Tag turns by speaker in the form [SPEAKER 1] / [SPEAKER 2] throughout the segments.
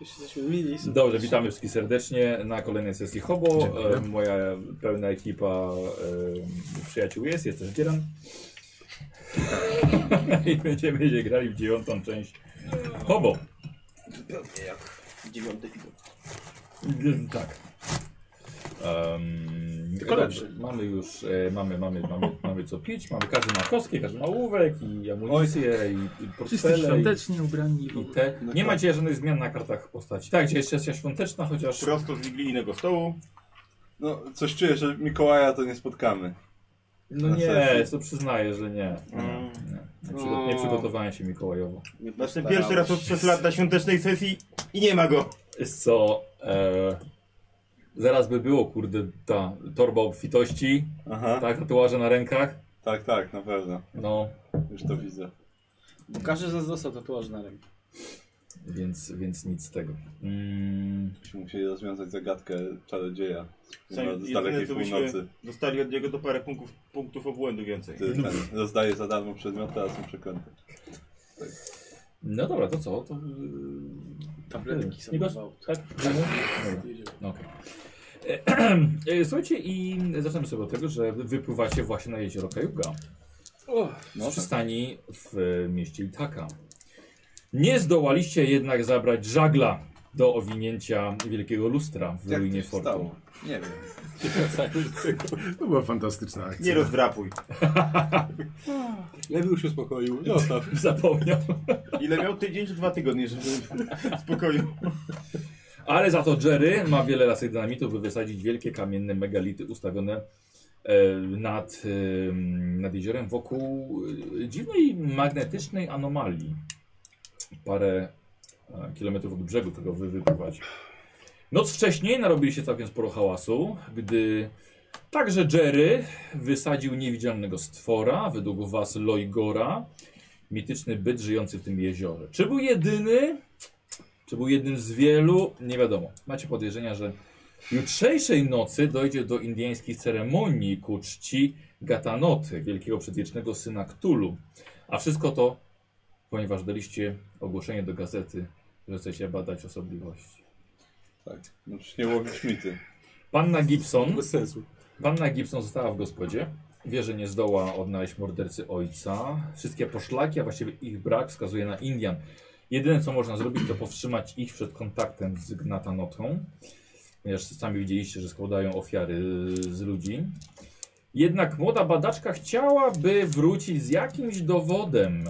[SPEAKER 1] Już jesteśmy mini.
[SPEAKER 2] Dobrze, witamy wszystkich serdecznie na kolejnej sesji Hobo. E, moja pełna ekipa e, przyjaciół jest, jest też Dzieran. I będziemy się grali w dziewiątą część Hobo.
[SPEAKER 1] Pewnie jak dziewiąty film.
[SPEAKER 2] Tak. Um,
[SPEAKER 1] Tylko lepszy.
[SPEAKER 2] Mamy już, e, mamy, mamy, mamy, mamy co pić, mamy każdy ma kostkę, każdy ma ołówek i amunicję i, i
[SPEAKER 3] Wszyscy
[SPEAKER 2] portfele i,
[SPEAKER 3] świątecznie ubrani.
[SPEAKER 2] i te. Nie ma dzisiaj żadnych zmian na kartach postaci. Tak, dzisiaj jest sesja świąteczna, chociaż
[SPEAKER 4] Prosto z wigilijnego stołu.
[SPEAKER 5] No, coś czuję, że Mikołaja to nie spotkamy.
[SPEAKER 2] No
[SPEAKER 5] na
[SPEAKER 2] nie,
[SPEAKER 5] sesji.
[SPEAKER 2] to przyznaję, że nie. Nie,
[SPEAKER 4] Mm.
[SPEAKER 2] nie. Nie, przygo- nie przygotowałem się Mikołajowo.
[SPEAKER 1] Nie
[SPEAKER 4] Znaczy
[SPEAKER 1] postarałeś
[SPEAKER 4] pierwszy raz od 3 lat na świątecznej sesji i nie ma go.
[SPEAKER 2] Wiesz co, e, zaraz by było, kurde, ta torba obfitości,
[SPEAKER 5] Aha, tak,
[SPEAKER 2] tak, tatuaże na rękach,
[SPEAKER 5] tak, na pewno.
[SPEAKER 2] no,
[SPEAKER 5] Już to widzę.
[SPEAKER 1] Bo każdy z nas dostał tatuaż na rękę.
[SPEAKER 2] więc, więc nic z tego. Mm,
[SPEAKER 5] Byśmy musieli rozwiązać zagadkę czarodzieja z,
[SPEAKER 4] W sensie,
[SPEAKER 5] z
[SPEAKER 4] jedyne,
[SPEAKER 5] dalekiej
[SPEAKER 4] co byśmy
[SPEAKER 5] północy.
[SPEAKER 4] Dostali od niego to parę punktów, punktów obłędu więcej.
[SPEAKER 5] Ty ten, rozdaje za darmo przedmioty, a są przeklęte.
[SPEAKER 2] no dobra, to co, to... y,
[SPEAKER 1] Tabletki
[SPEAKER 2] Nie
[SPEAKER 1] są
[SPEAKER 2] gosz-
[SPEAKER 1] gwałt.
[SPEAKER 2] Tak? Dobra. No Okej. E, Słuchajcie, i zaczynamy sobie od tego, że wypływacie właśnie na jezioro Kajuga.
[SPEAKER 5] No
[SPEAKER 2] z
[SPEAKER 5] tak.
[SPEAKER 2] przystani w e, mieście Itaka. Nie zdołaliście jednak zabrać żagla do owinięcia wielkiego lustra w
[SPEAKER 5] Jak to
[SPEAKER 2] ruinie
[SPEAKER 5] się
[SPEAKER 2] fortu.
[SPEAKER 5] stało? Nie wiem.
[SPEAKER 6] To była fantastyczna akcja.
[SPEAKER 4] Nie rozdrapuj.
[SPEAKER 5] Lewy już się uspokoił. Zostaw.
[SPEAKER 2] Zapomniał.
[SPEAKER 4] Ile miał tydzień czy dwa tygodnie, żeby spokoju.
[SPEAKER 2] Ale za to Jerry ma wiele lasek dynamitu, by wysadzić wielkie kamienne megality ustawione e, nad, e, nad jeziorem wokół e, dziwnej magnetycznej anomalii. Parę e, kilometrów od brzegu tego wy wypływać. Noc wcześniej narobiliście całkiem sporo hałasu, gdy także Jerry wysadził niewidzialnego stwora, według was Loigora, mityczny byt żyjący w tym jeziorze. Czy był jedyny? Czy był jednym z wielu? Nie wiadomo. Macie podejrzenia, że jutrzejszej nocy dojdzie do indyjskiej ceremonii ku czci Gatanoty, wielkiego przedwiecznego syna Ktulu. A wszystko to, ponieważ daliście ogłoszenie do gazety, że chcecie badać osobliwości.
[SPEAKER 5] Tak. No przecież nie łowisz mity.
[SPEAKER 2] Panna Gibson,
[SPEAKER 7] Bez sensu.
[SPEAKER 2] panna Gibson została w gospodzie. Wie, że nie zdoła odnaleźć mordercy ojca. Wszystkie poszlaki, a właściwie ich brak wskazuje na Indian. Jedyne, co można zrobić, to powstrzymać ich przed kontaktem z Gnatanotą. Ponieważ sami widzieliście, że składają ofiary z ludzi. Jednak młoda badaczka chciałaby wrócić z jakimś dowodem.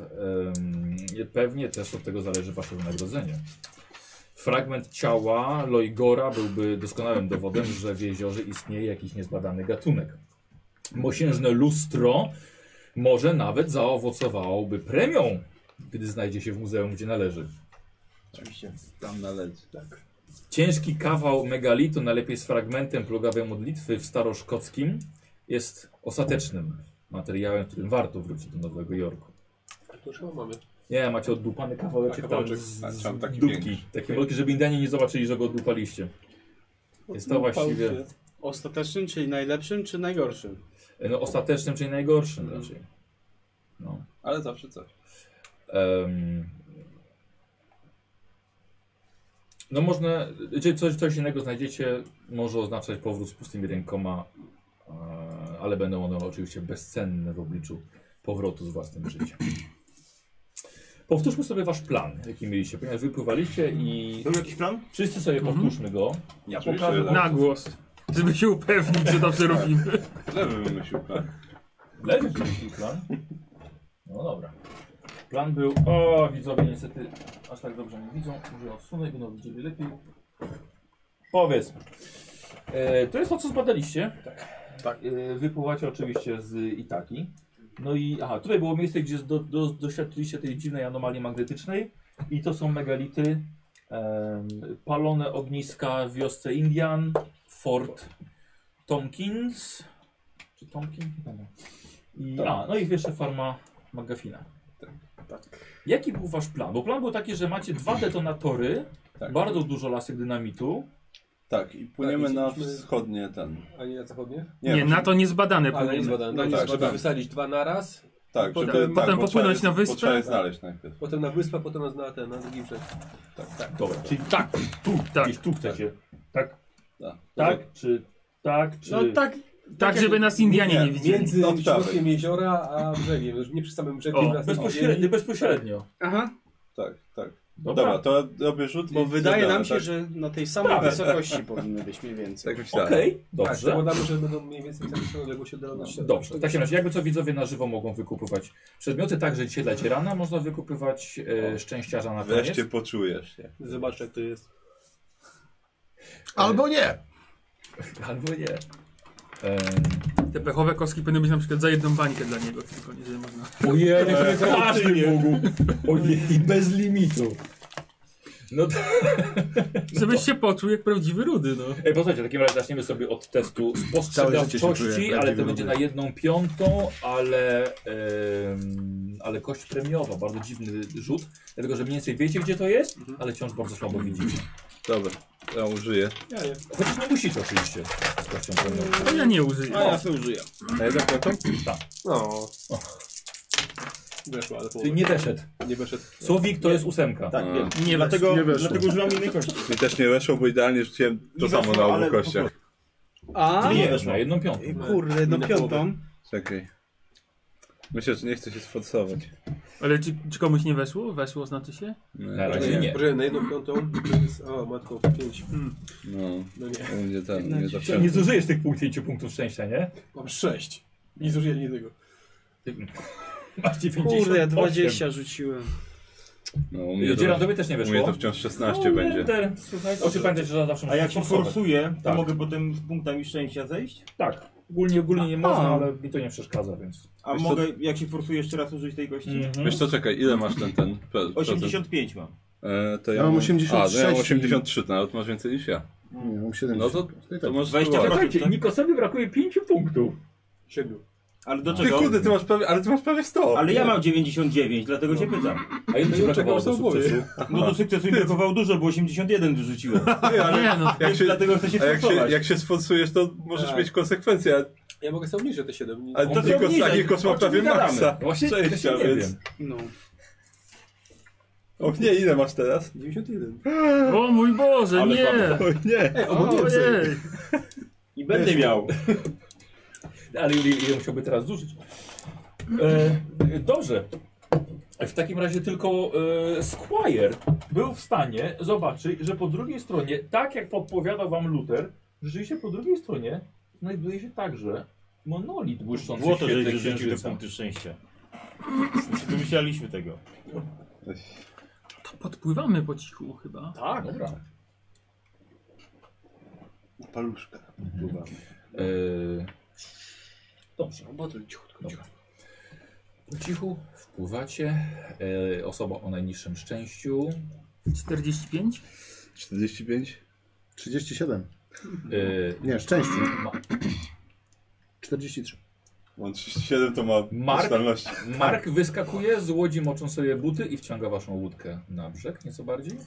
[SPEAKER 2] Em, pewnie też od tego zależy wasze wynagrodzenie. Fragment ciała Loigora byłby doskonałym dowodem, że w jeziorze istnieje jakiś niezbadany gatunek. Mosiężne lustro może nawet zaowocowałoby premią, gdy znajdzie się w muzeum, gdzie należy.
[SPEAKER 5] Oczywiście. Tam należy, tak.
[SPEAKER 2] Ciężki kawał megalitu, najlepiej z fragmentem plugawej modlitwy w staroszkockim, jest ostatecznym materiałem, którym warto wrócić do Nowego Jorku.
[SPEAKER 7] To już chyba mamy.
[SPEAKER 2] Nie, macie oddupany kawałeczek
[SPEAKER 7] A,
[SPEAKER 2] tam
[SPEAKER 7] kawałeczek.
[SPEAKER 2] z,
[SPEAKER 5] A,
[SPEAKER 2] z
[SPEAKER 5] tam taki
[SPEAKER 2] dupki.
[SPEAKER 5] większy.
[SPEAKER 2] Takie wielkie, żeby Indianie nie zobaczyli, że go oddupaliście.
[SPEAKER 5] No,
[SPEAKER 2] Jest to właściwie...
[SPEAKER 1] Ostatecznym, czyli najlepszym, czy najgorszym?
[SPEAKER 2] No, ostatecznym, czyli najgorszym raczej. No.
[SPEAKER 5] Ale zawsze coś.
[SPEAKER 2] Em, no można, czy coś, coś innego znajdziecie, może oznaczać powrót z pustymi rękoma, e, ale będą one oczywiście bezcenne w obliczu powrotu z własnym życiem. Powtórzmy sobie wasz plan, jaki mieliście, ponieważ wypływaliście i
[SPEAKER 4] Był jakiś plan?
[SPEAKER 2] wszyscy sobie powtórzmy go. Ja
[SPEAKER 5] Oczywiście,
[SPEAKER 2] pokażę
[SPEAKER 5] tak.
[SPEAKER 3] Mhm. Na głos. Żeby się upewnić, że dobrze robimy.
[SPEAKER 5] tak. Lewy wymyślił plan.
[SPEAKER 2] Lewy wymyślił plan. No dobra. Plan był. O, widzowie niestety aż tak dobrze nie widzą. Może odsunę, będą widzieli lepiej. Powiedz. E, to jest to, co zbadaliście. Tak. E, wypływacie oczywiście z Itaki. No i aha, tutaj było miejsce, gdzie do, do, doświadczyliście tej dziwnej anomalii magnetycznej. I to są megality, em, palone ogniska w wiosce Indian, Fort Tompkins. Czy Tompkins? Nie pamiętam. I, a, no i jeszcze farma Magafina. Jaki był wasz plan? Bo plan był taki, że macie dwa detonatory,
[SPEAKER 5] Tak.
[SPEAKER 2] bardzo dużo lasek dynamitu.
[SPEAKER 5] Tak, i płyniemy
[SPEAKER 7] Tak,
[SPEAKER 5] na
[SPEAKER 7] jesteśmy-
[SPEAKER 5] wschodnie ten.
[SPEAKER 7] A nie na zachodnie?
[SPEAKER 3] Nie, na to niezbadane
[SPEAKER 7] Ale nie
[SPEAKER 3] płyniemy.
[SPEAKER 7] zbadane.
[SPEAKER 5] No
[SPEAKER 7] No
[SPEAKER 5] tak,
[SPEAKER 7] tak, żeby
[SPEAKER 5] tak.
[SPEAKER 7] wysadzić dwa naraz
[SPEAKER 8] Tak,
[SPEAKER 3] Potem-
[SPEAKER 8] żeby
[SPEAKER 3] potem
[SPEAKER 8] tak, bo
[SPEAKER 3] popłynąć
[SPEAKER 8] trzeba je-
[SPEAKER 3] na wyspę?
[SPEAKER 8] bo Trzeba je znaleźć najpierw.
[SPEAKER 7] Potem na wyspę, potem na- na ten, na drugi brzeg.
[SPEAKER 2] Dobra, czyli tak, tu,
[SPEAKER 3] Tak.
[SPEAKER 2] gdzieś tu chcecie. Tak,
[SPEAKER 8] Tak.
[SPEAKER 2] tak, czy tak, czy...
[SPEAKER 9] No tak.
[SPEAKER 3] Tak, żeby nas Indianie nie widzieli.
[SPEAKER 8] nie,
[SPEAKER 7] Między
[SPEAKER 8] od prawej.
[SPEAKER 7] środkiem jeziora a brzegiem. Już nie przy samym brzegu.
[SPEAKER 2] O,
[SPEAKER 7] na samym
[SPEAKER 2] No, bezpośrednio,
[SPEAKER 7] ziemi.
[SPEAKER 2] bezpośrednio.
[SPEAKER 9] Aha.
[SPEAKER 8] Tak, tak.
[SPEAKER 2] Dobra,
[SPEAKER 8] Dobra, to robię rzut
[SPEAKER 9] Bo
[SPEAKER 8] i
[SPEAKER 9] wydaje
[SPEAKER 8] zadamy,
[SPEAKER 9] nam się,
[SPEAKER 8] tak?
[SPEAKER 9] że na tej samej wysokości powinny być mniej więcej.
[SPEAKER 8] Tak myślałem.
[SPEAKER 2] okej,
[SPEAKER 7] Tak,
[SPEAKER 2] dobrze.
[SPEAKER 7] zakładamy, że będą mniej więcej tak samo odległość oddalone.
[SPEAKER 2] Dobrze, Tak. w takim razie jakby co widzowie na żywo mogą wykupywać przedmioty, tak, że dzisiaj dla Cierana można wykupywać e, szczęściarza na koniec.
[SPEAKER 8] Wreszcie poczujesz się.
[SPEAKER 7] Zobacz jak to jest.
[SPEAKER 6] Albo nie.
[SPEAKER 2] Albo nie. E,
[SPEAKER 3] Te pechowe kostki powinny być na przykład za jedną bańkę dla niego, tylko nie że można.
[SPEAKER 2] Ojej, to jest każdy mógł. Ojej, bez limitu. No to...
[SPEAKER 3] Żebyś się poczuł jak prawdziwy rudy, no.
[SPEAKER 2] Ej, posłuchajcie, w takim razie zaczniemy sobie od testu
[SPEAKER 6] Całe życie się
[SPEAKER 2] spostrzegawczości,
[SPEAKER 6] czuję
[SPEAKER 2] ale to
[SPEAKER 6] prawdziwy
[SPEAKER 2] będzie na
[SPEAKER 6] lubię.
[SPEAKER 2] jedną piątą, ale, em, ale kość premiowa, bardzo dziwny rzut, dlatego że mniej więcej wiecie gdzie to jest, ale wciąż bardzo słabo widzicie.
[SPEAKER 8] Dobra, ja użyję.
[SPEAKER 2] Chociaż nie musicie oczywiście z kością premiową.
[SPEAKER 3] To ja nie użyję.
[SPEAKER 4] No,
[SPEAKER 9] A
[SPEAKER 10] No
[SPEAKER 9] ja sobie użyję.
[SPEAKER 8] Na jedną piątą?
[SPEAKER 7] No. Weszło, ale połowę.
[SPEAKER 2] Czyli nie deszedł.
[SPEAKER 7] nie weszedł.
[SPEAKER 2] Słowik to jest ósemka.
[SPEAKER 10] Tak,
[SPEAKER 8] A.
[SPEAKER 10] wiem.
[SPEAKER 3] Nie
[SPEAKER 10] dlatego,
[SPEAKER 6] weszło. Nie weszło.
[SPEAKER 10] dlatego używam innej kości.
[SPEAKER 8] Mi też nie weszło, bo idealnie rzuciłem to
[SPEAKER 10] Nie
[SPEAKER 8] samo
[SPEAKER 10] weszło,
[SPEAKER 8] na
[SPEAKER 10] ale
[SPEAKER 8] obu
[SPEAKER 10] po
[SPEAKER 8] kościach.
[SPEAKER 1] Tak.
[SPEAKER 9] A,
[SPEAKER 10] Nie
[SPEAKER 2] Nie,
[SPEAKER 10] weszło.
[SPEAKER 2] na jedną piątą.
[SPEAKER 9] kurde, do
[SPEAKER 1] no
[SPEAKER 7] Na
[SPEAKER 9] piątą.
[SPEAKER 8] Czekaj. Myślę, że nie chcę się sforsować.
[SPEAKER 3] Ale czy, czy komuś nie weszło? Weszło znaczy się?
[SPEAKER 8] No,
[SPEAKER 2] Na razie
[SPEAKER 7] Nie,
[SPEAKER 2] nie.
[SPEAKER 7] Boże, na jedną piątą to jest... O, matko, pięć. Hmm,
[SPEAKER 8] No,
[SPEAKER 7] no nie.
[SPEAKER 8] u mnie tam, u mnie zawsze.
[SPEAKER 2] Czyli Nie zużyjesz tych punktów, pięciu punktów szczęścia, nie?
[SPEAKER 7] Mam sześć. Nie zużyję ani jednego.
[SPEAKER 2] Masz 98.
[SPEAKER 9] Kurde, ja 20 rzuciłem.
[SPEAKER 8] No, u mnie
[SPEAKER 2] Dzieran,
[SPEAKER 8] to,
[SPEAKER 2] tobie też nie
[SPEAKER 8] u mnie
[SPEAKER 2] weszło.
[SPEAKER 8] to wciąż 16
[SPEAKER 10] No,
[SPEAKER 8] będzie.
[SPEAKER 2] Lender, słuchaj, oczy pamiętaj, że zawsze
[SPEAKER 10] A
[SPEAKER 2] możesz
[SPEAKER 10] jak
[SPEAKER 5] No,
[SPEAKER 10] się
[SPEAKER 2] forsować.
[SPEAKER 10] forsuje, to
[SPEAKER 2] Tak.
[SPEAKER 10] mogę potem z punktami szczęścia zejść?
[SPEAKER 2] Tak. Ogólnie, ogólnie nie
[SPEAKER 9] Aha.
[SPEAKER 2] można, ale mi to nie przeszkadza, więc...
[SPEAKER 10] A
[SPEAKER 8] Wiesz co-
[SPEAKER 10] mogę, jak się forsuje jeszcze raz użyć tej kości?
[SPEAKER 5] Mhm.
[SPEAKER 8] Wiesz co, czekaj, ile masz ten, ten pe- procent?
[SPEAKER 10] 85 mam.
[SPEAKER 8] E, to ja,
[SPEAKER 6] Ja mam 86
[SPEAKER 8] A, no ja mam
[SPEAKER 6] i-
[SPEAKER 8] 83, to nawet masz więcej niż ja.
[SPEAKER 6] Nie, mam 7.
[SPEAKER 8] No to,
[SPEAKER 6] tak.
[SPEAKER 8] to masz
[SPEAKER 10] 20
[SPEAKER 8] wyłapać.
[SPEAKER 2] tak?
[SPEAKER 10] Czekajcie,
[SPEAKER 2] Nikosowi brakuje 5 punktów.
[SPEAKER 7] Siedmiu.
[SPEAKER 10] Ale
[SPEAKER 5] No.
[SPEAKER 10] do
[SPEAKER 8] Ty
[SPEAKER 10] czego?
[SPEAKER 8] kurde, ty masz prawie, ale ty masz prawie 100.
[SPEAKER 10] Ale ja mam 99, dlatego cię pytam.
[SPEAKER 2] A ile ci
[SPEAKER 7] Ja
[SPEAKER 2] brakowało do
[SPEAKER 7] czekam, co
[SPEAKER 2] sukcesu?
[SPEAKER 10] No do sukcesu mi brakowało dużo, bo 81 wyrzuciło.
[SPEAKER 8] Ty, ale
[SPEAKER 3] Nie, no.
[SPEAKER 8] jak się,
[SPEAKER 10] Dlatego chcę się
[SPEAKER 8] a jak się,
[SPEAKER 10] sforsować.
[SPEAKER 8] jak się sforsujesz, to możesz
[SPEAKER 7] Tak.
[SPEAKER 8] mieć konsekwencje, a-
[SPEAKER 7] Ja mogę sobie obniżyć o te siedem. Nie-
[SPEAKER 8] ale to
[SPEAKER 10] to
[SPEAKER 8] tylko
[SPEAKER 10] obniżaj,
[SPEAKER 8] taki kos ma
[SPEAKER 10] o czym
[SPEAKER 8] prawie
[SPEAKER 10] gadamy?
[SPEAKER 8] maksa.
[SPEAKER 2] No Właśnie
[SPEAKER 8] Szczęścia,
[SPEAKER 2] Cześć, ja nie
[SPEAKER 8] więc-
[SPEAKER 2] wiem.
[SPEAKER 9] No.
[SPEAKER 8] Och nie, ile masz teraz?
[SPEAKER 7] 91.
[SPEAKER 3] O mój Boże,
[SPEAKER 10] Ale
[SPEAKER 3] nie!
[SPEAKER 10] słabo.
[SPEAKER 8] Oj nie.
[SPEAKER 7] Ej, o,
[SPEAKER 3] Ojej!
[SPEAKER 10] I będę miał.
[SPEAKER 2] Ale ile, ile musiałby teraz zużyć? E, dobrze. W takim razie tylko e, Squire był w stanie zobaczyć, że po drugiej stronie, tak jak podpowiadał wam Luther, rzeczywiście po drugiej stronie znajduje się także monolit błyszczący w
[SPEAKER 10] Złoto, że
[SPEAKER 2] świetle
[SPEAKER 10] wyrzucił te
[SPEAKER 2] księżyca.
[SPEAKER 10] punkty szczęścia. Nie Wymyślaliśmy tego.
[SPEAKER 3] To podpływamy po cichu chyba.
[SPEAKER 2] Tak, dobra.
[SPEAKER 8] Paluszka.
[SPEAKER 2] E, dobrze.
[SPEAKER 9] no Bo to cichutko.
[SPEAKER 2] Dobra. Po cichu wpływacie. E, osoba o najniższym szczęściu.
[SPEAKER 3] 45?
[SPEAKER 8] 45?
[SPEAKER 6] 37.
[SPEAKER 2] E,
[SPEAKER 6] Nie, szczęście.
[SPEAKER 2] Ma-
[SPEAKER 6] 43.
[SPEAKER 8] Mam 37 to ma
[SPEAKER 2] Mark?
[SPEAKER 8] stalność.
[SPEAKER 2] Mark wyskakuje z łodzi, moczą sobie buty i wciąga waszą łódkę na brzeg, nieco bardziej.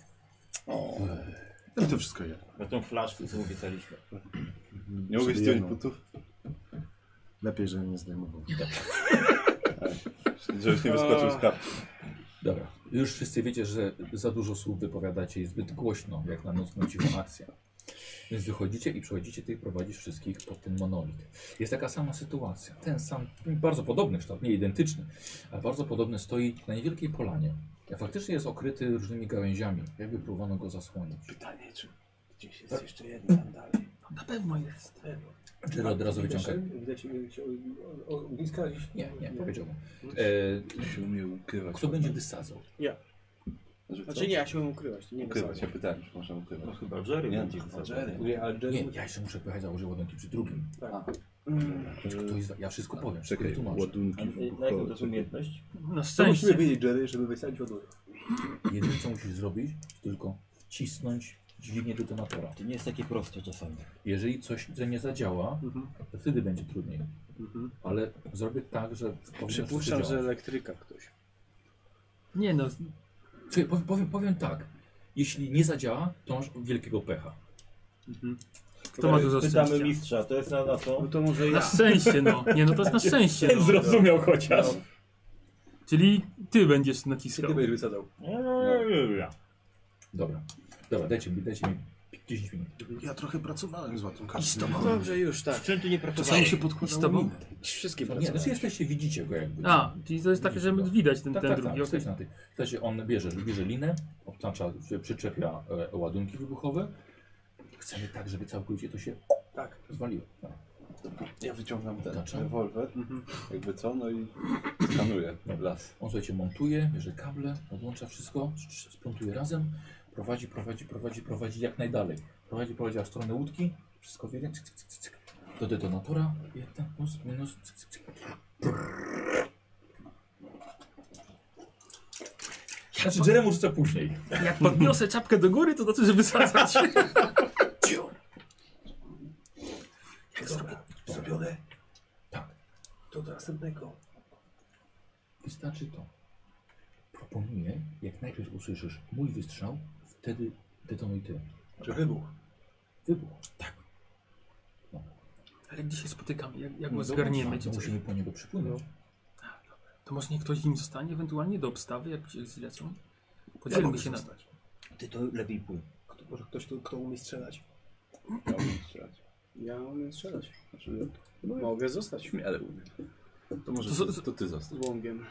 [SPEAKER 6] No to wszystko jedno.
[SPEAKER 10] Na tą flaszkę, co obiecaliśmy.
[SPEAKER 8] Nie mogę
[SPEAKER 6] Sobie
[SPEAKER 8] zdjąć
[SPEAKER 6] jedno.
[SPEAKER 8] butów,
[SPEAKER 6] Lepiej, żebym nie zdejmował.
[SPEAKER 8] żebyś nie wyskoczył z kapci.
[SPEAKER 2] Dobra. Już wszyscy wiecie, że za dużo słów wypowiadacie i zbyt głośno, jak na nocną cichą akcję. Więc wychodzicie i przechodzicie, ty prowadzisz wszystkich pod ten monolit. Jest taka sama sytuacja. Ten sam, bardzo podobny kształt, nie identyczny, ale bardzo podobny stoi na niewielkiej polanie. A faktycznie jest okryty różnymi gałęziami, jakby próbowano go zasłonić.
[SPEAKER 7] Pytanie, czy gdzieś
[SPEAKER 10] Tak.
[SPEAKER 7] jest jeszcze jedna tam dalej.
[SPEAKER 3] Na pewno jest.
[SPEAKER 2] Jerry od razu wyciąga.
[SPEAKER 7] Widać widać o- o- ogniska gdzieś?
[SPEAKER 2] Nie, nie, powiedziałbym.
[SPEAKER 8] Się umie ukrywać.
[SPEAKER 2] kto będzie wysadzał?
[SPEAKER 8] Że co?
[SPEAKER 9] Znaczy nie, ja się mam ukrywać. Nie
[SPEAKER 8] Ukrywać, ja
[SPEAKER 9] wysadzę.
[SPEAKER 8] pytałem, czy można ukrywać.
[SPEAKER 10] Chyba Jerry
[SPEAKER 8] Nie,
[SPEAKER 10] będzie
[SPEAKER 5] no,
[SPEAKER 8] chyba
[SPEAKER 10] wysadzał.
[SPEAKER 8] Jerry.
[SPEAKER 7] Nie, ale
[SPEAKER 2] Nie,
[SPEAKER 7] Jerry...
[SPEAKER 2] ja jeszcze muszę pojechać założyć ładunki przy drugim.
[SPEAKER 9] Mm.
[SPEAKER 2] To jest, ja wszystko powiem, wszystko
[SPEAKER 8] Czekaj,
[SPEAKER 2] wytłumaczę.
[SPEAKER 8] ładunki
[SPEAKER 10] Na jaką to jest
[SPEAKER 8] wybuchowe.
[SPEAKER 10] umiejętność?
[SPEAKER 3] Na
[SPEAKER 7] Co musimy
[SPEAKER 3] szczęście.
[SPEAKER 7] wiedzieć, Jerry, żeby wysadzić ładunek?
[SPEAKER 2] Jedyne co musisz zrobić, to tylko wcisnąć dźwignię detonatora.
[SPEAKER 10] To nie jest takie proste czasami.
[SPEAKER 2] Jeżeli coś że nie zadziała,
[SPEAKER 7] Mhm.
[SPEAKER 2] to wtedy będzie trudniej.
[SPEAKER 7] Mhm.
[SPEAKER 2] Ale zrobię tak, że powinno
[SPEAKER 9] Przypuszczam,
[SPEAKER 2] wszystko
[SPEAKER 9] że
[SPEAKER 2] działać.
[SPEAKER 9] elektryka ktoś.
[SPEAKER 3] Nie no,
[SPEAKER 2] Słuchaj, powiem, powiem, powiem tak. Jeśli nie zadziała, to masz wielkiego pecha.
[SPEAKER 3] kto ma dużo
[SPEAKER 10] Pytamy
[SPEAKER 3] szczęścia?
[SPEAKER 10] mistrza, to jest na, na co?
[SPEAKER 9] No to może
[SPEAKER 3] Na
[SPEAKER 9] ja.
[SPEAKER 3] szczęście no. Nie no, to jest na szczęście no.
[SPEAKER 2] Zrozumiał chociaż.
[SPEAKER 3] Czyli ty będziesz naciskał.
[SPEAKER 7] Ty będziesz wysadzał.
[SPEAKER 5] No,
[SPEAKER 2] Dobra, dobra, dajcie mi, dajcie mi 10 minut.
[SPEAKER 6] Ja trochę pracowałem z łatunkiem.
[SPEAKER 1] I z tobą. Dobrze, już tak.
[SPEAKER 4] Czym tu nie
[SPEAKER 6] Czasami się
[SPEAKER 3] I z
[SPEAKER 6] podkładało
[SPEAKER 3] tobą?
[SPEAKER 6] minę.
[SPEAKER 1] Wszystkie
[SPEAKER 2] Nie,
[SPEAKER 1] pracowali.
[SPEAKER 2] znaczy jesteście, widzicie go jakby.
[SPEAKER 3] A, czyli to jest takie, że widać ten,
[SPEAKER 2] tak,
[SPEAKER 3] ten
[SPEAKER 2] tak,
[SPEAKER 3] drugi.
[SPEAKER 2] tak,
[SPEAKER 3] okej.
[SPEAKER 2] jesteś na tej. Słuchajcie, on bierze, bierze linę, obtacza, przy- przyczepia e, ładunki wybuchowe. Chcemy tak, żeby całkowicie to się
[SPEAKER 1] Tak.
[SPEAKER 2] zwaliło. Tak.
[SPEAKER 5] Ja wyciągam ten
[SPEAKER 2] Znaczy?
[SPEAKER 5] rewolwer, jakby co, no i skanuję las.
[SPEAKER 2] On słuchajcie, montuje, bierze kable, odłącza wszystko, sz- sz- splątuje razem, prowadzi, prowadzi, prowadzi, prowadzi jak najdalej. Prowadzi, prowadzi aż w stronę łódki, wszystko w jeden, cyk, cyk, cyk, cyk. Do detonatora, jedna, plus, minus, cyk, cyk, cyk. Znaczy Jeremu rzuca później.
[SPEAKER 3] Jak podniosę czapkę do góry, to znaczy, że wysadzać.
[SPEAKER 7] Jak zrobię? Zrobione?
[SPEAKER 2] Tak,
[SPEAKER 7] To do następnego.
[SPEAKER 2] wystarczy znaczy to. Proponuję, jak najpierw usłyszysz mój wystrzał, wtedy detonuj ty.
[SPEAKER 7] Czy wybuch?
[SPEAKER 2] Wybuch. Tak.
[SPEAKER 3] Ale gdzie się spotykamy? Jak, jak
[SPEAKER 2] No
[SPEAKER 3] go zgarniemy?
[SPEAKER 2] dobra,
[SPEAKER 3] Czy
[SPEAKER 2] to
[SPEAKER 3] coś?
[SPEAKER 2] Musimy po niego przypłynąć.
[SPEAKER 3] To może niech ktoś nim zostanie ewentualnie do obstawy, jak się zlecą? Podzielmy się na to.
[SPEAKER 4] Ty to lepiej płyń.
[SPEAKER 7] Kto, może ktoś tu, kto umie strzelać?
[SPEAKER 5] Chciałbym strzelać.
[SPEAKER 1] Ja umiem strzelać. Znaczy, mogę zostać
[SPEAKER 5] Śmiale umiem. To może
[SPEAKER 3] To-
[SPEAKER 5] to, ty, to ty
[SPEAKER 1] z
[SPEAKER 5] zostań.
[SPEAKER 1] łągiem.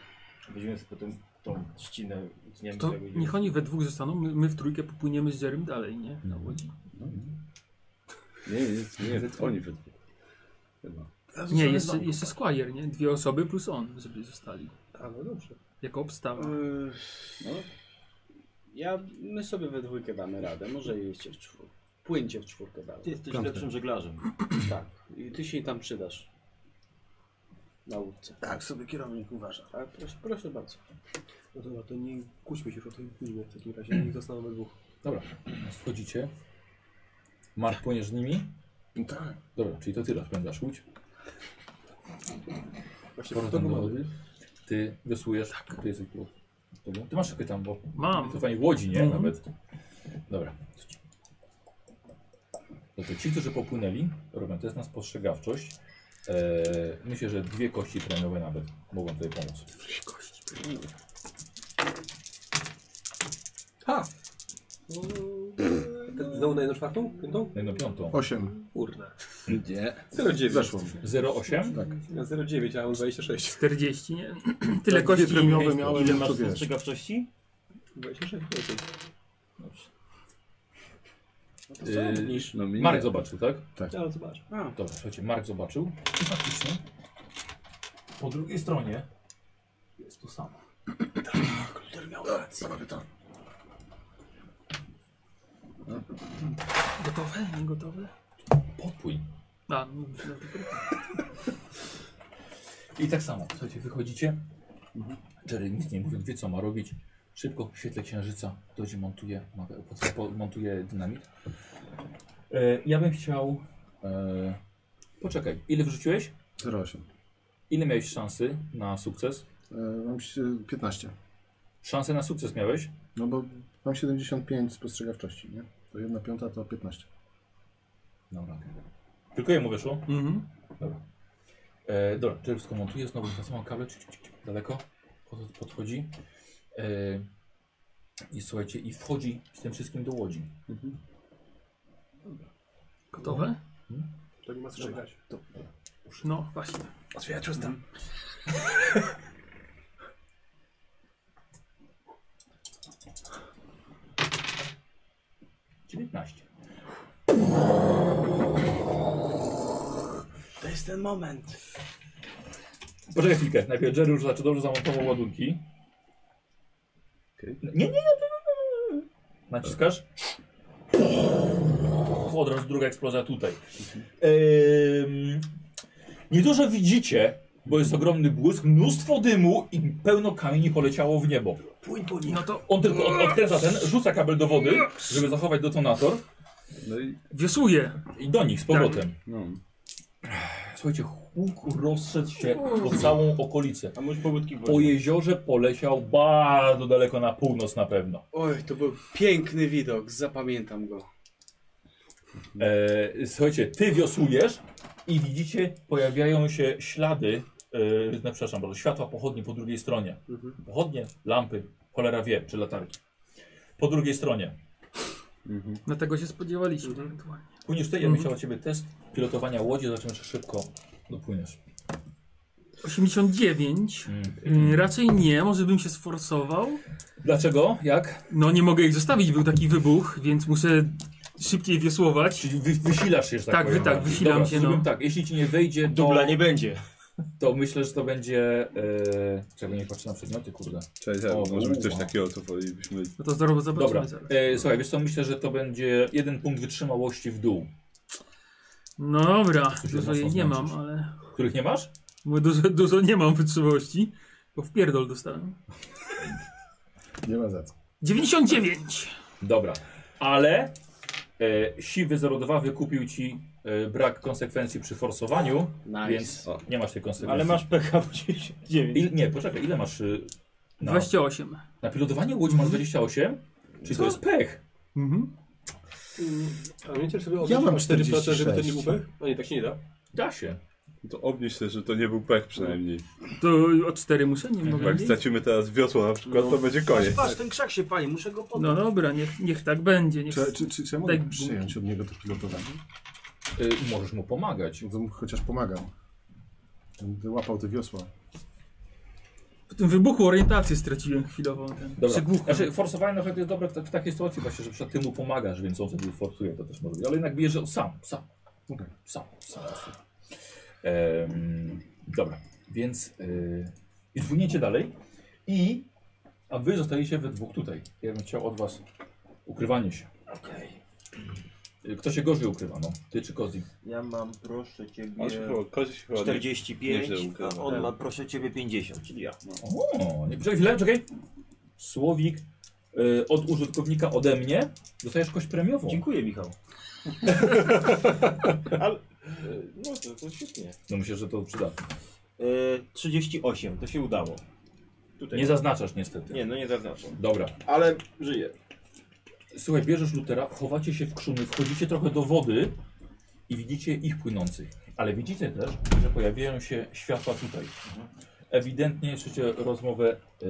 [SPEAKER 4] Weźmiemy sobie potem tą trzcinę. tniemy
[SPEAKER 3] To
[SPEAKER 4] tego i-
[SPEAKER 3] niech oni we dwóch zostaną, my, my w trójkę popłyniemy z Jerem dalej, nie? Na
[SPEAKER 2] No.
[SPEAKER 3] łodzi.
[SPEAKER 5] Nie, nie, nie, to oni we dwóch. Chyba.
[SPEAKER 3] Nie, jeszcze, jeszcze Squire, nie? Dwie osoby plus on, żeby zostali.
[SPEAKER 7] A no dobrze.
[SPEAKER 3] Jako obstawa.
[SPEAKER 2] Mm.
[SPEAKER 1] Yy, No. Ja, my sobie we dwójkę damy radę, może jeźdźcie w czwórkę. Płyńcie w czwórkę
[SPEAKER 4] Ty
[SPEAKER 1] dalej.
[SPEAKER 4] jesteś
[SPEAKER 6] Piątkę.
[SPEAKER 4] lepszym żeglarzem.
[SPEAKER 1] Tak. I ty się tam przydasz. Na łódce.
[SPEAKER 6] Tak, sobie kierownik uważa.
[SPEAKER 1] Tak, proszę, proszę bardzo.
[SPEAKER 7] No dobra, to nie kłóćmy się już o tej gminie w takim razie. Niech zostaną we dwóch.
[SPEAKER 2] Dobra, wchodzicie. Mark płyniesz z nimi?
[SPEAKER 6] Tak.
[SPEAKER 2] Dobra, czyli to ty rozpędzasz łódź.
[SPEAKER 7] Właśnie to
[SPEAKER 2] Powrotem do
[SPEAKER 7] mamy.
[SPEAKER 2] wody. Ty wiosłujesz. Tak. Ty, jesteś tu. Tobą. ty masz jakieś tam, bo
[SPEAKER 3] Mam.
[SPEAKER 2] to fajnie w łodzi, nie?
[SPEAKER 3] Mhm.
[SPEAKER 2] Nawet. Dobra. No to ci, którzy popłynęli, robią test na spostrzegawczość. Eee, myślę, że dwie kości premiowe nawet mogą tutaj pomóc.
[SPEAKER 7] Ten- Znowu na jedną czwartą? Piątą?
[SPEAKER 2] No i na piątą.
[SPEAKER 6] Osiem.
[SPEAKER 7] Kurna.
[SPEAKER 5] Nie.
[SPEAKER 7] 0,9.
[SPEAKER 6] Weszło.
[SPEAKER 2] 0,8? Tak.
[SPEAKER 7] Ja 0,9, a on 26.
[SPEAKER 3] 40, nie? Tyle
[SPEAKER 6] Tak,
[SPEAKER 3] kości.
[SPEAKER 6] dwie premiowe
[SPEAKER 3] miałeś.
[SPEAKER 6] miałem,
[SPEAKER 4] Ile
[SPEAKER 6] no
[SPEAKER 4] masz
[SPEAKER 6] to wiesz.
[SPEAKER 4] spostrzegawczości?
[SPEAKER 7] 26 procent.
[SPEAKER 1] No to co robisz?
[SPEAKER 5] No mi
[SPEAKER 2] Y, Mark zobaczył, tak?
[SPEAKER 7] Ale zobacz.
[SPEAKER 1] A,
[SPEAKER 2] Dobra, słuchajcie, Mark zobaczył i faktycznie po drugiej stronie jest to samo.
[SPEAKER 6] Panowie to.
[SPEAKER 3] Gotowe? Nie gotowe?
[SPEAKER 2] Podpój.
[SPEAKER 3] A, no, no, dobra.
[SPEAKER 2] I tak samo, słuchajcie, wychodzicie. Jerry nic nie mówiąc, wie co ma robić. Szybko w świetle księżyca dojdzie, montuje, ma- po- po- montuje dynamit. E, ja bym chciał... E, poczekaj, ile wrzuciłeś?
[SPEAKER 6] 0,8.
[SPEAKER 2] Ile miałeś szansy na sukces?
[SPEAKER 6] E, mam si- 15.
[SPEAKER 2] Szansę na sukces miałeś?
[SPEAKER 6] No bo mam 75 spostrzegawczości, nie? To jedna piąta to 15.
[SPEAKER 2] Dobra. Tylko jemu wyszło?
[SPEAKER 3] Mhm.
[SPEAKER 2] Dobra. E, dobra, Jerry skomentuje znowu na samą kable, czy, czy, czy, daleko pod, podchodzi. E, I słuchajcie, i wchodzi z tym wszystkim do łodzi.
[SPEAKER 3] Gotowe?
[SPEAKER 7] To nie ma co czekać.
[SPEAKER 3] No, właśnie.
[SPEAKER 7] Otwierać usta.
[SPEAKER 2] dziewiętnaście
[SPEAKER 1] to jest ten moment.
[SPEAKER 2] Poczekaj chwilkę, najpierw Jerry już znaczy dobrze zamontował ładunki. No,
[SPEAKER 5] Okej.
[SPEAKER 2] Nie, nie, nie, nie. Naciskasz? Od razu druga eksplozja tutaj. Ehm, niedużo widzicie, bo jest ogromny błysk, mnóstwo dymu i pełno kamieni poleciało w niebo.
[SPEAKER 7] Płyń po nich.
[SPEAKER 3] No to
[SPEAKER 2] On tylko od, odkręca ten, rzuca kabel do wody, żeby zachować detonator
[SPEAKER 5] No i
[SPEAKER 3] wiosłuję.
[SPEAKER 2] i do nich z powrotem.
[SPEAKER 5] no.
[SPEAKER 2] Słuchajcie, huk rozszedł się po całą okolicę.
[SPEAKER 4] A może pobudki
[SPEAKER 2] Po jeziorze poleciał bardzo daleko na północ na pewno.
[SPEAKER 1] Oj, to był piękny widok, zapamiętam go.
[SPEAKER 2] E, słuchajcie, ty wiosłujesz i widzicie, pojawiają się ślady e, Yy, no, przepraszam bardzo, światła pochodni po drugiej stronie.
[SPEAKER 7] Mhm.
[SPEAKER 2] Pochodnie, lampy, cholera wie, czy latarki. Po drugiej stronie.
[SPEAKER 3] No tego się spodziewaliśmy
[SPEAKER 7] Mhm.
[SPEAKER 3] ewentualnie.
[SPEAKER 2] Płyniesz ty, ja
[SPEAKER 3] Mhm.
[SPEAKER 2] bym chciał od ciebie test pilotowania łodzi, zobaczymy czy szybko dopłyniesz.
[SPEAKER 3] 89. Y, Raczej nie, może bym się sforsował.
[SPEAKER 2] Dlaczego? Jak?
[SPEAKER 3] No nie mogę ich zostawić, był taki wybuch, więc muszę szybciej wiosłować.
[SPEAKER 2] Czyli wy, wysilasz się, że tak
[SPEAKER 3] Tak,
[SPEAKER 2] powiem.
[SPEAKER 3] wy- tak, wysilam
[SPEAKER 2] Dobra,
[SPEAKER 3] się,
[SPEAKER 2] zrobimy
[SPEAKER 3] no.
[SPEAKER 2] tak, jeśli ci nie wyjdzie, to,
[SPEAKER 4] Dubla nie będzie.
[SPEAKER 2] to myślę, że to będzie... Yy, czekaj, nie patrzę na przedmioty, kurde.
[SPEAKER 5] Cześć, ja,
[SPEAKER 2] O,
[SPEAKER 5] może być coś
[SPEAKER 2] uwa.
[SPEAKER 5] takiego, to powinniśmy...
[SPEAKER 3] No to zaraz zobaczymy
[SPEAKER 2] Dobra,
[SPEAKER 3] zaraz.
[SPEAKER 2] e, słuchaj, wiesz co, myślę, że to będzie jeden punkt wytrzymałości w dół.
[SPEAKER 3] No dobra,
[SPEAKER 2] się
[SPEAKER 3] dużo
[SPEAKER 2] mocno
[SPEAKER 3] jej nie mam,
[SPEAKER 2] zmęczysz.
[SPEAKER 3] ale...
[SPEAKER 2] Których nie masz?
[SPEAKER 3] Mówię, dużo, dużo nie mam wytrzymałości, bo w pierdol dostałem.
[SPEAKER 6] Nie ma za co.
[SPEAKER 3] 99!
[SPEAKER 2] Dobra, ale e, siwy 02 wykupił ci e, brak konsekwencji przy forsowaniu,
[SPEAKER 1] Nice.
[SPEAKER 2] więc
[SPEAKER 1] O.
[SPEAKER 2] nie masz tej konsekwencji.
[SPEAKER 4] Ale masz PH 99.
[SPEAKER 2] Il, nie, poczekaj, ile masz y, na,
[SPEAKER 3] 28.
[SPEAKER 2] na pilotowanie łodzi masz 28? Czyli to jest pech.
[SPEAKER 3] Mhm.
[SPEAKER 7] Mm, A umiecie sobie
[SPEAKER 6] Ja mam
[SPEAKER 7] odliczyć o 4%, żeby to nie
[SPEAKER 6] 46.
[SPEAKER 7] był pech? No nie, tak się nie da.
[SPEAKER 2] Da się.
[SPEAKER 5] To obnieś się, że to nie był pech przynajmniej.
[SPEAKER 3] To o 4 muszę, nie
[SPEAKER 5] Bo
[SPEAKER 3] mogę
[SPEAKER 5] jak
[SPEAKER 3] mniej.
[SPEAKER 5] stracimy teraz wiosło na przykład, to będzie koniec.
[SPEAKER 10] Patrz, ten krzak się pali, muszę go podnieść.
[SPEAKER 3] No dobra, niech, niech tak będzie. Niech...
[SPEAKER 6] Czy, czy, czy, czy ja mogę
[SPEAKER 3] Tak,
[SPEAKER 6] przyjąć od niego to pilotowanie?
[SPEAKER 2] Y, możesz mu pomagać.
[SPEAKER 6] To mu chociaż pomagam. Będę łapał te wiosła.
[SPEAKER 3] W tym wybuchu orientację straciłem chwilową. Ten...
[SPEAKER 2] Dobra.
[SPEAKER 3] Przygłuchłem.
[SPEAKER 2] Znaczy, forsowanie na przykład jest dobre w, ta- w takiej sytuacji właśnie, że przed tym mu pomagasz, więc on wtedy forsuje, to też może być. Ale jednak bijesz że sam, sam,
[SPEAKER 6] Okej.
[SPEAKER 2] sam, sam. sam. Em, dobra, więc yy, i płyniecie dalej i a wy zostajecie we dwóch tutaj. Ja bym chciał od was ukrywanie się. Y, Kto się gorzej ukrywa, no? Ty czy Kozi?
[SPEAKER 10] Ja mam, proszę ciebie,
[SPEAKER 5] On się chyba, kozie się chyba...
[SPEAKER 10] 45,
[SPEAKER 5] Nieźle ukrywa.
[SPEAKER 10] a on ma, proszę ciebie, 50, czyli ja.
[SPEAKER 2] O, nie, czekaj chwilę, czekaj. Słowik y, od użytkownika ode mnie dostajesz kość premiową.
[SPEAKER 10] Dziękuję, Michał.
[SPEAKER 4] Ale,
[SPEAKER 10] e,
[SPEAKER 4] no to, to świetnie.
[SPEAKER 2] No myślę, że to przydatne.
[SPEAKER 10] Y,
[SPEAKER 4] 38, to się udało. Tutaj.
[SPEAKER 2] Nie zaznaczasz niestety.
[SPEAKER 4] nie, no nie zaznaczam.
[SPEAKER 2] Dobra.
[SPEAKER 4] Ale żyję.
[SPEAKER 2] Słuchaj, bierzesz Lutera, chowacie się w krzumy, wchodzicie trochę do wody i widzicie ich płynących. Ale widzicie też, że pojawiają się światła tutaj. Ewidentnie słyszycie rozmowę yy,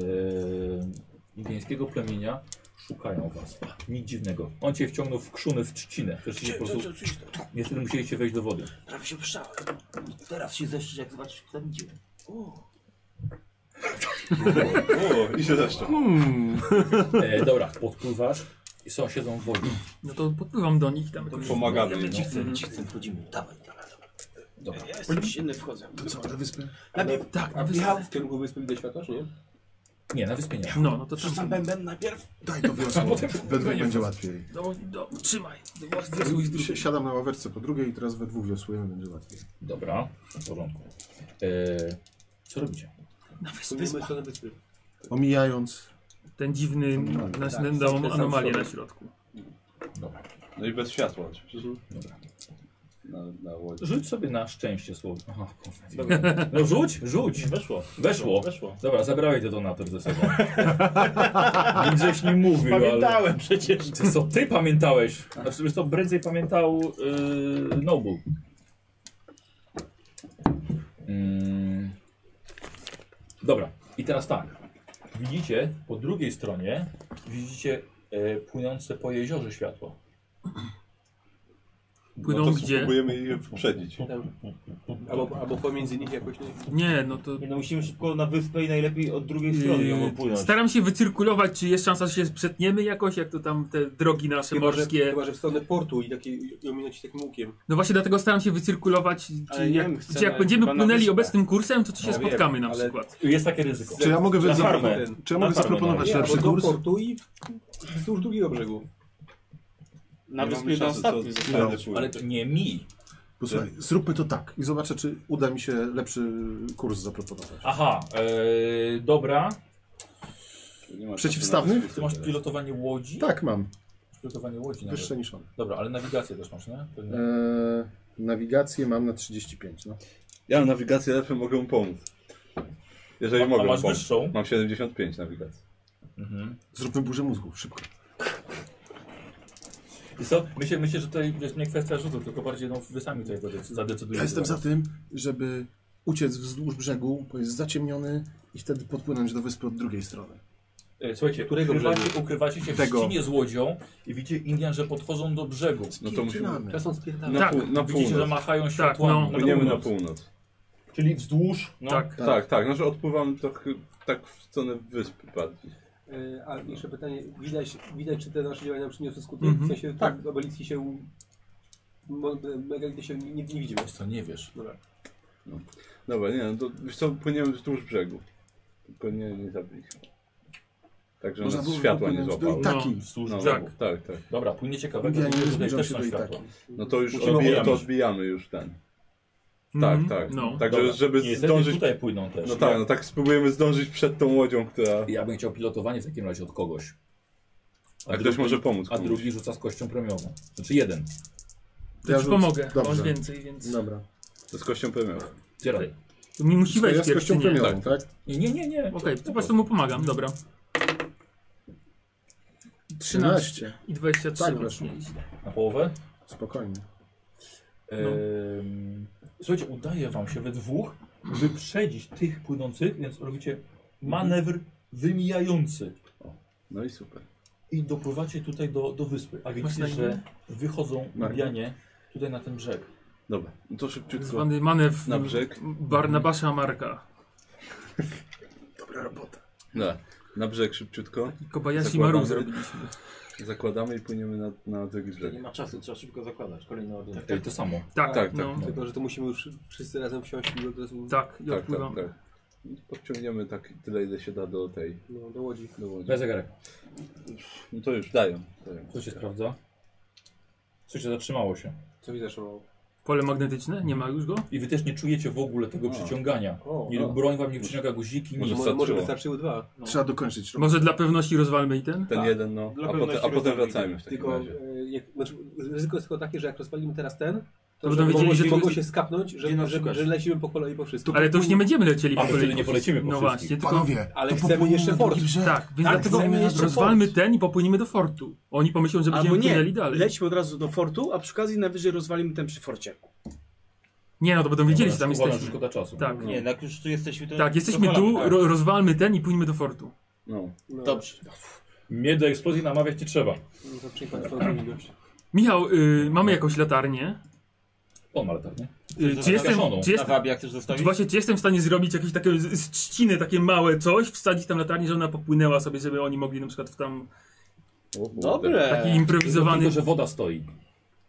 [SPEAKER 2] indyjskiego plemienia. Szukają was. Nic dziwnego. On cię wciągnął w krzumy, w trzcinę. Przecież po
[SPEAKER 10] co, co,
[SPEAKER 2] prostu...
[SPEAKER 10] co, coś tam.
[SPEAKER 2] Niestety musieliście wejść do wody.
[SPEAKER 10] Prawie się wszałem. Teraz się ześcić, jak zobaczysz, kto idzie.
[SPEAKER 5] O, i się zaszczał.
[SPEAKER 2] E, dobra, podpływasz i są, siedzą w wodzie. No.
[SPEAKER 3] No to podpływam do nich tam. jakoś-
[SPEAKER 5] Pomagamy im. no.
[SPEAKER 10] Ci chcę, ci chcę, wchodzimy. Dawaj, dawaj, dawaj.
[SPEAKER 2] Dobra.
[SPEAKER 1] Ja jestem silny, wchodzę.
[SPEAKER 6] To co, na wyspę?
[SPEAKER 10] Najpierw
[SPEAKER 3] Tak, na
[SPEAKER 7] A
[SPEAKER 3] wyspę.
[SPEAKER 7] wjechał w kierunku wyspy widać światła, czy nie?
[SPEAKER 2] Nie, na wyspie nie.
[SPEAKER 3] No, no to
[SPEAKER 10] rzucam
[SPEAKER 3] tam.
[SPEAKER 10] bęben najpierw.
[SPEAKER 6] Daj to wiosło, we dwóch będzie łatwiej.
[SPEAKER 3] Do, do, trzymaj. Wiosłuj z drugiej.
[SPEAKER 6] Si- Siadam na ławeczce po drugiej i teraz we dwóch wiosłujemy, będzie łatwiej.
[SPEAKER 2] Dobra, w porządku. E, co robicie?
[SPEAKER 3] Na wyspę.
[SPEAKER 7] Spójrzmy stronę wyspy.
[SPEAKER 6] Omijając
[SPEAKER 3] Ten dziwny
[SPEAKER 6] Anomalia.
[SPEAKER 3] nas
[SPEAKER 7] Tak,
[SPEAKER 3] nam
[SPEAKER 7] ten sam
[SPEAKER 3] anomalię na
[SPEAKER 7] człowiek.
[SPEAKER 3] środku.
[SPEAKER 2] Dobra.
[SPEAKER 5] No i bez światła oczywiście.
[SPEAKER 8] Mhm.
[SPEAKER 2] Dobra.
[SPEAKER 5] Na, na łodzi.
[SPEAKER 2] Rzuć sobie na szczęście słowo. Aha, kurwa. No rzuć, rzuć.
[SPEAKER 4] Weszło.
[SPEAKER 2] Weszło.
[SPEAKER 4] Weszło.
[SPEAKER 2] Dobra, zabrałeś detonator ze sobą. Nic żeś nie mówił, ale...
[SPEAKER 4] Pamiętałem przecież.
[SPEAKER 2] Ty, co ty pamiętałeś? Znaczy, wiesz co, prędzej pamiętał yy, Nobu. Mm. Dobra, i teraz tak. Widzicie, po drugiej stronie widzicie e, płynące po jeziorze światło.
[SPEAKER 3] Płyną
[SPEAKER 5] no to
[SPEAKER 3] gdzie?
[SPEAKER 5] Spróbujemy je wyprzedzić.
[SPEAKER 7] Albo, albo pomiędzy nich jakoś nie.
[SPEAKER 3] Nie, no to...
[SPEAKER 4] Nie, no musimy szybko na wyspę i najlepiej od drugiej strony ją
[SPEAKER 3] Yy,
[SPEAKER 4] opłynąć.
[SPEAKER 3] Staram się wycyrkulować, czy jest szansa, że się przetniemy jakoś, jak to tam te drogi nasze
[SPEAKER 7] Chyba że,
[SPEAKER 3] morskie.
[SPEAKER 7] chyba, że w stronę portu i takie i ominąć tak takim łukiem.
[SPEAKER 3] No właśnie dlatego staram się wycyrkulować,
[SPEAKER 1] Ale
[SPEAKER 3] czy
[SPEAKER 1] nie
[SPEAKER 3] jak,
[SPEAKER 1] wiem, chcę
[SPEAKER 3] czy jak
[SPEAKER 1] na-
[SPEAKER 3] będziemy
[SPEAKER 1] chyba na
[SPEAKER 3] płynęli
[SPEAKER 1] wyspę.
[SPEAKER 3] obecnym kursem, to czy się
[SPEAKER 7] No wiem,
[SPEAKER 3] spotkamy na
[SPEAKER 7] ale-
[SPEAKER 3] przykład.
[SPEAKER 2] Jest takie ryzyko.
[SPEAKER 6] Czy ja mogę,
[SPEAKER 7] Na
[SPEAKER 6] wy-
[SPEAKER 7] farmę.
[SPEAKER 6] zapro- czy ja
[SPEAKER 2] Na farmę
[SPEAKER 6] mogę zaproponować
[SPEAKER 7] Nie,
[SPEAKER 6] lepszy
[SPEAKER 7] albo do
[SPEAKER 6] kurs?
[SPEAKER 7] portu i wzdłuż drugiego brzegu.
[SPEAKER 1] Na
[SPEAKER 5] Nie
[SPEAKER 1] wyspie
[SPEAKER 5] mamy
[SPEAKER 1] to
[SPEAKER 5] szansy, co-
[SPEAKER 1] ostatni.
[SPEAKER 5] co
[SPEAKER 6] No.
[SPEAKER 5] tędy płynie.
[SPEAKER 2] Ale to nie mi.
[SPEAKER 6] Posłuchaj, zróbmy to tak i zobaczę, czy uda mi się lepszy kurs zaproponować.
[SPEAKER 2] Aha, e, dobra.
[SPEAKER 5] Nie ma
[SPEAKER 6] Przeciwstawny?
[SPEAKER 5] czasu na
[SPEAKER 2] Ty masz pilotowanie łodzi?
[SPEAKER 6] Tak, mam.
[SPEAKER 2] Pilotowanie łodzi nawet.
[SPEAKER 6] Wyższe niż on.
[SPEAKER 2] Dobra, ale nawigację też masz, nie? Pewnie.
[SPEAKER 6] Eee, nawigację mam na 35, no.
[SPEAKER 5] Ja mam nawigację lepszą, mogę mu pomóc. Jeżeli
[SPEAKER 2] A- a
[SPEAKER 5] mogę
[SPEAKER 2] masz
[SPEAKER 5] pomóc.
[SPEAKER 2] wyższą?
[SPEAKER 5] Mam 75 nawigacji.
[SPEAKER 2] Mhm.
[SPEAKER 6] Zróbmy burzę mózgów, szybko.
[SPEAKER 2] Wiesz co? Myślę, myślę, że tutaj jest nie kwestia rzutu, tylko bardziej no, wy sami tutaj zadecy- zadecydujecie.
[SPEAKER 6] Ja jestem za tym, żeby uciec wzdłuż brzegu, bo jest zaciemniony i wtedy podpłynąć do wyspy od drugiej strony.
[SPEAKER 2] E, Słuchajcie,
[SPEAKER 7] Którego
[SPEAKER 2] ukrywacie, ukrywacie się w
[SPEAKER 6] Tego.
[SPEAKER 2] ścinie z łodzią i widzicie Indian, że podchodzą do brzegu.
[SPEAKER 8] No to musimy...
[SPEAKER 6] Pierdolamy.
[SPEAKER 7] Ja są spierdane.
[SPEAKER 8] Na,
[SPEAKER 3] Tak,
[SPEAKER 8] pół, na
[SPEAKER 2] Widzicie, że
[SPEAKER 8] północ.
[SPEAKER 2] machają
[SPEAKER 3] no.
[SPEAKER 2] światłami.
[SPEAKER 8] Płyniemy na północ.
[SPEAKER 2] Czyli wzdłuż. No.
[SPEAKER 3] Tak.
[SPEAKER 8] Tak, tak, znaczy odpływam trochę tak w stronę wyspy bardziej.
[SPEAKER 7] Y, A jeszcze pytanie, widać, widać czy te nasze działania przyniosły skutek?
[SPEAKER 3] Mhm.
[SPEAKER 7] W sensie tak. obeliski się, mo- megality się nie, nie widzimy.
[SPEAKER 2] Wiesz co, nie wiesz.
[SPEAKER 7] Dobra.
[SPEAKER 8] Dobra, nie no to wiesz co, płyniemy wzdłuż brzegu. Tylko nie, nie za blisko. Także
[SPEAKER 6] Można
[SPEAKER 8] nas
[SPEAKER 6] było
[SPEAKER 8] światła nie
[SPEAKER 6] popłynąć do
[SPEAKER 8] złapało.
[SPEAKER 6] Itaki. Taki.
[SPEAKER 3] No, wzdłuż
[SPEAKER 8] No,
[SPEAKER 3] brzegu.
[SPEAKER 8] tak, tak.
[SPEAKER 2] Dobra, płyniecie kawałek,
[SPEAKER 6] Indianie
[SPEAKER 2] żeby tutaj
[SPEAKER 6] zbliżą
[SPEAKER 2] też
[SPEAKER 6] się
[SPEAKER 2] są
[SPEAKER 6] do
[SPEAKER 2] światła.
[SPEAKER 6] Itaki.
[SPEAKER 8] No to już
[SPEAKER 2] Musimy
[SPEAKER 8] odbija, to
[SPEAKER 2] omijać.
[SPEAKER 8] odbijamy już ten.
[SPEAKER 3] Mhm.
[SPEAKER 8] Tak, tak.
[SPEAKER 3] No.
[SPEAKER 8] Także
[SPEAKER 2] Dobra.
[SPEAKER 8] żeby
[SPEAKER 2] Niestety
[SPEAKER 8] zdążyć.
[SPEAKER 2] tutaj płyną też.
[SPEAKER 8] No tak, no tak spróbujemy zdążyć przed tą łodzią, która.
[SPEAKER 2] Ja bym chciał pilotowanie w takim razie od kogoś.
[SPEAKER 8] A ktoś może pomóc.
[SPEAKER 2] A
[SPEAKER 8] komuś.
[SPEAKER 2] drugi rzuca z kością premiową. Znaczy jeden.
[SPEAKER 3] To
[SPEAKER 6] Ja
[SPEAKER 3] ci
[SPEAKER 6] rzucę.
[SPEAKER 3] pomogę, bo
[SPEAKER 6] Dobrze.
[SPEAKER 3] masz więcej, więc...
[SPEAKER 6] Dobra.
[SPEAKER 8] To z kością premią.
[SPEAKER 2] Dzieraj.
[SPEAKER 3] To mi musi
[SPEAKER 6] To ja
[SPEAKER 3] wejść
[SPEAKER 6] z kością
[SPEAKER 3] pierwszy, nie?
[SPEAKER 6] premiową, tak?
[SPEAKER 2] Nie, nie, nie. nie.
[SPEAKER 3] Okej, to po prostu mu pomagam, dobra. 13 i 23
[SPEAKER 6] Tak,
[SPEAKER 3] tak,
[SPEAKER 6] weszło.
[SPEAKER 3] rocznie.
[SPEAKER 2] Na połowę?
[SPEAKER 6] Spokojnie.
[SPEAKER 8] No.
[SPEAKER 2] Ehm, Słuchajcie, udaje wam się we dwóch wyprzedzić tych płynących, więc robicie manewr wymijający.
[SPEAKER 8] No i super.
[SPEAKER 2] I dopływacie tutaj do, do wyspy. A widzicie,
[SPEAKER 3] Masz na imię?
[SPEAKER 2] że
[SPEAKER 10] tak.
[SPEAKER 2] wychodzą
[SPEAKER 6] Marko.
[SPEAKER 2] Indianie tutaj na ten brzeg.
[SPEAKER 8] Dobra, no to
[SPEAKER 3] Tak
[SPEAKER 8] szybciutko.
[SPEAKER 3] zwany manewr
[SPEAKER 8] Na brzeg.
[SPEAKER 3] Barnabasza Marka.
[SPEAKER 8] Na, na brzeg szybciutko.
[SPEAKER 3] I Kobayashi
[SPEAKER 8] Zakładamy.
[SPEAKER 3] Maru zrobiliśmy.
[SPEAKER 8] Zakładamy i płyniemy na, na drugi brzeg.
[SPEAKER 10] Nie ma czasu, trzeba szybko zakładać. Kolejny ładunek.
[SPEAKER 2] Ej, to samo.
[SPEAKER 8] tak,
[SPEAKER 3] Tak, tak, no,
[SPEAKER 8] tak.
[SPEAKER 3] tak.
[SPEAKER 7] Tylko, że to musimy już wszyscy razem wsiąść i od razu
[SPEAKER 3] i
[SPEAKER 8] Tak, tak,
[SPEAKER 3] odpływam.
[SPEAKER 8] tak. Podciągniemy tak tyle, ile się da do tej.
[SPEAKER 7] no, do łodzi.
[SPEAKER 8] Do łodzi.
[SPEAKER 2] Bez zegarek.
[SPEAKER 8] No to już dają. dają.
[SPEAKER 2] Co Tak. się sprawdza? Słuchajcie, zatrzymało się.
[SPEAKER 7] Co mi zaszło?
[SPEAKER 3] Pole magnetyczne? Nie ma już go?
[SPEAKER 2] I wy też nie czujecie w ogóle tego przyciągania.
[SPEAKER 7] O,
[SPEAKER 2] Nie,
[SPEAKER 7] o.
[SPEAKER 2] broń wam nie przyciąga guziki,
[SPEAKER 8] Może
[SPEAKER 2] nic.
[SPEAKER 7] Może, może
[SPEAKER 8] wystarczyło.
[SPEAKER 7] wystarczyły dwa.
[SPEAKER 6] Trzeba dokończyć. rok.
[SPEAKER 3] Może dla pewności rozwalmy i ten?
[SPEAKER 8] Ten
[SPEAKER 7] Tak.
[SPEAKER 8] jeden, no.
[SPEAKER 11] Dla
[SPEAKER 8] A, potem,
[SPEAKER 11] pewności
[SPEAKER 8] a potem
[SPEAKER 11] rozumiem.
[SPEAKER 8] wracajmy w takim
[SPEAKER 7] Tylko
[SPEAKER 8] razie.
[SPEAKER 7] e, jak, znaczy, ryzyko jest tylko takie, że jak rozpalimy teraz ten,
[SPEAKER 3] To
[SPEAKER 7] to,
[SPEAKER 3] będą
[SPEAKER 7] że
[SPEAKER 3] wiedzieli,
[SPEAKER 7] mogą,
[SPEAKER 3] że
[SPEAKER 7] się,
[SPEAKER 3] tu-
[SPEAKER 7] mogą się skapnąć, że,
[SPEAKER 11] Gdzie nas
[SPEAKER 7] że,
[SPEAKER 11] szukasz?
[SPEAKER 7] że lecimy po kolei po wszystkim.
[SPEAKER 3] Ale to już nie będziemy lecieli
[SPEAKER 2] A,
[SPEAKER 3] po
[SPEAKER 2] my wtedy
[SPEAKER 3] kolei.
[SPEAKER 2] nie polecimy po
[SPEAKER 3] No
[SPEAKER 2] wszystkich.
[SPEAKER 3] właśnie, tylko...
[SPEAKER 6] Panowie,
[SPEAKER 7] Ale
[SPEAKER 6] to
[SPEAKER 7] chcemy
[SPEAKER 6] popłyniemy
[SPEAKER 7] jeszcze
[SPEAKER 6] na
[SPEAKER 7] fort.
[SPEAKER 6] drugi brzeg.
[SPEAKER 3] Tak, więc
[SPEAKER 7] Ale
[SPEAKER 3] chcemy-
[SPEAKER 7] chcemy jeszcze
[SPEAKER 3] rozwalmy
[SPEAKER 7] fort.
[SPEAKER 3] ten i popłyniemy do fortu. Oni pomyślą, że
[SPEAKER 9] Albo
[SPEAKER 3] będziemy
[SPEAKER 9] nie,
[SPEAKER 3] płynęli dalej.
[SPEAKER 9] lećmy od razu do fortu, a przy okazji najwyżej rozwalimy ten przy forcie.
[SPEAKER 3] Nie no, to będą wiedzieli, że tam
[SPEAKER 2] Uważam,
[SPEAKER 3] jesteśmy.
[SPEAKER 2] szkoda czasu.
[SPEAKER 3] Tak.
[SPEAKER 10] Nie, no jak już tu jesteśmy, to...
[SPEAKER 3] Tak, jesteśmy
[SPEAKER 10] to
[SPEAKER 3] tu,
[SPEAKER 10] kolana,
[SPEAKER 3] ro rozwalmy ten i pójdźmy do fortu.
[SPEAKER 8] No.
[SPEAKER 7] No,
[SPEAKER 10] Dobrze.
[SPEAKER 2] Mnie do eksplozji namawiać nie trzeba.
[SPEAKER 7] no to przyjechać tą zmienność.
[SPEAKER 3] Michał, y, mamy jakąś latarnię.
[SPEAKER 2] On ma latarnię.
[SPEAKER 3] Y, czy, jestem,
[SPEAKER 2] Zagaszoną.
[SPEAKER 3] czy,
[SPEAKER 10] Na
[SPEAKER 3] jestem,
[SPEAKER 10] wabia chcesz
[SPEAKER 3] czy
[SPEAKER 10] zostawić?
[SPEAKER 3] właśnie, czy jestem w stanie zrobić jakieś takie z- z trzciny, takie małe coś, wsadzić tam latarnię, że ona popłynęła sobie, żeby oni mogli na przykład w tam
[SPEAKER 8] O, kurde.
[SPEAKER 9] Dobre.
[SPEAKER 3] taki improwizowany...
[SPEAKER 2] Tylko, że woda stoi.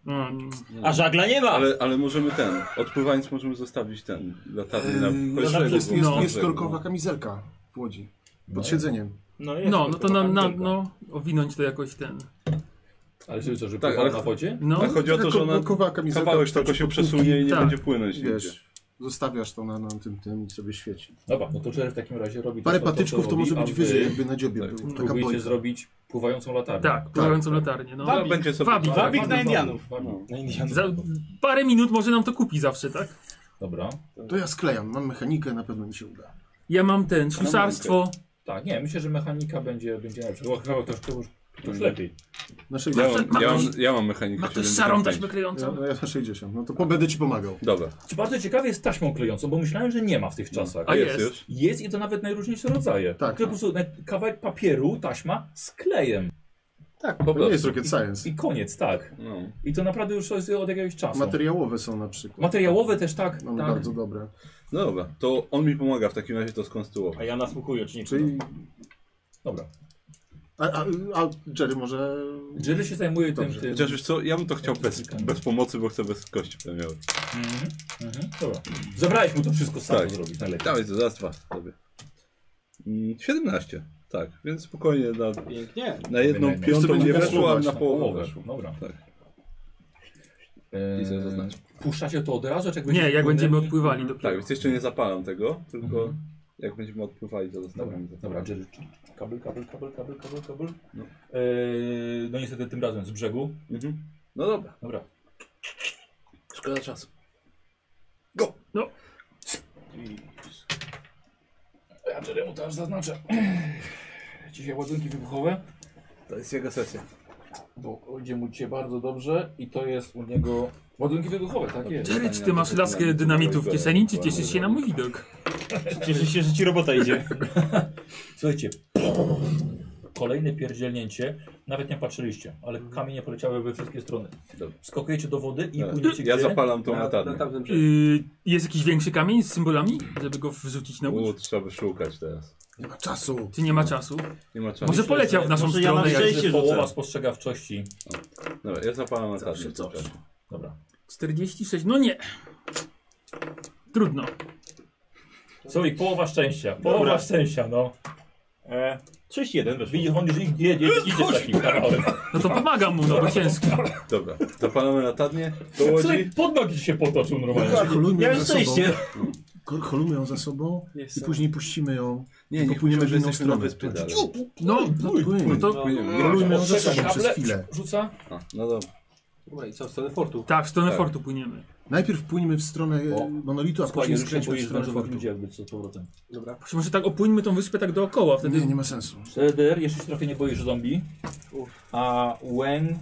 [SPEAKER 3] Mm,
[SPEAKER 10] A żagla nie ma!
[SPEAKER 8] Ale, ale możemy ten, odpływając możemy zostawić ten, latarnię na
[SPEAKER 6] Yy,
[SPEAKER 8] końcu
[SPEAKER 6] jest, jest,
[SPEAKER 8] brzegu.
[SPEAKER 6] jest,
[SPEAKER 3] No.
[SPEAKER 6] jest storkowa kamizelka w Łodzi. Pod siedzeniem.
[SPEAKER 10] No, jest
[SPEAKER 3] no, no to
[SPEAKER 10] tylko
[SPEAKER 3] nam, nam
[SPEAKER 10] pamiętam.
[SPEAKER 3] no, owinąć to jakoś ten...
[SPEAKER 2] Ale żeby co, że
[SPEAKER 8] Tak,
[SPEAKER 2] tak,
[SPEAKER 8] ale-
[SPEAKER 2] na wodzie?
[SPEAKER 3] No,
[SPEAKER 8] Ale chodzi o to,
[SPEAKER 6] taka
[SPEAKER 8] że ona
[SPEAKER 6] kokowa kamizelka,
[SPEAKER 8] kawałek tylko
[SPEAKER 6] wchodzi
[SPEAKER 8] się
[SPEAKER 6] pod półki.
[SPEAKER 8] przesunie i nie
[SPEAKER 3] Tak.
[SPEAKER 8] będzie płynąć nigdzie.
[SPEAKER 6] Wiesz, zostawiasz to na, na tym tym i sobie świeci.
[SPEAKER 2] Dobra, no to Jerry w takim razie robi
[SPEAKER 6] Parę
[SPEAKER 2] to, co-
[SPEAKER 6] patyczków to,
[SPEAKER 2] co robi,
[SPEAKER 6] może
[SPEAKER 2] a
[SPEAKER 6] być
[SPEAKER 2] wy
[SPEAKER 6] wyżej, jakby na dziobie
[SPEAKER 8] tak,
[SPEAKER 6] był. Taka
[SPEAKER 2] Próbujcie
[SPEAKER 6] bojka.
[SPEAKER 2] zrobić pływającą latarnię. Tak,
[SPEAKER 3] tak, pływającą latarnię, no.
[SPEAKER 8] Wabik. Będzie sobie-
[SPEAKER 3] Wabik.
[SPEAKER 2] Wabik
[SPEAKER 3] Wabik.
[SPEAKER 9] na Indianów.
[SPEAKER 2] Wabik.
[SPEAKER 8] No.
[SPEAKER 10] Na Indianów.
[SPEAKER 3] Za parę minut może nam to kupi zawsze, tak?
[SPEAKER 2] Dobra.
[SPEAKER 6] To ja sklejam, mam mechanikę, na pewno mi się uda.
[SPEAKER 3] Ja mam ten, ślusarstwo.
[SPEAKER 2] Tak, nie, myślę, że mechanika będzie, będzie lepsza. Chyba- Chyba ktoś, to już ktoś lepiej.
[SPEAKER 6] Na
[SPEAKER 8] Ja
[SPEAKER 6] 60.
[SPEAKER 8] mam, No. ja mam, ja mam mechanikę
[SPEAKER 3] Ma ktoś
[SPEAKER 8] 75.
[SPEAKER 3] szarą taśmę
[SPEAKER 6] Ja,
[SPEAKER 3] klejącą?
[SPEAKER 6] ja na 60. No to po, będę ci pomagał.
[SPEAKER 8] Dobra,
[SPEAKER 2] Czy bardzo ciekawie jest taśmą klejącą, bo myślałem, że nie ma w tych czasach.
[SPEAKER 3] A
[SPEAKER 8] jest,
[SPEAKER 3] jest.
[SPEAKER 8] już.
[SPEAKER 2] No. Jest i to nawet najróżniejsze rodzaje.
[SPEAKER 6] Tak.
[SPEAKER 2] Tylko po prostu na- kawałek papieru, taśma z klejem.
[SPEAKER 6] Tak,
[SPEAKER 8] po
[SPEAKER 6] to nie
[SPEAKER 8] prostu.
[SPEAKER 6] jest rocket science.
[SPEAKER 2] I koniec, tak.
[SPEAKER 8] No.
[SPEAKER 2] I to naprawdę już jest od jakiegoś czasu.
[SPEAKER 6] Materiałowe są na przykład.
[SPEAKER 2] Materiałowe też tak.
[SPEAKER 6] Mamy
[SPEAKER 2] tak.
[SPEAKER 6] bardzo dobre.
[SPEAKER 8] no dobra, to on mi pomaga w takim razie to skonstruować.
[SPEAKER 10] A ja nasłuchuję, czy nie
[SPEAKER 6] Czyli...
[SPEAKER 2] Dobra.
[SPEAKER 6] A, a, a Jerry może...
[SPEAKER 2] Jerry się zajmuje
[SPEAKER 6] Dobrze.
[SPEAKER 2] tym.
[SPEAKER 8] Chociaż
[SPEAKER 2] tym...
[SPEAKER 8] wiesz co, ja bym to chciał bez, bez pomocy, bo chcę bez kości premiowej.
[SPEAKER 2] Mhm. Mhm. Dobra. Zabrałeś mu to wszystko sam
[SPEAKER 8] Tak.
[SPEAKER 2] to zrobić najlepiej.
[SPEAKER 8] Dawaj, to zaraz dwa sobie. Mm, 17, tak, więc spokojnie na,
[SPEAKER 9] Pięknie.
[SPEAKER 8] na jedną
[SPEAKER 2] Wynajmniej.
[SPEAKER 8] piątą
[SPEAKER 6] Sobie
[SPEAKER 8] nie
[SPEAKER 6] nie
[SPEAKER 8] weszło, a
[SPEAKER 6] posuwać
[SPEAKER 8] na
[SPEAKER 6] na
[SPEAKER 8] połowę
[SPEAKER 2] Połowę.
[SPEAKER 8] weszło.
[SPEAKER 2] Dobra.
[SPEAKER 8] Tak.
[SPEAKER 2] Eee,
[SPEAKER 8] I sobie zaznaczę.
[SPEAKER 2] Puszczacie to od razu, czy jak
[SPEAKER 3] Nie, jak będziemy odpływali
[SPEAKER 8] Tak,
[SPEAKER 3] dopiero.
[SPEAKER 8] więc jeszcze nie zapalam tego, tylko
[SPEAKER 2] Mhm.
[SPEAKER 8] jak będziemy odpływali, to
[SPEAKER 2] Dobra,
[SPEAKER 8] zostawiam.
[SPEAKER 2] dobra, Jerry. Kabel, kabel, kabel, kabel, kabel, kabel.
[SPEAKER 8] No.
[SPEAKER 2] Eee, no niestety tym razem z brzegu.
[SPEAKER 8] Mhm. No dobra.
[SPEAKER 2] Dobra.
[SPEAKER 8] Szkoda czasu.
[SPEAKER 2] Ja Jeremu też zaznaczę. Dzisiaj ładunki wybuchowe.
[SPEAKER 8] To jest jego sesja.
[SPEAKER 2] Bo idzie mu cię bardzo dobrze i to jest u niego... Ładunki wybuchowe, tak jest.
[SPEAKER 3] Jerry, czy ty masz laskę dynamitu w kieszeni, czy cieszysz się na mój widok?
[SPEAKER 10] Cieszę się, że ci robota idzie.
[SPEAKER 2] Słuchajcie, kolejne pierdzielnięcie, nawet nie patrzyliście, ale kamienie poleciały we wszystkie strony.
[SPEAKER 8] Dobra.
[SPEAKER 2] Skokujecie do wody i
[SPEAKER 8] Dobra.
[SPEAKER 2] płyniecie
[SPEAKER 8] Ja
[SPEAKER 2] gdzie?
[SPEAKER 8] zapalam tą
[SPEAKER 7] Na, na
[SPEAKER 8] latarnię.
[SPEAKER 7] tamten brzeg.
[SPEAKER 3] Yy, jest jakiś większy kamień z symbolami, żeby go wrzucić na
[SPEAKER 8] U,
[SPEAKER 3] łódź?
[SPEAKER 8] trzeba by szukać teraz.
[SPEAKER 6] Nie ma czasu.
[SPEAKER 3] Czy nie ma czasu?
[SPEAKER 8] Nie ma czasu.
[SPEAKER 3] Może
[SPEAKER 2] Myślę,
[SPEAKER 3] poleciał
[SPEAKER 2] że-
[SPEAKER 3] w naszą
[SPEAKER 10] może ja mam
[SPEAKER 3] stronę. jak-
[SPEAKER 10] szczęście. się
[SPEAKER 2] Połowa
[SPEAKER 10] rzucę.
[SPEAKER 2] spostrzegawczości.
[SPEAKER 8] Dobra, ja zapalam latarnię.
[SPEAKER 6] coś.
[SPEAKER 8] Czekaj.
[SPEAKER 2] Dobra.
[SPEAKER 3] 46, no nie. Trudno.
[SPEAKER 2] Słuchaj, połowa szczęścia. Połowa
[SPEAKER 10] Dobra.
[SPEAKER 2] szczęścia, no.
[SPEAKER 10] E, 6-1 weszło.
[SPEAKER 2] Widzisz, on już idzie, idzie, idzie z takim kanałem.
[SPEAKER 3] No to pomagam mu, no bo ciężko.
[SPEAKER 8] Dobra, zapalamy latarnię do łodzi.
[SPEAKER 2] Słuchaj, pod nogi ci się potoczył normalnie.
[SPEAKER 6] Kolumnią
[SPEAKER 7] Miałem
[SPEAKER 6] za sobą.
[SPEAKER 7] szczęście.
[SPEAKER 6] Ko- Kolumnią ją za sobą i później puścimy ją.
[SPEAKER 8] Nie,
[SPEAKER 6] tylko
[SPEAKER 8] nie
[SPEAKER 6] płyniemy
[SPEAKER 8] pójdziemy
[SPEAKER 6] w
[SPEAKER 8] że
[SPEAKER 6] inną
[SPEAKER 8] jesteśmy na
[SPEAKER 6] stronę.
[SPEAKER 8] wyspie dalej.
[SPEAKER 3] No, no, no to
[SPEAKER 6] Kolumnią ją za sobą
[SPEAKER 2] Odczeka
[SPEAKER 6] przez
[SPEAKER 2] kable,
[SPEAKER 6] chwilę.
[SPEAKER 2] Rzuca.
[SPEAKER 8] A, No dobra.
[SPEAKER 7] Dobra, i co, w stronę fortu.
[SPEAKER 3] tak, w stronę
[SPEAKER 8] Tak.
[SPEAKER 3] fortu płyniemy.
[SPEAKER 6] Najpierw płyńmy w stronę e,
[SPEAKER 2] O.
[SPEAKER 6] monolitu, a
[SPEAKER 2] Słuchaj,
[SPEAKER 6] później
[SPEAKER 2] już się
[SPEAKER 6] skręćmy w
[SPEAKER 2] boisz,
[SPEAKER 6] stronę
[SPEAKER 2] że
[SPEAKER 6] fortu.
[SPEAKER 2] ludzie jakby co z powrotem.
[SPEAKER 7] Dobra.
[SPEAKER 3] Może tak opłyńmy tą wyspę tak dookoła, wtedy...
[SPEAKER 6] Nie, nie ma sensu.
[SPEAKER 2] Ceder, jeszcze się trochę nie boisz zombie.
[SPEAKER 7] Uff.
[SPEAKER 2] A Wen...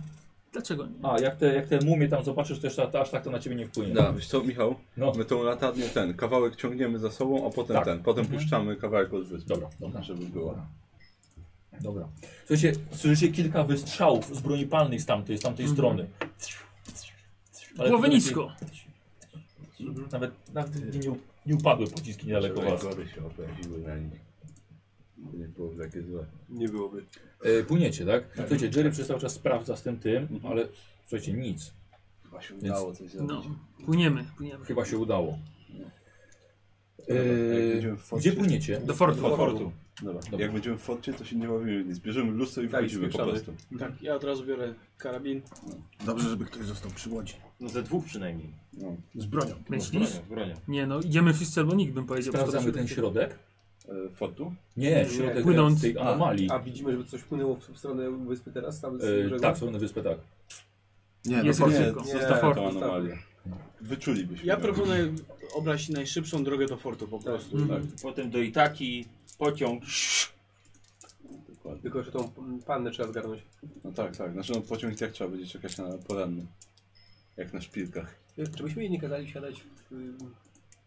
[SPEAKER 3] Dlaczego nie?
[SPEAKER 2] A, jak te, jak te mumie tam zobaczysz, to jeszcze ta- aż tak to na ciebie nie wpłynie.
[SPEAKER 8] Da, wiesz co, Michał?
[SPEAKER 2] No.
[SPEAKER 8] My tą latarnię ten, kawałek ciągniemy za sobą, a potem
[SPEAKER 2] Tak.
[SPEAKER 8] ten. Potem puszczamy kawałek od wyspy.
[SPEAKER 2] Dobra, dobra.
[SPEAKER 8] Żeby było.
[SPEAKER 2] Dobra. Słuchajcie, słyszycie kilka wystrzałów z broni palnej z tamtej, z tamtej strony. Ale
[SPEAKER 3] Mhm. Głowy
[SPEAKER 2] to
[SPEAKER 3] nisko.
[SPEAKER 2] Takie, nawet nawet nie, nie upadły pociski niedaleko
[SPEAKER 8] Żeby
[SPEAKER 2] was.
[SPEAKER 8] gory się obraziły na nich. To Nie było takie złe.
[SPEAKER 7] Nie byłoby.
[SPEAKER 2] E, płyniecie, tak? Słuchajcie, Jerry przez cały czas sprawdza z tym tym, ale słuchajcie, nic.
[SPEAKER 8] Mhm. Chyba się udało coś zrobić.
[SPEAKER 3] No, płyniemy, płyniemy.
[SPEAKER 2] Chyba się udało.
[SPEAKER 8] Dobra, jak będziemy w
[SPEAKER 2] E,
[SPEAKER 8] forcie-
[SPEAKER 2] gdzie płyniecie?
[SPEAKER 3] Do fortu.
[SPEAKER 8] Do fortu. Dobra.
[SPEAKER 2] Dobra.
[SPEAKER 8] Jak będziemy w forcie, to się nie bawimy nic. Bierzemy lustro i
[SPEAKER 7] Tak,
[SPEAKER 8] wchodzimy po
[SPEAKER 7] spieprzamy.
[SPEAKER 8] prostu.
[SPEAKER 9] Tak, ja od razu biorę karabin.
[SPEAKER 6] Dobrze, żeby ktoś został przy łodzi.
[SPEAKER 10] No ze dwóch przynajmniej.
[SPEAKER 6] Z bronią.
[SPEAKER 3] Myślisz?
[SPEAKER 10] W bronią.
[SPEAKER 3] Nie no, idziemy wszyscy albo nikt bym powiedział.
[SPEAKER 2] Sprawdzamy
[SPEAKER 3] Szkoda,
[SPEAKER 2] ten
[SPEAKER 3] że-
[SPEAKER 2] środek?
[SPEAKER 8] E, Fortu?
[SPEAKER 2] Nie, środek
[SPEAKER 3] Płynąc.
[SPEAKER 2] tej
[SPEAKER 8] A,
[SPEAKER 2] anomalii.
[SPEAKER 7] A widzimy, żeby coś płynęło w w stronę wyspy teraz, tam z
[SPEAKER 2] E,
[SPEAKER 7] brzegu?
[SPEAKER 2] tak, są na wyspę, tak.
[SPEAKER 6] Nie,
[SPEAKER 3] Jest
[SPEAKER 6] no,
[SPEAKER 3] ryzyko.
[SPEAKER 8] nie,
[SPEAKER 3] Jest do fortu.
[SPEAKER 8] To anomalia. Wyczulibyśmy.
[SPEAKER 9] Ja
[SPEAKER 8] ją.
[SPEAKER 9] proponuję obrać najszybszą drogę do fortu po prostu.
[SPEAKER 3] Mhm.
[SPEAKER 8] Tak,
[SPEAKER 10] Potem do Itaki, pociąg.
[SPEAKER 8] dokładnie.
[SPEAKER 7] Tylko, że tą mm, pannę trzeba zgarnąć.
[SPEAKER 8] No tak, tak. Znaczy no, pociąg i tak trzeba będzie czekać na poranny. Jak na szpilkach.
[SPEAKER 7] Jak- Czy byśmy jej nie kazali siadać w... y,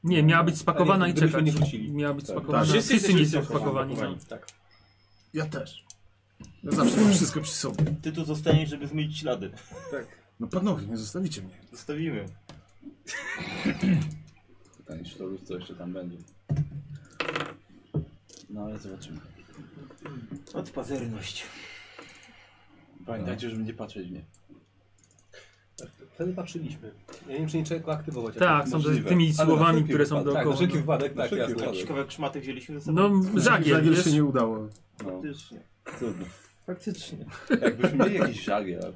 [SPEAKER 3] Nie, miała być spakowana
[SPEAKER 7] Ale
[SPEAKER 3] i
[SPEAKER 7] gdybyśmy
[SPEAKER 3] czekać.
[SPEAKER 7] nie wrócili.
[SPEAKER 3] Miała być
[SPEAKER 8] Tak.
[SPEAKER 3] spakowana.
[SPEAKER 6] Tak.
[SPEAKER 3] Wszyscy,
[SPEAKER 10] Wszyscy
[SPEAKER 3] nie są
[SPEAKER 10] jesteśmy
[SPEAKER 3] spakowani. No.
[SPEAKER 10] spakowani.
[SPEAKER 7] Tak.
[SPEAKER 6] Ja też. Ja zawsze mam wszystko przy sobie.
[SPEAKER 10] Ty tu zostaniesz, żeby zmyć ślady.
[SPEAKER 7] tak.
[SPEAKER 6] No panowie, nie zostawicie mnie.
[SPEAKER 10] Zostawimy.
[SPEAKER 8] Pytanie, czy to lustro jeszcze tam będzie. No ale zobaczymy.
[SPEAKER 12] Od pazerność.
[SPEAKER 8] Pamiętajcie, żeby nie patrzeć w nie.
[SPEAKER 7] Tak, Wtedy patrzyliśmy. Ja nie wiem, czy nie trzeba go aktywować.
[SPEAKER 3] Tak, są
[SPEAKER 8] Możliwe.
[SPEAKER 3] te, tymi
[SPEAKER 8] Ale na
[SPEAKER 3] słowami,
[SPEAKER 8] wszelki
[SPEAKER 3] które są
[SPEAKER 8] wypadek.
[SPEAKER 7] Tak,
[SPEAKER 3] dookoła.
[SPEAKER 7] na wszelki wypadek, tak,
[SPEAKER 8] wszelki
[SPEAKER 7] jasne.
[SPEAKER 8] wypadek.
[SPEAKER 10] Jakiś kawałek szmaty wzięliśmy ze
[SPEAKER 3] No,
[SPEAKER 10] sobą?
[SPEAKER 3] no żagiel,
[SPEAKER 6] Żagiel się
[SPEAKER 3] wiesz?
[SPEAKER 6] nie udało.
[SPEAKER 8] No,
[SPEAKER 10] Faktycznie.
[SPEAKER 8] trudno.
[SPEAKER 10] Faktycznie.
[SPEAKER 8] Jakbyśmy mieli jakiś żagiel, ale...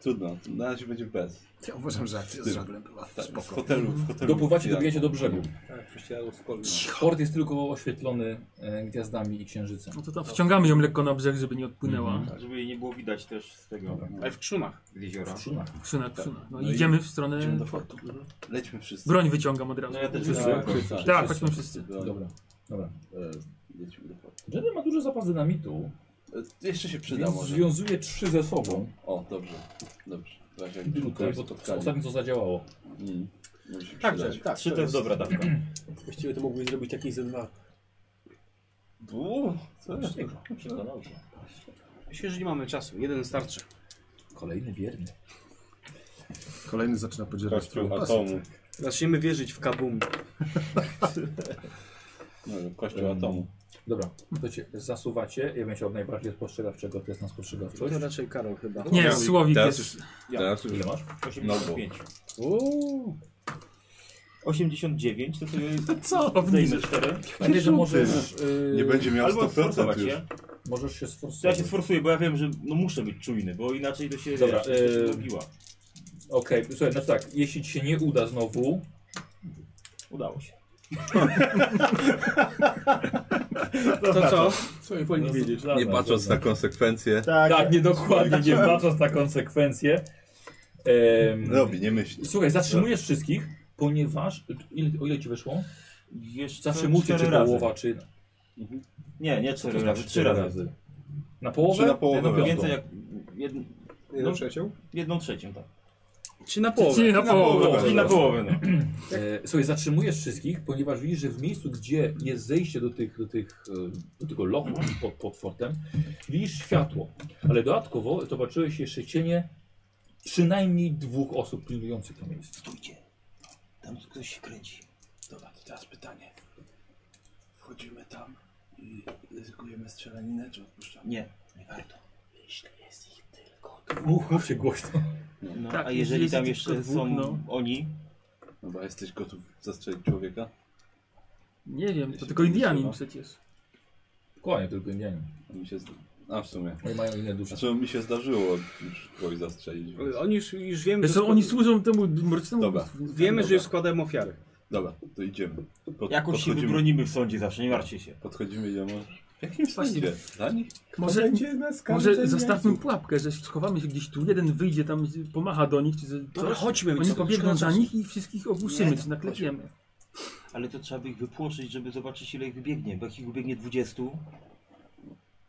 [SPEAKER 8] Trudno, na razie będzie bez.
[SPEAKER 6] Ja uważam, że akcja z żaglem była
[SPEAKER 8] Tak, w
[SPEAKER 6] spoko.
[SPEAKER 8] hotelu, w hotelu.
[SPEAKER 2] Dopływacie, dobijacie do brzegu.
[SPEAKER 7] Tak, prześcierało cokolwiek.
[SPEAKER 2] Port jest tylko oświetlony e, gwiazdami i księżycem. Mhm.
[SPEAKER 3] No to tam wciągamy ją lekko na brzeg, żeby nie odpłynęła.
[SPEAKER 10] Żeby jej nie było widać też z tego
[SPEAKER 9] Ale w trzumach.
[SPEAKER 10] z jeziora.
[SPEAKER 3] Krzyna, krzyna. No,
[SPEAKER 8] No i-
[SPEAKER 3] idziemy w
[SPEAKER 8] Idziemy
[SPEAKER 3] stronę...
[SPEAKER 8] do fortu. Lećmy wszyscy.
[SPEAKER 3] Broń wyciągam od razu.
[SPEAKER 10] No ja też
[SPEAKER 2] Wszyscy?
[SPEAKER 10] tak.
[SPEAKER 3] Tak, chodźmy wszyscy.
[SPEAKER 8] Dobra.
[SPEAKER 2] Dobra, dobra. E,
[SPEAKER 8] Lećmy do fortu.
[SPEAKER 2] Jerry ma duży zapas dynamitu,
[SPEAKER 8] E, Jeszcze się przyda
[SPEAKER 2] więc
[SPEAKER 8] może.
[SPEAKER 2] związuje trzy ze sobą.
[SPEAKER 8] O, dobrze. Dobrze. W razie jak
[SPEAKER 2] Tutaj, bo to ostatnio co zadziałało.
[SPEAKER 8] Mm. Może się
[SPEAKER 9] Także,
[SPEAKER 8] przydać.
[SPEAKER 9] tak.
[SPEAKER 10] Trzy to jest dobra dawka.
[SPEAKER 7] Właściwie to mogłeś zrobić jakieś ze dwa.
[SPEAKER 8] Uuu, co jest?
[SPEAKER 9] Myślę, że nie mamy czasu. Jeden starczy.
[SPEAKER 2] Kolejny wierny.
[SPEAKER 6] Kolejny zaczyna podzierać
[SPEAKER 8] Kościół
[SPEAKER 6] swoją
[SPEAKER 8] atomu.
[SPEAKER 9] Zaczniemy wierzyć w kabum.
[SPEAKER 8] No, kościół
[SPEAKER 2] Em,
[SPEAKER 8] atomu.
[SPEAKER 2] Dobra, to cię zasuwacie. Ja bym chciał najbardziej spostrzegawczego, to jest na spostrzegawczość.
[SPEAKER 9] To raczej Karol chyba.
[SPEAKER 3] Nie,
[SPEAKER 8] Ja-
[SPEAKER 3] słowik
[SPEAKER 8] teraz
[SPEAKER 3] jest.
[SPEAKER 8] Teraz już
[SPEAKER 2] Ile
[SPEAKER 10] No
[SPEAKER 2] masz?
[SPEAKER 10] 85.
[SPEAKER 9] Uuu.
[SPEAKER 10] 89 to sobie
[SPEAKER 3] Co?
[SPEAKER 10] zdejmę 4.
[SPEAKER 2] A nie, że możesz, y,
[SPEAKER 8] nie będzie miał
[SPEAKER 10] Albo
[SPEAKER 8] 100%
[SPEAKER 10] sforsować
[SPEAKER 8] już.
[SPEAKER 10] się.
[SPEAKER 2] możesz się
[SPEAKER 10] To ja
[SPEAKER 2] sforsować.
[SPEAKER 10] się sforsuję, bo ja wiem, że no muszę być czujny, bo inaczej to się
[SPEAKER 2] Dobra,
[SPEAKER 10] wiesz, to się
[SPEAKER 2] e,
[SPEAKER 10] robiła.
[SPEAKER 2] Okej, słuchaj, znaczy tak, jeśli ci się nie uda znowu,
[SPEAKER 10] Udało się.
[SPEAKER 9] To co?
[SPEAKER 7] Co mi
[SPEAKER 2] No,
[SPEAKER 7] powinni wiedzieć?
[SPEAKER 8] Nie patrząc na konsekwencje,
[SPEAKER 2] Tak, tak niedokładnie, nie patrząc na konsekwencje. Em,
[SPEAKER 8] robi, nie myśli.
[SPEAKER 2] Słuchaj, zatrzymujesz wszystkich, ponieważ. Ile, o ile ci wyszło?
[SPEAKER 10] Jeszcze
[SPEAKER 2] Zatrzymujcie
[SPEAKER 10] cztery
[SPEAKER 2] czy
[SPEAKER 10] razy.
[SPEAKER 2] połowa, czy.
[SPEAKER 10] Nie, nie cztery
[SPEAKER 2] to
[SPEAKER 10] razy,
[SPEAKER 2] znaczy
[SPEAKER 10] trzy razy. No,
[SPEAKER 2] Na połowę?
[SPEAKER 8] Czy na połowę?
[SPEAKER 2] piątą.
[SPEAKER 10] Więcej jak Jed...
[SPEAKER 7] Jedną no. trzecią?
[SPEAKER 10] Jedną trzecią, tak.
[SPEAKER 9] Czy na połowę?
[SPEAKER 3] Czyli na połowę.
[SPEAKER 13] I na połowę, no.
[SPEAKER 2] E, Słuchaj, zatrzymujesz wszystkich, ponieważ widzisz, że w miejscu, gdzie jest zejście do, tych, do, tych, e, do tego lochu pod, pod fortem, widzisz światło. Ale dodatkowo zobaczyłeś jeszcze cienie przynajmniej dwóch osób pilnujących to miejsce.
[SPEAKER 10] Stójcie. Tam ktoś się kręci.
[SPEAKER 14] Dobra, to teraz pytanie. Wchodzimy tam i ryzykujemy strzelaninę, czy odpuszczamy?
[SPEAKER 10] Nie, nie warto.
[SPEAKER 14] Jeśli jest ich tylko
[SPEAKER 2] Mów, mówcie głośno.
[SPEAKER 10] No,
[SPEAKER 3] Tak,
[SPEAKER 10] a
[SPEAKER 3] jeśli
[SPEAKER 10] jeżeli
[SPEAKER 3] jest
[SPEAKER 10] tam
[SPEAKER 3] tylko
[SPEAKER 10] jeszcze
[SPEAKER 3] dwóch,
[SPEAKER 10] są
[SPEAKER 3] no.
[SPEAKER 10] oni,
[SPEAKER 8] Dobra, jesteś gotów zastrzelić człowieka?
[SPEAKER 3] Nie wiem, to tylko Indianin przecież.
[SPEAKER 2] Kłanie tylko Indianie.
[SPEAKER 8] A mi się... z- A w sumie.
[SPEAKER 2] Oni mają inne dusze.
[SPEAKER 8] Znaczy mi się zdarzyło już kogoś zastrzelić. Więc...
[SPEAKER 9] Oni już, już wiemy, że
[SPEAKER 3] Zresztą
[SPEAKER 9] skład-
[SPEAKER 3] oni służą temu mrocznemu. no
[SPEAKER 8] Dobra.
[SPEAKER 9] wiemy, że już składałem ofiary.
[SPEAKER 8] Dobra, to idziemy. Pod,
[SPEAKER 10] jakoś się
[SPEAKER 8] podchodzimy,
[SPEAKER 10] wybronimy w sądzie zawsze, nie martwcie się.
[SPEAKER 8] podchodzimy idziemy. W jakim sensie? Dla nich?
[SPEAKER 3] Może,
[SPEAKER 7] nas
[SPEAKER 3] może zostawmy pułapkę, że schowamy się gdzieś tu, jeden wyjdzie tam, pomacha do nich, czy że
[SPEAKER 9] Dobra,
[SPEAKER 3] coś.
[SPEAKER 9] chodźmy.
[SPEAKER 3] Oni pobiegną za nich i wszystkich
[SPEAKER 10] Nie,
[SPEAKER 3] ogłuszymy, czy
[SPEAKER 10] chodźmy.
[SPEAKER 3] naklepiemy.
[SPEAKER 10] Ale to trzeba by ich wypłoszyć, żeby zobaczyć ile ich wybiegnie. Bo jak ich wybiegnie 20,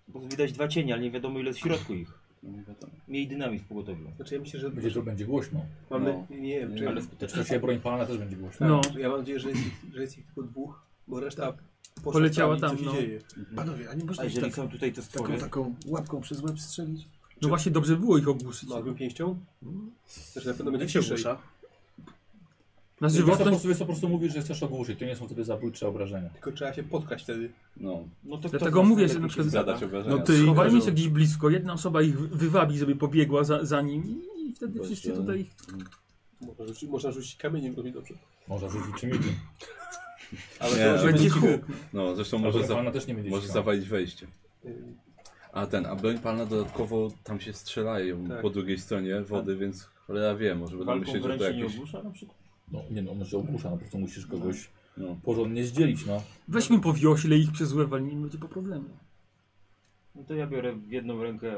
[SPEAKER 10] bo widać dwa cienie, ale nie wiadomo ile jest w środku ich.
[SPEAKER 8] No nie wiadomo.
[SPEAKER 10] Miej dynamit w pogotowiu.
[SPEAKER 7] Znaczy ja myślę, że...
[SPEAKER 2] Będzie to będzie głośno.
[SPEAKER 7] Mamy... Nie wiem, czy... Tak,
[SPEAKER 10] Ale
[SPEAKER 2] To
[SPEAKER 10] skutecznie.
[SPEAKER 2] się broń palna też będzie głośno.
[SPEAKER 3] No,
[SPEAKER 7] Ja mam nadzieję, że jest, ich- że jest ich tylko dwóch, bo reszta poszła
[SPEAKER 3] Poleciała
[SPEAKER 7] sprawdzić,
[SPEAKER 3] tam,
[SPEAKER 7] co się
[SPEAKER 3] no.
[SPEAKER 7] dzieje.
[SPEAKER 6] Panowie, a nie
[SPEAKER 10] A
[SPEAKER 6] można ich
[SPEAKER 10] jeżeli
[SPEAKER 6] tak,
[SPEAKER 10] są tutaj te
[SPEAKER 6] taką,
[SPEAKER 10] stwory,
[SPEAKER 6] taką łapką przez łeb strzelić?
[SPEAKER 3] no właśnie dobrze było ich ogłuszyć.
[SPEAKER 7] Małym pięścią? Też na pewno będzie ciszej.
[SPEAKER 3] Na
[SPEAKER 2] Wiesz, po
[SPEAKER 3] żywotność,
[SPEAKER 2] prostu, wiesz, po prostu mówisz, że chcesz ogłuszyć. To nie są wtedy zabójcze obrażenia.
[SPEAKER 7] Tylko trzeba się potkać wtedy.
[SPEAKER 8] No,
[SPEAKER 10] no to kto
[SPEAKER 3] dlatego
[SPEAKER 10] z nas
[SPEAKER 3] mówię, że
[SPEAKER 10] najlepiej
[SPEAKER 3] na
[SPEAKER 10] się
[SPEAKER 3] przykład
[SPEAKER 8] zadać obrażenia.
[SPEAKER 6] No ty-
[SPEAKER 3] schowajmy
[SPEAKER 6] Kojarzą.
[SPEAKER 3] się gdzieś blisko, jedna osoba ich wy- wywabi, żeby pobiegła za, za nim i wtedy wszyscy tutaj ich
[SPEAKER 7] Można rzucić, można rzucić kamieniem, to mi dobrze.
[SPEAKER 2] Można rzucić czym innym.
[SPEAKER 8] Ale
[SPEAKER 7] to
[SPEAKER 8] nie,
[SPEAKER 7] może-
[SPEAKER 3] będzie
[SPEAKER 7] cicho.
[SPEAKER 3] huk.
[SPEAKER 8] no zresztą
[SPEAKER 2] Ale
[SPEAKER 8] może,
[SPEAKER 2] broń
[SPEAKER 8] za,
[SPEAKER 2] palna też nie będzie
[SPEAKER 8] może
[SPEAKER 2] cichała.
[SPEAKER 8] zawalić wejście.
[SPEAKER 7] Ym,
[SPEAKER 8] A ten, a broń palna dodatkowo tam się strzelają
[SPEAKER 7] Tak.
[SPEAKER 8] po drugiej stronie wody, więc cholera wie, może będą
[SPEAKER 10] Walką
[SPEAKER 8] myśleć, że
[SPEAKER 10] wręcz
[SPEAKER 8] to
[SPEAKER 10] się nie
[SPEAKER 8] jakieś...
[SPEAKER 10] ogłusza na przykład?
[SPEAKER 2] No nie no, może ogłusza, no po prostu musisz kogoś
[SPEAKER 8] No.
[SPEAKER 2] porządnie zdzielić, no.
[SPEAKER 3] Weźmy po wiośle ich przez łeb, ale nie będzie po problemie.
[SPEAKER 10] No to ja biorę w jedną rękę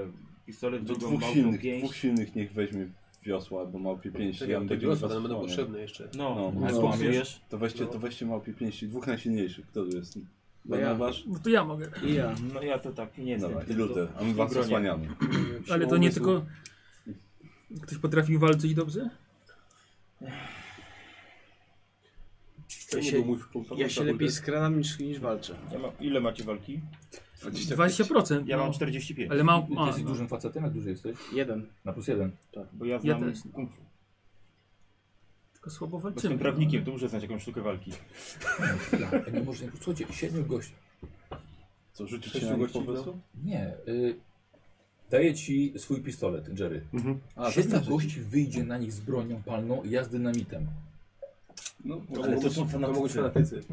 [SPEAKER 10] pistolet, w
[SPEAKER 8] Do
[SPEAKER 10] drugą
[SPEAKER 8] dwóch
[SPEAKER 10] małą
[SPEAKER 8] silnych, dwóch
[SPEAKER 10] pięść.
[SPEAKER 8] silnych niech weźmie wiosła albo małpie pięści.
[SPEAKER 7] Czekaj,
[SPEAKER 8] Ja
[SPEAKER 7] bo
[SPEAKER 8] będę
[SPEAKER 7] te wiosła
[SPEAKER 8] na
[SPEAKER 7] nam będą
[SPEAKER 8] stronie.
[SPEAKER 7] potrzebne jeszcze.
[SPEAKER 10] No,
[SPEAKER 8] No,
[SPEAKER 10] ale
[SPEAKER 8] no.
[SPEAKER 10] popsujesz.
[SPEAKER 8] To weźcie, to weźcie małpie pięści, dwóch najsilniejszych, kto tu jest?
[SPEAKER 9] No ja.
[SPEAKER 8] Barnabasz?
[SPEAKER 3] No to ja mogę.
[SPEAKER 9] I ja.
[SPEAKER 10] No ja to tak, nie jestem.
[SPEAKER 8] Dobra, i
[SPEAKER 10] tym,
[SPEAKER 8] Luther, a my was
[SPEAKER 10] bronię.
[SPEAKER 8] osłaniamy.
[SPEAKER 3] Ale to
[SPEAKER 7] Siłą
[SPEAKER 3] nie
[SPEAKER 7] umysłu.
[SPEAKER 3] tylko... Ktoś potrafił walczyć dobrze?
[SPEAKER 7] To nie
[SPEAKER 9] Ja
[SPEAKER 7] był
[SPEAKER 9] się-
[SPEAKER 7] mój fakultet.
[SPEAKER 9] Ja się lepiej skradam niż, niż walczę.
[SPEAKER 10] Ja mam, ile macie walki?
[SPEAKER 3] 20%.
[SPEAKER 10] Ja mam
[SPEAKER 3] no.
[SPEAKER 10] 45,
[SPEAKER 3] Ale mam...
[SPEAKER 2] Ty
[SPEAKER 3] A,
[SPEAKER 2] jesteś
[SPEAKER 3] no.
[SPEAKER 2] dużym facetem, jak duży jesteś?
[SPEAKER 9] Jeden.
[SPEAKER 2] Na plus jeden.
[SPEAKER 10] bo ja
[SPEAKER 3] Ja
[SPEAKER 10] znam
[SPEAKER 3] też.
[SPEAKER 10] kung fu.
[SPEAKER 3] Tylko słabo
[SPEAKER 10] Bo jestem
[SPEAKER 3] walczymy.
[SPEAKER 10] prawnikiem, to muszę znać jakąś sztukę walki.
[SPEAKER 2] Chwila, nie może, nie- słuchajcie, siedmiu gości.
[SPEAKER 8] Co, rzucić
[SPEAKER 7] Sześciu
[SPEAKER 8] się na nich
[SPEAKER 7] gości,
[SPEAKER 8] po
[SPEAKER 7] no.
[SPEAKER 8] prostu?
[SPEAKER 2] Nie, y, daję ci swój pistolet, Jerry. A
[SPEAKER 8] znaczy-
[SPEAKER 2] Siedmiu gości wyjdzie na nich z bronią palną i ja z dynamitem.
[SPEAKER 8] No,
[SPEAKER 7] Ale to są fanatycy. To mogą być fanatycy.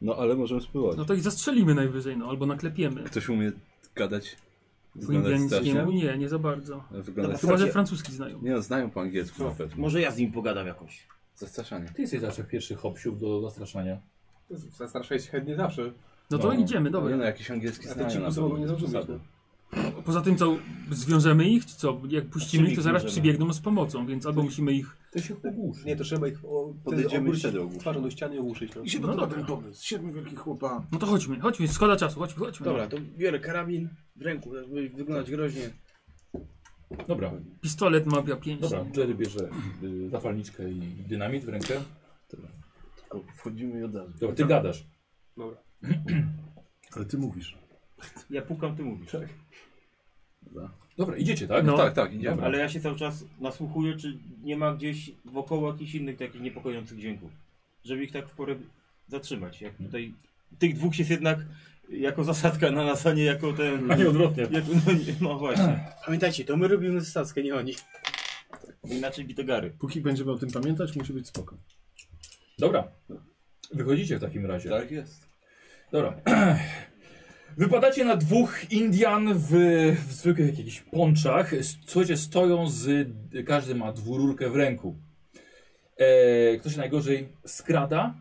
[SPEAKER 8] no ale możemy spływać.
[SPEAKER 3] No to ich zastrzelimy najwyżej, no, albo naklepiemy.
[SPEAKER 8] Ktoś umie gadać?
[SPEAKER 3] Po
[SPEAKER 8] Wyglądać
[SPEAKER 3] indiańskiemu?
[SPEAKER 8] strasznie?
[SPEAKER 3] Nie, nie za bardzo.
[SPEAKER 8] Wyglądać
[SPEAKER 3] Chyba, że
[SPEAKER 8] strasznie?
[SPEAKER 3] francuski znają.
[SPEAKER 8] Nie no, znają po angielsku na pewno.
[SPEAKER 10] Może ja z nim pogadam jakoś.
[SPEAKER 8] Zastraszanie.
[SPEAKER 2] Ty jesteś zawsze pierwszy hopsiów do zastraszania.
[SPEAKER 7] Zastraszaj się chętnie zawsze.
[SPEAKER 3] No to
[SPEAKER 2] No.
[SPEAKER 8] Nie
[SPEAKER 3] idziemy,
[SPEAKER 8] no,
[SPEAKER 3] dobra.
[SPEAKER 8] jakiś angielski
[SPEAKER 7] A te ci
[SPEAKER 8] znają na
[SPEAKER 7] kusy
[SPEAKER 8] pewno.
[SPEAKER 7] mogą nie no. zrozumieć.
[SPEAKER 8] Zasady.
[SPEAKER 3] Poza tym co, zwiążemy ich, czy co? Jak puścimy ich,
[SPEAKER 10] ich
[SPEAKER 3] to zaraz
[SPEAKER 10] bierzemy?
[SPEAKER 3] przybiegną z pomocą, więc albo musimy ich...
[SPEAKER 2] To się ogłuszy.
[SPEAKER 7] Nie, to trzeba ich o,
[SPEAKER 8] Podejdziemy
[SPEAKER 7] obrócić
[SPEAKER 8] i wtedy ogłuszy.
[SPEAKER 7] Twarzą do ściany i ogłuszyć. No.
[SPEAKER 6] I się
[SPEAKER 3] No
[SPEAKER 6] no
[SPEAKER 3] dobra.
[SPEAKER 6] ten pomysł. Siedmiu wielkich chłopa.
[SPEAKER 3] No to chodźmy, chodźmy, szkoda czasu, chodźmy, chodźmy.
[SPEAKER 9] Dobra, to biorę karabin w ręku, żeby wyglądać groźnie.
[SPEAKER 2] Dobra,
[SPEAKER 3] Pistolet mawia pięć.
[SPEAKER 2] dobra, Jerry bierze y, zapalniczkę i dynamit w rękę.
[SPEAKER 8] Tylko wchodzimy i od razu.
[SPEAKER 2] Dobra, ty gadasz.
[SPEAKER 7] Dobra.
[SPEAKER 6] Ale ty mówisz.
[SPEAKER 10] Ja pukam, ty mówisz.
[SPEAKER 2] Dobra, idziecie, tak?
[SPEAKER 3] No.
[SPEAKER 8] Tak, tak, idziemy.
[SPEAKER 10] Ale ja się cały czas nasłuchuję, czy nie ma gdzieś wokoło jakichś innych takich niepokojących dźwięków. Żeby ich tak w porę zatrzymać. Jak tutaj tych dwóch jest jednak jako zasadka na nas, a nie jako ten...
[SPEAKER 2] A nie odwrotnie.
[SPEAKER 10] Jak, no, nie, no właśnie.
[SPEAKER 9] Pamiętajcie, to my robimy zasadzkę, nie oni.
[SPEAKER 10] Inaczej bitegary.
[SPEAKER 6] Póki będziemy o tym pamiętać, musi być spoko.
[SPEAKER 2] Dobra. Wychodzicie w takim razie.
[SPEAKER 8] Tak jest.
[SPEAKER 2] Dobra. Wypadacie na dwóch Indian w, w zwykłych jakichś ponczach. Słuchajcie, stoją z... Każdy ma dwururkę w ręku. E, kto się najgorzej skrada?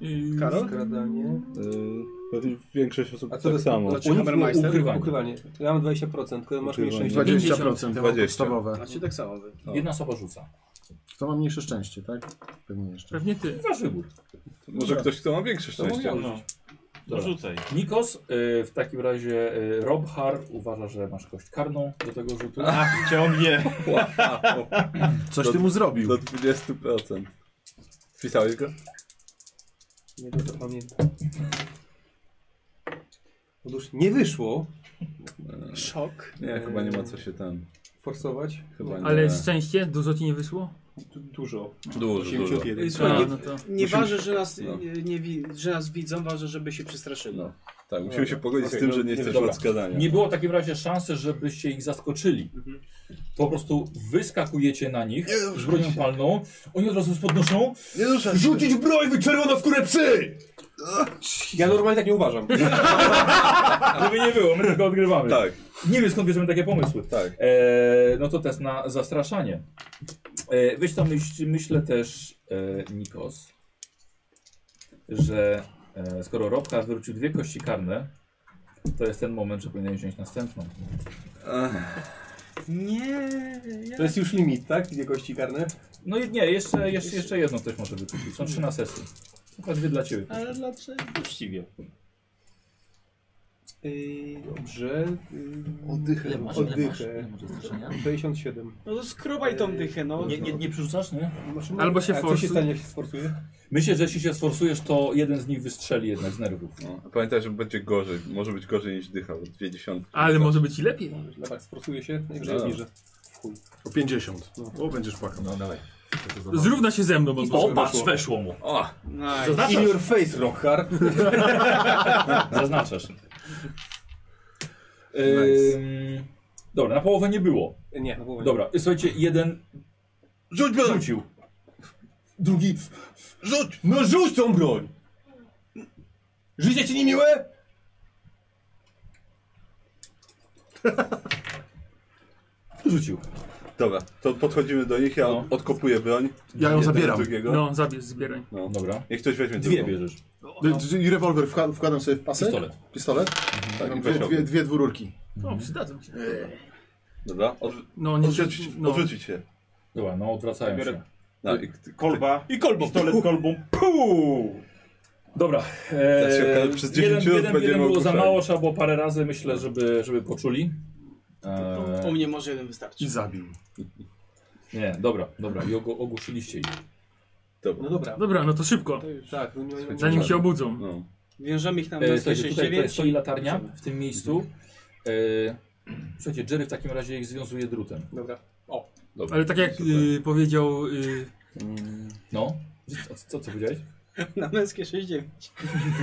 [SPEAKER 3] Yy,
[SPEAKER 9] Karol?
[SPEAKER 7] Skradanie.
[SPEAKER 8] Yy, pewnie większość osób
[SPEAKER 7] A co
[SPEAKER 8] tak
[SPEAKER 7] jest
[SPEAKER 8] samo.
[SPEAKER 7] Znaczy,
[SPEAKER 9] Hammermeister?
[SPEAKER 2] Ukrywanie.
[SPEAKER 7] Ukrywanie. Ja mam 20%, tylko masz mniej
[SPEAKER 8] Ukrywanie.
[SPEAKER 7] 6.
[SPEAKER 6] 20%, ja mam
[SPEAKER 8] 20.
[SPEAKER 6] podstawowe.
[SPEAKER 9] Znaczy tak samo wy.
[SPEAKER 2] Jedna osoba rzuca.
[SPEAKER 6] Kto ma mniejsze szczęście, tak? Pewnie jeszcze.
[SPEAKER 3] Pewnie ty.
[SPEAKER 2] Wasz wybór.
[SPEAKER 8] Może ktoś, kto ma większe szczęście.
[SPEAKER 7] mogę.
[SPEAKER 10] No.
[SPEAKER 2] Dobra.
[SPEAKER 10] Rzucaj.
[SPEAKER 2] Nikos, y, w takim razie y, Robhar uważa, że masz kość karną do tego rzutu.
[SPEAKER 10] Ach, ciągnie.
[SPEAKER 8] Do-
[SPEAKER 6] Coś ty mu zrobił.
[SPEAKER 8] Do 20%. Wpisałeś go?
[SPEAKER 7] Nie dobrze pamiętam. Otóż nie wyszło
[SPEAKER 9] Szok.
[SPEAKER 8] Nie, chyba nie ma co się tam.
[SPEAKER 7] forsować.
[SPEAKER 8] Chyba nie.
[SPEAKER 3] no, Ale szczęście, dużo ci nie wyszło?
[SPEAKER 7] Du- Dużo.
[SPEAKER 8] Dużo, dużo.
[SPEAKER 7] 81.
[SPEAKER 9] Ej, słuchaj, nie,
[SPEAKER 3] no to...
[SPEAKER 9] nie ważę, że nas,
[SPEAKER 8] No.
[SPEAKER 9] nie, wi- że nas widzą, ważę, żeby się przestraszyli.
[SPEAKER 8] No. Tak, musimy się pogodzić
[SPEAKER 2] Okej,
[SPEAKER 8] z tym,
[SPEAKER 2] no,
[SPEAKER 8] że nie
[SPEAKER 2] nie
[SPEAKER 8] jesteś
[SPEAKER 2] dobra.
[SPEAKER 8] odskazania.
[SPEAKER 2] Nie było w takim razie szansy, żebyście ich zaskoczyli. Po prostu wyskakujecie na nich z bronią palną, oni od razu podnoszą.
[SPEAKER 8] Nie ruszaj
[SPEAKER 2] Rzucić broń, wy czerwono w kurę psy!
[SPEAKER 7] Ja normalnie tak nie uważam.
[SPEAKER 2] Żeby nie było, my tylko odgrywamy.
[SPEAKER 8] Tak,
[SPEAKER 2] Nie wiem skąd bierzemy takie pomysły.
[SPEAKER 8] tak.
[SPEAKER 2] E, no to test na zastraszanie. E, weź tam myśl, myślę też, e, Nikos, że e, skoro Robka wyrzucił dwie kości karne, to jest ten moment, że powinien wziąć następną.
[SPEAKER 8] Ech,
[SPEAKER 9] Nie,
[SPEAKER 7] To jest już limit, tak? Dwie kości karne.
[SPEAKER 2] No i nie, jeszcze, jeszcze, jeszcze jedną ktoś może wykupić. Są trzy na sesji. Chyba dwie dla ciebie.
[SPEAKER 9] ale dlaczego?
[SPEAKER 10] Uczciwie.
[SPEAKER 7] Yy, dobrze. Yy,
[SPEAKER 6] Oddychę.
[SPEAKER 15] Ile masz? Ile masz? Ile
[SPEAKER 7] Oddychę.
[SPEAKER 15] masz zastraszenia?
[SPEAKER 7] 67.
[SPEAKER 9] No to skrobaj tą dychę, no.
[SPEAKER 2] Nie, nie, nie przerzucasz, nie?
[SPEAKER 7] Znaczy,
[SPEAKER 3] Albo się
[SPEAKER 7] a Co
[SPEAKER 3] forsuje.
[SPEAKER 7] się stanie, jak się sforsuje?
[SPEAKER 2] Myślę, że jeśli się sforsujesz, to jeden z nich wystrzeli jednak z nerwów.
[SPEAKER 8] no. Pamiętaj, że będzie gorzej. Może być gorzej niż dycha, bo dwie dziesiątki.
[SPEAKER 3] Ale może być i lepiej.
[SPEAKER 7] Dobra, sforsuje się, najwyżej
[SPEAKER 8] No.
[SPEAKER 7] zniżę.
[SPEAKER 6] O 50. O, będziesz płakał.
[SPEAKER 2] No dawaj.
[SPEAKER 3] Zrówna się ze mną, bo
[SPEAKER 2] O, patrz, weszło mu.
[SPEAKER 8] O!
[SPEAKER 9] Nice.
[SPEAKER 7] In your face, Rockhard.
[SPEAKER 2] Zaznaczasz.
[SPEAKER 8] Nice.
[SPEAKER 2] Ym, Dobra, na połowę nie było.
[SPEAKER 7] Nie, na połowę.
[SPEAKER 2] Dobra, słuchajcie, jeden
[SPEAKER 8] Rzuć broń!
[SPEAKER 2] rzucił. Drugi.
[SPEAKER 8] Rzuć!
[SPEAKER 7] No rzuć tą broń! Życie ci niemiłe?
[SPEAKER 2] Rzucił.
[SPEAKER 8] Dobra, to podchodzimy do nich, ja
[SPEAKER 2] No.
[SPEAKER 8] odkopuję broń.
[SPEAKER 6] Ja ją
[SPEAKER 8] Jednego,
[SPEAKER 6] zabieram.
[SPEAKER 8] Drugiego.
[SPEAKER 3] No, zabierz, zbieraj.
[SPEAKER 8] No.
[SPEAKER 2] Dobra.
[SPEAKER 8] Niech ktoś weźmie
[SPEAKER 2] Dwie
[SPEAKER 8] drugą.
[SPEAKER 2] bierzesz.
[SPEAKER 6] D- I rewolwer wcha- wkładam sobie w pasek.
[SPEAKER 2] Pistolet.
[SPEAKER 6] Pistolet.
[SPEAKER 8] Tak,
[SPEAKER 6] Mam
[SPEAKER 8] i
[SPEAKER 6] dwie,
[SPEAKER 8] weź
[SPEAKER 6] dwie,
[SPEAKER 8] obie.
[SPEAKER 6] dwie dwururki.
[SPEAKER 3] O, No, przydadzą się.
[SPEAKER 8] Dobra, odrzu-
[SPEAKER 3] No, nie
[SPEAKER 8] odrzucić,
[SPEAKER 3] no.
[SPEAKER 8] odrzucić się.
[SPEAKER 2] Dobra, no odwracają się.
[SPEAKER 8] No, i,
[SPEAKER 10] Kolba.
[SPEAKER 2] I kolbą.
[SPEAKER 10] Pistolet kolbą.
[SPEAKER 2] Puu! Dobra. E,
[SPEAKER 8] Teraz się okaże, przez 10
[SPEAKER 2] jeden,
[SPEAKER 8] minut
[SPEAKER 2] jeden,
[SPEAKER 8] będziemy
[SPEAKER 2] jeden było za
[SPEAKER 8] ogłuszeni.
[SPEAKER 2] mało, trzeba było parę razy, myślę, żeby, żeby poczuli.
[SPEAKER 9] U
[SPEAKER 2] E,
[SPEAKER 9] mnie może jeden wystarczy.
[SPEAKER 6] I zabił.
[SPEAKER 2] nie, dobra, dobra. I ogł- ogłuszyliście ich. E,
[SPEAKER 8] Dobra.
[SPEAKER 7] No dobra.
[SPEAKER 3] Dobra, no to szybko,
[SPEAKER 7] Tak, no nie
[SPEAKER 3] zanim się obudzą.
[SPEAKER 8] No.
[SPEAKER 9] Wiążemy ich tam na
[SPEAKER 2] E, słuchajcie, tutaj, tutaj
[SPEAKER 9] 169.
[SPEAKER 2] stoi latarnia w tym miejscu. E, słuchajcie, Jerry w takim razie ich związuje drutem.
[SPEAKER 7] Dobra.
[SPEAKER 8] Dobra.
[SPEAKER 3] Ale tak jak
[SPEAKER 8] Super.
[SPEAKER 3] y, powiedział y,
[SPEAKER 2] No. Co, co, co powiedziałeś?
[SPEAKER 9] Na męskie 69.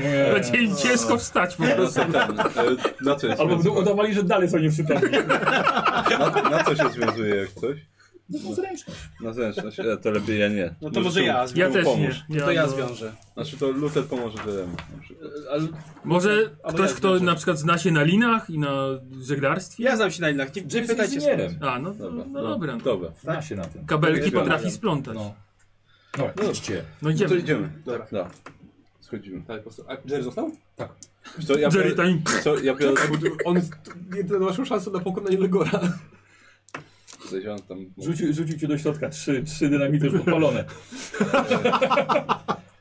[SPEAKER 2] E.
[SPEAKER 3] Raczej ciężko wstać po
[SPEAKER 8] No
[SPEAKER 3] prostu.
[SPEAKER 8] to ten, e, na co jest
[SPEAKER 2] Albo będą udawali, że dalej są nieprzytomni.
[SPEAKER 8] Na, na co się związuje jak coś?
[SPEAKER 2] No to zręczne.
[SPEAKER 8] Na zręczność. E, to lepiej ja nie.
[SPEAKER 9] No to może ja zwiążę.
[SPEAKER 3] Ja też
[SPEAKER 8] pomóż.
[SPEAKER 3] nie. Ja,
[SPEAKER 9] To ja
[SPEAKER 3] no.
[SPEAKER 9] zwiążę.
[SPEAKER 8] Znaczy to Luther pomoże Jeremu. na przykład.
[SPEAKER 3] Może
[SPEAKER 9] Albo
[SPEAKER 3] ktoś,
[SPEAKER 9] ja
[SPEAKER 3] kto
[SPEAKER 9] zwiążę.
[SPEAKER 3] na przykład zna się na linach i na żeglarstwie?
[SPEAKER 9] Ja znam się na innych. Nie, nie
[SPEAKER 2] Jerry jest
[SPEAKER 9] pytajcie skąd.
[SPEAKER 2] inżynierem.
[SPEAKER 3] A, no, to-
[SPEAKER 8] Dobra.
[SPEAKER 3] no dobra. no.
[SPEAKER 8] Dobra.
[SPEAKER 2] Zna się na tym.
[SPEAKER 3] Kabelki
[SPEAKER 8] Zwiążę.
[SPEAKER 3] potrafi splątać.
[SPEAKER 2] No. Dobra, idźcie.
[SPEAKER 3] No
[SPEAKER 8] No to
[SPEAKER 3] idziemy.
[SPEAKER 8] idziemy.
[SPEAKER 7] Dobra.
[SPEAKER 8] No. Schodzimy.
[SPEAKER 7] Tak, po prostu. A Jerry został?
[SPEAKER 8] Wiesz Co, ja
[SPEAKER 3] Jerry
[SPEAKER 8] biorę,
[SPEAKER 3] tam...
[SPEAKER 8] co, ja biorę
[SPEAKER 7] Tak, On jest jedyną naszą szansą na pokonanie Legora.
[SPEAKER 8] Zajrzałem tam.
[SPEAKER 2] Rzucił, rzucił cię do środka. Trzy, trzy dynamity już podpalone.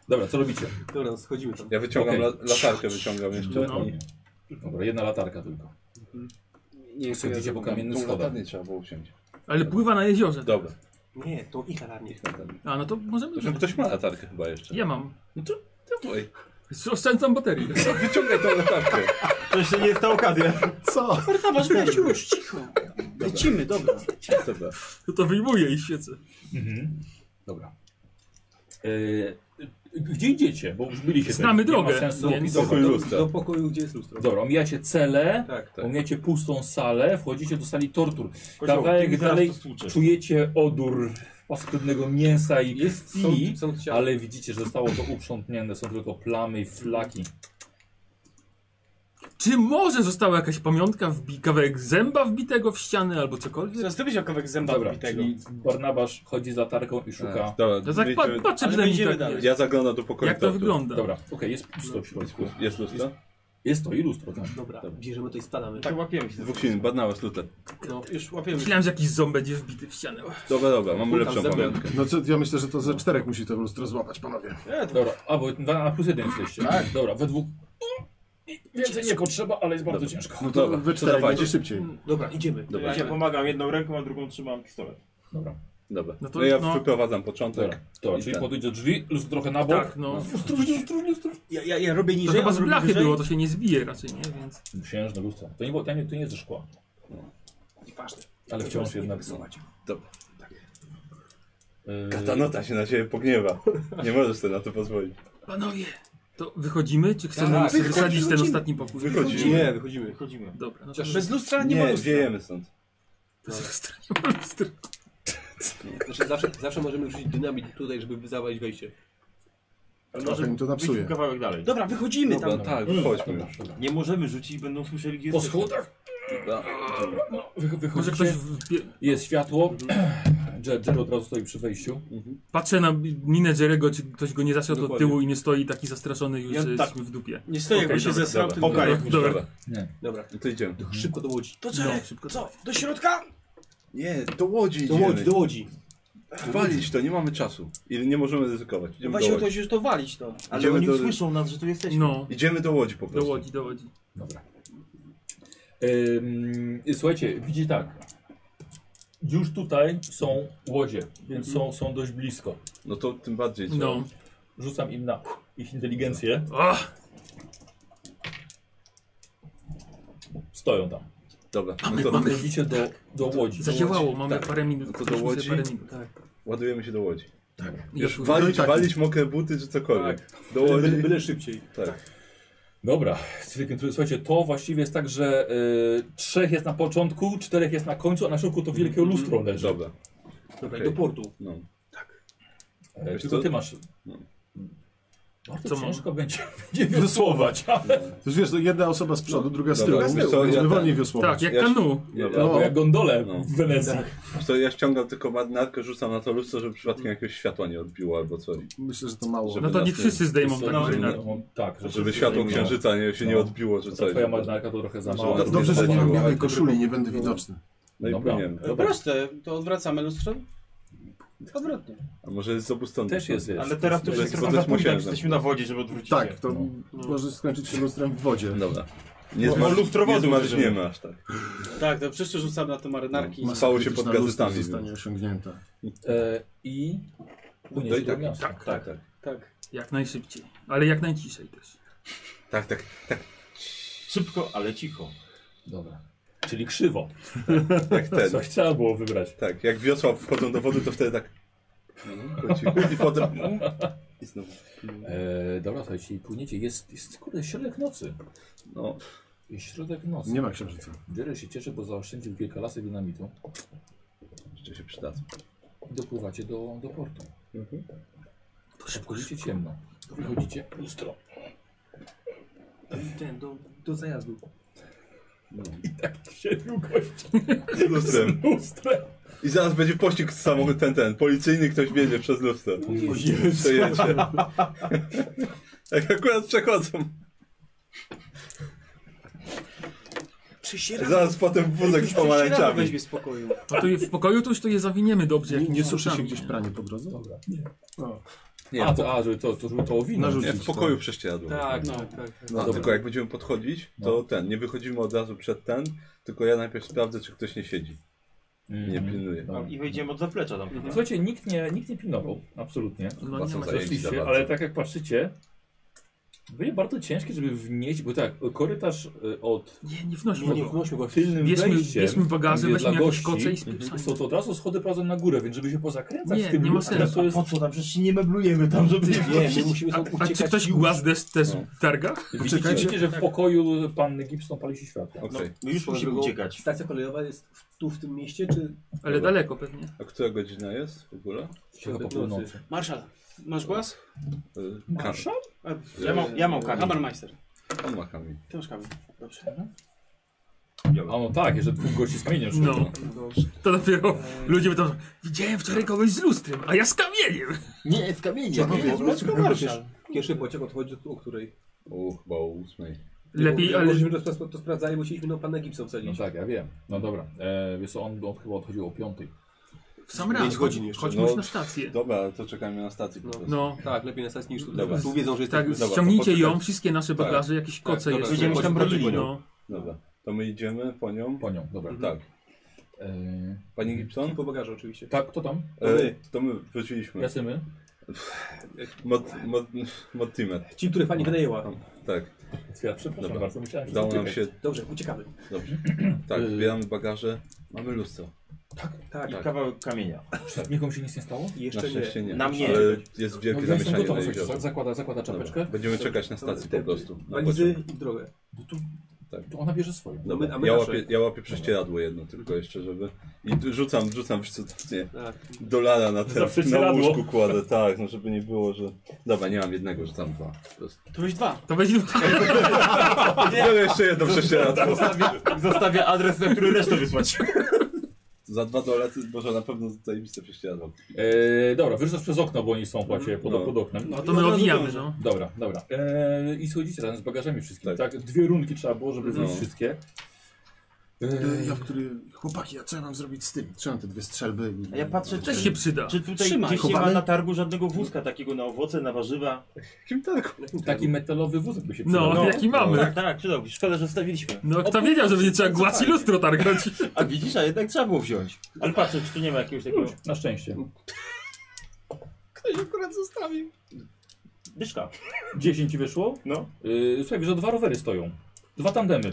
[SPEAKER 2] Dobra, co robicie?
[SPEAKER 7] Dobra, no schodzimy tam.
[SPEAKER 8] Ja wyciągam
[SPEAKER 2] Okej.
[SPEAKER 8] la, latarkę, wyciągam jeszcze.
[SPEAKER 3] No.
[SPEAKER 2] Dobra, jedna latarka tylko.
[SPEAKER 9] Nie,
[SPEAKER 2] Co idziecie po kamiennym
[SPEAKER 8] Tą
[SPEAKER 2] schodach.
[SPEAKER 8] latarnię trzeba było wziąć.
[SPEAKER 3] Ale pływa na jeziorze.
[SPEAKER 8] Dobra.
[SPEAKER 7] Nie, to ich alarmie.
[SPEAKER 3] A, no to możemy...
[SPEAKER 8] Zresztą ktoś ma latarkę chyba jeszcze.
[SPEAKER 3] Ja mam. No to
[SPEAKER 8] Dawaj.
[SPEAKER 3] oszczędzam baterię.
[SPEAKER 8] Wyciągaj tą latarkę.
[SPEAKER 10] To jeszcze nie jest ta okazja.
[SPEAKER 6] Co?
[SPEAKER 9] Marta, masz weź już, cicho. Lecimy, dobra.
[SPEAKER 8] Dobra.
[SPEAKER 3] To to wyjmuję i świecę.
[SPEAKER 2] Mhm. Dobra. E, gdzie idziecie? Bo już byliście.
[SPEAKER 3] Znamy
[SPEAKER 2] tutaj. Nie
[SPEAKER 3] drogę,
[SPEAKER 2] ma sensu
[SPEAKER 3] więc-
[SPEAKER 2] opisywać.
[SPEAKER 8] Pokój lustra.
[SPEAKER 7] Do pokoju, gdzie jest lustro.
[SPEAKER 2] Dobra, omijacie cele,
[SPEAKER 7] Tak, tak.
[SPEAKER 2] omijacie pustą salę, wchodzicie do sali tortur.
[SPEAKER 10] Kozioł, ty mi
[SPEAKER 2] Kawałek
[SPEAKER 10] zaraz
[SPEAKER 2] dalej
[SPEAKER 10] to stłuczesz.
[SPEAKER 2] czujecie odór paskudnego mięsa i
[SPEAKER 7] Jest są,
[SPEAKER 2] krwi,
[SPEAKER 7] są ciała.
[SPEAKER 2] ale widzicie, że zostało to uprzątnięte, są tylko plamy i flaki.
[SPEAKER 3] Czy może została jakaś pamiątka, wbi- kawałek zęba wbitego w ścianę albo cokolwiek?
[SPEAKER 9] Zaraz ty byś okowek zęba
[SPEAKER 2] Dobra,
[SPEAKER 9] wbitego.
[SPEAKER 2] czyli Barnabasz chodzi z latarką i szuka.
[SPEAKER 8] Tak, Dobra,
[SPEAKER 3] Ja tak
[SPEAKER 8] wyjdźmy-
[SPEAKER 3] pat- patrzę
[SPEAKER 9] Ale
[SPEAKER 3] przynajmniej
[SPEAKER 9] wyjdziemy
[SPEAKER 3] tak,
[SPEAKER 9] dalej.
[SPEAKER 8] Ja zaglądam do pokoju.
[SPEAKER 3] jak to
[SPEAKER 8] tortur.
[SPEAKER 3] wygląda.
[SPEAKER 2] Dobra, okej, Tak. jest pusto w środku.
[SPEAKER 8] Jest lustro?
[SPEAKER 2] Jest to i lustro. Tak.
[SPEAKER 7] Dobra, bierzemy to i spadamy.
[SPEAKER 10] Tak, łapiemy się.
[SPEAKER 8] Dwóch silnych, badnała z lutem.
[SPEAKER 7] No, już łapiemy.
[SPEAKER 3] Myślałem, że jakiś ząb będzie wbity w ścianę.
[SPEAKER 8] Dobra, dobra, mamy
[SPEAKER 7] Kurka,
[SPEAKER 8] lepszą
[SPEAKER 7] zęby.
[SPEAKER 8] pamiątkę.
[SPEAKER 6] No co, ja myślę, że to ze czterech musi to lustro złapać, panowie.
[SPEAKER 2] Dobra, a bo na na plus jeden jesteście. Tak. Dobra, we dwóch. Więcej nie potrzeba, ale jest bardzo ciężko.
[SPEAKER 6] No to wy czterech
[SPEAKER 8] dawajcie.
[SPEAKER 6] będzie szybciej.
[SPEAKER 7] Dobra, idziemy.
[SPEAKER 10] Ja się pomagam jedną ręką, a drugą trzymam pistolet.
[SPEAKER 2] Dobra.
[SPEAKER 8] Dobra.
[SPEAKER 3] No
[SPEAKER 8] No
[SPEAKER 3] to-
[SPEAKER 8] ja
[SPEAKER 3] no.
[SPEAKER 8] wyprowadzam początek.
[SPEAKER 2] Dobra. To,
[SPEAKER 8] I
[SPEAKER 2] czyli
[SPEAKER 8] ten.
[SPEAKER 2] podejdź do drzwi, lustro trochę na bok.
[SPEAKER 3] Tak, no.
[SPEAKER 2] Ostrożnie, ostrożnie, ostrożnie.
[SPEAKER 10] Ja, ja, ja robię
[SPEAKER 3] To
[SPEAKER 10] niżej,
[SPEAKER 3] chyba
[SPEAKER 10] on
[SPEAKER 3] z
[SPEAKER 10] robi
[SPEAKER 3] blachy
[SPEAKER 10] wyżej.
[SPEAKER 3] było, to się nie zbije raczej, nie? Więc...
[SPEAKER 2] Księżne lustro. To nie, było, to nie, to nie jest ze szkła.
[SPEAKER 7] Nieważne.
[SPEAKER 2] Ale wciąż jednak.
[SPEAKER 7] rysować.
[SPEAKER 8] Dobra.
[SPEAKER 2] Yy,
[SPEAKER 8] Katanota się na ciebie pogniewa. Nie możesz sobie na to pozwolić.
[SPEAKER 3] Panowie, to wychodzimy, czy chcemy
[SPEAKER 7] Tak,
[SPEAKER 3] sobie
[SPEAKER 7] wychodzi-
[SPEAKER 3] wysadzić ten
[SPEAKER 7] wychodzimy.
[SPEAKER 3] ostatni pokój?
[SPEAKER 8] Wychodzimy.
[SPEAKER 7] Nie, wychodzimy.
[SPEAKER 10] Chodzimy.
[SPEAKER 3] Dobra, no to
[SPEAKER 7] Chociaż-
[SPEAKER 9] Bez lustra nie, ma
[SPEAKER 8] Nie,
[SPEAKER 9] lustra.
[SPEAKER 8] wiejemy stąd.
[SPEAKER 3] bez lustra nie ma lustra.
[SPEAKER 7] Znaczy zawsze, zawsze możemy rzucić dynamit tutaj, żeby zawalić wejście.
[SPEAKER 6] Trochę im to
[SPEAKER 10] Wyjdźmy
[SPEAKER 6] napsuje.
[SPEAKER 10] kawałek dalej.
[SPEAKER 9] Dobra, wychodzimy
[SPEAKER 8] Dobra,
[SPEAKER 9] tam.
[SPEAKER 8] tak, chodźmy już.
[SPEAKER 10] Nie możemy rzucić, będą słyszeli gdzie
[SPEAKER 2] Po
[SPEAKER 10] jesteśmy.
[SPEAKER 2] schodach
[SPEAKER 8] Da.
[SPEAKER 2] wy, wychodzicie.
[SPEAKER 3] Może ktoś... wbie-
[SPEAKER 2] Jest światło. Jer, Jer od razu stoi przy wejściu.
[SPEAKER 3] Patrzę na minę Jerego, czy ktoś go nie zasiadł od
[SPEAKER 7] Dokładnie.
[SPEAKER 3] tyłu i nie stoi taki zastraszony już,
[SPEAKER 10] Ja
[SPEAKER 3] że
[SPEAKER 10] tak.
[SPEAKER 3] jesteśmy w dupie.
[SPEAKER 9] Nie stoję,
[SPEAKER 3] Okej,
[SPEAKER 9] bo się
[SPEAKER 3] dobra,
[SPEAKER 9] zesrał. tylko-
[SPEAKER 10] Okej,
[SPEAKER 3] Dobra, dobra.
[SPEAKER 7] Dobra,
[SPEAKER 8] No to idziemy.
[SPEAKER 7] to szybko do łodzi.
[SPEAKER 9] To co? co? Do środka?
[SPEAKER 8] Nie, do Łodzi
[SPEAKER 7] Do łodzi,
[SPEAKER 8] idziemy.
[SPEAKER 7] do łodzi.
[SPEAKER 8] Walić to, nie mamy czasu. I nie możemy ryzykować. Idziemy do
[SPEAKER 9] Właśnie to
[SPEAKER 8] Łodzi.
[SPEAKER 9] już to walić to.
[SPEAKER 10] Ale
[SPEAKER 8] Idziemy
[SPEAKER 10] oni
[SPEAKER 8] do-
[SPEAKER 10] słyszą nas, że tu jesteśmy.
[SPEAKER 3] No,
[SPEAKER 8] Idziemy do Łodzi po
[SPEAKER 3] do
[SPEAKER 8] prostu.
[SPEAKER 3] Łodzi, do Łodzi.
[SPEAKER 2] Dobra. Ym, słuchajcie, widzicie tak. Już tutaj są łodzie, więc są, są dość blisko.
[SPEAKER 8] No to tym bardziej trzeba.
[SPEAKER 3] No. Ah,
[SPEAKER 2] Rzucam im na ich inteligencję.
[SPEAKER 3] Ach,
[SPEAKER 2] Stoją tam.
[SPEAKER 8] Dobra,
[SPEAKER 3] mamy,
[SPEAKER 8] no to
[SPEAKER 3] mamy.
[SPEAKER 2] Wchodzicie do, do łodzi.
[SPEAKER 3] Zadziałało, mamy
[SPEAKER 8] Tak.
[SPEAKER 3] parę minut.
[SPEAKER 8] No to do
[SPEAKER 3] Weźmy sobie
[SPEAKER 8] Łodzi?
[SPEAKER 3] Parę minut.
[SPEAKER 8] ładujemy się do Łodzi.
[SPEAKER 3] Już,
[SPEAKER 8] Już walić,
[SPEAKER 6] tak.
[SPEAKER 8] walić mokre buty czy cokolwiek. Do Łodzi.
[SPEAKER 7] Byle, byle szybciej.
[SPEAKER 8] Tak.
[SPEAKER 2] Dobra, Cyrkiem, słuchajcie, to właściwie jest tak, że y, trzech jest na początku, czterech jest na końcu, a na środku to wielkie lustro leży.
[SPEAKER 8] Mm-hmm. Dobra.
[SPEAKER 7] Dobra, i
[SPEAKER 8] Okej.
[SPEAKER 7] do portu. Tak.
[SPEAKER 8] No.
[SPEAKER 2] E,
[SPEAKER 8] Wiesz
[SPEAKER 2] tylko
[SPEAKER 8] co?
[SPEAKER 2] ty masz.
[SPEAKER 8] No.
[SPEAKER 2] Bardzo
[SPEAKER 3] Co
[SPEAKER 2] ciężko będzie, będzie wiosłować, ale...
[SPEAKER 6] To wiesz, to jedna osoba z przodu, druga z
[SPEAKER 8] Dobra,
[SPEAKER 6] tyłu.
[SPEAKER 8] wiesz
[SPEAKER 6] Będziemy
[SPEAKER 8] co, ja ten-
[SPEAKER 6] wolniej wiosłować.
[SPEAKER 3] Tak, jak
[SPEAKER 8] Ja się-
[SPEAKER 3] kanu.
[SPEAKER 8] Dobra.
[SPEAKER 2] Albo jak gondole
[SPEAKER 8] No.
[SPEAKER 2] w Wenecji.
[SPEAKER 8] Wiesz co, ja ściągam tylko marynarkę, rzucam na to lustro, żeby przypadkiem jakiegoś światła nie odbiło albo coś.
[SPEAKER 6] Myślę, że to mało.
[SPEAKER 8] Żeby-
[SPEAKER 3] No to nie
[SPEAKER 8] nas nie-
[SPEAKER 3] wszyscy zdejmą tak
[SPEAKER 2] No,
[SPEAKER 3] marynarkę.
[SPEAKER 2] no, tak,
[SPEAKER 8] Żeby światło księżyca nie, się nie
[SPEAKER 2] No.
[SPEAKER 8] odbiło czy
[SPEAKER 2] To
[SPEAKER 8] coś.
[SPEAKER 2] twoja marynarka to no trochę za mała.
[SPEAKER 8] Dobra,
[SPEAKER 6] Dobrze, że nie mam
[SPEAKER 8] Dobra.
[SPEAKER 6] białej koszuli, nie będę widoczny.
[SPEAKER 8] No i
[SPEAKER 2] Dobra.
[SPEAKER 8] płyniemy.
[SPEAKER 9] No proste, to odwracamy lustro. Odwrotnie.
[SPEAKER 8] A może jest z obu stron.
[SPEAKER 2] Też jest, wiesz.
[SPEAKER 10] Ale teraz to
[SPEAKER 8] Bo
[SPEAKER 10] już jest
[SPEAKER 8] też- bo
[SPEAKER 10] trochę na
[SPEAKER 8] też
[SPEAKER 10] późno,
[SPEAKER 8] musiałem
[SPEAKER 10] jak jesteśmy na wodzie, żeby odwrócić się.
[SPEAKER 6] Tak, to może skończyć się lustrem w wodzie.
[SPEAKER 8] Dobra. Nie
[SPEAKER 10] Bo
[SPEAKER 8] zmarz,
[SPEAKER 10] lustro
[SPEAKER 8] nie
[SPEAKER 10] wodą
[SPEAKER 8] zmarzniemy aż tak.
[SPEAKER 9] Tak, to przecież rzucam na to marynarki.
[SPEAKER 8] No. Spało się pod
[SPEAKER 6] Krytyczna lustro
[SPEAKER 8] gazetami,
[SPEAKER 6] zostanie
[SPEAKER 8] więc.
[SPEAKER 6] osiągnięta.
[SPEAKER 2] E, I
[SPEAKER 8] To
[SPEAKER 2] płyniesz
[SPEAKER 8] i
[SPEAKER 2] do
[SPEAKER 8] tak.
[SPEAKER 2] miasta.
[SPEAKER 8] Tak, tak.
[SPEAKER 9] Tak.
[SPEAKER 3] Jak najszybciej, ale jak najciszej też.
[SPEAKER 8] Tak, tak.
[SPEAKER 10] Szybko, ale cicho.
[SPEAKER 2] Dobra. Czyli krzywo.
[SPEAKER 8] Jak Tak ten.
[SPEAKER 2] Coś trzeba było wybrać.
[SPEAKER 8] Tak, jak wiosła wchodzą do wody, to wtedy tak. po cichu. I potem. I znowu.
[SPEAKER 2] E, dobra, słuchajcie, i płyniecie. Jest, jest, kurde, środek nocy.
[SPEAKER 8] No,
[SPEAKER 2] Jest środek nocy.
[SPEAKER 6] Nie ma księżyca.
[SPEAKER 2] Jerry się cieszy, bo zaoszczędził kilka lasek dynamitu.
[SPEAKER 8] jeszcze się przyda.
[SPEAKER 2] I dopływacie do, do portu. To szybko idzie ciemno. Wychodzicie lustro.
[SPEAKER 7] I ten, do, do zajazdu.
[SPEAKER 2] tak Się długość
[SPEAKER 8] Z lustrem.
[SPEAKER 2] lustrem.
[SPEAKER 8] I zaraz będzie pościg z samochód ten, ten. Policyjny ktoś wiedzie przez lustro. Przejęcie. Jak Tak akurat przechodzą.
[SPEAKER 9] Przysieramy.
[SPEAKER 8] Zaraz potem wózek z pomarańczami.
[SPEAKER 9] weźmie spokoju.
[SPEAKER 3] A tu je- w pokoju to już to je zawiniemy dobrze.
[SPEAKER 6] Nie,
[SPEAKER 3] jakimiś
[SPEAKER 6] nie suszy się
[SPEAKER 3] nosami,
[SPEAKER 6] gdzieś
[SPEAKER 3] nie?
[SPEAKER 6] pranie po drodze?
[SPEAKER 2] Dobra.
[SPEAKER 8] Nie,
[SPEAKER 2] a, to, a, że to, to, to, to owinę.
[SPEAKER 8] Nie,
[SPEAKER 6] Narzucić
[SPEAKER 8] w
[SPEAKER 6] to.
[SPEAKER 8] pokoju prześcieradło.
[SPEAKER 7] Tak, no. tak, tak.
[SPEAKER 8] No,
[SPEAKER 2] dobra.
[SPEAKER 8] tylko jak będziemy podchodzić, to
[SPEAKER 2] No.
[SPEAKER 8] ten, nie wychodzimy od razu przed ten, tylko ja najpierw sprawdzę, czy ktoś nie siedzi. Nie
[SPEAKER 2] Mhm.
[SPEAKER 8] pilnuję.
[SPEAKER 2] Dobra.
[SPEAKER 10] I wejdziemy od zaplecza tam.
[SPEAKER 2] Mm.
[SPEAKER 9] Mhm.
[SPEAKER 2] Słuchajcie, nikt nie, nikt nie pilnował, absolutnie.
[SPEAKER 3] No nie
[SPEAKER 8] są
[SPEAKER 3] ma
[SPEAKER 8] zajęci. za
[SPEAKER 2] Zeszliście,
[SPEAKER 8] bardzo.
[SPEAKER 2] ale tak jak patrzycie, byli bardzo ciężkie, żeby wnieść, bo tak, korytarz y, od
[SPEAKER 3] Nie, Znaczy, no nie wnośmy
[SPEAKER 7] Nie, nie
[SPEAKER 3] go.
[SPEAKER 7] wnośmy go.
[SPEAKER 2] tylnym
[SPEAKER 3] Bierzmy,
[SPEAKER 2] wejściem
[SPEAKER 3] bierzmy bagaże,
[SPEAKER 2] gdzie dla
[SPEAKER 3] weźmy jakieś
[SPEAKER 2] gości,
[SPEAKER 3] koce
[SPEAKER 2] mhm,
[SPEAKER 3] i spieprzajmy.
[SPEAKER 2] są to od razu schody razem na górę, więc żeby się pozakręcać
[SPEAKER 3] Nie,
[SPEAKER 2] w tym
[SPEAKER 3] nie ma
[SPEAKER 2] lustrze,
[SPEAKER 3] sensu.
[SPEAKER 2] to jest...
[SPEAKER 10] Po co tam? Przecież się nie meblujemy tam, żeby...
[SPEAKER 7] Nie, my musimy
[SPEAKER 3] A,
[SPEAKER 7] stąd
[SPEAKER 3] a
[SPEAKER 7] uciekać
[SPEAKER 3] czy ktoś
[SPEAKER 7] już.
[SPEAKER 3] głaz też, też
[SPEAKER 8] No.
[SPEAKER 3] targa?
[SPEAKER 2] Widzicie, widzicie,
[SPEAKER 3] Tak.
[SPEAKER 2] że w pokoju panny Gibson pali się światło.
[SPEAKER 8] Okej,
[SPEAKER 7] No
[SPEAKER 10] My już musimy
[SPEAKER 7] Swoją drogą,
[SPEAKER 10] uciekać.
[SPEAKER 7] Stacja kolejowa jest w, tu w tym mieście, czy
[SPEAKER 3] Ale
[SPEAKER 8] Dobra.
[SPEAKER 3] daleko pewnie.
[SPEAKER 8] a która godzina jest w ogóle?
[SPEAKER 2] Trochę po północy.
[SPEAKER 9] Marszal, masz głaz?
[SPEAKER 8] Y,
[SPEAKER 2] Marsza?
[SPEAKER 9] A,
[SPEAKER 1] E,
[SPEAKER 10] Ja mam, ja mam kamień.
[SPEAKER 9] Habermeister.
[SPEAKER 8] Kam- on ma kamień.
[SPEAKER 9] Ty masz kamień. Dobrze.
[SPEAKER 2] A no tak, jeżeli dwóch gości z kamieniem szło.
[SPEAKER 3] No, to dopiero ludzie będą, widziałem wczoraj kogoś z lustrem, a ja z kamieniem.
[SPEAKER 7] Nie, w kamieniu.
[SPEAKER 9] Maczko Marszal.
[SPEAKER 7] Pierwszy pociąg odchodzi o której?
[SPEAKER 8] U, chyba o ósmej.
[SPEAKER 3] Lepiej,
[SPEAKER 7] Bo-
[SPEAKER 3] ale...
[SPEAKER 7] Żeśmy to, spra- to sprawdzali, bo chcieliśmy na pana Gibson
[SPEAKER 2] No
[SPEAKER 7] wsadzić.
[SPEAKER 2] tak, ja wiem. No dobra. E, wiesz co, on, on chyba odchodził o piątej.
[SPEAKER 3] W sam raz.
[SPEAKER 7] Pięć godzin jeszcze.
[SPEAKER 3] Chodźmy
[SPEAKER 8] No.
[SPEAKER 3] już na stację.
[SPEAKER 8] Dobra, ale to czekajmy na stacji po
[SPEAKER 7] No.
[SPEAKER 8] prostu.
[SPEAKER 3] No,
[SPEAKER 7] Tak, lepiej na stacji niż tu.
[SPEAKER 8] Dobra.
[SPEAKER 7] Tu wiedzą, że jest
[SPEAKER 3] tak,
[SPEAKER 7] tak.
[SPEAKER 8] dobra,
[SPEAKER 3] ściągnijcie
[SPEAKER 8] poczekaj.
[SPEAKER 3] ją, wszystkie nasze
[SPEAKER 8] Tak,
[SPEAKER 3] bagaże, jakieś
[SPEAKER 8] tak,
[SPEAKER 3] koce
[SPEAKER 8] dobra,
[SPEAKER 3] jeszcze.
[SPEAKER 10] Będziemy się tam
[SPEAKER 8] Chodźmy,
[SPEAKER 10] bronili,
[SPEAKER 8] chodźmy.
[SPEAKER 10] no.
[SPEAKER 3] No.
[SPEAKER 8] Dobra, to my idziemy po nią.
[SPEAKER 2] Po nią, dobra.
[SPEAKER 8] Tak.
[SPEAKER 2] E,
[SPEAKER 8] Pani Gibson?
[SPEAKER 7] Po bagażu oczywiście.
[SPEAKER 2] tak, kto tam?
[SPEAKER 7] Mhm.
[SPEAKER 8] E, to my wróciliśmy.
[SPEAKER 2] Jasymy?
[SPEAKER 8] Mot, mot, Motimer.
[SPEAKER 7] Ci, których pani wynajęła.
[SPEAKER 8] Tak,
[SPEAKER 2] Ja przepraszam
[SPEAKER 8] Dobra.
[SPEAKER 2] bardzo, myślałem, że
[SPEAKER 8] udało
[SPEAKER 2] to
[SPEAKER 8] nam
[SPEAKER 2] ty.
[SPEAKER 8] się.
[SPEAKER 7] Dobrze, uciekamy.
[SPEAKER 8] Dobrze.
[SPEAKER 7] Y-
[SPEAKER 8] Tak, zbieramy bagaże. Mamy lustro.
[SPEAKER 7] Tak,
[SPEAKER 10] I
[SPEAKER 8] Tak.
[SPEAKER 10] kawałek kamienia.
[SPEAKER 2] Nikomu się nic nie stało?
[SPEAKER 8] Na
[SPEAKER 7] jeszcze nie.
[SPEAKER 8] szczęście nie.
[SPEAKER 10] Na mnie.
[SPEAKER 8] Ale jest
[SPEAKER 2] No,
[SPEAKER 8] wielkie
[SPEAKER 2] ja jestem
[SPEAKER 8] zamieszanie na
[SPEAKER 2] gotowy, słuchajcie,
[SPEAKER 8] jeziorze.
[SPEAKER 2] zakłada, zakłada czapeczkę.
[SPEAKER 8] Dobra. Będziemy czekać na stacji po prostu. Na
[SPEAKER 7] Walizy
[SPEAKER 8] pociąg.
[SPEAKER 7] No i w drogę.
[SPEAKER 2] Bo tu, tu ona bierze swoją.
[SPEAKER 7] No my, a my
[SPEAKER 8] Ja
[SPEAKER 7] nasze.
[SPEAKER 8] łapię, ja łapię prześcieradło jedno tylko jeszcze, żeby... I tu rzucam, rzucam nie,
[SPEAKER 7] Tak.
[SPEAKER 8] dolara na,
[SPEAKER 2] Za
[SPEAKER 8] ten, na
[SPEAKER 2] prześcieradło.
[SPEAKER 8] łóżku kładę, tak, no żeby nie było, że... Dobra, nie mam jednego, rzucam dwa. po prostu.
[SPEAKER 9] Tu weź dwa.
[SPEAKER 3] no. To będzie
[SPEAKER 8] Biorę jeszcze jedno prześcieradło.
[SPEAKER 10] Zostawia adres, na który resztę wysłać.
[SPEAKER 8] Za dwa dolary, Boże, na pewno zajebiste prześcieradło.
[SPEAKER 2] E, dobra, wyrzucasz przez okno, bo oni są właśnie pod,
[SPEAKER 8] No.
[SPEAKER 2] pod oknem.
[SPEAKER 3] No to my
[SPEAKER 7] od razu
[SPEAKER 3] owijamy,
[SPEAKER 7] wiąże.
[SPEAKER 3] no.
[SPEAKER 2] Dobra, dobra. E, I schodzicie razem z bagażami wszystkimi, tak?
[SPEAKER 8] Tak.
[SPEAKER 2] Dwie runki trzeba było, żeby
[SPEAKER 8] No.
[SPEAKER 2] wziąć wszystkie. E,
[SPEAKER 6] Ja w który... Chłopaki, a co ja mam zrobić z tym? Trzymam te dwie strzelby i...
[SPEAKER 10] A ja patrzę,
[SPEAKER 3] Też się przyda.
[SPEAKER 10] Czy tutaj
[SPEAKER 9] Trzymaj.
[SPEAKER 10] gdzieś nie ma
[SPEAKER 6] Chowamy?
[SPEAKER 10] na targu żadnego wózka takiego na owoce, na warzywa?
[SPEAKER 8] Kim tak?
[SPEAKER 2] taki metalowy wózek by się przydał.
[SPEAKER 3] No, jaki mamy.
[SPEAKER 10] Tak, tak, przydałby. się. Szkoda, że zostawiliśmy.
[SPEAKER 3] No, kto wiedział, że będzie trzeba gładzi lustro targnąć.
[SPEAKER 10] A widzisz, a jednak trzeba było wziąć. Ale patrzę, czy tu nie ma jakiegoś takiego
[SPEAKER 2] Na szczęście.
[SPEAKER 10] dyszka.
[SPEAKER 2] 10 wyszło?
[SPEAKER 10] No.
[SPEAKER 2] Yy, słuchaj, wiesz, że dwa rowery stoją. Dwa tandemy.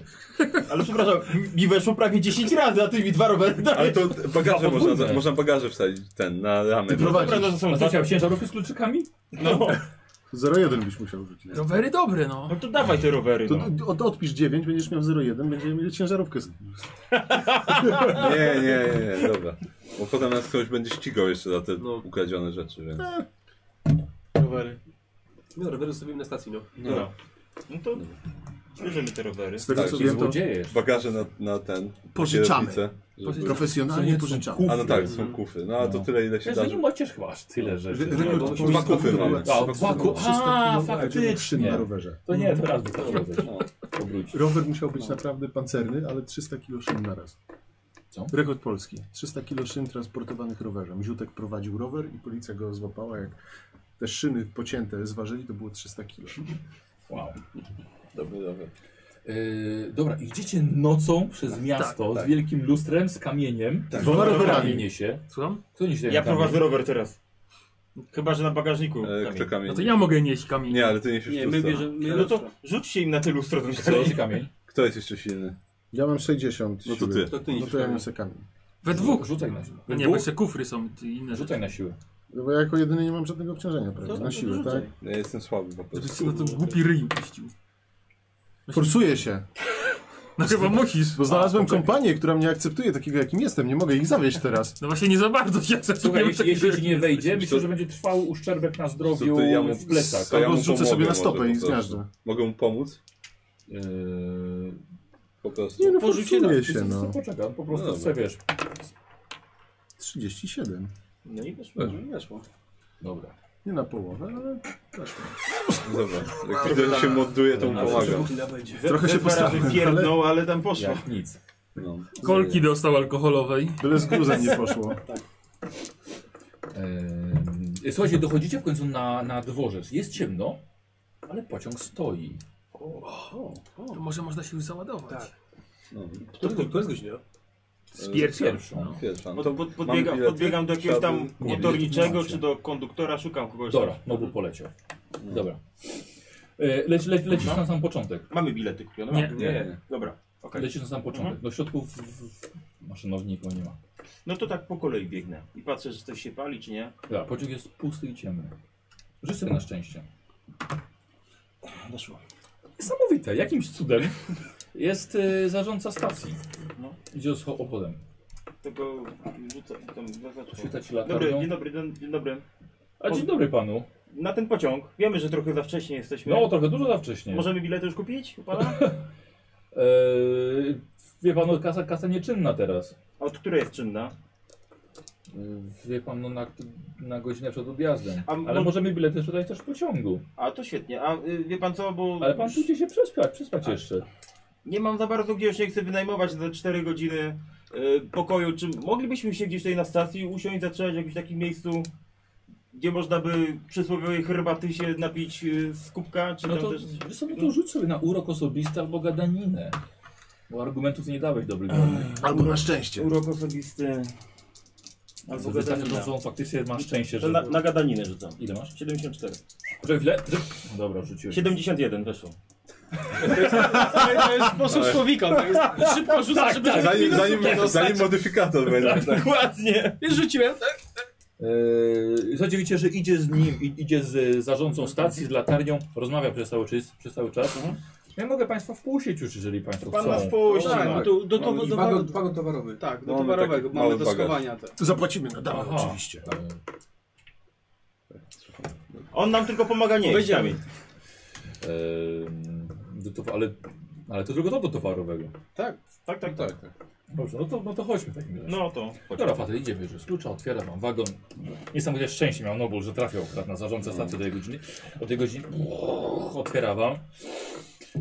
[SPEAKER 10] Ale przepraszam, mi- mi weszło prawie 10 razy, a ty mi dwa rowery
[SPEAKER 8] Ale
[SPEAKER 10] dałeś.
[SPEAKER 8] to
[SPEAKER 2] Dwa
[SPEAKER 8] bagaże można,
[SPEAKER 2] podwójne.
[SPEAKER 8] można bagaże wsadzić ten, na ramę.
[SPEAKER 10] Dobra, no to są
[SPEAKER 2] A
[SPEAKER 10] dwa.
[SPEAKER 2] zaciął ciężarówkę z kluczykami?
[SPEAKER 10] No,
[SPEAKER 6] 0,1 byś musiał rzucić.
[SPEAKER 3] Rowery dobre, no.
[SPEAKER 10] no to dawaj te rowery,
[SPEAKER 6] To
[SPEAKER 10] no.
[SPEAKER 6] d- od, odpisz 9, będziesz miał 0,1, będziemy mieli ciężarówkę. z-
[SPEAKER 8] Nie, nie, nie, nie, dobra. Bo potem nas ktoś będzie ścigał jeszcze za te
[SPEAKER 7] No.
[SPEAKER 8] ukradzione rzeczy, więc...
[SPEAKER 10] Rowery.
[SPEAKER 7] No, rowery zostawimy na stacji, no.
[SPEAKER 10] No. No to bierzemy te rowery.
[SPEAKER 6] Z tego
[SPEAKER 8] Tak,
[SPEAKER 6] co
[SPEAKER 8] i
[SPEAKER 6] wiem, to
[SPEAKER 2] Złodzieje.
[SPEAKER 8] Bagaże na, na ten...
[SPEAKER 6] Pożyczamy.
[SPEAKER 8] kierownicę, żeby-
[SPEAKER 6] profesjonalnie pożyczamy.
[SPEAKER 8] A no tak, No. są kufy. No, a to
[SPEAKER 2] No.
[SPEAKER 8] tyle ile się
[SPEAKER 2] Wiesz,
[SPEAKER 8] da.
[SPEAKER 2] że nie macie chyba aż tyle rzeczy.
[SPEAKER 6] Wy- rekord
[SPEAKER 8] bo-
[SPEAKER 6] Polski
[SPEAKER 8] dwa kufy
[SPEAKER 6] to
[SPEAKER 8] mamy.
[SPEAKER 6] była
[SPEAKER 2] A, dwa
[SPEAKER 6] 300
[SPEAKER 2] ku- a,
[SPEAKER 6] kilo, ale
[SPEAKER 2] faktycznie.
[SPEAKER 6] szyn na rowerze.
[SPEAKER 2] To nie, to raz wystarczy.
[SPEAKER 8] No.
[SPEAKER 2] Obróć.
[SPEAKER 6] Rower musiał być naprawdę pancerny, ale 300 kilo szyn na raz.
[SPEAKER 2] Co?
[SPEAKER 6] Rekord polski. 300 kilo szyn transportowanych rowerzem. Ziutek prowadził rower i policja go złapała. Jak te szyny pocięte zważyli, to było 300 kilo.
[SPEAKER 2] Wow.
[SPEAKER 8] Dobra, dobra.
[SPEAKER 2] Yy, dobra, idziecie nocą przez
[SPEAKER 8] Tak,
[SPEAKER 2] miasto z wielkim lustrem, z kamieniem. Tak.
[SPEAKER 6] Dwoma rowerami.
[SPEAKER 2] niesie.
[SPEAKER 3] Słucham?
[SPEAKER 2] Kto niesie ten
[SPEAKER 10] Ja
[SPEAKER 2] kamień?
[SPEAKER 10] prowadzę rower teraz. Chyba, że na bagażniku.
[SPEAKER 8] E,
[SPEAKER 10] kamień.
[SPEAKER 8] kto kamień?
[SPEAKER 3] No to ja mogę nieść kamień.
[SPEAKER 8] Nie, ale ty nie
[SPEAKER 9] Nie, my bierzemy. My
[SPEAKER 10] No to rzućcie im na te lustro ten
[SPEAKER 2] Kto
[SPEAKER 10] kamień.
[SPEAKER 2] niesie kamień?
[SPEAKER 8] Kto jest jeszcze silny?
[SPEAKER 6] Ja mam 60
[SPEAKER 8] No to
[SPEAKER 6] siły.
[SPEAKER 8] ty.
[SPEAKER 7] To ty
[SPEAKER 6] No
[SPEAKER 7] nie
[SPEAKER 6] to ja niosę kamień.
[SPEAKER 3] We dwóch.
[SPEAKER 2] Rzucaj na siłę.
[SPEAKER 3] No nie, bo jeszcze kufry są ty inne rzeczy.
[SPEAKER 2] Rzucaj na siłę.
[SPEAKER 6] No Bo ja jako jedyny nie mam żadnego obciążenia
[SPEAKER 7] To-
[SPEAKER 6] prawie.
[SPEAKER 7] to
[SPEAKER 6] Na siłę,
[SPEAKER 7] rzucaj.
[SPEAKER 6] tak?
[SPEAKER 8] Ja jestem słaby po
[SPEAKER 3] Żebyś
[SPEAKER 8] prostu.
[SPEAKER 3] się na to głupi ryj upuścił.
[SPEAKER 6] Forsuję się.
[SPEAKER 3] No chyba musisz.
[SPEAKER 6] Bo znalazłem kompanię, która mnie akceptuje takiego jakim jestem. Nie mogę ich zawieść teraz.
[SPEAKER 3] No właśnie nie za bardzo się akceptuję.
[SPEAKER 2] Słuchaj, jeśli, jeśli ci nie wejdzie,
[SPEAKER 8] Co-
[SPEAKER 2] myślę, że będzie trwał uszczerbek na zdrowiu
[SPEAKER 8] Co ty, ja mu-
[SPEAKER 2] w plecach. E,
[SPEAKER 8] To ja
[SPEAKER 6] Albo
[SPEAKER 8] mu
[SPEAKER 6] zrzucę
[SPEAKER 8] pomogę
[SPEAKER 6] sobie na
[SPEAKER 8] może
[SPEAKER 6] stopę
[SPEAKER 8] po
[SPEAKER 6] i
[SPEAKER 8] prostu.
[SPEAKER 6] zmiażdżę.
[SPEAKER 8] Mogę mu pomóc?
[SPEAKER 2] Yy,
[SPEAKER 8] Po prostu.
[SPEAKER 6] Nie no,
[SPEAKER 2] porzucie
[SPEAKER 6] forsuję
[SPEAKER 2] się,
[SPEAKER 6] się, no.
[SPEAKER 2] Poczekam, po
[SPEAKER 8] No
[SPEAKER 2] prostu
[SPEAKER 8] dobra.
[SPEAKER 2] sobie wiesz.
[SPEAKER 6] 37.
[SPEAKER 10] No i weszło.
[SPEAKER 9] Weszło.
[SPEAKER 2] Dobra.
[SPEAKER 6] Nie na połowę, ale
[SPEAKER 5] No
[SPEAKER 8] Dobra. Jak widzę, że się moduje,
[SPEAKER 7] no,
[SPEAKER 8] to mu
[SPEAKER 2] Dobra.
[SPEAKER 8] pomagam.
[SPEAKER 6] Trochę się
[SPEAKER 10] Dwa razy
[SPEAKER 6] postarałem,
[SPEAKER 10] pierdnął, ale tam poszło.
[SPEAKER 2] Jak nic.
[SPEAKER 8] No.
[SPEAKER 3] Kolki dostał alkoholowej.
[SPEAKER 6] byle z gruzem nie poszło.
[SPEAKER 2] Yy, słuchajcie, dochodzicie w końcu na, na dworzec. Jest ciemno, ale pociąg stoi.
[SPEAKER 3] To No, może można się już załadować.
[SPEAKER 7] Tak.
[SPEAKER 8] No.
[SPEAKER 7] To, to, to jest godzina.
[SPEAKER 3] Z pierwsza.
[SPEAKER 2] Pierwszą.
[SPEAKER 3] No.
[SPEAKER 8] Pierwsza.
[SPEAKER 10] Pod,
[SPEAKER 8] No to
[SPEAKER 10] pod, podbiegam,
[SPEAKER 8] mamy bilety?
[SPEAKER 10] podbiegam do jakiegoś tam
[SPEAKER 8] Trzeba by-
[SPEAKER 10] motorniczego,
[SPEAKER 2] Macie.
[SPEAKER 10] czy do konduktora, szukam kogoś. tam.
[SPEAKER 2] Dobra, no bo poleciał. Dobra. E, Leci, leci, lecisz na sam początek.
[SPEAKER 10] Mamy bilety kupione?
[SPEAKER 3] Nie.
[SPEAKER 10] Mamy.
[SPEAKER 8] Nie, nie.
[SPEAKER 10] Dobra, okej.
[SPEAKER 2] Lecisz na sam początek. No środków w, w maszynowniku nie ma.
[SPEAKER 10] No to tak po kolei biegnę i patrzę, czy coś się pali, czy nie.
[SPEAKER 2] Dobra, pociąg jest pusty i ciemny. Żyj sobie na szczęście.
[SPEAKER 10] Weszło.
[SPEAKER 2] Niesamowite, jakimś cudem jest y, zarządca stacji.
[SPEAKER 10] No.
[SPEAKER 2] Idzie z opodem.
[SPEAKER 10] Tego rzucę tam zaznaczę.
[SPEAKER 2] Oświeca ci
[SPEAKER 10] Dobry,
[SPEAKER 2] latarnią.
[SPEAKER 10] dzień dobry, dzień- dzień dobry.
[SPEAKER 2] A dzień dobry panu.
[SPEAKER 10] Na ten pociąg. Wiemy, że trochę za wcześnie jesteśmy.
[SPEAKER 2] No trochę dużo za wcześnie.
[SPEAKER 10] Możemy bilety już kupić u pana?
[SPEAKER 2] E, wie pan, no, kasa, kasa nieczynna teraz.
[SPEAKER 10] A Od której jest czynna?
[SPEAKER 2] E, Wie pan, no, na, na godzinę przed odjazdem.
[SPEAKER 10] A
[SPEAKER 2] Ale
[SPEAKER 10] mo-
[SPEAKER 2] możemy bilety sprzedać też w pociągu.
[SPEAKER 10] A to świetnie. A y, wie pan co, bo
[SPEAKER 2] Ale pan
[SPEAKER 10] Tak.
[SPEAKER 2] No pójdzie się przespać, przespać jeszcze.
[SPEAKER 10] nie mam za bardzo gdzie już nie chcę wynajmować za 4 godziny e, pokoju, czy moglibyśmy się gdzieś tutaj na stacji usiąść, zatrzymać w jakimś takim miejscu, gdzie można by przysłowiowej herbaty się napić e, z kubka, czy
[SPEAKER 2] No
[SPEAKER 10] tam
[SPEAKER 2] to
[SPEAKER 10] też...
[SPEAKER 2] wy sobie to rzuć sobie na urok osobisty albo gadaninę. Bo argumentów nie dałeś dobrych.
[SPEAKER 10] Eee.
[SPEAKER 6] Albo na szczęście.
[SPEAKER 10] Urok osobisty... Albo
[SPEAKER 2] Albo gadaninę.
[SPEAKER 10] gadanina.
[SPEAKER 2] To faktycznie masz szczęście,
[SPEAKER 10] To
[SPEAKER 2] że...
[SPEAKER 10] na, na gadaninę rzucam.
[SPEAKER 2] Ile masz?
[SPEAKER 10] 74.
[SPEAKER 2] Że chwilę? Że... No dobra, rzuciłeś.
[SPEAKER 10] 71 weszło.
[SPEAKER 1] To jest sposób słowika, tak? to jest szybko rzuca, żeby...
[SPEAKER 5] Zanim, zanim, zanim modyfikator Tak. będzie.
[SPEAKER 10] Dokładnie!
[SPEAKER 1] Wiesz, rzuciłem,
[SPEAKER 2] Yy, Słuchajcie, widzicie, że idzie z nim, i- idzie z zarządcą stacji, z latarnią, rozmawia przez cały czas. Przez cały czas. Ja mogę Państwa wpuścić już, jeżeli Państwo
[SPEAKER 4] Pan nas
[SPEAKER 2] chcą.
[SPEAKER 4] puści.
[SPEAKER 1] Tak, no to, do, do, do, do,
[SPEAKER 7] Wagon, wagon towarowy.
[SPEAKER 1] tak, do
[SPEAKER 5] Mamy
[SPEAKER 1] towarowego,
[SPEAKER 5] taki
[SPEAKER 1] mamy
[SPEAKER 5] mały
[SPEAKER 1] do
[SPEAKER 5] bagaż.
[SPEAKER 1] skowania. Te.
[SPEAKER 6] Zapłacimy na dawę
[SPEAKER 2] Aha.
[SPEAKER 6] oczywiście.
[SPEAKER 10] On nam tylko pomaga nie jeść.
[SPEAKER 1] Powiedziałem.
[SPEAKER 2] Ehm, do towa- ale, ale to tylko to do towarowego.
[SPEAKER 1] Tak,
[SPEAKER 10] Tak, tak, tak.
[SPEAKER 2] Dobrze, no to, no to chodźmy w takim razie. No.
[SPEAKER 10] No to.
[SPEAKER 2] Dobra, Fatel idzie, bierze z klucza, otwiera wam wagon. Niesamowite szczęście miał Nobul, że trafił akurat na zarządcę stacji do tej godziny. O tej godziny Uch, otwiera wam.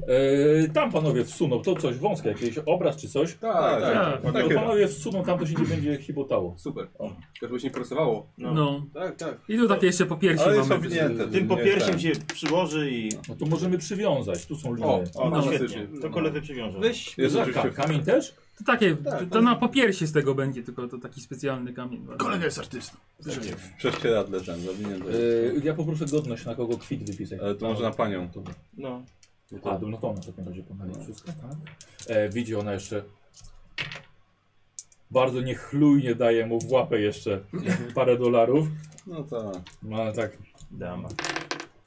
[SPEAKER 2] Eee, tam panowie wsuną to coś wąskie, jakiś obraz czy coś.
[SPEAKER 7] Tak, tak.
[SPEAKER 3] Tak,
[SPEAKER 2] To panowie wsuną, tam to się nie będzie chibotało.
[SPEAKER 7] Super. To żeby się nie prosowało.
[SPEAKER 3] No.
[SPEAKER 1] tak, tak.
[SPEAKER 3] I tu takie jeszcze po piersi
[SPEAKER 5] Ale jest
[SPEAKER 3] mamy.
[SPEAKER 5] obwinięte.
[SPEAKER 10] Tym po
[SPEAKER 5] nie,
[SPEAKER 10] pierwszym
[SPEAKER 5] tak.
[SPEAKER 10] się przyłoży i.
[SPEAKER 2] No to możemy przywiązać, tu są liny.
[SPEAKER 7] O,
[SPEAKER 10] O,
[SPEAKER 7] no,
[SPEAKER 10] no, świetnie.
[SPEAKER 7] klasycznie.
[SPEAKER 10] To koledzy przywiążą.
[SPEAKER 1] Weź,
[SPEAKER 5] Jest
[SPEAKER 2] Za-
[SPEAKER 5] oczywiście.
[SPEAKER 2] Kamień też?
[SPEAKER 3] To takie, to,
[SPEAKER 1] Tak,
[SPEAKER 3] to na po piersi z tego będzie, tylko to taki specjalny kamień.
[SPEAKER 6] Kolega jest artystą. Wyżyje.
[SPEAKER 5] W prześcieradle ten, zawinięty.
[SPEAKER 2] Eee, ja poproszę godność, na kogo kwit wypisać.
[SPEAKER 8] E,
[SPEAKER 5] Ale to może na panią.
[SPEAKER 10] No.
[SPEAKER 2] A, no to ona w takim razie pomyli wszystko, tak? E, widzi ona jeszcze. Bardzo niechlujnie daje mu w łapę jeszcze parę dolarów.
[SPEAKER 5] No tak.
[SPEAKER 2] No ale tak.
[SPEAKER 10] Dama.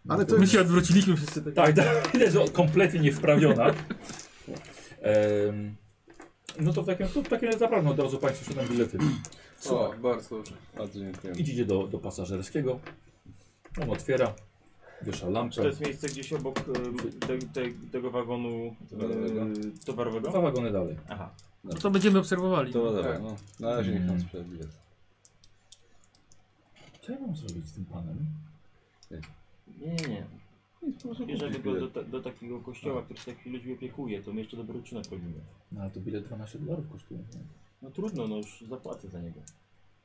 [SPEAKER 6] Ale to
[SPEAKER 3] My
[SPEAKER 6] jest...
[SPEAKER 3] się odwróciliśmy wszyscy tak.
[SPEAKER 2] Tak, tak. widać, że kompletnie niewprawiona. Em, no to w takim, to w takim razie zapraszam od razu Państwu siedem bilety.
[SPEAKER 7] O, bardzo dobrze.
[SPEAKER 5] Bardzo dziękuję.
[SPEAKER 2] Idziecie do, do pasażerskiego. On otwiera. Wiesza
[SPEAKER 10] Czy
[SPEAKER 2] lampę.
[SPEAKER 10] to jest miejsce gdzieś obok em, te, te, tego wagonu
[SPEAKER 5] Towarowego.
[SPEAKER 10] e, towarowego?
[SPEAKER 2] Dwa wagony dalej.
[SPEAKER 10] Aha.
[SPEAKER 3] No To będziemy obserwowali.
[SPEAKER 5] To dobra,
[SPEAKER 7] Tak.
[SPEAKER 5] no. Na razie niech nam sprzedaje bilet.
[SPEAKER 2] Co ja mam zrobić z tym panem?
[SPEAKER 10] Nie, nie, nie. Bierzemy go do, ta, do takiego kościoła, który się takimi ludźmi opiekuje, to my jeszcze dobry uczynek robimy.
[SPEAKER 2] No ale to bilet 12 dolarów kosztuje. nie?
[SPEAKER 10] No trudno, no już zapłacę za niego.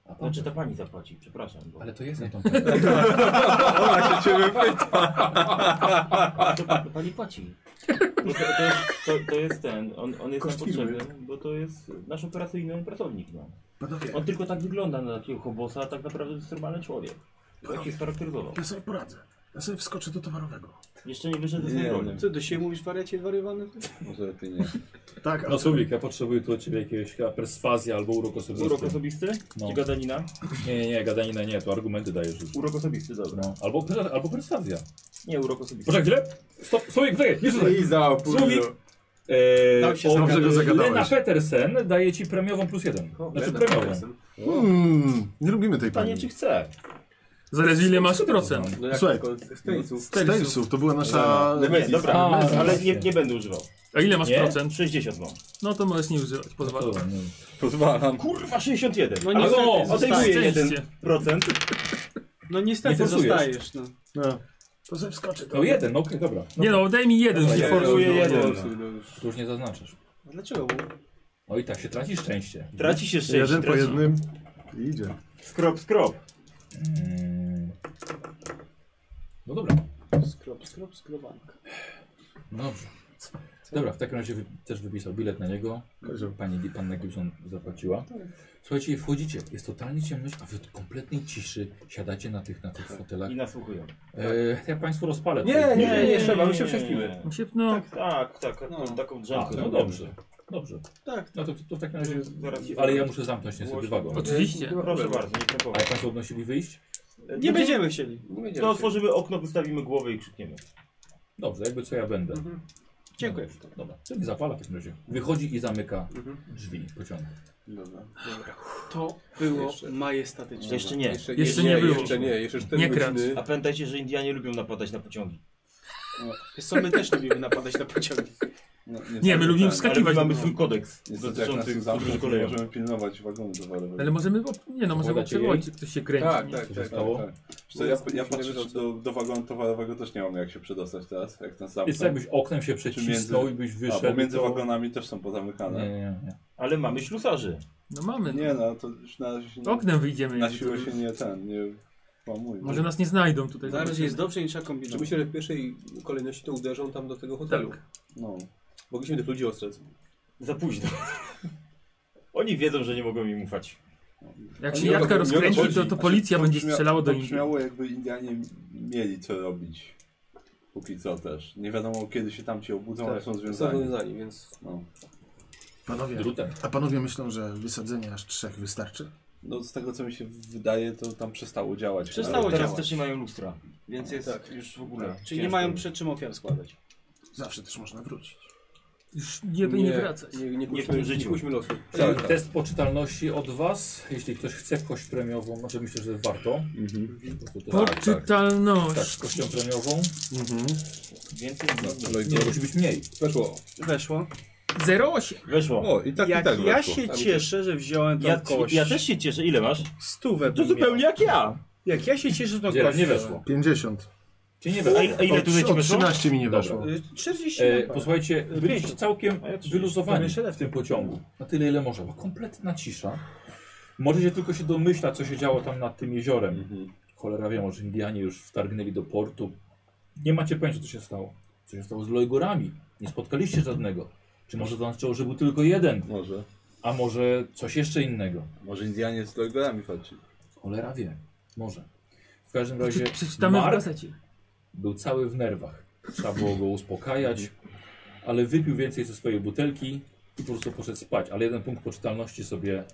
[SPEAKER 2] A pan,
[SPEAKER 10] Znaczy ta pani zapłaci, przepraszam. Bo...
[SPEAKER 2] ale to jest na tą
[SPEAKER 5] Ona się ciebie pyta.
[SPEAKER 10] A to pa- pani płaci. Bo to, to, jest, to, to jest ten, on, on jest nam
[SPEAKER 6] Koszt firmy.
[SPEAKER 10] potrzebny, bo to jest nasz operacyjny pracownik. No.
[SPEAKER 6] Panowie,
[SPEAKER 10] On tylko tak wygląda na takiego hobosa, a tak naprawdę to jest normalny człowiek. Tak się scharakteryzował.
[SPEAKER 6] ja sobie poradzę. Ja sobie wskoczę do towarowego.
[SPEAKER 10] Jeszcze nie wyszedł z
[SPEAKER 5] Nie,
[SPEAKER 10] tej roli.
[SPEAKER 1] Co, do siebie mówisz wariacie wariowany?
[SPEAKER 5] Może ty nie.
[SPEAKER 6] Tak,
[SPEAKER 2] No Słowik, ja potrzebuję tu od ciebie jakiegoś chyba perswazji albo urok osobisty.
[SPEAKER 10] Urok osobisty?
[SPEAKER 2] No.
[SPEAKER 10] Czy gadanina?
[SPEAKER 2] Nie, nie, nie, gadanina nie, tu argumenty dajesz.
[SPEAKER 10] Urok osobisty, dobra.
[SPEAKER 2] No. Albo, pers- albo perswazja.
[SPEAKER 10] Nie, urok osobisty.
[SPEAKER 2] Poczekaj chwilę. Stop, Słowik, czekaj, nie rzucaj.
[SPEAKER 7] I za późno.
[SPEAKER 2] Słowik. Eee,
[SPEAKER 1] Dał się
[SPEAKER 2] od-
[SPEAKER 6] Dobrze go zagadałeś.
[SPEAKER 2] Lena Petersen daje ci premiową plus jeden. Znaczy premiową.
[SPEAKER 6] Mm, nie lubimy tej
[SPEAKER 10] Pytanie,
[SPEAKER 6] pani.
[SPEAKER 10] czy chce?
[SPEAKER 3] Zależy ile masz procent.
[SPEAKER 7] No jak
[SPEAKER 6] Słuchaj.
[SPEAKER 7] tylko z tenisu.
[SPEAKER 6] Z Talesów, to była nasza...
[SPEAKER 10] Nie, dobra,
[SPEAKER 2] A,
[SPEAKER 10] ale
[SPEAKER 2] racja.
[SPEAKER 10] nie, nie będę używał.
[SPEAKER 3] A ile masz
[SPEAKER 2] Nie?
[SPEAKER 3] procent?
[SPEAKER 10] 60 mam.
[SPEAKER 3] No to możesz nie używać, pozwalam.
[SPEAKER 2] To, nie.
[SPEAKER 5] Pozwalam.
[SPEAKER 10] Kurwa, 61.
[SPEAKER 1] No
[SPEAKER 2] Ale
[SPEAKER 1] niestety,
[SPEAKER 2] no,
[SPEAKER 1] zostaje.
[SPEAKER 10] Odejmuję
[SPEAKER 3] Szczęście.
[SPEAKER 10] 1%.
[SPEAKER 1] no
[SPEAKER 2] Nie
[SPEAKER 1] niestety
[SPEAKER 2] forsujesz.
[SPEAKER 1] zostajesz, no.
[SPEAKER 6] No. To sobie wskoczę do...
[SPEAKER 2] no jeden, no okej, dobra.
[SPEAKER 3] Nie no, daj mi jeden, że
[SPEAKER 2] Dobra,
[SPEAKER 3] się
[SPEAKER 2] jeden.
[SPEAKER 3] forsuję.
[SPEAKER 7] No,
[SPEAKER 10] Forsuję jeden.
[SPEAKER 2] Tu już nie zaznaczasz.
[SPEAKER 1] A Dlaczego?
[SPEAKER 2] O i tak się traci szczęście.
[SPEAKER 10] Traci się 6.
[SPEAKER 6] Jeden po
[SPEAKER 10] traci.
[SPEAKER 6] jednym i idzie.
[SPEAKER 10] Skrop, skrop.
[SPEAKER 2] Mm. No dobra.
[SPEAKER 1] Skrop, skrop, skrobanka.
[SPEAKER 2] No Dobrze. Dobra, w takim razie wy, też wypisał bilet na niego. Pani panna Gibson zapłaciła. Słuchajcie, wchodzicie, jest totalnie ciemność, a wy w kompletnej ciszy siadacie na tych, na tych fotelach.
[SPEAKER 10] I nasłuchują.
[SPEAKER 2] E, ja Państwu rozpalę.
[SPEAKER 7] Nie,
[SPEAKER 2] tutaj.
[SPEAKER 7] nie, nie, trzeba, my się prześpimy.
[SPEAKER 3] Się- No,
[SPEAKER 10] Tak, tak, tak,
[SPEAKER 1] No.
[SPEAKER 10] taką
[SPEAKER 2] A,
[SPEAKER 10] drzemkę.
[SPEAKER 2] no dobrze, dobrze.
[SPEAKER 1] Tak, tak.
[SPEAKER 2] No to, to, to w takim razie,
[SPEAKER 10] Zaraz.
[SPEAKER 2] ale ja muszę zamknąć niestety
[SPEAKER 10] Głośno.
[SPEAKER 2] wagon.
[SPEAKER 3] oczywiście.
[SPEAKER 10] Proszę bardzo, nie
[SPEAKER 2] A
[SPEAKER 10] krępować.
[SPEAKER 2] jak Państwo odnosili wyjść?
[SPEAKER 1] Nie będziemy chcieli.
[SPEAKER 7] Nie
[SPEAKER 10] To
[SPEAKER 7] będziemy.
[SPEAKER 10] otworzymy okno, wystawimy głowę i krzykniemy.
[SPEAKER 2] Dobrze, jakby co ja będę.
[SPEAKER 1] Dziękuję.
[SPEAKER 2] No dobrze, Dobra, to nie zapala w takim razie. Wychodzi i zamyka drzwi pociągu.
[SPEAKER 5] Dobra.
[SPEAKER 1] To było majestatyczne.
[SPEAKER 10] Jeszcze nie.
[SPEAKER 7] Jeszcze,
[SPEAKER 3] Jeszcze nie było.
[SPEAKER 7] Jeszcze nie, jeszcze 4
[SPEAKER 3] Nie kradź.
[SPEAKER 7] godziny.
[SPEAKER 10] A pamiętajcie, że Indianie lubią napadać na pociągi.
[SPEAKER 1] Wiesz co, my też lubimy napadać na pociągi.
[SPEAKER 5] No,
[SPEAKER 3] Nie, my lubimy
[SPEAKER 10] Ale my
[SPEAKER 3] wskakiwać.
[SPEAKER 10] mamy swój kodeks
[SPEAKER 5] Niestety jak nas tu
[SPEAKER 10] dotyczący podróży
[SPEAKER 5] zamkną, nie
[SPEAKER 10] kolejowej.
[SPEAKER 5] możemy pilnować wagonu towarowego.
[SPEAKER 3] Ale możemy, ob- nie no, możemy
[SPEAKER 2] Powiadacie
[SPEAKER 3] obserwować,
[SPEAKER 2] jej?
[SPEAKER 3] czy ktoś się kręci.
[SPEAKER 7] Tak,
[SPEAKER 3] nie?
[SPEAKER 7] tak,
[SPEAKER 2] Co się
[SPEAKER 7] tak.
[SPEAKER 2] stało?
[SPEAKER 5] Tak,
[SPEAKER 8] Wiesz Co, ja, ja patrzę do, do wagonu towarowego, też nie mam jak się przedostać teraz, jak ten sam.
[SPEAKER 2] Jest to jakbyś oknem się przecisnął
[SPEAKER 8] tak,
[SPEAKER 2] i
[SPEAKER 8] między-
[SPEAKER 2] byś
[SPEAKER 8] A,
[SPEAKER 2] wyszedł.
[SPEAKER 8] bo między
[SPEAKER 2] to-
[SPEAKER 8] wagonami też są
[SPEAKER 2] Nie,
[SPEAKER 8] pozamykane.
[SPEAKER 2] nie, nie.
[SPEAKER 10] Ale mamy ślusarzy.
[SPEAKER 3] No mamy.
[SPEAKER 8] Nie no, to już na razie się nie,
[SPEAKER 3] Oknem wyjdziemy.
[SPEAKER 8] na
[SPEAKER 3] jakby
[SPEAKER 8] siłę
[SPEAKER 3] to-
[SPEAKER 8] się nie ten, nie tak, łamuje.
[SPEAKER 3] Może nas nie znajdą tutaj.
[SPEAKER 9] Na razie
[SPEAKER 3] zobaczymy.
[SPEAKER 9] jest dobrze niż trzeba kombinować.
[SPEAKER 7] Myślę, że w pierwszej kolejności to uderzą tam do tego hotelu.
[SPEAKER 3] Tak.
[SPEAKER 8] No.
[SPEAKER 7] Mogliśmy tych ludzi ostrzec.
[SPEAKER 10] Za późno. Oni wiedzą, że nie mogą im ufać.
[SPEAKER 3] Jak
[SPEAKER 8] Ale
[SPEAKER 3] się
[SPEAKER 8] nie
[SPEAKER 3] Jadka
[SPEAKER 8] chodzi- nie
[SPEAKER 3] rozkręci,
[SPEAKER 8] chodzi.
[SPEAKER 3] to, to
[SPEAKER 8] Znaczy,
[SPEAKER 3] policja
[SPEAKER 8] to
[SPEAKER 3] będzie
[SPEAKER 8] brzmia-
[SPEAKER 3] strzelała do
[SPEAKER 8] to
[SPEAKER 3] nich.
[SPEAKER 8] brzmiało jakby Indianie mieli co robić. Póki co też. Nie wiadomo kiedy się tam ci obudzą,
[SPEAKER 3] Tak.
[SPEAKER 8] ale są
[SPEAKER 7] Są
[SPEAKER 8] związani.
[SPEAKER 7] związani, więc
[SPEAKER 8] No.
[SPEAKER 6] Panowie,
[SPEAKER 2] Drutem.
[SPEAKER 6] a panowie myślą, że wysadzenie aż trzech wystarczy?
[SPEAKER 8] no z tego co mi się wydaje, to tam przestało działać.
[SPEAKER 9] Przestało
[SPEAKER 8] Ale-
[SPEAKER 10] Teraz
[SPEAKER 9] działać.
[SPEAKER 10] też nie mają lustra, więc jest już w ogóle.
[SPEAKER 9] Czyli nie
[SPEAKER 10] ciężko.
[SPEAKER 9] mają przed czym ofiar składać.
[SPEAKER 6] Zawsze też można wrócić.
[SPEAKER 3] Już nie, nie, nie wracać.
[SPEAKER 7] Nie, nie,
[SPEAKER 10] Nie w
[SPEAKER 7] kłóćmy,
[SPEAKER 10] tym
[SPEAKER 7] nie,
[SPEAKER 10] życiu.
[SPEAKER 7] kłóćmy losu.
[SPEAKER 8] Tak, tak.
[SPEAKER 2] Test poczytalności od was, jeśli ktoś chce kość premiową, znaczy myślę, że warto.
[SPEAKER 8] Mhm.
[SPEAKER 2] Po prostu to- Tak,
[SPEAKER 3] Poczytalność.
[SPEAKER 2] tak, z kością premiową.
[SPEAKER 10] Więcej
[SPEAKER 2] Nie, musi być mniej.
[SPEAKER 8] Weszło.
[SPEAKER 9] Weszło.
[SPEAKER 3] Tak. 08.
[SPEAKER 10] Weszło.
[SPEAKER 7] No,
[SPEAKER 8] O, i tak, i
[SPEAKER 9] Jak
[SPEAKER 8] tak
[SPEAKER 9] ja
[SPEAKER 8] weszło.
[SPEAKER 9] się cieszę, że wziąłem tą
[SPEAKER 10] Ja,
[SPEAKER 9] kość.
[SPEAKER 10] ja też się cieszę. Ile masz?
[SPEAKER 9] stówę
[SPEAKER 10] To
[SPEAKER 9] bym
[SPEAKER 10] zupełnie
[SPEAKER 9] miał.
[SPEAKER 10] jak ja.
[SPEAKER 9] Jak ja się cieszę, że tą
[SPEAKER 2] Nie,
[SPEAKER 9] No kość
[SPEAKER 2] nie
[SPEAKER 9] wziąłem.
[SPEAKER 2] weszło.
[SPEAKER 6] 50.
[SPEAKER 2] Cię nie
[SPEAKER 10] A
[SPEAKER 2] weszło.
[SPEAKER 10] ile, a ile
[SPEAKER 6] O,
[SPEAKER 10] tutaj
[SPEAKER 6] trzy-
[SPEAKER 10] ci
[SPEAKER 6] o
[SPEAKER 10] weszło?
[SPEAKER 6] 13 mi nie
[SPEAKER 2] Dobra.
[SPEAKER 6] weszło.
[SPEAKER 9] Y, 40
[SPEAKER 2] E,
[SPEAKER 9] na
[SPEAKER 2] posłuchajcie, byliście całkiem
[SPEAKER 10] A ja trzydzieści.
[SPEAKER 2] wyluzowani
[SPEAKER 9] Prawie siedem.
[SPEAKER 2] w tym pociągu. Na tyle, ile można. Była kompletna cisza. Możecie tylko się domyślać, co się działo tam nad tym jeziorem. Cholera wie, może Indianie już wtargnęli do portu. Nie macie pojęcia, co się stało. Co się stało z Lojgorami. Nie spotkaliście żadnego. Czy może to znaczyło, że był tylko jeden?
[SPEAKER 8] Może.
[SPEAKER 2] A może coś jeszcze innego?
[SPEAKER 8] Może Indianie z Logorami chodzi.
[SPEAKER 2] Cholera wie. Może. W każdym razie
[SPEAKER 3] Prze- No Przeczytamy w
[SPEAKER 2] Mark
[SPEAKER 3] gazecie.
[SPEAKER 2] był cały w nerwach. Trzeba było go uspokajać, ale wypił więcej ze swojej butelki i po prostu poszedł spać. Ale jeden punkt poczytalności sobie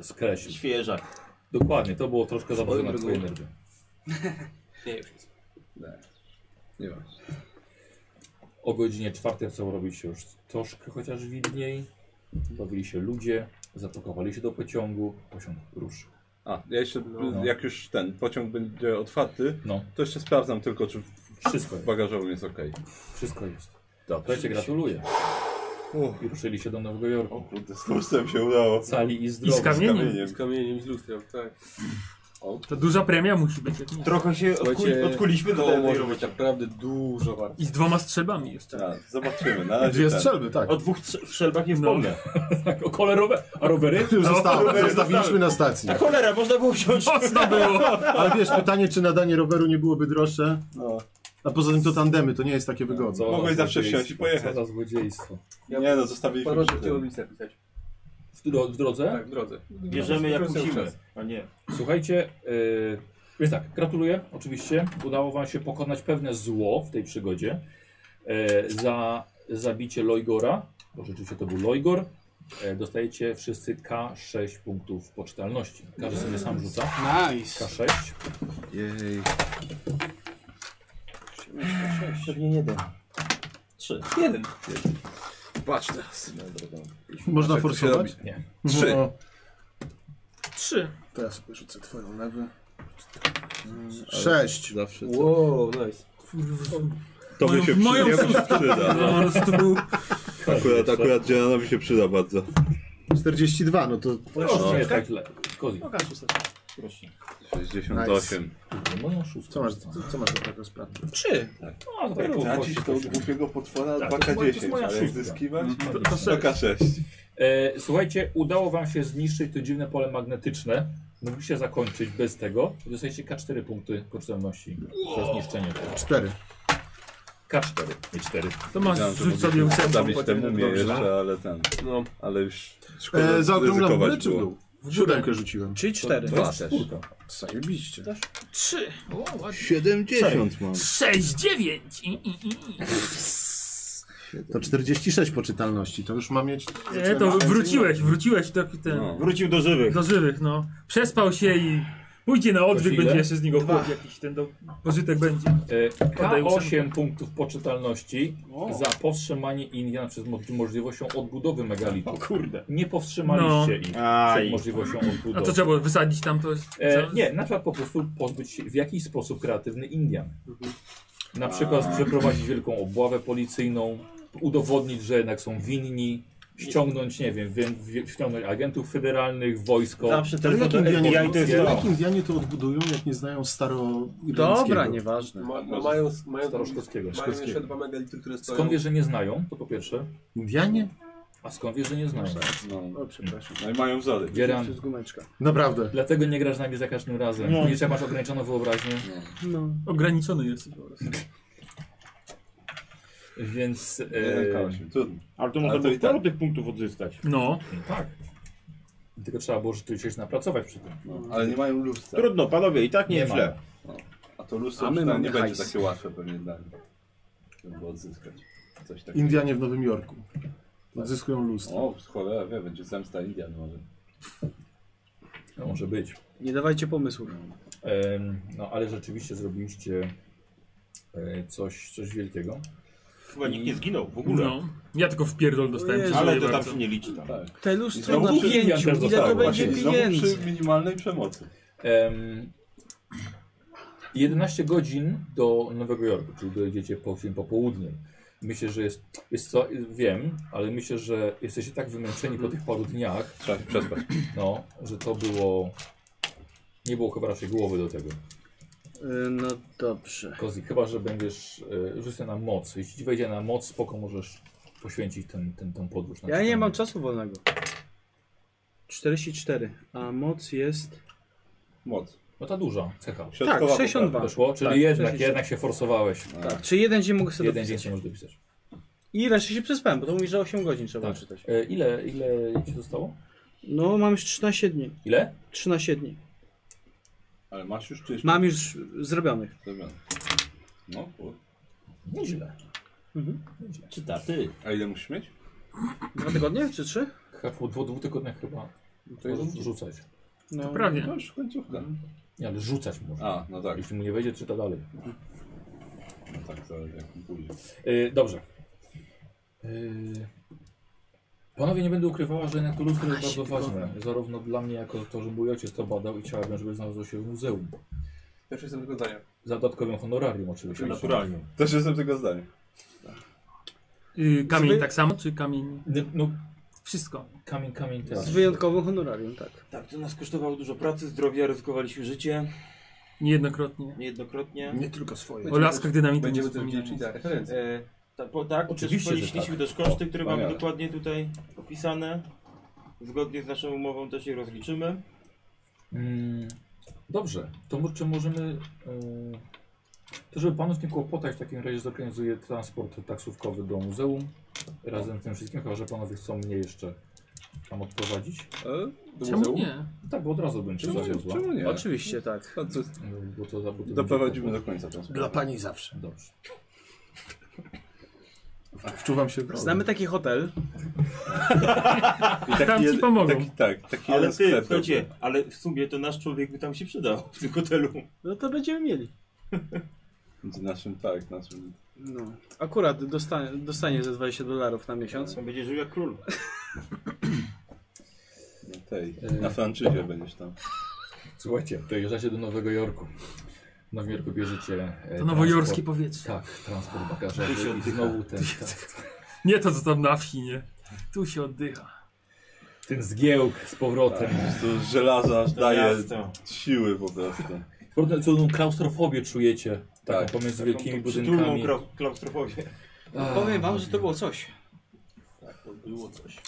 [SPEAKER 2] e, skreślił.
[SPEAKER 10] Świeżak.
[SPEAKER 2] Dokładnie, to było troszkę zawodzone na twoje nerwy.
[SPEAKER 7] Nie, już jest.
[SPEAKER 8] Nie wiem.
[SPEAKER 2] O godzinie czwartej chcą robić się już troszkę chociaż widniej. Bawili się ludzie, zapakowali się do pociągu, pociąg ruszył.
[SPEAKER 8] A, ja jeszcze,
[SPEAKER 2] No.
[SPEAKER 8] jak już ten pociąg będzie otwarty,
[SPEAKER 2] No,
[SPEAKER 8] to jeszcze sprawdzam tylko, czy w
[SPEAKER 2] wszystko jest,
[SPEAKER 8] bagażowym jest ok.
[SPEAKER 2] wszystko jest.
[SPEAKER 8] Dobrze.
[SPEAKER 2] Słuchajcie, gratuluję.
[SPEAKER 8] O,
[SPEAKER 2] I ruszyli się do Nowego Jorku.
[SPEAKER 8] o kurde, z tłuszczem się udało.
[SPEAKER 2] Cali i
[SPEAKER 3] I z
[SPEAKER 2] zdrowi.
[SPEAKER 3] kamieniem.
[SPEAKER 7] Z kamieniem, z lustrem, tak.
[SPEAKER 3] To duża premia musi być. jak nie.
[SPEAKER 10] Trochę się odkuli,
[SPEAKER 7] Słuchajcie,
[SPEAKER 10] odkuliśmy do
[SPEAKER 7] To może
[SPEAKER 10] tego.
[SPEAKER 7] być naprawdę dużo warte.
[SPEAKER 3] I z dwoma strzelbami jeszcze.
[SPEAKER 8] A, zobaczymy, na razie
[SPEAKER 6] Dwie
[SPEAKER 8] ten.
[SPEAKER 6] strzelby, tak.
[SPEAKER 10] O dwóch strze- strzelbach nie
[SPEAKER 3] No.
[SPEAKER 10] wspomnę.
[SPEAKER 2] Tak, o kolorowe, a rowery?
[SPEAKER 6] Już
[SPEAKER 10] rowery
[SPEAKER 6] zostało, zostawiliśmy na stacji.
[SPEAKER 10] A cholera, można było wziąć.
[SPEAKER 3] Mocno było.
[SPEAKER 6] Ale wiesz, pytanie, czy nadanie roweru nie byłoby droższe?
[SPEAKER 8] No.
[SPEAKER 6] A poza tym to tandemy, to nie jest takie wygodne.
[SPEAKER 2] Co
[SPEAKER 8] Mogłeś
[SPEAKER 2] za
[SPEAKER 8] zawsze
[SPEAKER 2] złodziejstwo,
[SPEAKER 8] wsiąść i pojechać.
[SPEAKER 2] Co za złodziejstwo.
[SPEAKER 8] Nie no, zostawiliśmy
[SPEAKER 7] Paroże
[SPEAKER 8] przy
[SPEAKER 7] chciałem
[SPEAKER 8] tym.
[SPEAKER 7] listę pisać.
[SPEAKER 2] W, dro w drodze?
[SPEAKER 7] Tak, w drodze.
[SPEAKER 10] Bierzemy jak
[SPEAKER 7] Proszę
[SPEAKER 10] musimy.
[SPEAKER 7] czas.
[SPEAKER 10] A nie.
[SPEAKER 2] Słuchajcie, yy, więc tak, gratuluję oczywiście. Udało wam się pokonać pewne zło w tej przygodzie. E, za zabicie Lojgora, bo rzeczywiście to był Lojgor, e, dostajecie wszyscy K6 punktów poczytalności. Każdy sobie sam rzuca.
[SPEAKER 9] Nice.
[SPEAKER 2] K6.
[SPEAKER 8] Jej.
[SPEAKER 10] Pewnie nie da. Trzy.
[SPEAKER 7] Jeden.
[SPEAKER 8] Patrz teraz.
[SPEAKER 6] Można
[SPEAKER 8] Tak to się
[SPEAKER 6] forsować?
[SPEAKER 8] robi.
[SPEAKER 2] Nie.
[SPEAKER 8] Trzy.
[SPEAKER 6] No,
[SPEAKER 3] Trzy.
[SPEAKER 6] to ja sobie rzucę twoją lewy.
[SPEAKER 8] Mm,
[SPEAKER 6] Sześć.
[SPEAKER 8] Zawsze to.
[SPEAKER 7] Wow, nice.
[SPEAKER 8] Tobie się
[SPEAKER 3] w moją
[SPEAKER 8] przyda. Jemu się przyda.
[SPEAKER 3] No, po prostu był...
[SPEAKER 8] Akurat, akurat Dzielanowi się przyda bardzo.
[SPEAKER 6] 42, no to
[SPEAKER 2] Proszę, nie jest tak źle. Kozi.
[SPEAKER 9] Pokaż ustawę.
[SPEAKER 2] Proszę.
[SPEAKER 8] 68.
[SPEAKER 2] Kurde, no, Moją szóstkę.
[SPEAKER 6] co masz, co, co masz do tego sprawy?
[SPEAKER 9] Trzy.
[SPEAKER 2] A, to tak,
[SPEAKER 8] Tracisz
[SPEAKER 2] to
[SPEAKER 8] tego głupiego potwora
[SPEAKER 2] Tak, to jest moja- to jest
[SPEAKER 8] 2K10,
[SPEAKER 2] moja
[SPEAKER 8] ale jak
[SPEAKER 2] szóstka.
[SPEAKER 8] zyskiwać?
[SPEAKER 2] Mhm.
[SPEAKER 8] To K6.
[SPEAKER 2] E, słuchajcie, udało wam się zniszczyć to dziwne pole magnetyczne. Mogliście zakończyć bez tego. Dostajecie K4 punkty poczytalności za zniszczenie. tego.
[SPEAKER 6] Cztery.
[SPEAKER 2] K4, nie 4.
[SPEAKER 3] To masz,
[SPEAKER 8] Wiedziałem, że
[SPEAKER 3] rzuć sobie
[SPEAKER 8] mogliśmy
[SPEAKER 3] ósemką.
[SPEAKER 8] Zabić
[SPEAKER 3] potem.
[SPEAKER 8] tę mumię
[SPEAKER 3] Dobrze.
[SPEAKER 8] jeszcze, ale ten.
[SPEAKER 7] No.
[SPEAKER 8] Ale już szkoda
[SPEAKER 6] E, zaokrąglam w górę
[SPEAKER 8] ryzykować
[SPEAKER 6] czy w dół? W siódemkę rzuciłem.
[SPEAKER 9] Czyli cztery.
[SPEAKER 8] Dwa też.
[SPEAKER 6] Zajebiście.
[SPEAKER 3] Trzy. O, ładnie.
[SPEAKER 8] 70 mam.
[SPEAKER 3] Sześć, dziewięć. I, i, i.
[SPEAKER 6] To 46 poczytalności, to już mam mieć...
[SPEAKER 3] E, to wróciłeś, wróciłeś do, ten,
[SPEAKER 8] No.
[SPEAKER 10] Wrócił do żywych.
[SPEAKER 3] do żywych, no. Przespał się i pójdzie na odwyk,
[SPEAKER 2] Ile?
[SPEAKER 3] będzie jeszcze z niego chłop jakiś, ten do, pożytek będzie.
[SPEAKER 2] E,
[SPEAKER 3] Oddaję ósemkę.
[SPEAKER 2] K8 punktów poczytalności
[SPEAKER 9] O.
[SPEAKER 2] za powstrzymanie Indian przed mo- możliwością odbudowy megalitu.
[SPEAKER 10] Kurde.
[SPEAKER 2] Nie powstrzymaliście ich
[SPEAKER 10] Aj.
[SPEAKER 2] przed możliwością
[SPEAKER 3] A to
[SPEAKER 2] odbudowy.
[SPEAKER 3] trzeba było wysadzić tam to.
[SPEAKER 2] E, nie, na przykład po prostu pozbyć się w jakiś sposób kreatywny Indian. Na przykład przeprowadzić wielką obławę policyjną, udowodnić, że jednak są winni, ściągnąć, nie wiem, wy- wy- ściągnąć agentów federalnych, wojsko.
[SPEAKER 10] Zawsze
[SPEAKER 6] Ale
[SPEAKER 10] telefon
[SPEAKER 6] jak
[SPEAKER 10] do
[SPEAKER 6] Indianie,
[SPEAKER 10] FBI to jest
[SPEAKER 2] to.
[SPEAKER 6] jak Indianie to odbudują, jak nie znają staro
[SPEAKER 9] Dobra,
[SPEAKER 6] irlandzkiego?
[SPEAKER 9] nieważne.
[SPEAKER 7] Ma, ma, mają, mają,
[SPEAKER 2] Staroszkockiego.
[SPEAKER 7] mają jeszcze dwa megality, które stoją.
[SPEAKER 2] Skąd wiesz, że nie znają? To po pierwsze.
[SPEAKER 6] Indianie?
[SPEAKER 2] A skąd wiesz, że nie znają?
[SPEAKER 9] No,
[SPEAKER 6] O, przepraszam.
[SPEAKER 8] No i mają wzory.
[SPEAKER 9] to
[SPEAKER 2] Dzieran,
[SPEAKER 9] jest gumeczka.
[SPEAKER 6] Naprawdę.
[SPEAKER 2] dlatego nie grasz z nami za każdym razem.
[SPEAKER 10] Nie.
[SPEAKER 2] Nie trzeba masz ograniczoną wyobraźnię.
[SPEAKER 9] No.
[SPEAKER 3] Ograniczony jesteś po prostu.
[SPEAKER 2] Więc. e,
[SPEAKER 8] Nie lękała się. Yy, Trudno.
[SPEAKER 10] Ale to
[SPEAKER 8] Ale
[SPEAKER 10] można
[SPEAKER 8] to
[SPEAKER 10] było
[SPEAKER 8] i tak.
[SPEAKER 10] sporo tych punktów odzyskać.
[SPEAKER 3] No,
[SPEAKER 2] tak. Tylko trzeba było rzeczywiście się napracować przy tym.
[SPEAKER 9] No,
[SPEAKER 8] Ale nie mają lustra.
[SPEAKER 10] Trudno, panowie, i tak nie,
[SPEAKER 2] Nie
[SPEAKER 10] nie
[SPEAKER 2] ma.
[SPEAKER 10] źle.
[SPEAKER 8] A to lustro
[SPEAKER 9] A
[SPEAKER 8] już
[SPEAKER 9] my
[SPEAKER 8] tam
[SPEAKER 9] mamy
[SPEAKER 8] nie będzie
[SPEAKER 9] hajs.
[SPEAKER 8] takie łatwe pewnie dla nich. Żeby odzyskać. Coś takiego.
[SPEAKER 6] Indianie w Nowym Jorku. Odzyskują lustro.
[SPEAKER 8] O, cholera wie, będzie zemsta Indian może.
[SPEAKER 2] No, może być.
[SPEAKER 9] Nie dawajcie pomysłów.
[SPEAKER 2] Em, No ale rzeczywiście zrobiliście e, coś, coś wielkiego.
[SPEAKER 10] Chyba nikt nie zginął w ogóle.
[SPEAKER 3] no. Ja tylko w pierdol dostałem.
[SPEAKER 9] Jezu,
[SPEAKER 10] Ale
[SPEAKER 3] dziękuję
[SPEAKER 10] to tam
[SPEAKER 3] bardzo.
[SPEAKER 10] się nie liczy. Tam.
[SPEAKER 8] Tak.
[SPEAKER 9] Te
[SPEAKER 8] I
[SPEAKER 9] lustro
[SPEAKER 8] znowu
[SPEAKER 9] na
[SPEAKER 2] Indian
[SPEAKER 9] pięciu,
[SPEAKER 2] też
[SPEAKER 9] ile
[SPEAKER 2] dostał,
[SPEAKER 9] to
[SPEAKER 8] Tak, Właśnie,
[SPEAKER 9] będzie
[SPEAKER 8] i znowu
[SPEAKER 9] pieniędzy?
[SPEAKER 8] przy minimalnej przemocy.
[SPEAKER 2] Em, 11 godzin do Nowego Jorku, czyli dojedziecie po film popołudniem. Myślę, że jest, jest co, wiem, ale myślę, że jesteście tak wymęczeni
[SPEAKER 9] Mhm.
[SPEAKER 2] po tych paru dniach,
[SPEAKER 8] Trzeba się przespać.
[SPEAKER 2] no, że to było, nie było chyba raczej głowy do tego.
[SPEAKER 9] Y, No dobrze.
[SPEAKER 2] Kozi, chyba, że będziesz e, rzucę na moc. Jeśli ci wejdzie na moc, spoko możesz poświęcić ten, ten, tą podróż. Na
[SPEAKER 9] Ja nie
[SPEAKER 2] czytanie.
[SPEAKER 9] mam czasu wolnego. 44, a moc jest...
[SPEAKER 8] Moc.
[SPEAKER 2] No ta duża cecha.
[SPEAKER 8] Środkowa
[SPEAKER 9] tak,
[SPEAKER 8] poprawa.
[SPEAKER 9] 62.
[SPEAKER 2] Doszło? Czyli
[SPEAKER 9] Tak,
[SPEAKER 2] jednak,
[SPEAKER 9] 60.
[SPEAKER 2] jednak się forsowałeś.
[SPEAKER 9] Tak, czy jeden dzień mogę sobie
[SPEAKER 2] Jeden dzień
[SPEAKER 9] dopisać?
[SPEAKER 2] się możesz dopisać.
[SPEAKER 9] I resztę się przespałem, bo to mówi, że 8 godzin trzeba
[SPEAKER 2] Tak.
[SPEAKER 9] czytać.
[SPEAKER 2] E, ile, ile ci zostało?
[SPEAKER 9] No, mam już 13 dni.
[SPEAKER 2] Ile?
[SPEAKER 9] 13 dni.
[SPEAKER 8] Ale masz już czyś.
[SPEAKER 9] Mam już zrobionych.
[SPEAKER 8] Zrobione. No, kur.
[SPEAKER 2] Nieźle.
[SPEAKER 9] Mhm.
[SPEAKER 2] Nieźle.
[SPEAKER 10] Czyta ty.
[SPEAKER 8] A ile musisz mieć?
[SPEAKER 9] Dwa tygodnie czy trzy?
[SPEAKER 2] Chyba po dwóch dwóch tygodniach chyba możesz rzucać.
[SPEAKER 9] No,
[SPEAKER 3] Prawie.
[SPEAKER 8] No już końcówka.
[SPEAKER 2] Nie, ale rzucać może.
[SPEAKER 8] A, no tak.
[SPEAKER 2] Jeśli mu nie wejdzie, czyta dalej.
[SPEAKER 8] No tak, zależy jak mu pójdzie.
[SPEAKER 2] E, dobrze. E, panowie, nie będę ukrywała, że jednak to lustro jest bardzo ważne. Zarówno dla mnie, jako to, że mój ojciec to badał i chciałabym, żeby znalazło się w muzeum.
[SPEAKER 7] Też jestem tego zdania.
[SPEAKER 2] Za dodatkowym honorarium oczywiście.
[SPEAKER 10] Naturalnie.
[SPEAKER 8] Też jestem tego zdania.
[SPEAKER 3] Y, kamień tak samo, czy kamień...
[SPEAKER 2] No, no,
[SPEAKER 3] Wszystko.
[SPEAKER 2] kamień, kamień teraz.
[SPEAKER 9] Z wyjątkowym honorarium, tak.
[SPEAKER 10] Tak, to nas kosztowało dużo pracy, zdrowia, ryzykowaliśmy życie
[SPEAKER 3] Niejednokrotnie.
[SPEAKER 10] niejednokrotnie.
[SPEAKER 6] Nie tylko swoje.
[SPEAKER 3] O laskach dynamitu nie
[SPEAKER 7] Będziemy tak. też wdzięczni
[SPEAKER 3] wspominałem.
[SPEAKER 7] za referencję.
[SPEAKER 10] E, ta, po, tak,
[SPEAKER 2] Oczywiście,
[SPEAKER 10] Oczywiście,
[SPEAKER 2] że
[SPEAKER 10] policzyliśmy
[SPEAKER 2] tak.
[SPEAKER 10] też koszty, które mamy
[SPEAKER 8] wspaniale.
[SPEAKER 10] dokładnie tutaj opisane. Zgodnie z naszą umową też je rozliczymy.
[SPEAKER 2] Mm, dobrze, to mo- czy możemy. Yy, to żeby panów nie kłopotać, tak, w takim razie zorganizuję transport taksówkowy do muzeum razem z tym wszystkim, chyba że panowie chcą mnie jeszcze tam odprowadzić.
[SPEAKER 9] E,
[SPEAKER 8] Do
[SPEAKER 3] Czemu nie?
[SPEAKER 2] Tak, bo od razu bym cię
[SPEAKER 8] Czemu,
[SPEAKER 2] zawiozła.
[SPEAKER 8] czemu nie?
[SPEAKER 9] Oczywiście, tak.
[SPEAKER 8] To, to,
[SPEAKER 2] Yy, Bo to, za- bo to będzie
[SPEAKER 8] doprowadzimy do
[SPEAKER 2] kłopot.
[SPEAKER 8] końca tą sprawę.
[SPEAKER 6] Dla pani zawsze.
[SPEAKER 2] Dobrze.
[SPEAKER 6] Wczuwam się w
[SPEAKER 9] Znamy taki hotel.
[SPEAKER 8] I taki
[SPEAKER 3] Tam ci
[SPEAKER 8] jed-
[SPEAKER 3] pomogą.
[SPEAKER 8] Taki, tak, taki
[SPEAKER 10] Ale
[SPEAKER 8] jeden
[SPEAKER 10] ty,
[SPEAKER 8] sklep.
[SPEAKER 10] słuchajcie, ale w sumie to nasz człowiek by tam się przydał w tym hotelu.
[SPEAKER 9] No to będziemy mieli.
[SPEAKER 8] Będzie naszym, tak, naszym...
[SPEAKER 9] No. Akurat dostanie, dostanie ze 20 dolarów na miesiąc.
[SPEAKER 10] On będzie żył jak król.
[SPEAKER 8] Na tej,
[SPEAKER 2] Yy.
[SPEAKER 8] na franczyzie będziesz tam.
[SPEAKER 2] Słuchajcie, dojeżdżacie do Nowego Jorku. W Nowym Jorku bierzecie. e,
[SPEAKER 3] To nowojorskie
[SPEAKER 2] transport-
[SPEAKER 3] powietrze.
[SPEAKER 2] Tak, transport bagażowy i znowu ten, ten,
[SPEAKER 3] Nie to, co tam na wsi, nie. Tu się oddycha.
[SPEAKER 2] ten zgiełk z powrotem.
[SPEAKER 8] To żelaza aż daje
[SPEAKER 10] Miasto.
[SPEAKER 8] siły po prostu.
[SPEAKER 2] Porównaj cudowną klaustrofobię czujecie. Taką
[SPEAKER 8] Tak,
[SPEAKER 2] pomiędzy
[SPEAKER 10] Taką
[SPEAKER 2] wielkimi
[SPEAKER 10] tą przytulną
[SPEAKER 2] budynkami.
[SPEAKER 10] klau- klaustrofobię.
[SPEAKER 2] Ach,
[SPEAKER 9] Powiem wam, że to było coś.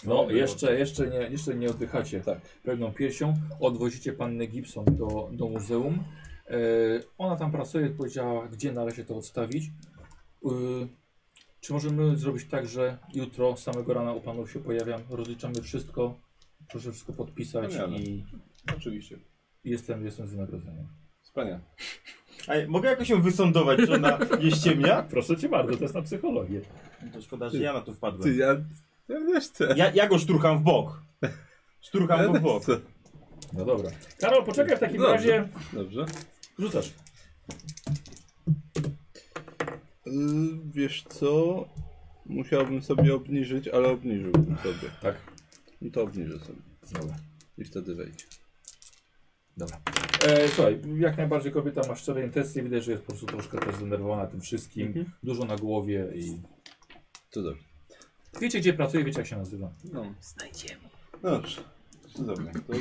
[SPEAKER 2] No, jeszcze, jeszcze, nie, jeszcze nie oddychacie
[SPEAKER 8] Tak.
[SPEAKER 2] pewną piersią. Odwozicie pannę Gibson do, do muzeum. E, ona tam pracuje, powiedziała, gdzie należy to odstawić. E, czy możemy zrobić tak, że jutro, samego rana u panów się pojawiam, rozliczamy wszystko, proszę wszystko podpisać
[SPEAKER 8] Wspaniale.
[SPEAKER 2] i
[SPEAKER 8] Oczywiście.
[SPEAKER 2] jestem, jestem z wynagrodzeniem.
[SPEAKER 8] Wspaniale.
[SPEAKER 10] A ja- mogę jakoś ją wysądować, czy ona nie ściemnia?
[SPEAKER 2] Proszę cię bardzo, to jest na psychologię.
[SPEAKER 10] To szkoda, że ja na to
[SPEAKER 8] Ty,
[SPEAKER 10] wpadłem.
[SPEAKER 8] ja... Ja też chcę.
[SPEAKER 10] Ja, ja go szturcham w bok. Szturcham
[SPEAKER 8] Ja
[SPEAKER 10] go w
[SPEAKER 8] też
[SPEAKER 10] bok.
[SPEAKER 8] chcę.
[SPEAKER 2] No dobra. Karol, poczekaj w takim
[SPEAKER 8] Dobrze.
[SPEAKER 2] razie.
[SPEAKER 8] Dobrze.
[SPEAKER 2] Rzucasz.
[SPEAKER 8] Y, Wiesz co? Musiałbym sobie obniżyć, ale obniżyłbym sobie.
[SPEAKER 2] Tak.
[SPEAKER 8] I to obniżę sobie.
[SPEAKER 2] Dobra.
[SPEAKER 8] I wtedy wejdzie.
[SPEAKER 2] Dobra. E, słuchaj, jak najbardziej kobieta ma szczere intencje, widać, że jest po Mhm. prostu troszkę też zdenerwowana tym wszystkim, dużo na głowie i
[SPEAKER 8] To dobrze.
[SPEAKER 2] Wiecie, gdzie pracuje, wiecie, jak się nazywa.
[SPEAKER 16] No.
[SPEAKER 3] Znajdziemy.
[SPEAKER 8] No dobrze. No Dobra, to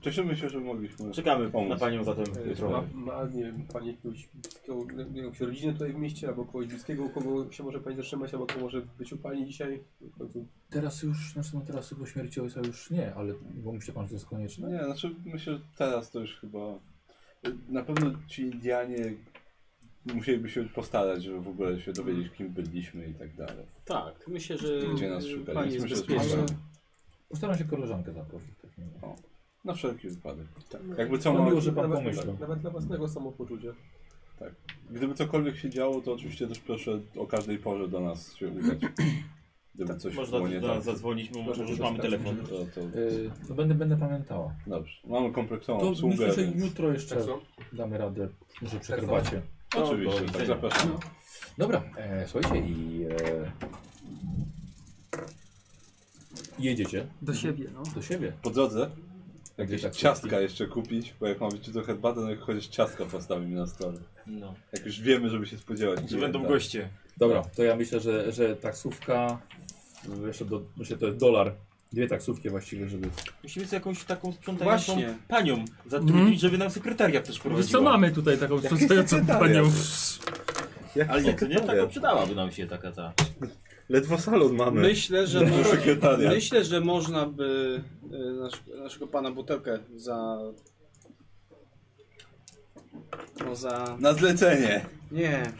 [SPEAKER 8] cieszymy się, że mogliśmy.
[SPEAKER 10] Czekamy
[SPEAKER 8] Pomóc.
[SPEAKER 10] na panią zatem
[SPEAKER 8] dobra.
[SPEAKER 10] jutro.
[SPEAKER 7] Ma, ma, nie wiem, pani jakiegoś, takiego- jakąś rodzinę tutaj w mieście, albo kogoś bliskiego, kogo się może pani zatrzymać, albo kogo może być u pani dzisiaj. W końcu
[SPEAKER 2] Teraz już, znaczy no teraz po śmierci ojca już nie, ale bo myśli pan, że to jest konieczne?
[SPEAKER 8] Nie, znaczy myślę, że teraz to już chyba. Na pewno ci Indianie musieliby się postarać, żeby w ogóle się dowiedzieć, kim byliśmy i tak dalej.
[SPEAKER 9] Tak, myślę, że
[SPEAKER 8] Gdzie nas szukali?
[SPEAKER 9] pani jest
[SPEAKER 8] Myślę, że
[SPEAKER 9] bezpieczna.
[SPEAKER 8] to-
[SPEAKER 2] Postaram się koleżankę zaprosić. w takim razie.
[SPEAKER 8] Na wszelki wypadek. Jakby co
[SPEAKER 2] Tak. To
[SPEAKER 8] ma,
[SPEAKER 2] miło, że pan
[SPEAKER 7] nawet,
[SPEAKER 2] pomyślał.
[SPEAKER 7] Nawet dla własnego samopoczucia.
[SPEAKER 8] Gdyby cokolwiek się działo, to oczywiście też proszę o każdej porze do nas się udać. Gdyby coś
[SPEAKER 10] Można
[SPEAKER 8] było nie
[SPEAKER 10] też do
[SPEAKER 8] tak.
[SPEAKER 10] nas zadzwonić, bo
[SPEAKER 7] Proszę
[SPEAKER 10] może już
[SPEAKER 7] się
[SPEAKER 10] mamy
[SPEAKER 7] dostać.
[SPEAKER 10] telefon.
[SPEAKER 8] To, to
[SPEAKER 2] Yy, to będę, będę pamiętała.
[SPEAKER 8] dobrze. Mamy kompleksową
[SPEAKER 2] To
[SPEAKER 8] obsługę.
[SPEAKER 2] myślę, że
[SPEAKER 8] więc-
[SPEAKER 2] jutro jeszcze
[SPEAKER 7] Tak co? Tak
[SPEAKER 2] damy radę, może przy herbacie.
[SPEAKER 8] Oczywiście,
[SPEAKER 10] do
[SPEAKER 8] tak,
[SPEAKER 10] widzenia.
[SPEAKER 8] zapraszam.
[SPEAKER 2] Dobra, e, słuchajcie i... E, jedziecie
[SPEAKER 3] Do siebie, no.
[SPEAKER 2] do siebie.
[SPEAKER 8] Po drodze jakieś
[SPEAKER 6] tak
[SPEAKER 2] Dwie taksówki.
[SPEAKER 8] ciastka jeszcze kupić, bo jak ma być jutro herbatę, no jak chociaż ciastka postawimy na stole.
[SPEAKER 10] No.
[SPEAKER 8] Jak już wiemy, żeby się spodziewać.
[SPEAKER 10] Że będą
[SPEAKER 8] klienta.
[SPEAKER 10] goście.
[SPEAKER 2] Dobra, to ja myślę, że, że taksówka, jeszcze do, myślę, to jest dolar. Dwie taksówki właściwie, żeby...
[SPEAKER 10] Musimy sobie jakąś taką sprzątającą
[SPEAKER 9] Właśnie.
[SPEAKER 10] panią zatrudnić,
[SPEAKER 3] Mhm.
[SPEAKER 10] żeby nam sekretariat też prowadziła.
[SPEAKER 3] Wiesz co, mamy tutaj taką sprzątającą panią.
[SPEAKER 8] tak.
[SPEAKER 10] Ale nie, to tak nie, taka
[SPEAKER 8] Sekretariat.
[SPEAKER 10] przydałaby nam się taka ta.
[SPEAKER 8] Ledwo salon mamy.
[SPEAKER 9] Myślę, że,
[SPEAKER 8] Dobrze, sekretariat.
[SPEAKER 9] myślę, że można by y, nasz, naszego pana butelkę za. No za.
[SPEAKER 8] Na zlecenie.
[SPEAKER 9] Nie,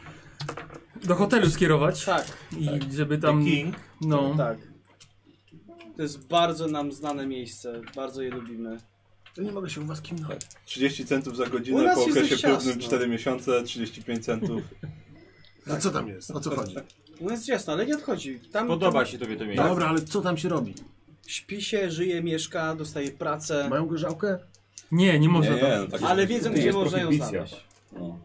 [SPEAKER 3] Do hotelu skierować.
[SPEAKER 9] tak,
[SPEAKER 3] I żeby
[SPEAKER 10] Tam...
[SPEAKER 3] tam.
[SPEAKER 10] King.
[SPEAKER 3] No.
[SPEAKER 9] tak. To jest bardzo nam znane miejsce, bardzo je lubimy.
[SPEAKER 6] To nie mogę się u was kimnąć.
[SPEAKER 8] 30 centów za
[SPEAKER 9] U
[SPEAKER 8] godzinę,
[SPEAKER 9] nas
[SPEAKER 8] po
[SPEAKER 9] jest
[SPEAKER 8] okresie
[SPEAKER 9] dość ciasno.
[SPEAKER 8] próbnym 4 miesiące, 35 centów.
[SPEAKER 6] No co tam jest? O co chodzi?
[SPEAKER 9] No jest jasno, ale nie odchodzi. Tam,
[SPEAKER 10] Podoba
[SPEAKER 9] tam
[SPEAKER 10] się tobie to miejsce.
[SPEAKER 6] Dobra, ale co tam się robi?
[SPEAKER 9] śpi się, żyje, mieszka, dostaje pracę,
[SPEAKER 6] Mają gorzałkę?
[SPEAKER 3] Nie, nie można
[SPEAKER 8] Nie,
[SPEAKER 3] tam.
[SPEAKER 8] nie, no tak
[SPEAKER 9] ale wiedzą,
[SPEAKER 2] nie
[SPEAKER 9] gdzie
[SPEAKER 2] jest
[SPEAKER 9] można ją
[SPEAKER 2] prohibicja.
[SPEAKER 9] znaleźć.
[SPEAKER 8] No.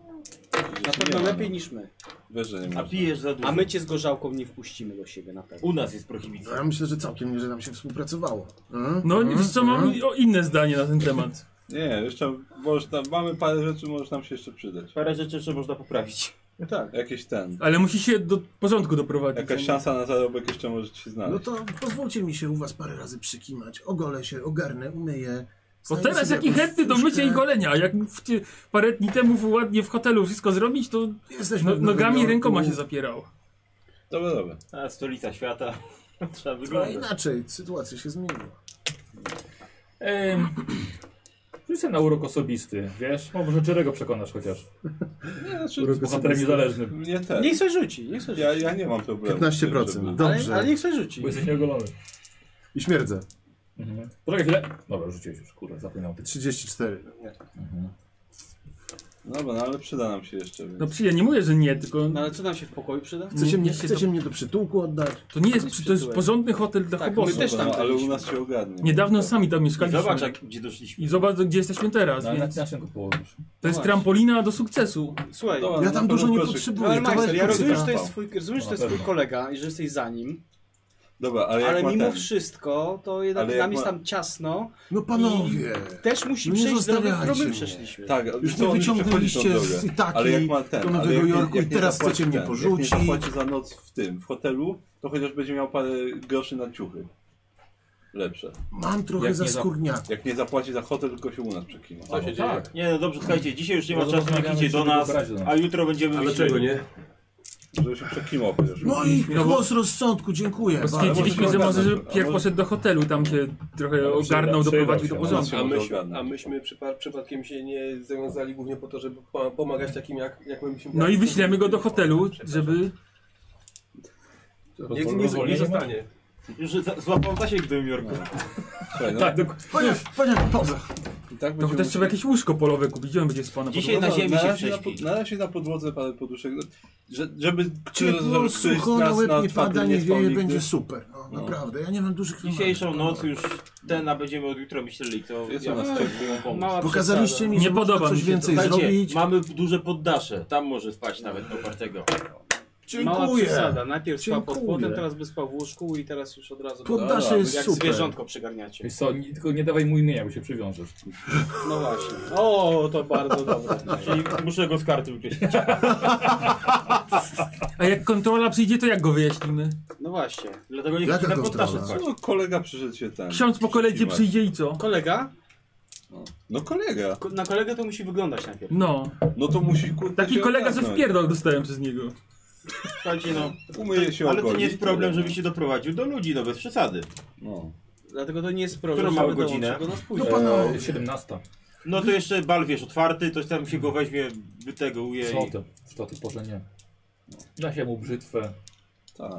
[SPEAKER 9] Na pewno lepiej niż my.
[SPEAKER 8] Wiesz, że nie
[SPEAKER 10] A
[SPEAKER 8] można.
[SPEAKER 10] pijesz za dużo.
[SPEAKER 9] A my cię z gorzałką nie wpuścimy do siebie na pewno.
[SPEAKER 10] U nas jest
[SPEAKER 6] No
[SPEAKER 10] prohibicja.
[SPEAKER 6] ja myślę, że całkiem nieźle nam się współpracowało. Mm?
[SPEAKER 3] No
[SPEAKER 6] Mm?
[SPEAKER 3] wiesz co, mam
[SPEAKER 6] Mm?
[SPEAKER 3] o inne zdanie na ten temat.
[SPEAKER 8] Nie, jeszcze można, mamy parę rzeczy, może nam się jeszcze przydać.
[SPEAKER 10] Parę rzeczy jeszcze można poprawić.
[SPEAKER 9] tak.
[SPEAKER 8] Jakiś ten.
[SPEAKER 3] Ale musi się do porządku doprowadzić.
[SPEAKER 8] Jakaś szansa na zarobek jeszcze może ci się
[SPEAKER 6] No
[SPEAKER 8] znaleźć.
[SPEAKER 6] to pozwólcie mi się u was parę razy przykimać. Ogolę się, ogarnę, umyję.
[SPEAKER 3] Bo
[SPEAKER 6] znajdę
[SPEAKER 3] teraz
[SPEAKER 6] sobie
[SPEAKER 3] jaki
[SPEAKER 6] jakąś
[SPEAKER 3] chętny do mycia
[SPEAKER 6] fuszkę.
[SPEAKER 3] i golenia. Jak w, ty- parę dni temu w- ładnie w hotelu wszystko zrobić, to
[SPEAKER 6] Jesteśmy
[SPEAKER 3] no,
[SPEAKER 6] w Nowym
[SPEAKER 3] nogami i
[SPEAKER 6] Jorku.
[SPEAKER 3] rękoma się zapierał.
[SPEAKER 8] Dobra, dobra.
[SPEAKER 10] A stolica świata. Trzeba
[SPEAKER 6] No
[SPEAKER 10] wyglądać.
[SPEAKER 6] inaczej, sytuacja się zmieniła.
[SPEAKER 2] Ym, Rzuć sobie na urok osobisty, wiesz? Może Czerego przekonasz chociaż.
[SPEAKER 8] Nie, znaczy,
[SPEAKER 6] Urok
[SPEAKER 2] Bohaterem
[SPEAKER 6] osobisty.
[SPEAKER 2] niezależny,
[SPEAKER 8] nie ten.
[SPEAKER 9] Niech sobie rzuci, niech sobie rzuci.
[SPEAKER 8] Ja, ja nie mam problemu. z tym,
[SPEAKER 6] 15%.
[SPEAKER 8] żeby-
[SPEAKER 9] Ale, ale
[SPEAKER 6] Dobrze.
[SPEAKER 9] niech sobie rzuci.
[SPEAKER 2] bo jesteś
[SPEAKER 6] Mhm.
[SPEAKER 2] nieogolony.
[SPEAKER 6] I śmierdzę.
[SPEAKER 2] Mhm. Poczekaj chwilę. Dobra, rzuciłeś już, kurde, zapomniał.
[SPEAKER 6] 34.
[SPEAKER 8] Dobra, no ale przyda nam się jeszcze. Więc...
[SPEAKER 3] No przy, ja nie mówię, że nie, tylko
[SPEAKER 9] No ale co nam się w pokoju przyda?
[SPEAKER 6] Chcecie, mnie,
[SPEAKER 3] Nie się
[SPEAKER 6] chcecie mnie do przytułku oddać?
[SPEAKER 3] to nie jest, przy- to jest porządny hotel dla
[SPEAKER 9] Tak,
[SPEAKER 3] tak,
[SPEAKER 9] my też
[SPEAKER 8] Dobra,
[SPEAKER 9] tam
[SPEAKER 8] no, ale u
[SPEAKER 9] byliśmy.
[SPEAKER 8] nas się ogarnie.
[SPEAKER 3] Niedawno sami tam mieszkaliśmy.
[SPEAKER 10] Zobacz, jak, gdzie doszliśmy.
[SPEAKER 3] I zobacz, gdzie jesteśmy teraz,
[SPEAKER 2] Na, na,
[SPEAKER 3] więc
[SPEAKER 2] No, na czym go położysz?
[SPEAKER 3] to jest
[SPEAKER 9] właśnie.
[SPEAKER 3] trampolina do sukcesu.
[SPEAKER 9] Słuchaj,
[SPEAKER 8] Dobra,
[SPEAKER 6] Ja
[SPEAKER 8] no,
[SPEAKER 6] tam
[SPEAKER 8] na
[SPEAKER 6] dużo nie
[SPEAKER 8] pewno koszyk.
[SPEAKER 9] no,
[SPEAKER 6] potrzebuję.
[SPEAKER 9] ale Majster,
[SPEAKER 6] kawałek
[SPEAKER 9] ja
[SPEAKER 6] kocyka.
[SPEAKER 9] rozumiem, że to jest twój, rozumiem, że to jest
[SPEAKER 2] Na
[SPEAKER 9] twój
[SPEAKER 2] pewno.
[SPEAKER 9] kolega i że jesteś za nim,
[SPEAKER 8] Dobra, ale, jak
[SPEAKER 9] ale
[SPEAKER 8] ma
[SPEAKER 9] mimo
[SPEAKER 8] ten,
[SPEAKER 9] wszystko to jednak
[SPEAKER 8] Ale jak
[SPEAKER 9] nam jest
[SPEAKER 8] ma-
[SPEAKER 9] tam ciasno.
[SPEAKER 6] No panowie!
[SPEAKER 9] Też musi
[SPEAKER 6] Nie
[SPEAKER 9] przejść drogę, którą
[SPEAKER 6] zostawiajcie
[SPEAKER 9] my
[SPEAKER 6] mnie.
[SPEAKER 9] przeszliśmy.
[SPEAKER 8] Tak,
[SPEAKER 6] Już
[SPEAKER 8] co
[SPEAKER 6] mnie
[SPEAKER 8] on
[SPEAKER 6] wyciągnęliście
[SPEAKER 8] przechodzi tą
[SPEAKER 6] z
[SPEAKER 8] drogę?
[SPEAKER 6] Itaki
[SPEAKER 8] ale jak ma ten,
[SPEAKER 6] do
[SPEAKER 8] ale
[SPEAKER 6] Nowego
[SPEAKER 8] jak nie-
[SPEAKER 6] Jorku
[SPEAKER 8] jak
[SPEAKER 6] i
[SPEAKER 8] nie
[SPEAKER 6] teraz
[SPEAKER 8] zapłaci
[SPEAKER 6] chcecie mnie
[SPEAKER 8] ten,
[SPEAKER 6] porzucić.
[SPEAKER 8] Jak nie zapłaci za noc w tym, w hotelu, to chociaż będzie miał parę groszy na ciuchy. Lepsze.
[SPEAKER 6] Mam trochę
[SPEAKER 2] Jak nie za-
[SPEAKER 6] zaskórnia.
[SPEAKER 8] Jak nie zapłaci za hotel, tylko się u nas przekima.
[SPEAKER 2] Co się tak.
[SPEAKER 10] Nie no dobrze, słuchajcie, dzisiaj już nie ma
[SPEAKER 2] No,
[SPEAKER 10] czasu, jak
[SPEAKER 2] rozmawiamy,
[SPEAKER 10] idzie do
[SPEAKER 2] żeby
[SPEAKER 10] nas,
[SPEAKER 2] dobrać do nas.
[SPEAKER 10] a jutro będziemy
[SPEAKER 7] Ale
[SPEAKER 10] myśleć.
[SPEAKER 7] czego nie?
[SPEAKER 8] Żeby się przekimał chociaż.
[SPEAKER 6] No i głos rozsądku, dziękuję.
[SPEAKER 3] Bo stwierdziliśmy,
[SPEAKER 8] może
[SPEAKER 3] że
[SPEAKER 8] się
[SPEAKER 3] może żeby
[SPEAKER 8] ogarnąć, a
[SPEAKER 3] pierw
[SPEAKER 8] może-
[SPEAKER 3] poszedł do hotelu, tam się trochę
[SPEAKER 2] Przyda-
[SPEAKER 3] ogarnął,
[SPEAKER 2] przydał
[SPEAKER 3] doprowadził
[SPEAKER 2] się,
[SPEAKER 3] do
[SPEAKER 2] no.
[SPEAKER 3] porządku.
[SPEAKER 7] A,
[SPEAKER 8] Może
[SPEAKER 7] myśmy,
[SPEAKER 8] ogarnąć.
[SPEAKER 7] a myśmy przypa- przypadkiem się nie zawiązali głównie po to, żeby po- pomagać takim jak, jak my byśmy...
[SPEAKER 3] No i wyślemy go do hotelu, żeby...
[SPEAKER 7] Nie, nie, nie,
[SPEAKER 2] Rozwolnienie
[SPEAKER 7] nie
[SPEAKER 2] ma?
[SPEAKER 7] zostanie.
[SPEAKER 10] Już za- złapał zasięg w Nowym Jorku.
[SPEAKER 8] Słuchaj, no,
[SPEAKER 2] Tak, dokładnie.
[SPEAKER 6] Panie, panie, poza.
[SPEAKER 8] i tak
[SPEAKER 3] To
[SPEAKER 8] będzie
[SPEAKER 3] no, też trzeba jakieś łóżko polowe kupić, gdzie on będzie spał na
[SPEAKER 10] Dzisiaj
[SPEAKER 5] No
[SPEAKER 3] podłodze?
[SPEAKER 10] na ziemi się
[SPEAKER 8] razie No, na,
[SPEAKER 10] prześpi.
[SPEAKER 8] pod- na razie na podłodze parę poduszek. no, Że, żeby który-
[SPEAKER 6] Ciepło,
[SPEAKER 8] żeby któryś
[SPEAKER 6] sucho,
[SPEAKER 8] z nas
[SPEAKER 6] na łeb nie
[SPEAKER 8] otwartym
[SPEAKER 6] pada, nie
[SPEAKER 8] spał
[SPEAKER 6] wieje,
[SPEAKER 8] nigdy.
[SPEAKER 6] będzie super. No, naprawdę, ja nie mam dużych wymagań.
[SPEAKER 10] Dzisiejszą noc już ten, a będziemy od jutra myśleli, to
[SPEAKER 8] Jest
[SPEAKER 10] ja
[SPEAKER 8] u nas
[SPEAKER 5] tak,
[SPEAKER 10] bym
[SPEAKER 8] ciepło.
[SPEAKER 10] chciał pomóc.
[SPEAKER 9] Mała
[SPEAKER 6] Pokazaliście mi,
[SPEAKER 3] Nie
[SPEAKER 6] że można
[SPEAKER 3] podoba mi
[SPEAKER 6] coś
[SPEAKER 3] się
[SPEAKER 6] więcej
[SPEAKER 10] Słuchajcie,
[SPEAKER 6] zrobić.
[SPEAKER 10] mamy duże poddasze, tam może spać nawet do partego.
[SPEAKER 9] przesada. Mała
[SPEAKER 6] Dziękuję.
[SPEAKER 9] przesada. Najpierw spał pod
[SPEAKER 6] Dziękuję.
[SPEAKER 9] płotem, teraz by spał w łóżku i teraz już od razu...
[SPEAKER 1] tak
[SPEAKER 6] Poddasze
[SPEAKER 9] Dobra,
[SPEAKER 6] jest
[SPEAKER 9] Jak
[SPEAKER 6] super.
[SPEAKER 9] zwierzątko przygarniacie.
[SPEAKER 2] Wiesz co, nie, tylko nie dawaj mu imienia, bo się przywiążesz.
[SPEAKER 9] No właśnie. O, to bardzo dobre.
[SPEAKER 10] Czyli muszę go z karty wykreślić.
[SPEAKER 3] A jak kontrola przyjdzie, to jak go wyjaśnimy?
[SPEAKER 9] No
[SPEAKER 1] właśnie.
[SPEAKER 10] Dlatego nie
[SPEAKER 6] Jaka
[SPEAKER 10] chcę na
[SPEAKER 6] kontrola?
[SPEAKER 10] poddasze spać.
[SPEAKER 5] No, kolega przyszedł się tam.
[SPEAKER 3] Ksiądz po koledzie
[SPEAKER 5] Ścimać.
[SPEAKER 3] przyjdzie i co?
[SPEAKER 1] Kolega?
[SPEAKER 5] No. No kolega.
[SPEAKER 1] Ko- Na kolegę to musi wyglądać najpierw.
[SPEAKER 3] No,
[SPEAKER 5] No to musi kurde
[SPEAKER 3] taki
[SPEAKER 5] się
[SPEAKER 3] kolega, że
[SPEAKER 5] ogarnąć.
[SPEAKER 3] wpierdol dostałem przez niego.
[SPEAKER 10] Słuchajcie, no.
[SPEAKER 5] Umyje się
[SPEAKER 10] Ale to
[SPEAKER 5] ogoli,
[SPEAKER 10] nie jest problem,
[SPEAKER 5] tyle.
[SPEAKER 10] żeby się doprowadził do ludzi, no bez przesady.
[SPEAKER 5] No.
[SPEAKER 1] Dlatego to nie jest problem,
[SPEAKER 10] Którą mamy
[SPEAKER 1] żeby dołączyć
[SPEAKER 10] godzinę?
[SPEAKER 1] go na
[SPEAKER 6] No
[SPEAKER 1] spójrz.
[SPEAKER 6] panowie,
[SPEAKER 2] E, 17.
[SPEAKER 10] No to jeszcze bal, wiesz, otwarty, to tam się go weźmie, wyteguje
[SPEAKER 2] Co
[SPEAKER 10] i...
[SPEAKER 2] ty? Co ty? Porze nie.
[SPEAKER 7] No.
[SPEAKER 2] Da się mu brzytwę.
[SPEAKER 5] Tak.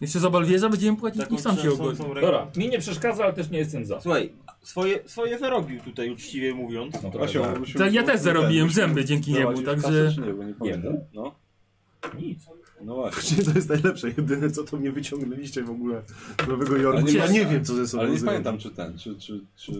[SPEAKER 3] Jeszcze za balwieza będziemy płacić i sam się ogoli.
[SPEAKER 10] trzęsącą
[SPEAKER 7] Tak.
[SPEAKER 10] ręką.
[SPEAKER 2] Dobra, mi nie przeszkadza, ale też nie jestem za.
[SPEAKER 10] Słuchaj, swoje, swoje zarobił tutaj, uczciwie mówiąc.
[SPEAKER 2] No to
[SPEAKER 5] Właśnie,
[SPEAKER 2] tak.
[SPEAKER 5] musimy- no.
[SPEAKER 3] Tak, ja też zarobiłem zęby dzięki niemu,
[SPEAKER 5] Załaził w
[SPEAKER 3] także...
[SPEAKER 5] kasę, czy nie, bo nie pamiętam. No,
[SPEAKER 2] Nic.
[SPEAKER 5] no właśnie.
[SPEAKER 6] Właśnie to jest najlepsze. Jedyne co to mnie wyciągnęliście w ogóle z Nowego Jorku.
[SPEAKER 5] Ale nie
[SPEAKER 6] Ja
[SPEAKER 5] ma-
[SPEAKER 6] nie wiem co ze sobą
[SPEAKER 5] Ale nie
[SPEAKER 6] zrobić.
[SPEAKER 5] pamiętam czy ten, czy... czy, czy,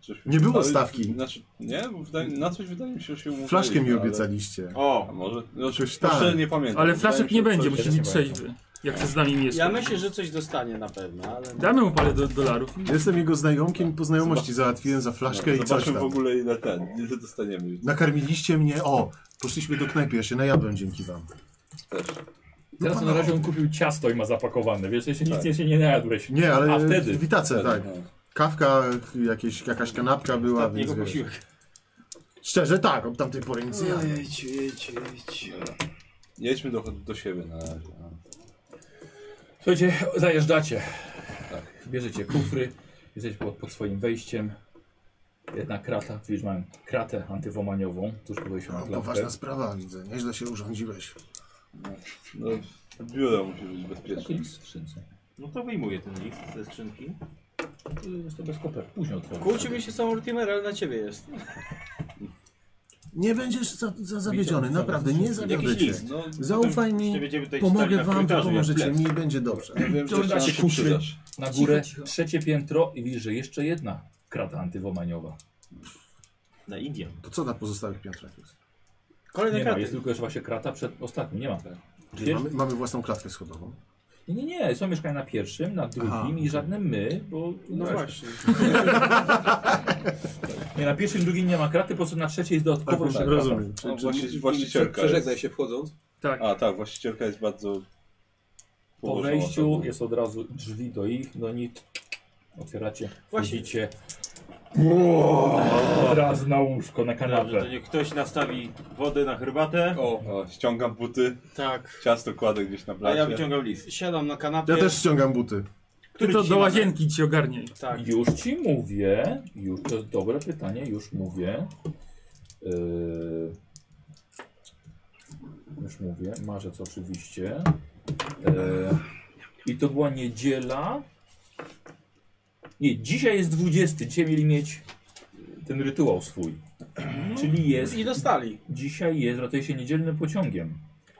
[SPEAKER 5] czy
[SPEAKER 6] Nie było
[SPEAKER 5] ale-
[SPEAKER 6] stawki.
[SPEAKER 5] Znaczy, nie, bo wydaje, na coś wydaje mi się, że się umówiliśmy.
[SPEAKER 6] Flaszkę mi
[SPEAKER 5] ale-
[SPEAKER 6] obiecaliście.
[SPEAKER 5] A
[SPEAKER 10] O,
[SPEAKER 5] może? No, czy,
[SPEAKER 6] Coś tak.
[SPEAKER 5] szczerze nie pamiętam. Wydaje
[SPEAKER 3] Ale
[SPEAKER 5] mi
[SPEAKER 3] flaszek
[SPEAKER 5] się,
[SPEAKER 3] nie
[SPEAKER 5] że coś
[SPEAKER 3] będzie,
[SPEAKER 2] musi
[SPEAKER 3] musi
[SPEAKER 5] jest-
[SPEAKER 3] być trzeźwy. Jak chce z nami
[SPEAKER 1] Ja
[SPEAKER 3] mieszkać.
[SPEAKER 1] myślę, że coś dostanie na pewno, ale... no.
[SPEAKER 3] Damy mu parę do, dolarów. i-
[SPEAKER 6] Jestem jego znajomkiem i po znajomości załatwiłem za flaszkę i coś
[SPEAKER 5] Zobaczmy
[SPEAKER 6] tam.
[SPEAKER 5] no, w ogóle ile ten, ile dostaniemy.
[SPEAKER 6] Nakarmiliście mnie, o, poszliśmy do knajpy, ja się najadłem dzięki wam.
[SPEAKER 5] Też.
[SPEAKER 2] Teraz na razie on kupił ciasto i ma zapakowane, wiesz, jeszcze nic
[SPEAKER 5] Tak.
[SPEAKER 2] nie, się nie najadłeś.
[SPEAKER 6] Nie, ale
[SPEAKER 2] A, wtedy.
[SPEAKER 6] w Witace, tak.
[SPEAKER 5] No.
[SPEAKER 6] Kawka, jakieś, jakaś kanapka była, więc
[SPEAKER 10] jego
[SPEAKER 6] wiesz.
[SPEAKER 10] posiłek.
[SPEAKER 6] Szczerze tak, od tamtej pory nic nie jadłem.
[SPEAKER 9] Jedź, jedź, jedź.
[SPEAKER 5] Jedźmy do, do siebie na razie. no.
[SPEAKER 2] Słuchajcie, zajeżdżacie. Tak. Bierzecie kufry, jesteś pod, pod swoim wejściem. Jedna krata, widzisz, mam kratę antywomaniową, tuż po wejściu na
[SPEAKER 6] No,
[SPEAKER 2] klatkę.
[SPEAKER 6] poważna sprawa, widzę. Nieźle się urządziłeś.
[SPEAKER 5] No, biuro musi być bezpieczne.
[SPEAKER 2] Taki list w skrzynce.
[SPEAKER 10] No to wyjmuję ten list ze skrzynki.
[SPEAKER 2] To Jest to bez koper, później otworzę.
[SPEAKER 1] Kłócimy się z tą Ultimer, ale na ciebie jest.
[SPEAKER 6] Nie będziesz za, za zawiedziony,
[SPEAKER 2] Wiecie,
[SPEAKER 6] naprawdę,
[SPEAKER 2] co
[SPEAKER 6] nie
[SPEAKER 2] to znaczy?
[SPEAKER 6] zawiodę
[SPEAKER 10] Jakiś
[SPEAKER 6] cię.
[SPEAKER 10] list.
[SPEAKER 5] No,
[SPEAKER 6] Zaufaj mi,
[SPEAKER 10] Nie będziemy tutaj stali
[SPEAKER 6] pomogę
[SPEAKER 10] na
[SPEAKER 6] wam, wy
[SPEAKER 10] korytarzu, jak
[SPEAKER 6] pomożecie
[SPEAKER 10] plec.
[SPEAKER 6] mi i będzie dobrze.
[SPEAKER 5] ja wiem, że
[SPEAKER 2] Wciągacie
[SPEAKER 5] chciałem się
[SPEAKER 2] kufry.
[SPEAKER 5] przydasz.
[SPEAKER 2] Na górę,
[SPEAKER 3] Cicho, cicho.
[SPEAKER 2] trzecie piętro i widzisz, że jeszcze jedna krata antywomaniowa.
[SPEAKER 10] Na Indian.
[SPEAKER 6] To co na pozostałych piętrach jest?
[SPEAKER 1] Kolejne
[SPEAKER 2] Nie ma,
[SPEAKER 1] karty.
[SPEAKER 2] jest tylko jeszcze właśnie krata przed ostatnim, nie ma.
[SPEAKER 6] Czyli
[SPEAKER 2] Wiesz?
[SPEAKER 6] Mamy, mamy własną klatkę schodową.
[SPEAKER 2] Nie, nie, nie, są mieszkania na pierwszym, na drugim
[SPEAKER 6] Aha.
[SPEAKER 2] i żadne my, bo...
[SPEAKER 1] No właśnie.
[SPEAKER 2] Nie, na pierwszym, drugim nie ma kraty, po prostu na trzeciej jest dodatkowo
[SPEAKER 6] Tak,
[SPEAKER 2] krata.
[SPEAKER 6] rozumiem.
[SPEAKER 5] No,
[SPEAKER 6] Czy, czy,
[SPEAKER 5] właści, właścicielka
[SPEAKER 7] Przeżegnaj
[SPEAKER 5] jest.
[SPEAKER 7] się wchodząc.
[SPEAKER 3] Tak.
[SPEAKER 5] A tak, właścicielka jest bardzo...
[SPEAKER 2] Po
[SPEAKER 5] pobożną
[SPEAKER 2] wejściu
[SPEAKER 5] osobą.
[SPEAKER 2] jest od razu drzwi do ich, do nich. Otwieracie,
[SPEAKER 1] Właśnie.
[SPEAKER 2] wchodzicie. Od razu na łóżko, na
[SPEAKER 10] Dobrze, to
[SPEAKER 2] kanapę.
[SPEAKER 10] niech ktoś nastawi wodę na herbatę,
[SPEAKER 5] O, o, ściągam buty,
[SPEAKER 1] Tak.
[SPEAKER 5] ciasto kładę gdzieś na
[SPEAKER 10] a
[SPEAKER 5] blacie.
[SPEAKER 10] ja wyciągam list.
[SPEAKER 1] Siadam na kanapie.
[SPEAKER 6] ja też ściągam buty.
[SPEAKER 3] Ty to do łazienki ci ogarnij.
[SPEAKER 1] Tak.
[SPEAKER 2] Już ci mówię, już, to jest dobre pytanie, już mówię. Yy, już mówię, marzec oczywiście. Yy, I to była niedziela. Nie, dzisiaj jest 20, dzisiaj mieli mieć ten rytuał swój. Czyli jest
[SPEAKER 1] I dostali.
[SPEAKER 2] Dzisiaj jest, ratuje się niedzielnym pociągiem.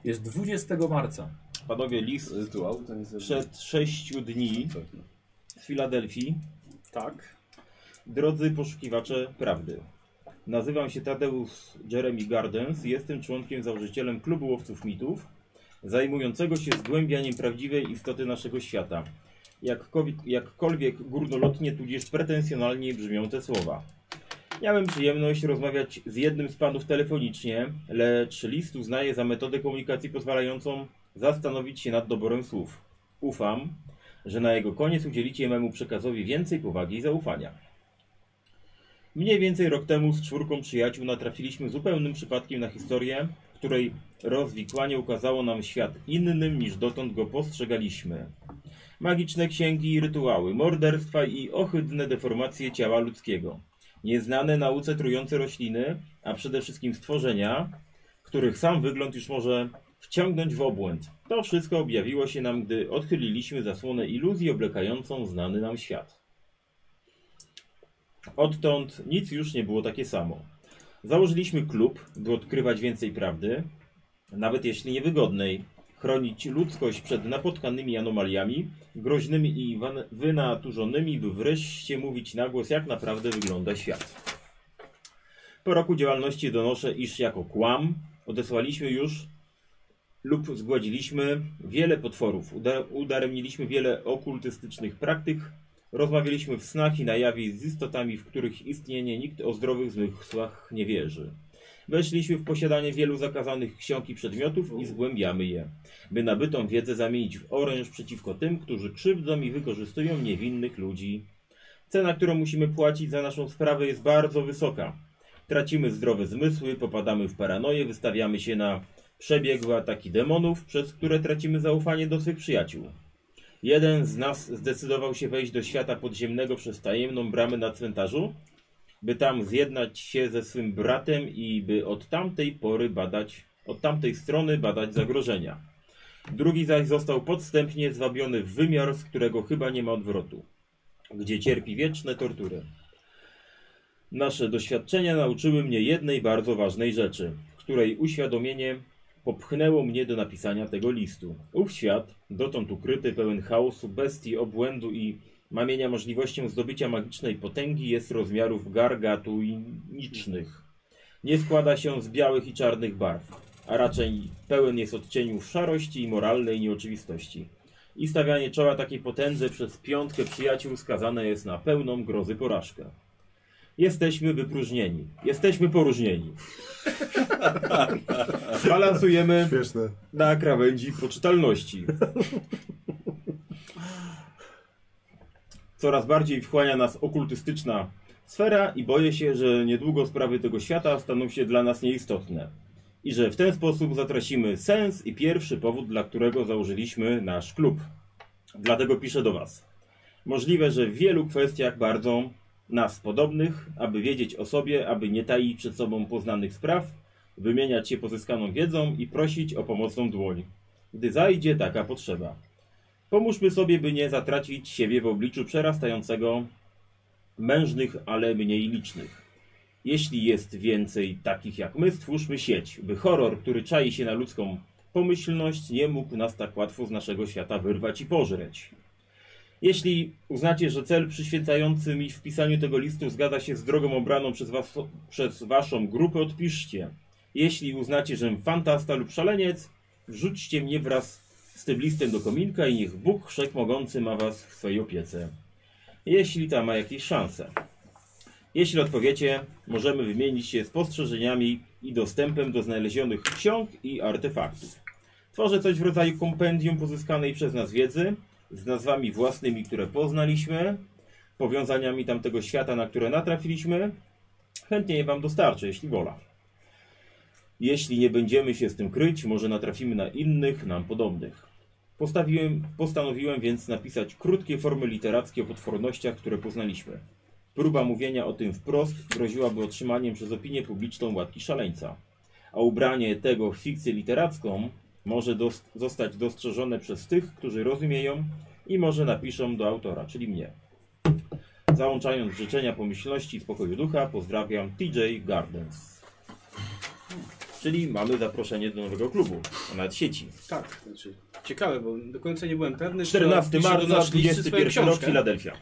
[SPEAKER 2] Jest 20 marca.
[SPEAKER 10] Panowie, list
[SPEAKER 5] Rytuał to Y, nie zrobię.
[SPEAKER 10] sprzed sześciu dni z Filadelfii.
[SPEAKER 1] Tak.
[SPEAKER 10] Drodzy poszukiwacze prawdy. Nazywam się Tadeusz Jeremy Gardens. Jestem członkiem założycielem klubu łowców mitów, zajmującego się zgłębianiem prawdziwej istoty naszego świata. Jakkolwiek, jakkolwiek górnolotnie tudzież pretensjonalnie brzmią te słowa. Miałem przyjemność rozmawiać z jednym z panów telefonicznie, lecz list uznaję za metodę komunikacji pozwalającą zastanowić się nad doborem słów. Ufam, że na jego koniec udzielicie memu przekazowi więcej powagi i zaufania. Mniej więcej rok temu z czwórką przyjaciół natrafiliśmy zupełnym przypadkiem na historię, której rozwikłanie ukazało nam świat innym niż dotąd go postrzegaliśmy. Magiczne księgi i rytuały, morderstwa i ohydne deformacje ciała ludzkiego. Nieznane nauce trujące rośliny, a przede wszystkim stworzenia, których sam wygląd już może wciągnąć w obłęd. To wszystko objawiło się nam, gdy odchyliliśmy zasłonę iluzji oblekającą znany nam świat. Odtąd nic już nie było takie samo. Założyliśmy klub, by odkrywać więcej prawdy, nawet jeśli niewygodnej, chronić ludzkość przed napotkanymi anomaliami, groźnymi i wan- wynaturzonymi, by wreszcie mówić na głos, jak naprawdę wygląda świat. Po roku działalności donoszę, iż jako kłam odesłaliśmy już lub zgładziliśmy wiele potworów, uda- udaremniliśmy wiele okultystycznych praktyk, Rozmawialiśmy w snach i na jawie z istotami, w których istnienie nikt o zdrowych zmysłach nie wierzy. Weszliśmy w posiadanie wielu zakazanych ksiąg i przedmiotów i zgłębiamy je, by nabytą wiedzę zamienić w oręż przeciwko tym, którzy krzywdzą i wykorzystują niewinnych ludzi. Cena, którą musimy płacić za naszą sprawę jest bardzo wysoka. Tracimy zdrowe zmysły, popadamy w paranoję, wystawiamy się na przebiegłe ataki demonów, przez które tracimy zaufanie do swych przyjaciół. Jeden z nas zdecydował się wejść do świata podziemnego przez tajemną bramę na cmentarzu, by tam zjednać się ze swym bratem i by od tamtej pory badać, od tamtej strony badać zagrożenia. Drugi zaś został podstępnie zwabiony w wymiar, z którego chyba nie ma odwrotu, gdzie cierpi wieczne tortury. Nasze doświadczenia nauczyły mnie jednej bardzo ważnej rzeczy, której uświadomienie popchnęło mnie do napisania tego listu. Ów świat, dotąd ukryty, pełen chaosu, bestii, obłędu i mamienia możliwością zdobycia magicznej potęgi, jest rozmiarów gargatuinicznych. Nie składa się z białych i czarnych barw, a raczej pełen jest odcieniów szarości i moralnej nieoczywistości. I stawianie czoła takiej potędze przez piątkę przyjaciół skazane jest na pełną grozy porażkę. Jesteśmy wypróżnieni. Jesteśmy poróżnieni. Balansujemy
[SPEAKER 6] Śmieszne.
[SPEAKER 10] na krawędzi poczytalności. Coraz bardziej wchłania nas okultystyczna sfera i boję się, że niedługo sprawy tego świata staną się dla nas nieistotne. I że w ten sposób zatracimy sens i pierwszy powód, dla którego założyliśmy nasz klub. Dlatego piszę do Was. Możliwe, że w wielu kwestiach bardzo nas podobnych, aby wiedzieć o sobie, aby nie taić przed sobą poznanych spraw, wymieniać się pozyskaną wiedzą i prosić o pomocną dłoń, gdy zajdzie taka potrzeba. Pomóżmy sobie, by nie zatracić siebie w obliczu przerastającego mężnych, ale mniej licznych. Jeśli jest więcej takich jak my, stwórzmy sieć, by horror, który czai się na ludzką pomyślność, nie mógł nas tak łatwo z naszego świata wyrwać i pożreć. Jeśli uznacie, że cel przyświecający mi w pisaniu tego listu zgadza się z drogą obraną przez, was, przez waszą grupę, odpiszcie. Jeśli uznacie, że fantasta lub szaleniec, wrzućcie mnie wraz z tym listem do kominka i niech Bóg Wszechmogący ma was w swojej opiece. Jeśli ta ma jakieś szanse. Jeśli odpowiecie, możemy wymienić się spostrzeżeniami i dostępem do znalezionych ksiąg i artefaktów. Tworzę coś w rodzaju kompendium pozyskanej przez nas wiedzy, z nazwami własnymi, które poznaliśmy, powiązaniami tamtego świata, na które natrafiliśmy. Chętnie je Wam dostarczę, jeśli wola. Jeśli nie będziemy się z tym kryć, może natrafimy na innych, nam podobnych. Postawiłem, postanowiłem więc napisać krótkie formy literackie o potwornościach, które poznaliśmy. Próba mówienia o tym wprost groziłaby otrzymaniem przez opinię publiczną łatki szaleńca. A ubranie tego w fikcję literacką może dos- zostać dostrzeżone przez tych, którzy rozumieją i może napiszą do autora, czyli mnie. Załączając życzenia pomyślności i spokoju ducha, pozdrawiam TJ Gardens. Czyli mamy zaproszenie do nowego klubu, a nawet sieci.
[SPEAKER 1] Tak, znaczy ciekawe, bo do końca nie byłem pewny,
[SPEAKER 10] 14
[SPEAKER 1] czy on wpisze do
[SPEAKER 10] marca,
[SPEAKER 1] naszej listy swoją
[SPEAKER 10] 21 rok,
[SPEAKER 1] książkę,
[SPEAKER 10] Filadelfia.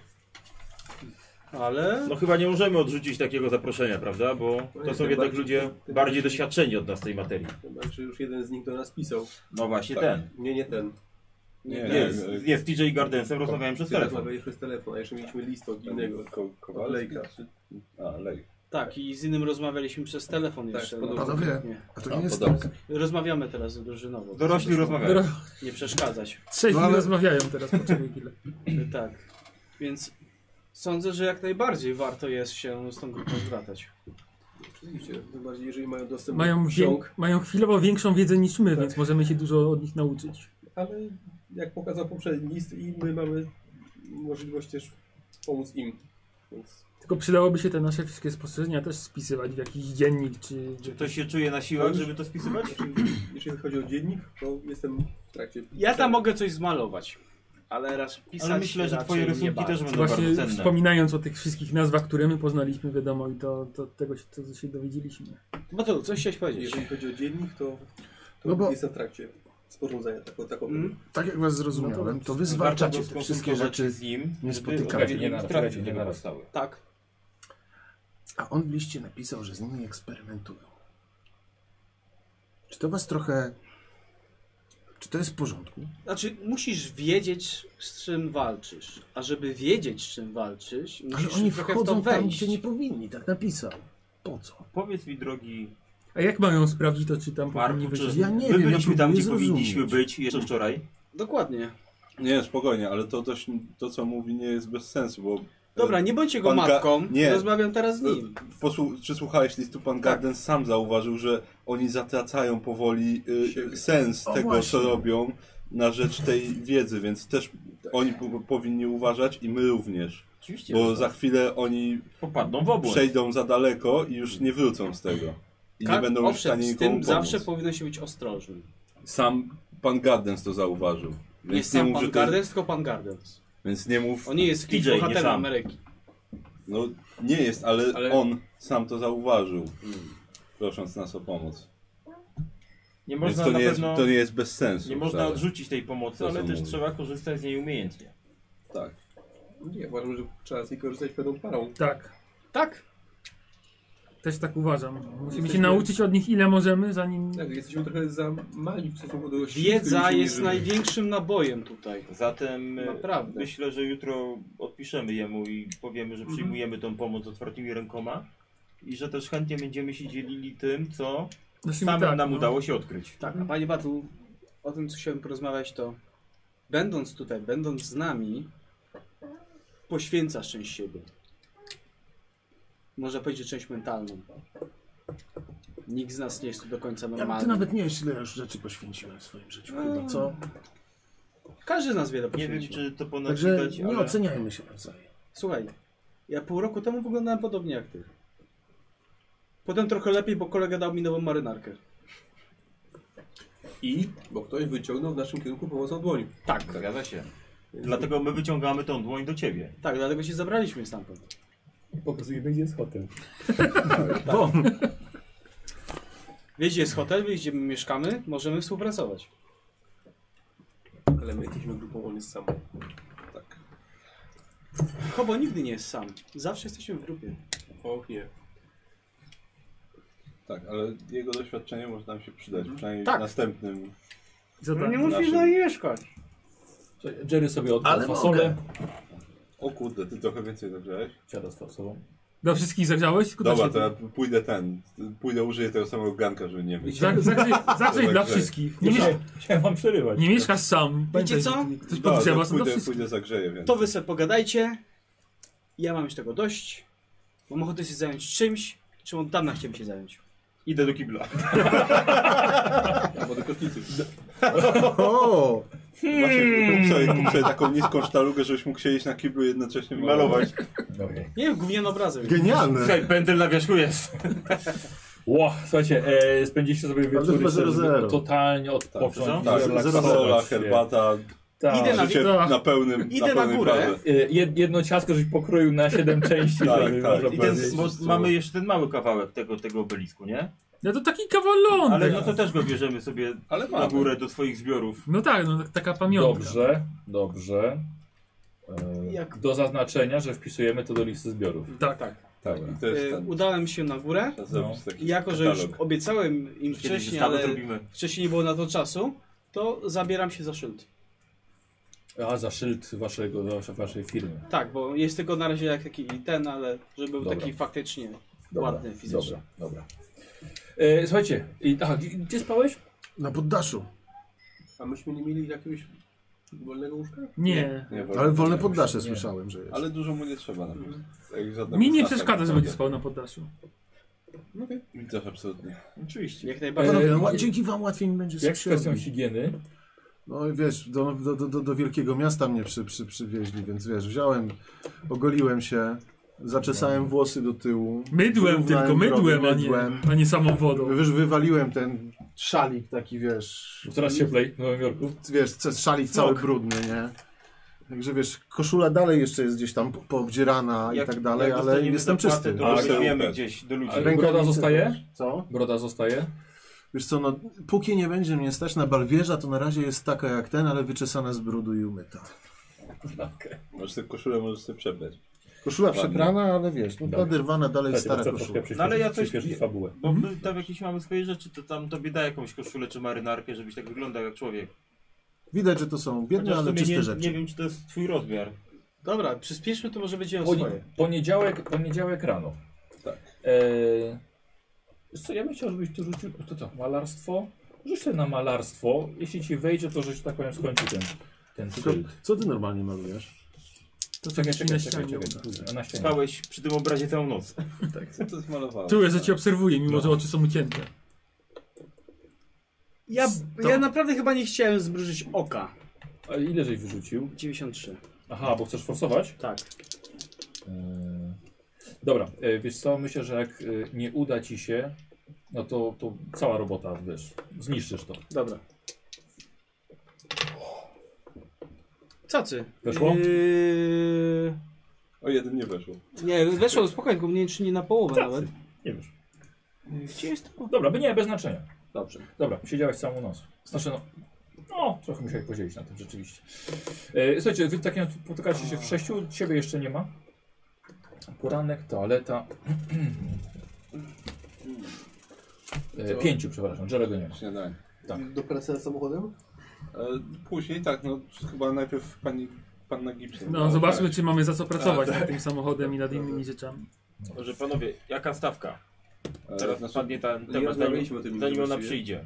[SPEAKER 1] Ale
[SPEAKER 10] No chyba nie możemy odrzucić takiego zaproszenia, prawda? Bo to są jednak ludzie No bardziej doświadczeni od nas w tej materii.
[SPEAKER 7] Chyba, że już jeden z nich do nas pisał.
[SPEAKER 10] No właśnie ten.
[SPEAKER 7] Nie, nie ten.
[SPEAKER 1] nie,
[SPEAKER 5] Nie,
[SPEAKER 1] nie.
[SPEAKER 10] Jest, Tak. jest TJ Gardensem, rozmawiałem przez
[SPEAKER 7] Ty
[SPEAKER 10] telefon.
[SPEAKER 7] rozmawiałeś przez telefon, a jeszcze mieliśmy list od innego.
[SPEAKER 5] Ko Kowalejka.
[SPEAKER 7] Olejka.
[SPEAKER 5] A, lej.
[SPEAKER 1] Tak, i z innym rozmawialiśmy przez telefon
[SPEAKER 7] Tak,
[SPEAKER 1] jeszcze.
[SPEAKER 7] podobno.
[SPEAKER 6] Panowie,
[SPEAKER 1] Nie.
[SPEAKER 6] a to
[SPEAKER 5] A,
[SPEAKER 10] No,
[SPEAKER 6] nie jest
[SPEAKER 5] podobno.
[SPEAKER 6] tak.
[SPEAKER 1] Rozmawiamy teraz drużynowo.
[SPEAKER 10] Dorośli rozmawiają.
[SPEAKER 1] Nie przeszkadzać.
[SPEAKER 3] Trzeźwi
[SPEAKER 6] No ale-
[SPEAKER 3] rozmawiają teraz, poczekaj chwilę.
[SPEAKER 1] Tak. Więc sądzę, że jak najbardziej warto jest się z tą grupą zwracać.
[SPEAKER 7] Oczywiście, tym bardziej jeżeli mają dostęp
[SPEAKER 3] Mają,
[SPEAKER 7] do
[SPEAKER 3] wie,
[SPEAKER 7] ksiąg.
[SPEAKER 3] mają chwilowo większą wiedzę niż my, więc możemy się dużo od nich nauczyć.
[SPEAKER 7] Ale jak pokazał poprzedni list i my mamy możliwość też pomóc im. Więc
[SPEAKER 3] Tylko przydałoby się te nasze wszystkie spostrzeżenia też spisywać w jakiś dziennik, czy...
[SPEAKER 10] Czy ktoś się czuje na siłach, żeby to spisywać?
[SPEAKER 7] jeżeli chodzi o dziennik, to jestem w trakcie.
[SPEAKER 1] Ja tam mogę coś zmalować, ale raz pisać
[SPEAKER 10] Ale myślę, że
[SPEAKER 1] raczej
[SPEAKER 10] twoje
[SPEAKER 1] nie
[SPEAKER 10] rysunki
[SPEAKER 1] bardzo.
[SPEAKER 10] też będą
[SPEAKER 3] Właśnie
[SPEAKER 10] bardzo cenne.
[SPEAKER 3] wspominając o tych wszystkich nazwach, które my poznaliśmy, wiadomo, i to, to tego się, co się dowiedzieliśmy.
[SPEAKER 1] Bo to coś chciałeś powiedzieć.
[SPEAKER 7] Jeżeli chodzi o dziennik, to, to
[SPEAKER 6] No bo-
[SPEAKER 7] jestem w trakcie sporządzania taką, taką
[SPEAKER 1] Mm?
[SPEAKER 6] Tak jak was
[SPEAKER 10] No
[SPEAKER 6] zrozumiałem, to wy zwalczacie te wszystkie rzeczy.
[SPEAKER 10] z nim,
[SPEAKER 6] nie
[SPEAKER 10] żeby
[SPEAKER 6] spotykacie.
[SPEAKER 10] żeby
[SPEAKER 2] Nie
[SPEAKER 10] im
[SPEAKER 2] narastacie,
[SPEAKER 10] trafić,
[SPEAKER 2] nie
[SPEAKER 10] żeby
[SPEAKER 2] narastały.
[SPEAKER 1] Tak.
[SPEAKER 6] A on w liście napisał, że z nimi eksperymentują. Czy to was trochę... Czy to jest w porządku?
[SPEAKER 1] Znaczy, musisz wiedzieć, z czym walczysz. A żeby wiedzieć, z czym walczysz,
[SPEAKER 10] No
[SPEAKER 6] Ale
[SPEAKER 1] musisz
[SPEAKER 6] oni
[SPEAKER 1] trochę w to
[SPEAKER 6] wchodzą tam,
[SPEAKER 1] wejść.
[SPEAKER 6] gdzie nie powinni, tak napisał. Po co?
[SPEAKER 10] Powiedz mi, drogi
[SPEAKER 3] A jak mają sprawdzić to, czy tam powinni
[SPEAKER 10] Marku,
[SPEAKER 3] wyjść?
[SPEAKER 10] czy
[SPEAKER 6] Ja nie
[SPEAKER 10] my
[SPEAKER 6] wiem, ja
[SPEAKER 10] byliśmy tam,
[SPEAKER 6] próbuję
[SPEAKER 10] gdzie powinniśmy
[SPEAKER 6] zrozumieć.
[SPEAKER 10] być jeszcze wczoraj?
[SPEAKER 1] E,
[SPEAKER 9] Dokładnie.
[SPEAKER 8] Nie, spokojnie, ale to, dość, to co mówi nie jest bez sensu, bo... e,
[SPEAKER 9] Dobra, nie bądź jego
[SPEAKER 8] Pan Ga-
[SPEAKER 9] matką.
[SPEAKER 8] nie.
[SPEAKER 9] Rozmawiam teraz z
[SPEAKER 8] E,
[SPEAKER 9] nim.
[SPEAKER 8] Posłu- czy słuchałeś listu pan Garden
[SPEAKER 9] Tak.
[SPEAKER 8] sam zauważył, że oni zatracają powoli y, sens
[SPEAKER 6] O,
[SPEAKER 8] tego,
[SPEAKER 6] właśnie.
[SPEAKER 8] co robią na rzecz tej wiedzy, więc też
[SPEAKER 6] Tak.
[SPEAKER 8] oni po- powinni uważać i my również.
[SPEAKER 10] Oczywiście.
[SPEAKER 9] tak.
[SPEAKER 8] Bo za chwilę oni
[SPEAKER 10] Popadną w obłęd.
[SPEAKER 8] przejdą za daleko i już nie wrócą z tego. I nie
[SPEAKER 9] Tak,
[SPEAKER 8] będą już w
[SPEAKER 9] owszem,
[SPEAKER 8] stanie
[SPEAKER 9] z
[SPEAKER 8] nikomu
[SPEAKER 9] tym
[SPEAKER 8] pomóc.
[SPEAKER 9] zawsze powinno się być ostrożnym.
[SPEAKER 8] Sam pan Gardens to zauważył.
[SPEAKER 9] Nie jest
[SPEAKER 8] Więc nie
[SPEAKER 9] sam
[SPEAKER 8] mów,
[SPEAKER 9] pan
[SPEAKER 8] że to,
[SPEAKER 9] Gardens, tylko pan Gardens.
[SPEAKER 8] więc nie mów,
[SPEAKER 9] On nie jest kimś
[SPEAKER 10] TJ, nie
[SPEAKER 9] bohaterem
[SPEAKER 10] sam.
[SPEAKER 9] Ameryki.
[SPEAKER 8] no nie jest, ale,
[SPEAKER 10] Ale-
[SPEAKER 8] on sam to zauważył,
[SPEAKER 9] Hmm.
[SPEAKER 8] prosząc nas o pomoc.
[SPEAKER 10] Nie
[SPEAKER 8] Więc
[SPEAKER 10] można
[SPEAKER 8] to
[SPEAKER 10] na
[SPEAKER 8] nie, jest,
[SPEAKER 10] pewno...
[SPEAKER 8] to nie jest bez sensu.
[SPEAKER 10] Nie można
[SPEAKER 8] wcale.
[SPEAKER 10] odrzucić tej pomocy,
[SPEAKER 8] To, co
[SPEAKER 10] ale też
[SPEAKER 8] mówię.
[SPEAKER 10] trzeba korzystać z niej umiejętnie.
[SPEAKER 8] Tak.
[SPEAKER 7] Nie, uważam, że trzeba z niej korzystać pewną parą.
[SPEAKER 3] Tak,
[SPEAKER 9] Tak,
[SPEAKER 3] też tak uważam. Musimy się
[SPEAKER 7] Jesteśmy-
[SPEAKER 3] nauczyć od nich ile możemy, zanim...
[SPEAKER 7] Tak, jesteśmy trochę za mali w stosunku do sił, którymi
[SPEAKER 9] wiedza
[SPEAKER 7] się
[SPEAKER 9] jest
[SPEAKER 7] mierzymy.
[SPEAKER 9] największym nabojem tutaj.
[SPEAKER 10] Zatem e,
[SPEAKER 9] Naprawdę.
[SPEAKER 10] myślę, że jutro odpiszemy jemu i powiemy, że przyjmujemy tą pomoc otwartymi rękoma i że też chętnie będziemy się dzielili tym, co
[SPEAKER 3] Musimy
[SPEAKER 10] samym
[SPEAKER 3] tak,
[SPEAKER 10] nam
[SPEAKER 3] no.
[SPEAKER 10] udało się odkryć.
[SPEAKER 9] Tak, a panie Batu, o tym co chciałem porozmawiać to będąc tutaj, będąc z nami, poświęcasz część siebie. Można powiedzieć część mentalną. Nikt z nas nie jest tu do końca
[SPEAKER 6] Ja, ty
[SPEAKER 9] normalny.
[SPEAKER 6] nawet nie wiesz, ile już rzeczy poświęciłem w swoim życiu chyba,
[SPEAKER 10] No,
[SPEAKER 6] co?
[SPEAKER 9] Każdy z nas wiele
[SPEAKER 10] Nie wiem,
[SPEAKER 9] poświęcił.
[SPEAKER 10] czy to po nas
[SPEAKER 6] Także
[SPEAKER 10] no widać,
[SPEAKER 6] nie
[SPEAKER 10] ale
[SPEAKER 6] oceniajmy się nawzajem.
[SPEAKER 9] Słuchaj, ja pół roku temu wyglądałem podobnie jak ty. Potem trochę lepiej, bo kolega dał mi nową marynarkę.
[SPEAKER 7] I? Bo ktoś wyciągnął w naszym kierunku pomocą dłoni.
[SPEAKER 9] Tak,
[SPEAKER 10] zgadza się. Dlatego my wyciągamy tą dłoń do ciebie.
[SPEAKER 9] tak, dlatego się zabraliśmy stamtąd.
[SPEAKER 17] Pokazujemy, gdzie jest hotel.
[SPEAKER 9] Wiecie, jest hotel, wiecie, gdzie my mieszkamy, możemy współpracować.
[SPEAKER 7] Ale my jesteśmy grupą, on jest sam.
[SPEAKER 9] Hobo nigdy nie jest sam. Zawsze jesteśmy w grupie.
[SPEAKER 7] Och nie.
[SPEAKER 8] Tak, ale jego doświadczenie może nam się przydać, przynajmniej
[SPEAKER 9] Tak.
[SPEAKER 8] w następnym.
[SPEAKER 3] Zadanie.
[SPEAKER 8] musisz na
[SPEAKER 9] najeżkać.
[SPEAKER 2] Jerry sobie odpał
[SPEAKER 6] Ale
[SPEAKER 2] fasolę.
[SPEAKER 6] mogę.
[SPEAKER 8] O kurde, ty trochę więcej dogrzałeś?
[SPEAKER 2] Siada z fasolą.
[SPEAKER 3] Do wszystkich zagrzałeś? Tylko dla
[SPEAKER 8] Dobra, to
[SPEAKER 3] siebie.
[SPEAKER 8] ja pójdę ten, pójdę użyję tego samego ganka, żeby nie być.
[SPEAKER 3] Zag- Zagrzej, zagrzej
[SPEAKER 8] Zagrzej.
[SPEAKER 3] dla wszystkich. Nie, miesz-
[SPEAKER 2] Chciałem wam przerywać.
[SPEAKER 3] nie mieszkasz sam. Pamiętaj,
[SPEAKER 9] co?
[SPEAKER 3] że Ktoś
[SPEAKER 8] Dobra,
[SPEAKER 3] podgrzewa, są do
[SPEAKER 8] Tak, pójdę,
[SPEAKER 3] wszystkich.
[SPEAKER 8] pójdę zagrzeję, więc.
[SPEAKER 9] To wy sobie pogadajcie. Ja mam już tego dość. Mam ochotę się zająć czymś, czym od dawna chciałbym się zająć.
[SPEAKER 10] Idę do kibla.
[SPEAKER 7] Albo do kotnicy.
[SPEAKER 6] O!
[SPEAKER 8] Właśnie
[SPEAKER 9] Hmm.
[SPEAKER 8] kup sobie, kup sobie taką niską sztalugę, żebyś mógł siedzieć na kiblu i jednocześnie
[SPEAKER 9] No.
[SPEAKER 8] malować.
[SPEAKER 2] Okej.
[SPEAKER 9] Nie wiem, gówniany obrazek.
[SPEAKER 6] Genialne!
[SPEAKER 10] Słuchaj, pędzel na wierzchu jest.
[SPEAKER 2] Ło, słuchajcie, e, spędziliście sobie
[SPEAKER 6] Bardzo
[SPEAKER 2] wieczór
[SPEAKER 6] chyba
[SPEAKER 2] żeby
[SPEAKER 6] 0-0.
[SPEAKER 2] totalnie
[SPEAKER 10] Co?
[SPEAKER 2] odpocząć.
[SPEAKER 8] Tak,
[SPEAKER 6] Zero- zero-
[SPEAKER 8] fasola,
[SPEAKER 2] zrelaksować się.
[SPEAKER 8] herbata,
[SPEAKER 2] Tak.
[SPEAKER 9] Idę na-
[SPEAKER 8] życie
[SPEAKER 3] tak.
[SPEAKER 8] na pełnym,
[SPEAKER 9] Idę
[SPEAKER 8] na
[SPEAKER 9] na
[SPEAKER 8] pełnej
[SPEAKER 9] górę.
[SPEAKER 8] parze.
[SPEAKER 2] E, jed- jedno ciasto żeś pokroił na 7 części,
[SPEAKER 8] Tak,
[SPEAKER 2] żeby
[SPEAKER 8] tak.
[SPEAKER 2] można
[SPEAKER 10] I ten,
[SPEAKER 2] powiedzieć.
[SPEAKER 10] bo mamy jeszcze ten mały kawałek tego, tego obelisku, nie?
[SPEAKER 3] No to taki kawalądek.
[SPEAKER 10] Ale no to też go bierzemy sobie
[SPEAKER 8] Ale
[SPEAKER 10] na
[SPEAKER 8] mamy.
[SPEAKER 10] górę do swoich zbiorów.
[SPEAKER 3] No tak, no tak- taka pamiątka.
[SPEAKER 2] Dobrze, dobrze. E,
[SPEAKER 9] Jak-
[SPEAKER 2] Do zaznaczenia, że wpisujemy to do listy zbiorów.
[SPEAKER 3] Tak, tak.
[SPEAKER 8] Tak, i to jest
[SPEAKER 9] Y,
[SPEAKER 8] ten.
[SPEAKER 9] Udałem się na górę.
[SPEAKER 8] Trzeba No. zrobić taki
[SPEAKER 9] I jako, że już
[SPEAKER 8] katalog.
[SPEAKER 9] obiecałem im
[SPEAKER 10] Kiedy
[SPEAKER 9] wcześniej,
[SPEAKER 10] zestawy
[SPEAKER 9] ale
[SPEAKER 10] zrobimy.
[SPEAKER 9] wcześniej nie było na to czasu, to zabieram się za szyld.
[SPEAKER 2] A, za szyld waszego, wasza- waszej firmy.
[SPEAKER 9] Tak, bo jest tylko na razie jak taki ten, ale żeby był
[SPEAKER 2] Dobra.
[SPEAKER 9] taki faktycznie ładny fizycznie.
[SPEAKER 2] Dobra, dobra. E, słuchajcie, i, aha, gdzie, gdzie spałeś?
[SPEAKER 6] Na poddaszu.
[SPEAKER 7] A myśmy nie mieli jakiegoś wolnego łóżka?
[SPEAKER 3] Nie.
[SPEAKER 8] Nie,
[SPEAKER 6] Ale wolne
[SPEAKER 8] nie,
[SPEAKER 6] poddasze
[SPEAKER 2] nie.
[SPEAKER 6] słyszałem, że jest.
[SPEAKER 8] Ale dużo mu nie trzeba na pewno. Jak żadna
[SPEAKER 3] Mi nie
[SPEAKER 8] wyznacza,
[SPEAKER 3] przeszkadza, że
[SPEAKER 8] naprawdę.
[SPEAKER 3] będzie spał na poddaszu.
[SPEAKER 8] Mi też absolutnie.
[SPEAKER 10] Oczywiście.
[SPEAKER 9] Jak
[SPEAKER 2] E,
[SPEAKER 9] najbardziej.
[SPEAKER 6] Panowie, ła- dzięki wam łatwiej mi będzie
[SPEAKER 2] Jak z
[SPEAKER 6] z
[SPEAKER 2] kwestią
[SPEAKER 6] księgami.
[SPEAKER 2] higieny?
[SPEAKER 6] No i wiesz, do, do, do, do wielkiego miasta mnie przy, przy, przywieźli, więc wiesz, wziąłem, ogoliłem się, zaczesałem włosy do tyłu.
[SPEAKER 3] Mydłem
[SPEAKER 6] wyrównałem
[SPEAKER 3] tylko, mydłem,
[SPEAKER 6] brodę,
[SPEAKER 3] a nie, a nie samą wodą.
[SPEAKER 6] Wiesz, wywaliłem ten szalik taki, wiesz,
[SPEAKER 2] Coraz cieplej w Nowym Jorku.
[SPEAKER 6] wiesz, ce- szalik cały brudny, nie? Także wiesz, koszula dalej jeszcze jest gdzieś tam po- poobdzierana i
[SPEAKER 10] Jak-
[SPEAKER 6] tak dalej,
[SPEAKER 10] jak
[SPEAKER 6] ale
[SPEAKER 10] dostaniemy
[SPEAKER 6] jestem
[SPEAKER 10] zapłatę,
[SPEAKER 6] czysty.
[SPEAKER 10] To
[SPEAKER 8] Ale-
[SPEAKER 10] rozwiejemy gdzieś do ludzi.
[SPEAKER 2] Ale-
[SPEAKER 6] Rękawice
[SPEAKER 2] broda zostaje?
[SPEAKER 6] też. Co?
[SPEAKER 2] Broda zostaje.
[SPEAKER 6] Wiesz co, no póki nie będzie mnie stać na balwierza, to na razie jest taka jak ten, ale wyczesana z brudu i umyta.
[SPEAKER 8] Możesz sobie koszulę, możesz sobie przebrać.
[SPEAKER 6] Koszula
[SPEAKER 8] Ładnie.
[SPEAKER 6] przebrana, ale wiesz, no
[SPEAKER 2] Dobra.
[SPEAKER 6] naderwana dalej
[SPEAKER 2] Słuchajcie,
[SPEAKER 6] stara
[SPEAKER 2] bo chcę
[SPEAKER 6] koszula.
[SPEAKER 2] troszkę
[SPEAKER 10] No ale ja
[SPEAKER 2] przyśpieszyć-
[SPEAKER 10] coś-
[SPEAKER 2] przyśpieszyć fabułę.
[SPEAKER 10] Bo my tam jakieś mamy swoje rzeczy, to tam tobie da jakąś koszulę czy marynarkę, żebyś tak wyglądał jak człowiek.
[SPEAKER 6] Widać, że to są biedne,
[SPEAKER 10] Chociaż
[SPEAKER 6] ale
[SPEAKER 10] w sumie
[SPEAKER 6] czyste
[SPEAKER 10] nie,
[SPEAKER 6] rzeczy.
[SPEAKER 10] nie wiem, czy to jest twój rozmiar.
[SPEAKER 9] Dobra, przyspieszmy to, może będzie o
[SPEAKER 2] Poni-
[SPEAKER 9] swoje.
[SPEAKER 2] Poniedziałek, poniedziałek rano.
[SPEAKER 8] Tak.
[SPEAKER 2] E, Wiesz co, ja bym chciał, żebyś tu rzucił, to co, malarstwo? Rzuć sobie na malarstwo. Jeśli ci wejdzie, to że, że tak powiem skończy ten, ten
[SPEAKER 6] Tylko,
[SPEAKER 2] szyld.
[SPEAKER 6] co ty normalnie malujesz?
[SPEAKER 3] To
[SPEAKER 2] Czekaj,
[SPEAKER 3] ci na
[SPEAKER 2] czekaj,
[SPEAKER 3] ścianie
[SPEAKER 2] czekaj, czekaj.
[SPEAKER 3] uda.
[SPEAKER 2] A na ścianie.
[SPEAKER 10] Spałeś przy tym obrazie całą noc.
[SPEAKER 8] Co to zmalowałem?
[SPEAKER 3] Czuję, że cię obserwuję, mimo że oczy są ucięte.
[SPEAKER 9] Ja,
[SPEAKER 3] To-
[SPEAKER 9] ja naprawdę chyba nie chciałem zmrużyć oka.
[SPEAKER 2] A ile żeś wyrzucił?
[SPEAKER 9] 93.
[SPEAKER 2] Aha, bo chcesz forsować?
[SPEAKER 9] Tak.
[SPEAKER 2] Eee, dobra, e, wiesz co, myślę, że jak e, nie uda ci się, no to, to cała robota, wiesz, zniszczysz to.
[SPEAKER 9] Dobra. Cacy.
[SPEAKER 2] Weszło?
[SPEAKER 18] Yy,
[SPEAKER 8] O jeden nie weszło.
[SPEAKER 18] nie, weszło spokojnie, tylko mniej czy nie na połowę
[SPEAKER 2] Cacy.
[SPEAKER 18] nawet.
[SPEAKER 2] Nie wiesz.
[SPEAKER 18] Yy, Gdzie jest to?
[SPEAKER 2] Dobra, by nie, bez znaczenia.
[SPEAKER 9] Dobrze.
[SPEAKER 2] Dobra, siedziałeś całą noc. Znaczy no, no trochę musiałeś podzielić na tym rzeczywiście. E, słuchajcie, wy tak spotykacie się w sześciu, ciebie jeszcze nie ma. Poranek, toaleta. E, pięciu, przepraszam, Jerego nie ma.
[SPEAKER 8] Śniadanie.
[SPEAKER 7] Do pracy nad samochodem?
[SPEAKER 8] E, Później tak, no chyba najpierw pani, panna Gibson.
[SPEAKER 3] No, zobaczmy, czy mamy za co pracować
[SPEAKER 8] A, tak.
[SPEAKER 3] nad tym samochodem i nad innymi rzeczami.
[SPEAKER 10] Może panowie, jaka stawka?
[SPEAKER 8] E,
[SPEAKER 10] Teraz
[SPEAKER 8] znaczy,
[SPEAKER 10] padnie ten
[SPEAKER 8] nie
[SPEAKER 10] temat, zanim,
[SPEAKER 8] rozmawialiśmy o tym
[SPEAKER 10] zanim ona
[SPEAKER 8] właściwie.
[SPEAKER 10] przyjdzie.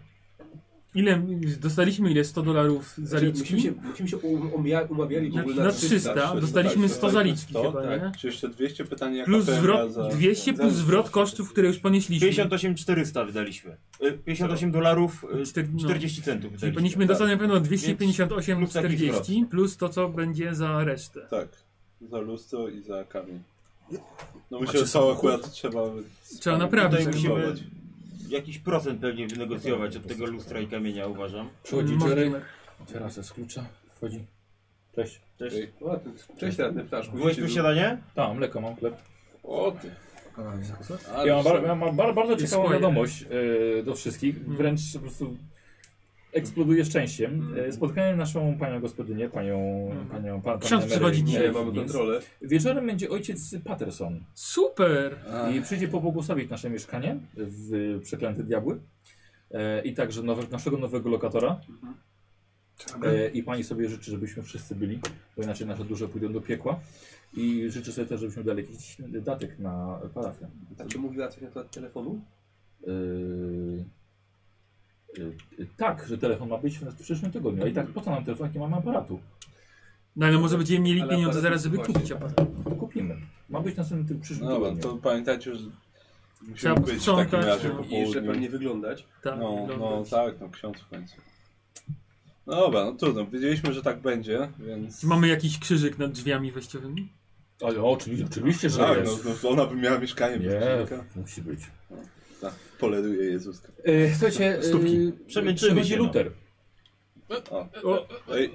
[SPEAKER 3] Ile dostaliśmy? Ile? 100 dolarów
[SPEAKER 8] Znaczy,
[SPEAKER 7] Musimy się,
[SPEAKER 3] zaliczki?
[SPEAKER 7] musimy się um- umia- umawiali w
[SPEAKER 3] Na,
[SPEAKER 7] ogóle
[SPEAKER 3] na 300. Dostaliśmy 100 zaliczki
[SPEAKER 8] tak, To,
[SPEAKER 3] chyba, nie?
[SPEAKER 8] tak. Czy jeszcze 200 pytanie jaka
[SPEAKER 3] Plus
[SPEAKER 8] premia
[SPEAKER 3] zwrot,
[SPEAKER 8] za-
[SPEAKER 3] 200 plus
[SPEAKER 8] za-
[SPEAKER 3] zwrot kosztów, które już ponieśliśmy.
[SPEAKER 10] 58 400 wydaliśmy. Y, 58 dolarów y,
[SPEAKER 3] Czter- no.
[SPEAKER 10] 40 centów
[SPEAKER 3] Czyli
[SPEAKER 10] wydaliśmy.
[SPEAKER 3] powinniśmy dostać na pewno
[SPEAKER 10] Plus taki
[SPEAKER 3] 258,40 plus to, co będzie za resztę.
[SPEAKER 8] Tak, za lustro i za kamień. No myślę, że cały akurat trzeba...
[SPEAKER 3] Trzeba naprawić.
[SPEAKER 10] Tutaj musimy
[SPEAKER 8] Spróbować.
[SPEAKER 10] jakiś procent pewnie wynegocjować od tego lustra i kamienia, uważam.
[SPEAKER 2] Przychodzi
[SPEAKER 3] Może-
[SPEAKER 2] Jerry, teraz z klucza, wchodzi. Cześć.
[SPEAKER 10] Cześć.
[SPEAKER 8] Ej,
[SPEAKER 7] O, ty, no, cześć radny ptaszku.
[SPEAKER 10] Byłeś
[SPEAKER 7] Widzicie,
[SPEAKER 10] tu śniadanie?
[SPEAKER 2] Tam, Tak, mleko mam, chleb.
[SPEAKER 8] O ty!
[SPEAKER 2] Ja mam, bar- ja mam bar- bardzo
[SPEAKER 3] Jest
[SPEAKER 2] ciekawą
[SPEAKER 3] moje.
[SPEAKER 2] wiadomość e, do wszystkich.
[SPEAKER 8] Mm.
[SPEAKER 2] Wręcz po prostu eksploduję szczęściem.
[SPEAKER 8] Mm.
[SPEAKER 2] E, spotkałem naszą panią gospodynię, panią... panią pan,
[SPEAKER 3] Ksiądz
[SPEAKER 2] panią Mary-
[SPEAKER 3] przychodzi
[SPEAKER 2] Mary
[SPEAKER 3] dzisiaj.
[SPEAKER 8] Mamy
[SPEAKER 2] Higgins.
[SPEAKER 8] kontrolę.
[SPEAKER 2] Wieczorem będzie ojciec Patterson
[SPEAKER 3] Super!
[SPEAKER 2] i przyjdzie pobłogosławić nasze mieszkanie w Przeklęte Diabły e, i także nowe, naszego nowego lokatora.
[SPEAKER 8] Mhm.
[SPEAKER 2] E, I pani sobie życzy, żebyśmy wszyscy byli, bo inaczej nasze duże pójdą do piekła. I życzy sobie też, żebyśmy dali jakiś datek na parafię.
[SPEAKER 7] A czy mówiła coś na temat telefonu?
[SPEAKER 2] Yy, yy, yy, tak, że telefon ma być w w przyszłym tygodniu. A i tak po co nam telefon, jak nie mamy aparatu?
[SPEAKER 3] No ale może będziemy mieli
[SPEAKER 7] Ale
[SPEAKER 3] pieniądze
[SPEAKER 7] aparat-
[SPEAKER 3] zaraz, żeby
[SPEAKER 7] właśnie.
[SPEAKER 8] tak.
[SPEAKER 3] kupić aparat.
[SPEAKER 2] No to kupimy. Ma być w następnym ty- przyszłym
[SPEAKER 8] No dobra,
[SPEAKER 2] tygodniu.
[SPEAKER 8] to pamiętajcie, że musimy
[SPEAKER 3] Trzeba
[SPEAKER 8] być w takim
[SPEAKER 3] posprzątać,
[SPEAKER 8] razie
[SPEAKER 3] no.
[SPEAKER 8] po
[SPEAKER 7] I jeszcze
[SPEAKER 8] południu.
[SPEAKER 7] pewnie wyglądać.
[SPEAKER 3] Tak,
[SPEAKER 8] No, no
[SPEAKER 3] wygląda.
[SPEAKER 8] tak, no ksiądz w końcu. No dobra, no trudno, wiedzieliśmy, że tak będzie, więc...
[SPEAKER 3] Czy mamy jakiś krzyżyk nad drzwiami wejściowymi?
[SPEAKER 2] Ale oczywiście, oczywiście, że
[SPEAKER 8] Tak,
[SPEAKER 2] jest.
[SPEAKER 8] no, no ona by miała mieszkanie bez
[SPEAKER 2] Nie,
[SPEAKER 8] dziennika.
[SPEAKER 2] musi być.
[SPEAKER 8] Tak, poleruje Jezuska.
[SPEAKER 2] Yy, słuchajcie, yy,
[SPEAKER 10] Przemęczymy
[SPEAKER 2] przychodzi
[SPEAKER 10] się, no.
[SPEAKER 2] Luter.
[SPEAKER 8] O, no
[SPEAKER 3] O,
[SPEAKER 8] ej,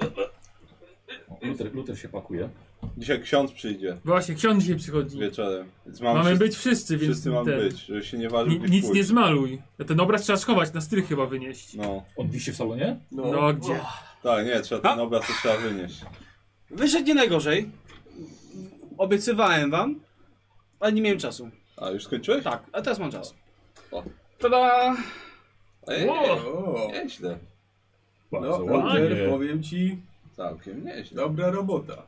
[SPEAKER 2] Luter. Luter się pakuje.
[SPEAKER 8] dzisiaj ksiądz przyjdzie
[SPEAKER 3] właśnie, ksiądz dzisiaj przychodzi.
[SPEAKER 8] wieczorem, więc mamy,
[SPEAKER 3] Mamy
[SPEAKER 8] wszyscy,
[SPEAKER 3] być wszyscy, więc
[SPEAKER 8] wszyscy mamy
[SPEAKER 3] ten,
[SPEAKER 8] być, żeby się nie ważył
[SPEAKER 3] ni-
[SPEAKER 8] gdzieś
[SPEAKER 3] nic nie
[SPEAKER 8] pójść.
[SPEAKER 3] zmaluj. Ten obraz trzeba schować, na strych chyba wynieść.
[SPEAKER 8] No,
[SPEAKER 2] On wisi w salonie?
[SPEAKER 3] No, gdzie?
[SPEAKER 8] tak, nie, trzeba ten obraz to trzeba wynieść.
[SPEAKER 9] Wyszedł nie najgorzej. Obiecywałem wam, ale nie miałem czasu.
[SPEAKER 8] A, już skończyłeś?
[SPEAKER 9] Tak, a teraz mam czas.
[SPEAKER 8] O.
[SPEAKER 9] Tada!
[SPEAKER 8] Ej,
[SPEAKER 19] O,
[SPEAKER 8] nieźle,
[SPEAKER 19] no,
[SPEAKER 2] Bardzo
[SPEAKER 19] Roger,
[SPEAKER 2] ładnie.
[SPEAKER 19] powiem ci,
[SPEAKER 8] całkiem nieźle.
[SPEAKER 19] dobra robota.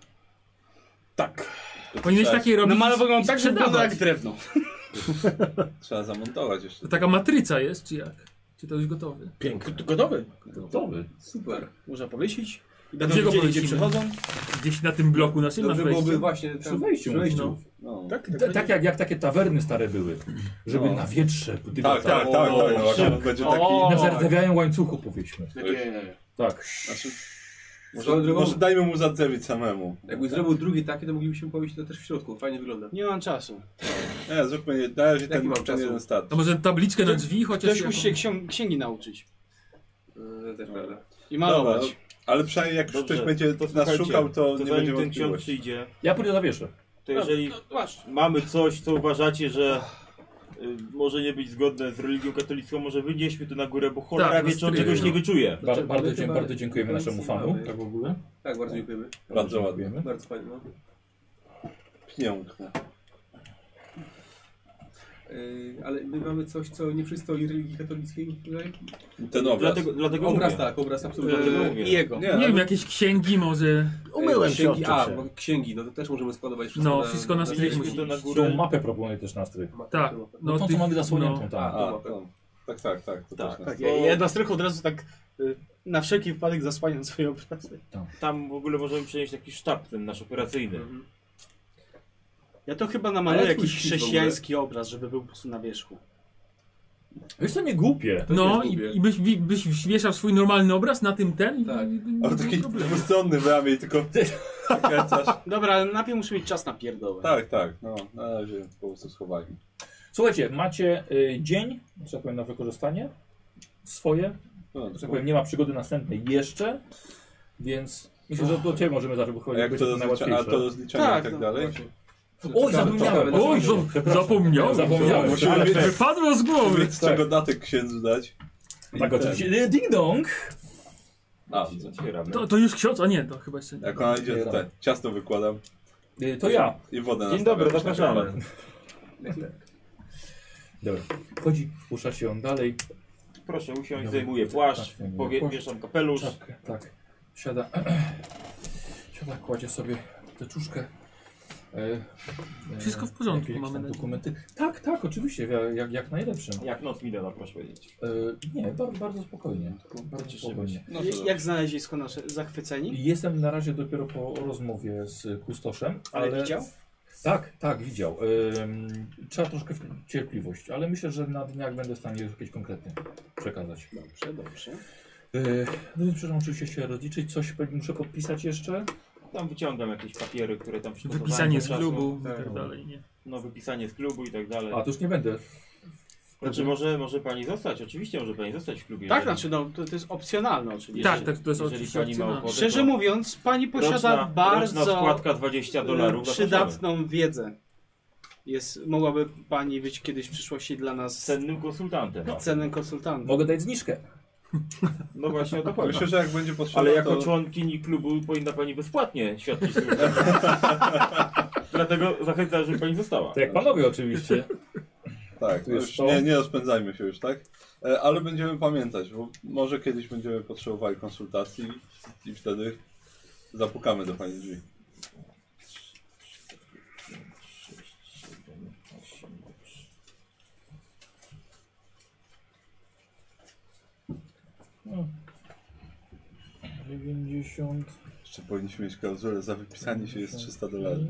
[SPEAKER 8] Tak.
[SPEAKER 3] Powinieneś
[SPEAKER 8] trzeba,
[SPEAKER 3] takie robić
[SPEAKER 9] Namalowałem
[SPEAKER 3] i
[SPEAKER 9] tak, że wygląda jak
[SPEAKER 3] sprzedawać.
[SPEAKER 9] drewno.
[SPEAKER 8] Trzeba zamontować jeszcze.
[SPEAKER 3] To taka matryca jest, czy jak? Czy to już gotowy?
[SPEAKER 9] Piękny. Gotowy.
[SPEAKER 2] Gotowy.
[SPEAKER 9] Super. Można powiesić. I
[SPEAKER 3] Gdzie
[SPEAKER 9] będą
[SPEAKER 3] go
[SPEAKER 9] wiedzieli, gdzie
[SPEAKER 3] powiesimy?
[SPEAKER 9] przychodzą.
[SPEAKER 3] Gdzieś na tym bloku naszym na
[SPEAKER 7] Dobrze byłoby
[SPEAKER 3] wejściu.
[SPEAKER 7] właśnie
[SPEAKER 2] Przy
[SPEAKER 7] tam...
[SPEAKER 2] wejściu.
[SPEAKER 3] No.
[SPEAKER 8] No.
[SPEAKER 2] Tak, tak jak, jak takie tawerny stare były. Żeby na wietrze dywacały.
[SPEAKER 8] Tak, tak, tak, tak, no, akurat będzie taki...
[SPEAKER 2] Na zardzewiałym łańcuchu powiedzmy. Tak.
[SPEAKER 8] Znaczy,
[SPEAKER 7] Swoją
[SPEAKER 8] może,
[SPEAKER 7] drogą-
[SPEAKER 8] może dajmy mu zadzewić samemu.
[SPEAKER 7] Jakby zrobił drugi taki, to moglibyśmy powiedzieć to też w środku. Fajnie wygląda.
[SPEAKER 9] Nie mam czasu.
[SPEAKER 8] Nie, zróbmy, na razie
[SPEAKER 7] Jaki
[SPEAKER 8] ten,
[SPEAKER 7] mam
[SPEAKER 8] ten
[SPEAKER 7] czasu?
[SPEAKER 8] jeden start.
[SPEAKER 3] To może tabliczkę na drzwi, chociaż...
[SPEAKER 9] Ktoś musi się ksią- księgi nauczyć.
[SPEAKER 7] Yy, też prawda.
[SPEAKER 9] I
[SPEAKER 8] Dobra,
[SPEAKER 9] malować.
[SPEAKER 8] ale przynajmniej jak już
[SPEAKER 10] Dobrze.
[SPEAKER 8] ktoś będzie nas
[SPEAKER 10] słuchajcie,
[SPEAKER 8] szukał, to,
[SPEAKER 10] To
[SPEAKER 8] nie będzie
[SPEAKER 10] zanim ten ksiądz
[SPEAKER 8] wątpliwości.
[SPEAKER 10] przyjdzie,
[SPEAKER 2] Ja pójdę na wieszę.
[SPEAKER 10] to jeżeli mamy coś, co uważacie, że y, może nie być zgodne z religią katolicką, może wynieśmy to na górę, bo cholera
[SPEAKER 3] Tak,
[SPEAKER 10] wie,
[SPEAKER 3] na
[SPEAKER 10] czy on
[SPEAKER 3] stryj,
[SPEAKER 10] czegoś
[SPEAKER 3] no.
[SPEAKER 10] nie wyczuje.
[SPEAKER 2] Bar-
[SPEAKER 7] Znaczy,
[SPEAKER 2] bardzo,
[SPEAKER 7] ale
[SPEAKER 2] dzie-
[SPEAKER 7] chyba
[SPEAKER 2] bardzo dziękujemy
[SPEAKER 7] nic
[SPEAKER 2] naszemu
[SPEAKER 7] nie
[SPEAKER 2] fanu.
[SPEAKER 7] mamy.
[SPEAKER 2] Tak w ogóle.
[SPEAKER 7] Tak, bardzo dziękujemy.
[SPEAKER 8] Bardzo ładnie.
[SPEAKER 7] Bardzo fajnie. No.
[SPEAKER 8] Piękne.
[SPEAKER 7] Yy, ale my mamy coś, co nie przystoi religii katolickiej tutaj?
[SPEAKER 8] Ten obraz.
[SPEAKER 10] Dlatego, dlatego
[SPEAKER 7] Obraz
[SPEAKER 10] mówię.
[SPEAKER 7] tak, obraz absolutnie.
[SPEAKER 10] Dlatego
[SPEAKER 7] Yy,
[SPEAKER 10] mówię.
[SPEAKER 20] I jego.
[SPEAKER 8] Nie,
[SPEAKER 3] Nie
[SPEAKER 8] ale-
[SPEAKER 3] wiem, jakieś księgi może.
[SPEAKER 6] Umyłem się,
[SPEAKER 7] księgi,
[SPEAKER 6] odczuł
[SPEAKER 7] a,
[SPEAKER 6] się.
[SPEAKER 7] bo księgi, no to też możemy składować wszystko
[SPEAKER 3] No, wszystko na strych
[SPEAKER 10] Mieliśmy
[SPEAKER 3] musi-
[SPEAKER 10] to na górę.
[SPEAKER 2] Tą mapę proponuję też na strych.
[SPEAKER 7] Ma-
[SPEAKER 3] Tak.
[SPEAKER 7] ma-
[SPEAKER 2] No, tą,
[SPEAKER 3] tych-
[SPEAKER 2] co mamy zasłoniętą,
[SPEAKER 3] no.
[SPEAKER 8] A,
[SPEAKER 2] tak.
[SPEAKER 8] a, to- tak, tak, tak. To
[SPEAKER 10] Tak,
[SPEAKER 8] też
[SPEAKER 9] Tak,
[SPEAKER 8] nas-
[SPEAKER 9] ja, ja na strych od razu tak y, na wszelki wypadek zasłaniam swoje obrazy.
[SPEAKER 10] Tam w ogóle możemy przenieść taki sztab ten nasz operacyjny.
[SPEAKER 7] Mhm.
[SPEAKER 9] Ja to chyba namaluję
[SPEAKER 7] Ale twój
[SPEAKER 9] jakiś
[SPEAKER 7] śpis w ogóle.
[SPEAKER 9] chrześcijański obraz, żeby był po prostu na wierzchu.
[SPEAKER 2] Wiesz, to nie głupie.
[SPEAKER 3] No
[SPEAKER 7] też
[SPEAKER 3] i,
[SPEAKER 7] lubię.
[SPEAKER 3] i byś, bi- byś wieszał swój normalny obraz na tym ten? i-
[SPEAKER 7] Tak.
[SPEAKER 3] i- i-
[SPEAKER 8] Ale taki dwustronny w ramię i tylko przekręcasz.
[SPEAKER 9] Dobra, ale najpierw muszę mieć czas na pierdołę.
[SPEAKER 8] Tak, tak, no na razie po prostu schowajmy.
[SPEAKER 2] Słuchajcie, macie y, dzień, że tak powiem, na wykorzystanie swoje.
[SPEAKER 8] No,
[SPEAKER 2] Że tak powiem, nie ma przygody następnej jeszcze, więc myślę, że do Ciebie możemy zacząć, bo
[SPEAKER 8] a
[SPEAKER 2] chodzi
[SPEAKER 8] jak to rozlicza, a to rozliczanie
[SPEAKER 9] Tak,
[SPEAKER 8] i tak
[SPEAKER 9] no,
[SPEAKER 8] dalej?
[SPEAKER 2] Oj, zapomniałem!
[SPEAKER 3] Oj, za- zapomniałem!
[SPEAKER 2] Zapomniałem.
[SPEAKER 8] No,
[SPEAKER 10] Tak.
[SPEAKER 8] Musimy
[SPEAKER 3] Ale
[SPEAKER 8] mieć-
[SPEAKER 3] wypadło z głowy!
[SPEAKER 8] Z czego datek księdzu dać?
[SPEAKER 2] Tak, oczywiście. Y, Ding dong!
[SPEAKER 8] A,
[SPEAKER 10] Otwieramy.
[SPEAKER 3] To, to już ksiądz, a nie, to chyba jeszcze nie.
[SPEAKER 8] jak ona idzie, to te, ciasto wykładam
[SPEAKER 2] Y, To ja.
[SPEAKER 8] i wodę
[SPEAKER 10] Dzień
[SPEAKER 8] nastawiam.
[SPEAKER 10] dobry, zapraszamy.
[SPEAKER 2] Dobra. Chodzi, pusza się on dalej.
[SPEAKER 10] Proszę usiąść,
[SPEAKER 2] Dobra.
[SPEAKER 10] zajmuję płaszcz,
[SPEAKER 2] Tak,
[SPEAKER 10] powie-
[SPEAKER 2] płaszcz.
[SPEAKER 10] wieszam kapelusz.
[SPEAKER 2] Czapkę, tak. Siada. Siada, kładzie sobie teczuszkę. E,
[SPEAKER 3] Wszystko w porządku,
[SPEAKER 2] jakieś
[SPEAKER 3] mamy
[SPEAKER 2] tam
[SPEAKER 3] nadzieję.
[SPEAKER 2] dokumenty. Tak, tak, oczywiście, ja- jak, jak najlepszym.
[SPEAKER 10] Jak noc minęła, proszę powiedzieć.
[SPEAKER 2] E, nie, bardzo, bardzo spokojnie. Bardzo
[SPEAKER 10] Cieszymy
[SPEAKER 2] spokojnie.
[SPEAKER 8] No to
[SPEAKER 9] J-
[SPEAKER 8] dobrze.
[SPEAKER 9] Jak znalezisko nasze? Zachwyceni?
[SPEAKER 2] Jestem na razie dopiero po rozmowie z kustoszem, ale...
[SPEAKER 9] Ale widział?
[SPEAKER 2] Tak, tak, widział. Ym, trzeba troszkę cierpliwość, ale myślę, że na dniach będę w stanie już jakieś konkretne przekazać.
[SPEAKER 9] Dobrze, dobrze.
[SPEAKER 2] Yy, no więc przepraszam, oczywiście się rozliczyć. Coś pe- muszę podpisać jeszcze?
[SPEAKER 10] Tam wyciągam jakieś papiery, które tam przygotowałem.
[SPEAKER 3] Wypisanie
[SPEAKER 10] do
[SPEAKER 3] z
[SPEAKER 10] czasu.
[SPEAKER 3] klubu i tak
[SPEAKER 2] Tak.
[SPEAKER 3] dalej, nie?
[SPEAKER 10] No, wypisanie z klubu i tak dalej.
[SPEAKER 2] A, to już nie będę.
[SPEAKER 10] Znaczy, może, może pani zostać, oczywiście może pani zostać w klubie.
[SPEAKER 9] Tak,
[SPEAKER 10] jeżeli-
[SPEAKER 9] znaczy no, to, to jest opcjonalne oczywiście.
[SPEAKER 3] Tak, tak, to jest
[SPEAKER 10] jeżeli
[SPEAKER 3] oczywiście
[SPEAKER 10] pani ma
[SPEAKER 3] opcjonalne.
[SPEAKER 10] ochotę,
[SPEAKER 9] Szczerze
[SPEAKER 10] to
[SPEAKER 9] mówiąc, pani posiada
[SPEAKER 10] roczna, Roczna
[SPEAKER 9] bardzo
[SPEAKER 10] składka 20
[SPEAKER 9] y,
[SPEAKER 10] dolarów. zapraszamy.
[SPEAKER 9] przydatną wiedzę. Jest, mogłaby pani być kiedyś w przyszłości dla nas
[SPEAKER 10] Cennym konsultantem.
[SPEAKER 9] cennym konsultantem.
[SPEAKER 2] Mogę dać zniżkę.
[SPEAKER 10] No właśnie, o to chodzi.
[SPEAKER 8] Myślę, że jak będzie potrzeba,
[SPEAKER 10] Ale jako
[SPEAKER 8] to...
[SPEAKER 10] członkini klubu powinna pani bezpłatnie świadczyć służbę. Dlatego zachęcam, żeby pani została.
[SPEAKER 2] To jak panowie oczywiście.
[SPEAKER 8] Tak,
[SPEAKER 2] Tu
[SPEAKER 8] to
[SPEAKER 2] jest
[SPEAKER 8] już
[SPEAKER 2] to.
[SPEAKER 8] nie, nie rozpędzajmy się już, tak? E, Ale będziemy pamiętać, bo może kiedyś będziemy potrzebowali konsultacji i wtedy zapukamy do pani drzwi.
[SPEAKER 2] No. 90.
[SPEAKER 8] Jeszcze powinniśmy mieć klauzulę, za wypisanie się jest 300 dolarów.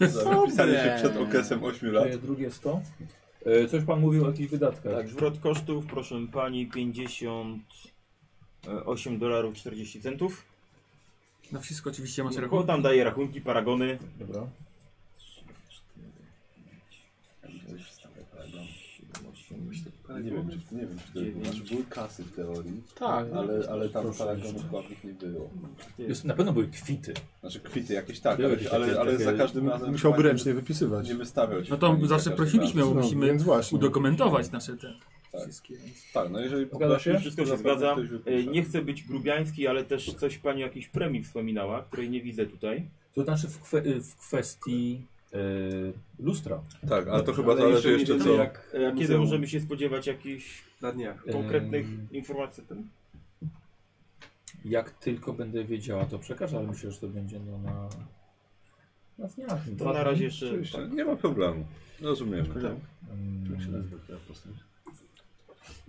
[SPEAKER 8] Za wypisanie się przed okresem 8
[SPEAKER 2] To
[SPEAKER 8] lat.
[SPEAKER 2] jest drugie 100. E, Coś pan mówił o jakichś wydatkach.
[SPEAKER 10] Tak, zwrot kosztów, proszę pani, 58 dolarów 40 centów.
[SPEAKER 3] Na wszystko oczywiście masz
[SPEAKER 10] Bo
[SPEAKER 3] rachunek.
[SPEAKER 10] tam daje rachunki, paragony.
[SPEAKER 2] Tak, Dobra.
[SPEAKER 8] Nie wiem, czy, nie wiem, czy to znaczy, były kasy w teorii,
[SPEAKER 9] Tak, no.
[SPEAKER 8] ale, ale tam
[SPEAKER 2] Proszę
[SPEAKER 8] paragonów
[SPEAKER 2] jeszcze.
[SPEAKER 8] płatnych nie było.
[SPEAKER 2] Jest, na pewno były kwity.
[SPEAKER 8] Znaczy kwity jakieś tak,
[SPEAKER 2] Były
[SPEAKER 8] ale,
[SPEAKER 2] jakieś takie-
[SPEAKER 8] ale, ale za
[SPEAKER 2] takie-
[SPEAKER 8] każdym razem...
[SPEAKER 6] Musiałby
[SPEAKER 8] pani
[SPEAKER 6] ręcznie wypisywać.
[SPEAKER 8] Nie wystawiał ci
[SPEAKER 3] No to
[SPEAKER 8] pani za
[SPEAKER 3] zawsze
[SPEAKER 8] każdym
[SPEAKER 3] prosiliśmy, bo
[SPEAKER 8] razem.
[SPEAKER 6] No,
[SPEAKER 3] musimy
[SPEAKER 6] więc właśnie.
[SPEAKER 3] udokumentować nasze te
[SPEAKER 8] Tak.
[SPEAKER 3] wszystkie.
[SPEAKER 8] Tak, no jeżeli
[SPEAKER 2] Zgadza
[SPEAKER 8] poprosisz,
[SPEAKER 2] się?
[SPEAKER 10] Wszystko się
[SPEAKER 8] to
[SPEAKER 10] zgadza.
[SPEAKER 8] ktoś wypisze.
[SPEAKER 10] E, Nie chcę być grubiański, ale też coś pani o jakiejś premii wspominała, której nie widzę tutaj.
[SPEAKER 2] To znaczy w, kwe, y, w kwestii e, lustra.
[SPEAKER 8] Tak, ale to chyba
[SPEAKER 7] Ale
[SPEAKER 8] zależy
[SPEAKER 7] nie
[SPEAKER 8] jeszcze
[SPEAKER 7] wiemy,
[SPEAKER 8] co...
[SPEAKER 7] jak,
[SPEAKER 10] E, A kiedy
[SPEAKER 7] muzeum
[SPEAKER 10] możemy się spodziewać jakichś
[SPEAKER 7] Na dniach.
[SPEAKER 10] konkretnych
[SPEAKER 2] Em,
[SPEAKER 10] informacji o tym?
[SPEAKER 2] Jak tylko będę wiedziała, to przekażę, ale myślę, że to będzie no na... Na dniach.
[SPEAKER 10] To na razie jeszcze...
[SPEAKER 8] Oczywiście, nie ma problemu. Rozumiemy. Tak.
[SPEAKER 2] Mm,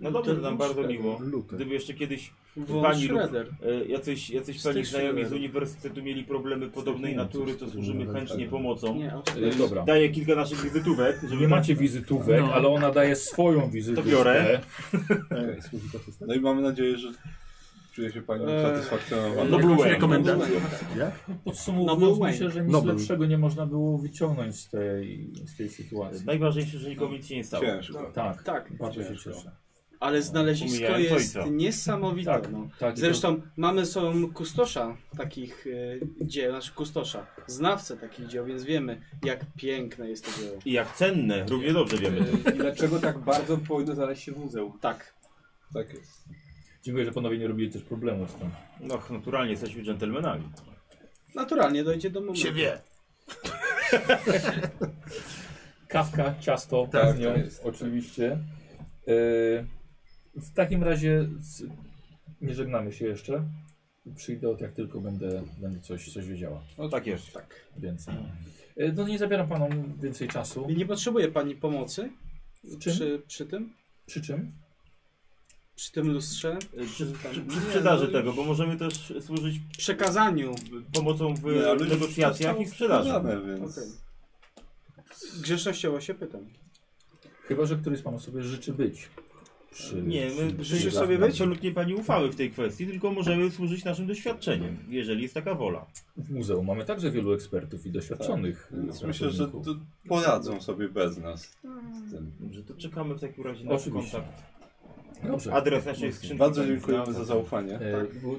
[SPEAKER 10] No dobrze, nam bardzo miło.
[SPEAKER 2] Tak.
[SPEAKER 6] Luty.
[SPEAKER 10] Gdyby jeszcze kiedyś
[SPEAKER 9] Von
[SPEAKER 10] pani lub-
[SPEAKER 9] Schroeder.
[SPEAKER 10] e, jacyś, jacyś
[SPEAKER 9] Z
[SPEAKER 10] pani
[SPEAKER 9] tych
[SPEAKER 10] znajomi z
[SPEAKER 9] sztylerów.
[SPEAKER 10] uniwersytetu mieli problemy podobnej
[SPEAKER 6] Nie wiem,
[SPEAKER 10] natury,
[SPEAKER 6] coś
[SPEAKER 10] to
[SPEAKER 6] tu
[SPEAKER 10] służymy
[SPEAKER 6] nawet
[SPEAKER 10] chętnie
[SPEAKER 8] tak.
[SPEAKER 10] pomocą.
[SPEAKER 9] Nie, absolutnie.
[SPEAKER 2] e, Dobra.
[SPEAKER 10] Daję kilka naszych wizytówek, żeby tak-
[SPEAKER 2] Nie macie wizytówek,
[SPEAKER 3] No.
[SPEAKER 2] ale ona daje swoją wizytówkę.
[SPEAKER 10] biorę.
[SPEAKER 6] E, służy to system?
[SPEAKER 8] No i mamy nadzieję, że czuje się pani
[SPEAKER 9] Eee.
[SPEAKER 8] satysfakcjonowana.
[SPEAKER 10] No Blue Whale.
[SPEAKER 3] Rekomendacja.
[SPEAKER 2] Podsumowując,
[SPEAKER 9] Noble
[SPEAKER 2] myślę, że nic
[SPEAKER 6] Noble.
[SPEAKER 2] lepszego nie można było wyciągnąć z tej, z tej sytuacji.
[SPEAKER 10] Najważniejsze, że nikomu nic się nie stało.
[SPEAKER 8] Ciężko.
[SPEAKER 2] Tak,
[SPEAKER 9] Tak,
[SPEAKER 2] bardzo się
[SPEAKER 8] ciężko.
[SPEAKER 2] cieszę.
[SPEAKER 9] ale znalezisko
[SPEAKER 10] Pomijając
[SPEAKER 9] jest
[SPEAKER 10] ojca.
[SPEAKER 9] niesamowite.
[SPEAKER 2] Tak,
[SPEAKER 9] No.
[SPEAKER 2] tak.
[SPEAKER 9] Zresztą mamy sobą kustosza takich e, dzieł, znaczy kustosza, znawcę takich dzieł, więc wiemy jak piękne jest to dzieło.
[SPEAKER 10] I jak cenne, równie dobrze wiemy.
[SPEAKER 7] I dlaczego tak bardzo powinno znaleźć się w muzeum?
[SPEAKER 9] Tak,
[SPEAKER 8] Tak jest.
[SPEAKER 2] Dziękuję, że panowie nie robili też problemów z tym.
[SPEAKER 10] No, naturalnie jesteśmy dżentelmenami.
[SPEAKER 9] naturalnie dojdzie do momentu.
[SPEAKER 6] wie.
[SPEAKER 2] Kawka, ciasto,
[SPEAKER 3] Tak,
[SPEAKER 2] tak, nią, oczywiście. Y, w takim razie z, nie żegnamy się jeszcze. Przyjdę, jak tylko będę, będę coś, coś wiedziała.
[SPEAKER 10] No tak jest.
[SPEAKER 2] Więcej. Y, no nie zabieram panom więcej czasu.
[SPEAKER 9] I nie potrzebuje pani pomocy
[SPEAKER 2] Czym?
[SPEAKER 9] przy, przy tym?
[SPEAKER 2] Przy czym?
[SPEAKER 9] Przy tym lustrze?
[SPEAKER 10] Przy, przy, przy
[SPEAKER 9] Nie,
[SPEAKER 10] sprzedaży
[SPEAKER 9] no,
[SPEAKER 10] tego, bo możemy też służyć
[SPEAKER 9] Przekazaniu.
[SPEAKER 10] pomocą w
[SPEAKER 5] Nie, ale już
[SPEAKER 10] negocjacjach i sprzedaży.
[SPEAKER 5] Dane, więc...
[SPEAKER 9] Okej. Grzecznościowo się pytam.
[SPEAKER 2] Chyba, że któryś z panów sobie życzy być. Przy,
[SPEAKER 10] Nie, my
[SPEAKER 2] przy-
[SPEAKER 10] życzysz
[SPEAKER 2] przy-
[SPEAKER 10] sobie absolutnie pani ufały w tej kwestii, tylko możemy służyć naszym doświadczeniem, jeżeli jest taka wola.
[SPEAKER 2] W muzeum mamy także wielu ekspertów i
[SPEAKER 8] Tak.
[SPEAKER 2] doświadczonych.
[SPEAKER 5] Więc
[SPEAKER 2] y,
[SPEAKER 5] myślę, że
[SPEAKER 2] pracowników.
[SPEAKER 5] to poradzą sobie bez nas. Z tym.
[SPEAKER 10] Dobrze, to czekamy w takim razie na
[SPEAKER 2] Oczywiście.
[SPEAKER 10] kontakt.
[SPEAKER 2] Dobrze.
[SPEAKER 10] Adres naszej skrzynki.
[SPEAKER 5] Bardzo dziękujemy za zaufanie.
[SPEAKER 2] E,
[SPEAKER 4] Tak.
[SPEAKER 2] bo-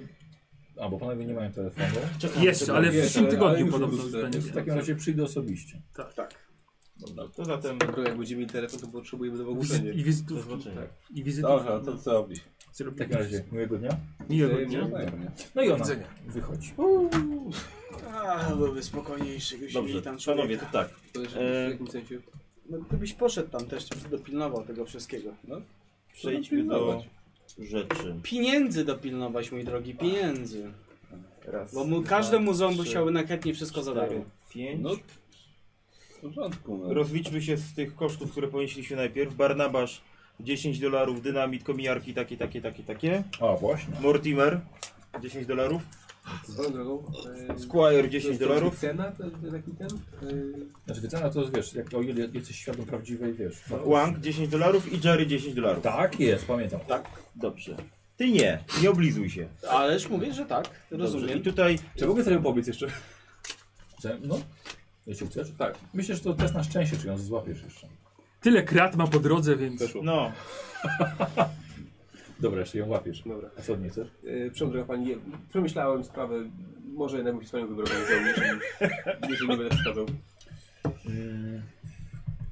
[SPEAKER 2] A, bo panowie nie mają telefonu.
[SPEAKER 10] Czekamy.
[SPEAKER 3] Jeszcze, ale w
[SPEAKER 2] Jest,
[SPEAKER 3] przyszłym
[SPEAKER 2] ale- ale
[SPEAKER 3] tygodniu
[SPEAKER 2] już
[SPEAKER 3] podobno
[SPEAKER 2] wrócę.
[SPEAKER 3] będzie. Tak.
[SPEAKER 2] W
[SPEAKER 4] No
[SPEAKER 2] takim razie przyjdę osobiście.
[SPEAKER 10] Dobra, To zatem
[SPEAKER 7] Bro, jak będziemy mieli telefon, to potrzebujemy nowego
[SPEAKER 3] Wizy-
[SPEAKER 7] ogłoszenia.
[SPEAKER 3] I
[SPEAKER 10] do
[SPEAKER 3] wizytówki.
[SPEAKER 10] zobaczenia.
[SPEAKER 3] I wizytówki. No.
[SPEAKER 5] Dobra, to co robisz?
[SPEAKER 2] W takim razie miłego dnia.
[SPEAKER 3] Miłego dnia.
[SPEAKER 2] No i ona
[SPEAKER 6] widzenia.
[SPEAKER 2] wychodzi.
[SPEAKER 9] A, byłby spokojniejszy, gdybyśmy
[SPEAKER 10] Dobrze,
[SPEAKER 9] mieli tam człowieka.
[SPEAKER 10] panowie, to tak.
[SPEAKER 7] To jeszcze
[SPEAKER 10] E,
[SPEAKER 7] W jakim sensie?
[SPEAKER 9] No, gdybyś poszedł tam też, to byś dopilnował tego wszystkiego.
[SPEAKER 10] Przejdźmy do rzeczy.
[SPEAKER 9] Pieniędzy dopilnować, mój drogi, pieniędzy.
[SPEAKER 10] Raz,
[SPEAKER 9] Bo mu, każde muzeum musiały nakrętnie wszystko za darmo.
[SPEAKER 10] pięć.
[SPEAKER 5] No, w porządku. No.
[SPEAKER 10] Rozliczmy się z tych kosztów, które ponieśliśmy najpierw. Barnabasz 10 dolarów, dynamit, komijarki takie, takie, takie, takie.
[SPEAKER 2] A, właśnie.
[SPEAKER 10] Mortimer 10 dolarów.
[SPEAKER 7] Swoją drogą. e,
[SPEAKER 10] Squire
[SPEAKER 7] to jest
[SPEAKER 10] 10 dolarów.
[SPEAKER 7] Cena, to jest taki ten? e,
[SPEAKER 2] Znaczy wycena to wiesz, jak o ile jesteś świadom prawdziwej, wiesz.
[SPEAKER 4] No,
[SPEAKER 10] Wang 10 dolarów i Jerry 10 dolarów.
[SPEAKER 2] Tak jest, pamiętam.
[SPEAKER 10] Dobrze. Ty nie, nie oblizuj się.
[SPEAKER 9] Ależ mówię, że tak,
[SPEAKER 10] Dobrze. I
[SPEAKER 9] rozumiem.
[SPEAKER 10] tutaj
[SPEAKER 4] Czy mogę sobie pobiec jeszcze?
[SPEAKER 2] Chce- No, jeśli chcesz. Tak. Myślę, że to też na szczęście, czy ją złapiesz jeszcze.
[SPEAKER 3] Tyle krat ma po drodze, więc...
[SPEAKER 10] No,
[SPEAKER 2] Dobra, jeszcze ją łapiesz.
[SPEAKER 7] Dobra.
[SPEAKER 2] A co nie chcesz?
[SPEAKER 7] E, Przepraszam, droga pani, ja przemyślałem sprawę. Może jednak się z panią wybrał, jeżeli, jeżeli nie będę przeszkadzał.
[SPEAKER 2] Mm,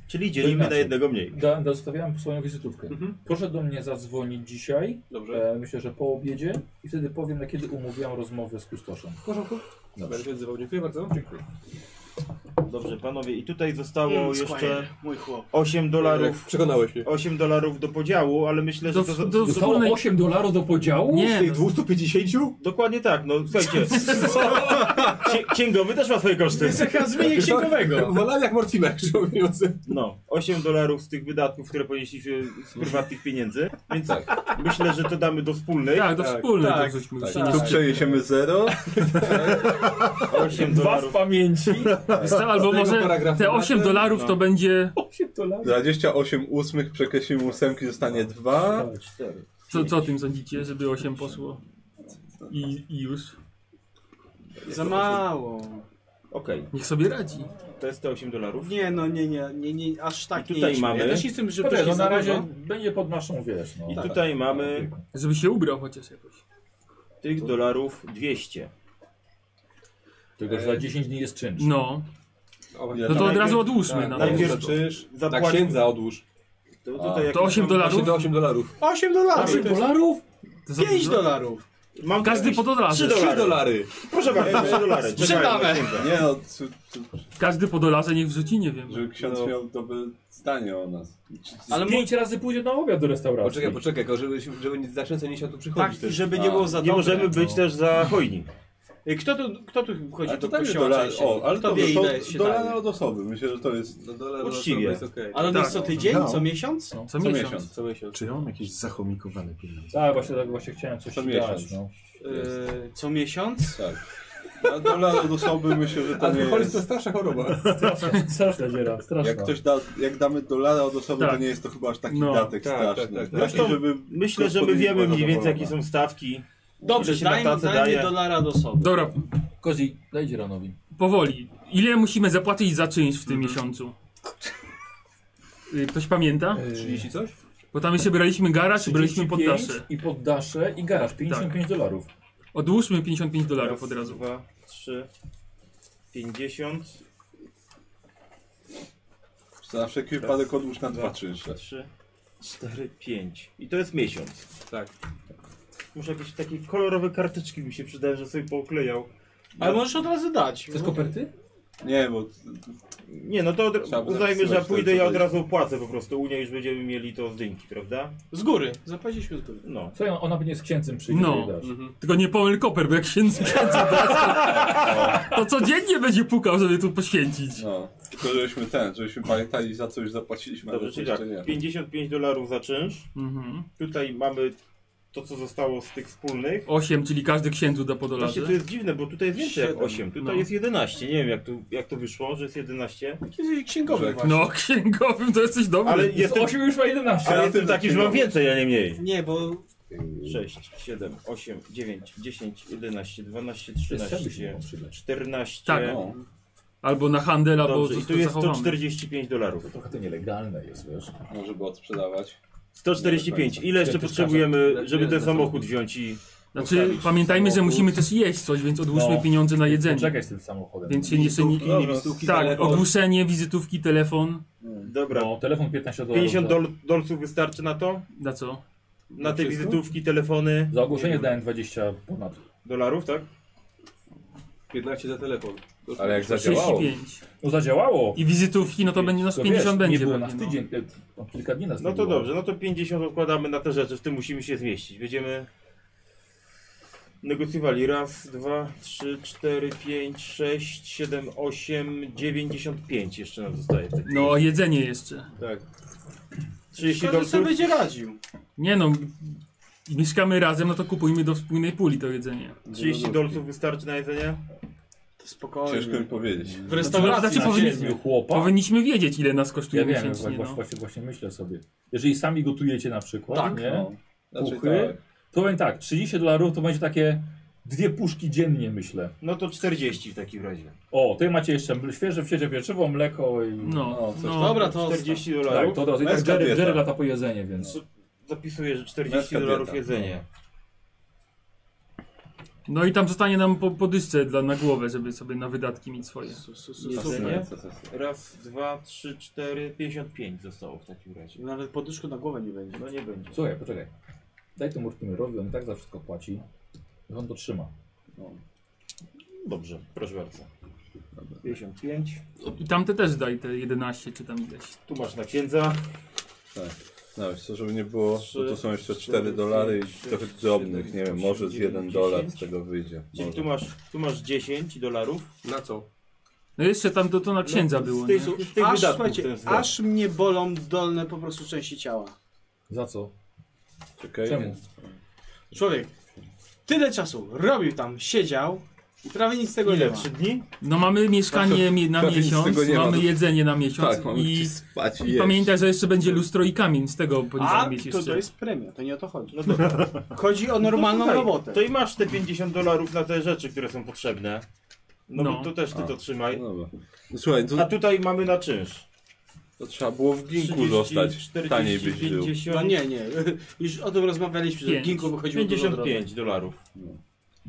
[SPEAKER 10] czyli dzielimy na
[SPEAKER 2] inaczej.
[SPEAKER 10] jednego mniej.
[SPEAKER 2] da, da, zostawiałem swoją wizytówkę.
[SPEAKER 4] Mhm.
[SPEAKER 2] Proszę do mnie zadzwonić dzisiaj.
[SPEAKER 7] Dobrze.
[SPEAKER 2] E, myślę, że po obiedzie. I wtedy powiem, na kiedy umówiłam rozmowę z kustoszem.
[SPEAKER 7] W porządku? Dobra,
[SPEAKER 2] Dobrze.
[SPEAKER 7] się odzywał. Dziękuję bardzo. Dziękuję.
[SPEAKER 10] Dobrze, panowie, i tutaj zostało
[SPEAKER 9] Mm,
[SPEAKER 10] jeszcze
[SPEAKER 9] Squire, mój chłop.
[SPEAKER 10] 8 dolarów.
[SPEAKER 7] Przekonałeś mnie.
[SPEAKER 10] 8 dolarów do podziału, ale myślę, że
[SPEAKER 3] Do,
[SPEAKER 10] to. Za...
[SPEAKER 3] do
[SPEAKER 2] Zostało
[SPEAKER 3] wspólnej...
[SPEAKER 2] 8 dolarów do podziału?
[SPEAKER 3] Nie, no,
[SPEAKER 7] 250?
[SPEAKER 10] Dokładnie tak, no słuchajcie. Księ- Księgowy też ma swoje koszty.
[SPEAKER 7] Zmienię księgowego. Wolałem jak Mortimer, mówiący.
[SPEAKER 10] No, 8 dolarów z tych wydatków, które ponieśliśmy z prywatnych pieniędzy, więc myślę, że to damy do wspólnej.
[SPEAKER 3] tak, do wspólnej.
[SPEAKER 9] tak,
[SPEAKER 3] to żeśmy
[SPEAKER 9] tak.
[SPEAKER 3] przynieśli.
[SPEAKER 5] Tu przeniesiemy zero.
[SPEAKER 10] 8
[SPEAKER 2] Dwa
[SPEAKER 10] dolarów.
[SPEAKER 2] w pamięci.
[SPEAKER 3] Sta- Albo
[SPEAKER 7] tego
[SPEAKER 3] może
[SPEAKER 7] paragrafu
[SPEAKER 3] te
[SPEAKER 7] na
[SPEAKER 3] 8
[SPEAKER 7] ten-
[SPEAKER 3] dolarów to
[SPEAKER 10] no.
[SPEAKER 3] będzie...
[SPEAKER 5] 28 ósmych, przekreślimy ósemki, zostanie dwa.
[SPEAKER 3] Co, co o tym sądzicie, żeby 8 poszło? I, I już.
[SPEAKER 9] Za mało.
[SPEAKER 10] Okej,
[SPEAKER 3] Niech sobie radzi.
[SPEAKER 10] to jest te 8 dolarów.
[SPEAKER 9] Nie no, nie, nie, nie, nie aż tak
[SPEAKER 10] I
[SPEAKER 9] nie
[SPEAKER 10] tutaj
[SPEAKER 9] idźmy.
[SPEAKER 10] mamy-
[SPEAKER 9] Ja też nie chcę, żeby
[SPEAKER 2] Poczekaj,
[SPEAKER 9] ktoś
[SPEAKER 2] no
[SPEAKER 9] nie
[SPEAKER 2] na razie będzie pod naszą, wiesz, no.
[SPEAKER 10] I tutaj mamy
[SPEAKER 3] Żeby się ubrał chociaż jakoś.
[SPEAKER 10] tych dolarów 200.
[SPEAKER 2] Tylko, że za 10 dni jest czynsz.
[SPEAKER 3] No.
[SPEAKER 5] Ja
[SPEAKER 3] No to od
[SPEAKER 10] najpierw-
[SPEAKER 3] razu odłóżmy
[SPEAKER 7] tak,
[SPEAKER 3] na
[SPEAKER 10] najpierw
[SPEAKER 3] to.
[SPEAKER 7] Czyż? Dla
[SPEAKER 10] Zapłaci-
[SPEAKER 7] księdza odłóż.
[SPEAKER 10] To, tutaj jak
[SPEAKER 3] To 8 dolarów?
[SPEAKER 7] Właśnie do 8 dolarów.
[SPEAKER 9] 8 dolarów.
[SPEAKER 2] 8 dolarów?
[SPEAKER 3] To za
[SPEAKER 9] 5
[SPEAKER 3] dużo.
[SPEAKER 9] dolarów.
[SPEAKER 10] Mam
[SPEAKER 3] Każdy po dolarze.
[SPEAKER 10] 3
[SPEAKER 7] 3
[SPEAKER 10] dolary.
[SPEAKER 7] dolary.
[SPEAKER 10] Proszę bardzo, 3 dolary.
[SPEAKER 9] Sprzedane.
[SPEAKER 10] Czekaj, na księdza.
[SPEAKER 5] Nie no, c- c-
[SPEAKER 3] Każdy po dolarze niech wrzuci, nie wiem.
[SPEAKER 5] żeby ksiądz
[SPEAKER 7] No.
[SPEAKER 5] miał dobre zdanie o nas.
[SPEAKER 9] Ale mu...
[SPEAKER 2] 5 razy pójdzie na obiad do restauracji.
[SPEAKER 7] Poczekaj, poczekaj, tylko żeby, żeby za często nie się tu przychodzić.
[SPEAKER 9] Tak, i
[SPEAKER 7] też.
[SPEAKER 9] żeby nie było za
[SPEAKER 10] Nie
[SPEAKER 9] dobre.
[SPEAKER 10] możemy być też za hojni.
[SPEAKER 9] Ej, Y, Kto tu, kto tu chodzi
[SPEAKER 5] Ale
[SPEAKER 9] do
[SPEAKER 5] to tam jest
[SPEAKER 9] kościoła?
[SPEAKER 5] dolar.
[SPEAKER 9] częściej?
[SPEAKER 5] O, ale
[SPEAKER 9] kto
[SPEAKER 5] to,
[SPEAKER 9] wie ile
[SPEAKER 5] to
[SPEAKER 9] się
[SPEAKER 5] dolar
[SPEAKER 9] daje?
[SPEAKER 5] od osoby. Myślę, że to jest.
[SPEAKER 7] No dolar
[SPEAKER 10] Uczciwie.
[SPEAKER 7] Uczciwie. jest okej.
[SPEAKER 9] Ale on
[SPEAKER 3] Tak.
[SPEAKER 9] jest co tydzień,
[SPEAKER 6] No.
[SPEAKER 9] co miesiąc?
[SPEAKER 3] Co
[SPEAKER 5] Co
[SPEAKER 3] miesiąc.
[SPEAKER 5] miesiąc.
[SPEAKER 7] Co miesiąc.
[SPEAKER 6] Czy ja mam jakieś zachomikowane pieniądze?
[SPEAKER 2] Tak, właśnie, tak, właśnie chciałem coś
[SPEAKER 5] Co
[SPEAKER 2] ci
[SPEAKER 5] miesiąc.
[SPEAKER 2] dać, no.
[SPEAKER 9] Yy, co miesiąc?
[SPEAKER 5] A dolar od osoby myślę, że to nie
[SPEAKER 7] Alkoholizm to
[SPEAKER 5] jest.
[SPEAKER 7] starsza choroba.
[SPEAKER 2] Straszna dziera, straszna.
[SPEAKER 5] Jak ktoś da, jak damy dolara od osoby,
[SPEAKER 3] Tak.
[SPEAKER 5] to nie jest to chyba aż taki
[SPEAKER 3] No.
[SPEAKER 5] datek
[SPEAKER 7] Tak,
[SPEAKER 5] straszny.
[SPEAKER 7] tak, tak, tak.
[SPEAKER 5] Taki, żeby
[SPEAKER 10] Myślę, że my
[SPEAKER 5] gospodyni
[SPEAKER 10] wiemy
[SPEAKER 5] była
[SPEAKER 10] mniej więcej jakie
[SPEAKER 5] zadowolona.
[SPEAKER 10] są stawki.
[SPEAKER 9] Dobrze,
[SPEAKER 10] Ile się na
[SPEAKER 9] daj,
[SPEAKER 10] tacy
[SPEAKER 9] daj mi
[SPEAKER 10] daje?
[SPEAKER 9] dolara do osoby.
[SPEAKER 3] Dobra,
[SPEAKER 2] Kozi, daj Dzieranowi.
[SPEAKER 3] powoli. Ile musimy zapłacić za czynsz
[SPEAKER 10] Mhm.
[SPEAKER 3] w tym miesiącu? Y, Ktoś pamięta?
[SPEAKER 7] 30 coś?
[SPEAKER 3] Bo tam jeszcze braliśmy garaż i braliśmy poddasze.
[SPEAKER 2] I poddasze i garaż, 55 dolarów.
[SPEAKER 3] Odłóżmy 55 dolarów
[SPEAKER 10] Raz,
[SPEAKER 3] od razu.
[SPEAKER 10] Dwa, trzy, pięćdziesiąt,
[SPEAKER 5] Na wszelki wypadek odłóż na dwa czynsze.
[SPEAKER 10] trzy, cztery, pięć. I to jest miesiąc.
[SPEAKER 7] Tak.
[SPEAKER 10] Muszę jakieś takie kolorowe karteczki mi się przydają, że sobie pouklejał.
[SPEAKER 9] Tak. Ale możesz od razu dać.
[SPEAKER 2] Chcesz koperty?
[SPEAKER 5] Nie, bo
[SPEAKER 10] Nie, no to od...
[SPEAKER 5] Trzeba by
[SPEAKER 10] uznajmy, że ja
[SPEAKER 5] zapisywać to,
[SPEAKER 10] pójdę
[SPEAKER 5] co
[SPEAKER 10] i od
[SPEAKER 5] to
[SPEAKER 10] razu opłacę po prostu u niej, już będziemy mieli to z dynki, prawda?
[SPEAKER 9] Z góry, zapłaciliśmy z góry.
[SPEAKER 10] No.
[SPEAKER 2] Co, ona będzie z księcem przyjdzie
[SPEAKER 3] No.
[SPEAKER 2] i dasz.
[SPEAKER 3] Tylko nie Powell Koper, bo jak się zgadza, to, to codziennie będzie pukał, żeby tu poświęcić.
[SPEAKER 5] no, tylko żebyśmy ten, żebyśmy pamiętali za co już zapłaciliśmy,
[SPEAKER 10] Dobrze,
[SPEAKER 5] ale
[SPEAKER 10] czyli
[SPEAKER 5] jeszcze
[SPEAKER 10] tak,
[SPEAKER 5] nie.
[SPEAKER 10] 55 dolarów za czynsz.
[SPEAKER 3] Mhm.
[SPEAKER 10] Tutaj mamy to, co zostało z tych wspólnych.
[SPEAKER 3] Osiem, czyli każdy księdzu da po
[SPEAKER 10] Właśnie
[SPEAKER 3] dolarze.
[SPEAKER 10] to jest dziwne, bo tutaj jest więcej jak
[SPEAKER 9] Siedem.
[SPEAKER 10] 8, tutaj
[SPEAKER 3] No.
[SPEAKER 10] jest 11. Nie wiem jak, tu, jak to wyszło, że jest 11.
[SPEAKER 9] Kiedyś księgowy właśnie.
[SPEAKER 3] No, księgowym to jesteś dobry.
[SPEAKER 10] Ale
[SPEAKER 2] Z
[SPEAKER 10] jestem,
[SPEAKER 2] 8 już ma 11.
[SPEAKER 10] ale jestem taki, że mam więcej, a nie mniej.
[SPEAKER 9] Nie, bo
[SPEAKER 10] 6, 7, 8, 9, 10, 11, 12,
[SPEAKER 2] Jeszcze by się
[SPEAKER 10] 13,
[SPEAKER 2] mogło przydać.
[SPEAKER 10] 14.
[SPEAKER 3] Tak.
[SPEAKER 5] No,
[SPEAKER 3] Albo na handel, albo
[SPEAKER 10] Dobrze, i
[SPEAKER 3] coś
[SPEAKER 10] tu jest
[SPEAKER 3] zachowamy.
[SPEAKER 10] 145 dolarów.
[SPEAKER 2] Trochę to nielegalne jest, wiesz.
[SPEAKER 5] może by odsprzedawać.
[SPEAKER 2] tak,
[SPEAKER 10] 145. Ile jeszcze
[SPEAKER 2] Ja też
[SPEAKER 10] potrzebujemy,
[SPEAKER 7] każę.
[SPEAKER 10] żeby ten
[SPEAKER 7] Ja
[SPEAKER 10] samochód wziąć i...
[SPEAKER 3] Znaczy,
[SPEAKER 10] postawić
[SPEAKER 3] pamiętajmy, że
[SPEAKER 10] samochód.
[SPEAKER 3] musimy też jeść coś, więc odłóżmy
[SPEAKER 2] No.
[SPEAKER 3] pieniądze na jedzenie.
[SPEAKER 2] Czekaj z tym samochodem.
[SPEAKER 3] Więc się nie
[SPEAKER 7] Wizytówki,
[SPEAKER 3] nie-
[SPEAKER 7] nie wizytówki,
[SPEAKER 3] Tak,
[SPEAKER 7] telefon.
[SPEAKER 3] ogłuszenie, wizytówki, telefon.
[SPEAKER 10] Dobra,
[SPEAKER 2] No, tak. telefon 15 dolarów.
[SPEAKER 10] 50
[SPEAKER 2] za-
[SPEAKER 10] dol dolców wystarczy na to?
[SPEAKER 3] Na co?
[SPEAKER 10] Na te wizytówki, telefony?
[SPEAKER 2] Za ogłoszenie
[SPEAKER 10] Nie wiem,
[SPEAKER 2] dałem 20 ponad.
[SPEAKER 10] Dolarów, tak?
[SPEAKER 7] 15 za telefon. To
[SPEAKER 5] Ale jak
[SPEAKER 2] Tak,
[SPEAKER 5] zadziałało,
[SPEAKER 3] 35.
[SPEAKER 2] No zadziałało.
[SPEAKER 3] I wizytówki, no to będzie, no z
[SPEAKER 2] To
[SPEAKER 3] 50
[SPEAKER 2] wiesz,
[SPEAKER 3] będzie.
[SPEAKER 2] Nie było nas
[SPEAKER 3] pewnie, no.
[SPEAKER 2] tydzień, e, no, kilka dni nas
[SPEAKER 10] No
[SPEAKER 2] nie
[SPEAKER 10] to
[SPEAKER 2] było.
[SPEAKER 10] dobrze, no to 50 odkładamy na te rzeczy, w tym musimy się zmieścić. Będziemy negocjowali raz, dwa, trzy, cztery, pięć, sześć, siedem, osiem, dziewięćdziesiąt pięć jeszcze nam zostaje.
[SPEAKER 3] No, jedzenie jeszcze.
[SPEAKER 10] Tak.
[SPEAKER 9] każdy
[SPEAKER 10] 30
[SPEAKER 9] sobie
[SPEAKER 10] dolców.
[SPEAKER 9] będzie radził.
[SPEAKER 3] Nie no, mieszkamy razem, no to kupujmy do wspólnej puli to jedzenie.
[SPEAKER 10] 30 dolców wystarczy na jedzenie?
[SPEAKER 9] To spokojnie.
[SPEAKER 5] ciężko mi powiedzieć.
[SPEAKER 9] W restauracji
[SPEAKER 3] Znaczy,
[SPEAKER 9] na
[SPEAKER 3] powinni-
[SPEAKER 9] siedmiu.
[SPEAKER 2] Siedmiu chłopa.
[SPEAKER 3] Powinniśmy wiedzieć, ile nas
[SPEAKER 2] Ja
[SPEAKER 3] kosztuje
[SPEAKER 2] wiem,
[SPEAKER 3] miesięcznie.
[SPEAKER 2] właśnie, tak-
[SPEAKER 3] no.
[SPEAKER 2] właśnie, właśnie myślę sobie. Jeżeli sami gotujecie na przykład,
[SPEAKER 3] Tak,
[SPEAKER 2] nie?
[SPEAKER 5] No. Znaczy,
[SPEAKER 2] Puchy?
[SPEAKER 5] tak.
[SPEAKER 2] To powiem tak, 30 dolarów to będzie takie dwie puszki dziennie, myślę.
[SPEAKER 10] No to 40 w takim razie.
[SPEAKER 2] O, tutaj macie jeszcze mle- świeże, świeże pieczywo, mleko i...
[SPEAKER 5] No,
[SPEAKER 3] No,
[SPEAKER 5] coś
[SPEAKER 3] no,
[SPEAKER 9] Dobra, to
[SPEAKER 10] 40
[SPEAKER 2] Tak,
[SPEAKER 10] dolarów.
[SPEAKER 2] to od razu. I tak
[SPEAKER 5] Męska
[SPEAKER 2] Jerry,
[SPEAKER 5] dieta.
[SPEAKER 2] Jerry lata po jedzenie, więc...
[SPEAKER 10] Zapisuję, że 40
[SPEAKER 5] Męska
[SPEAKER 10] dolarów
[SPEAKER 5] dieta.
[SPEAKER 10] jedzenie.
[SPEAKER 3] no i tam zostanie nam po, po dyszce dla, na głowę, żeby sobie na wydatki mieć swoje.
[SPEAKER 9] No,
[SPEAKER 10] Jedzenie?
[SPEAKER 5] Co to jest?
[SPEAKER 10] Raz, dwa, trzy, cztery, 55 zostało w takim razie.
[SPEAKER 9] Nawet poduszku na głowę nie będzie.
[SPEAKER 10] No nie będzie.
[SPEAKER 2] Słuchaj, poczekaj. Daj temu Mortimerowi, on i tak za wszystko płaci. Niech on to trzyma.
[SPEAKER 10] Dobrze, proszę bardzo. 55.
[SPEAKER 3] I tamte też daj te 11 czy tam ileś.
[SPEAKER 10] Tu masz na księdza.
[SPEAKER 5] No wiesz co, żeby nie było,
[SPEAKER 10] Trzy,
[SPEAKER 5] bo to są jeszcze
[SPEAKER 10] cztery,
[SPEAKER 5] 4 dolary
[SPEAKER 10] pięć,
[SPEAKER 5] i trochę
[SPEAKER 10] sześć,
[SPEAKER 5] drobnych,
[SPEAKER 10] siedem,
[SPEAKER 5] nie wiem,
[SPEAKER 10] osiem,
[SPEAKER 5] może z
[SPEAKER 10] dziewięć,
[SPEAKER 5] 1 dolar z
[SPEAKER 10] dziesięć.
[SPEAKER 5] tego wyjdzie.
[SPEAKER 10] Czyli
[SPEAKER 5] może.
[SPEAKER 10] tu masz, tu masz 10 dolarów.
[SPEAKER 7] Na co?
[SPEAKER 3] No jeszcze tam to, to na księdza
[SPEAKER 2] No,
[SPEAKER 3] było,
[SPEAKER 10] Z
[SPEAKER 3] nie?
[SPEAKER 10] tych, z tych
[SPEAKER 9] Aż,
[SPEAKER 10] wydatków ten
[SPEAKER 9] słuchajcie,
[SPEAKER 10] zwrot.
[SPEAKER 9] aż mnie bolą dolne po prostu części ciała.
[SPEAKER 2] Za co?
[SPEAKER 5] Czekaj,
[SPEAKER 2] Czemu?
[SPEAKER 9] Człowiek tyle czasu robił tam, siedział i prawie nic z tego
[SPEAKER 10] Ile?
[SPEAKER 9] nie ma.
[SPEAKER 10] 3 dni?
[SPEAKER 3] No mamy mieszkanie mi- na
[SPEAKER 5] prawie nic
[SPEAKER 3] miesiąc,
[SPEAKER 5] Znaczy, tego nie ma.
[SPEAKER 3] mamy jedzenie na miesiąc
[SPEAKER 5] Tak, mamy
[SPEAKER 3] i,
[SPEAKER 5] gdzie spać i
[SPEAKER 3] i
[SPEAKER 5] jeść.
[SPEAKER 3] pamiętaj, że jeszcze będzie lustro i kamień, z tego
[SPEAKER 9] A
[SPEAKER 3] powinniśmy mieć
[SPEAKER 9] to, to
[SPEAKER 3] jeszcze.
[SPEAKER 9] jest premia, to nie o to chodzi.
[SPEAKER 10] No dobra.
[SPEAKER 9] Chodzi o normalną
[SPEAKER 10] No to słuchaj,
[SPEAKER 9] robotę.
[SPEAKER 10] To i masz te 50 dolarów na te rzeczy, które są potrzebne. No,
[SPEAKER 3] No.
[SPEAKER 10] to też ty
[SPEAKER 5] A.
[SPEAKER 10] to trzymaj.
[SPEAKER 5] No dobra. No słuchaj,
[SPEAKER 10] A
[SPEAKER 5] to,
[SPEAKER 10] tutaj mamy na czynsz.
[SPEAKER 5] to trzeba było w ginku
[SPEAKER 10] 30,
[SPEAKER 5] zostać,
[SPEAKER 10] 40,
[SPEAKER 5] taniej byś żył.
[SPEAKER 10] 50,
[SPEAKER 9] No nie, nie. Już o tym rozmawialiśmy, że
[SPEAKER 3] Pięć.
[SPEAKER 9] w ginku wychodziło dużo drożej.
[SPEAKER 10] 55 dolarów.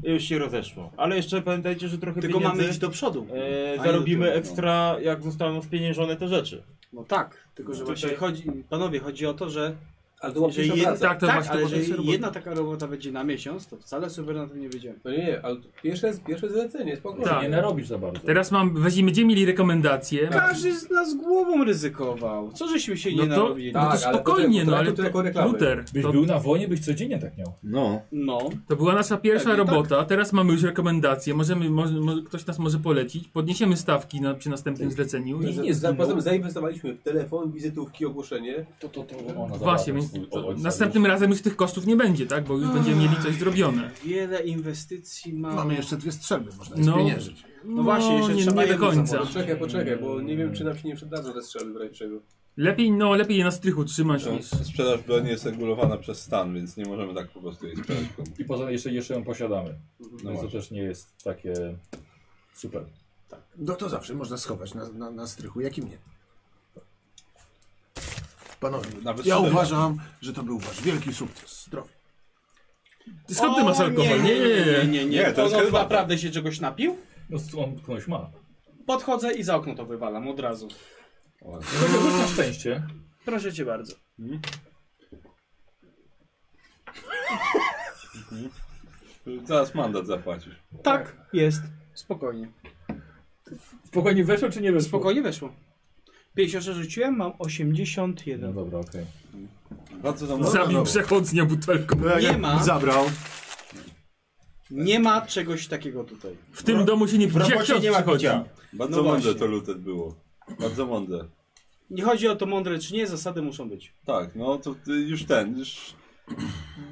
[SPEAKER 10] Już się rozeszło. Ale jeszcze pamiętajcie, że trochę
[SPEAKER 9] Tylko
[SPEAKER 10] pieniędzy
[SPEAKER 9] mamy iść do przodu.
[SPEAKER 10] e,
[SPEAKER 9] A nie do
[SPEAKER 10] zarobimy
[SPEAKER 9] tyłu, no.
[SPEAKER 10] ekstra, jak zostaną spieniężone te rzeczy.
[SPEAKER 9] No tak, tylko że
[SPEAKER 10] Tutaj-
[SPEAKER 9] właśnie chodzi, panowie, chodzi o to, że
[SPEAKER 7] Ale to była
[SPEAKER 9] że
[SPEAKER 7] pierwsza
[SPEAKER 9] jedna,
[SPEAKER 7] praca.
[SPEAKER 9] tak,
[SPEAKER 3] Tak, to właśnie
[SPEAKER 9] ale
[SPEAKER 3] to
[SPEAKER 9] jeżeli
[SPEAKER 3] potem się
[SPEAKER 9] jedna taka robota będzie na miesiąc, to wcale sobie na tym nie wyjdziemy.
[SPEAKER 7] No nie, nie, ale to pierwsze, pierwsze zlecenie, spokojnie.
[SPEAKER 3] Tak.
[SPEAKER 2] Nie narobisz za bardzo.
[SPEAKER 3] Teraz mam, weźmy, gdzie mieli rekomendacje?
[SPEAKER 9] Każdy z nas głową ryzykował. Co żeśmy się
[SPEAKER 3] Tak. No
[SPEAKER 9] nie
[SPEAKER 3] to,
[SPEAKER 9] narobili?
[SPEAKER 3] no to
[SPEAKER 7] Tak, ale
[SPEAKER 3] spokojnie,
[SPEAKER 7] to- to-
[SPEAKER 3] no
[SPEAKER 7] to-
[SPEAKER 3] ale
[SPEAKER 7] to jako reklamy.
[SPEAKER 3] Luther,
[SPEAKER 2] Byś
[SPEAKER 3] to,
[SPEAKER 2] był na wojnie, byś codziennie tak miał.
[SPEAKER 5] No,
[SPEAKER 9] No,
[SPEAKER 3] to była nasza pierwsza
[SPEAKER 9] Tak, i tak.
[SPEAKER 3] robota, teraz mamy już rekomendacje, możemy, może, może, ktoś nas może polecić, podniesiemy stawki na, przy następnym zleceniu i nie
[SPEAKER 7] Nie, za,
[SPEAKER 3] zginą.
[SPEAKER 7] potem zainwestowaliśmy w telefon, wizytówki, ogłoszenie.
[SPEAKER 2] Ona zabrała
[SPEAKER 3] Właśnie, więc
[SPEAKER 2] swój
[SPEAKER 3] to,
[SPEAKER 2] ojca
[SPEAKER 3] następnym razem już tych kosztów nie będzie, tak? Bo już będziemy mieli coś zrobione.
[SPEAKER 9] wiele inwestycji mamy.
[SPEAKER 6] Mamy jeszcze dwie strzelby, można je
[SPEAKER 3] No.
[SPEAKER 6] spieniężyć.
[SPEAKER 9] No właśnie, jeszcze
[SPEAKER 3] nie,
[SPEAKER 9] trzeba
[SPEAKER 3] nie do
[SPEAKER 9] jedno
[SPEAKER 3] końca.
[SPEAKER 9] założyć.
[SPEAKER 7] Poczekaj, poczekaj, bo nie wiem, czy nam się nie przydadzą te strzelby w razie czego.
[SPEAKER 3] Lepiej, no, lepiej je na strychu trzymać
[SPEAKER 5] no,
[SPEAKER 3] niż...
[SPEAKER 5] sprzedaż broni jest regulowana przez stan, więc nie możemy tak po prostu jej sprzedać komuś.
[SPEAKER 2] I poza tym jeszcze, jeszcze ją posiadamy.
[SPEAKER 5] No
[SPEAKER 2] więc to
[SPEAKER 5] właśnie.
[SPEAKER 2] też nie jest takie super.
[SPEAKER 6] No to zawsze można schować na, na, na strychu, jakim nie. Panowie,
[SPEAKER 5] Nawet
[SPEAKER 6] ja
[SPEAKER 5] siedem.
[SPEAKER 6] uważam, że to był wasz wielki sukces. Zdrowie.
[SPEAKER 3] Ty skąd ty masz
[SPEAKER 9] O,
[SPEAKER 3] alkohol?
[SPEAKER 9] Nie, nie, nie, nie.
[SPEAKER 5] Nie, to
[SPEAKER 9] to
[SPEAKER 5] jest
[SPEAKER 9] on
[SPEAKER 5] herbata.
[SPEAKER 9] naprawdę się czegoś napił?
[SPEAKER 2] No co on ktoś ma.
[SPEAKER 9] Podchodzę i za okno to wywalam od razu.
[SPEAKER 2] Dlatego na szczęście.
[SPEAKER 9] Proszę cię bardzo.
[SPEAKER 5] Zaraz mandat zapłacisz.
[SPEAKER 7] Tak.
[SPEAKER 9] Tak, jest. Spokojnie.
[SPEAKER 2] Spokojnie weszło czy nie weszło?
[SPEAKER 9] Spokojnie weszło. 56 rzuciłem, mam 81.
[SPEAKER 2] No dobra, okej.
[SPEAKER 7] Bardzo tam
[SPEAKER 3] Zabił przechodnia butelką.
[SPEAKER 9] Nie ma.
[SPEAKER 6] Zabrał.
[SPEAKER 9] Nie ma czegoś takiego tutaj.
[SPEAKER 3] W tym domu się nie pije. Jak się przychodzi?
[SPEAKER 7] Bardzo mądre
[SPEAKER 9] No właśnie.
[SPEAKER 7] to lutet było. Bardzo mądre.
[SPEAKER 9] Nie chodzi o to mądre czy nie, zasady muszą być.
[SPEAKER 7] Tak, no to y, już ten, już...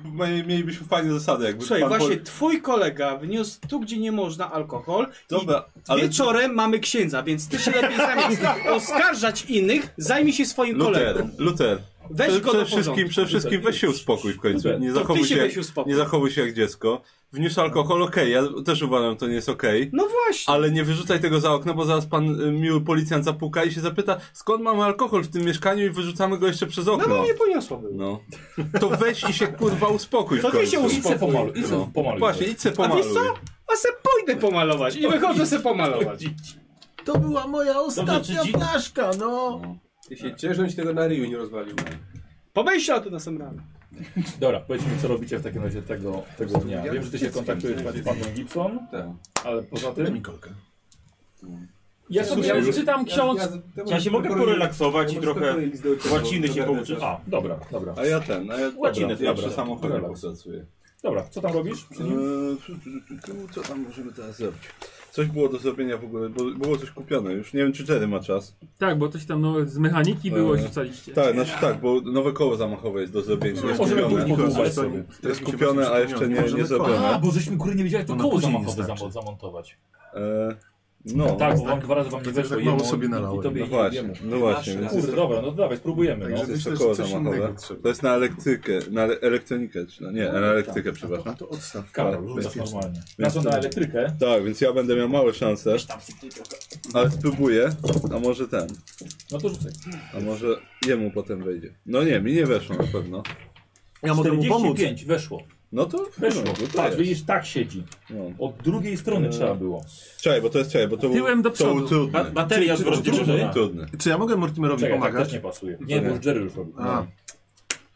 [SPEAKER 7] My- Mielibyśmy fajne zasady, jakby
[SPEAKER 9] Słuchaj,
[SPEAKER 7] pan
[SPEAKER 9] właśnie
[SPEAKER 7] Pol...
[SPEAKER 9] twój kolega wniósł tu, gdzie nie można alkohol
[SPEAKER 7] Dobra,
[SPEAKER 9] i
[SPEAKER 7] ale...
[SPEAKER 9] wieczorem mamy księdza, więc ty się lepiej zamiast oskarżać innych, zajmij się swoim kolegą.
[SPEAKER 7] Luter, Luter.
[SPEAKER 9] Weź go do
[SPEAKER 7] przede
[SPEAKER 9] porządku.
[SPEAKER 7] wszystkim, przede wszystkim weź się uspokój w końcu. Nie
[SPEAKER 9] To
[SPEAKER 7] zachowuj
[SPEAKER 9] ty się
[SPEAKER 7] się,
[SPEAKER 9] weź
[SPEAKER 7] jak,
[SPEAKER 9] uspokój.
[SPEAKER 7] nie zachowuj się jak dziecko. Wniósł alkohol, okej, ja też uważam, to nie jest okej.
[SPEAKER 9] No właśnie.
[SPEAKER 7] Ale nie wyrzucaj tego za okno, bo zaraz pan y, miły policjant zapuka i się zapyta, skąd mamy alkohol w tym mieszkaniu i wyrzucamy go jeszcze przez
[SPEAKER 9] No
[SPEAKER 7] okno.
[SPEAKER 9] bo mnie poniosło było.
[SPEAKER 7] No. To weź i się kurwa uspokój. w
[SPEAKER 9] To ty się
[SPEAKER 7] końcu.
[SPEAKER 2] Idź se
[SPEAKER 9] uspokój.
[SPEAKER 2] pomaluj, idź se
[SPEAKER 7] No.
[SPEAKER 2] pomaluj.
[SPEAKER 7] Właśnie, idź se
[SPEAKER 9] A
[SPEAKER 7] pomaluj.
[SPEAKER 9] wiesz co? A se pójdę pomalować i wychodzę se pomalować.
[SPEAKER 6] To była moja ostatnia
[SPEAKER 10] czy dzi-
[SPEAKER 6] flaszka, no.
[SPEAKER 21] Ty się ciesz, żebyś tego na ryju nie rozwalił.
[SPEAKER 9] Pomyśl o tym następnym razem.
[SPEAKER 2] Dobra, powiedzmy co robicie w takim razie tego, tego dnia. Wiem, że ty się kontaktujesz z panem Gibson,
[SPEAKER 7] Tak.
[SPEAKER 2] ale poza
[SPEAKER 6] Daj
[SPEAKER 2] tym...
[SPEAKER 6] mi kolkę.
[SPEAKER 22] Ja sobie ja już czytam ksiądz.
[SPEAKER 10] Ja się mogę porelaksować i trochę łaciny się pouczyć.
[SPEAKER 2] A, dobra, dobra.
[SPEAKER 7] A ja ten, a ja,
[SPEAKER 2] Łacinę,
[SPEAKER 7] ja
[SPEAKER 2] dobra.
[SPEAKER 7] przy samochodzie
[SPEAKER 2] Dobra.
[SPEAKER 7] popracuję.
[SPEAKER 2] Dobra, co tam robisz? przy nim?
[SPEAKER 7] Eee, tu, tu, tu, tu, Co tam możemy teraz zrobić? Coś było do zrobienia w ogóle, bo było coś kupione. Już nie wiem, czy Jerry ma czas.
[SPEAKER 3] Tak, bo coś tam no, z mechaniki było, rzucaliście.
[SPEAKER 7] Tak, znaczy tak, bo nowe koło zamachowe jest do zrobienia. Jest
[SPEAKER 2] Możemy
[SPEAKER 7] kupione.
[SPEAKER 2] pójść po
[SPEAKER 6] Niko,
[SPEAKER 2] ale
[SPEAKER 6] co?
[SPEAKER 2] sobie.
[SPEAKER 6] Teraz
[SPEAKER 7] Jest
[SPEAKER 6] mi się
[SPEAKER 7] kupione,
[SPEAKER 6] właśnie
[SPEAKER 7] a jeszcze
[SPEAKER 6] przypomniało.
[SPEAKER 7] nie- nie
[SPEAKER 6] Możemy
[SPEAKER 7] zrobione.
[SPEAKER 6] kolę.
[SPEAKER 2] A, bo żeśmy kurde nie wiedzieli, to
[SPEAKER 6] Ona
[SPEAKER 2] koło
[SPEAKER 6] później
[SPEAKER 2] zamachowe
[SPEAKER 6] wystarczy.
[SPEAKER 2] zamo- zamontować.
[SPEAKER 7] Eee, no,
[SPEAKER 2] Tak, bo wam dwa razy wam nie
[SPEAKER 6] tak
[SPEAKER 2] weszło
[SPEAKER 6] mało
[SPEAKER 2] jemu
[SPEAKER 6] sobie
[SPEAKER 2] i-
[SPEAKER 6] nalałem.
[SPEAKER 2] i tobie
[SPEAKER 7] no
[SPEAKER 2] i
[SPEAKER 7] właśnie,
[SPEAKER 2] jemu.
[SPEAKER 7] no właśnie. Więc jest
[SPEAKER 2] Kurde,
[SPEAKER 7] to,
[SPEAKER 2] dobra, no dawaj, spróbujemy. No.
[SPEAKER 6] Także
[SPEAKER 7] jest to
[SPEAKER 6] myślę,
[SPEAKER 7] koło
[SPEAKER 6] Tak, że coś
[SPEAKER 7] zamachowe.
[SPEAKER 6] innego trzeba.
[SPEAKER 7] To jest na elektrykę, na ele- elektronikę, czy na, nie, na elektrykę,
[SPEAKER 6] A to, a
[SPEAKER 2] No
[SPEAKER 7] przepraszam.
[SPEAKER 6] to odstaw.
[SPEAKER 2] Karol, rzucasz
[SPEAKER 6] Bezpiecznie.
[SPEAKER 2] normalnie. Na to na elektrykę.
[SPEAKER 7] Tak, więc ja będę miał małe szanse, ale spróbuję, a może ten.
[SPEAKER 2] No to rzucaj.
[SPEAKER 7] A może jemu potem wejdzie. No nie, mi nie weszło na pewno.
[SPEAKER 6] Ja mogę mu pomóc.
[SPEAKER 2] 45, weszło.
[SPEAKER 7] No to
[SPEAKER 2] Weszło.
[SPEAKER 7] No, to
[SPEAKER 2] Patrz,
[SPEAKER 7] jest.
[SPEAKER 2] widzisz, tak siedzi.
[SPEAKER 7] No.
[SPEAKER 2] Od drugiej
[SPEAKER 6] E.
[SPEAKER 2] strony trzeba było.
[SPEAKER 7] Czekaj, bo to jest czekaj, bo to
[SPEAKER 3] Tyłem
[SPEAKER 7] był, to
[SPEAKER 9] No,
[SPEAKER 3] do przodu.
[SPEAKER 7] był trudny. Tak,
[SPEAKER 10] Ba- bateria
[SPEAKER 7] Czy-
[SPEAKER 10] z
[SPEAKER 7] czy-
[SPEAKER 10] wrotniczym,
[SPEAKER 7] trudny,
[SPEAKER 2] nie?
[SPEAKER 7] Trudny,
[SPEAKER 6] Czy ja mogę Mortimerowi
[SPEAKER 2] Czekaj, tak też
[SPEAKER 6] pomagać?
[SPEAKER 2] nie pasuje. Nie, bo już Jerry już robił.
[SPEAKER 6] A,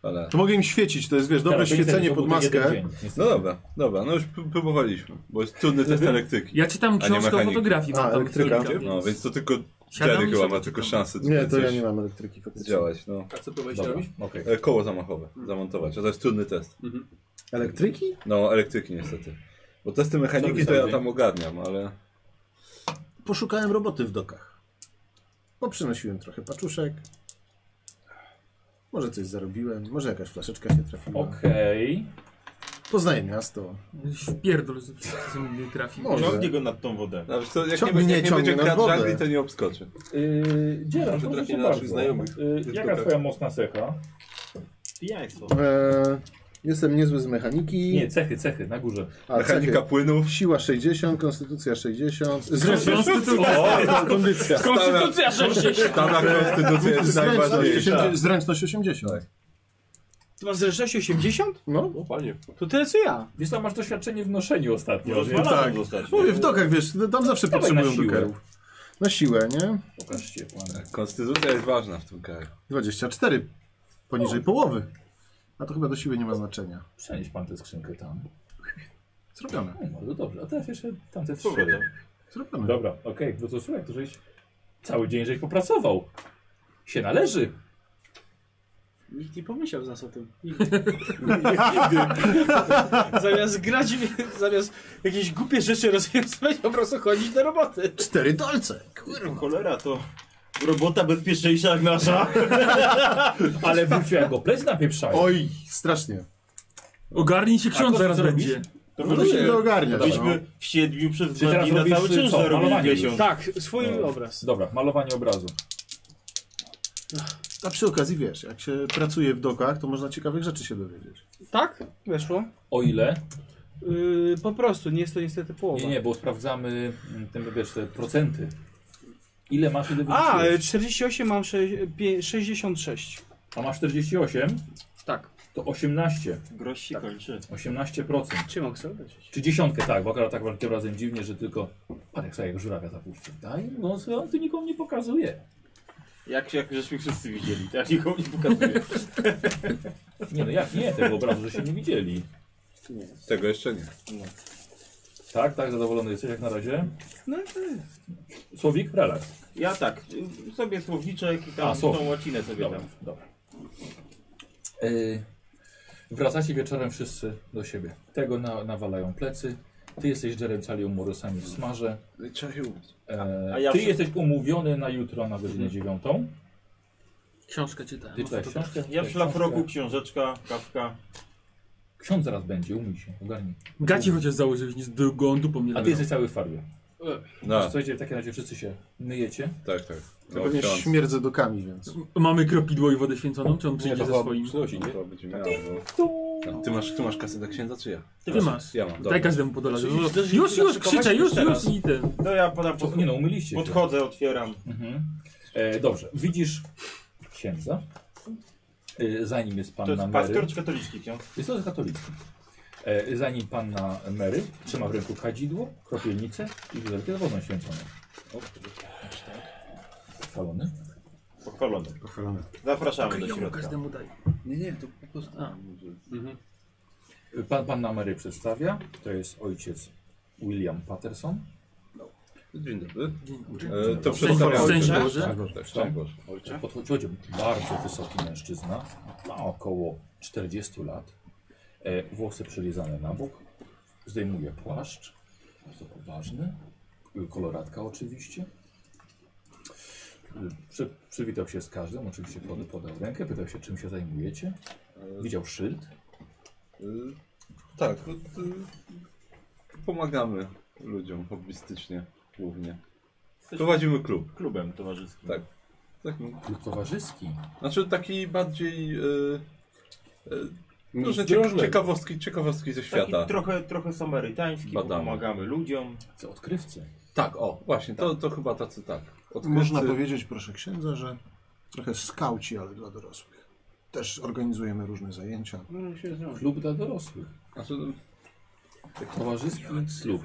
[SPEAKER 7] ale...
[SPEAKER 6] to mogę im świecić, to jest, wiesz, dobre
[SPEAKER 2] Teraz, to niestety
[SPEAKER 6] świecenie
[SPEAKER 2] to
[SPEAKER 6] pod
[SPEAKER 2] był ten jeden
[SPEAKER 6] maskę.
[SPEAKER 2] dzień, niestety.
[SPEAKER 7] No dobra, dobra, no już p- próbowaliśmy, bo jest trudny test elektryki.
[SPEAKER 3] Ja czytam książkę o
[SPEAKER 7] mechaniki.
[SPEAKER 3] fotografii. mam
[SPEAKER 6] A,
[SPEAKER 3] tam
[SPEAKER 6] elektryka.
[SPEAKER 3] kilka,
[SPEAKER 7] No, więc to tylko
[SPEAKER 3] Siadam
[SPEAKER 7] Jerry
[SPEAKER 3] i
[SPEAKER 7] chyba
[SPEAKER 3] sobie
[SPEAKER 7] ma tylko
[SPEAKER 3] czekam.
[SPEAKER 7] szansę
[SPEAKER 6] Nie,
[SPEAKER 7] tutaj
[SPEAKER 6] to ja
[SPEAKER 7] coś
[SPEAKER 6] nie mam elektryki faktycznie.
[SPEAKER 7] działać, no.
[SPEAKER 21] A co próbowałeś
[SPEAKER 2] Dobra,
[SPEAKER 21] robić?
[SPEAKER 2] okej.
[SPEAKER 7] E, Koło zamachowe zamontować, a to jest trudny test.
[SPEAKER 6] Elektryki?
[SPEAKER 7] No, elektryki niestety. Bo testy mechaniki to ja tam ogarniam, ale...
[SPEAKER 6] Poszukałem roboty w dokach. Poprzynosiłem trochę paczuszek. Może coś zarobiłem, może jakaś flaszeczka się trafiła.
[SPEAKER 2] Okej.
[SPEAKER 6] Poznaję miasto.
[SPEAKER 3] Wpierdol, że co mnie trafi.
[SPEAKER 6] Może.
[SPEAKER 10] Ciągnie go nad tą wodę.
[SPEAKER 7] No, wiesz co, jak
[SPEAKER 6] Ciągnie,
[SPEAKER 7] nie, jak nie
[SPEAKER 6] ciągnie
[SPEAKER 7] będzie
[SPEAKER 6] na
[SPEAKER 7] grać
[SPEAKER 6] wodę.
[SPEAKER 7] żagli, to nie obskoczy.
[SPEAKER 2] Yy,
[SPEAKER 21] To
[SPEAKER 2] Dzieram, proszę
[SPEAKER 21] trafi
[SPEAKER 2] cię
[SPEAKER 21] na naszych
[SPEAKER 2] bardzo.
[SPEAKER 21] znajomych.
[SPEAKER 2] Yy, jaka
[SPEAKER 21] tak.
[SPEAKER 2] twoja mocna cecha?
[SPEAKER 10] Pijaństwo.
[SPEAKER 6] Eee, jestem niezły z mechaniki.
[SPEAKER 2] Nie, cechy, cechy, na górze.
[SPEAKER 6] A,
[SPEAKER 7] Mechanika
[SPEAKER 6] cechy.
[SPEAKER 7] płynów.
[SPEAKER 6] Siła 60, konstytucja 60. Zręczność.
[SPEAKER 3] Konstytucja.
[SPEAKER 6] Kondycja.
[SPEAKER 7] Konstytucja
[SPEAKER 3] 60.
[SPEAKER 7] Stara konstytucja jest
[SPEAKER 6] Zręczność
[SPEAKER 7] najważniejsza.
[SPEAKER 6] 80. Zręczność 80.
[SPEAKER 9] Ty masz zręczność 80?
[SPEAKER 6] No.
[SPEAKER 21] O panie.
[SPEAKER 9] To tyle co ja.
[SPEAKER 2] Wiesz, tam masz doświadczenie w noszeniu ostatnio.
[SPEAKER 10] Nie
[SPEAKER 2] więc-
[SPEAKER 10] rozmawiam zostać.
[SPEAKER 6] Mówię, w dokach, wiesz, no tam zawsze
[SPEAKER 2] Dawaj na
[SPEAKER 6] potrzebują
[SPEAKER 2] siłę.
[SPEAKER 6] dukerów. Na siłę, nie?
[SPEAKER 2] Pokażcie, panie.
[SPEAKER 7] Konstytucja jest ważna w tym kraju.
[SPEAKER 6] 24. Poniżej
[SPEAKER 2] No.
[SPEAKER 6] połowy. A to chyba do siły nie ma znaczenia.
[SPEAKER 2] Przenieś pan tę skrzynkę tam.
[SPEAKER 6] Zrobione.
[SPEAKER 2] No, bardzo dobrze. A teraz jeszcze tamte trzy.
[SPEAKER 10] Powrotem.
[SPEAKER 6] Zrobione.
[SPEAKER 2] Dobra, okej. No to słuchaj, to żeś cały dzień żeś popracował. Się należy.
[SPEAKER 9] Nikt nie pomyślał z nas o tym. Nikt. zamiast grać, w- zamiast jakieś głupie rzeczy rozwiązywać, po prostu chodzić do roboty.
[SPEAKER 6] Cztery dolce. Kurwa.
[SPEAKER 10] Cholera to. Robota bezpieczniejsza jak nasza.
[SPEAKER 2] Tak, Ale wrócił jak go plec napieprzają.
[SPEAKER 6] Oj, strasznie.
[SPEAKER 3] Ogarnij się ksiądz,
[SPEAKER 2] A
[SPEAKER 3] zaraz
[SPEAKER 2] co robisz?
[SPEAKER 3] będzie.
[SPEAKER 10] To
[SPEAKER 6] No to się
[SPEAKER 10] byśmy-
[SPEAKER 6] nie ogarnia.
[SPEAKER 10] byśmy w siedmiu przez
[SPEAKER 2] Czy
[SPEAKER 10] dwa
[SPEAKER 2] teraz
[SPEAKER 10] dni na
[SPEAKER 2] robisz,
[SPEAKER 10] cały czynsz
[SPEAKER 2] co,
[SPEAKER 10] zarobili
[SPEAKER 2] malowanie
[SPEAKER 10] miesiąc.
[SPEAKER 9] Tak, swój
[SPEAKER 2] No.
[SPEAKER 9] obraz.
[SPEAKER 2] Dobra, malowanie obrazu.
[SPEAKER 6] A przy okazji, wiesz, jak się pracuje w dokach, to można ciekawych rzeczy się dowiedzieć.
[SPEAKER 9] Tak? Weszło?
[SPEAKER 2] O ile?
[SPEAKER 9] Yy, po prostu, nie jest to niestety połowa.
[SPEAKER 2] Nie, nie, bo sprawdzamy mm, te, wiesz, te procenty. Ile masz, ile
[SPEAKER 9] A, e,
[SPEAKER 2] wyrzuciłeś?
[SPEAKER 9] 48 mam sze- pie- 66.
[SPEAKER 2] A masz 48,
[SPEAKER 9] Tak.
[SPEAKER 2] to 18.
[SPEAKER 10] Groś się kończy.
[SPEAKER 2] 18%.
[SPEAKER 9] Czy mogę sobie obejrzeć?
[SPEAKER 2] Czy dziesiątkę, tak, bo akurat tak walkiem razem dziwnie, że tylko... Pan jak sobie żurawia zapuścił. Daj, no co on tu nikomu nie pokazuje.
[SPEAKER 10] Jak, jak żeśmy wszyscy widzieli, tak nikomu nie pokazuję.
[SPEAKER 2] Nie no, jak nie, tego obrazu, że się nie widzieli.
[SPEAKER 7] Tego jeszcze nie.
[SPEAKER 2] Tak, tak, zadowolony jesteś jak na razie? No to Słowik, relaks.
[SPEAKER 10] Ja tak, y, sobie słowniczek i tam
[SPEAKER 2] A, słownik.
[SPEAKER 10] tą łacinę sobie
[SPEAKER 2] Dobra,
[SPEAKER 10] tam.
[SPEAKER 2] dobra. Yy, wracacie wieczorem wszyscy do siebie. Tego na, nawalają plecy. Ty jesteś Jerem Calią Morosami w smarze.
[SPEAKER 4] Trzeba się umyć.
[SPEAKER 2] E,
[SPEAKER 10] A ja
[SPEAKER 2] ty
[SPEAKER 10] przy-
[SPEAKER 2] jesteś umówiony na jutro na godzinę dziewiątą.
[SPEAKER 3] Książkę czytałem.
[SPEAKER 2] Ty
[SPEAKER 10] No
[SPEAKER 2] czytałeś książkę?
[SPEAKER 10] tak. Ja
[SPEAKER 2] Czytałeś
[SPEAKER 10] w szlafroku,
[SPEAKER 2] książkę?
[SPEAKER 10] książeczka, kawka.
[SPEAKER 2] Ksiądz zaraz będzie, umyj się, ogarnij.
[SPEAKER 3] Gaci chociaż założyłeś, nie z drugą dupą nie
[SPEAKER 2] A ty
[SPEAKER 3] leżał.
[SPEAKER 2] jesteś cały w farbie.
[SPEAKER 5] No,
[SPEAKER 2] Słuchajcie, w takim razie wszyscy się myjecie.
[SPEAKER 5] tak, tak.
[SPEAKER 6] Ja pewnie
[SPEAKER 5] ksiądz.
[SPEAKER 6] śmierdzę dokami, więc.
[SPEAKER 3] Mamy kropidło i wodę święconą, czy on
[SPEAKER 5] Nie,
[SPEAKER 3] przyjdzie
[SPEAKER 5] to
[SPEAKER 3] ze
[SPEAKER 5] chyba
[SPEAKER 3] swoim?
[SPEAKER 5] przynosi, nie? To będzie miało, no. Ty masz, ty masz kasę dla księdza, czy ja?
[SPEAKER 3] Ty masz.
[SPEAKER 5] Ja mam,
[SPEAKER 3] Daj
[SPEAKER 5] dobra.
[SPEAKER 3] każdemu po dolarze.
[SPEAKER 7] Czyli
[SPEAKER 3] Już,
[SPEAKER 7] zdarzyć-
[SPEAKER 3] już, już,
[SPEAKER 7] zaszykować
[SPEAKER 3] krzyczę, już,
[SPEAKER 7] już teraz.
[SPEAKER 3] już i ten.
[SPEAKER 10] No ja podam, pod...
[SPEAKER 2] Nie no, umyliście się.
[SPEAKER 10] podchodzę, otwieram.
[SPEAKER 2] Mhm. E, dobrze, widzisz księdza. E, zanim jest
[SPEAKER 10] To
[SPEAKER 2] panna
[SPEAKER 10] jest
[SPEAKER 2] Mary.
[SPEAKER 10] pastor czy katolicki ksiądz?
[SPEAKER 2] Jest to katolicki. E, zanim panna Mary trzyma w ręku kadzidło, kropielnicę i butelkę z wodą święconą. tak. Chwalony.
[SPEAKER 10] Pochwalony.
[SPEAKER 6] Pochwalone.
[SPEAKER 10] Zapraszamy do
[SPEAKER 3] Kryjomu
[SPEAKER 10] środka.
[SPEAKER 3] każdemu daj.
[SPEAKER 4] Nie, nie, to po prostu.
[SPEAKER 3] A.
[SPEAKER 2] Pan, panna Mary przedstawia. To jest ojciec William Patterson.
[SPEAKER 5] Dzień dobry.
[SPEAKER 3] Dzień dobry.
[SPEAKER 5] E, to
[SPEAKER 3] Szczęść
[SPEAKER 5] przedstawiam.
[SPEAKER 3] Boże.
[SPEAKER 5] ojca.
[SPEAKER 3] Boże.
[SPEAKER 5] Tak, tak, szczęść Boże. Ojcze.
[SPEAKER 2] Podchodzi bardzo wysoki mężczyzna, ma około 40 lat, e, włosy przylizane na bok, zdejmuje płaszcz, bardzo poważny, y, koloratka oczywiście. Y, Przy, przywitał się z każdym, oczywiście pod, podał rękę, pytał się czym się zajmujecie. Widział szyld,
[SPEAKER 5] E, Tak, to, to, y, pomagamy ludziom hobbystycznie głównie. Prowadzimy klub,
[SPEAKER 10] Klubem towarzyskim.
[SPEAKER 5] Tak. taki
[SPEAKER 2] klub towarzyski.
[SPEAKER 5] Znaczy taki bardziej. E, e, no, że
[SPEAKER 4] drożnego.
[SPEAKER 5] cie, ciekawostki, ciekawostki ze
[SPEAKER 10] Taki
[SPEAKER 5] świata.
[SPEAKER 10] trochę, trochę samarytański, bo
[SPEAKER 5] Badamy.
[SPEAKER 10] pomagamy ludziom.
[SPEAKER 2] Co odkrywcy.
[SPEAKER 5] Tak, o, właśnie, to, to chyba tacy tak. Odkrywcy.
[SPEAKER 6] Można powiedzieć, proszę księdza, że trochę skauci, ale dla dorosłych. Też organizujemy różne zajęcia.
[SPEAKER 2] Klub dla dorosłych.
[SPEAKER 5] Znaczy,
[SPEAKER 2] Towarzyski klub.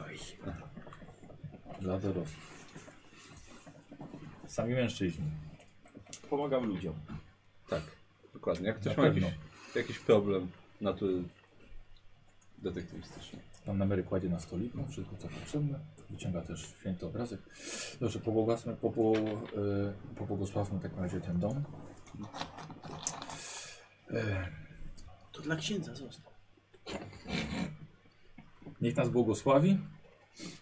[SPEAKER 2] Dla dorosłych. Sami mężczyźni.
[SPEAKER 10] Pomagam ludziom.
[SPEAKER 5] tak, dokładnie. Jak ktoś
[SPEAKER 2] Na
[SPEAKER 5] ma
[SPEAKER 2] pewno.
[SPEAKER 5] jakiś, jakiś problem natury detektywistycznej.
[SPEAKER 2] Pan na Mary kładzie na stolik, ma wszystko co potrzebne. Wyciąga też święty obrazek. Dobrze, pobłogosławmy, popo, y, pobłogosławmy w takim razie ten dom. E,
[SPEAKER 9] To dla księdza został.
[SPEAKER 2] niech nas błogosławi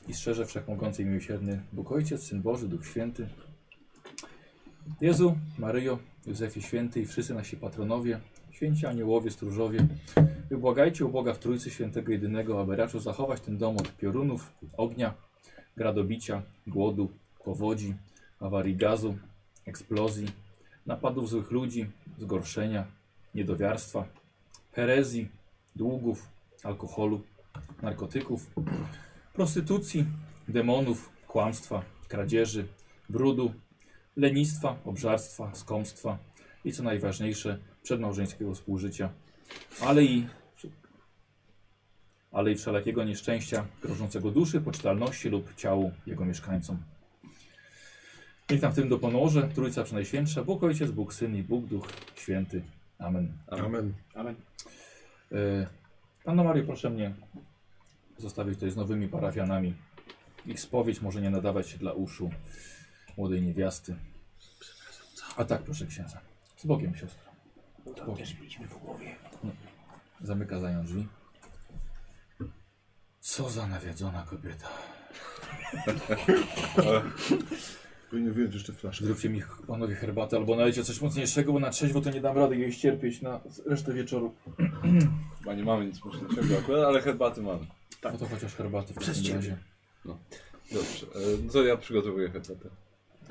[SPEAKER 2] i strzeże wszechmogący i miłosierny Bóg Ojciec, Syn Boży, Duch Święty. Jezu, Maryjo, Józefie Święty i wszyscy nasi patronowie, święci aniołowie, stróżowie, wybłagajcie u Boga w Trójcy Świętego Jedynego, aby raczył zachować ten dom od piorunów, ognia, gradobicia, głodu, powodzi, awarii gazu, eksplozji, napadów złych ludzi, zgorszenia, niedowiarstwa, herezji, długów, alkoholu, narkotyków, prostytucji, demonów, kłamstwa, kradzieży, brudu, lenistwa, obżarstwa, skomstwa i co najważniejsze, przedmałżeńskiego współżycia, ale i, ale i wszelakiego nieszczęścia grożącego duszy, poczytalności lub ciału jego mieszkańcom. Niech nam w tym dopomoże Trójca Przenajświętsza, Bóg Ojciec, Bóg Syn i Bóg Duch Święty. Amen.
[SPEAKER 6] Amen.
[SPEAKER 2] E, Panno Mario, proszę mnie zostawić tutaj z nowymi parafianami. Ich spowiedź może nie nadawać się dla uszu młodej niewiasty. A tak, proszę księdza. Z Bogiem, siostro. Z Bogiem. No. Zamyka zają drzwi. Co za nawiedzona kobieta.
[SPEAKER 6] Powinien wyjąć jeszcze flaszkę.
[SPEAKER 2] Zróbcie mi panowie herbatę albo nalejcie coś mocniejszego, bo na trzeźwo to nie dam rady jej ścierpieć na resztę wieczoru.
[SPEAKER 5] Chyba nie mamy nic mocniejszego akurat, ale herbaty mamy.
[SPEAKER 2] No to chociaż herbaty w
[SPEAKER 9] Przez
[SPEAKER 2] takim
[SPEAKER 9] ciebie.
[SPEAKER 2] razie.
[SPEAKER 5] Dobrze, e, no to ja przygotowuję herbatę.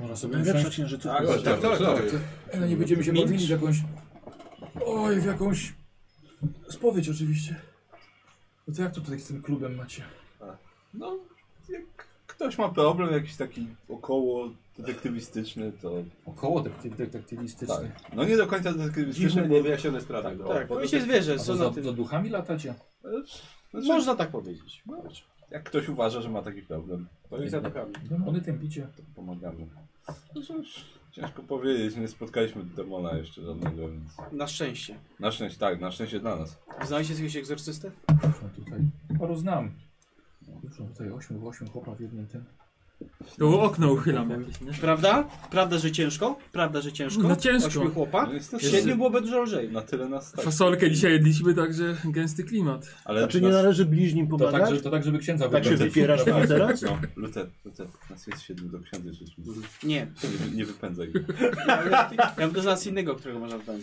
[SPEAKER 2] Można sobie
[SPEAKER 6] No Najlepsza
[SPEAKER 2] usiąść.
[SPEAKER 6] księżycówka.
[SPEAKER 5] Tak, tak, tak, tak, tak.
[SPEAKER 2] Ale nie będziemy się bawili w jakąś. Oj, w jakąś. Spowiedź oczywiście. No to jak to tutaj z tym klubem macie?
[SPEAKER 5] No, jak ktoś ma problem jakiś taki około detektywistyczny, to...
[SPEAKER 2] Około detektyw, detektywistyczny.
[SPEAKER 5] Tak. No nie do końca detektywistyczny,
[SPEAKER 7] Dziwne,
[SPEAKER 5] bo...
[SPEAKER 7] niewyjaśnione sprawy. no.
[SPEAKER 9] Tak,
[SPEAKER 7] Bo
[SPEAKER 9] bo
[SPEAKER 7] to-
[SPEAKER 9] się zwierzę,
[SPEAKER 2] A
[SPEAKER 9] co
[SPEAKER 2] co
[SPEAKER 9] na
[SPEAKER 2] za, za
[SPEAKER 9] tym.
[SPEAKER 2] duchami latacie?
[SPEAKER 5] e, Znaczy,
[SPEAKER 9] Można tak powiedzieć.
[SPEAKER 5] Jak ktoś uważa, że ma taki problem,
[SPEAKER 7] To jest zapakami.
[SPEAKER 2] Demony tępicie.
[SPEAKER 5] to pomagamy. Znaczy, ciężko powiedzieć, nie spotkaliśmy demona jeszcze żadnego, więc...
[SPEAKER 9] Na szczęście.
[SPEAKER 5] Na szczęście, tak, na szczęście dla nas.
[SPEAKER 9] Znaliście jakiegoś egzorcystę?
[SPEAKER 2] No tutaj. Paru znam. Dużo tutaj ośmiu, ośmiu chłopa w jednym tym.
[SPEAKER 3] To okno uchylam
[SPEAKER 6] Tak,
[SPEAKER 3] jakieś, nie?
[SPEAKER 9] Prawda? Prawda, że ciężko? Prawda, że ciężko?
[SPEAKER 3] No ciężko.
[SPEAKER 9] Ośmiu chłopak?
[SPEAKER 8] No jest to
[SPEAKER 9] Siedmiu
[SPEAKER 8] jest-
[SPEAKER 9] byłoby dużo lżej.
[SPEAKER 8] Na tyle nas tak.
[SPEAKER 3] Fasolkę dzisiaj jedliśmy, także gęsty klimat.
[SPEAKER 8] Ale
[SPEAKER 2] znaczy
[SPEAKER 6] Czy Znaczy, nie
[SPEAKER 8] nas-
[SPEAKER 6] należy bliźnim
[SPEAKER 2] To tak,
[SPEAKER 6] pomagać?
[SPEAKER 2] że, to tak, żeby księdza
[SPEAKER 6] Tak się
[SPEAKER 2] wyglądać.
[SPEAKER 6] wypierasz tam teraz?
[SPEAKER 8] No, Luter, Luter, nas jest siedmiu do księdza rzeczywiście.
[SPEAKER 9] Nie.
[SPEAKER 8] Nie, nie wypędzaj.
[SPEAKER 9] Ja bym go znalazł innego, którego można wdać.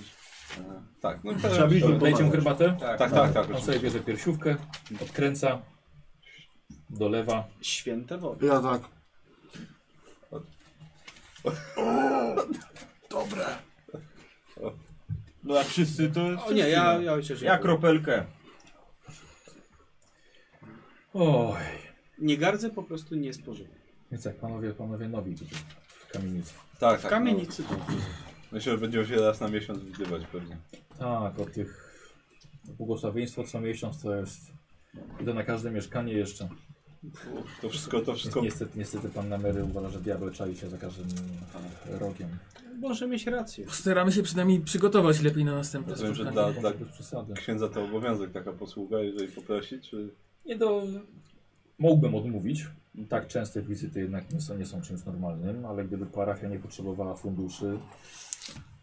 [SPEAKER 8] E, Tak, no
[SPEAKER 6] Trzeba bliźnim
[SPEAKER 2] Dajcie mu
[SPEAKER 6] pomagać.
[SPEAKER 2] herbatę.
[SPEAKER 8] Tak, tak, tak. tak
[SPEAKER 2] On sobie bierze piersiówkę, odkręca, dolewa.
[SPEAKER 9] Święte wody.
[SPEAKER 6] Ja tak.
[SPEAKER 10] No jak wszyscy to...
[SPEAKER 9] O nie, ja, ja ojciec.
[SPEAKER 10] Ja kropelkę.
[SPEAKER 2] Oj,
[SPEAKER 9] Nie gardzę, po prostu nie
[SPEAKER 3] No.
[SPEAKER 9] spożywam.
[SPEAKER 2] więc jak panowie, panowie nowi tutaj w kamienicy.
[SPEAKER 8] tak,
[SPEAKER 9] W
[SPEAKER 8] tak,
[SPEAKER 9] kamienicy
[SPEAKER 8] No. Myślę, że będziemy się raz na miesiąc widywać pewnie.
[SPEAKER 2] Tak, o tych to błogosławieństwo co miesiąc to jest. I to na każde mieszkanie jeszcze.
[SPEAKER 8] To wszystko, to wszystko.
[SPEAKER 2] Niestety, niestety pan Namery uważa, że diabeł czai się za każdym rogiem.
[SPEAKER 9] może mieć rację.
[SPEAKER 3] Staramy się przynajmniej przygotować lepiej na następne
[SPEAKER 8] Rozumiem, że
[SPEAKER 3] spotkanie.
[SPEAKER 8] dla- dla-
[SPEAKER 2] Bez przesady.
[SPEAKER 8] Księdza to obowiązek, taka posługa, jeżeli poprosi, czy...
[SPEAKER 2] Nie do... Mógłbym odmówić. Tak częste wizyty jednak nie są, nie są czymś normalnym, ale gdyby parafia nie potrzebowała funduszy,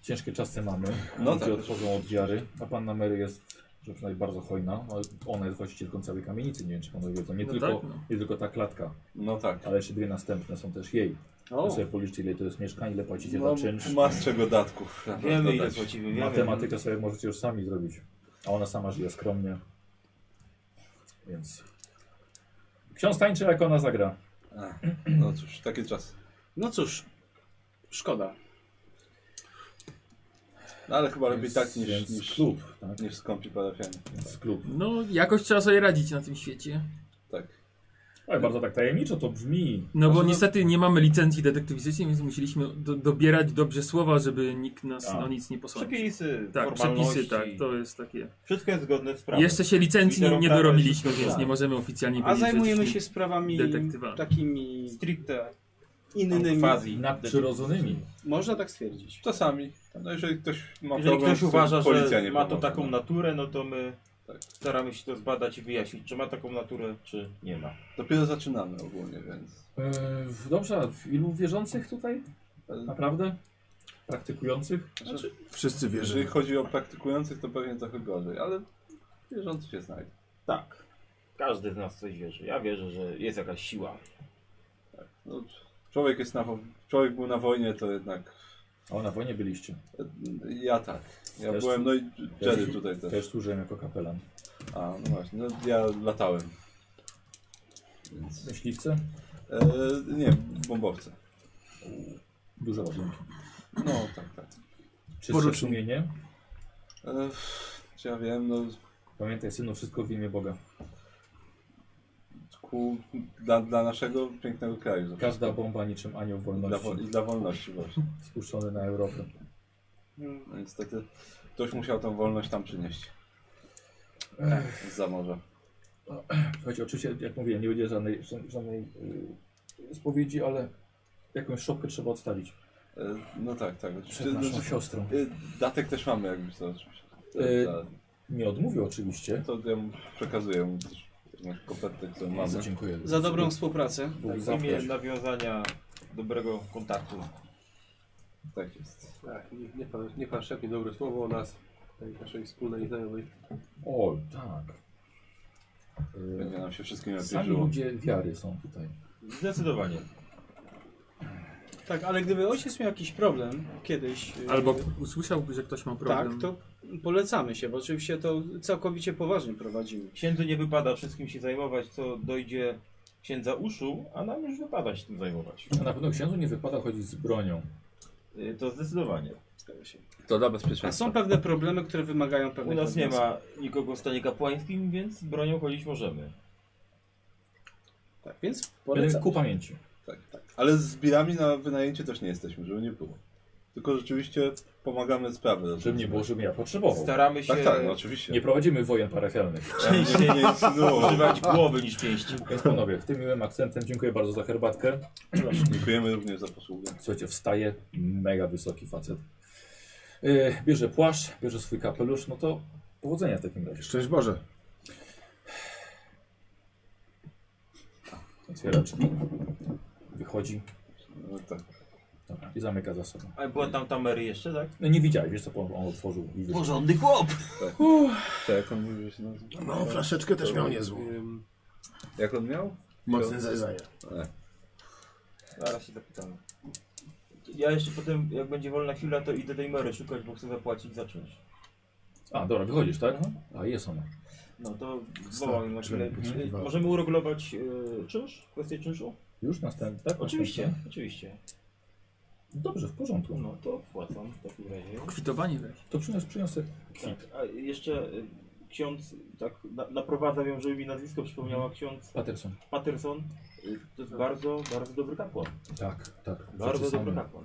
[SPEAKER 2] ciężkie czasy mamy.
[SPEAKER 8] No
[SPEAKER 2] No Ludzie
[SPEAKER 8] tak.
[SPEAKER 2] odchodzą od wiary, a panna Mary jest że przynajmniej bardzo hojna. ale Ona jest właścicielką całej kamienicy, nie wiem czy panowie wiedzą. Nie,
[SPEAKER 3] No
[SPEAKER 2] tylko,
[SPEAKER 3] tak, no.
[SPEAKER 2] nie tylko ta klatka,
[SPEAKER 8] No tak.
[SPEAKER 2] ale jeszcze dwie następne są też jej. O.
[SPEAKER 9] O,
[SPEAKER 2] sobie policzcie ile to jest mieszkań, ile płacicie
[SPEAKER 8] No,
[SPEAKER 2] za czynsz.
[SPEAKER 8] ma z czego datków. no naprawdę
[SPEAKER 10] Wiemy ile
[SPEAKER 8] dać.
[SPEAKER 10] płacimy, wiemy.
[SPEAKER 2] Matematykę sobie możecie już sami zrobić. A ona sama żyje skromnie. Więc. Ksiądz tańczy, jak ona zagra.
[SPEAKER 8] A, No cóż, taki czas.
[SPEAKER 9] no cóż. Szkoda.
[SPEAKER 8] No, ale chyba lepiej
[SPEAKER 2] Więc-
[SPEAKER 8] tak niż,
[SPEAKER 2] więc
[SPEAKER 8] niż,
[SPEAKER 2] klub. Tak?
[SPEAKER 8] niż skąpi parafianie.
[SPEAKER 2] Więc klub.
[SPEAKER 3] No, jakoś trzeba sobie radzić na tym świecie.
[SPEAKER 8] Tak.
[SPEAKER 2] Ale bardzo tak tajemniczo to brzmi.
[SPEAKER 3] No bo niestety nie mamy licencji detektywistycznej, więc musieliśmy do, dobierać dobrze słowa, żeby nikt nas
[SPEAKER 2] A.
[SPEAKER 3] no, nic nie posłał.
[SPEAKER 10] Przepisy,
[SPEAKER 3] Tak,
[SPEAKER 10] formalności.
[SPEAKER 3] przepisy, tak, to jest takie.
[SPEAKER 10] Wszystko jest zgodne z prawem.
[SPEAKER 3] Jeszcze się licencji nie, nie
[SPEAKER 10] Literą
[SPEAKER 3] dorobiliśmy,
[SPEAKER 10] prawa jest
[SPEAKER 3] więc nie
[SPEAKER 10] tak.
[SPEAKER 3] możemy oficjalnie
[SPEAKER 9] A
[SPEAKER 3] powiedzieć, że
[SPEAKER 9] zajmujemy
[SPEAKER 3] jesteśmy-
[SPEAKER 9] się sprawami
[SPEAKER 3] detektywami.
[SPEAKER 9] takimi
[SPEAKER 10] stricte
[SPEAKER 9] innymi.
[SPEAKER 10] fazji.
[SPEAKER 2] Nadprzyrodzonymi.
[SPEAKER 9] Można tak stwierdzić.
[SPEAKER 8] Czasami. No jeżeli ktoś ma
[SPEAKER 10] Jeżeli
[SPEAKER 8] problem,
[SPEAKER 10] ktoś uważa,
[SPEAKER 8] policja
[SPEAKER 10] że
[SPEAKER 8] nie
[SPEAKER 10] ma to
[SPEAKER 8] pomoże,
[SPEAKER 10] taką
[SPEAKER 8] no.
[SPEAKER 10] naturę, no to my
[SPEAKER 8] Tak.
[SPEAKER 10] staramy się to zbadać i wyjaśnić, czy ma taką naturę, czy nie ma.
[SPEAKER 8] Dopiero zaczynamy ogólnie, więc...
[SPEAKER 2] Yy, dobrze, a ilu wierzących tutaj? Naprawdę? Praktykujących?
[SPEAKER 8] Znaczy,
[SPEAKER 6] Wszyscy
[SPEAKER 8] jeżeli
[SPEAKER 6] wierzy.
[SPEAKER 8] chodzi o praktykujących, to pewnie trochę gorzej, ale wierzący się znajdzie.
[SPEAKER 10] Tak. Każdy z nas coś wierzy. Ja wierzę, że jest jakaś siła.
[SPEAKER 8] No, człowiek jest na... wo- Człowiek był na wojnie, to jednak...
[SPEAKER 2] A na wojnie byliście.
[SPEAKER 8] Ja tak. Ja
[SPEAKER 2] Też-
[SPEAKER 8] byłem, no i Jerry
[SPEAKER 2] też-
[SPEAKER 8] tutaj też.
[SPEAKER 2] Też służyłem jako kapelan.
[SPEAKER 8] A, no właśnie, no ja latałem. Więc...
[SPEAKER 2] Myśliwce?
[SPEAKER 8] E, nie, bombowce.
[SPEAKER 2] Dużo ładunki.
[SPEAKER 8] No, tak, tak.
[SPEAKER 2] Czyste
[SPEAKER 6] Porucznik.
[SPEAKER 2] sumienie?
[SPEAKER 8] E, pff, czy ja wiem, no...
[SPEAKER 2] Pamiętaj synu, wszystko w imię Boga.
[SPEAKER 8] Ku, dla, dla naszego pięknego kraju. zawsze.
[SPEAKER 2] Każda bomba niczym anioł
[SPEAKER 8] Dla,
[SPEAKER 2] wolności
[SPEAKER 8] wo- I dla wolności właśnie.
[SPEAKER 2] spuszczony na Europę.
[SPEAKER 8] No niestety ktoś musiał tą wolność tam przynieść. Za morza.
[SPEAKER 2] Słuchajcie, oczywiście, jak mówiłem, nie będzie żadnej, ża- żadnej y, spowiedzi, ale jakąś szopkę trzeba odstawić
[SPEAKER 8] E, No tak, tak. oczywiście.
[SPEAKER 2] przed naszą
[SPEAKER 8] Znaczy,
[SPEAKER 2] siostrą.
[SPEAKER 8] e, datek też mamy jakby co oczywiście.
[SPEAKER 2] E,
[SPEAKER 8] Tak,
[SPEAKER 2] Nie odmówił oczywiście.
[SPEAKER 8] To ja mu przekazuję mu też jakąś kopertę, którą
[SPEAKER 2] Bardzo
[SPEAKER 8] mamy.
[SPEAKER 2] dziękuję.
[SPEAKER 9] Za dobrą współpracę.
[SPEAKER 2] Bóg
[SPEAKER 10] W Tak, imię
[SPEAKER 2] zapłać.
[SPEAKER 10] nawiązania dobrego kontaktu.
[SPEAKER 8] Tak jest.
[SPEAKER 7] Tak, niech, niech, pan, niech pan szepnie dobre słowo o nas, tej naszej wspólnej znajomej.
[SPEAKER 2] O, tak.
[SPEAKER 8] Będzie nam się wszystkim
[SPEAKER 2] Y,
[SPEAKER 8] lepiej
[SPEAKER 2] Sami
[SPEAKER 8] żyło.
[SPEAKER 2] ludzie wiary są tutaj.
[SPEAKER 10] Zdecydowanie.
[SPEAKER 9] Tak, ale gdyby ojciec miał jakiś problem kiedyś. y,
[SPEAKER 3] Albo usłyszałby, że ktoś ma problem.
[SPEAKER 9] Tak, to polecamy się, bo oczywiście to całkowicie poważnie prowadzimy.
[SPEAKER 10] Księdzu nie wypada wszystkim się zajmować, co dojdzie księdza uszu, a nam już wypada się tym zajmować.
[SPEAKER 2] A na pewno księdzu nie wypada chodzić z bronią.
[SPEAKER 10] Y, To zdecydowanie.
[SPEAKER 8] To dla
[SPEAKER 9] A
[SPEAKER 8] bezpieczeństwa.
[SPEAKER 9] są pewne problemy, które wymagają
[SPEAKER 10] U
[SPEAKER 9] pewnych
[SPEAKER 10] nas nie
[SPEAKER 9] rozwiązań.
[SPEAKER 10] ma nikogo w stanie kapłańskim, więc z bronią chodzić możemy.
[SPEAKER 9] Tak, więc
[SPEAKER 2] Będę
[SPEAKER 9] polecam.
[SPEAKER 2] ku pamięci.
[SPEAKER 8] Tak, tak. Ale z birami na wynajęcie też nie jesteśmy, żeby nie było. Tylko rzeczywiście pomagamy sprawy.
[SPEAKER 2] Żeby nie było, żebym ja potrzebował.
[SPEAKER 10] Staramy się
[SPEAKER 8] Tak, tak, no oczywiście.
[SPEAKER 2] Nie prowadzimy wojen parafialnych.
[SPEAKER 8] Częściej nie insynuował.
[SPEAKER 10] używać głowy niż pięści.
[SPEAKER 2] Więc panowie, tym miłym akcentem dziękuję bardzo za herbatkę.
[SPEAKER 8] Dziękujemy również za posługę.
[SPEAKER 2] Słuchajcie, wstaje mega wysoki facet. Yy, bierze płaszcz, bierze swój kapelusz, no to powodzenia w takim razie.
[SPEAKER 6] Szczęść Boże.
[SPEAKER 2] Otwiera drzwi. Wychodzi.
[SPEAKER 5] No tak.
[SPEAKER 2] Dobra, i zamyka za sobą.
[SPEAKER 10] A była tam tamery jeszcze, tak?
[SPEAKER 2] No nie widziałeś, wiesz co, bo on otworzył. i wyszedł.
[SPEAKER 10] Porządny chłop!
[SPEAKER 5] Tak. Co, jak on mówił, że się nazywa?
[SPEAKER 6] No, flaszeczkę też miał niezłą.
[SPEAKER 7] Ym,
[SPEAKER 5] Jak on miał?
[SPEAKER 6] Mocny zezajer.
[SPEAKER 10] Zaraz się zapytamy. Ja jeszcze potem, jak będzie wolna chwila, to idę tej mery szukać, bo chcę zapłacić za czynsz.
[SPEAKER 2] A, dobra, wychodzisz, tak? A, jest ona.
[SPEAKER 10] No to
[SPEAKER 6] Stary,
[SPEAKER 10] wołam na
[SPEAKER 6] żeby
[SPEAKER 10] chwilę.
[SPEAKER 6] potrzebowało.
[SPEAKER 10] Mhm. Możemy uregulować yy, czynsz? Kwestię czynszu?
[SPEAKER 2] Już następny, tak?
[SPEAKER 10] Oczywiście,
[SPEAKER 2] Następny?
[SPEAKER 10] oczywiście.
[SPEAKER 2] Dobrze, w porządku.
[SPEAKER 10] No to wpłacam w takim razie.
[SPEAKER 3] Kwitowanie weź.
[SPEAKER 2] To przyniosę, przyniosę.
[SPEAKER 10] Tak, a jeszcze y, ksiądz, tak na, naprowadza ją, żeby mi nazwisko przypomniała, ksiądz
[SPEAKER 2] Patterson.
[SPEAKER 10] Patterson. Y, To jest bardzo, bardzo dobry kapłan.
[SPEAKER 2] Tak, tak.
[SPEAKER 10] Bardzo
[SPEAKER 2] Rzeczy
[SPEAKER 10] dobry
[SPEAKER 2] same.
[SPEAKER 10] kapłan.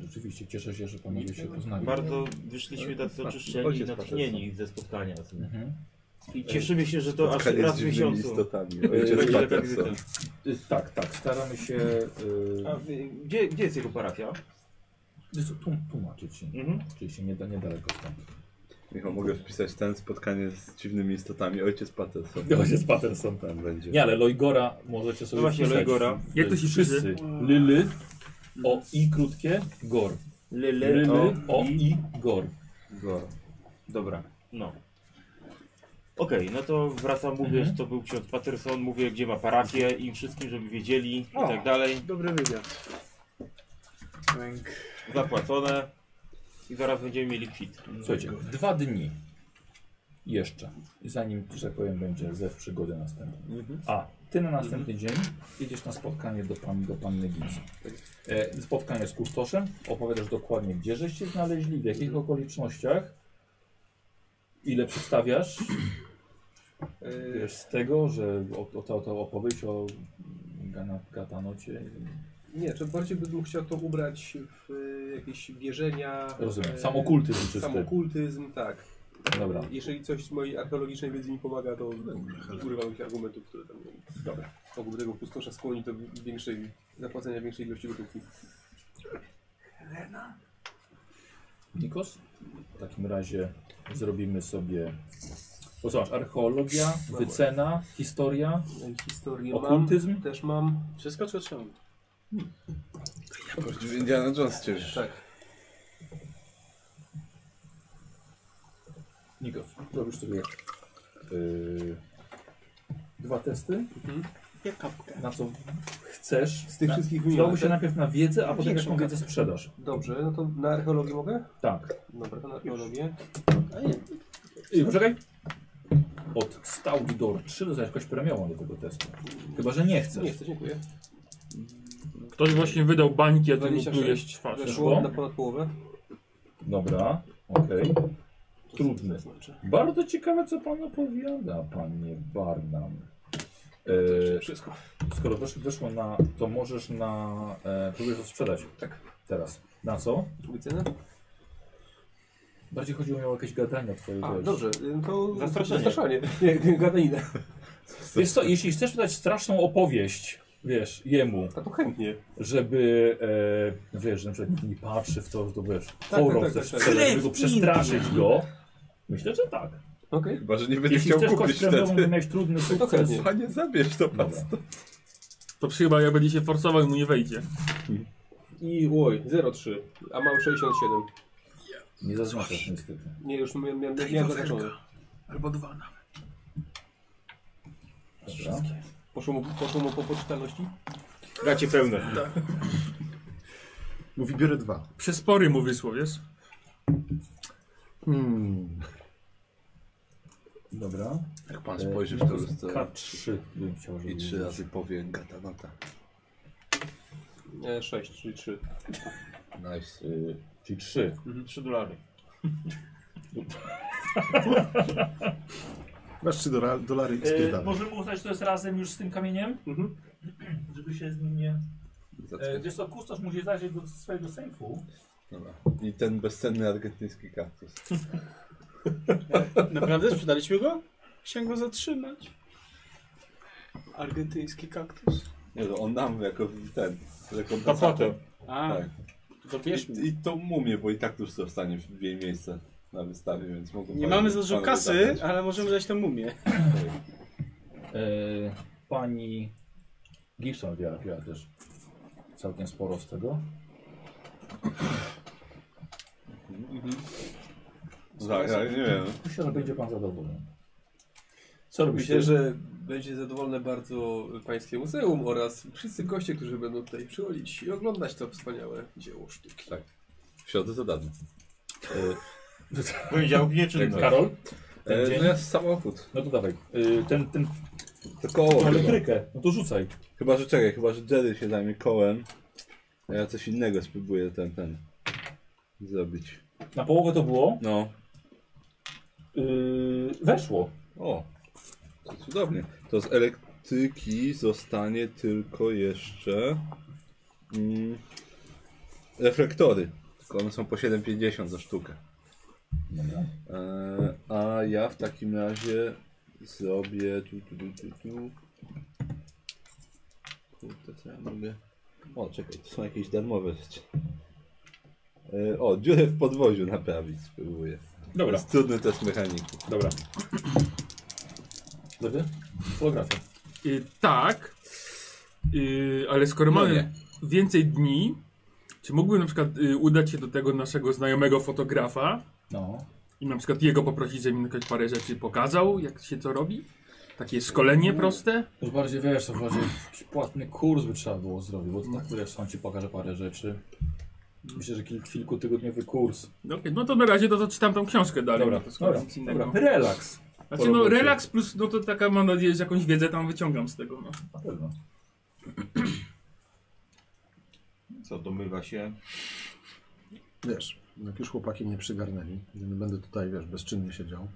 [SPEAKER 2] Rzeczywiście, cieszę się, że panowie się poznali.
[SPEAKER 10] Bardzo wyszliśmy tacy oczyszczeni i
[SPEAKER 5] Ojciec
[SPEAKER 10] natchnieni ze spotkania. z nim.
[SPEAKER 2] Mhm.
[SPEAKER 10] I cieszymy się, że to aż
[SPEAKER 5] Spotkanie
[SPEAKER 10] raz
[SPEAKER 5] z
[SPEAKER 10] w
[SPEAKER 5] dziwnymi
[SPEAKER 10] miesiącu. Yy,
[SPEAKER 5] istotami.
[SPEAKER 10] będzie
[SPEAKER 5] Ojciec
[SPEAKER 10] taka
[SPEAKER 5] Patterson.
[SPEAKER 10] wizyta.
[SPEAKER 2] Y, Tak, tak, staramy się
[SPEAKER 10] A y, gdzie, gdzie jest jego parafia?
[SPEAKER 2] y, co, tłum- tłumaczyć się.
[SPEAKER 10] Mhm.
[SPEAKER 2] Czyli się nie da niedaleko stąd.
[SPEAKER 5] Michał, mogę wpisać ten spotkanie z dziwnymi istotami. Ojciec Patterson.
[SPEAKER 2] Ojciec Patterson, tak.
[SPEAKER 5] Tam będzie.
[SPEAKER 2] Nie, ale Lojgora możecie sobie
[SPEAKER 10] No właśnie,
[SPEAKER 2] wpisać.
[SPEAKER 10] Lojgora.
[SPEAKER 3] Jak to się
[SPEAKER 2] Wszyscy. Lyly, o i krótkie, gor. Lyly, o i gor.
[SPEAKER 10] Dobra, no. Okej, no to wracam, mówię, że to był ksiądz Patterson, mówię gdzie ma parafię im wszystkim, żeby wiedzieli i tak dalej.
[SPEAKER 9] Dobry wywiad.
[SPEAKER 10] Zapłacone i zaraz będziemy mieli kwit.
[SPEAKER 2] Słuchajcie, dwa dni jeszcze, zanim, że tak powiem, będzie zew przygody następny. A, ty na następny dzień jedziesz na spotkanie do, pan, do panny Gizy. E, spotkanie z kustoszem, opowiadasz dokładnie, gdzie żeście znaleźli, w jakich okolicznościach, ile przedstawiasz,
[SPEAKER 7] y,
[SPEAKER 2] wiesz, z tego, że o, o, to, to opowieść o gana- Gatanocie,
[SPEAKER 7] nie, to bardziej bym chciał to ubrać w y, jakieś wierzenia.
[SPEAKER 2] rozumiem,
[SPEAKER 7] y,
[SPEAKER 2] samokultyzm czysty.
[SPEAKER 7] Samokultyzm, tak.
[SPEAKER 2] Dobra.
[SPEAKER 7] Jeżeli coś z mojej archeologicznej wiedzy mi pomaga, to używam tych argumentów, które tam mieli. Dobra. Mogłoby tego pustosza skłonić do większej, zapłacenia większej ilości gotówki.
[SPEAKER 2] Nikos? W takim razie zrobimy sobie. Bo zobacz, archeologia, wycena, historia,
[SPEAKER 7] No i Historię
[SPEAKER 2] okultyzm.
[SPEAKER 7] mam, też mam.
[SPEAKER 9] Wszystko co trzeba.
[SPEAKER 5] Indiana Jones cię
[SPEAKER 7] Tak.
[SPEAKER 2] Nikos, robisz sobie yy, dwa testy,
[SPEAKER 9] Jak kapkę.
[SPEAKER 2] na co chcesz.
[SPEAKER 7] Mhm. Z tych
[SPEAKER 2] Na-
[SPEAKER 7] wszystkich
[SPEAKER 2] Przydałoby
[SPEAKER 7] wymieniam.
[SPEAKER 2] się
[SPEAKER 7] tak?
[SPEAKER 2] najpierw na wiedzę, a potem
[SPEAKER 9] Większą
[SPEAKER 2] jaką wiedzę sprzedasz.
[SPEAKER 7] Dobrze, no to na archeologię mogę?
[SPEAKER 2] Tak.
[SPEAKER 7] Dobra, to na archeologię.
[SPEAKER 2] I poczekaj. Od Stout Door 3 dostajesz jakoś premiową do tego testu. Chyba, że nie chcesz.
[SPEAKER 7] Nie chcę, dziękuję.
[SPEAKER 3] Ktoś właśnie wydał bańki, a ty mu
[SPEAKER 7] 26.
[SPEAKER 3] plujesz w twarz.
[SPEAKER 2] Weszło?
[SPEAKER 7] Weszło na ponad połowę.
[SPEAKER 2] Dobra, okej. Trudne.
[SPEAKER 7] To znaczy.
[SPEAKER 2] Bardzo ciekawe, co pan opowiada, panie Barnum. E,
[SPEAKER 7] Wszystko.
[SPEAKER 2] skoro wesz, weszło na, to możesz na, e, próbujesz to sprzedać.
[SPEAKER 7] Tak.
[SPEAKER 2] Teraz. Na co?
[SPEAKER 7] Wycenę?
[SPEAKER 2] Bardziej chodziło mi o jakieś gadania twoje.
[SPEAKER 7] A,
[SPEAKER 2] wiesz.
[SPEAKER 7] dobrze, y, to
[SPEAKER 10] Zastraszenie.
[SPEAKER 7] zastraszanie. Nie, nie, gadanina.
[SPEAKER 2] Wiesz co, jeśli chcesz wydać straszną opowieść, wiesz, jemu,
[SPEAKER 7] A to chętnie.
[SPEAKER 2] żeby, e, no wiesz, że na przykład nikt nie patrzy w to, że to wiesz, horror
[SPEAKER 7] tak,
[SPEAKER 2] chcesz
[SPEAKER 7] tak, tak.
[SPEAKER 2] sprzedać, żeby go przestraszyć go. Myślę, że tak.
[SPEAKER 7] Okej.
[SPEAKER 5] Chyba, że nie będę
[SPEAKER 2] Jeśli
[SPEAKER 5] chciał
[SPEAKER 2] chcesz kość
[SPEAKER 5] kupić
[SPEAKER 2] premiową,
[SPEAKER 5] wtedy.
[SPEAKER 2] to miałeś trudny
[SPEAKER 7] To
[SPEAKER 2] sukces.
[SPEAKER 7] chętnie.
[SPEAKER 5] Panie, zabierz to
[SPEAKER 2] Dobra.
[SPEAKER 5] pas.
[SPEAKER 3] To chyba jak będzie się forsował i mu nie wejdzie.
[SPEAKER 7] I oj, 0,3. A mam 67.
[SPEAKER 2] Nie zaznaczasz niestety.
[SPEAKER 7] Nie, już miałem, miałem, miałem zaznaczone.
[SPEAKER 6] Albo dwa nawet.
[SPEAKER 2] Dobra.
[SPEAKER 7] Poszło mu, poszło mu po poczytalności?
[SPEAKER 10] Gacie pełne.
[SPEAKER 6] Mówi, biorę dwa.
[SPEAKER 3] Przez pory mu wyszło, wiesz?
[SPEAKER 6] Hmm.
[SPEAKER 2] Dobra.
[SPEAKER 5] Jak pan spojrzy w E, to lustro
[SPEAKER 2] K3 bym chciał, żeby
[SPEAKER 5] i trzy razy powie Gatanata.
[SPEAKER 7] E, 6, czyli 3.
[SPEAKER 5] Nice.
[SPEAKER 2] Y, czyli 3.
[SPEAKER 10] 3 dolary.
[SPEAKER 6] Masz trzy dola- dolary i
[SPEAKER 2] Yy,
[SPEAKER 6] spierdalaj.
[SPEAKER 2] możemy uznać, że to jest razem już z tym kamieniem?
[SPEAKER 7] Mhm.
[SPEAKER 2] Żeby się z nim nie...
[SPEAKER 5] Za-
[SPEAKER 2] Yy, wiesz co, kustosz musi zajrzeć do swojego sejfu.
[SPEAKER 5] Dobra. I ten bezcenny argentyński kaktus.
[SPEAKER 9] Naprawdę sprzedaliśmy go? Chciałem go zatrzymać. Argentyński kaktus.
[SPEAKER 5] Nie, no on nam jako ten,
[SPEAKER 10] Zapłatę.
[SPEAKER 5] rekompensatę.
[SPEAKER 9] A,
[SPEAKER 5] Tak.
[SPEAKER 9] to bierzmy.
[SPEAKER 5] I, I tą mumię, bo i tak już zostanie w jej miejsce na wystawie, więc mogą
[SPEAKER 9] Nie
[SPEAKER 5] panu-
[SPEAKER 9] mamy za dużo
[SPEAKER 5] panu
[SPEAKER 9] kasy,
[SPEAKER 5] zabrać.
[SPEAKER 9] ale możemy dać tę mumię.
[SPEAKER 2] Yy, E, pani Gibson wiara, wiara też całkiem sporo z tego.
[SPEAKER 5] Tak, tak, nie wiem.
[SPEAKER 2] Myślę, że będzie pan zadowolony.
[SPEAKER 7] Co
[SPEAKER 2] robisz
[SPEAKER 7] Myślę,
[SPEAKER 2] ty?
[SPEAKER 7] że będzie zadowolone bardzo Pańskie Muzeum oraz wszyscy goście, którzy będą tutaj przychodzić i oglądać to wspaniałe dzieło sztuki.
[SPEAKER 5] Tak. W środę to dawno.
[SPEAKER 10] Poniedziałek nieczynny.
[SPEAKER 2] Karol? Ten
[SPEAKER 5] E,
[SPEAKER 2] dzień?
[SPEAKER 5] no ja samochód.
[SPEAKER 2] No to dawaj. Y, ten, ten,
[SPEAKER 5] To koło
[SPEAKER 2] tą
[SPEAKER 5] chyba.
[SPEAKER 2] elektrykę, no to rzucaj.
[SPEAKER 5] chyba, że czekaj, chyba, że Jerry się zajmie kołem. A ja coś innego spróbuję ten, ten zrobić.
[SPEAKER 2] Na połowę to było.
[SPEAKER 5] No.
[SPEAKER 2] Y, weszło.
[SPEAKER 5] O. To cudownie. To z elektryki zostanie tylko jeszcze mm, reflektory. Tylko one są po 7,50 za sztukę. E, a ja w takim razie zrobię tu, tu, tu, tu, tu. Kurde, co ja mogę? O, czekaj, to są jakieś darmowe rzeczy. E, o, dziurę w podwoziu naprawić spróbuję. To
[SPEAKER 2] Dobra,
[SPEAKER 5] jest trudny test mechaniki.
[SPEAKER 2] dobra. Dobry? Fotografia.
[SPEAKER 3] Y, tak, y, ale skoro
[SPEAKER 5] No
[SPEAKER 3] mamy
[SPEAKER 5] nie.
[SPEAKER 3] więcej dni, czy mógłbym na przykład y, udać się do tego naszego znajomego fotografa
[SPEAKER 2] No.
[SPEAKER 3] i na przykład jego poprosić, żeby mi na przykład parę rzeczy pokazał, jak się co robi? Takie szkolenie
[SPEAKER 2] Mm.
[SPEAKER 3] proste?
[SPEAKER 2] Już bardziej wiesz, to bardziej jakiś płatny kurs by trzeba było zrobić, bo to tak wiesz, on ci pokaże parę rzeczy. Myślę, że kil, kilkutygodniowy kurs.
[SPEAKER 3] No, okej, no to na razie to zaczytam tą książkę dalej.
[SPEAKER 2] Dobra,
[SPEAKER 3] no to skoro
[SPEAKER 2] dobra,
[SPEAKER 3] nic innego.
[SPEAKER 2] dobra. Relaks.
[SPEAKER 3] Znaczy no relaks plus, no to taka mam nadzieję, że jakąś wiedzę tam wyciągam z tego, no.
[SPEAKER 2] Na pewno.
[SPEAKER 10] Co, domywa się.
[SPEAKER 6] Wiesz, jak już chłopaki mnie przygarnęli, że nie będę tutaj, wiesz, bezczynnie siedział,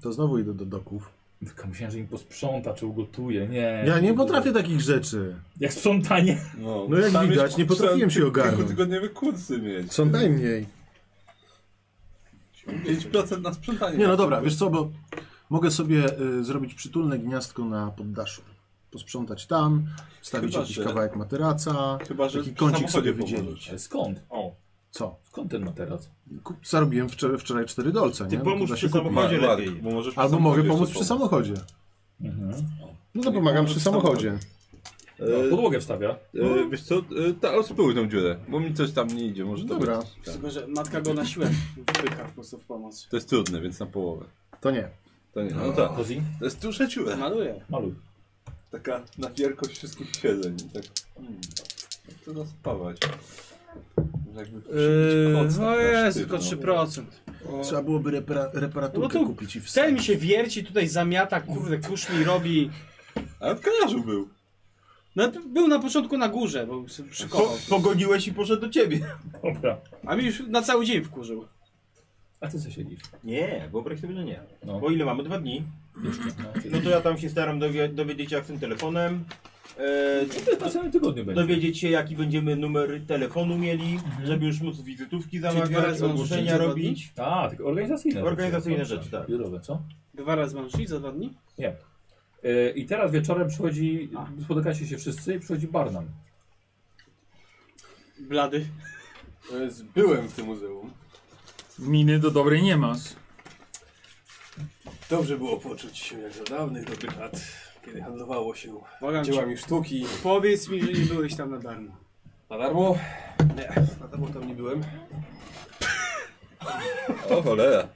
[SPEAKER 6] to znowu idę do doków.
[SPEAKER 2] Tylko myślałem, że im posprząta czy ugotuje. Nie.
[SPEAKER 6] Ja nie potrafię takich rzeczy.
[SPEAKER 2] Jak sprzątanie.
[SPEAKER 5] No,
[SPEAKER 6] No jak
[SPEAKER 5] Tam
[SPEAKER 6] widać,
[SPEAKER 5] jest-
[SPEAKER 6] nie potrafiłem się
[SPEAKER 5] trzeba
[SPEAKER 6] ogarnąć.
[SPEAKER 5] Kilkutygodniowe kursy mieć.
[SPEAKER 6] Co najmniej.
[SPEAKER 5] 5% na sprzątanie.
[SPEAKER 6] Nie no dobra, wiesz co, bo mogę sobie y, zrobić przytulne gniazdko na poddaszu. Posprzątać tam, wstawić
[SPEAKER 5] Chyba,
[SPEAKER 6] jakiś
[SPEAKER 5] że-
[SPEAKER 6] kawałek materaca,
[SPEAKER 5] Chyba, że
[SPEAKER 6] taki
[SPEAKER 5] przy
[SPEAKER 6] kącik
[SPEAKER 5] samochodzie
[SPEAKER 6] sobie
[SPEAKER 5] pomożesz.
[SPEAKER 6] wydzielić.
[SPEAKER 2] Ale skąd? O,
[SPEAKER 6] Co?
[SPEAKER 2] skąd ten materac?
[SPEAKER 6] Kup- Zarobiłem wczoraj, wczoraj cztery dolce, nie?
[SPEAKER 10] Ty
[SPEAKER 6] No to
[SPEAKER 10] pomóż
[SPEAKER 6] da
[SPEAKER 10] przy
[SPEAKER 6] się kupić.
[SPEAKER 10] samochodzie
[SPEAKER 5] Mark,
[SPEAKER 10] lepiej.
[SPEAKER 5] bo możesz przy
[SPEAKER 6] Albo
[SPEAKER 5] samochodzie
[SPEAKER 6] mogę
[SPEAKER 5] jeszcze
[SPEAKER 6] pomóc przy samochodzie.
[SPEAKER 2] Mhm.
[SPEAKER 6] No to pomagam
[SPEAKER 5] pomóż
[SPEAKER 6] przy
[SPEAKER 5] przy samochodzie.
[SPEAKER 6] samochodzie.
[SPEAKER 5] E,
[SPEAKER 2] No, Podłogę wstawia.
[SPEAKER 5] e, wiesz co, e, ta, spróbuj tą dziurę, bo mi coś tam nie idzie, może to
[SPEAKER 6] Dobra,
[SPEAKER 5] być. Tak.
[SPEAKER 9] Tylko, że matka go na siłę wpycha po prostu w pomoc.
[SPEAKER 5] To jest trudne, więc na połowę.
[SPEAKER 6] to nie.
[SPEAKER 5] To nie, no tak.
[SPEAKER 2] Kozi,
[SPEAKER 5] To jest duża dziura.
[SPEAKER 9] Maluje.
[SPEAKER 2] maluj.
[SPEAKER 5] Taka na wielkość wszystkich siedzeń. Tak. Hmm. To zaspawać. Jakby
[SPEAKER 9] Yy,
[SPEAKER 5] przybić koc tak
[SPEAKER 9] no
[SPEAKER 5] na
[SPEAKER 9] jest,
[SPEAKER 5] sztywno.
[SPEAKER 9] tylko 3%.
[SPEAKER 6] Trzeba byłoby repara
[SPEAKER 9] No
[SPEAKER 6] reparaturkę
[SPEAKER 9] to
[SPEAKER 6] kupić i
[SPEAKER 9] Ten mi
[SPEAKER 6] wstawić.
[SPEAKER 9] się wierci, tutaj zamiata, kurde, kurz mi robi.
[SPEAKER 5] Ale w garażu był.
[SPEAKER 9] No to był na początku na górze, bo sobie przykopał.
[SPEAKER 10] pogoniłeś i poszedł do ciebie.
[SPEAKER 2] Dobra.
[SPEAKER 9] A mi już na cały dzień wkurzył.
[SPEAKER 2] A ty co siedzisz?
[SPEAKER 10] Nie, wyobraź sobie, że nie.
[SPEAKER 2] No.
[SPEAKER 10] Bo ile mamy? Dwa dni. No to ja tam się staram dowie- dowiedzieć jak z tym telefonem. E,
[SPEAKER 2] To jest na samym tygodniu
[SPEAKER 5] No,
[SPEAKER 2] będzie.
[SPEAKER 10] dowiedzieć się jaki będziemy numer telefonu mieli, żeby już móc wizytówki
[SPEAKER 9] dwa
[SPEAKER 10] zamawiać,
[SPEAKER 9] razy
[SPEAKER 10] ogłoszenia
[SPEAKER 9] ogłoszenie za
[SPEAKER 10] robić.
[SPEAKER 2] A, tylko organizacyjne.
[SPEAKER 10] Organizacyjne rzeczy, tak.
[SPEAKER 2] Biurowe, co?
[SPEAKER 9] Dwa razy mam szli za dwa dni.
[SPEAKER 2] E, I teraz wieczorem przychodzi, spotykacie się wszyscy i przychodzi Barnum.
[SPEAKER 9] Blady.
[SPEAKER 7] To jest- Byłem w tym muzeum.
[SPEAKER 3] Miny do dobrej nie masz.
[SPEAKER 7] Dobrze było poczuć się jak za dawnych dobrych lat, kiedy handlowało się
[SPEAKER 9] Błagam cię,
[SPEAKER 7] dziełami sztuki.
[SPEAKER 9] powiedz mi, że nie byłeś tam na darmo.
[SPEAKER 7] Na darmo? Nie, na darmo tam nie byłem.
[SPEAKER 5] O cholera.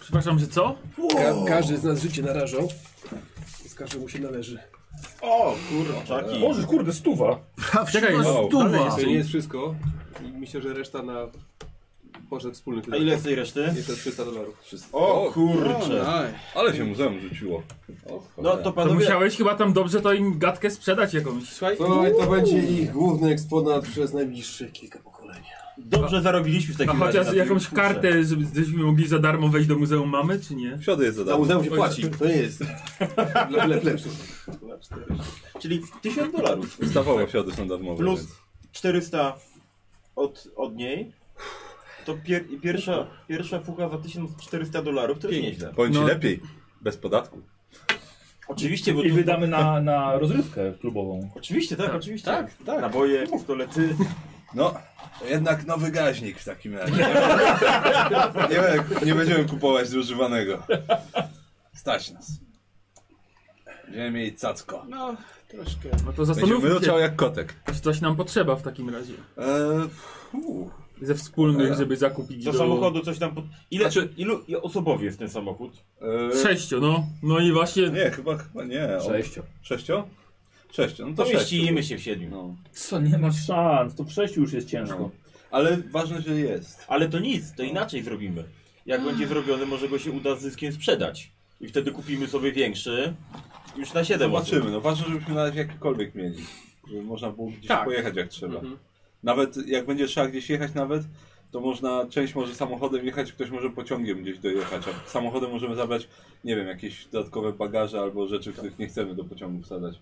[SPEAKER 3] Przepraszam, że co?
[SPEAKER 23] Ka każdy z nas życie narażał. Więc każdemu się należy.
[SPEAKER 10] O kurczaki.
[SPEAKER 2] Boże, kurde, stuwa!
[SPEAKER 3] Czekaj,
[SPEAKER 6] Prawdziwa
[SPEAKER 3] no,
[SPEAKER 7] Ale
[SPEAKER 6] stuwa!
[SPEAKER 7] jeszcze nie jest wszystko. I myślę, że reszta na budżet wspólny.
[SPEAKER 10] A ile z tej reszty?
[SPEAKER 7] Jeszcze 300 dolarów.
[SPEAKER 10] O kurcze.
[SPEAKER 9] No, Oj,
[SPEAKER 5] Ale się muzeum rzuciło. O,
[SPEAKER 10] No
[SPEAKER 5] cholera.
[SPEAKER 10] to
[SPEAKER 3] To
[SPEAKER 10] panowie,
[SPEAKER 3] musiałeś chyba tam dobrze to im gadkę sprzedać jakąś.
[SPEAKER 9] Słuchaj,
[SPEAKER 7] No i to będzie ich główny eksponat przez najbliższe kilka pokoleń.
[SPEAKER 10] dobrze zarobiliśmy w
[SPEAKER 3] A
[SPEAKER 10] takim razie.
[SPEAKER 3] chociaż
[SPEAKER 10] na tym
[SPEAKER 3] jakąś
[SPEAKER 10] kurcze.
[SPEAKER 3] kartę, żeby- żebyśmy mogli za darmo wejść do muzeum mamy, czy nie? No
[SPEAKER 5] W środę jest za
[SPEAKER 7] Za
[SPEAKER 5] darmo.
[SPEAKER 7] muzeum się płaci, to nie jest dla ple, plepsów.
[SPEAKER 10] Czyli 1000 dolarów.
[SPEAKER 5] Ustawowe w środę są darmowe.
[SPEAKER 10] Plus
[SPEAKER 5] więc.
[SPEAKER 10] 400 od, od niej. To pier, pierwsza, pierwsza fuka za 1400 dolarów to jest nieźle.
[SPEAKER 5] Powiem ci
[SPEAKER 3] No.
[SPEAKER 5] lepiej. Bez podatku.
[SPEAKER 10] Oczywiście, bo
[SPEAKER 2] I
[SPEAKER 10] tu-
[SPEAKER 2] wydamy na, na rozrywkę klubową.
[SPEAKER 10] Oczywiście, tak, oczywiście.
[SPEAKER 9] Tak, tak.
[SPEAKER 10] Naboje, pistolety.
[SPEAKER 5] No, jednak nowy gaźnik w takim razie. nie, będę- nie będziemy kupować zużywanego. Stać nas.
[SPEAKER 8] Ziemię i cacko.
[SPEAKER 9] No, troszkę.
[SPEAKER 3] No to
[SPEAKER 8] Będzie
[SPEAKER 3] zastanówmy się,
[SPEAKER 8] mruczał jak kotek.
[SPEAKER 3] czy coś nam potrzeba w takim razie.
[SPEAKER 5] E,
[SPEAKER 8] Eee, uu.
[SPEAKER 3] Ze wspólnych, żeby zakupić
[SPEAKER 10] Do
[SPEAKER 3] do...
[SPEAKER 10] samochodu coś tam pod... Ile, ilu osobowi jest ten samochód?
[SPEAKER 8] Eee,
[SPEAKER 3] Sześciu, no. No i właśnie...
[SPEAKER 8] nie, chyba, chyba nie. O,
[SPEAKER 2] Sześcio.
[SPEAKER 8] Sześcio? Sześcio, no to
[SPEAKER 10] Pomieścimy
[SPEAKER 8] sześciu.
[SPEAKER 10] się w siedmiu.
[SPEAKER 8] No.
[SPEAKER 2] Co, nie masz szans, to w sześciu już jest ciężko.
[SPEAKER 8] No. Ale ważne, że jest.
[SPEAKER 10] Ale to nic, to inaczej zrobimy. Jak będzie zrobiony, może go się uda z zyskiem sprzedać. I wtedy kupimy sobie większy. Już na 7
[SPEAKER 8] Zobaczymy, no ważne, żebyśmy na razie jakikolwiek mieli. Żeby można było gdzieś
[SPEAKER 9] Tak.
[SPEAKER 8] pojechać jak trzeba. Nawet jak będzie trzeba gdzieś jechać nawet, to można, część może samochodem jechać, ktoś może pociągiem gdzieś dojechać, a samochodem możemy zabrać, nie wiem, jakieś dodatkowe bagaże albo rzeczy, których nie chcemy do pociągu wsadzać.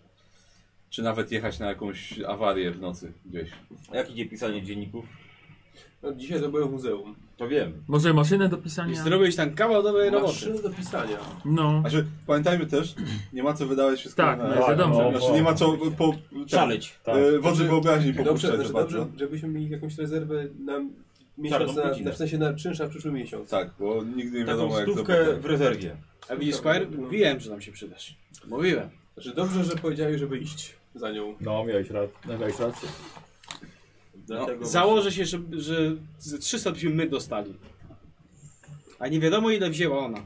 [SPEAKER 8] Czy nawet jechać na jakąś awarię w nocy gdzieś.
[SPEAKER 10] Jak idzie pisanie dzienników?
[SPEAKER 7] No, dzisiaj to byłem w muzeum.
[SPEAKER 10] To wiem.
[SPEAKER 3] Może maszynę do
[SPEAKER 9] I
[SPEAKER 3] pisania?
[SPEAKER 9] zrobiłeś tam kawał dobrej roboty.
[SPEAKER 7] Maszyny do pisania.
[SPEAKER 3] No.
[SPEAKER 8] Znaczy, pamiętajmy też, nie ma co wydawać wszystko
[SPEAKER 3] Tak,
[SPEAKER 8] na...
[SPEAKER 3] no, wiadomo.
[SPEAKER 2] no.
[SPEAKER 8] Znaczy, nie ma co po... Tak,
[SPEAKER 10] Szaleć.
[SPEAKER 2] Tak.
[SPEAKER 8] e, wodzy wyobraźni
[SPEAKER 7] Dobrze,
[SPEAKER 8] popuszczać
[SPEAKER 7] znaczy
[SPEAKER 8] za
[SPEAKER 7] dobrze,
[SPEAKER 8] bardzo.
[SPEAKER 7] żebyśmy mieli jakąś rezerwę na miesiąc, na,
[SPEAKER 10] godzinę.
[SPEAKER 7] na, w sensie na czynsz na przyszły miesiąc.
[SPEAKER 8] Tak, bo nigdy nie
[SPEAKER 10] Taką
[SPEAKER 8] wiadomo jak to
[SPEAKER 10] stówkę
[SPEAKER 8] będzie.
[SPEAKER 10] w rezerwie.
[SPEAKER 9] A widzisz, Squire? Mówiłem, że nam się przydasz. Mówiłem.
[SPEAKER 7] Znaczy dobrze, że powiedziałeś, żeby iść za nią.
[SPEAKER 2] No, miałeś, ra... no, miałeś rację.
[SPEAKER 10] Dlatego
[SPEAKER 9] Założę się, że, że ze 300 byśmy my dostali. A nie wiadomo ile wzięła ona.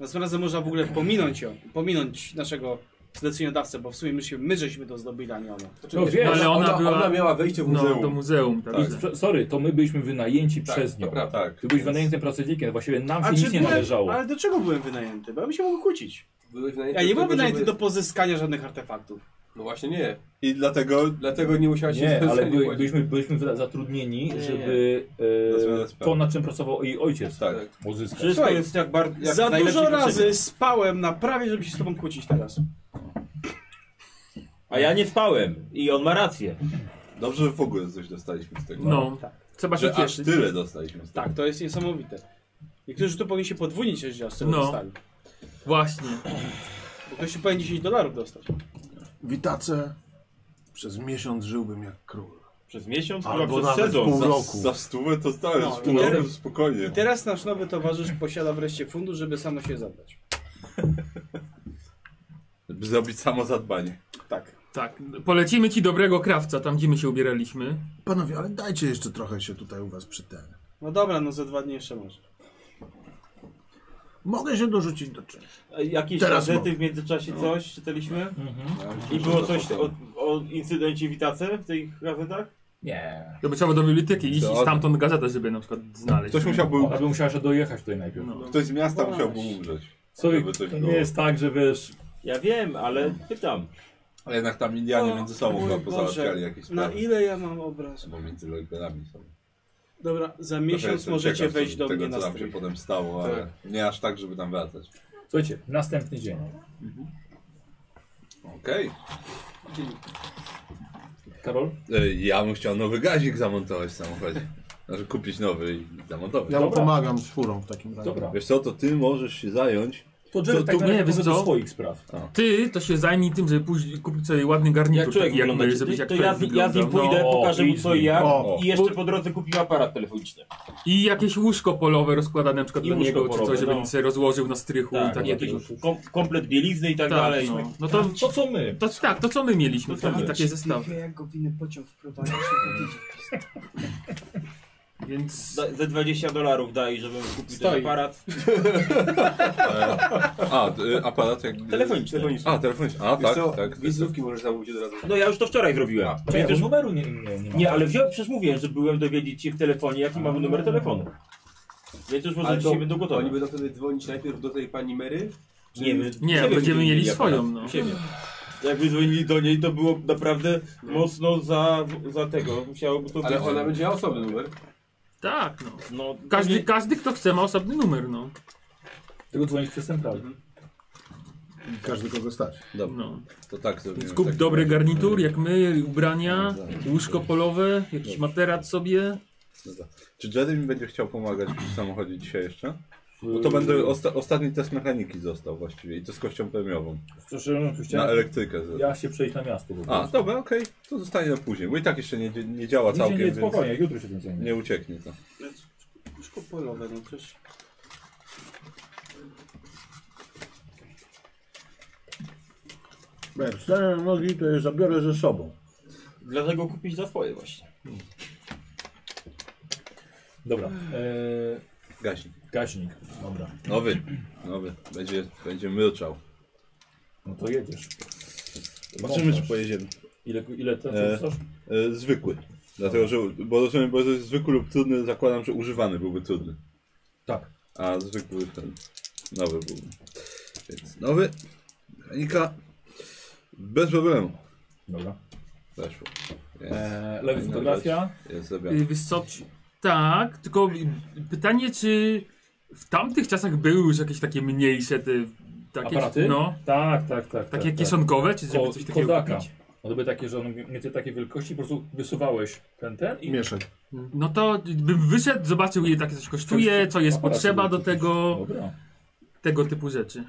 [SPEAKER 9] Następnym razem można w ogóle pominąć ją, pominąć naszego zleceniodawcę, bo w sumie my, się, my żeśmy to zdobyli, a nie ona.
[SPEAKER 7] Znaczy,
[SPEAKER 2] No wiesz,
[SPEAKER 3] ale ona
[SPEAKER 7] ona,
[SPEAKER 3] była-
[SPEAKER 7] ona miała wejście w muzeum.
[SPEAKER 3] No, do muzeum, tak.
[SPEAKER 2] I, prze- sorry, to my byliśmy wynajęci przez nią.
[SPEAKER 8] Prawda, tak.
[SPEAKER 2] Ty byłeś wynajętym pracownikiem, właściwie nam się
[SPEAKER 9] A czy
[SPEAKER 2] nic nie
[SPEAKER 9] byłem-
[SPEAKER 2] należało.
[SPEAKER 9] Ale do czego byłem wynajęty? Bo ja bym się mógł kłócić.
[SPEAKER 7] Byłeś wynajęty
[SPEAKER 9] Ja nie
[SPEAKER 7] do
[SPEAKER 9] byłem
[SPEAKER 7] tego,
[SPEAKER 9] wynajęty
[SPEAKER 7] żeby-
[SPEAKER 9] do pozyskania żadnych artefaktów.
[SPEAKER 7] No właśnie nie.
[SPEAKER 8] I dlatego
[SPEAKER 7] Dlatego nie musiałaś się
[SPEAKER 2] Nie,
[SPEAKER 7] za
[SPEAKER 2] ale
[SPEAKER 7] nie
[SPEAKER 2] były,
[SPEAKER 7] płacić.
[SPEAKER 2] byliśmy, byliśmy za- zatrudnieni,
[SPEAKER 9] nie.
[SPEAKER 2] żeby
[SPEAKER 8] Rozwiązać
[SPEAKER 2] e, to,
[SPEAKER 8] sprawę.
[SPEAKER 2] na czym pracował jej ojciec,
[SPEAKER 8] Tak.
[SPEAKER 2] uzyskać.
[SPEAKER 10] Wszystko
[SPEAKER 9] Słuchaj,
[SPEAKER 10] jest jak bardzo.
[SPEAKER 9] Za dużo razy spałem na prawie, żeby się z tobą kłócić teraz.
[SPEAKER 10] A ja nie spałem. I on ma rację.
[SPEAKER 8] Dobrze, że w ogóle coś dostaliśmy z tego.
[SPEAKER 3] No. Trzeba się
[SPEAKER 8] Że aż
[SPEAKER 3] cieszyć.
[SPEAKER 8] tyle dostaliśmy z tego.
[SPEAKER 9] Tak, to jest niesamowite. Niektórzy tu powinni się podwójnić, jeżeli z tego
[SPEAKER 3] No.
[SPEAKER 9] dostali.
[SPEAKER 3] Właśnie.
[SPEAKER 9] Bo ktoś tu powinien 10 dolarów dostać.
[SPEAKER 6] Witace. Przez miesiąc żyłbym jak król.
[SPEAKER 10] Przez miesiąc, chyba
[SPEAKER 6] Albo
[SPEAKER 10] przez
[SPEAKER 6] nawet pół
[SPEAKER 10] sezon.
[SPEAKER 8] Za,
[SPEAKER 6] roku.
[SPEAKER 8] za stówę to stałe,
[SPEAKER 9] No,
[SPEAKER 8] z pół
[SPEAKER 9] nie?
[SPEAKER 8] roku spokojnie.
[SPEAKER 9] I teraz nasz nowy towarzysz posiada wreszcie fundusz, żeby samo się zabrać.
[SPEAKER 8] Żeby zrobić samo zadbanie.
[SPEAKER 9] Tak.
[SPEAKER 3] Tak. Polecimy ci dobrego krawca, tam gdzie my się ubieraliśmy.
[SPEAKER 6] Panowie, ale dajcie jeszcze trochę się tutaj u was przy ten.
[SPEAKER 9] No dobra, no za dwa dni jeszcze może.
[SPEAKER 6] Mogę się dorzucić do czegoś.
[SPEAKER 10] A Jakieś
[SPEAKER 6] Teraz
[SPEAKER 10] gazety
[SPEAKER 6] mogę.
[SPEAKER 10] w
[SPEAKER 9] No,
[SPEAKER 10] międzyczasie coś czytaliśmy? I
[SPEAKER 8] Że
[SPEAKER 10] było
[SPEAKER 8] No, to
[SPEAKER 10] coś o,
[SPEAKER 8] potem.
[SPEAKER 10] o incydencie Witace w tych gazetach?
[SPEAKER 2] Nie.
[SPEAKER 3] To by trzeba do biblioteki iść i
[SPEAKER 8] Dobra.
[SPEAKER 3] stamtąd gazetę, żeby na przykład znaleźć.
[SPEAKER 8] Ktoś musiałby,
[SPEAKER 2] Ona by musiała jeszcze dojechać tutaj najpierw.
[SPEAKER 3] No.
[SPEAKER 8] ktoś z miasta musiałby umrzeć.
[SPEAKER 2] Sorry,
[SPEAKER 8] Żeby coś
[SPEAKER 2] to
[SPEAKER 8] było.
[SPEAKER 2] nie jest tak, że wiesz...
[SPEAKER 10] Ja wiem, ale pytam.
[SPEAKER 8] Ale jednak tam Indianie między sobą
[SPEAKER 9] Mój
[SPEAKER 8] chyba
[SPEAKER 9] Boże,
[SPEAKER 8] pozałatwiali no, jakieś
[SPEAKER 9] Na
[SPEAKER 8] sprawy.
[SPEAKER 9] ile ja mam obrazu?
[SPEAKER 8] Bo między legalami są.
[SPEAKER 9] Dobra, za
[SPEAKER 8] Trochę
[SPEAKER 9] miesiąc
[SPEAKER 8] jestem
[SPEAKER 9] możecie
[SPEAKER 8] ciekaw
[SPEAKER 9] wejść do
[SPEAKER 8] tego,
[SPEAKER 9] mnie
[SPEAKER 8] co
[SPEAKER 9] na
[SPEAKER 8] tam się
[SPEAKER 9] strój.
[SPEAKER 8] potem stało, ale nie aż tak, żeby tam wracać.
[SPEAKER 2] Słuchajcie, następny dzień.
[SPEAKER 8] Okej.
[SPEAKER 2] Karol?
[SPEAKER 8] Ej, E, Ja bym chciał nowy gazik zamontować w samochodzie. Znaczy kupić nowy i zamontować.
[SPEAKER 6] Ja mu
[SPEAKER 2] Dobra.
[SPEAKER 6] pomagam z furą w takim razie.
[SPEAKER 2] Dobra.
[SPEAKER 8] Wiesz co, to ty możesz się zająć.
[SPEAKER 2] To Jerry tak
[SPEAKER 3] to- nie,
[SPEAKER 2] naprawdę
[SPEAKER 3] wiesz
[SPEAKER 2] poszedł do
[SPEAKER 3] co?
[SPEAKER 2] swoich spraw.
[SPEAKER 3] Ty to się zajmij tym, żeby pójść kupić sobie ładny garnitur,
[SPEAKER 10] Jak człowiek
[SPEAKER 3] taki jak
[SPEAKER 10] wygląda,
[SPEAKER 3] my, żebyś
[SPEAKER 10] to
[SPEAKER 3] jak
[SPEAKER 10] ja,
[SPEAKER 3] człowiek
[SPEAKER 10] z- ja z nim
[SPEAKER 3] wyglądał.
[SPEAKER 10] pójdę,
[SPEAKER 2] No,
[SPEAKER 10] pokażę mu co i jak
[SPEAKER 2] o.
[SPEAKER 10] i jeszcze po drodze kupił aparat telefoniczny.
[SPEAKER 3] I jakieś łóżko polowe rozkładane na przykład
[SPEAKER 10] I
[SPEAKER 3] dla
[SPEAKER 10] łóżko
[SPEAKER 3] niego, czy
[SPEAKER 10] polowe,
[SPEAKER 3] coś, żeby
[SPEAKER 10] no.
[SPEAKER 3] no. sobie rozłożył na strychu i takie
[SPEAKER 10] jakiś
[SPEAKER 3] tego.
[SPEAKER 10] kom, komplet bielizny i tak, dalej. No tak.
[SPEAKER 3] no. no to,
[SPEAKER 2] To co my?
[SPEAKER 3] to tak, to co my mieliśmy,
[SPEAKER 10] To co
[SPEAKER 3] taki,
[SPEAKER 10] my?
[SPEAKER 3] takie zestawy.
[SPEAKER 9] jak go w inny pociąg wprowadzić.
[SPEAKER 3] Więc
[SPEAKER 10] Da, ze 20 dolarów daj, żebym kupił ten
[SPEAKER 9] Stoi.
[SPEAKER 10] aparat.
[SPEAKER 8] A, y, aparat jak...
[SPEAKER 10] Telefoniczny. telefoniczny.
[SPEAKER 8] A, telefoniczny. A,
[SPEAKER 7] Wiesz
[SPEAKER 8] tak,
[SPEAKER 7] co,
[SPEAKER 8] tak.
[SPEAKER 7] wizytówki możesz zamówić od razu.
[SPEAKER 10] No ja już to wczoraj zrobiłem.
[SPEAKER 2] Nie,
[SPEAKER 10] Przecież
[SPEAKER 2] bo numeru nie, nie, nie ma.
[SPEAKER 10] Nie, ale wziąłem, przecież mówiłem, że byłem dowiedzieć się w telefonie, jaki mamy numer telefonu. Więc już może
[SPEAKER 7] Ale
[SPEAKER 10] dzisiaj
[SPEAKER 7] to
[SPEAKER 10] będą
[SPEAKER 7] oni
[SPEAKER 10] gotowi.
[SPEAKER 7] będą wtedy dzwonić najpierw do tej pani Mary? Czy-
[SPEAKER 10] Nie, my-
[SPEAKER 3] nie,
[SPEAKER 10] siebie
[SPEAKER 3] będziemy mieli swoją, no.
[SPEAKER 10] akurat. Siebie. Jakby dzwonili do niej, to było naprawdę mocno za, za tego. Musiałoby to
[SPEAKER 7] Ale
[SPEAKER 10] być-
[SPEAKER 7] ona będzie miała osobny numer.
[SPEAKER 3] tak, no.
[SPEAKER 10] No,
[SPEAKER 3] Każdy,
[SPEAKER 10] nie-
[SPEAKER 3] każdy kto chce ma osobny numer, no.
[SPEAKER 2] Tego dzwonić przez centralę.
[SPEAKER 8] Mhm.
[SPEAKER 6] I każdy kogo stać.
[SPEAKER 8] Dobra,
[SPEAKER 3] no.
[SPEAKER 8] to tak zrobimy.
[SPEAKER 3] Więc
[SPEAKER 8] w
[SPEAKER 3] kup
[SPEAKER 8] takim
[SPEAKER 3] dobry
[SPEAKER 8] razie.
[SPEAKER 3] garnitur, jak my, ubrania,
[SPEAKER 8] No tak.
[SPEAKER 3] łóżko polowe, jakiś materac sobie.
[SPEAKER 8] No tak. Czy Jerry mi będzie chciał pomagać w samochodzie dzisiaj jeszcze? Bo to będę osta ostatni test mechaniki został właściwie i to z kością premiową.
[SPEAKER 2] Przepraszam, tu
[SPEAKER 8] Na
[SPEAKER 2] chciałem...
[SPEAKER 8] elektrykę. zrobię.
[SPEAKER 2] Ja się przejść na miasto. po
[SPEAKER 8] A,
[SPEAKER 2] prostu.
[SPEAKER 8] dobra, okej. To zostanie na później, bo i tak jeszcze nie, nie działa
[SPEAKER 2] Dzisiaj
[SPEAKER 8] całkiem,
[SPEAKER 2] nie,
[SPEAKER 8] więc
[SPEAKER 2] spokojnie, jutro się tym zajmie.
[SPEAKER 8] nie ucieknie to.
[SPEAKER 9] Łóżko polowe, no przecież.
[SPEAKER 8] Bo jak wstanę na nogi, to je zabiorę ze sobą.
[SPEAKER 10] Dlatego kupić za swoje właśnie.
[SPEAKER 2] Dobra. Eee,
[SPEAKER 5] Gaśnik.
[SPEAKER 2] gaśnik. Dobra.
[SPEAKER 5] Nowy. Nowy. Będzie, będzie myczał.
[SPEAKER 2] No to jedziesz.
[SPEAKER 5] Zobaczymy, czy pojedziemy.
[SPEAKER 2] Ile, ile ten
[SPEAKER 5] E,
[SPEAKER 2] rzucasz?
[SPEAKER 5] e, zwykły. Dlatego, że, bo rozumiem, bo to jest zwykły lub trudny, zakładam, że używany byłby trudny.
[SPEAKER 2] Tak.
[SPEAKER 5] A zwykły ten nowy byłby. Więc nowy. Mechanika. Bez problemu.
[SPEAKER 2] Dobra.
[SPEAKER 5] Weszło.
[SPEAKER 2] Eee, lewy fotografia.
[SPEAKER 5] Jest
[SPEAKER 3] Y,
[SPEAKER 5] zrobione.
[SPEAKER 3] Wiesz co? Tak, tylko pytanie, czy w tamtych czasach były już jakieś takie mniejsze te... Takie,
[SPEAKER 2] Aparaty?
[SPEAKER 3] No,
[SPEAKER 2] Tak, tak, tak.
[SPEAKER 3] takie
[SPEAKER 2] tak,
[SPEAKER 3] kieszonkowe, czy żeby
[SPEAKER 2] Ko-
[SPEAKER 3] coś takiego
[SPEAKER 2] Kodaka.
[SPEAKER 3] kupić?
[SPEAKER 2] One były takie, że one mie- miały takie wielkości, po prostu wysuwałeś ten, ten i...
[SPEAKER 6] Mieszek.
[SPEAKER 3] No to bym wyszedł, zobaczył ile takie coś kosztuje, co jest
[SPEAKER 2] Aparaty
[SPEAKER 3] potrzeba
[SPEAKER 2] były
[SPEAKER 3] do tego,
[SPEAKER 2] Dobra.
[SPEAKER 3] tego typu rzeczy.
[SPEAKER 6] Już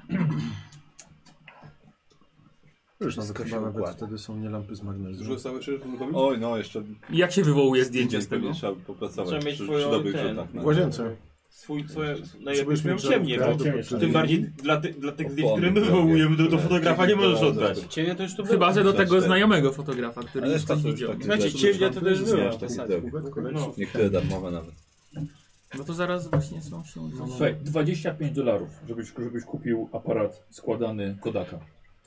[SPEAKER 6] nawet,
[SPEAKER 5] Wszystko się
[SPEAKER 6] chyba nawet
[SPEAKER 5] układa.
[SPEAKER 6] wtedy są nie lampy z magnezu.
[SPEAKER 7] Dużo całe szereg
[SPEAKER 5] Oj, no jeszcze.
[SPEAKER 3] Jak się wywołuje zdjęcie z tego?
[SPEAKER 5] pewnie Trzeba by popracować
[SPEAKER 10] Trzeba mieć
[SPEAKER 5] przy, przy
[SPEAKER 10] swoją
[SPEAKER 5] dobrych no.
[SPEAKER 10] ten-
[SPEAKER 5] rzutach.
[SPEAKER 6] W łazience.
[SPEAKER 10] Swój, swoje, no
[SPEAKER 6] Żebyś
[SPEAKER 10] jakbyś miał
[SPEAKER 6] mieć
[SPEAKER 10] ciemnie,
[SPEAKER 6] żarówkę,
[SPEAKER 10] bo
[SPEAKER 6] ciemnie.
[SPEAKER 10] tym bardziej dla, ty, dla tych zdjęć,
[SPEAKER 5] Opony
[SPEAKER 10] które my
[SPEAKER 5] drogie.
[SPEAKER 10] wywołujemy, do, do
[SPEAKER 5] Tak.
[SPEAKER 10] fotografa nie możesz oddać.
[SPEAKER 9] Ciemnia to już tu było.
[SPEAKER 3] Chyba, że do
[SPEAKER 5] Za
[SPEAKER 3] tego
[SPEAKER 5] cztery.
[SPEAKER 3] znajomego fotografa, który
[SPEAKER 5] Ale
[SPEAKER 3] już
[SPEAKER 5] to
[SPEAKER 3] coś
[SPEAKER 5] już
[SPEAKER 3] widział.
[SPEAKER 5] taki-
[SPEAKER 9] Znaczy ciemnia to też
[SPEAKER 5] Nie
[SPEAKER 9] było.
[SPEAKER 5] masz takich
[SPEAKER 9] Tak.
[SPEAKER 5] drobnych.
[SPEAKER 6] No.
[SPEAKER 5] Niektóre darmowe nawet.
[SPEAKER 3] No to zaraz właśnie są... są, są.
[SPEAKER 2] Słuchaj, 25 dolarów, żebyś, żebyś kupił aparat składany Kodaka.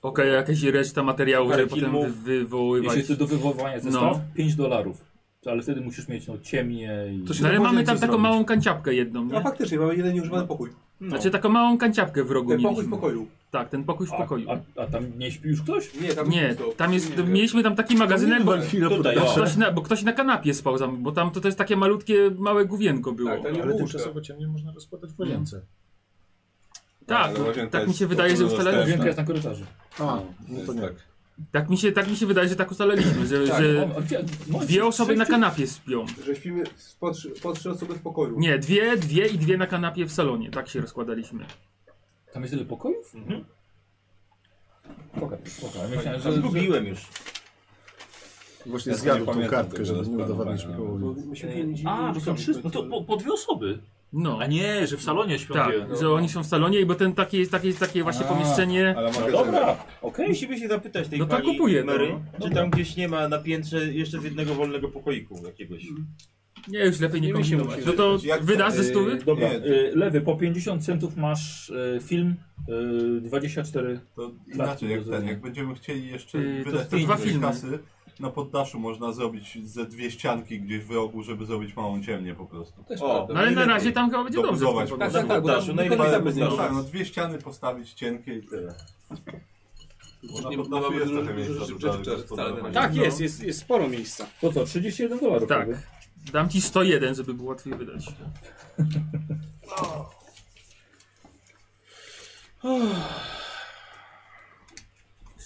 [SPEAKER 3] Okej, jakaś reszta materiału,
[SPEAKER 2] Parę
[SPEAKER 3] żeby potem wy,
[SPEAKER 2] filmów.
[SPEAKER 3] wywoływać.
[SPEAKER 2] Jeśli ty do wywoływania zestaw,
[SPEAKER 3] No.
[SPEAKER 2] 5 dolarów. Ale wtedy musisz mieć no, ciemnie i...
[SPEAKER 3] To się
[SPEAKER 2] No,
[SPEAKER 3] ale
[SPEAKER 7] da
[SPEAKER 3] mamy
[SPEAKER 7] podzielić,
[SPEAKER 3] tam
[SPEAKER 7] co
[SPEAKER 3] taką
[SPEAKER 7] zrobić.
[SPEAKER 3] małą kanciapkę jedną, nie?
[SPEAKER 7] No faktycznie, mamy jeden nieużywany pokój.
[SPEAKER 3] Znaczy taką małą kanciapkę w rogu
[SPEAKER 7] Ten pokój w
[SPEAKER 3] mieliśmy.
[SPEAKER 7] pokoju.
[SPEAKER 3] Tak, ten pokój w pokoju.
[SPEAKER 2] A, a, a tam nie śpi już ktoś?
[SPEAKER 7] Nie, tam
[SPEAKER 3] nie,
[SPEAKER 7] jest pusto.
[SPEAKER 3] tam jest, mieliśmy tam taki magazynek, bo,
[SPEAKER 10] Tutaj, o.
[SPEAKER 3] ktoś na, bo ktoś na kanapie spał, tam, bo tam to, to jest takie malutkie, małe główienko było.
[SPEAKER 7] Tak, tam nie
[SPEAKER 6] Ale
[SPEAKER 7] było łóżka.
[SPEAKER 6] tymczasowo ciemnie można rozkładać
[SPEAKER 10] Hmm.
[SPEAKER 6] w łazience.
[SPEAKER 3] Tak,
[SPEAKER 5] Ale łazienka
[SPEAKER 3] tak mi
[SPEAKER 5] jest
[SPEAKER 3] się wydaje, że
[SPEAKER 5] podwójna
[SPEAKER 3] ustalenie-
[SPEAKER 5] dostępna.
[SPEAKER 2] Dźwięk jest na korytarzu.
[SPEAKER 6] A,
[SPEAKER 5] To
[SPEAKER 6] no
[SPEAKER 5] jest
[SPEAKER 6] to nie.
[SPEAKER 5] tak.
[SPEAKER 3] Tak, mi się, tak mi się wydaje, że tak ustaliliśmy, że,
[SPEAKER 2] Tak,
[SPEAKER 3] że
[SPEAKER 2] on- on- gdzie- no,
[SPEAKER 3] dwie osoby na kanapie spią.
[SPEAKER 7] Że śpimy w- po trzy, po trzy osoby w pokoju.
[SPEAKER 3] Nie, dwie, dwie i dwie na kanapie w salonie, tak się rozkładaliśmy.
[SPEAKER 2] Tam jest tyle pokojów? Mhm. Pokaż, pokaż. Myślałem, że...
[SPEAKER 10] Zgubiłem już.
[SPEAKER 6] Właśnie
[SPEAKER 5] Ja
[SPEAKER 6] zjadł
[SPEAKER 5] nie
[SPEAKER 6] tą
[SPEAKER 5] pamiętam
[SPEAKER 6] kartkę,
[SPEAKER 5] tego
[SPEAKER 6] żeby nie
[SPEAKER 5] rozplanowania.
[SPEAKER 6] udowadniać
[SPEAKER 7] Bo
[SPEAKER 6] było.
[SPEAKER 7] myśmy się dzielili
[SPEAKER 2] A, bo są
[SPEAKER 7] łóżkami,
[SPEAKER 2] trzy, no to
[SPEAKER 7] więc-
[SPEAKER 2] po, po dwie osoby.
[SPEAKER 3] No,
[SPEAKER 23] A nie, że w salonie śpią
[SPEAKER 3] tak,
[SPEAKER 23] dwie.
[SPEAKER 3] że oni są w salonie i bo ten takie jest takie, takie właśnie
[SPEAKER 2] A,
[SPEAKER 3] pomieszczenie.
[SPEAKER 5] Ale
[SPEAKER 2] No
[SPEAKER 5] mogę
[SPEAKER 2] dobra, okej.
[SPEAKER 10] Musimy się zapytać tej
[SPEAKER 3] No to
[SPEAKER 10] pani
[SPEAKER 3] kupuję, no.
[SPEAKER 10] Mary, czy
[SPEAKER 2] Dobra.
[SPEAKER 10] tam gdzieś nie ma na piętrze jeszcze z jednego wolnego pokoiku jakiegoś.
[SPEAKER 3] Nie, już lepiej nie
[SPEAKER 9] Nie mi się
[SPEAKER 3] kombinować. No
[SPEAKER 9] musi
[SPEAKER 3] to
[SPEAKER 5] Jak-
[SPEAKER 3] wydasz ze stówy?
[SPEAKER 5] Yy,
[SPEAKER 2] Dobra,
[SPEAKER 5] Nie,
[SPEAKER 2] y, lewy, po 50 centów masz y, film y, 24.
[SPEAKER 8] To inaczej jak ten, jak będziemy chcieli jeszcze
[SPEAKER 3] Yy, to-
[SPEAKER 8] wydać
[SPEAKER 3] to dwa
[SPEAKER 8] tej
[SPEAKER 3] filmy.
[SPEAKER 8] kasy, na poddaszu można zrobić ze dwie ścianki gdzieś w rogu, żeby zrobić małą ciemnię po prostu.
[SPEAKER 10] O,
[SPEAKER 3] No ale na razie tam chyba będzie dobrze.
[SPEAKER 8] Dobudować
[SPEAKER 3] z tym
[SPEAKER 8] po
[SPEAKER 3] pokojem.
[SPEAKER 8] prostu.
[SPEAKER 7] Tak, bo tam
[SPEAKER 10] Daszu, najlepiej
[SPEAKER 7] telewizor
[SPEAKER 8] Ale-
[SPEAKER 7] bez niego.
[SPEAKER 8] no tak, no dwie ściany postawić cienkie i tyle. Bo na
[SPEAKER 7] Nie
[SPEAKER 8] poddaszu
[SPEAKER 7] mamy
[SPEAKER 8] jest
[SPEAKER 7] dużo-
[SPEAKER 8] trochę
[SPEAKER 7] dużo
[SPEAKER 8] miejsca
[SPEAKER 7] rzeczy
[SPEAKER 8] do
[SPEAKER 7] wcześniej, wcale
[SPEAKER 8] zagospodarowania.
[SPEAKER 9] Tak,
[SPEAKER 3] No.
[SPEAKER 9] jest, jest, jest sporo miejsca.
[SPEAKER 2] Po co, 31 dolarów?
[SPEAKER 3] Tak.
[SPEAKER 2] prawie.
[SPEAKER 3] Dam ci 101, żeby było łatwiej wydać.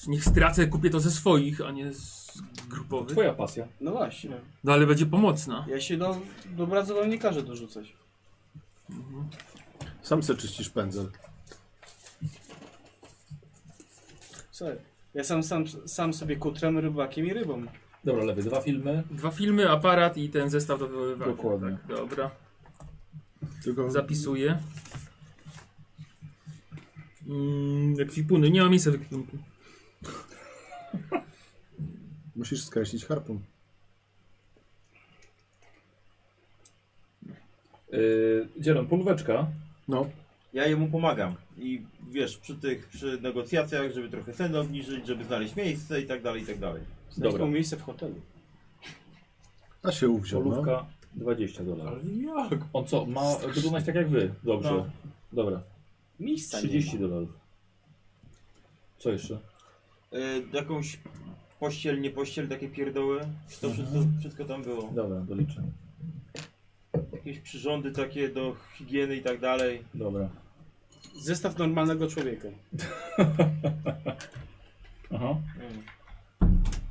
[SPEAKER 3] Niech stracę, kupię to ze swoich, a nie z grupowych.
[SPEAKER 2] Twoja pasja.
[SPEAKER 9] No właśnie.
[SPEAKER 3] No ale będzie pomocna.
[SPEAKER 9] Ja się do, do bradu wam nie każę dorzucać.
[SPEAKER 6] Mhm. Sam se czyścisz pędzel.
[SPEAKER 9] Sorry. Ja sam, sam, sam sobie kutram rybakiem i rybą.
[SPEAKER 2] Dobra, lewy, dwa filmy.
[SPEAKER 3] Dwa filmy, aparat i ten zestaw do wywoływania.
[SPEAKER 2] Dokładnie.
[SPEAKER 3] Tak, dobra,
[SPEAKER 6] Tylko
[SPEAKER 3] zapisuję. Mm, ekwipuny, nie ma miejsca w ekwipunku.
[SPEAKER 6] musisz skreślić harpun.
[SPEAKER 2] Y, Dzielam półweczka.
[SPEAKER 6] No,
[SPEAKER 10] Ja jemu pomagam. I wiesz, przy tych, przy negocjacjach, żeby trochę ceny obniżyć, żeby znaleźć miejsce i tak dalej, i tak dalej.
[SPEAKER 9] Znajdź
[SPEAKER 2] Dobra.
[SPEAKER 9] mu miejsce w hotelu.
[SPEAKER 6] a się uwziął. No.
[SPEAKER 2] Polówka 20 dolarów. On co, ma wyglądać tak jak wy? Dobrze.
[SPEAKER 10] No.
[SPEAKER 2] Dobra,
[SPEAKER 9] Miejsca
[SPEAKER 2] 30
[SPEAKER 9] 30. Nie ma.
[SPEAKER 2] dolarów. Co jeszcze?
[SPEAKER 10] Y, jakąś pościel, nie pościel, takie pierdoły. To
[SPEAKER 3] Mhm.
[SPEAKER 10] wszystko, wszystko tam było.
[SPEAKER 2] Dobra, doliczę.
[SPEAKER 10] Jakieś przyrządy takie do higieny i tak dalej.
[SPEAKER 2] Dobra.
[SPEAKER 9] Zestaw normalnego człowieka.
[SPEAKER 2] Aha.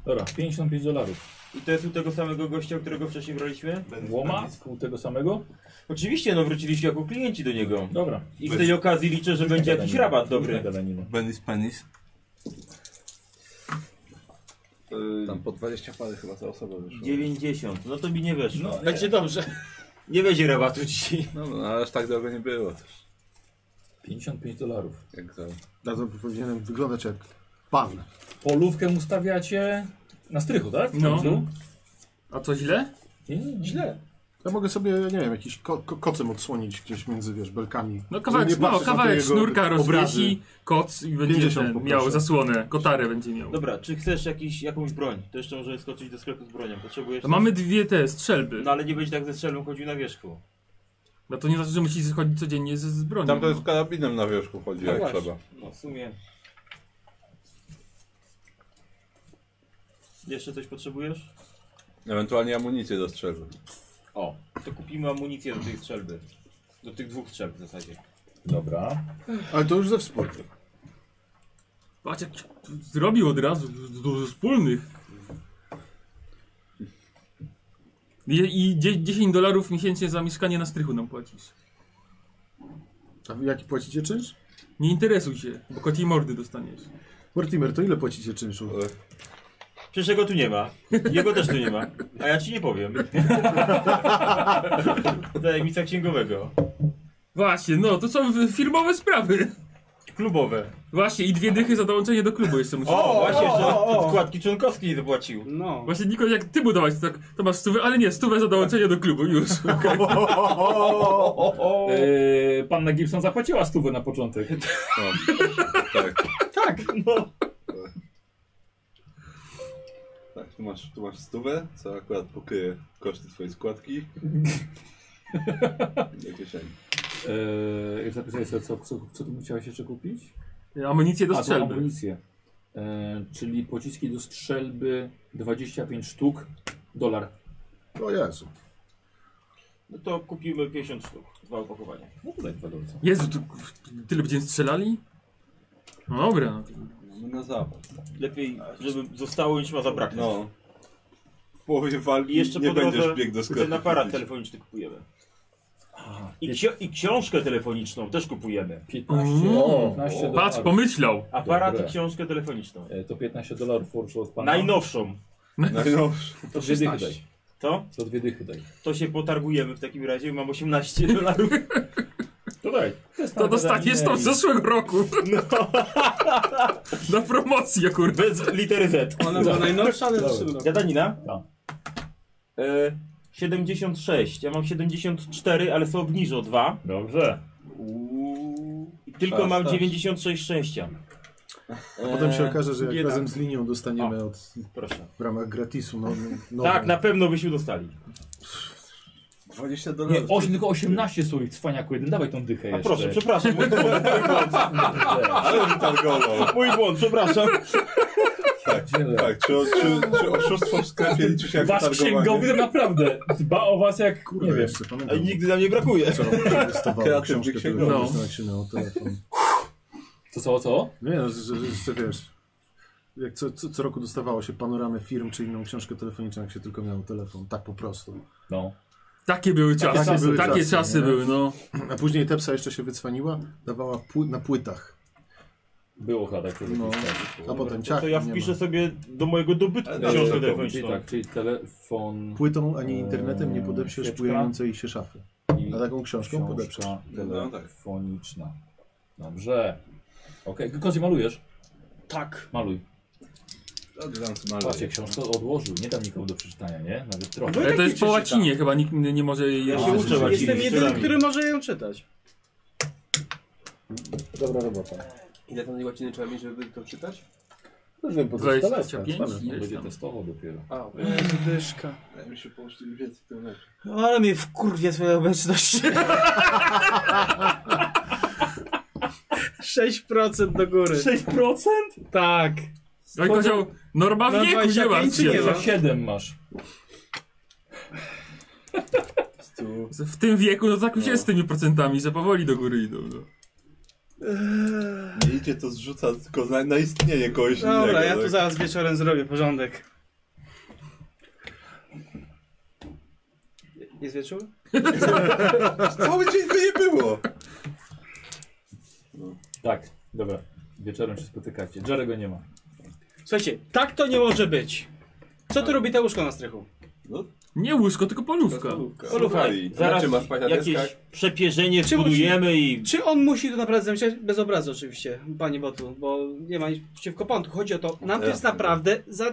[SPEAKER 2] Dobra, 55 dolarów.
[SPEAKER 10] I to jest u tego samego gościa, którego wcześniej braliśmy?
[SPEAKER 2] Łoma? Pół tego samego?
[SPEAKER 10] Oczywiście, no wróciliście jako klienci do niego.
[SPEAKER 2] Dobra.
[SPEAKER 10] I w tej okazji liczę, że będzie jakiś rabat dobry.
[SPEAKER 2] Gadanina.
[SPEAKER 5] Benis penis. Tam po 20 pary chyba za osobę wyszło.
[SPEAKER 10] 90, no to mi nie weszło.
[SPEAKER 9] Będzie dobrze.
[SPEAKER 10] Nie będzie rabatu dzisiaj.
[SPEAKER 5] No, no ale aż tak drogo nie było też.
[SPEAKER 2] 55 dolarów.
[SPEAKER 5] Jak za...
[SPEAKER 6] Na to powinienem wyglądać jak Pan.
[SPEAKER 2] Polówkę ustawiacie na strychu, tak?
[SPEAKER 3] No. A to źle?
[SPEAKER 2] Nie, źle.
[SPEAKER 6] Ja mogę sobie, nie wiem, jakiś ko ko kocem odsłonić gdzieś między, wiesz, belkami.
[SPEAKER 3] No
[SPEAKER 6] Żeby
[SPEAKER 3] kawałek,
[SPEAKER 6] nie
[SPEAKER 3] no,
[SPEAKER 6] patrzeć na te
[SPEAKER 3] kawałek
[SPEAKER 6] jego
[SPEAKER 3] sznurka
[SPEAKER 6] obrazy.
[SPEAKER 3] rozwiesi, koc i będzie
[SPEAKER 6] 50
[SPEAKER 3] ten,
[SPEAKER 6] poproszę.
[SPEAKER 3] miał zasłonę, kotarę będzie miał.
[SPEAKER 6] No.
[SPEAKER 10] Dobra, czy chcesz jakiś, jakąś broń? To jeszcze możemy skoczyć do sklepu z bronią. Potrzebujesz...
[SPEAKER 3] To mamy dwie te strzelby.
[SPEAKER 10] No ale nie będzie tak ze strzelbą chodził na wierzchu.
[SPEAKER 3] No to nie znaczy, że musi chodzić codziennie z, z bronią.
[SPEAKER 5] Tam to jest
[SPEAKER 3] no.
[SPEAKER 5] karabinem na wierzchu chodzi,
[SPEAKER 10] No
[SPEAKER 8] Tak,
[SPEAKER 5] jak
[SPEAKER 10] właśnie.
[SPEAKER 5] trzeba.
[SPEAKER 10] No w sumie. Jeszcze coś potrzebujesz?
[SPEAKER 5] Ewentualnie amunicję do strzelby.
[SPEAKER 10] O, to kupimy amunicję do tej strzelby. Do tych dwóch strzelb w zasadzie.
[SPEAKER 2] Dobra.
[SPEAKER 6] Ale to już ze wspólnych.
[SPEAKER 3] Patrz jak zrobił od razu, dużo wspólnych. I, i dzie- 10 dolarów miesięcznie za mieszkanie na strychu nam płacisz.
[SPEAKER 6] A wy jaki płacicie czynsz?
[SPEAKER 3] Nie interesuj się, bo kociej mordy dostaniesz.
[SPEAKER 6] Mortimer, to ile płacicie czynszu?
[SPEAKER 9] E,
[SPEAKER 10] Przecież jego tu nie ma. Jego też tu nie ma. A ja ci nie powiem. Tajemnica księgowego.
[SPEAKER 3] Właśnie, no to są w- firmowe sprawy.
[SPEAKER 10] Klubowe.
[SPEAKER 3] Właśnie i dwie dychy za dołączenie do klubu jeszcze musisz.
[SPEAKER 10] O, właśnie, że składki członkowskie nie zapłacił.
[SPEAKER 9] No.
[SPEAKER 3] Właśnie Niko, jak ty budowałeś, to, tak, to masz stówę, ale nie, stówę za dołączenie do klubu, już. okej.
[SPEAKER 2] Yy, panna Gibson zapłaciła stówę na początek.
[SPEAKER 9] Tak,
[SPEAKER 10] no.
[SPEAKER 5] Tak, tu masz, tu masz stówę, co akurat pokryje koszty twojej składki. Do kieszeni.
[SPEAKER 2] Yy, zapisuję sobie, co, co, co tu chciałeś jeszcze kupić?
[SPEAKER 3] Amunicję do
[SPEAKER 2] A, to
[SPEAKER 3] strzelby.
[SPEAKER 2] amunicję. Yy, czyli pociski do strzelby 25 sztuk, dolar.
[SPEAKER 6] O Jezu.
[SPEAKER 10] No to kupimy 50 sztuk. Dwa opakowania.
[SPEAKER 2] No tutaj dwa dolce.
[SPEAKER 3] Jezu, tu, tyle będziemy strzelali? No dobra. no to-
[SPEAKER 5] Mamy na zapas.
[SPEAKER 10] Lepiej, żeby zostało niż ma zabraknąć.
[SPEAKER 5] No. W połowie
[SPEAKER 8] No.
[SPEAKER 5] walki
[SPEAKER 10] I jeszcze
[SPEAKER 5] nie
[SPEAKER 10] po drodze
[SPEAKER 5] będziesz biegł do sklepu.
[SPEAKER 10] ten aparat
[SPEAKER 5] kupić.
[SPEAKER 10] telefoniczny kupujemy. I, ksi- I książkę telefoniczną też kupujemy.
[SPEAKER 2] 15,
[SPEAKER 3] O,
[SPEAKER 2] 15 dolarów.
[SPEAKER 3] Patrz, pomyślał.
[SPEAKER 10] Aparat
[SPEAKER 2] Dobre.
[SPEAKER 10] i książkę telefoniczną.
[SPEAKER 2] E, To 15 dolarów poszło od pana.
[SPEAKER 10] Najnowszą.
[SPEAKER 5] No.
[SPEAKER 9] No.
[SPEAKER 5] Najnowszy.
[SPEAKER 2] To dwie dychy daj.
[SPEAKER 10] To?
[SPEAKER 2] To dwie dychy daj.
[SPEAKER 10] To się potargujemy w takim razie. Mam 18 dolarów.
[SPEAKER 2] To daj. jest
[SPEAKER 10] Tak,
[SPEAKER 3] To dostaniesz to z zeszłego roku. Na promocję, kurde.
[SPEAKER 10] Bez litery Z.
[SPEAKER 9] Ona była najnowsza, ale
[SPEAKER 2] Dobra.
[SPEAKER 9] w tym roku.
[SPEAKER 10] Gadanina?
[SPEAKER 2] Tak.
[SPEAKER 10] E, 76. Ja mam 74, ale są obniżę o 2.
[SPEAKER 2] Dobrze.
[SPEAKER 10] I tylko
[SPEAKER 5] Szasta.
[SPEAKER 10] mam 96 szczęścia. E,
[SPEAKER 6] Potem się okaże, że jak
[SPEAKER 10] bieda.
[SPEAKER 6] razem z linią dostaniemy od,
[SPEAKER 10] Proszę.
[SPEAKER 6] w ramach gratisu no, no,
[SPEAKER 10] Tak, na pewno byśmy dostali.
[SPEAKER 5] 20
[SPEAKER 2] Nie,
[SPEAKER 5] dolarów.
[SPEAKER 2] osiem, tylko 18 słoik, cwaniaku jeden. Dawaj tą dychę
[SPEAKER 10] A
[SPEAKER 2] jeszcze.
[SPEAKER 10] proszę, przepraszam, mój błąd,
[SPEAKER 5] Ale mi targował.
[SPEAKER 10] mój błąd, przepraszam.
[SPEAKER 5] Tak, czy, czy, czy oszustwo w sklepie liczy się jak
[SPEAKER 2] Wasz księgowy
[SPEAKER 5] targowanie?
[SPEAKER 2] to naprawdę dba o was jak, nie
[SPEAKER 6] Kurde,
[SPEAKER 2] wiem,
[SPEAKER 6] jeszcze
[SPEAKER 10] A
[SPEAKER 6] pamiętam. no.
[SPEAKER 10] nigdy nam nie brakuje.
[SPEAKER 6] Co on dostawał
[SPEAKER 5] Kreatywny
[SPEAKER 6] książkę,
[SPEAKER 5] księgowy.
[SPEAKER 6] którą
[SPEAKER 3] No.
[SPEAKER 6] dostał, jak się miał telefon.
[SPEAKER 2] co, co, co?
[SPEAKER 6] Nie, no, że, że, że wiesz, jak co, co, co roku dostawało się panoramę firm czy inną książkę telefoniczną, jak się tylko miało telefon, tak po prostu.
[SPEAKER 2] No.
[SPEAKER 3] Takie były
[SPEAKER 6] Takie
[SPEAKER 3] czasy. Takie,
[SPEAKER 6] były
[SPEAKER 3] czasy,
[SPEAKER 6] czasy, nie?
[SPEAKER 3] były, no.
[SPEAKER 6] A później Tepsa jeszcze się wycwaniła, dawała pły na płytach.
[SPEAKER 2] Było chyba tak przez
[SPEAKER 6] No.
[SPEAKER 2] jakiś czas.
[SPEAKER 6] A
[SPEAKER 10] To,
[SPEAKER 6] potem ciach,
[SPEAKER 10] to ja
[SPEAKER 6] nie ma.
[SPEAKER 10] wpiszę sobie do mojego dobytku
[SPEAKER 5] Ale
[SPEAKER 2] Eee,
[SPEAKER 5] dobrze,
[SPEAKER 10] książkę
[SPEAKER 5] to
[SPEAKER 2] Czyli
[SPEAKER 10] telefoniczną.
[SPEAKER 2] tak, czyli telefon,
[SPEAKER 6] Płytą ani internetem nie podeprzesz
[SPEAKER 2] Świeczka.
[SPEAKER 6] płującej się szafy.
[SPEAKER 2] i
[SPEAKER 6] A taką książką podeprzesz.
[SPEAKER 2] książka
[SPEAKER 5] No, tak.
[SPEAKER 2] telefoniczna. Dobrze. Okej, okay. Kozie malujesz?
[SPEAKER 9] tak.
[SPEAKER 2] Maluj.
[SPEAKER 5] Oddam sobie
[SPEAKER 2] Patrzcie,
[SPEAKER 5] maluję.
[SPEAKER 2] książkę odłożył, nie dam nikomu do przeczytania, nie? Nawet trochę.
[SPEAKER 9] No i
[SPEAKER 3] Ale
[SPEAKER 9] tak
[SPEAKER 3] to
[SPEAKER 9] nie
[SPEAKER 3] jest po
[SPEAKER 9] przeczytam.
[SPEAKER 3] łacinie, chyba nikt nie nie może jej...
[SPEAKER 10] Ja
[SPEAKER 2] A,
[SPEAKER 10] się uczę
[SPEAKER 2] rzeczywiście.
[SPEAKER 10] łacinie.
[SPEAKER 9] Jestem jedyny,
[SPEAKER 10] Czytami.
[SPEAKER 9] który może ją czytać.
[SPEAKER 6] Dobra robota.
[SPEAKER 7] Ile tam tej łaciny trzeba mieć, żeby to czytać?
[SPEAKER 6] Możemy
[SPEAKER 3] 25?
[SPEAKER 2] On
[SPEAKER 3] Ileś
[SPEAKER 2] będzie
[SPEAKER 3] tam.
[SPEAKER 2] testował dopiero.
[SPEAKER 7] A,
[SPEAKER 9] Dyszka.
[SPEAKER 5] Daj mi się połóż tym więcej, znaczy. tym lepiej.
[SPEAKER 9] Ale mnie wkurwia twoja obecność. 6% do góry.
[SPEAKER 2] 6%?
[SPEAKER 9] Tak.
[SPEAKER 3] No i kozioł, norma
[SPEAKER 9] No,
[SPEAKER 3] wieku, nie
[SPEAKER 9] 25
[SPEAKER 3] ma.
[SPEAKER 9] nie
[SPEAKER 2] Nie,
[SPEAKER 9] ma.
[SPEAKER 2] za 7 masz.
[SPEAKER 5] Tu
[SPEAKER 3] W tym wieku, no tak już jest z tymi procentami, że powoli do góry idą. No.
[SPEAKER 5] nie idzie, to zrzuca tylko na, na istnienie kogoś innego.
[SPEAKER 9] Dobra, ja tu
[SPEAKER 5] tak?
[SPEAKER 9] zaraz wieczorem zrobię porządek. Jest wieczór?
[SPEAKER 5] Cały dzień go nie było.
[SPEAKER 2] Tak, dobra. Wieczorem się spotykacie. Jerego nie ma.
[SPEAKER 9] Słuchajcie, tak to nie może być. Co tu robi ta łóżko na strychu?
[SPEAKER 5] No,
[SPEAKER 3] Nie łóżko, tylko polówka.
[SPEAKER 7] Słuchaj,
[SPEAKER 10] zaraz
[SPEAKER 7] znaczy ma spać na
[SPEAKER 10] jakieś
[SPEAKER 7] deskach?
[SPEAKER 10] przepierzenie
[SPEAKER 9] Czy
[SPEAKER 10] zbudujemy i...
[SPEAKER 9] Czy on musi to naprawdę zamyślać? Bez obrazu oczywiście, panie Botu, bo nie ma nic przeciwko panu. Tu Chodzi o to, nam to jest
[SPEAKER 3] Jasne.
[SPEAKER 9] naprawdę za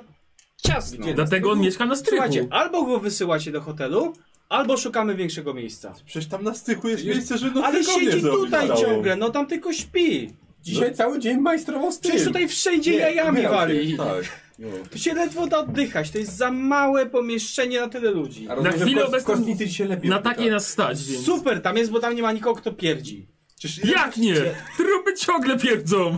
[SPEAKER 9] ciasno.
[SPEAKER 3] Gdzie? Dlatego on mieszka na strychu.
[SPEAKER 9] Słuchajcie, albo go wysyłacie do hotelu, albo szukamy większego miejsca.
[SPEAKER 8] Przecież tam na styku jest miejsce, że
[SPEAKER 9] Ale
[SPEAKER 8] noclegownię
[SPEAKER 9] siedzi
[SPEAKER 8] zrobić
[SPEAKER 9] tutaj
[SPEAKER 8] całą.
[SPEAKER 9] ciągle, no tam tylko śpi.
[SPEAKER 7] Dzisiaj cały dzień majstrował styl.
[SPEAKER 9] Przecież tutaj wszędzie jajami
[SPEAKER 7] umierał się,
[SPEAKER 9] wali.
[SPEAKER 7] Tak. No.
[SPEAKER 9] Tu się ledwo da oddychać, to jest za małe pomieszczenie na tyle ludzi.
[SPEAKER 7] A rozumiem, Na że chwilę kost- obecną kostnicy
[SPEAKER 9] się
[SPEAKER 7] lepiej na oddycha. takie nas
[SPEAKER 3] stać, więc-
[SPEAKER 9] Super tam jest, bo tam nie ma nikogo, kto pierdzi.
[SPEAKER 3] Jak nie? Trupy ciągle pierdzą.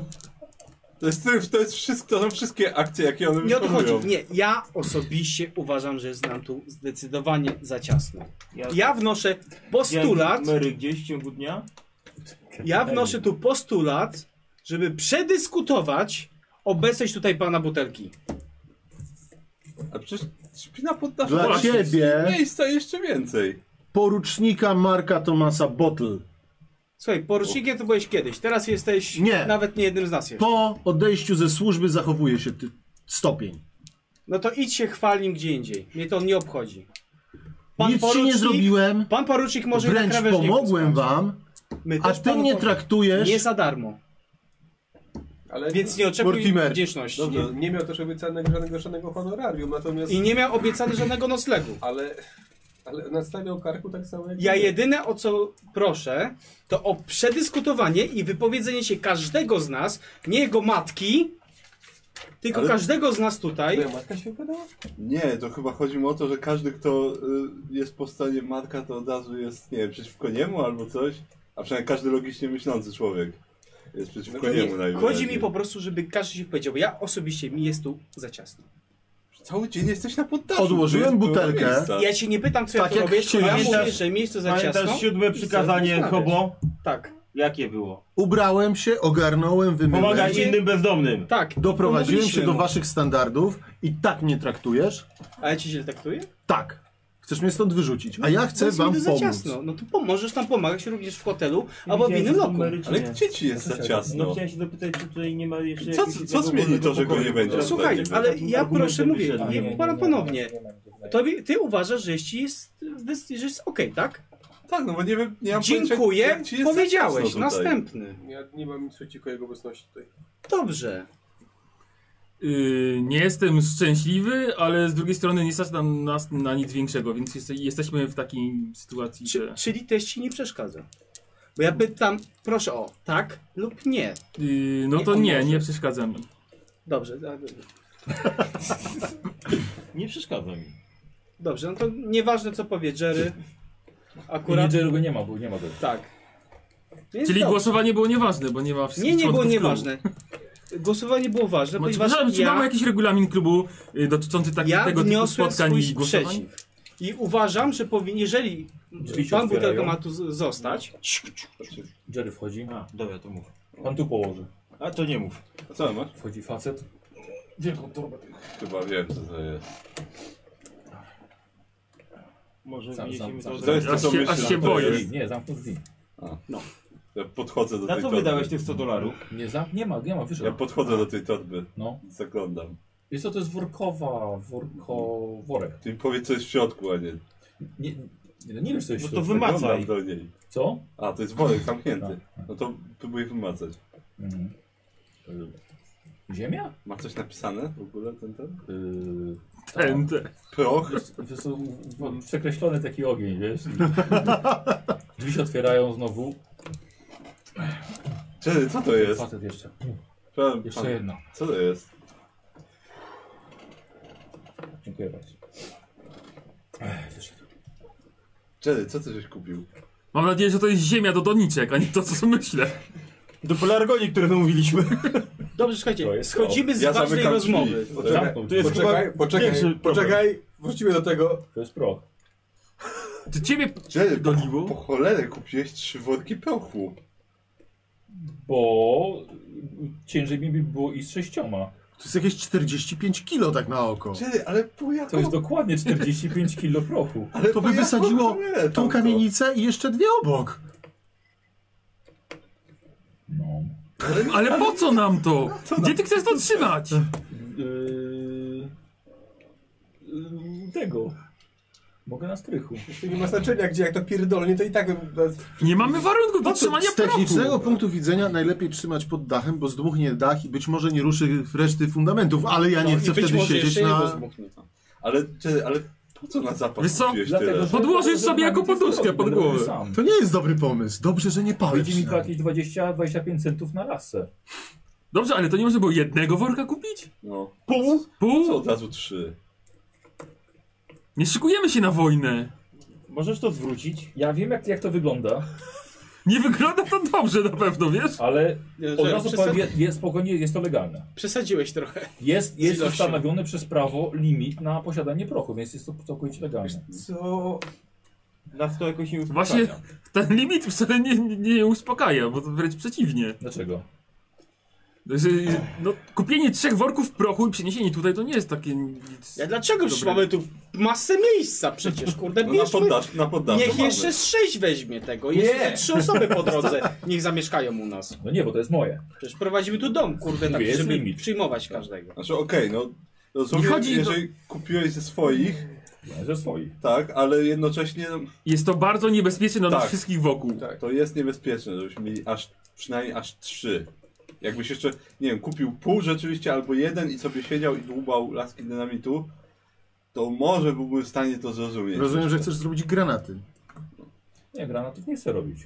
[SPEAKER 8] To jest, to jest wszystko, to są wszystkie akcje, jakie one
[SPEAKER 9] Nie o to
[SPEAKER 8] wykonują.
[SPEAKER 9] chodzi. Nie, ja osobiście uważam, że jest nam tu zdecydowanie za ciasno. Ja wnoszę postulat.
[SPEAKER 10] Mary gdzieś w ciągu dnia?
[SPEAKER 9] Ja wnoszę tu postulat, żeby przedyskutować obecność tutaj pana butelki.
[SPEAKER 8] A przecież śpina pod naszą
[SPEAKER 6] Dla
[SPEAKER 8] Właśnie,
[SPEAKER 6] ciebie.
[SPEAKER 8] Miejsca jeszcze więcej.
[SPEAKER 6] Porucznika Marka Tomasa Bottle.
[SPEAKER 9] Słuchaj, porucznikiem to byłeś kiedyś, teraz jesteś
[SPEAKER 6] Nie.
[SPEAKER 9] nawet nie jednym z nas jeszcze.
[SPEAKER 6] Po odejściu ze służby zachowuje się ty stopień.
[SPEAKER 9] No to idź się chwalim gdzie indziej. Mnie to nie obchodzi.
[SPEAKER 6] Nic ci nie zrobiłem.
[SPEAKER 9] Pan porucznik może i
[SPEAKER 6] Wręcz
[SPEAKER 9] na krawężniku
[SPEAKER 6] pomogłem
[SPEAKER 9] spać.
[SPEAKER 6] wam,
[SPEAKER 9] My
[SPEAKER 6] a
[SPEAKER 9] też
[SPEAKER 6] ty
[SPEAKER 9] panu
[SPEAKER 6] mnie
[SPEAKER 9] pom-
[SPEAKER 6] traktujesz.
[SPEAKER 9] Nie za darmo. Więc nie oczekuj
[SPEAKER 6] Mortimer.
[SPEAKER 9] wdzięczności.
[SPEAKER 7] Dobrze, nie miał też obiecanego żadnego, żadnego honorarium, natomiast...
[SPEAKER 9] I nie miał obiecany żadnego noclegu.
[SPEAKER 7] Ale, ale nastawiał karku tak samo jak...
[SPEAKER 9] Ja
[SPEAKER 7] my.
[SPEAKER 9] jedyne o co proszę, to o przedyskutowanie i wypowiedzenie się każdego z nas, nie jego matki, tylko
[SPEAKER 8] Ale-
[SPEAKER 9] każdego z nas tutaj.
[SPEAKER 7] Moja matka się wygadała?
[SPEAKER 8] Nie, to chyba chodzi mu o to, że każdy, kto y, jest po stronie matka, to od razu jest, nie wiem, przeciwko niemu albo coś. A przynajmniej każdy logicznie myślący człowiek jest przeciwko
[SPEAKER 9] Znaczy, Nie,
[SPEAKER 8] niemu najwyraźniej.
[SPEAKER 9] chodzi mi po prostu, żeby każdy się powiedział. Ja osobiście mi jest tu za ciasno.
[SPEAKER 8] Cały dzień jesteś na poddaszu.
[SPEAKER 6] Odłożyłem
[SPEAKER 8] tu jest pełno
[SPEAKER 6] butelkę.
[SPEAKER 8] miejsca.
[SPEAKER 9] Ja cię nie pytam, co
[SPEAKER 6] Tak
[SPEAKER 9] ja tu
[SPEAKER 6] jak
[SPEAKER 9] robię, tylko ja
[SPEAKER 6] chcieliście.
[SPEAKER 9] mówię, że miejsce za ciasno.
[SPEAKER 10] Pamiętasz No siódme
[SPEAKER 9] i chcę
[SPEAKER 10] przykazanie
[SPEAKER 9] rozmawiać.
[SPEAKER 10] hobo?
[SPEAKER 9] Tak.
[SPEAKER 10] Jakie było?
[SPEAKER 6] Ubrałem się, ogarnąłem, wymyłem.
[SPEAKER 10] Pomagać innym bezdomnym.
[SPEAKER 9] Tak.
[SPEAKER 6] Doprowadziłem się
[SPEAKER 9] pomogliśmy
[SPEAKER 6] do
[SPEAKER 9] mu.
[SPEAKER 6] waszych standardów i tak mnie traktujesz?
[SPEAKER 9] Ale ci źle traktuje?
[SPEAKER 6] Tak. Chcesz mnie stąd wyrzucić, a ja chcę
[SPEAKER 9] Jest
[SPEAKER 6] wam
[SPEAKER 9] mi to za
[SPEAKER 6] pomóc.
[SPEAKER 9] ciasno. No to pomożesz nam pomagać również w hotelu albo w innym lokum.
[SPEAKER 8] Ale gdzie ci jest za
[SPEAKER 10] No
[SPEAKER 8] ciasno?
[SPEAKER 10] chciałem się dopytać, czy tutaj nie ma jeszcze...
[SPEAKER 8] Co-
[SPEAKER 10] jakiegoś
[SPEAKER 8] co zmieni
[SPEAKER 10] wolnego
[SPEAKER 8] to, że go
[SPEAKER 10] pokoju?
[SPEAKER 8] nie będzie?
[SPEAKER 9] No, Słuchaj,
[SPEAKER 8] Argumentem
[SPEAKER 9] ale ja proszę mówię,
[SPEAKER 10] wyszedł, nie,
[SPEAKER 9] nie, pan ponownie. Tobie, ty uważasz, że jeśli jest, wys- że jest okej, tak?
[SPEAKER 8] Tak, no bo nie wiem, nie mam
[SPEAKER 9] Dziękuję,
[SPEAKER 8] pojęcia, jak ci jest za
[SPEAKER 9] powiedziałeś,
[SPEAKER 8] ciasno tutaj.
[SPEAKER 9] następny.
[SPEAKER 7] Ja nie mam nic przeciwko jego obecności tutaj.
[SPEAKER 9] Dobrze.
[SPEAKER 3] Yy, nie jestem szczęśliwy, ale z drugiej strony nie stać nam nas na nic większego, więc jeste, jesteśmy w takiej sytuacji, że...
[SPEAKER 9] Czyli też ci nie przeszkadza. Bo ja pytam, proszę o tak lub nie.
[SPEAKER 3] Yy, no
[SPEAKER 9] Nie,
[SPEAKER 3] to
[SPEAKER 9] on
[SPEAKER 3] nie,
[SPEAKER 9] może.
[SPEAKER 3] nie przeszkadza mi.
[SPEAKER 9] Dobrze, a, dobrze.
[SPEAKER 10] Nie przeszkadza mi.
[SPEAKER 9] dobrze, no to nieważne co powie Jerry. Akurat.
[SPEAKER 2] Akurat Jerry'ego nie ma, bo nie ma go.
[SPEAKER 9] Tak. Więc
[SPEAKER 3] Czyli
[SPEAKER 9] dobrze.
[SPEAKER 3] głosowanie było nieważne, bo nie ma wszystkich
[SPEAKER 9] Nie, nie było
[SPEAKER 3] członków klubu.
[SPEAKER 9] nieważne. Głosowanie było ważne,
[SPEAKER 3] No, czy,
[SPEAKER 9] ponieważ
[SPEAKER 3] czy mamy
[SPEAKER 9] ja,
[SPEAKER 3] jakiś regulamin klubu y, dotyczący tak,
[SPEAKER 9] ja
[SPEAKER 3] tego typu
[SPEAKER 9] wniosłem
[SPEAKER 3] spotkań
[SPEAKER 9] swój
[SPEAKER 3] i głosowań?
[SPEAKER 9] sprzeciw. I uważam, że powinien, jeżeli
[SPEAKER 2] Drzwi się
[SPEAKER 9] pan
[SPEAKER 2] otwierają.
[SPEAKER 9] butelka ma tu z- zostać,
[SPEAKER 2] Jerry wchodzi.
[SPEAKER 10] A, dobra, to mów.
[SPEAKER 2] Pan tu położy.
[SPEAKER 10] A to nie mów.
[SPEAKER 8] A co masz?
[SPEAKER 2] Wchodzi facet.
[SPEAKER 10] Wielką torbę.
[SPEAKER 8] Chyba wiem, co to jest.
[SPEAKER 2] Sam,
[SPEAKER 10] Może
[SPEAKER 2] sam,
[SPEAKER 10] wyniesiemy to
[SPEAKER 2] sam.
[SPEAKER 10] od
[SPEAKER 8] To jest
[SPEAKER 10] razu.
[SPEAKER 8] to, co
[SPEAKER 3] Aż się-
[SPEAKER 8] myślę,
[SPEAKER 3] aż
[SPEAKER 8] że
[SPEAKER 3] się
[SPEAKER 8] to
[SPEAKER 3] boję.
[SPEAKER 8] jest.
[SPEAKER 2] Nie, zamknął drzwi.
[SPEAKER 9] no.
[SPEAKER 8] Ja podchodzę do
[SPEAKER 10] Na
[SPEAKER 8] tej
[SPEAKER 10] co
[SPEAKER 8] torby.
[SPEAKER 10] wydałeś tych 100 dolarów?
[SPEAKER 2] Nie, zam... nie ma, nie ma,
[SPEAKER 8] Ja
[SPEAKER 2] wyszedł.
[SPEAKER 8] podchodzę do tej torby.
[SPEAKER 2] No.
[SPEAKER 8] Zaglądam.
[SPEAKER 2] Jest to, to jest workowa, worko... worek.
[SPEAKER 8] Ty mi powiedz, co jest w środku, a nie.
[SPEAKER 2] Nie, nie, no nie wiesz, co jest
[SPEAKER 10] No
[SPEAKER 2] w
[SPEAKER 10] to
[SPEAKER 2] środku.
[SPEAKER 10] wymacaj.
[SPEAKER 8] Zaglądam do niej.
[SPEAKER 2] Co?
[SPEAKER 8] A, to jest worek zamknięty. No to próbuję wymacać.
[SPEAKER 2] Mhm. Y, Ziemia?
[SPEAKER 8] Ma coś napisane w ogóle ten ten?
[SPEAKER 2] Yy,
[SPEAKER 3] Ten, ten.
[SPEAKER 8] Proch?
[SPEAKER 2] Wiesz co, w- w- przekreślony taki ogień, wiesz? Drzwi się otwierają znowu.
[SPEAKER 8] Czyli co to jest?
[SPEAKER 2] Facet jeszcze.
[SPEAKER 8] Pan,
[SPEAKER 2] Jeszcze
[SPEAKER 8] pan-
[SPEAKER 2] jedna.
[SPEAKER 8] Co to jest?
[SPEAKER 2] Dziękuję bardzo. Ech, wyszedł.
[SPEAKER 8] Czyli co ty żeś kupił?
[SPEAKER 3] Mam nadzieję, że to jest ziemia do doniczek, a nie to, co myślę.
[SPEAKER 10] Do pelargonii, które wymówiliśmy.
[SPEAKER 9] Dobrze, słuchajcie, schodzimy z ważnej
[SPEAKER 8] zamykam drzwi.
[SPEAKER 9] rozmowy.
[SPEAKER 2] Zamknął.
[SPEAKER 10] To jest
[SPEAKER 7] Poczekaj,
[SPEAKER 10] chyba
[SPEAKER 7] poczekaj,
[SPEAKER 10] pierwszy problem.
[SPEAKER 7] poczekaj, wrócimy do tego.
[SPEAKER 2] To jest proch.
[SPEAKER 3] Czy ciebie
[SPEAKER 8] Czyli po,
[SPEAKER 3] doliło?
[SPEAKER 8] po cholerę kupiłeś trzy worki prochu.
[SPEAKER 2] Bo ciężej mi by było iść z sześcioma.
[SPEAKER 6] To jest jakieś 45 kilo tak na oko.
[SPEAKER 8] Czyli, ale po jaką...
[SPEAKER 2] To jest dokładnie 45 kilo prochu.
[SPEAKER 8] ale
[SPEAKER 6] To
[SPEAKER 8] po
[SPEAKER 6] by
[SPEAKER 8] jaką
[SPEAKER 6] wysadziło
[SPEAKER 8] cholerę tam
[SPEAKER 6] tą
[SPEAKER 8] to?
[SPEAKER 6] kamienicę i jeszcze dwie obok.
[SPEAKER 2] No.
[SPEAKER 3] Ale po co nam to? Gdzie ty chcesz to trzymać?
[SPEAKER 2] Yy, yy, tego. Mogę na strychu.
[SPEAKER 7] To nie ma znaczenia, gdzie jak to pierdolnie, to i tak...
[SPEAKER 3] Nie mamy warunków do
[SPEAKER 6] No to
[SPEAKER 3] trzymania
[SPEAKER 6] Z technicznego
[SPEAKER 3] prochu.
[SPEAKER 6] punktu widzenia najlepiej trzymać pod dachem, bo zdmuchnie dach i być może nie ruszy reszty fundamentów, ale ja nie
[SPEAKER 9] No i
[SPEAKER 6] chcę
[SPEAKER 9] być
[SPEAKER 6] wtedy
[SPEAKER 9] może
[SPEAKER 6] siedzieć
[SPEAKER 9] jeszcze jego
[SPEAKER 6] na...
[SPEAKER 9] zdmuchnie.
[SPEAKER 8] Ale, czy, ale po co na zapach
[SPEAKER 3] Wiesz co?
[SPEAKER 8] kupiłeś
[SPEAKER 2] Dlatego,
[SPEAKER 8] tyle?
[SPEAKER 2] że-
[SPEAKER 3] Podłożysz sobie jako
[SPEAKER 2] Będę
[SPEAKER 3] poduszkę pod
[SPEAKER 2] robił
[SPEAKER 3] głowę.
[SPEAKER 2] sam.
[SPEAKER 6] To nie jest dobry pomysł. Dobrze, że nie palę
[SPEAKER 2] Wyjdzie mi
[SPEAKER 9] tak.
[SPEAKER 2] tak- to
[SPEAKER 6] przynajmniej.
[SPEAKER 2] jakieś 20-25 centów na lasę.
[SPEAKER 3] Dobrze, ale to nie można było jednego worka kupić?
[SPEAKER 8] No.
[SPEAKER 3] Pół?
[SPEAKER 8] Co
[SPEAKER 3] Pół?
[SPEAKER 8] od razu trzy?
[SPEAKER 3] Nie szykujemy się na wojnę.
[SPEAKER 10] Możesz to zwrócić?
[SPEAKER 2] Ja wiem jak, jak to wygląda,
[SPEAKER 3] Nie wygląda to dobrze na pewno, wiesz?
[SPEAKER 2] ale
[SPEAKER 9] Nie,
[SPEAKER 2] od
[SPEAKER 9] że
[SPEAKER 2] razu
[SPEAKER 9] przesa-
[SPEAKER 2] powiem, je- jest, spokojnie, jest to legalne.
[SPEAKER 9] Przesadziłeś trochę.
[SPEAKER 2] Jest, jest
[SPEAKER 9] ilością.
[SPEAKER 2] ustanowiony przez prawo limit na posiadanie prochu, więc jest to całkowicie legalne.
[SPEAKER 10] Co? Nas to jakoś nie uspokaja.
[SPEAKER 3] Właśnie ten limit wcale nie, nie, nie uspokaja, bo to wręcz przeciwnie.
[SPEAKER 2] Dlaczego?
[SPEAKER 3] Że, no, kupienie trzech worków prochu i przeniesienie tutaj to nie jest takie nic.
[SPEAKER 9] Ja dlaczego? Przecież
[SPEAKER 3] Dobre.
[SPEAKER 9] mamy tu masę miejsca przecież, kurde,
[SPEAKER 8] No na
[SPEAKER 9] bierzmy.
[SPEAKER 8] poddasz, na poddaszu
[SPEAKER 9] Niech
[SPEAKER 8] mamy.
[SPEAKER 9] jeszcze z sześć weźmie tego, jeszcze
[SPEAKER 2] Nie.
[SPEAKER 9] ze trzy osoby po drodze niech zamieszkają u nas.
[SPEAKER 2] No nie, bo to jest moje.
[SPEAKER 9] Przecież prowadzimy tu dom, kurde,
[SPEAKER 2] Mówię,
[SPEAKER 9] tak,
[SPEAKER 2] jest
[SPEAKER 9] żeby
[SPEAKER 2] limit.
[SPEAKER 9] przyjmować każdego.
[SPEAKER 8] Znaczy okej, no rozumiem,
[SPEAKER 3] Nie chodzi do-
[SPEAKER 8] jeżeli kupiłeś ze swoich,
[SPEAKER 2] Ja Ze swoich.
[SPEAKER 8] tak, ale jednocześnie no,
[SPEAKER 3] Jest to bardzo niebezpieczne dla nas
[SPEAKER 8] Tak.
[SPEAKER 3] wszystkich wokół.
[SPEAKER 8] to jest niebezpieczne, żebyśmy mieli aż, przynajmniej aż trzy. Jakbyś jeszcze, nie wiem, kupił pół rzeczywiście albo jeden i sobie siedział i dłubał laski dynamitu, to może byłbym w stanie to zrozumieć.
[SPEAKER 6] Rozumiem, że
[SPEAKER 8] jeszcze.
[SPEAKER 6] chcesz zrobić granaty.
[SPEAKER 2] Nie, granatów nie chcę robić.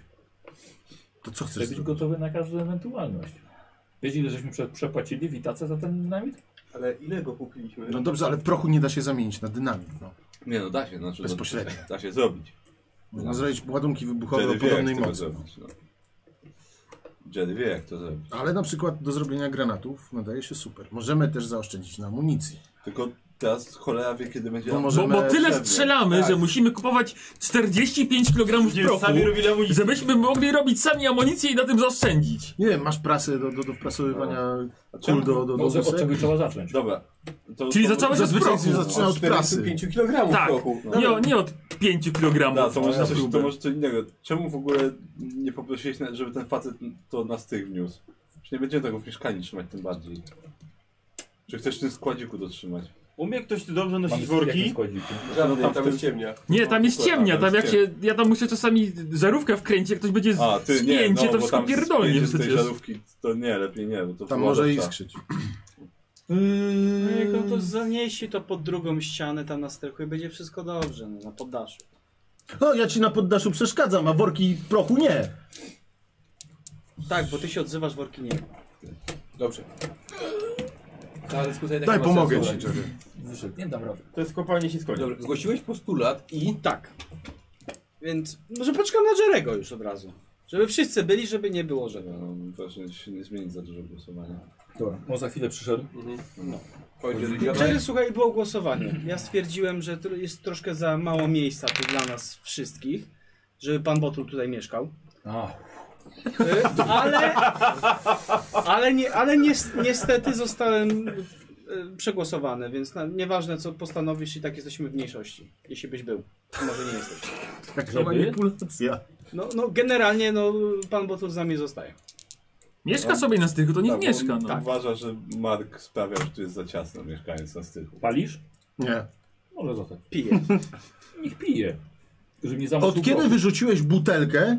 [SPEAKER 6] To co
[SPEAKER 2] Chcę
[SPEAKER 6] chcesz
[SPEAKER 2] być
[SPEAKER 6] zrobić?
[SPEAKER 2] gotowy na każdą ewentualność. Wiecie, ile żeśmy prze, przepłacili witacę za ten dynamit?
[SPEAKER 7] Ale ile go kupiliśmy?
[SPEAKER 6] No dobrze, ale prochu nie da się zamienić na dynamit, no.
[SPEAKER 8] Nie no, da się, znaczy, no,
[SPEAKER 6] Bezpośrednio.
[SPEAKER 8] Da się zrobić.
[SPEAKER 6] Można zrobić ładunki wybuchowe o
[SPEAKER 8] Jerry wie,
[SPEAKER 6] podobnej
[SPEAKER 8] jak to
[SPEAKER 6] mocy.
[SPEAKER 8] zrobić. No. Jerry wie, jak to zrobić.
[SPEAKER 6] Ale na przykład do zrobienia granatów nadaje się super. Możemy też zaoszczędzić na amunicji.
[SPEAKER 8] Tylko teraz cholera wie, kiedy będzie...
[SPEAKER 6] Bo No może-
[SPEAKER 3] Bo, bo
[SPEAKER 6] Możemy
[SPEAKER 3] tyle
[SPEAKER 8] szedł.
[SPEAKER 3] strzelamy,
[SPEAKER 8] Tak.
[SPEAKER 3] że musimy kupować 45 kg prochu,
[SPEAKER 10] Sami robili amunicję.
[SPEAKER 3] żebyśmy mogli robić sami amunicję i na tym zaoszczędzić.
[SPEAKER 6] Nie wiem, masz prasę do, do, do wprasowywania
[SPEAKER 8] No. czemu-
[SPEAKER 6] kul do, do, do
[SPEAKER 2] Może od
[SPEAKER 6] wózek?
[SPEAKER 2] czego trzeba zacząć?
[SPEAKER 8] Dobra. To,
[SPEAKER 3] Czyli
[SPEAKER 8] to...
[SPEAKER 3] zacząłeś od
[SPEAKER 6] Zazwyczaj się
[SPEAKER 3] prochu.
[SPEAKER 6] zaczyna od prasy.
[SPEAKER 7] 5 kg
[SPEAKER 3] Tak.
[SPEAKER 7] prochu. No.
[SPEAKER 3] Nie, o- nie od 5 kg.
[SPEAKER 8] Da, No, to, może, coś, to
[SPEAKER 3] próbę.
[SPEAKER 8] może co innego. Czemu w ogóle nie poprosiłeś, na- żeby ten facet to na styk wniósł? Przecież nie będziemy tego w mieszkaniu trzymać tym bardziej. Czy chcesz w tym składziku dotrzymać?
[SPEAKER 10] Umie ktoś tu dobrze
[SPEAKER 2] Mamy
[SPEAKER 10] nosić
[SPEAKER 2] jakie
[SPEAKER 10] worki?
[SPEAKER 2] składziki?
[SPEAKER 7] Żadnej, tam jest ciemnia.
[SPEAKER 3] Nie, tam jest ciemnia, tam jak się, ja tam muszę czasami żarówkę wkręcić, jak ktoś będzie
[SPEAKER 8] A, ty nie,
[SPEAKER 3] spięcie,
[SPEAKER 8] no,
[SPEAKER 3] to
[SPEAKER 8] bo
[SPEAKER 3] wszystko
[SPEAKER 8] tam
[SPEAKER 3] pierdolnie
[SPEAKER 8] spięcie z tej
[SPEAKER 3] przecież.
[SPEAKER 8] żarówki, to nie, lepiej nie, bo to tak.
[SPEAKER 6] Tam
[SPEAKER 8] wyładowa
[SPEAKER 6] może
[SPEAKER 8] psa.
[SPEAKER 6] iskrzyć.
[SPEAKER 9] No jak on to zaniesie to pod drugą ścianę tam na strychu i będzie wszystko dobrze, no, na poddaszu.
[SPEAKER 6] O, No, ja ci na poddaszu przeszkadzam, a worki prochu nie.
[SPEAKER 9] Tak, bo ty się odzywasz worki nie.
[SPEAKER 7] Dobrze. Ta dyskusja i tak
[SPEAKER 6] Daj,
[SPEAKER 7] nie ma
[SPEAKER 6] pomogę
[SPEAKER 7] sensu,
[SPEAKER 6] ci.
[SPEAKER 7] ale-
[SPEAKER 2] Wyszedł, nie dam rady.
[SPEAKER 10] To jest kopalnie się skończy.
[SPEAKER 7] Dobra, zgłosiłeś postulat i...
[SPEAKER 9] Tak. Więc może poczekam na Jerego już od razu. Żeby wszyscy byli, żeby nie było żadnego.
[SPEAKER 8] No, Właśnie się nie zmieni za dużo głosowania.
[SPEAKER 2] Dobra, on za chwilę przyszedł.
[SPEAKER 7] Mhm. No.
[SPEAKER 9] Jerry, słuchaj, było głosowanie. Ja stwierdziłem, że tr- jest troszkę za mało miejsca tu dla nas wszystkich, żeby pan Botul tutaj mieszkał.
[SPEAKER 2] A,
[SPEAKER 9] Y, Ale, ale, nie, ale nies- niestety zostałem y, przegłosowany, więc na, nieważne co postanowisz i tak jesteśmy w mniejszości. Jeśli byś był, to może nie jesteś.
[SPEAKER 6] Taka
[SPEAKER 2] Żeby?
[SPEAKER 6] manipulacja.
[SPEAKER 9] No, no generalnie no, pan Botul z nami zostaje.
[SPEAKER 3] Mieszka sobie na styku, to niech
[SPEAKER 8] Tak, bo
[SPEAKER 3] mieszka, no.
[SPEAKER 8] on Uważa, że Mark sprawia, że tu jest za ciasno mieszkając na styku.
[SPEAKER 2] palisz?
[SPEAKER 6] Nie.
[SPEAKER 2] Może zostać.
[SPEAKER 9] Pije.
[SPEAKER 2] Niech pije. Żeby nie zamoczył
[SPEAKER 6] Od kiedy
[SPEAKER 2] głowy.
[SPEAKER 6] wyrzuciłeś butelkę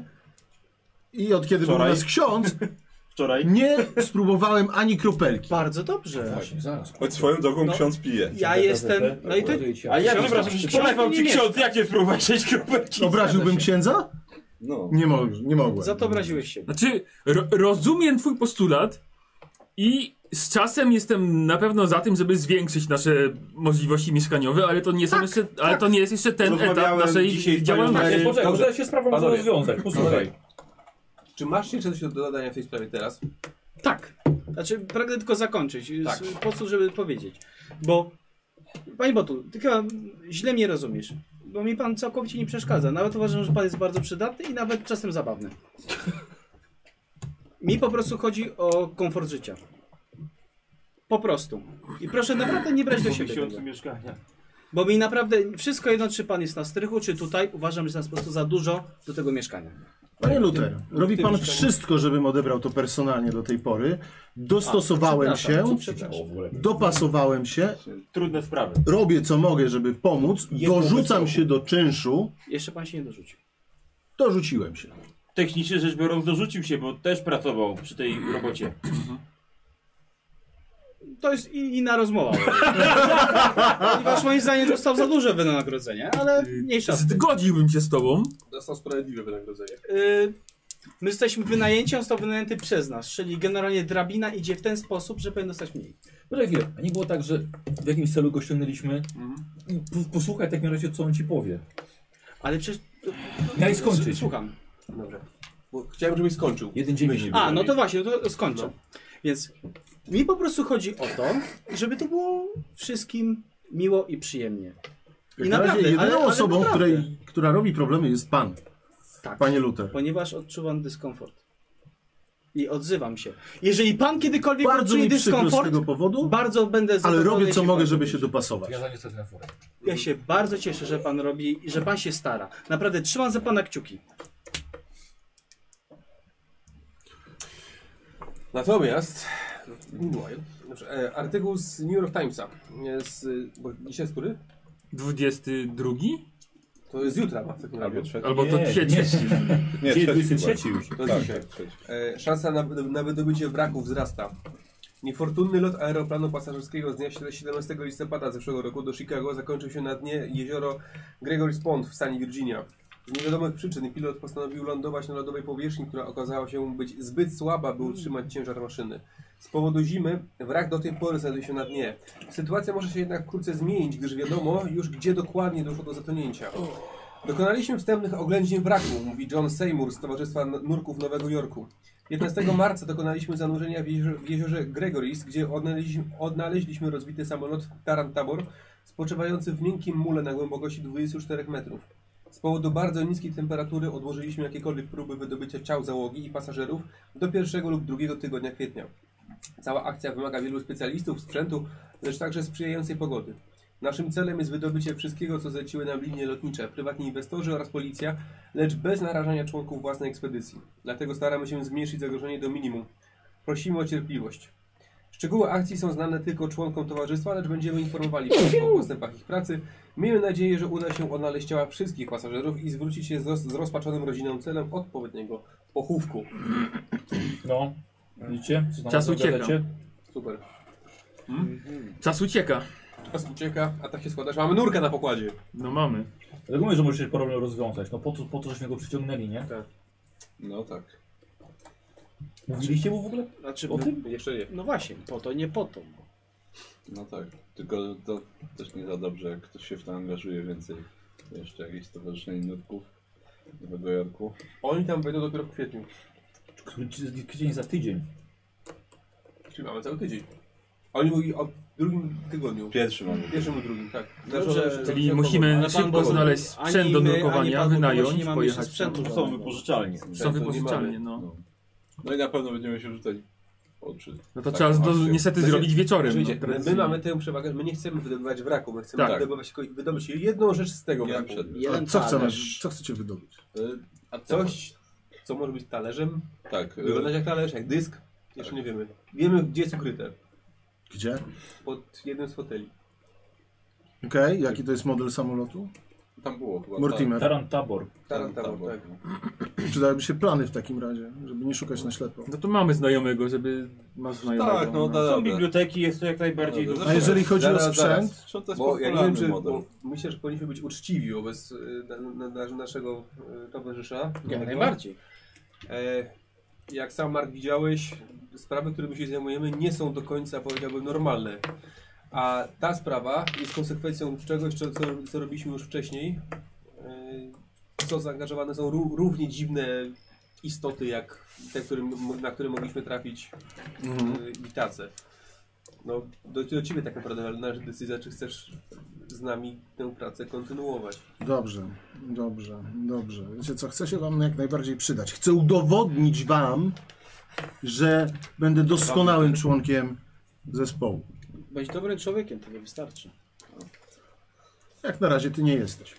[SPEAKER 6] i od kiedy był u
[SPEAKER 10] Wczoraj.
[SPEAKER 6] nas ksiądz,
[SPEAKER 10] Wczoraj.
[SPEAKER 6] nie spróbowałem ani kropelki.
[SPEAKER 9] Bardzo dobrze.
[SPEAKER 2] Właśnie, zaraz.
[SPEAKER 8] Choć swoją drogą
[SPEAKER 9] No.
[SPEAKER 8] ksiądz pije.
[SPEAKER 9] Ja jestem. No i ty.
[SPEAKER 10] A ja
[SPEAKER 9] Ksiądz-
[SPEAKER 10] przepraszam,
[SPEAKER 9] ksiądz
[SPEAKER 10] przepraszam
[SPEAKER 9] nie
[SPEAKER 10] ci
[SPEAKER 9] mieszka.
[SPEAKER 10] ksiądz, jak nie spróbować sześć kropelki?
[SPEAKER 6] Obraziłbym księdza?
[SPEAKER 8] No.
[SPEAKER 6] Nie, mo nie mogłem.
[SPEAKER 9] Za to obraziłeś się.
[SPEAKER 3] Znaczy, ro rozumiem twój postulat i z czasem jestem na pewno za tym, żeby zwiększyć nasze możliwości mieszkaniowe, ale to nie, są jeszcze, ale to nie jest jeszcze ten etap
[SPEAKER 7] Rozmawiałem dzisiaj
[SPEAKER 3] naszej
[SPEAKER 7] z
[SPEAKER 3] działalności.
[SPEAKER 7] panią-
[SPEAKER 2] Nie, poczekaj, bo
[SPEAKER 7] Dobrze.
[SPEAKER 2] teraz się sprawą muszę
[SPEAKER 7] Panowie.
[SPEAKER 2] rozwiązać. Posłuchaj.
[SPEAKER 7] Czy masz jeszcze coś do dodania w tej sprawie teraz?
[SPEAKER 9] Tak. Znaczy, pragnę tylko zakończyć.
[SPEAKER 7] Tak.
[SPEAKER 9] Z- Po co, żeby powiedzieć? Bo. Panie Botu, ty chyba źle mnie rozumiesz. Bo mi pan całkowicie nie przeszkadza. Nawet uważam, że pan jest bardzo przydatny i nawet czasem zabawny. Mi po prostu chodzi o komfort życia. Po prostu. I proszę naprawdę nie brać do
[SPEAKER 10] Po
[SPEAKER 9] siebie.
[SPEAKER 10] miesiącu
[SPEAKER 9] tego.
[SPEAKER 10] mieszkania.
[SPEAKER 9] Bo mi naprawdę wszystko jedno, czy pan jest na strychu, czy tutaj. Uważam, że jest nas po prostu za dużo do tego mieszkania.
[SPEAKER 6] Panie Luter, robi pan wszystko, żebym odebrał to personalnie do tej pory. Dostosowałem
[SPEAKER 10] A,
[SPEAKER 6] się,
[SPEAKER 10] przepraszam, przepraszam.
[SPEAKER 6] dopasowałem się,
[SPEAKER 10] Trudne sprawy.
[SPEAKER 6] robię co mogę, żeby pomóc,
[SPEAKER 10] Jedną
[SPEAKER 6] dorzucam
[SPEAKER 10] bez
[SPEAKER 6] się do czynszu,
[SPEAKER 9] Jeszcze pan się nie dorzucił.
[SPEAKER 6] dorzuciłem się.
[SPEAKER 10] Technicznie rzecz biorąc dorzucił się, bo też pracował przy tej robocie.
[SPEAKER 9] To jest i- inna rozmowa. Ponieważ moim zdaniem dostał za duże wynagrodzenie, ale mniejsza. z tym.
[SPEAKER 3] Zgodziłbym się z tobą.
[SPEAKER 7] Dostał sprawiedliwe wynagrodzenie.
[SPEAKER 9] Y, My jesteśmy wynajęci, on został wynajęty przez nas, czyli generalnie drabina idzie w ten sposób, że powinien dostać mniej.
[SPEAKER 2] Poczekaj chwilę, a nie było tak, że w jakimś celu go ściągnęliśmy? I
[SPEAKER 10] Mhm.
[SPEAKER 2] po- Posłuchaj w takim razie, co on ci powie.
[SPEAKER 9] Ale przecież...
[SPEAKER 2] Miałeś skończyć.
[SPEAKER 9] S- Słucham.
[SPEAKER 7] Dobra. Bo chciałem, żebyś skończył.
[SPEAKER 2] Jeden dzień
[SPEAKER 7] Myśl.
[SPEAKER 2] mieli.
[SPEAKER 9] A, no to właśnie, to skończę. Więc mi po prostu chodzi o to, żeby to było wszystkim miło i przyjemnie. I
[SPEAKER 6] Jak na razie
[SPEAKER 9] naprawdę,
[SPEAKER 6] jedyną
[SPEAKER 9] ale- ale
[SPEAKER 6] osobą,
[SPEAKER 9] naprawdę.
[SPEAKER 6] której, która robi problemy jest pan,
[SPEAKER 9] Tak.
[SPEAKER 6] panie Luter.
[SPEAKER 9] Ponieważ odczuwam dyskomfort. I odzywam się. Jeżeli pan kiedykolwiek
[SPEAKER 6] Bardzo
[SPEAKER 9] odczuje
[SPEAKER 6] mi przykro z
[SPEAKER 9] dyskomfort,
[SPEAKER 6] tego powodu,
[SPEAKER 9] bardzo będę
[SPEAKER 6] ale
[SPEAKER 9] zadowolony,
[SPEAKER 6] robię co
[SPEAKER 9] jeśli
[SPEAKER 6] mogę,
[SPEAKER 9] pan
[SPEAKER 6] żeby się
[SPEAKER 9] odniesie.
[SPEAKER 6] dopasować.
[SPEAKER 2] Ja za nie chcę na forę.
[SPEAKER 9] Ja się bardzo cieszę, że pan robi i że pan się stara. Naprawdę trzymam za pana kciuki.
[SPEAKER 7] Natomiast, meanwhile, dobrze, e, artykuł z New York Timesa, e, z, e, bo dzisiaj jest który?
[SPEAKER 3] 22?
[SPEAKER 7] To jest jutra ma w takim razie.
[SPEAKER 3] Albo to
[SPEAKER 2] Nie,
[SPEAKER 3] trzecie.
[SPEAKER 8] Nie,
[SPEAKER 2] Dzień
[SPEAKER 8] trzeci Tak,
[SPEAKER 2] 23 już.
[SPEAKER 7] To jest dzisiaj. E, szansa na, na wydobycie wraków wzrasta. Niefortunny lot aeroplanu pasażerskiego z dnia 17 listopada zeszłego roku do Chicago zakończył się na dnie jezioro Gregory's Pond w stanie Virginia. Z niewiadomych przyczyn pilot postanowił lądować na lodowej powierzchni, która okazała się być zbyt słaba, by utrzymać ciężar maszyny. Z powodu zimy wrak do tej pory znajduje się na dnie. Sytuacja może się jednak wkrótce zmienić, gdyż wiadomo już gdzie dokładnie doszło do zatonięcia. Dokonaliśmy wstępnych oględzin wraku, mówi John Seymour z Towarzystwa Nurków Nowego Jorku. 15 marca dokonaliśmy zanurzenia w jeziorze, w jeziorze Gregoris, gdzie odnaleźliśmy, odnaleźliśmy rozbity samolot Tarantabor spoczywający w miękkim mule na głębokości 24 metrów. Z powodu bardzo niskiej temperatury odłożyliśmy jakiekolwiek próby wydobycia ciał załogi i pasażerów do pierwszego lub drugiego tygodnia kwietnia. Cała akcja wymaga wielu specjalistów, sprzętu, lecz także sprzyjającej pogody. Naszym celem jest wydobycie wszystkiego, co zleciły nam linie lotnicze, prywatni inwestorzy oraz policja, lecz bez narażania członków własnej ekspedycji. Dlatego staramy się zmniejszyć zagrożenie do minimum. Prosimy o cierpliwość. Szczegóły akcji są znane tylko członkom towarzystwa, lecz będziemy informowali o postępach ich pracy. Miejmy nadzieję, że uda się odnaleźć ciała wszystkich pasażerów i zwrócić się z, roz- z rozpaczonym rodzinom celem odpowiedniego pochówku.
[SPEAKER 2] No, widzicie? Co tam
[SPEAKER 3] Czas
[SPEAKER 2] opowiadacie?
[SPEAKER 3] ucieka.
[SPEAKER 7] Super.
[SPEAKER 3] Czas ucieka.
[SPEAKER 7] Czas ucieka, a tak się składa, że mamy nurkę na pokładzie.
[SPEAKER 3] No mamy.
[SPEAKER 2] Dlatego mówię, że możecie problem rozwiązać. No po to, po to żeśmy go przyciągnęli, nie?
[SPEAKER 8] No tak.
[SPEAKER 2] Mówiliście mu w ogóle?
[SPEAKER 9] Znaczy,
[SPEAKER 2] O
[SPEAKER 9] no,
[SPEAKER 2] tym?
[SPEAKER 7] Jeszcze nie.
[SPEAKER 9] no właśnie, po to, nie po to.
[SPEAKER 8] No tak. Tylko to też nie za dobrze, jak ktoś się w to angażuje więcej. Jeszcze jakieś stowarzyszenie nurków Nowego Jorku.
[SPEAKER 7] Oni tam wejdą dopiero w kwietniu.
[SPEAKER 2] Który tydzień za tydzień.
[SPEAKER 7] Czyli mamy cały tydzień. Oni mówili o drugim tygodniu.
[SPEAKER 8] Pierwszy mamy.
[SPEAKER 7] Pierwszym lub drugim, tak.
[SPEAKER 9] Dobrze,
[SPEAKER 7] Zależy-
[SPEAKER 3] Czyli
[SPEAKER 7] od-
[SPEAKER 3] musimy
[SPEAKER 9] Ale pan
[SPEAKER 3] szybko
[SPEAKER 9] Bogu,
[SPEAKER 3] znaleźć
[SPEAKER 9] ani
[SPEAKER 3] sprzęt do
[SPEAKER 9] my, ani
[SPEAKER 3] drukowania,
[SPEAKER 9] pan Bogu
[SPEAKER 3] wynająć,
[SPEAKER 9] nie mamy jeszcze
[SPEAKER 3] pojechać.
[SPEAKER 9] sprzętu.
[SPEAKER 10] To są wypożyczalnie.
[SPEAKER 3] Są
[SPEAKER 7] nie
[SPEAKER 3] wypożyczalnie,
[SPEAKER 7] mamy.
[SPEAKER 3] no.
[SPEAKER 8] No i na pewno będziemy się rzucać w oczy.
[SPEAKER 3] No to
[SPEAKER 8] Tak,
[SPEAKER 3] trzeba do,
[SPEAKER 8] właśnie.
[SPEAKER 3] niestety
[SPEAKER 7] Znaczy,
[SPEAKER 3] zrobić wieczorem.
[SPEAKER 7] Oczywiście,
[SPEAKER 3] No,
[SPEAKER 7] my mamy tę przewagę, że my nie chcemy wydobywać wraku, my chcemy
[SPEAKER 3] Tak.
[SPEAKER 7] wydobywać, tylko- wydobyć jedną rzecz z tego
[SPEAKER 8] Ja
[SPEAKER 7] wraku.
[SPEAKER 8] przed-
[SPEAKER 9] Jeden
[SPEAKER 6] Co, chcemy,
[SPEAKER 9] talerz.
[SPEAKER 6] co chcecie wydobyć?
[SPEAKER 8] Y, A coś?
[SPEAKER 7] Coś, co może być talerzem,
[SPEAKER 8] Tak. y,
[SPEAKER 7] wyglądać jak talerz, jak dysk, jeszcze nie wiemy. Wiemy, gdzie jest ukryte,
[SPEAKER 6] Gdzie?
[SPEAKER 7] pod jednym z foteli.
[SPEAKER 6] Okej, jaki to jest model samolotu?
[SPEAKER 2] Tak.
[SPEAKER 8] Tam było chyba.
[SPEAKER 6] Mortimer.
[SPEAKER 2] Tarantabor.
[SPEAKER 8] Tam, tam,
[SPEAKER 7] Tarantama,
[SPEAKER 8] było.
[SPEAKER 7] tak.
[SPEAKER 6] Przydałyby się plany w takim razie, żeby nie szukać na ślepo.
[SPEAKER 3] No to mamy znajomego, żeby... Masz znajomego.
[SPEAKER 8] Tak, no
[SPEAKER 10] Są
[SPEAKER 8] tak.
[SPEAKER 10] biblioteki, jest to jak najbardziej...
[SPEAKER 8] Dobra,
[SPEAKER 10] lub-
[SPEAKER 8] dobra.
[SPEAKER 6] A jeżeli chodzi o
[SPEAKER 8] Zaraz, zaraz.
[SPEAKER 6] sprzęt,
[SPEAKER 8] Sprzęt to jest
[SPEAKER 7] Bo ja nie wiem,
[SPEAKER 8] popularny
[SPEAKER 7] czy
[SPEAKER 8] model.
[SPEAKER 7] bo myślę, że powinniśmy być uczciwi wobec y, na, na, na, naszego y, towarzysza.
[SPEAKER 9] Jak
[SPEAKER 7] nowego.
[SPEAKER 9] najbardziej.
[SPEAKER 7] E, jak sam Mark widziałeś, sprawy, którymi się zajmujemy, nie są do końca, powiedziałbym, normalne. A ta sprawa jest konsekwencją czegoś, co, co, co robiliśmy już wcześniej. E, w co zaangażowane są ró- równie dziwne istoty, jak te, którym, na które mogliśmy trafić
[SPEAKER 8] Mhm.
[SPEAKER 7] e, i tace. No, do, do ciebie tak naprawdę należy decyzja, czy chcesz z nami tę pracę kontynuować.
[SPEAKER 6] Dobrze, dobrze, dobrze. Wiecie co, chcę się wam jak najbardziej przydać. Chcę udowodnić wam, że będę doskonałym członkiem zespołu.
[SPEAKER 9] Bądź dobrym człowiekiem, to nie wystarczy.
[SPEAKER 6] Jak na razie ty nie jesteś.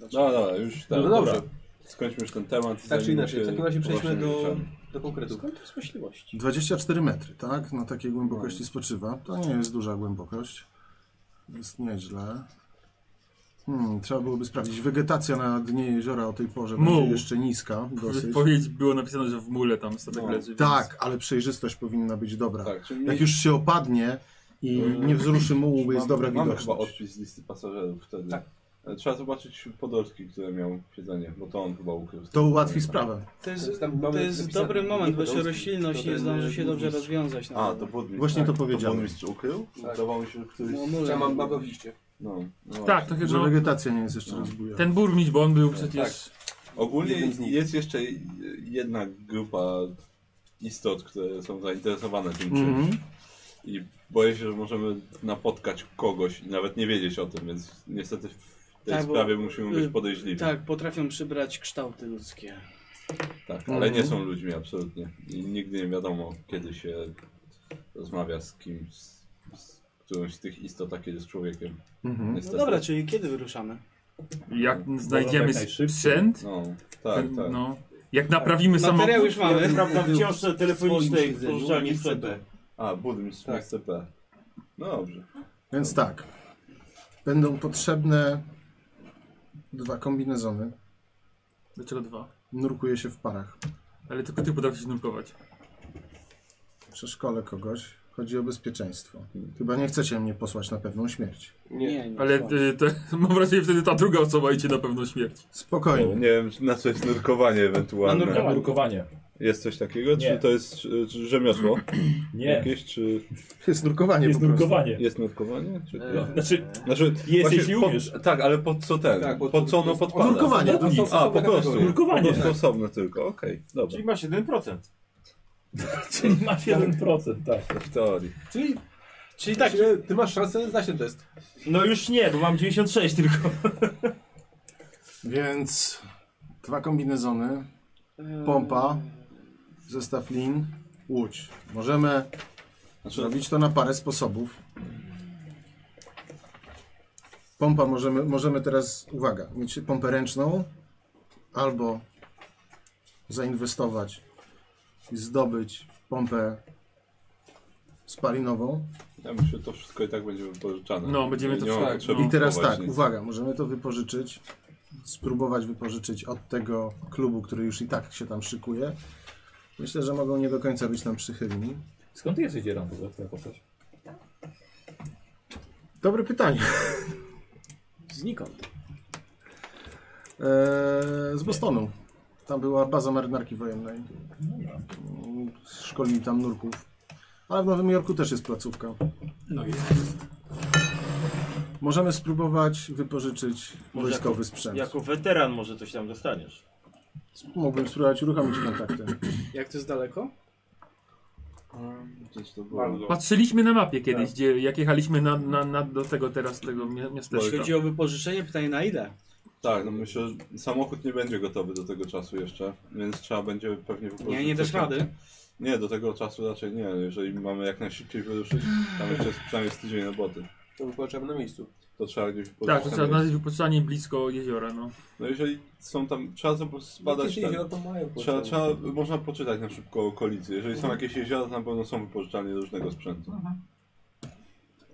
[SPEAKER 8] No dobra, już tak.
[SPEAKER 7] No dobrze.
[SPEAKER 8] Skończmy już ten temat. i
[SPEAKER 7] Tak czy
[SPEAKER 8] zajmijmy
[SPEAKER 7] inaczej,
[SPEAKER 8] się
[SPEAKER 7] w takim razie przejdźmy
[SPEAKER 8] poważnymi
[SPEAKER 7] do,
[SPEAKER 8] rzeczami.
[SPEAKER 7] do konkretów.
[SPEAKER 9] Skąd to jest myśliwość?
[SPEAKER 6] 24 metry, tak? Na takiej głębokości spoczywa. To nie jest duża głębokość. Jest nieźle. Hmm, trzeba byłoby sprawdzić. Wegetacja na dnie jeziora o tej porze
[SPEAKER 3] Muł.
[SPEAKER 6] będzie jeszcze niska.
[SPEAKER 3] W
[SPEAKER 6] Dosyć.
[SPEAKER 3] powiedzi było napisane, że w mule tam
[SPEAKER 8] No,
[SPEAKER 3] statek leży. więc-
[SPEAKER 6] Tak, ale przejrzystość powinna być dobra.
[SPEAKER 8] Tak, czyli
[SPEAKER 6] Jak już się opadnie i nie wzruszy mułu,
[SPEAKER 8] Mamy-
[SPEAKER 6] jest dobra
[SPEAKER 8] Mamy Mm. chyba
[SPEAKER 6] widoczność.
[SPEAKER 8] odpis z listy pasażerów wtedy. E, Trzeba zobaczyć Podolski, który miał siedzenie, bo to on chyba ukrył.
[SPEAKER 6] To ułatwi sprawę.
[SPEAKER 9] To jest,
[SPEAKER 7] Tam mamy
[SPEAKER 9] to jest
[SPEAKER 7] napisane-
[SPEAKER 9] dobry moment, bo się
[SPEAKER 7] Podolski,
[SPEAKER 9] roślinność
[SPEAKER 7] to
[SPEAKER 9] nie
[SPEAKER 7] ten,
[SPEAKER 9] zdąży
[SPEAKER 7] e,
[SPEAKER 9] się dobrze
[SPEAKER 7] burmistrz.
[SPEAKER 9] rozwiązać. no.
[SPEAKER 8] A,
[SPEAKER 9] naprawdę.
[SPEAKER 8] to Budmistrz.
[SPEAKER 6] Właśnie to
[SPEAKER 8] tak.
[SPEAKER 6] powiedziałem.
[SPEAKER 8] Budmistrz ukrył?
[SPEAKER 7] Tak.
[SPEAKER 8] Udawało mi się, że któryś...
[SPEAKER 9] No, mule.
[SPEAKER 7] Ja mam bagowiście.
[SPEAKER 8] No, no
[SPEAKER 3] tak,
[SPEAKER 8] właśnie.
[SPEAKER 3] to
[SPEAKER 6] Że
[SPEAKER 3] chyba.
[SPEAKER 6] wegetacja nie jest jeszcze rozbujana.
[SPEAKER 3] Ten burmistrz, bo on był przecież.
[SPEAKER 8] Ogólnie
[SPEAKER 7] Jeden z nich.
[SPEAKER 8] jest jeszcze jedna grupa istot, które są zainteresowane tym czymś.
[SPEAKER 6] Mhm.
[SPEAKER 8] I boję się, że możemy napotkać kogoś i nawet nie wiedzieć o tym, więc niestety w tej
[SPEAKER 9] Tak, bo-
[SPEAKER 8] sprawie musimy być
[SPEAKER 9] y,
[SPEAKER 8] podejrzliwi. Tak,
[SPEAKER 9] Tak, potrafią przybrać kształty ludzkie. No
[SPEAKER 8] Tak, ale nie
[SPEAKER 6] Mhm.
[SPEAKER 8] są ludźmi absolutnie. I nigdy nie wiadomo, kiedy się rozmawia z kimś, z, z którąś z tych istot, a kiedy z człowiekiem.
[SPEAKER 6] Mhm.
[SPEAKER 9] No
[SPEAKER 8] Niestety.
[SPEAKER 9] dobra, czyli kiedy wyruszamy?
[SPEAKER 3] Jak znajdziemy
[SPEAKER 2] jak najszybciej.
[SPEAKER 3] sprzęt,
[SPEAKER 8] No, tak,
[SPEAKER 3] ten-
[SPEAKER 8] tak.
[SPEAKER 3] no, jak naprawimy
[SPEAKER 9] Tak. Materiał
[SPEAKER 3] samochód.
[SPEAKER 9] już mamy.
[SPEAKER 10] Prawda,
[SPEAKER 7] Był
[SPEAKER 10] w książce telefonicznej pożyczalni
[SPEAKER 7] w
[SPEAKER 10] CB.
[SPEAKER 8] A, burmistrz
[SPEAKER 7] Tak.
[SPEAKER 8] tak. SCP. No dobrze.
[SPEAKER 6] Więc tak. Będą potrzebne dwa kombinezony.
[SPEAKER 3] Dlaczego dwa?
[SPEAKER 6] Nurkuje się w parach.
[SPEAKER 3] Ale tylko ty potrafisz nurkować.
[SPEAKER 6] Przeszkolę kogoś. Chodzi o bezpieczeństwo. Chyba nie chcecie mnie posłać na pewną śmierć.
[SPEAKER 7] Nie.
[SPEAKER 9] nie
[SPEAKER 3] Ale
[SPEAKER 9] słuchaj.
[SPEAKER 3] y, to, mam wrażenie, wtedy ta druga osoba idzie na pewno śmierć.
[SPEAKER 8] No, Nie,
[SPEAKER 6] Spokojnie.
[SPEAKER 8] nie wiem, czy na co jest nurkowanie ewentualne.
[SPEAKER 9] Na nurkowanie.
[SPEAKER 2] Nurkowanie.
[SPEAKER 8] Jest coś takiego?
[SPEAKER 2] Nie.
[SPEAKER 8] Czy to jest czy, czy rzemiosło
[SPEAKER 2] Nie,
[SPEAKER 8] jakieś? Czy
[SPEAKER 6] Jest nurkowanie
[SPEAKER 2] jest
[SPEAKER 6] po prostu.
[SPEAKER 2] nurkowanie.
[SPEAKER 8] jest nurkowanie? Czy...
[SPEAKER 2] No, znaczy,
[SPEAKER 8] Znaczy,
[SPEAKER 2] jest
[SPEAKER 8] właśnie
[SPEAKER 2] jeśli
[SPEAKER 8] po-
[SPEAKER 2] umiesz.
[SPEAKER 8] Tak, ale pod co ten?
[SPEAKER 7] Tak, pod-
[SPEAKER 8] pod, co ono
[SPEAKER 7] pod-
[SPEAKER 8] podpada?
[SPEAKER 6] Nurkowanie.
[SPEAKER 8] A, A, po prostu.
[SPEAKER 2] Nurkowanie.
[SPEAKER 8] Po prostu osobne tylko, okej. Dobra,
[SPEAKER 10] Czyli masz 1%.
[SPEAKER 2] Czyli masz 1%, tak.
[SPEAKER 8] w teorii.
[SPEAKER 7] Czyli, czyli tak, ty masz szansę zdać ten test.
[SPEAKER 10] No już nie, bo mam 96 tylko.
[SPEAKER 6] Więc dwa kombinezony, pompa, zestaw lin, łódź. Możemy
[SPEAKER 8] Znaczy,
[SPEAKER 6] zrobić to na parę sposobów. Pompa możemy, możemy teraz, uwaga, mieć pompę ręczną albo zainwestować i zdobyć pompę spalinową.
[SPEAKER 8] ja myślę, że to wszystko i tak będzie wypożyczane.
[SPEAKER 3] No, będziemy to
[SPEAKER 8] Nie ma
[SPEAKER 3] wszystko-
[SPEAKER 8] potrzeby
[SPEAKER 6] I teraz
[SPEAKER 8] kupować
[SPEAKER 6] tak,
[SPEAKER 8] nic.
[SPEAKER 6] uwaga, możemy to wypożyczyć, spróbować wypożyczyć od tego klubu, który już i tak się tam szykuje. Myślę, że mogą nie do końca być nam przychylni.
[SPEAKER 2] Skąd ty jesteś Dzieran w ogóle, twoja postać?
[SPEAKER 6] Dobre pytanie.
[SPEAKER 9] Znikąd.
[SPEAKER 6] Eee, z Bostonu. Tam była baza marynarki wojennej. Mm, Szkolili tam nurków. Ale w Nowym Jorku też jest placówka.
[SPEAKER 23] No jest.
[SPEAKER 6] Możemy spróbować wypożyczyć
[SPEAKER 10] Może
[SPEAKER 6] wojskowy
[SPEAKER 10] jako-
[SPEAKER 6] sprzęt.
[SPEAKER 10] Jako weteran może coś tam dostaniesz.
[SPEAKER 6] Mógłbym spróbować uruchomić kontakty.
[SPEAKER 9] Jak to jest daleko?
[SPEAKER 8] No, Gdzieś to było.
[SPEAKER 3] Patrzyliśmy na mapie kiedyś, gdzie, jak jechaliśmy na, na, na, do tego teraz, tego mia-
[SPEAKER 9] Jeśli
[SPEAKER 3] miasteczka. Tak,
[SPEAKER 9] chodzi o wypożyczenie, pytanie na ile?
[SPEAKER 8] Tak, no myślę, że samochód nie będzie gotowy do tego czasu jeszcze, więc trzeba będzie pewnie wypożyczyć.
[SPEAKER 9] Nie, nie dasz rady.
[SPEAKER 8] Nie, do tego czasu raczej nie. Jeżeli mamy jak najszybciej wyruszyć, tam jeszcze jest przynajmniej z tydzień roboty.
[SPEAKER 7] To wypłaczamy na miejscu.
[SPEAKER 8] To trzeba gdzieś wypożyczyć.
[SPEAKER 3] Tak, to trzeba
[SPEAKER 8] na miejscu.
[SPEAKER 3] znaleźć wypoczęcie blisko jeziora, no.
[SPEAKER 8] No jeżeli są tam, trzeba po prostu
[SPEAKER 7] Jakieś
[SPEAKER 8] zbadać ten.
[SPEAKER 7] jeziora to mają
[SPEAKER 8] Trzeba,
[SPEAKER 7] płacone.
[SPEAKER 8] trzeba, można poczytać na szybko okolicy. Jeżeli są jakieś jeziora, to na pewno są wypożyczalnie różnego sprzętu.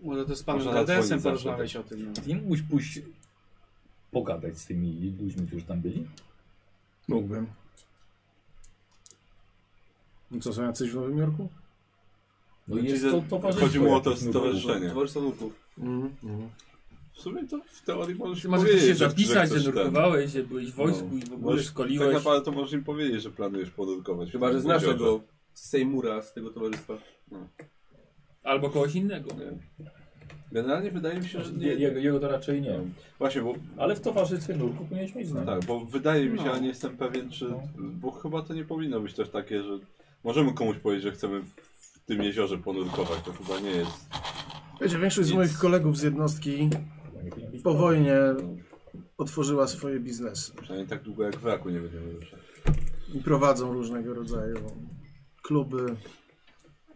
[SPEAKER 9] Może to z panem
[SPEAKER 8] Można
[SPEAKER 9] Gardensem
[SPEAKER 8] zadzwonić zawsze,
[SPEAKER 9] porozmawiać o tym. no.
[SPEAKER 2] Ty nie mógłbyś pójść pogadać z tymi ludźmi, którzy tam byli?
[SPEAKER 6] Mógłbym. No co, są jacyś w Nowym Jorku?
[SPEAKER 2] No
[SPEAKER 8] Czyli
[SPEAKER 2] jest
[SPEAKER 8] że
[SPEAKER 2] to towarzystwo.
[SPEAKER 8] Chodzi mu o to
[SPEAKER 2] jakieś
[SPEAKER 8] stowarzyszenie.
[SPEAKER 7] Towarzystwo nurków.
[SPEAKER 8] W sumie to w teorii możesz
[SPEAKER 3] Ty
[SPEAKER 8] im
[SPEAKER 3] możesz
[SPEAKER 8] powiedzieć,
[SPEAKER 3] się
[SPEAKER 8] że- że,
[SPEAKER 3] zapisać, że
[SPEAKER 8] chcesz ten.
[SPEAKER 3] nurkowałeś, że byłeś w wojsku
[SPEAKER 8] No.
[SPEAKER 3] i w ogóle
[SPEAKER 8] Możesz- Tak
[SPEAKER 3] szkoliłeś.
[SPEAKER 8] naprawdę to możesz im powiedzieć, że planujesz podurkować.
[SPEAKER 7] Chyba, że znasz tego Sejmura z tego towarzystwa.
[SPEAKER 8] Tak,
[SPEAKER 3] Albo kogoś innego.
[SPEAKER 8] Generalnie wydaje mi się, że
[SPEAKER 2] Nie,
[SPEAKER 8] nie.
[SPEAKER 2] jego, jego to raczej nie.
[SPEAKER 8] Właśnie, bo
[SPEAKER 2] Ale w towarzystwie nurku powinieneś mieć znać.
[SPEAKER 8] Tak, bo wydaje mi się,
[SPEAKER 9] No.
[SPEAKER 8] a nie jestem pewien, czy. Bo chyba to nie powinno być też takie, że możemy komuś powiedzieć, że chcemy w tym jeziorze ponurkować. To chyba nie jest.
[SPEAKER 6] Wiecie, większość z
[SPEAKER 8] Nic.
[SPEAKER 6] moich kolegów z jednostki po wojnie otworzyła swoje biznesy
[SPEAKER 8] Przynajmniej tak długo jak w raku nie będziemy ruszać.
[SPEAKER 6] i prowadzą różnego rodzaju kluby,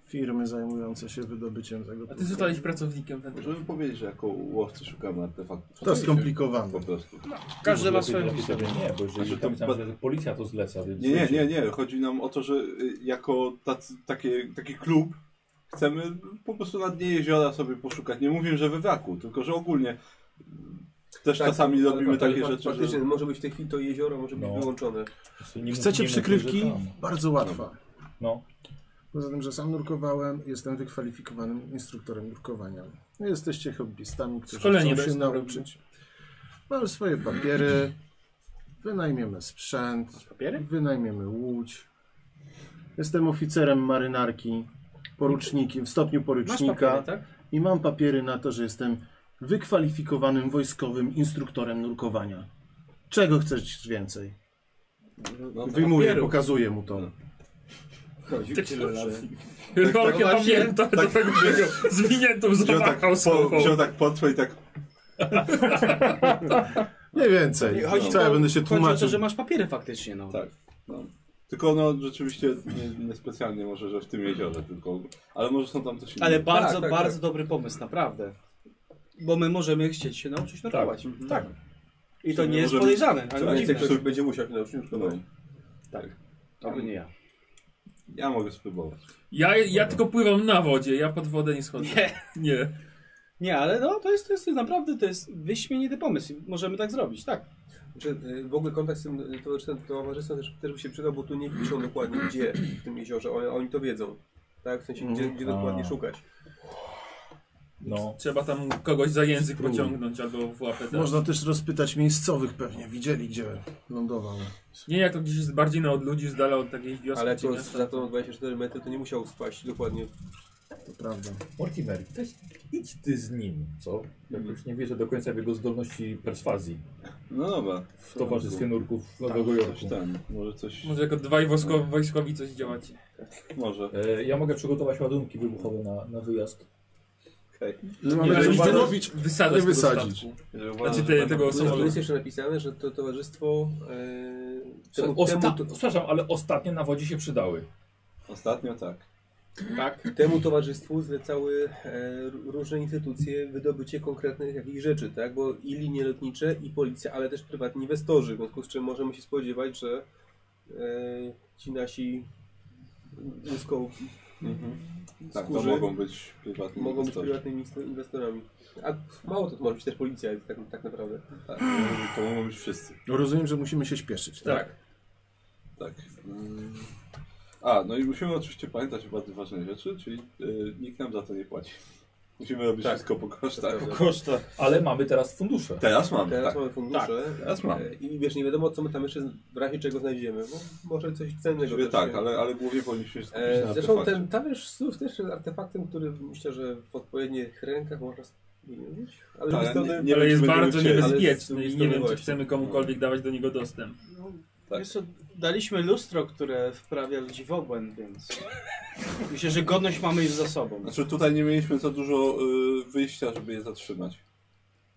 [SPEAKER 6] firmy zajmujące się wydobyciem tego.
[SPEAKER 3] A ty zostałeś pracownikiem wędrowym.
[SPEAKER 8] Możemy powiedzieć, że jako łowcy szukamy artefaktów.
[SPEAKER 6] To skomplikowane.
[SPEAKER 8] Po prostu.
[SPEAKER 9] Każdy ma
[SPEAKER 2] Może
[SPEAKER 9] swoją
[SPEAKER 2] lepiej
[SPEAKER 9] historię.
[SPEAKER 2] sobie Nie, bo jeżeli tak,
[SPEAKER 8] Znaczy,
[SPEAKER 2] tam
[SPEAKER 8] to-
[SPEAKER 2] myślałem, że policja to zleca, więc...
[SPEAKER 8] Nie, nie, nie, nie. Chodzi nam o to, że y, jako tacy, takie, taki klub chcemy po prostu na dnie jeziora sobie poszukać. Nie mówię, że we wraku, tylko że ogólnie y, też
[SPEAKER 7] Tak,
[SPEAKER 8] czasami
[SPEAKER 7] ale
[SPEAKER 8] robimy
[SPEAKER 7] fak-
[SPEAKER 8] takie
[SPEAKER 7] fak-
[SPEAKER 8] rzeczy, że...
[SPEAKER 7] Faktycznie, może być w tej chwili to jezioro, może być
[SPEAKER 2] No.
[SPEAKER 7] wyłączone.
[SPEAKER 2] Po prostu nie
[SPEAKER 6] Chcecie
[SPEAKER 2] mówimy, że
[SPEAKER 6] przykrywki?
[SPEAKER 2] tam.
[SPEAKER 6] Bardzo łatwa.
[SPEAKER 2] No.
[SPEAKER 6] Poza tym, że sam nurkowałem, jestem wykwalifikowanym instruktorem nurkowania. Wy Jesteście hobbystami, którzy
[SPEAKER 3] Szkolenie
[SPEAKER 6] chcą się
[SPEAKER 3] bez-
[SPEAKER 6] nauczyć. Mam swoje papiery, wynajmiemy sprzęt, wynajmiemy łódź. Jestem oficerem marynarki, porucznikiem, w stopniu
[SPEAKER 9] Masz
[SPEAKER 6] porucznika
[SPEAKER 9] papiery, tak?
[SPEAKER 6] i mam papiery na to, że jestem wykwalifikowanym wojskowym instruktorem nurkowania. Czego chcesz więcej?
[SPEAKER 8] No,
[SPEAKER 6] Wyjmuję,
[SPEAKER 8] papierów.
[SPEAKER 6] pokazuję mu to.
[SPEAKER 3] Rolkę
[SPEAKER 8] tak właśnie-
[SPEAKER 3] pamięta, do tego biegu. Zwiniętą
[SPEAKER 8] Wziął tak,
[SPEAKER 3] zawahał
[SPEAKER 8] po,
[SPEAKER 3] sobą.
[SPEAKER 8] wziął tak potwór i tak...
[SPEAKER 6] Mniej więcej.
[SPEAKER 9] Chodzi
[SPEAKER 6] Co ja
[SPEAKER 9] o-
[SPEAKER 6] będę się
[SPEAKER 9] Chodzi o No, to,
[SPEAKER 6] tłumaczył?
[SPEAKER 9] że masz papiery faktycznie, no.
[SPEAKER 8] Tak. No. Tylko no rzeczywiście nie- niespecjalnie może, że w tym jeziorze tylko. Ale może są tam też inne.
[SPEAKER 9] Ale bardzo,
[SPEAKER 7] tak, tak.
[SPEAKER 9] bardzo dobry pomysł, naprawdę. Bo my możemy chcieć się nauczyć nurkować.
[SPEAKER 8] Mhm.
[SPEAKER 9] Tak. I to
[SPEAKER 8] Czyli
[SPEAKER 9] nie jest
[SPEAKER 8] możemy-
[SPEAKER 9] podejrzane,
[SPEAKER 8] Co
[SPEAKER 9] ale
[SPEAKER 8] więcej,
[SPEAKER 9] dziwne.
[SPEAKER 8] ktoś
[SPEAKER 7] Ktoś
[SPEAKER 8] by...
[SPEAKER 7] będzie musiał się
[SPEAKER 8] no,
[SPEAKER 7] nauczyć nurkować.
[SPEAKER 9] Oby nie ja.
[SPEAKER 8] Ja mogę spróbować.
[SPEAKER 3] Ja, ja tylko pływam na wodzie, ja pod wodę nie schodzę.
[SPEAKER 9] Nie.
[SPEAKER 3] Nie.
[SPEAKER 9] Nie, ale no, to jest, to jest naprawdę, to jest wyśmienity pomysł. i Możemy tak zrobić, tak.
[SPEAKER 7] Znaczy, y, w ogóle kontakt z tym y, towarzystwem, towarzystwem też, też by się przydał, bo tu nie piszą dokładnie gdzie w tym jeziorze, oni, oni to wiedzą. Tak, w sensie gdzie, gdzie dokładnie
[SPEAKER 2] A.
[SPEAKER 7] szukać.
[SPEAKER 2] No.
[SPEAKER 3] Trzeba tam kogoś za język pociągnąć albo w łapę. tak.
[SPEAKER 6] Można też rozpytać miejscowych pewnie. Widzieli, gdzie lądował.
[SPEAKER 3] Nie, jak to gdzieś jest bardziej na od ludzi, z dala od takiej wioski
[SPEAKER 7] Ale
[SPEAKER 3] czy
[SPEAKER 7] jako
[SPEAKER 3] miasta.
[SPEAKER 7] za tą 24 metry to nie musiał spaść dokładnie.
[SPEAKER 6] To prawda.
[SPEAKER 2] Mortimer, też idź ty z nim, co? Jak już nie wierzę do końca w jego zdolności perswazji
[SPEAKER 8] No dobra.
[SPEAKER 2] w towarzystwie nurków z Nowego
[SPEAKER 8] Tak, Coś
[SPEAKER 2] Jorku.
[SPEAKER 8] ten, może coś.
[SPEAKER 3] Może jako dwaj wojsko, wojskowi coś działacie.
[SPEAKER 8] Może.
[SPEAKER 2] E, ja mogę przygotować ładunki wybuchowe na, na wyjazd.
[SPEAKER 6] Mamy
[SPEAKER 3] żeby
[SPEAKER 6] coś
[SPEAKER 3] bardzo-
[SPEAKER 8] no,
[SPEAKER 6] wydobyć?
[SPEAKER 3] Wysadzać
[SPEAKER 6] Nie
[SPEAKER 3] tego
[SPEAKER 6] wysadzić.
[SPEAKER 3] statku.
[SPEAKER 8] Jeżeli
[SPEAKER 3] Znaczy
[SPEAKER 8] uważasz,
[SPEAKER 3] te,
[SPEAKER 8] że
[SPEAKER 3] tego
[SPEAKER 7] No, tu
[SPEAKER 3] samolotu.
[SPEAKER 7] jest jeszcze napisane, że to towarzystwo yy, temu,
[SPEAKER 2] Osta
[SPEAKER 7] temu, to,
[SPEAKER 2] Przepraszam, ale ostatnie na wodzie się przydały.
[SPEAKER 8] Ostatnio tak.
[SPEAKER 9] Tak.
[SPEAKER 7] temu towarzystwu zlecały e, ró- różne instytucje wydobycie konkretnych jakichś rzeczy, tak? Bo i linie lotnicze, i policja, ale też prywatni inwestorzy, w związku z czym możemy się spodziewać, że e, ci nasi łusko
[SPEAKER 8] Tak, to
[SPEAKER 7] Mhm. skórzy
[SPEAKER 8] mogą być prywatni.
[SPEAKER 7] mogą być
[SPEAKER 8] inwestorzy.
[SPEAKER 7] prywatnymi inst- inwestorami. A mało to, to może być też policja, tak, tak naprawdę.
[SPEAKER 8] Tak, to- to mogą być wszyscy.
[SPEAKER 6] No Rozumiem, że musimy się śpieszyć. Tak.
[SPEAKER 8] Tak. Mm. A, no i musimy oczywiście pamiętać o bardzo ważnej rzeczy, czyli y, nikt nam za to nie płaci. Musimy robić wszystko po kosztach.
[SPEAKER 10] Koszta.
[SPEAKER 2] Ale mamy teraz fundusze.
[SPEAKER 8] Teraz mamy,
[SPEAKER 7] Teraz
[SPEAKER 8] tak.
[SPEAKER 7] mamy fundusze
[SPEAKER 8] teraz mamy.
[SPEAKER 7] e, i wiesz, nie wiadomo co my tam jeszcze w razie czego znajdziemy, bo może coś cennego
[SPEAKER 8] Właściwie
[SPEAKER 7] też,
[SPEAKER 8] tak,
[SPEAKER 7] nie?
[SPEAKER 8] ale, ale głównie powinniśmy się skupić
[SPEAKER 7] E,
[SPEAKER 8] na
[SPEAKER 7] Zresztą
[SPEAKER 8] artefakcie.
[SPEAKER 7] ten talerz snów też jest artefaktem, który myślę, że w odpowiednich rękach można zmienić, ale z drugiej
[SPEAKER 8] Tak,
[SPEAKER 7] strony...
[SPEAKER 8] Nie
[SPEAKER 3] ale
[SPEAKER 8] wiem,
[SPEAKER 3] jest
[SPEAKER 8] czy będziemy
[SPEAKER 3] bardzo
[SPEAKER 8] chcieli, ale
[SPEAKER 7] z
[SPEAKER 3] niebezpieczny
[SPEAKER 7] drugiej
[SPEAKER 3] i nie wiem,
[SPEAKER 7] strony
[SPEAKER 3] czy chcemy
[SPEAKER 7] właśnie.
[SPEAKER 3] komukolwiek dawać do niego dostęp.
[SPEAKER 8] Tak.
[SPEAKER 9] Wiesz co, daliśmy lustro, które wprawia ludzi w obłęd, więc myślę, że godność mamy już za sobą.
[SPEAKER 8] Znaczy tutaj nie mieliśmy za dużo y, wyjścia, żeby je zatrzymać.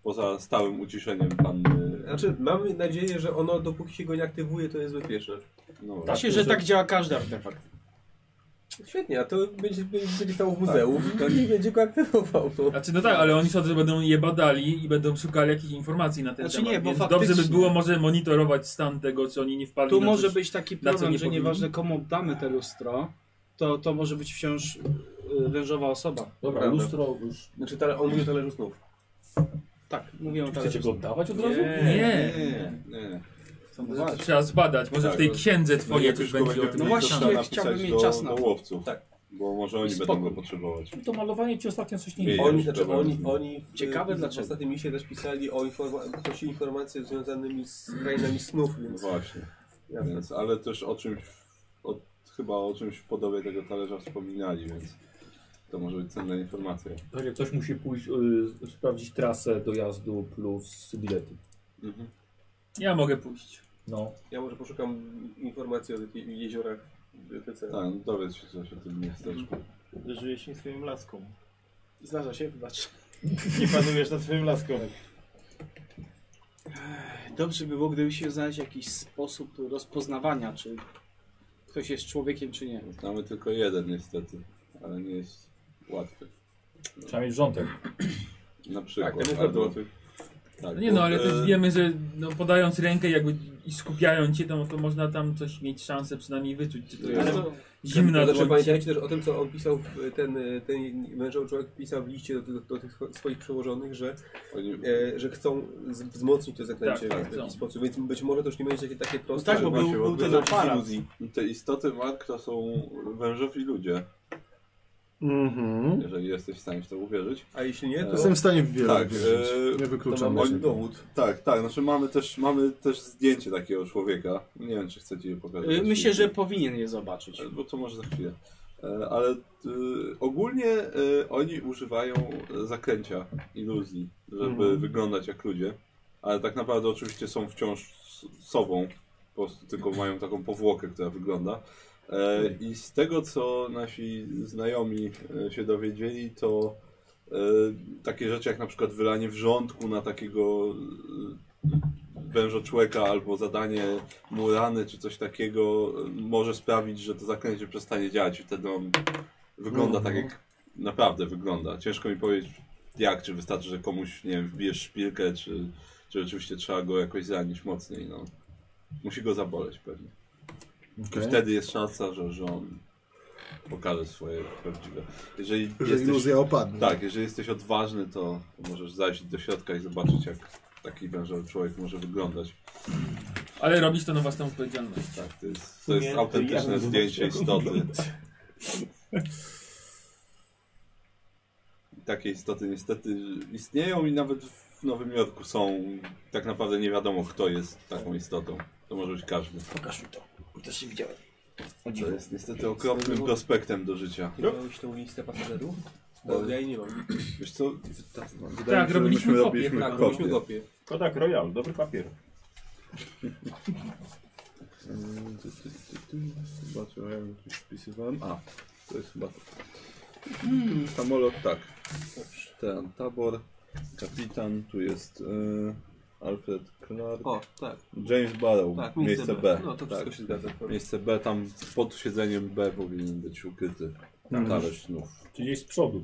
[SPEAKER 8] Poza stałym uciszeniem e, panny.
[SPEAKER 7] Znaczy, mamy nadzieję, że ono, dopóki się go nie aktywuje, to jest bezpieczne.
[SPEAKER 8] No, tak.
[SPEAKER 9] Myślę, że tak działa każdy artefakt.
[SPEAKER 7] Świetnie, a to będzie, będzie stało w muzeum,
[SPEAKER 8] Tak,
[SPEAKER 7] to nie będzie go aktywował. No.
[SPEAKER 3] Znaczy, no tak, ale oni sądzą, że będą je badali i będą szukali jakichś informacji na ten
[SPEAKER 9] Znaczy
[SPEAKER 3] temat.
[SPEAKER 9] nie, bo
[SPEAKER 3] więc
[SPEAKER 9] faktycznie-
[SPEAKER 3] dobrze by było może monitorować stan tego, czy oni nie wpadli
[SPEAKER 9] Tu
[SPEAKER 3] na
[SPEAKER 9] może
[SPEAKER 3] coś.
[SPEAKER 9] być taki
[SPEAKER 3] na co
[SPEAKER 9] problem,
[SPEAKER 3] nie
[SPEAKER 9] że
[SPEAKER 3] powinni?
[SPEAKER 9] nieważne komu damy te lustro, to, to może być wciąż y, wężowa osoba.
[SPEAKER 2] Dobra,
[SPEAKER 7] Prawda.
[SPEAKER 2] lustro już.
[SPEAKER 7] Znaczy, tale, on mówi o talerzu snów.
[SPEAKER 9] Tak, mówię o
[SPEAKER 2] Chcecie
[SPEAKER 9] talerzu.
[SPEAKER 2] go oddawać od razu?
[SPEAKER 3] Nie,
[SPEAKER 8] Nie, nie.
[SPEAKER 3] to trzeba zbadać. Może
[SPEAKER 8] Tak,
[SPEAKER 3] w tej
[SPEAKER 8] bo-
[SPEAKER 3] księdze
[SPEAKER 8] No,
[SPEAKER 3] twojej
[SPEAKER 8] jak
[SPEAKER 3] coś
[SPEAKER 8] już go
[SPEAKER 3] będzie o
[SPEAKER 8] będziemy
[SPEAKER 3] tym
[SPEAKER 9] No
[SPEAKER 8] mieli, to
[SPEAKER 9] właśnie,
[SPEAKER 8] trzeba napisać
[SPEAKER 9] chciałbym mieć
[SPEAKER 8] do,
[SPEAKER 9] czas na
[SPEAKER 8] do
[SPEAKER 9] to.
[SPEAKER 8] łowców.
[SPEAKER 7] Tak.
[SPEAKER 8] Bo może oni
[SPEAKER 9] Spoko.
[SPEAKER 8] będą go potrzebować.
[SPEAKER 2] To malowanie ci ostatnio coś nie
[SPEAKER 8] Nie,
[SPEAKER 2] było.
[SPEAKER 8] ja
[SPEAKER 7] Oni,
[SPEAKER 8] już
[SPEAKER 7] znaczy,
[SPEAKER 8] dobra,
[SPEAKER 7] oni,
[SPEAKER 8] rozumiem.
[SPEAKER 7] oni w,
[SPEAKER 9] Ciekawe
[SPEAKER 7] w,
[SPEAKER 9] dlaczego.
[SPEAKER 7] W ostatnim misie też pisali o informa- prosili informacje związanymi z krainami snów,
[SPEAKER 8] No
[SPEAKER 7] więc...
[SPEAKER 8] właśnie.
[SPEAKER 7] Jasne.
[SPEAKER 8] Więc, ale też o czymś, o, chyba o czymś w podobie tego talerza wspominali, więc to może być cenna informacja.
[SPEAKER 2] Słuchajcie, Ktoś musi pójść, y, sprawdzić trasę dojazdu plus bilety.
[SPEAKER 8] Mhm.
[SPEAKER 3] Ja mogę pójść.
[SPEAKER 2] No,
[SPEAKER 7] Ja może poszukam informacji o tych je- jeziorach w bibliotece.
[SPEAKER 8] Tak, no dowiedz się coś o tym miasteczku.
[SPEAKER 10] Żyjesz się swoim laską.
[SPEAKER 9] Zdarza się, wybacz.
[SPEAKER 10] Nie panujesz nad swoim laską.
[SPEAKER 9] Dobrze by było, gdyby się znaleźć jakiś sposób rozpoznawania, czy ktoś jest człowiekiem, czy nie.
[SPEAKER 8] Znamy tylko jeden niestety. ale nie jest łatwy.
[SPEAKER 2] Trzeba mieć wrzątek.
[SPEAKER 8] Na
[SPEAKER 7] Tak,
[SPEAKER 8] przykład.
[SPEAKER 7] to jest
[SPEAKER 8] albo-
[SPEAKER 7] bardzo łatwy.
[SPEAKER 8] tak,
[SPEAKER 3] No nie
[SPEAKER 8] bo,
[SPEAKER 3] no, ale
[SPEAKER 8] e,
[SPEAKER 3] też wiemy, że no, podając rękę jakby i skupiając się, to, to można tam coś mieć szansę przynajmniej wyczuć, czy to
[SPEAKER 7] Ale
[SPEAKER 3] jest
[SPEAKER 7] to-
[SPEAKER 3] zimna
[SPEAKER 7] Znaczy,
[SPEAKER 3] dłoń.
[SPEAKER 7] pamiętajcie też o tym, co on pisał, w ten, ten mężowy człowiek pisał w liście do, do, do tych swoich przełożonych, że,
[SPEAKER 8] oni-
[SPEAKER 7] e, że chcą z, wzmocnić to zaklęcie
[SPEAKER 3] Tak, tak,
[SPEAKER 7] w
[SPEAKER 3] chcą.
[SPEAKER 7] jakiś sposób, więc być może to już nie będzie takie, takie proste.
[SPEAKER 8] tak, bo
[SPEAKER 7] że-
[SPEAKER 8] był,
[SPEAKER 7] że
[SPEAKER 8] był
[SPEAKER 7] właśnie
[SPEAKER 8] ten
[SPEAKER 7] odbywać się z
[SPEAKER 8] aparat.
[SPEAKER 7] iluzji.
[SPEAKER 8] Te istoty Mark to są wężowi ludzie,
[SPEAKER 6] Mhm.
[SPEAKER 8] jeżeli jesteś w stanie w to uwierzyć.
[SPEAKER 7] A jeśli nie, to...
[SPEAKER 6] Jestem w stanie w wiele
[SPEAKER 8] Tak,
[SPEAKER 6] wierzyć.
[SPEAKER 8] e,
[SPEAKER 6] Nie
[SPEAKER 7] to
[SPEAKER 6] wykluczam.
[SPEAKER 7] mam
[SPEAKER 6] tego.
[SPEAKER 7] oni dowód.
[SPEAKER 8] Tak, tak, znaczy mamy też, mamy też zdjęcie takiego człowieka. Nie wiem, czy chcecie je pokazać.
[SPEAKER 9] Y, Myślę, że powinien je zobaczyć.
[SPEAKER 8] E, Bo to może za chwilę. E, Ale y, ogólnie y, oni używają e, zaklęcia, iluzji, żeby
[SPEAKER 9] Mhm.
[SPEAKER 8] wyglądać jak ludzie. Ale tak naprawdę oczywiście są wciąż s- sobą. Po prostu tylko mają taką powłokę, która wygląda. E, I z tego, co nasi znajomi e, się dowiedzieli, to e, takie rzeczy jak na przykład wylanie wrzątku na takiego e, wężoczłeka albo zadanie mu rany czy coś takiego e, może sprawić, że to zaklęcie przestanie działać i wtedy on wygląda
[SPEAKER 6] No,
[SPEAKER 8] tak, jak naprawdę wygląda. Ciężko mi powiedzieć jak, czy wystarczy, że komuś, nie wiem, wbijesz szpilkę, czy, czy rzeczywiście trzeba go jakoś zranić mocniej, no. Musi go zaboleć pewnie. I
[SPEAKER 6] Okej.
[SPEAKER 8] wtedy jest szansa, że, że on pokaże swoje prawdziwe. Jeżeli
[SPEAKER 6] Że
[SPEAKER 8] jesteś,
[SPEAKER 6] iluzja opadnie.
[SPEAKER 8] tak, jeżeli jesteś odważny, to, to możesz zajść do środka i zobaczyć, jak taki wężowy człowiek może wyglądać.
[SPEAKER 3] Ale robisz to na własną odpowiedzialność.
[SPEAKER 8] Tak, to jest, to
[SPEAKER 10] sumie
[SPEAKER 8] jest
[SPEAKER 10] to ja
[SPEAKER 8] autentyczne
[SPEAKER 10] bym
[SPEAKER 8] zdjęcie
[SPEAKER 10] zobaczył,
[SPEAKER 8] istoty. I Takie istoty niestety istnieją i nawet w Nowym Jorku są. Tak naprawdę nie wiadomo, kto jest taką istotą. To może być każdy.
[SPEAKER 23] Pokaż mi to. Bo Też się widziałem.
[SPEAKER 8] To jest niestety okropnym prospektem do życia.
[SPEAKER 7] Miałeś tą listę pasażerów? Bo ja jej nie mam.
[SPEAKER 8] Wiesz co?
[SPEAKER 3] Tak,
[SPEAKER 8] mi się, że
[SPEAKER 3] robiliśmy
[SPEAKER 8] myśmy
[SPEAKER 3] kopię,
[SPEAKER 8] robiliśmy
[SPEAKER 7] Tak,
[SPEAKER 8] kopię.
[SPEAKER 7] robiliśmy kopię.
[SPEAKER 10] tak,
[SPEAKER 4] Kodak Royal, dobry papier.
[SPEAKER 8] Mm, ty, ty, ty, ty. Zobaczę, ja tu wpisywałem. A, to jest chyba to. Hmm, samolot, tak. Ten tabor, kapitan, tu jest e, Alfred Clark.
[SPEAKER 7] O, tak,
[SPEAKER 8] James Barrow,
[SPEAKER 7] tak,
[SPEAKER 8] miejsce, B.
[SPEAKER 7] No to wszystko
[SPEAKER 8] tak.
[SPEAKER 7] się zgadza.
[SPEAKER 8] Miejsce B, tam pod siedzeniem B powinien być ukryty.
[SPEAKER 6] Mhm.
[SPEAKER 8] Talerz snów.
[SPEAKER 2] Czyli gdzieś z przodu.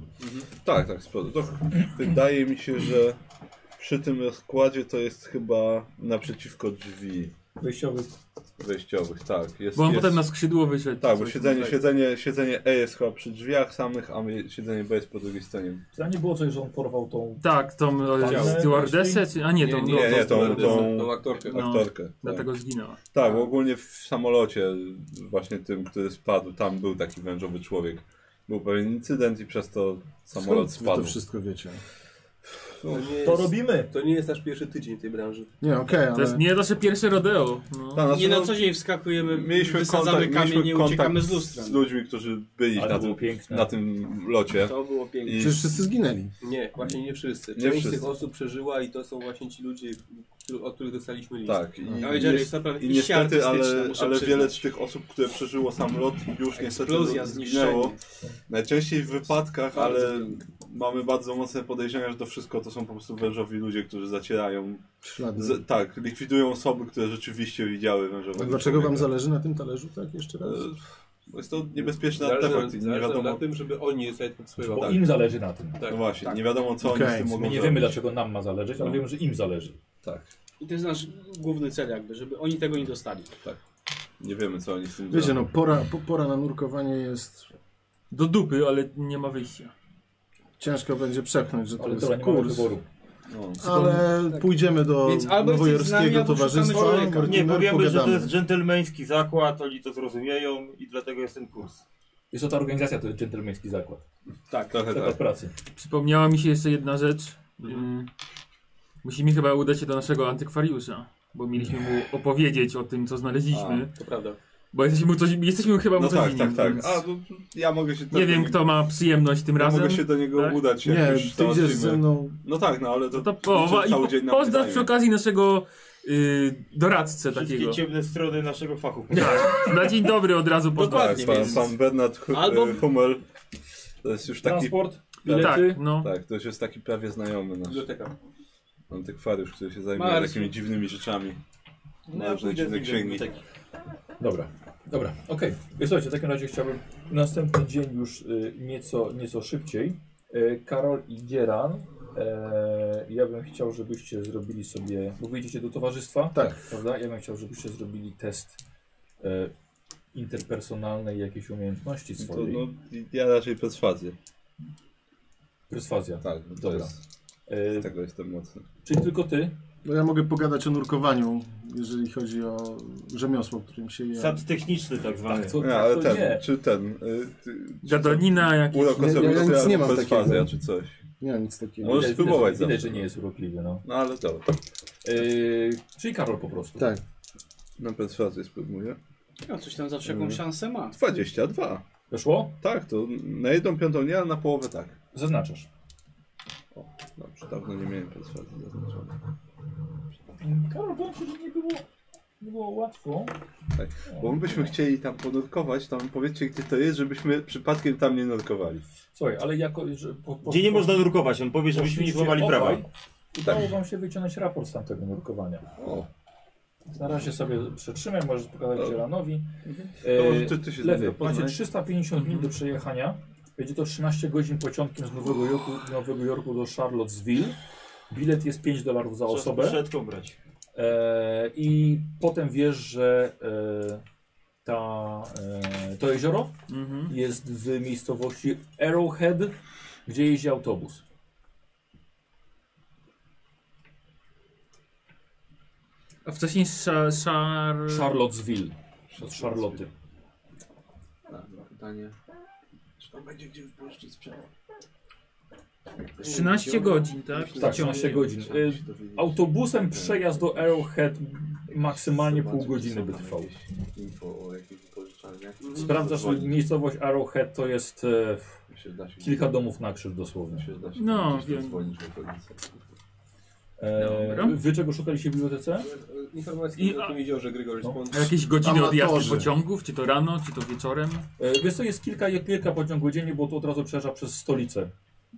[SPEAKER 8] Tak, tak, z przodu. To ch- wydaje mi się, że przy tym rozkładzie to jest chyba naprzeciwko drzwi
[SPEAKER 2] Wejściowy.
[SPEAKER 8] wejściowych, tak. Jest,
[SPEAKER 3] Bo on
[SPEAKER 8] jest...
[SPEAKER 3] potem na skrzydło wyszedł.
[SPEAKER 8] Tak, bo
[SPEAKER 3] Coś
[SPEAKER 8] siedzenie,
[SPEAKER 3] tutaj.
[SPEAKER 8] siedzenie, siedzenie E jest chyba przy drzwiach samych, a my- siedzenie B jest po drugiej stronie.
[SPEAKER 2] Czy tam nie było coś, że on porwał tą...
[SPEAKER 3] Tak, tą e,
[SPEAKER 2] Działy
[SPEAKER 3] stewardessę, czy... A nie, tą...
[SPEAKER 9] No,
[SPEAKER 8] nie, nie, tą-
[SPEAKER 7] tą,
[SPEAKER 8] tą-
[SPEAKER 7] tą aktorkę.
[SPEAKER 3] No.
[SPEAKER 8] Aktorkę. tak.
[SPEAKER 3] Dlatego zginęła.
[SPEAKER 8] tak, bo ogólnie w samolocie właśnie tym, który spadł, tam był taki wężowy człowiek. Był pewien incydent i przez to samolot
[SPEAKER 6] Skąd wy
[SPEAKER 8] spadł.
[SPEAKER 6] to wszystko wiecie?
[SPEAKER 7] To nie
[SPEAKER 2] To
[SPEAKER 7] jest,
[SPEAKER 2] robimy!
[SPEAKER 7] to nie jest nasz pierwszy tydzień w tej branży.
[SPEAKER 6] Nie, okej,
[SPEAKER 3] To jest
[SPEAKER 6] ale...
[SPEAKER 3] nie nasze pierwsze rodeo. No.
[SPEAKER 8] Tak, znaczy,
[SPEAKER 9] Nie na
[SPEAKER 8] no,
[SPEAKER 9] co dzień wskakujemy,
[SPEAKER 8] Mieliśmy
[SPEAKER 9] wysadzamy
[SPEAKER 8] kontakt,
[SPEAKER 9] kamień
[SPEAKER 8] mieliśmy
[SPEAKER 9] i
[SPEAKER 8] kontakt
[SPEAKER 9] uciekamy z no.
[SPEAKER 8] z
[SPEAKER 9] lustrem.
[SPEAKER 8] ludźmi, którzy byli
[SPEAKER 2] Ale
[SPEAKER 8] na
[SPEAKER 2] było
[SPEAKER 8] tym,
[SPEAKER 2] piękne.
[SPEAKER 8] na tym locie.
[SPEAKER 9] To było piękne.
[SPEAKER 8] I
[SPEAKER 6] Przecież wszyscy zginęli.
[SPEAKER 7] Nie, właśnie nie wszyscy.
[SPEAKER 8] Nie
[SPEAKER 7] Część z tych
[SPEAKER 8] wszyscy.
[SPEAKER 7] osób przeżyła i to są właśnie ci ludzie, którzy- od których dostaliśmy list.
[SPEAKER 8] tak, i,
[SPEAKER 9] No i Jerry, jest naprawdę
[SPEAKER 8] I
[SPEAKER 9] iście
[SPEAKER 8] niestety, ale,
[SPEAKER 9] artystyczne, muszę
[SPEAKER 8] ale
[SPEAKER 9] przyznać.
[SPEAKER 8] wiele z tych osób, które przeżyło samolot, już niestety
[SPEAKER 9] Eksplozja,
[SPEAKER 8] zginęło.
[SPEAKER 9] zniszczenie.
[SPEAKER 8] Najczęściej w wypadkach,
[SPEAKER 9] Bardzo
[SPEAKER 8] ale mamy bardzo mocne podejrzenia, że to wszystko to są po prostu wężowi ludzie, którzy zacierają.
[SPEAKER 6] Ślady.
[SPEAKER 8] Z, tak, likwidują osoby, które rzeczywiście widziały wężowego.
[SPEAKER 6] Dlaczego wam
[SPEAKER 8] człowieka.
[SPEAKER 6] zależy na tym talerzu, tak? Jeszcze raz?
[SPEAKER 8] E, bo Jest to niebezpieczny
[SPEAKER 7] Zależy nam-
[SPEAKER 8] artefakt i nie
[SPEAKER 7] zależy nam na
[SPEAKER 8] wiadomo.
[SPEAKER 7] tym, żeby oni je sobie
[SPEAKER 2] Bo
[SPEAKER 7] podsyłali.
[SPEAKER 2] im zależy na tym.
[SPEAKER 7] tak,
[SPEAKER 8] No właśnie, nie wiadomo co oni
[SPEAKER 6] Okej,
[SPEAKER 8] z tym
[SPEAKER 6] my
[SPEAKER 8] mogą
[SPEAKER 2] My nie
[SPEAKER 8] zrobić.
[SPEAKER 2] wiemy, dlaczego nam ma zależeć, ale wiemy, że im zależy.
[SPEAKER 8] Tak,
[SPEAKER 9] I to jest nasz główny cel jakby, żeby oni tego nie dostali.
[SPEAKER 8] nie wiemy co oni z tym
[SPEAKER 6] Wiecie,
[SPEAKER 8] zrobią.
[SPEAKER 6] no pora, po, pora na nurkowanie jest...
[SPEAKER 3] Do dupy, ale nie ma wyjścia.
[SPEAKER 6] Ciężko będzie przepchnąć, że to
[SPEAKER 2] Ale
[SPEAKER 6] jest
[SPEAKER 2] dobra, nie mamy
[SPEAKER 6] kurs.
[SPEAKER 2] wyboru.
[SPEAKER 8] No.
[SPEAKER 6] Ale pójdziemy do
[SPEAKER 9] tak. Więc albo jesteś z nami,
[SPEAKER 6] Nowojorskiego
[SPEAKER 9] albo szukamy
[SPEAKER 6] Towarzystwa
[SPEAKER 9] człowieka.
[SPEAKER 10] Nie,
[SPEAKER 6] Mortimer,
[SPEAKER 10] powiemy, że to
[SPEAKER 6] pogadamy.
[SPEAKER 10] jest dżentelmeński zakład, oni to zrozumieją i dlatego jest ten kurs.
[SPEAKER 2] Jest to ta organizacja, to jest dżentelmeński zakład.
[SPEAKER 8] Tak, trochę
[SPEAKER 2] Zakład
[SPEAKER 8] tak.
[SPEAKER 2] pracy.
[SPEAKER 3] Przypomniała mi się jeszcze jedna rzecz.
[SPEAKER 8] Mhm.
[SPEAKER 3] Mm. Musimy chyba udać się do naszego antykwariusza, bo mieliśmy mu opowiedzieć o tym, co znaleźliśmy.
[SPEAKER 7] To prawda.
[SPEAKER 3] Bo jesteśmy, mu coś, jesteśmy mu chyba mu
[SPEAKER 8] No
[SPEAKER 3] coś
[SPEAKER 8] tak,
[SPEAKER 3] winni,
[SPEAKER 8] tak, tak.
[SPEAKER 3] więc
[SPEAKER 8] A, no, ja mogę się
[SPEAKER 3] Nie wiem, kto ma przyjemność tym
[SPEAKER 8] Ja
[SPEAKER 3] razem.
[SPEAKER 8] mogę się do niego
[SPEAKER 3] tak?
[SPEAKER 8] udać, jak
[SPEAKER 6] Nie,
[SPEAKER 8] już
[SPEAKER 6] ty idziesz
[SPEAKER 8] załatwimy.
[SPEAKER 6] ze mną.
[SPEAKER 8] No tak, no ale to,
[SPEAKER 3] No to połowa i
[SPEAKER 8] cały
[SPEAKER 3] po,
[SPEAKER 8] dzień na
[SPEAKER 3] pozdrow
[SPEAKER 8] pytanie.
[SPEAKER 3] przy okazji naszego y, doradcę
[SPEAKER 10] Wszystkie
[SPEAKER 3] takiego.
[SPEAKER 10] ciemne strony naszego fachu.
[SPEAKER 3] Tak, na dzień dobry od razu
[SPEAKER 5] No
[SPEAKER 3] pozdrow.
[SPEAKER 8] Tak, pan, pan Bernard Hu-
[SPEAKER 9] Albo-
[SPEAKER 8] e, Hummel to jest już taki...
[SPEAKER 2] Transport,
[SPEAKER 3] Tak,
[SPEAKER 2] bilety.
[SPEAKER 3] no.
[SPEAKER 8] Tak, to już jest taki prawie znajomy nasz
[SPEAKER 7] Biblioteka.
[SPEAKER 8] antykwariusz, który się zajmuje
[SPEAKER 9] Marsu.
[SPEAKER 8] takimi dziwnymi rzeczami.
[SPEAKER 10] No,
[SPEAKER 8] różne
[SPEAKER 10] pójdę
[SPEAKER 8] dziwne
[SPEAKER 10] z nim do
[SPEAKER 8] księgi.
[SPEAKER 10] biblioteki.
[SPEAKER 2] Dobra. Dobra, okej. Okay. Słuchajcie, w takim razie chciałbym następny dzień już y, nieco, nieco szybciej. Y, Karol i Gieran, e, ja bym chciał, żebyście zrobili sobie, bo wyjdziecie do towarzystwa,
[SPEAKER 6] Tak.
[SPEAKER 2] prawda? Ja bym chciał, żebyście zrobili test e, interpersonalnej jakiejś umiejętności
[SPEAKER 5] To,
[SPEAKER 2] swojej.
[SPEAKER 5] no, ja raczej perswazję.
[SPEAKER 2] Perswazja.
[SPEAKER 5] Tak, no to
[SPEAKER 2] Dobra.
[SPEAKER 5] jest, tak.
[SPEAKER 2] E,
[SPEAKER 5] z tego jestem mocny.
[SPEAKER 2] Czyli tylko ty?
[SPEAKER 6] No ja mogę pogadać o nurkowaniu, jeżeli chodzi o rzemiosło, którym się je.
[SPEAKER 10] Sad techniczny tak zwany.
[SPEAKER 2] Tak, co,
[SPEAKER 5] Nie, ale
[SPEAKER 2] co
[SPEAKER 5] ten,
[SPEAKER 2] nie.
[SPEAKER 5] czy ten, y, ty,
[SPEAKER 3] Gadanina jakieś.
[SPEAKER 5] urok
[SPEAKER 6] Nie, nie, ja nic
[SPEAKER 5] osobisty
[SPEAKER 6] nie
[SPEAKER 5] albo
[SPEAKER 6] mam
[SPEAKER 5] perswazja,
[SPEAKER 6] takiego.
[SPEAKER 5] czy coś.
[SPEAKER 6] Nie mam nic takiego.
[SPEAKER 5] Możesz
[SPEAKER 2] Widać-
[SPEAKER 5] spróbować
[SPEAKER 2] Widać, widać,
[SPEAKER 5] zawsze.
[SPEAKER 2] że nie jest urokliwy, no.
[SPEAKER 5] No ale dobra,
[SPEAKER 2] E, czyli Karol po prostu.
[SPEAKER 6] Tak.
[SPEAKER 5] na perswazję spróbuję.
[SPEAKER 9] No, coś tam zawsze jakąś szansę ma.
[SPEAKER 5] 22.
[SPEAKER 2] Weszło?
[SPEAKER 5] Tak, to na jedną piątą nie, a na połowę tak.
[SPEAKER 2] Zaznaczasz.
[SPEAKER 5] Dobrze, dawno nie miałem perswazji zaznaczonej.
[SPEAKER 2] Karol, powiem ci, że nie było, nie było łatwo.
[SPEAKER 5] Tak, Bo my byśmy chcieli tam ponurkować, tam powiedzcie gdzie to jest, żebyśmy przypadkiem tam nie nurkowali.
[SPEAKER 2] Słuchaj, ale jako... Że po, po,
[SPEAKER 10] Gdzie nie można drukować, on powie, żebyśmy nie
[SPEAKER 2] poszliście
[SPEAKER 10] złamali prawa.
[SPEAKER 2] obaj, Udało wam się wyciągnąć raport z tamtego nurkowania.
[SPEAKER 5] O,
[SPEAKER 2] Na razie sobie przetrzymaj, możesz pokazać
[SPEAKER 5] Dobra.
[SPEAKER 2] Zielanowi.
[SPEAKER 5] to może ty, ty się
[SPEAKER 2] e, Lewy, macie
[SPEAKER 5] Macie
[SPEAKER 2] 350 dni do przejechania. Będzie to 13 godzin pociągiem z Nowego Jorku, Nowego Jorku do Charlottesville. Bilet jest 5 dolarów za osobę.
[SPEAKER 10] Przedką brać.
[SPEAKER 2] E, I potem wiesz, że e, ta, e, to jezioro
[SPEAKER 3] Mhm.
[SPEAKER 2] jest w miejscowości Arrowhead, gdzie jeździ autobus.
[SPEAKER 3] A wcześniej sza, szar...
[SPEAKER 2] Charlottesville. Od Charlotte.
[SPEAKER 7] Pytanie. Czy tam będzie gdzie wypuścić sprzęt?
[SPEAKER 3] 13 godzin, tak?
[SPEAKER 2] Tak, 13 godzin. E, Autobusem przejazd do Arrowhead maksymalnie pół godziny by trwał. Mhm.
[SPEAKER 8] Info o jakichś wypożyczalniach.
[SPEAKER 2] Sprawdzasz, że miejscowość Arrowhead to jest e,
[SPEAKER 8] Myślę, że da się-
[SPEAKER 2] kilka domów na krzyż dosłownie.
[SPEAKER 8] myślę, że da się
[SPEAKER 3] No,
[SPEAKER 8] gdzieś tam
[SPEAKER 3] wiem.
[SPEAKER 8] dzwonić w okolicy.
[SPEAKER 3] Dobra.
[SPEAKER 2] E, wy czego szukaliście w bibliotece?
[SPEAKER 7] Informacje
[SPEAKER 3] I-
[SPEAKER 7] o tym że Gregory
[SPEAKER 2] No.
[SPEAKER 7] Spons.
[SPEAKER 3] A Jakieś godziny
[SPEAKER 6] Amatorzy.
[SPEAKER 3] odjazdu pociągów, czy to rano, czy to wieczorem?
[SPEAKER 2] E, Wiesz co, jest kilka, kilka pociągów dziennie, bo to od razu przejeżdża przez stolicę.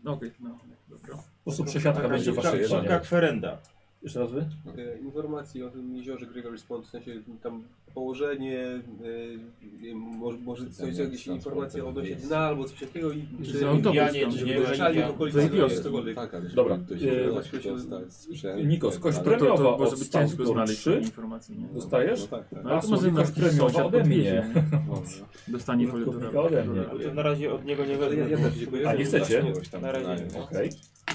[SPEAKER 3] Okej, no, dobra.
[SPEAKER 2] Po prostu przesiadka Tak, będzie
[SPEAKER 10] Szybka,
[SPEAKER 2] wasze
[SPEAKER 10] szybka
[SPEAKER 2] jedzenie.
[SPEAKER 10] kwerenda.
[SPEAKER 2] Jeszcze raz wy?
[SPEAKER 7] E, Informacji o tym jeziorze Gregory Spont, w sensie tam położenie, e, może, może coś, jakieś informacje odnośnie dna albo coś takiego i
[SPEAKER 3] Czy
[SPEAKER 7] czy
[SPEAKER 3] autobus
[SPEAKER 10] Indianie,
[SPEAKER 3] tam,
[SPEAKER 10] czy
[SPEAKER 7] nie
[SPEAKER 10] nie,
[SPEAKER 7] wyjeżdżali w
[SPEAKER 10] Indianie.
[SPEAKER 7] okolicy
[SPEAKER 3] Tej wiosce.
[SPEAKER 7] cokolwiek.
[SPEAKER 8] Tak, ale
[SPEAKER 2] Dobra,
[SPEAKER 8] żeby ktoś
[SPEAKER 2] e,
[SPEAKER 8] nie
[SPEAKER 7] e,
[SPEAKER 8] da się dostać sprzęt.
[SPEAKER 2] Nikos, kość
[SPEAKER 8] tak
[SPEAKER 2] premiowa
[SPEAKER 3] To, to może
[SPEAKER 2] od
[SPEAKER 3] być
[SPEAKER 2] South
[SPEAKER 3] ciężko
[SPEAKER 2] Door
[SPEAKER 3] znaleźć
[SPEAKER 2] 3.
[SPEAKER 3] takie informacje. Nie?
[SPEAKER 2] Dostajesz? no.
[SPEAKER 8] No tak, tak.
[SPEAKER 3] No, ale
[SPEAKER 2] A
[SPEAKER 3] to może
[SPEAKER 2] słowika
[SPEAKER 3] jakiś
[SPEAKER 2] premiowa
[SPEAKER 3] sąsiad
[SPEAKER 2] ode
[SPEAKER 3] podwiedzie,
[SPEAKER 2] mnie.
[SPEAKER 3] nie? Dostanie
[SPEAKER 2] Użytkownika ode mnie.
[SPEAKER 10] Ale to na razie od niego nie
[SPEAKER 7] Ale ja,
[SPEAKER 10] wezmę.
[SPEAKER 7] ja też dziękuję.
[SPEAKER 2] A nie chcecie?
[SPEAKER 8] Kogoś tam
[SPEAKER 10] Na razie
[SPEAKER 8] wynająć,
[SPEAKER 10] nie.
[SPEAKER 2] Okej.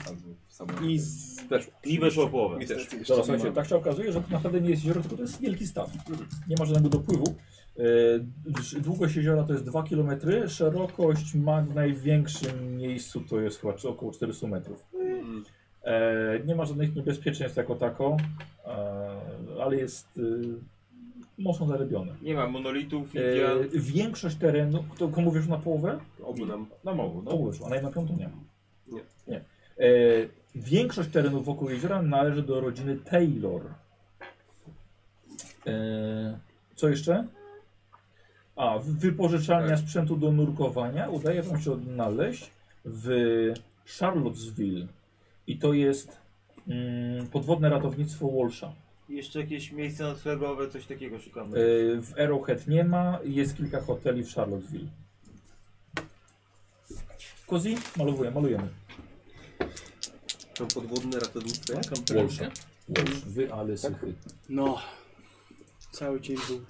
[SPEAKER 8] albo w samochodzie.
[SPEAKER 7] I z... weszło.
[SPEAKER 10] Mi weszło połowę.
[SPEAKER 7] Mi też.
[SPEAKER 2] Dobra, słuchajcie, tak się okazuje, że to naprawdę nie jest jezioro, tylko to jest wielki staw. Nie ma żadnego dopływu. E, dż- Długość jeziora to jest 2 km, szerokość ma w największym miejscu to jest chyba czy około 400 metrów. E, Nie ma żadnych niebezpieczeństw jako tako, e, ale jest e, mocno zarybione.
[SPEAKER 10] Nie ma monolitów,
[SPEAKER 2] E,
[SPEAKER 10] Indian.
[SPEAKER 2] Większość terenu, to komu mówisz na połowę?
[SPEAKER 7] Obu nam.
[SPEAKER 10] Na mowu, no.
[SPEAKER 2] Obóz, a na jedną piątą nie ma.
[SPEAKER 7] Nie.
[SPEAKER 2] nie. E, większość terenów wokół jeziora należy do rodziny Taylor. E, co jeszcze? A, w- wypożyczalnia sprzętu do nurkowania udaje wam się odnaleźć w Charlottesville. I to jest mm, podwodne ratownictwo Walsha.
[SPEAKER 10] Jeszcze jakieś miejsce noclegowe, coś takiego szukamy.
[SPEAKER 2] E, w Arrowhead nie ma, jest kilka hoteli w Charlottesville. Kozi, malowuję, malujemy.
[SPEAKER 7] Tam podwodne ratownictwo.
[SPEAKER 2] Walsha. Walsh. Wy, ale sychy.
[SPEAKER 9] No. Cały dzień był.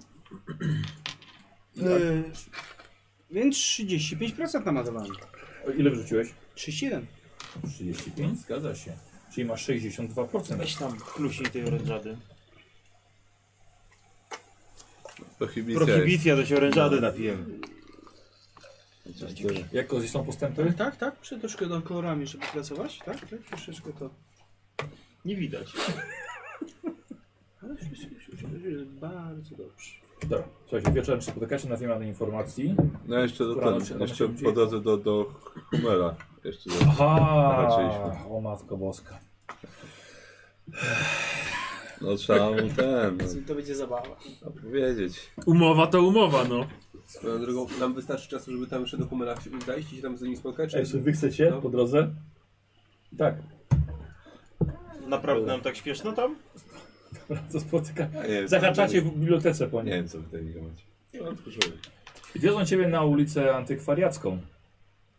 [SPEAKER 9] Yy, więc 35% namalowałem.
[SPEAKER 2] O, Ile wrzuciłeś?
[SPEAKER 9] 31.
[SPEAKER 2] 35, zgadza się. Czyli masz 62%.
[SPEAKER 10] Weź tam klusiej tej orężady.
[SPEAKER 5] Prohibicja jest.
[SPEAKER 10] Prohibicja, to się orężady napijemy.
[SPEAKER 2] Jak Kozi, są postępy?
[SPEAKER 9] Tak, tak, muszę troszkę do kolorami, żeby pracować, tak? tak troszeczkę to.
[SPEAKER 10] Nie widać.
[SPEAKER 9] Ale już- już- już- już jest Bardzo dobrze.
[SPEAKER 2] Dobra. Słuchajcie, wieczorem się spotykacie na wymianę informacji.
[SPEAKER 5] No jeszcze do
[SPEAKER 2] Kurwa, no się-
[SPEAKER 5] ten,
[SPEAKER 2] no
[SPEAKER 5] jeszcze
[SPEAKER 2] się dzieje.
[SPEAKER 5] po drodze do, do Humera. Jeszcze do...
[SPEAKER 2] Aha!
[SPEAKER 5] Zobaczyliśmy.
[SPEAKER 2] O matko boska.
[SPEAKER 5] No trzeba mu ten,
[SPEAKER 9] To będzie zabawa.
[SPEAKER 5] no, powiedzieć.
[SPEAKER 3] Umowa to umowa, no.
[SPEAKER 7] Swoją drogą, nam wystarczy czasu, żeby tam jeszcze do Humera się zajść i się tam z nimi spotkać. Czy...
[SPEAKER 2] wy chcecie
[SPEAKER 7] po
[SPEAKER 2] drodze? Tak,
[SPEAKER 10] Naprawdę nam tak śpieszno tam?
[SPEAKER 2] to spotyka.
[SPEAKER 5] Ja nie wiem, co-
[SPEAKER 2] Zahaczacie w bibliotece po
[SPEAKER 5] Nie
[SPEAKER 2] niej.
[SPEAKER 5] wiem co w tej grze macie.
[SPEAKER 2] Wiozą ciebie na ulicę antykwariacką.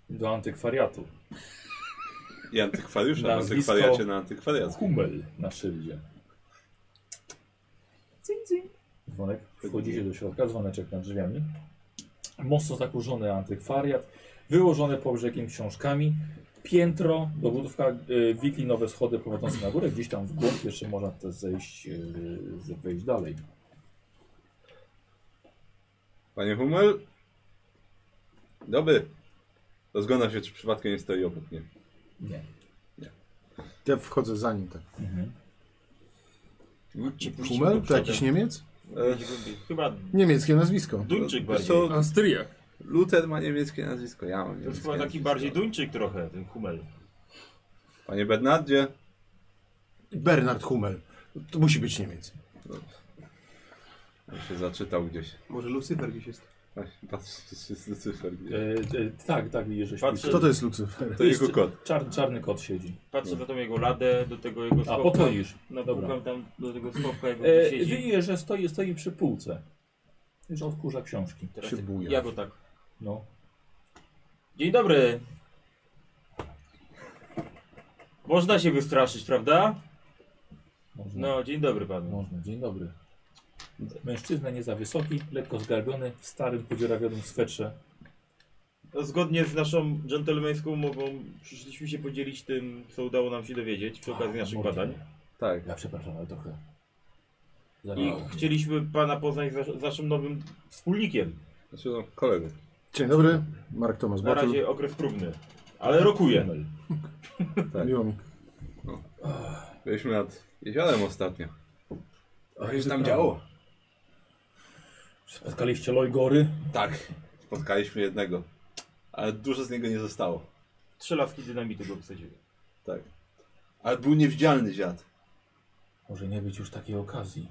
[SPEAKER 2] Do antykwariatu.
[SPEAKER 8] I antykwariusza na
[SPEAKER 2] Nazwisko-
[SPEAKER 8] antykwariacie no, na antykwariacku.
[SPEAKER 2] Hummel na szyldzie. Cyń, cyń. Dzwonek. Wchodzicie do środka, dzwoneczek nad drzwiami. Mocno zakurzony antykwariat, wyłożone po brzegiem książkami. Piętro, dowódówka, e, wiklinowe schody prowadzące na górę. Gdzieś tam w głąb jeszcze można też zejść, e, z- wejść dalej.
[SPEAKER 8] Panie Hummel? Dobry. Rozglądam się, czy przypadkiem nie stoi obok mnie.
[SPEAKER 2] Nie.
[SPEAKER 6] Ja wchodzę za nim tak.
[SPEAKER 2] Mhm.
[SPEAKER 8] Czy puścił go
[SPEAKER 6] Hummel? To
[SPEAKER 8] przodem?
[SPEAKER 6] jakiś Niemiec?
[SPEAKER 8] E,
[SPEAKER 10] Chyba
[SPEAKER 6] Niemieckie nazwisko.
[SPEAKER 10] Duńczyk
[SPEAKER 8] Wiesz
[SPEAKER 10] bardziej.
[SPEAKER 8] co,
[SPEAKER 3] Austriak.
[SPEAKER 8] Luther ma niemieckie nazwisko, ja mam
[SPEAKER 10] To jest
[SPEAKER 8] niemieckie
[SPEAKER 10] chyba taki
[SPEAKER 8] nazwisko.
[SPEAKER 10] bardziej Duńczyk trochę, ten Hummel.
[SPEAKER 8] Panie Bernardzie,
[SPEAKER 6] Bernard Hummel. To musi być Niemiec.
[SPEAKER 8] on się zaczytał gdzieś.
[SPEAKER 10] tak-
[SPEAKER 7] Może Lucyfer gdzieś jest.
[SPEAKER 8] Właśnie, Patrz, czy się z Lucyfer
[SPEAKER 2] E,
[SPEAKER 8] gdzieś.
[SPEAKER 2] e, tak, tak, widzisz, że
[SPEAKER 10] Patrzę-
[SPEAKER 2] śpi.
[SPEAKER 6] Kto to jest Lucyfer?
[SPEAKER 8] To jego kot.
[SPEAKER 2] Czarny, czarny kot siedzi.
[SPEAKER 10] Patrzę na tą jego ladę, do tego jego
[SPEAKER 2] A,
[SPEAKER 10] schowka.
[SPEAKER 2] podchodzisz.
[SPEAKER 10] No,
[SPEAKER 2] Dobra.
[SPEAKER 10] pukam tam do tego schowka, jak on
[SPEAKER 2] E,
[SPEAKER 10] tu siedzi.
[SPEAKER 2] widzisz, że stoi, stoi przy półce. Już odkurza książki.
[SPEAKER 10] Teraz
[SPEAKER 6] się buja.
[SPEAKER 10] Ja go tak.
[SPEAKER 2] No.
[SPEAKER 10] Dzień dobry. Można się wystraszyć, prawda?
[SPEAKER 2] Można.
[SPEAKER 10] No, dzień dobry panu.
[SPEAKER 2] Można. Dzień dobry. Mężczyzna nie za wysoki, lekko zgarbiony, w starym, podzierawionym swetrze.
[SPEAKER 10] No, Zgodnie z naszą dżentelmeńską umową przyszliśmy się podzielić tym, co udało nam się dowiedzieć przy okazji
[SPEAKER 2] A,
[SPEAKER 10] naszych
[SPEAKER 2] mordy.
[SPEAKER 10] badań.
[SPEAKER 8] Tak.
[SPEAKER 2] Ja przepraszam, ale trochę.
[SPEAKER 7] No.
[SPEAKER 10] I
[SPEAKER 2] Zalało.
[SPEAKER 10] chcieliśmy pana poznać z z naszym nowym wspólnikiem.
[SPEAKER 8] Znaczy no, kolegę.
[SPEAKER 6] Dzień dobry, Mark Tomasz
[SPEAKER 10] Na
[SPEAKER 6] Botul.
[SPEAKER 10] razie okres próbny, ale rokuje.
[SPEAKER 8] Tak.
[SPEAKER 6] Miło mi.
[SPEAKER 8] Byliśmy nad jeziorem ostatnio.
[SPEAKER 2] A
[SPEAKER 8] Co się tam działo?
[SPEAKER 2] Spotkaliście Lojgory?
[SPEAKER 8] Tak. Spotkaliśmy jednego. Ale dużo z niego nie zostało.
[SPEAKER 10] Trzy laski dynamitu go wsadziły.
[SPEAKER 8] Tak. Ale był niewidzialny ziad.
[SPEAKER 2] Może nie być już takiej okazji.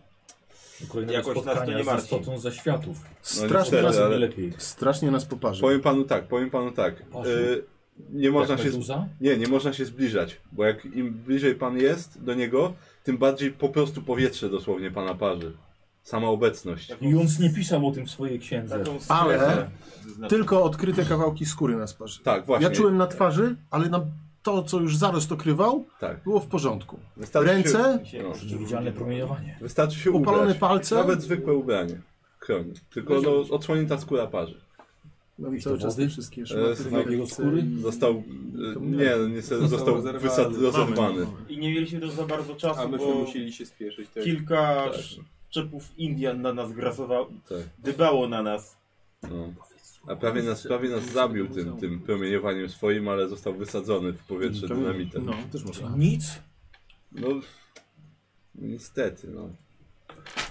[SPEAKER 2] Do Kolejnego
[SPEAKER 10] Jakoś nas to
[SPEAKER 2] spotkania
[SPEAKER 10] nie
[SPEAKER 2] z
[SPEAKER 10] martwi.
[SPEAKER 2] istotą ze światów.
[SPEAKER 6] Strasznie
[SPEAKER 8] No, niestety,
[SPEAKER 6] nas,
[SPEAKER 2] Razem
[SPEAKER 8] ale-
[SPEAKER 2] lepiej.
[SPEAKER 6] strasznie nas poparzy.
[SPEAKER 8] Powiem panu tak, powiem panu tak.
[SPEAKER 2] Boże.
[SPEAKER 8] Y, nie można
[SPEAKER 2] Jak
[SPEAKER 8] się...
[SPEAKER 2] meduza?
[SPEAKER 8] Nie, nie można się zbliżać, bo jak im bliżej pan jest do niego, tym bardziej po prostu powietrze dosłownie pana parzy. Sama obecność.
[SPEAKER 10] Taką-
[SPEAKER 2] I Junc nie pisał o tym w swojej księdze.
[SPEAKER 10] taką
[SPEAKER 6] Ale-
[SPEAKER 10] strefę zaznaczył.
[SPEAKER 6] Tylko odkryte kawałki skóry nas parzy.
[SPEAKER 8] Tak, właśnie.
[SPEAKER 6] Ja czułem na twarzy, ale na to, co już zarost okrywał,
[SPEAKER 8] Tak.
[SPEAKER 6] było w porządku.
[SPEAKER 8] Wystarczy
[SPEAKER 6] Ręce,
[SPEAKER 8] Się, no,
[SPEAKER 2] Widzialne promieniowanie.
[SPEAKER 8] wystarczy się
[SPEAKER 6] Opalone
[SPEAKER 8] ubrać.
[SPEAKER 6] palce?
[SPEAKER 8] Nawet zwykłe ubranie chroni. Tylko no, odsłonięta skóra parzy.
[SPEAKER 6] mam No cały czas te
[SPEAKER 2] dowody?
[SPEAKER 6] wszystkie
[SPEAKER 8] E,
[SPEAKER 6] szmaty.
[SPEAKER 8] z
[SPEAKER 6] na
[SPEAKER 2] jego
[SPEAKER 6] ręce
[SPEAKER 2] skóry?
[SPEAKER 6] i-
[SPEAKER 8] Został... e, Nie, nie został, został wysad, rozerwany.
[SPEAKER 10] I nie mieliśmy też za bardzo czasu,
[SPEAKER 7] A myśmy
[SPEAKER 10] bo
[SPEAKER 7] musieli się spieszyć. Tak.
[SPEAKER 10] kilka szczepów Indian na nas grasowało,
[SPEAKER 8] Tak,
[SPEAKER 10] dybało na nas.
[SPEAKER 8] no. A prawie nas, prawie nas zabił tym, tym promieniowaniem swoim, ale został wysadzony w powietrze dynamitem. Mhm.
[SPEAKER 6] No, też można.
[SPEAKER 2] Nic.
[SPEAKER 8] No, niestety, no.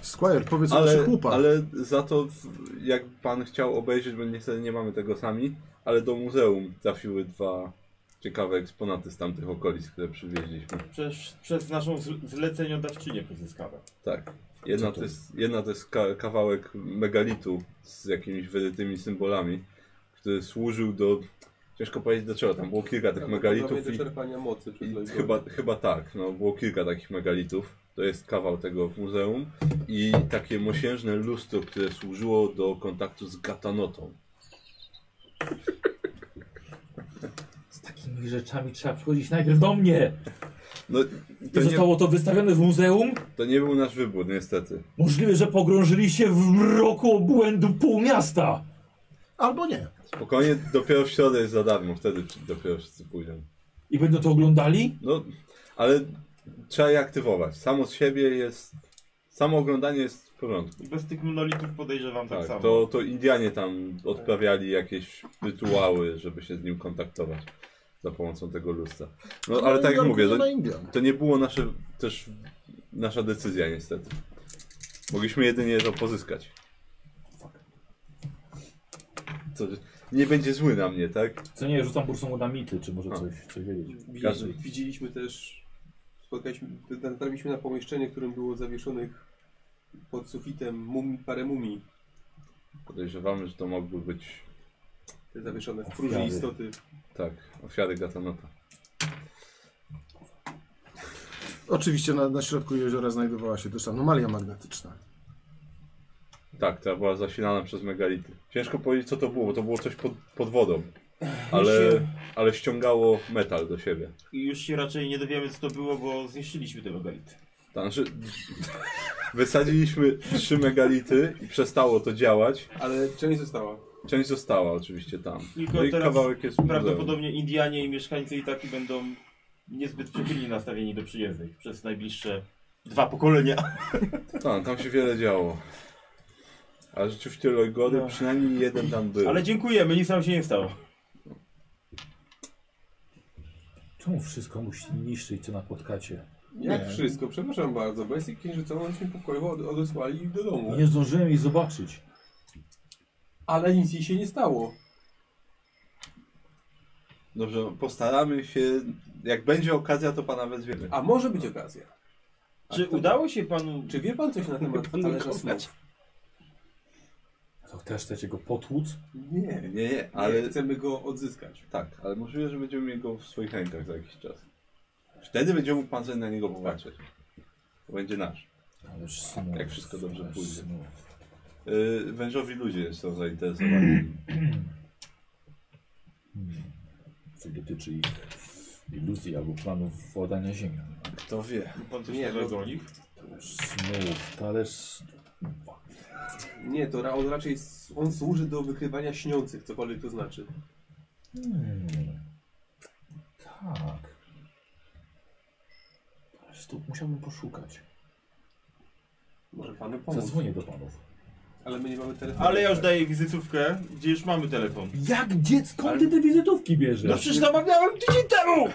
[SPEAKER 6] Squire, powiedz o
[SPEAKER 8] Ale,
[SPEAKER 6] naszych łupach.
[SPEAKER 8] ale za to, w- jak pan chciał obejrzeć, bo niestety nie mamy tego sami, ale do muzeum trafiły dwa ciekawe eksponaty z tamtych okolic, które przywieźliśmy.
[SPEAKER 10] Przez, przez naszą zl- zleceniodawczynię pozyskała.
[SPEAKER 8] Tak. Jedna to jest, jedna to jest ka kawałek megalitu z jakimiś wyrytymi symbolami, który służył do... Ciężko powiedzieć do czego, tam było kilka tych megalitów
[SPEAKER 7] Tak, Do
[SPEAKER 8] i
[SPEAKER 7] czerpania mocy przez
[SPEAKER 8] I
[SPEAKER 7] Lojzora.
[SPEAKER 8] Chyba, chyba tak, no było kilka takich megalitów. To jest kawał tego w muzeum i takie mosiężne lustro, które służyło do kontaktu z gatanotą.
[SPEAKER 2] Z takimi rzeczami trzeba przychodzić najpierw do mnie.
[SPEAKER 8] No to
[SPEAKER 2] I
[SPEAKER 8] nie,
[SPEAKER 2] zostało to wystawione w muzeum.
[SPEAKER 8] to nie był nasz wybór, niestety.
[SPEAKER 2] Możliwe, że pogrążyli się w mroku obłędu pół miasta.
[SPEAKER 6] Albo nie.
[SPEAKER 8] Spokojnie, dopiero w środę jest za darmo, wtedy ci- dopiero wszyscy pójdą.
[SPEAKER 2] I będą to oglądali?
[SPEAKER 8] No, ale trzeba je aktywować. Samo z siebie jest... Samo oglądanie jest w porządku.
[SPEAKER 10] I bez tych monolitów podejrzewam tak,
[SPEAKER 8] Tak,
[SPEAKER 10] samo.
[SPEAKER 8] to, to Indianie tam odprawiali jakieś rytuały, żeby się z nim kontaktować za pomocą tego lustra. No ale tak jak mówię, to,
[SPEAKER 6] Na Indian.
[SPEAKER 8] to nie było nasze, też nasza decyzja niestety. Mogliśmy jedynie to pozyskać. Co, nie będzie zły na mnie, tak?
[SPEAKER 2] Co nie, rzucam bursą na mity, czy może coś, coś wiedzieć.
[SPEAKER 8] Każdy.
[SPEAKER 7] Widzieliśmy, widzieliśmy też, spotkaliśmy, natrafiliśmy na pomieszczenie, w którym było zawieszonych pod sufitem mumi, parę mumii.
[SPEAKER 8] Podejrzewamy, że to mogły być,
[SPEAKER 7] Te zawieszone w próży
[SPEAKER 2] Ofiary.
[SPEAKER 7] istoty.
[SPEAKER 8] tak, ofiary Gatanota.
[SPEAKER 6] Oczywiście na, na środku jeziora znajdowała się też anomalia magnetyczna.
[SPEAKER 8] Tak, ta była zasilana przez megality. Ciężko powiedzieć co to było, bo to było coś pod, pod wodą.
[SPEAKER 10] Już
[SPEAKER 8] Ale,
[SPEAKER 10] się-
[SPEAKER 8] ale ściągało metal do siebie.
[SPEAKER 10] I już się raczej nie dowiemy, co to było, bo zniszczyliśmy te megality.
[SPEAKER 8] To Znaczy, wysadziliśmy trzy megality i przestało to działać.
[SPEAKER 7] Ale część została.
[SPEAKER 8] Część została oczywiście tam.
[SPEAKER 10] Tylko
[SPEAKER 8] no i
[SPEAKER 10] teraz
[SPEAKER 8] kawałek jest w muzeum.
[SPEAKER 10] Prawdopodobnie Indianie i mieszkańcy Itaki będą niezbyt przychylnie nastawieni do przyjezdnych przez najbliższe dwa pokolenia.
[SPEAKER 8] Tak, tam się wiele działo. Ale rzeczywiście Lojgody,
[SPEAKER 10] No.
[SPEAKER 8] przynajmniej jeden tam był.
[SPEAKER 10] Ale dziękujemy, nic nam się nie stało.
[SPEAKER 2] Czemu wszystko musi niszczyć, co napotkacie?
[SPEAKER 7] Jak wszystko, przepraszam bardzo. Bestię księżycową żeśmy pokojowo od, odesłali do domu.
[SPEAKER 2] Nie zdążyłem jej zobaczyć.
[SPEAKER 7] Ale nic jej się nie stało.
[SPEAKER 8] Dobrze, postaramy się. Jak będzie okazja, to pana wezwiemy.
[SPEAKER 7] A może być okazja.
[SPEAKER 10] Czy udało się panu...
[SPEAKER 7] Czy wie pan coś na temat
[SPEAKER 24] Panu
[SPEAKER 7] talerza snu?
[SPEAKER 24] kopać.
[SPEAKER 2] To też chcecie go potłuc?
[SPEAKER 7] Nie,
[SPEAKER 8] Nie, nie, ale
[SPEAKER 7] ale chcemy go odzyskać.
[SPEAKER 8] tak, ale możliwe, że będziemy mieli go w swoich rękach za jakiś czas. Wtedy będzie mógł pan sobie na niego popatrzeć. To będzie nasz.
[SPEAKER 2] Ależ smut,
[SPEAKER 8] Tak, Jak wszystko dobrze
[SPEAKER 2] ależ
[SPEAKER 8] pójdzie.
[SPEAKER 2] smut.
[SPEAKER 8] Yy, wężowi ludzie są zainteresowani.
[SPEAKER 2] Co dotyczy ich iluzji albo planów władania ziemią.
[SPEAKER 8] Kto wie?
[SPEAKER 10] Pan coś
[SPEAKER 7] Nie, no,
[SPEAKER 10] nie,
[SPEAKER 7] bo-
[SPEAKER 10] goli?
[SPEAKER 2] Ależ smut, ależ...
[SPEAKER 7] Nie, to ra- on raczej s- on służy do wykrywania śniących, cokolwiek to znaczy.
[SPEAKER 2] Hmm. Tak. Ależ tu musiałbym poszukać.
[SPEAKER 7] Może panu pomóc.
[SPEAKER 2] Zadzwonię do panów.
[SPEAKER 7] Ale my nie mamy telefonu.
[SPEAKER 10] Ale ja już daję wizytówkę, gdzie już mamy telefon.
[SPEAKER 2] Jak dziecko? Skąd ty te wizytówki
[SPEAKER 10] No
[SPEAKER 2] bierzesz?
[SPEAKER 10] przecież namawiałem tydzień temu!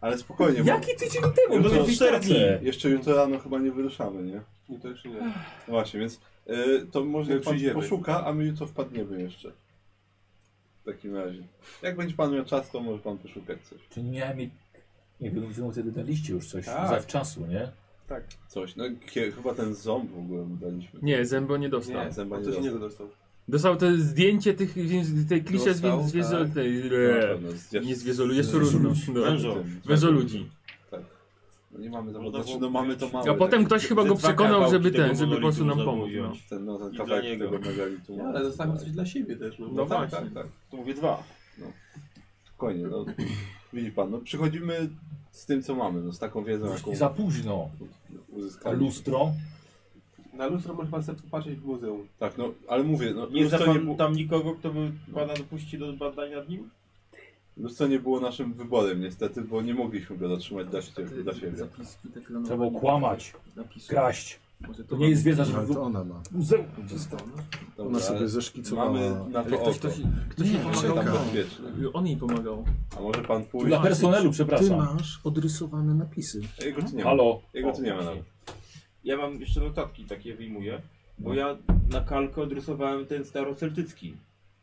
[SPEAKER 8] Ale spokojnie, bo
[SPEAKER 2] Jaki tydzień temu?
[SPEAKER 10] No
[SPEAKER 2] No
[SPEAKER 10] to
[SPEAKER 2] to
[SPEAKER 10] cztery dni.
[SPEAKER 8] jeszcze jutro rano chyba nie wyruszamy, nie?
[SPEAKER 7] Nie, to jeszcze nie.
[SPEAKER 8] No właśnie, więc yy, to może
[SPEAKER 7] My
[SPEAKER 8] pan
[SPEAKER 7] przyjdziemy.
[SPEAKER 8] poszuka, a my jutro wpadniemy jeszcze. W takim razie. Jak będzie pan miał czas, to może pan poszukać coś.
[SPEAKER 2] Czy nie miałem jej... Nie wiem, wy mu wtedy daliście już coś
[SPEAKER 7] Tak.
[SPEAKER 2] zawczasu, nie?
[SPEAKER 8] Coś, no kie- chyba ten ząb w ogóle mu daliśmy.
[SPEAKER 3] Nie, Zembo nie dostał.
[SPEAKER 8] Nie, zęba
[SPEAKER 7] on
[SPEAKER 8] nie
[SPEAKER 7] coś
[SPEAKER 8] dostał.
[SPEAKER 7] innego dostał.
[SPEAKER 3] Dostał to zdjęcie tych, więc- tej klisze
[SPEAKER 7] Dostał,
[SPEAKER 3] zwierzę...
[SPEAKER 7] tak.
[SPEAKER 8] Na pewno, No, z dziewczyn-
[SPEAKER 3] Nie zwierzolu,
[SPEAKER 8] z-
[SPEAKER 3] jeszcze
[SPEAKER 8] z-
[SPEAKER 3] różno.
[SPEAKER 10] Wężo.
[SPEAKER 8] tym.
[SPEAKER 3] Wężo ludzi.
[SPEAKER 8] No nie mamy tam,
[SPEAKER 10] Można
[SPEAKER 8] znaczy,
[SPEAKER 10] było
[SPEAKER 8] no mamy to małe.
[SPEAKER 3] A potem
[SPEAKER 8] takie-
[SPEAKER 3] ktoś chyba
[SPEAKER 10] Te
[SPEAKER 3] go
[SPEAKER 10] dwa
[SPEAKER 3] przekonał,
[SPEAKER 10] kawałki
[SPEAKER 3] żeby
[SPEAKER 10] tego
[SPEAKER 3] ten, żeby po prostu nam
[SPEAKER 10] monolitu
[SPEAKER 3] pomóc.
[SPEAKER 10] można było
[SPEAKER 3] No.
[SPEAKER 10] wziąć.
[SPEAKER 8] Ten, no, ten
[SPEAKER 10] I dla
[SPEAKER 8] kawałek
[SPEAKER 10] niego.
[SPEAKER 8] tego megalitu.
[SPEAKER 7] Nie, ale zostawmy coś dla siebie też. No,
[SPEAKER 3] No
[SPEAKER 7] tak,
[SPEAKER 3] właśnie.
[SPEAKER 7] tak, tak.
[SPEAKER 10] To mówię dwa.
[SPEAKER 8] No. Spokojnie, no. Widzi pan, no przychodzimy z tym, co mamy, no z taką
[SPEAKER 10] Tak.
[SPEAKER 8] wiedzą, jaką
[SPEAKER 2] I za późno. A
[SPEAKER 8] uzyskaliśmy.
[SPEAKER 2] lustro?
[SPEAKER 7] Na lustro może pan sobie popatrzeć w muzeum.
[SPEAKER 8] Tak, no, ale mówię, no,
[SPEAKER 10] Nie zna
[SPEAKER 8] lustro, nie,
[SPEAKER 10] pan
[SPEAKER 8] bu-
[SPEAKER 10] tam nikogo, kto by pana dopuścił do badań nad nim?
[SPEAKER 8] lustro nie było naszym wyborem niestety, bo nie mogliśmy go zatrzymać dla, sie- dla siebie.
[SPEAKER 24] Zapiski
[SPEAKER 10] tak
[SPEAKER 24] deklarowane.
[SPEAKER 2] Trzeba było kłamać,
[SPEAKER 3] no.
[SPEAKER 24] Zapiski.
[SPEAKER 2] kraść.
[SPEAKER 24] Może
[SPEAKER 2] To nie jest wiedza,
[SPEAKER 3] Znaczy,
[SPEAKER 6] Ale
[SPEAKER 2] żeby...
[SPEAKER 6] to ona ma.
[SPEAKER 2] Muzeum.
[SPEAKER 8] Dobra,
[SPEAKER 6] Ona sobie
[SPEAKER 8] ale
[SPEAKER 6] zeszkicowała.
[SPEAKER 8] Mamy na
[SPEAKER 3] Ale
[SPEAKER 8] to
[SPEAKER 3] ktoś,
[SPEAKER 8] oko,
[SPEAKER 3] ktoś, ktoś jej
[SPEAKER 8] że
[SPEAKER 3] pomagał.
[SPEAKER 8] tam
[SPEAKER 6] czeka.
[SPEAKER 8] bezpieczne.
[SPEAKER 3] On jej pomagał.
[SPEAKER 8] A może pan pójść?
[SPEAKER 2] Dla personelu,
[SPEAKER 6] Ty
[SPEAKER 2] przepraszam.
[SPEAKER 6] masz odrysowane napisy.
[SPEAKER 8] Jego tu nie ma.
[SPEAKER 2] Halo.
[SPEAKER 8] Jego tu nie ma
[SPEAKER 10] O,
[SPEAKER 8] nawet.
[SPEAKER 10] Ja mam jeszcze notatki takie wyjmuję, bo ja na kalkę odrysowałem ten staroceltycki,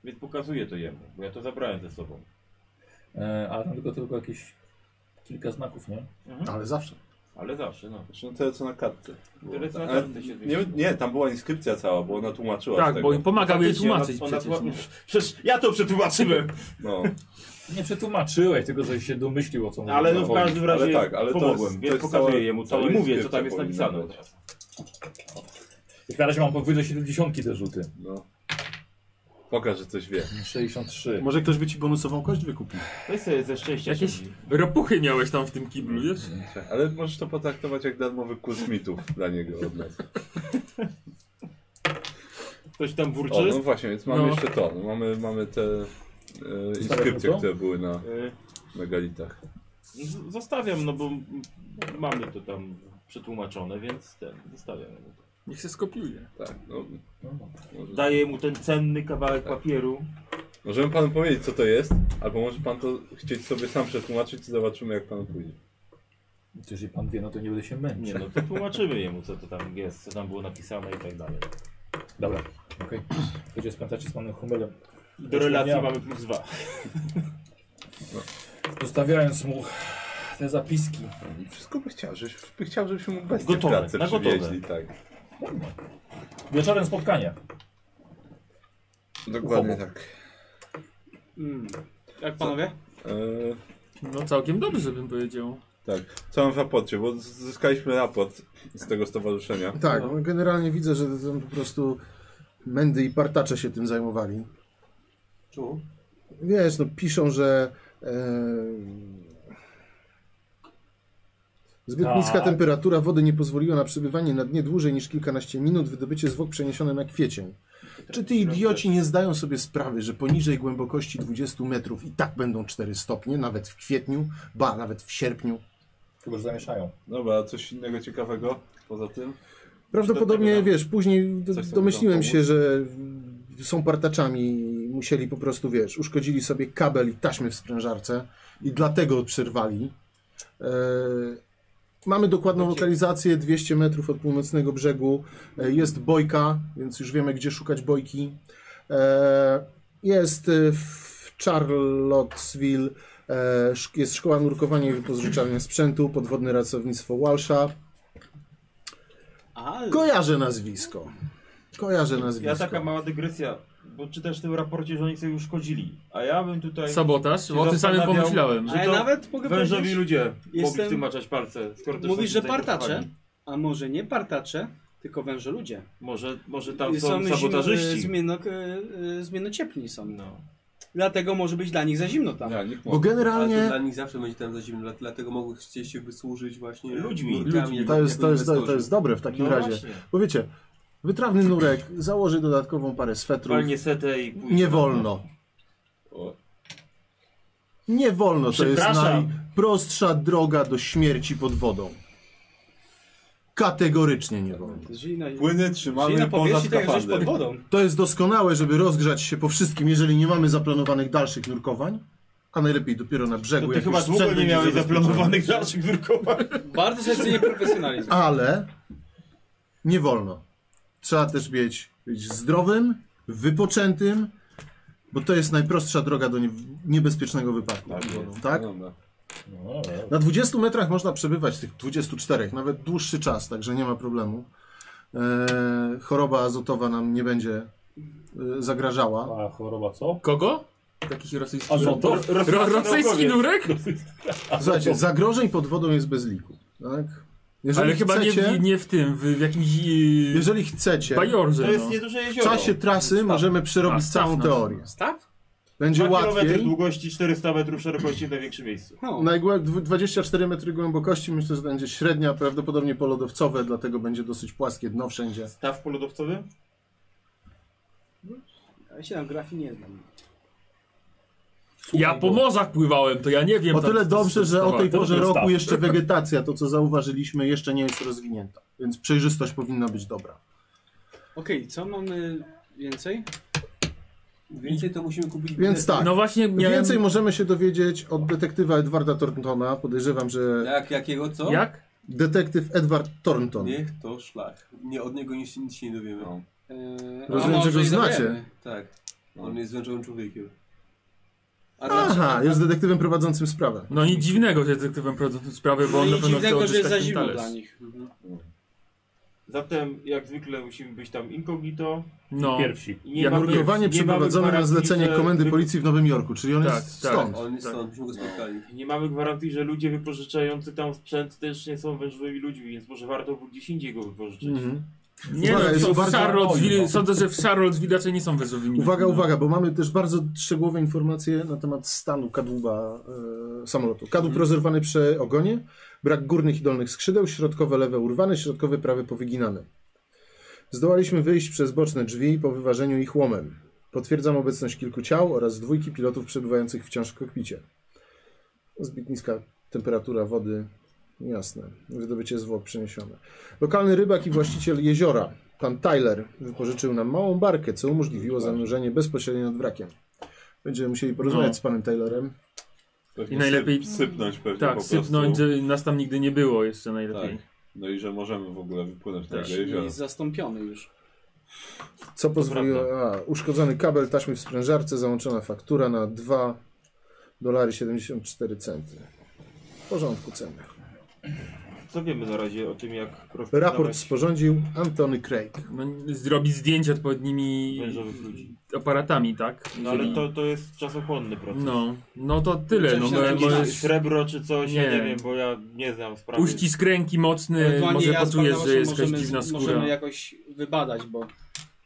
[SPEAKER 10] więc pokazuję to jemu, bo ja to zabrałem ze sobą.
[SPEAKER 2] E, ale tam tylko, tylko jakieś kilka znaków, nie?
[SPEAKER 6] Ale zawsze.
[SPEAKER 10] Ale zawsze, no.
[SPEAKER 8] Zresztą tyle co na kartce. było.
[SPEAKER 10] Tyle, co na
[SPEAKER 8] Ale
[SPEAKER 10] kartce się
[SPEAKER 8] nie,
[SPEAKER 10] zmieściło.
[SPEAKER 8] nie, tam była inskrypcja cała, bo ona tłumaczyła z
[SPEAKER 3] Tak,
[SPEAKER 8] tego.
[SPEAKER 3] bo pomagał jej
[SPEAKER 10] Faktycznie,
[SPEAKER 3] tłumaczyć
[SPEAKER 10] ona- ona
[SPEAKER 3] przecież. no.
[SPEAKER 10] tłum- Przecież ja to przetłumaczyłem!
[SPEAKER 8] No,
[SPEAKER 2] Nie przetłumaczyłeś, tylko że się domyślił o co
[SPEAKER 10] Ale
[SPEAKER 2] mówię.
[SPEAKER 10] no w każdym razie
[SPEAKER 8] Ale tak, ale to
[SPEAKER 10] pomogłem,
[SPEAKER 8] jest- to
[SPEAKER 10] więc
[SPEAKER 8] jest
[SPEAKER 10] pokazuję
[SPEAKER 8] cała-
[SPEAKER 10] jemu to
[SPEAKER 8] cała
[SPEAKER 10] i mówię, co
[SPEAKER 8] inskrypcja
[SPEAKER 10] tam jest
[SPEAKER 8] powinna
[SPEAKER 10] napisane.
[SPEAKER 8] być.
[SPEAKER 2] Jak na razie mam powyżej 70 te rzuty.
[SPEAKER 8] no. Pokaż, że coś wie.
[SPEAKER 2] 63.
[SPEAKER 6] Może ktoś by ci bonusową kość wykupił.
[SPEAKER 10] Weź sobie e, ze szczęścia
[SPEAKER 3] Jakieś-
[SPEAKER 10] siedzi.
[SPEAKER 3] no. Ropuchy miałeś tam w tym kiblu, wiesz?
[SPEAKER 8] Ale możesz to potraktować jak darmowy kurs mitów dla niego od nas.
[SPEAKER 10] Ktoś tam
[SPEAKER 8] O,
[SPEAKER 10] burczy.
[SPEAKER 8] no właśnie, więc mamy
[SPEAKER 3] No.
[SPEAKER 8] jeszcze to. No, mamy, mamy te e, inskrypcje,
[SPEAKER 2] to?
[SPEAKER 8] które były na
[SPEAKER 10] Y,
[SPEAKER 8] megalitach.
[SPEAKER 10] z- Zostawiam, no bo m- mamy to tam przetłumaczone, więc ten, zostawiam.
[SPEAKER 3] Niech się skopiuje.
[SPEAKER 8] Tak, no,
[SPEAKER 2] No,
[SPEAKER 8] może...
[SPEAKER 10] Daję mu ten cenny kawałek papieru.
[SPEAKER 8] Możemy panu powiedzieć, co to jest, albo może pan to chcieć sobie sam przetłumaczyć i zobaczymy, jak panu pójdzie.
[SPEAKER 2] Jeżeli pan wie, no to nie będę się męczył.
[SPEAKER 10] Nie no, to tłumaczymy jemu, co to tam jest, co tam było napisane i tak dalej.
[SPEAKER 2] Dobra, okej. Będzie spętacie z panem Humelem.
[SPEAKER 10] Do relacji mamy plus dwa.
[SPEAKER 2] Zostawiając mu te zapiski.
[SPEAKER 8] Wszystko by chciał, żebyś, by chciał, żebyśmy mu bestię
[SPEAKER 10] Gotowe,
[SPEAKER 8] w klatce
[SPEAKER 10] na gotowe.
[SPEAKER 8] przywieźli, tak.
[SPEAKER 2] Wieczorem spotkania.
[SPEAKER 8] Dokładnie
[SPEAKER 2] U kogo?
[SPEAKER 8] tak.
[SPEAKER 24] Mm. Jak panowie?
[SPEAKER 8] Eee,
[SPEAKER 3] No całkiem dobrze bym powiedział.
[SPEAKER 8] tak, co mam w raporcie, bo z- zyskaliśmy raport z tego stowarzyszenia.
[SPEAKER 6] Tak, no generalnie widzę, że to są po prostu Mendy i partacze się tym zajmowali.
[SPEAKER 7] Czemu?
[SPEAKER 6] Wiesz, no piszą, że e, zbyt
[SPEAKER 2] Tak.
[SPEAKER 6] niska temperatura wody nie pozwoliła na przebywanie na dnie dłużej niż kilkanaście minut, wydobycie zwłok przeniesione na kwiecień. Czy ty idioci nie zdają sobie sprawy, że poniżej głębokości 20 metrów i tak będą 4 stopnie, nawet w kwietniu, ba, nawet w sierpniu?
[SPEAKER 2] Chyba, że zamieszają.
[SPEAKER 8] Dobra, a coś innego ciekawego poza tym?
[SPEAKER 6] Prawdopodobnie, wiesz, później do,
[SPEAKER 8] Coś, co by
[SPEAKER 6] domyśliłem
[SPEAKER 8] nam
[SPEAKER 6] się,
[SPEAKER 8] pomóc?
[SPEAKER 6] że są partaczami i musieli po prostu, wiesz, uszkodzili sobie kabel i taśmy w sprężarce i dlatego przerwali. E, mamy dokładną lokalizację, 200 metrów od północnego brzegu. E, jest bojka, więc już wiemy, gdzie szukać bojki. E, jest e, w Charlottesville e, szk- jest szkoła nurkowania i wypożyczalnia sprzętu, podwodne racownictwo Walsha.
[SPEAKER 9] A,
[SPEAKER 6] Kojarzę nazwisko. Kojarzę nazwisko.
[SPEAKER 10] Ja taka mała dygresja, bo czytasz w tym raporcie, że oni sobie uszkodzili, a ja bym tutaj...
[SPEAKER 3] Sabotaż?
[SPEAKER 10] się
[SPEAKER 3] O tym samym
[SPEAKER 10] zastanawiał,
[SPEAKER 3] pomyślałem.
[SPEAKER 10] że
[SPEAKER 9] ale
[SPEAKER 10] to
[SPEAKER 9] nawet mogę
[SPEAKER 10] Wężowi
[SPEAKER 9] powiedzieć,
[SPEAKER 10] ludzie mogli
[SPEAKER 9] jestem-
[SPEAKER 10] w tym maczać palce, skoro też
[SPEAKER 9] mówisz,
[SPEAKER 10] są
[SPEAKER 9] że
[SPEAKER 10] tutaj
[SPEAKER 9] partacze,
[SPEAKER 10] zakochani.
[SPEAKER 9] a może nie partacze, tylko węże ludzie.
[SPEAKER 10] Może, może tam są,
[SPEAKER 9] zim-
[SPEAKER 10] sabotażyści.
[SPEAKER 9] Zmienno, e, e, zmiennocieplni są.
[SPEAKER 10] No.
[SPEAKER 9] Dlatego może być dla nich za zimno tam.
[SPEAKER 10] Tak.
[SPEAKER 8] Ja, nikt
[SPEAKER 6] Bo
[SPEAKER 7] Ale to
[SPEAKER 6] generalnie
[SPEAKER 7] dla nich zawsze będzie tam za zimno, dla- dlatego mogły chcieć się wysłużyć właśnie
[SPEAKER 10] Ludźmi.
[SPEAKER 7] nurkami jako-
[SPEAKER 6] to jest,
[SPEAKER 7] jako
[SPEAKER 6] to, jest, to,
[SPEAKER 7] inwestorzy.
[SPEAKER 6] to jest dobre w takim
[SPEAKER 10] No
[SPEAKER 6] razie.
[SPEAKER 10] właśnie.
[SPEAKER 6] Bo wiecie, wytrawny nurek założy dodatkową parę swetrów.
[SPEAKER 10] Walnie setę i pójść.
[SPEAKER 6] Nie wolno.
[SPEAKER 8] O.
[SPEAKER 6] Nie wolno, to jest
[SPEAKER 10] Przepraszam.
[SPEAKER 6] najprostsza droga do śmierci pod wodą. Kategorycznie nie wolno.
[SPEAKER 9] Jeżeli na,
[SPEAKER 8] Płyny
[SPEAKER 9] jeżeli na
[SPEAKER 8] trzymamy poza
[SPEAKER 9] powierzchni, to tak jak żyjesz pod
[SPEAKER 8] skafandrem.
[SPEAKER 9] wodą.
[SPEAKER 6] To jest doskonałe, żeby rozgrzać się po wszystkim, jeżeli nie mamy zaplanowanych dalszych nurkowań. A najlepiej dopiero na brzegu.
[SPEAKER 10] To ty
[SPEAKER 6] jak
[SPEAKER 10] chyba
[SPEAKER 6] już
[SPEAKER 10] długo nie
[SPEAKER 6] sprzęt będzie
[SPEAKER 10] miałeś
[SPEAKER 6] zabezpieczony.
[SPEAKER 10] zaplanowanych dalszych wyrkowań.
[SPEAKER 9] Bardzo się cenię profesjonalizm.
[SPEAKER 6] Ale nie wolno. Trzeba też być, być zdrowym, wypoczętym, bo to jest najprostsza droga do nie, niebezpiecznego wypadku.
[SPEAKER 8] Tak jest.
[SPEAKER 6] tak?
[SPEAKER 8] No dobra.
[SPEAKER 2] No, ale-
[SPEAKER 6] Na 20 metrach można przebywać tych 24, nawet dłuższy czas, także nie ma problemu. E, choroba azotowa nam nie będzie e, zagrażała.
[SPEAKER 2] A choroba co?
[SPEAKER 3] Kogo? Jakiś rosyjski...
[SPEAKER 2] Azoto?
[SPEAKER 3] Ro rosyjski nurek? Tak.
[SPEAKER 6] Słuchajcie, zagrożeń pod wodą jest bez liku. Tak? Jeżeli
[SPEAKER 3] Ale chyba nie
[SPEAKER 6] chcecie,
[SPEAKER 3] w, nie w tym, w, w jakimś... Jeżeli...
[SPEAKER 6] jeżeli chcecie,
[SPEAKER 3] Bajorze,
[SPEAKER 10] To jest
[SPEAKER 3] no.
[SPEAKER 10] nieduże
[SPEAKER 6] w
[SPEAKER 10] jezioro.
[SPEAKER 6] czasie trasy możemy przerobić
[SPEAKER 3] A,
[SPEAKER 6] całą
[SPEAKER 3] staw, no.
[SPEAKER 6] teorię.
[SPEAKER 9] Staw?
[SPEAKER 6] Będzie
[SPEAKER 10] 2 km
[SPEAKER 6] łatwiej.
[SPEAKER 10] długości, 400 metrów szerokości w największym miejscu.
[SPEAKER 9] No.
[SPEAKER 6] Najgłę- dwu- 24 metry głębokości myślę, że będzie średnia, prawdopodobnie polodowcowe, dlatego będzie dosyć płaskie dno wszędzie.
[SPEAKER 10] Staw polodowcowy?
[SPEAKER 9] Ja się tam grafii nie znam.
[SPEAKER 3] Ja po morzach pływałem, tak, to ja nie wiem...
[SPEAKER 6] O
[SPEAKER 3] tam,
[SPEAKER 6] tyle
[SPEAKER 3] co- co-
[SPEAKER 6] dobrze,
[SPEAKER 3] co-
[SPEAKER 6] że o
[SPEAKER 3] co-
[SPEAKER 6] tej
[SPEAKER 2] to
[SPEAKER 6] porze
[SPEAKER 2] jest
[SPEAKER 6] roku
[SPEAKER 2] tak.
[SPEAKER 6] jeszcze wegetacja, to co zauważyliśmy, jeszcze nie jest rozwinięta, więc przejrzystość powinna być dobra.
[SPEAKER 9] Okej, co mamy więcej?
[SPEAKER 7] Więcej to musimy kupić
[SPEAKER 6] Więc tak,
[SPEAKER 3] No właśnie miałem...
[SPEAKER 6] więcej możemy się dowiedziewiedzieć od detektywa Edwarda Thorntona. Podejrzewam, że
[SPEAKER 7] Jak, jakiego co?
[SPEAKER 3] Jak?
[SPEAKER 6] detektyw Edward Thornton.
[SPEAKER 7] Niech to szlak. Nie, od niego nic, nic się nie dowiemy. Yy,
[SPEAKER 8] No.
[SPEAKER 9] Eee,
[SPEAKER 6] Rozumiem,
[SPEAKER 9] a
[SPEAKER 6] że
[SPEAKER 9] może
[SPEAKER 6] go
[SPEAKER 9] i
[SPEAKER 6] znacie.
[SPEAKER 9] dowiemy.
[SPEAKER 7] Tak. On jest zwężonym człowiekiem. A
[SPEAKER 6] Aha, jest detektywem prowadzącym sprawę.
[SPEAKER 3] No nic dziwnego, że detektywem prowadzą sprawy, bo on na
[SPEAKER 9] No i
[SPEAKER 3] pewno chce
[SPEAKER 9] dziwnego, że
[SPEAKER 3] odzyskać
[SPEAKER 9] jest za
[SPEAKER 3] ten
[SPEAKER 9] zimno
[SPEAKER 3] talerz.
[SPEAKER 9] dla nich. Mhm.
[SPEAKER 10] Zatem, jak zwykle, musimy być tam incognito.
[SPEAKER 3] No.
[SPEAKER 2] Pierwsi.
[SPEAKER 10] I nie
[SPEAKER 3] Jak
[SPEAKER 10] mamy-
[SPEAKER 6] Nurkowanie
[SPEAKER 10] nie
[SPEAKER 6] przeprowadzone
[SPEAKER 10] mamy
[SPEAKER 6] na
[SPEAKER 10] gwarancji,
[SPEAKER 6] zlecenie
[SPEAKER 10] że
[SPEAKER 6] Komendy
[SPEAKER 10] wy-
[SPEAKER 6] Policji w Nowym Jorku, czyli on
[SPEAKER 3] Tak,
[SPEAKER 6] jest
[SPEAKER 3] tak.
[SPEAKER 6] stąd.
[SPEAKER 7] On jest stąd, byśmy go spotkali.
[SPEAKER 10] Nie mamy gwarancji, że ludzie wypożyczający tam sprzęt też nie są wężowymi ludźmi, więc może warto było gdzieś indziej go wypożyczyć.
[SPEAKER 6] Mhm.
[SPEAKER 3] Nie
[SPEAKER 6] Uwaga, jest
[SPEAKER 3] no, to w
[SPEAKER 6] bardzo-
[SPEAKER 3] Charlottesville, sądzę, że w Charlottesville raczej nie są wężowymi.
[SPEAKER 6] Uwaga,
[SPEAKER 3] no.
[SPEAKER 6] uwaga, bo mamy też bardzo szczegółowe informacje na temat stanu kadłuba e, samolotu. Kadłub
[SPEAKER 10] Mhm.
[SPEAKER 6] rozerwany przy ogonie, brak górnych i dolnych skrzydeł, środkowe lewe urwane, środkowe prawe powyginane. Zdołaliśmy wyjść przez boczne drzwi po wyważeniu ich łomem. Potwierdzam obecność kilku ciał oraz dwójki pilotów przebywających wciąż w kokpicie. Zbyt niska temperatura wody, jasne. Wydobycie zwłok przeniesione. Lokalny rybak i właściciel jeziora, pan Tyler, wypożyczył nam małą barkę, co umożliwiło
[SPEAKER 1] Tak.
[SPEAKER 6] zanurzenie bezpośrednio nad wrakiem. Będziemy musieli porozmawiać
[SPEAKER 3] No.
[SPEAKER 6] z panem Tylerem.
[SPEAKER 8] Pewnie
[SPEAKER 3] I najlepiej-
[SPEAKER 8] syp- sypnąć pewnie po
[SPEAKER 3] Tak,
[SPEAKER 8] prostu.
[SPEAKER 3] sypnąć, że nas tam nigdy nie było jeszcze najlepiej.
[SPEAKER 8] No i że możemy w ogóle wypłynąć na
[SPEAKER 3] Tak.
[SPEAKER 8] jego jezioro.
[SPEAKER 9] Jest zastąpiony już.
[SPEAKER 6] Co pozwoliło. A, uszkodzony kabel, taśmy w sprężarce, załączona faktura na 2 dolary 74 centy. W porządku ceny.
[SPEAKER 10] Co wiemy na razie o tym, jak
[SPEAKER 6] Raport
[SPEAKER 10] rozpoznałeś
[SPEAKER 6] sporządził Antony Craig.
[SPEAKER 3] No, zrobić zdjęcie odpowiednimi
[SPEAKER 10] wężowych ludzi?
[SPEAKER 3] aparatami, tak?
[SPEAKER 10] No ale to, to jest czasochłonny proces.
[SPEAKER 3] No, no to tyle. No,
[SPEAKER 9] Coś
[SPEAKER 3] no,
[SPEAKER 9] na
[SPEAKER 3] bo
[SPEAKER 9] jakieś-
[SPEAKER 10] Jakieś
[SPEAKER 3] jest
[SPEAKER 10] srebro czy coś, nie. ja
[SPEAKER 3] Nie.
[SPEAKER 10] nie wiem, bo ja nie znam sprawy.
[SPEAKER 3] uścisk ręki mocny,
[SPEAKER 9] Ewentualnie
[SPEAKER 3] może
[SPEAKER 9] ja z
[SPEAKER 3] poczujesz,
[SPEAKER 9] Barnabasem
[SPEAKER 3] że jest jakaś
[SPEAKER 9] możemy,
[SPEAKER 3] dziwna skóra.
[SPEAKER 9] możemy jakoś wybadać, bo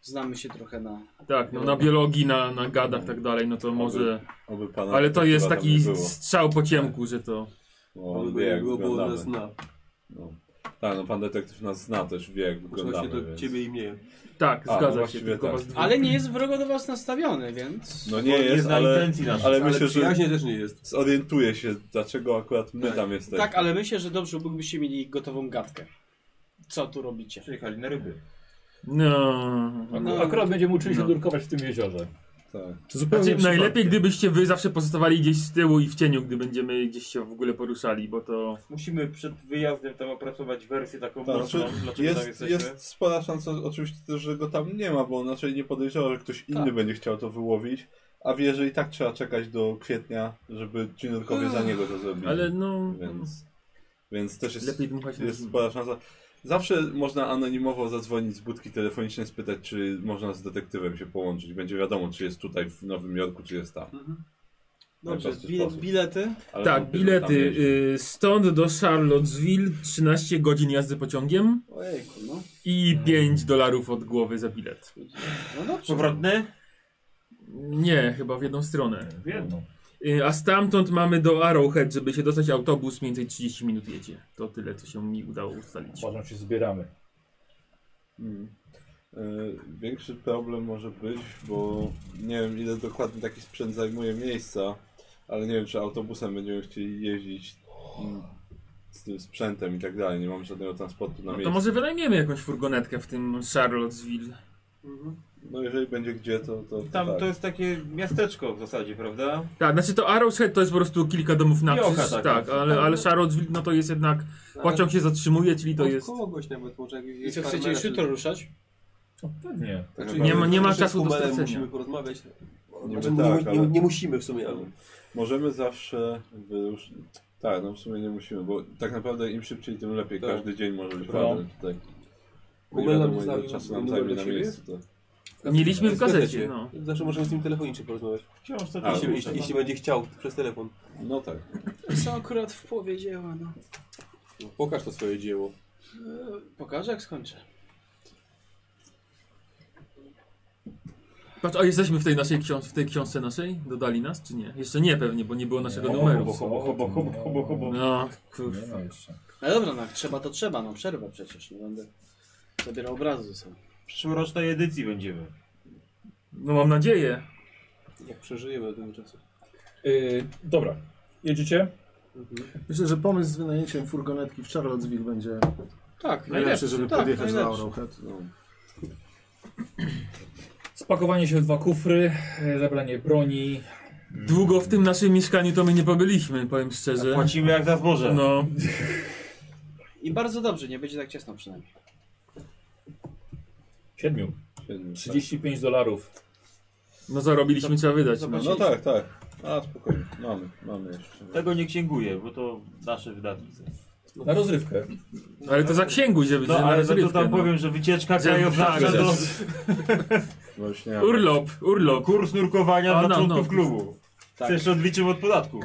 [SPEAKER 1] Znamy się trochę na...
[SPEAKER 3] Tak, no na biologii, na, na gadach i tak dalej, no to może...
[SPEAKER 8] Oby pana
[SPEAKER 3] Ale to jest
[SPEAKER 8] No, chyba tam
[SPEAKER 3] taki
[SPEAKER 8] nie było.
[SPEAKER 3] strzał po ciemku, że to...
[SPEAKER 8] Bo on
[SPEAKER 7] Oby
[SPEAKER 8] wie, jak
[SPEAKER 7] było, bo on
[SPEAKER 8] wyglądamy.
[SPEAKER 7] nas zna.
[SPEAKER 8] No. Tak, no pan detektyw nas zna też, wie jak
[SPEAKER 7] Trzeba
[SPEAKER 8] wyglądamy,
[SPEAKER 7] się do
[SPEAKER 8] więc...
[SPEAKER 7] ciebie i mnie.
[SPEAKER 3] Tak,
[SPEAKER 8] A, no
[SPEAKER 3] zgadza się,
[SPEAKER 8] właściwie
[SPEAKER 3] tylko
[SPEAKER 8] tak.
[SPEAKER 3] was dwóch.
[SPEAKER 1] Ale nie jest wrogo do was nastawiony, więc...
[SPEAKER 8] No nie
[SPEAKER 10] Bo nie
[SPEAKER 8] jest,
[SPEAKER 10] zna
[SPEAKER 8] ale,
[SPEAKER 10] intencji naszych.
[SPEAKER 8] ale
[SPEAKER 7] Ale
[SPEAKER 8] myślę, że
[SPEAKER 7] przyjaźnie też nie jest.
[SPEAKER 8] zorientuje się, dlaczego akurat my tam jesteśmy.
[SPEAKER 1] Tak, ale myślę, że dobrze byłbyście mieli gotową gadkę. Co tu robicie?
[SPEAKER 10] Przyjechali na ryby.
[SPEAKER 3] No...
[SPEAKER 1] No.
[SPEAKER 2] Akurat będziemy uczyli się
[SPEAKER 3] No.
[SPEAKER 2] nurkować w tym jeziorze.
[SPEAKER 8] Tak.
[SPEAKER 6] Zupełnie
[SPEAKER 3] Znaczy,
[SPEAKER 6] przypadkiem.
[SPEAKER 3] najlepiej gdybyście wy zawsze pozostawali gdzieś z tyłu i w cieniu, gdy będziemy gdzieś się w ogóle poruszali, bo to...
[SPEAKER 10] Musimy przed wyjazdem tam opracować wersję taką
[SPEAKER 8] Tak,
[SPEAKER 10] mocną,
[SPEAKER 8] znaczy
[SPEAKER 10] dlaczego tam
[SPEAKER 8] Jest,
[SPEAKER 10] jesteśmy.
[SPEAKER 8] jest spora szansa oczywiście też, że go tam nie ma, bo on raczej nie podejrzewa, że ktoś inny będzie chciał to wyłowić, a wie, że i tak trzeba czekać do kwietnia, żeby ci nurkowie za niego to zrobili.
[SPEAKER 3] Ale no...
[SPEAKER 8] Mm. Więc, więc też jest,
[SPEAKER 3] Lepiej dmuchać na
[SPEAKER 8] jest
[SPEAKER 3] zimę.
[SPEAKER 8] spora szansa. Zawsze można anonimowo zadzwonić z budki telefonicznej, spytać, czy można z detektywem się połączyć. Będzie wiadomo, czy jest tutaj w Nowym Jorku, czy jest tam.
[SPEAKER 1] Dobrze,
[SPEAKER 8] Najprostszy
[SPEAKER 1] bile,
[SPEAKER 8] sposób.
[SPEAKER 1] bilety?
[SPEAKER 8] Ale
[SPEAKER 3] Tak,
[SPEAKER 8] wątpię, że
[SPEAKER 3] bilety
[SPEAKER 8] tam jeździ.
[SPEAKER 3] y, stąd do Charlottesville 13 godzin jazdy pociągiem
[SPEAKER 1] Ojejku, no.
[SPEAKER 3] i 5 dolarów od głowy za bilet.
[SPEAKER 1] No dobrze.
[SPEAKER 10] Powrotny?
[SPEAKER 3] Nie, chyba w jedną stronę.
[SPEAKER 2] Wiem.
[SPEAKER 3] Y, A stamtąd mamy do Arrowhead, żeby się dostać autobus, mniej więcej 30 minut jedzie. To tyle, co się mi udało ustalić.
[SPEAKER 2] Uważam, się zbieramy.
[SPEAKER 8] Mm. Y, Większy problem może być, bo nie wiem ile dokładnie taki sprzęt zajmuje miejsca, ale nie wiem czy autobusem będziemy chcieli jeździć mm, z tym sprzętem i tak dalej. Nie mam żadnego transportu na
[SPEAKER 3] No to
[SPEAKER 8] miejscu.
[SPEAKER 3] może wynajmiemy jakąś furgonetkę w tym Charlottesville.
[SPEAKER 8] No jeżeli będzie gdzie, to. to, to
[SPEAKER 10] Tam
[SPEAKER 8] tak.
[SPEAKER 10] to jest takie miasteczko w zasadzie, prawda?
[SPEAKER 3] Tak, znaczy to Arrowhead to jest po prostu kilka domów na
[SPEAKER 10] Wiocha
[SPEAKER 3] krzyż,
[SPEAKER 10] taka.
[SPEAKER 3] tak, ale, ale Charlottesville no to jest jednak, pociąg się zatrzymuje, czyli to
[SPEAKER 7] Od
[SPEAKER 3] jest,
[SPEAKER 7] kogoś nawet może jakiegoś
[SPEAKER 1] I co,
[SPEAKER 7] farmera,
[SPEAKER 1] chcecie już
[SPEAKER 7] czy-
[SPEAKER 1] jutro ruszać?
[SPEAKER 2] Pewnie.
[SPEAKER 8] Tak
[SPEAKER 7] Znaczy,
[SPEAKER 3] Nie ma- nie ma
[SPEAKER 7] że z
[SPEAKER 3] czasu do
[SPEAKER 7] Humelem
[SPEAKER 3] stracenia.
[SPEAKER 7] Musimy porozmawiać.
[SPEAKER 8] Niby
[SPEAKER 7] Znaczy, nie,
[SPEAKER 8] tak,
[SPEAKER 7] mu-
[SPEAKER 8] ale-
[SPEAKER 7] nie, nie musimy w sumie, ale...
[SPEAKER 8] Możemy zawsze wyruszyć. Tak, no w sumie nie musimy, bo tak naprawdę im szybciej, tym lepiej.
[SPEAKER 7] Tak.
[SPEAKER 8] Każdy dzień może być
[SPEAKER 2] Dobra.
[SPEAKER 8] ważny tutaj. Bo Nie
[SPEAKER 7] Google nam
[SPEAKER 8] wiadomo, ile
[SPEAKER 7] zostawił
[SPEAKER 8] czasu nam
[SPEAKER 7] numer do
[SPEAKER 8] zajmie na
[SPEAKER 7] siebie?
[SPEAKER 8] miejscu. tak. To.
[SPEAKER 3] mieliśmy w gazecie, no.
[SPEAKER 7] Zawsze możemy z nim telefonicznie porozmawiać.
[SPEAKER 10] Wciąż
[SPEAKER 8] A,
[SPEAKER 10] to
[SPEAKER 7] Jeśli,
[SPEAKER 8] no,
[SPEAKER 7] jeśli, jeśli będzie chciał, przez telefon.
[SPEAKER 8] No tak.
[SPEAKER 1] Co akurat w połowie dzieła, no.
[SPEAKER 7] Pokaż to swoje dzieło.
[SPEAKER 1] E, Pokażę jak skończę.
[SPEAKER 3] Patrz, a jesteśmy w tej naszej książ w tej książce naszej? Dodali nas, czy nie? Jeszcze nie pewnie, bo nie było naszego
[SPEAKER 2] No,
[SPEAKER 3] numeru.
[SPEAKER 2] bo- Hobo, hobo, hobo, hobo, hobo.
[SPEAKER 3] No,
[SPEAKER 2] Nie
[SPEAKER 3] kurwa.
[SPEAKER 2] ma jeszcze.
[SPEAKER 1] No dobra, no jak trzeba to trzeba, no przerwa przecież, nie będę zabierał obrazu ze sobą.
[SPEAKER 10] Przyszłorocznej edycji będziemy.
[SPEAKER 3] No mam nadzieję.
[SPEAKER 7] Jak przeżyjemy do tego czasu.
[SPEAKER 2] Y, dobra, jedziecie?
[SPEAKER 6] Myślę, że pomysł z wynajęciem furgonetki w Charlottesville będzie
[SPEAKER 1] Tak,
[SPEAKER 6] najlepszy, No żeby
[SPEAKER 1] tak,
[SPEAKER 6] podjechać na
[SPEAKER 1] najlepszy.
[SPEAKER 6] Arrowhead.
[SPEAKER 8] no,
[SPEAKER 2] Spakowanie się w dwa kufry, y, zabranie broni.
[SPEAKER 3] Długo w tym naszym mieszkaniu to my nie pobyliśmy, powiem szczerze.
[SPEAKER 10] Płacimy jak za zboże.
[SPEAKER 3] No,
[SPEAKER 1] I bardzo dobrze, nie będzie tak ciasno przynajmniej.
[SPEAKER 2] Siedmiu. 35 dolarów.
[SPEAKER 3] no zarobiliśmy, trzeba wydać. No.
[SPEAKER 8] No tak, tak. A spokojnie, mamy, mamy jeszcze.
[SPEAKER 10] Tego nie księguję, bo to nasze wydatki. są.
[SPEAKER 2] Na rozrywkę.
[SPEAKER 3] Ale to zaksięguj, żeby
[SPEAKER 10] No
[SPEAKER 3] żeby na
[SPEAKER 10] ale no to
[SPEAKER 3] rozrywkę,
[SPEAKER 10] tam
[SPEAKER 3] no.
[SPEAKER 10] powiem, że wycieczka
[SPEAKER 3] Że-
[SPEAKER 10] krajoznawcza
[SPEAKER 3] tak,
[SPEAKER 10] do
[SPEAKER 8] Właśnie.
[SPEAKER 3] Urlop, urlop.
[SPEAKER 10] kurs nurkowania
[SPEAKER 3] A,
[SPEAKER 10] dla
[SPEAKER 3] no,
[SPEAKER 10] członków
[SPEAKER 3] no.
[SPEAKER 10] klubu.
[SPEAKER 1] Tak.
[SPEAKER 10] Też odliczył od podatku.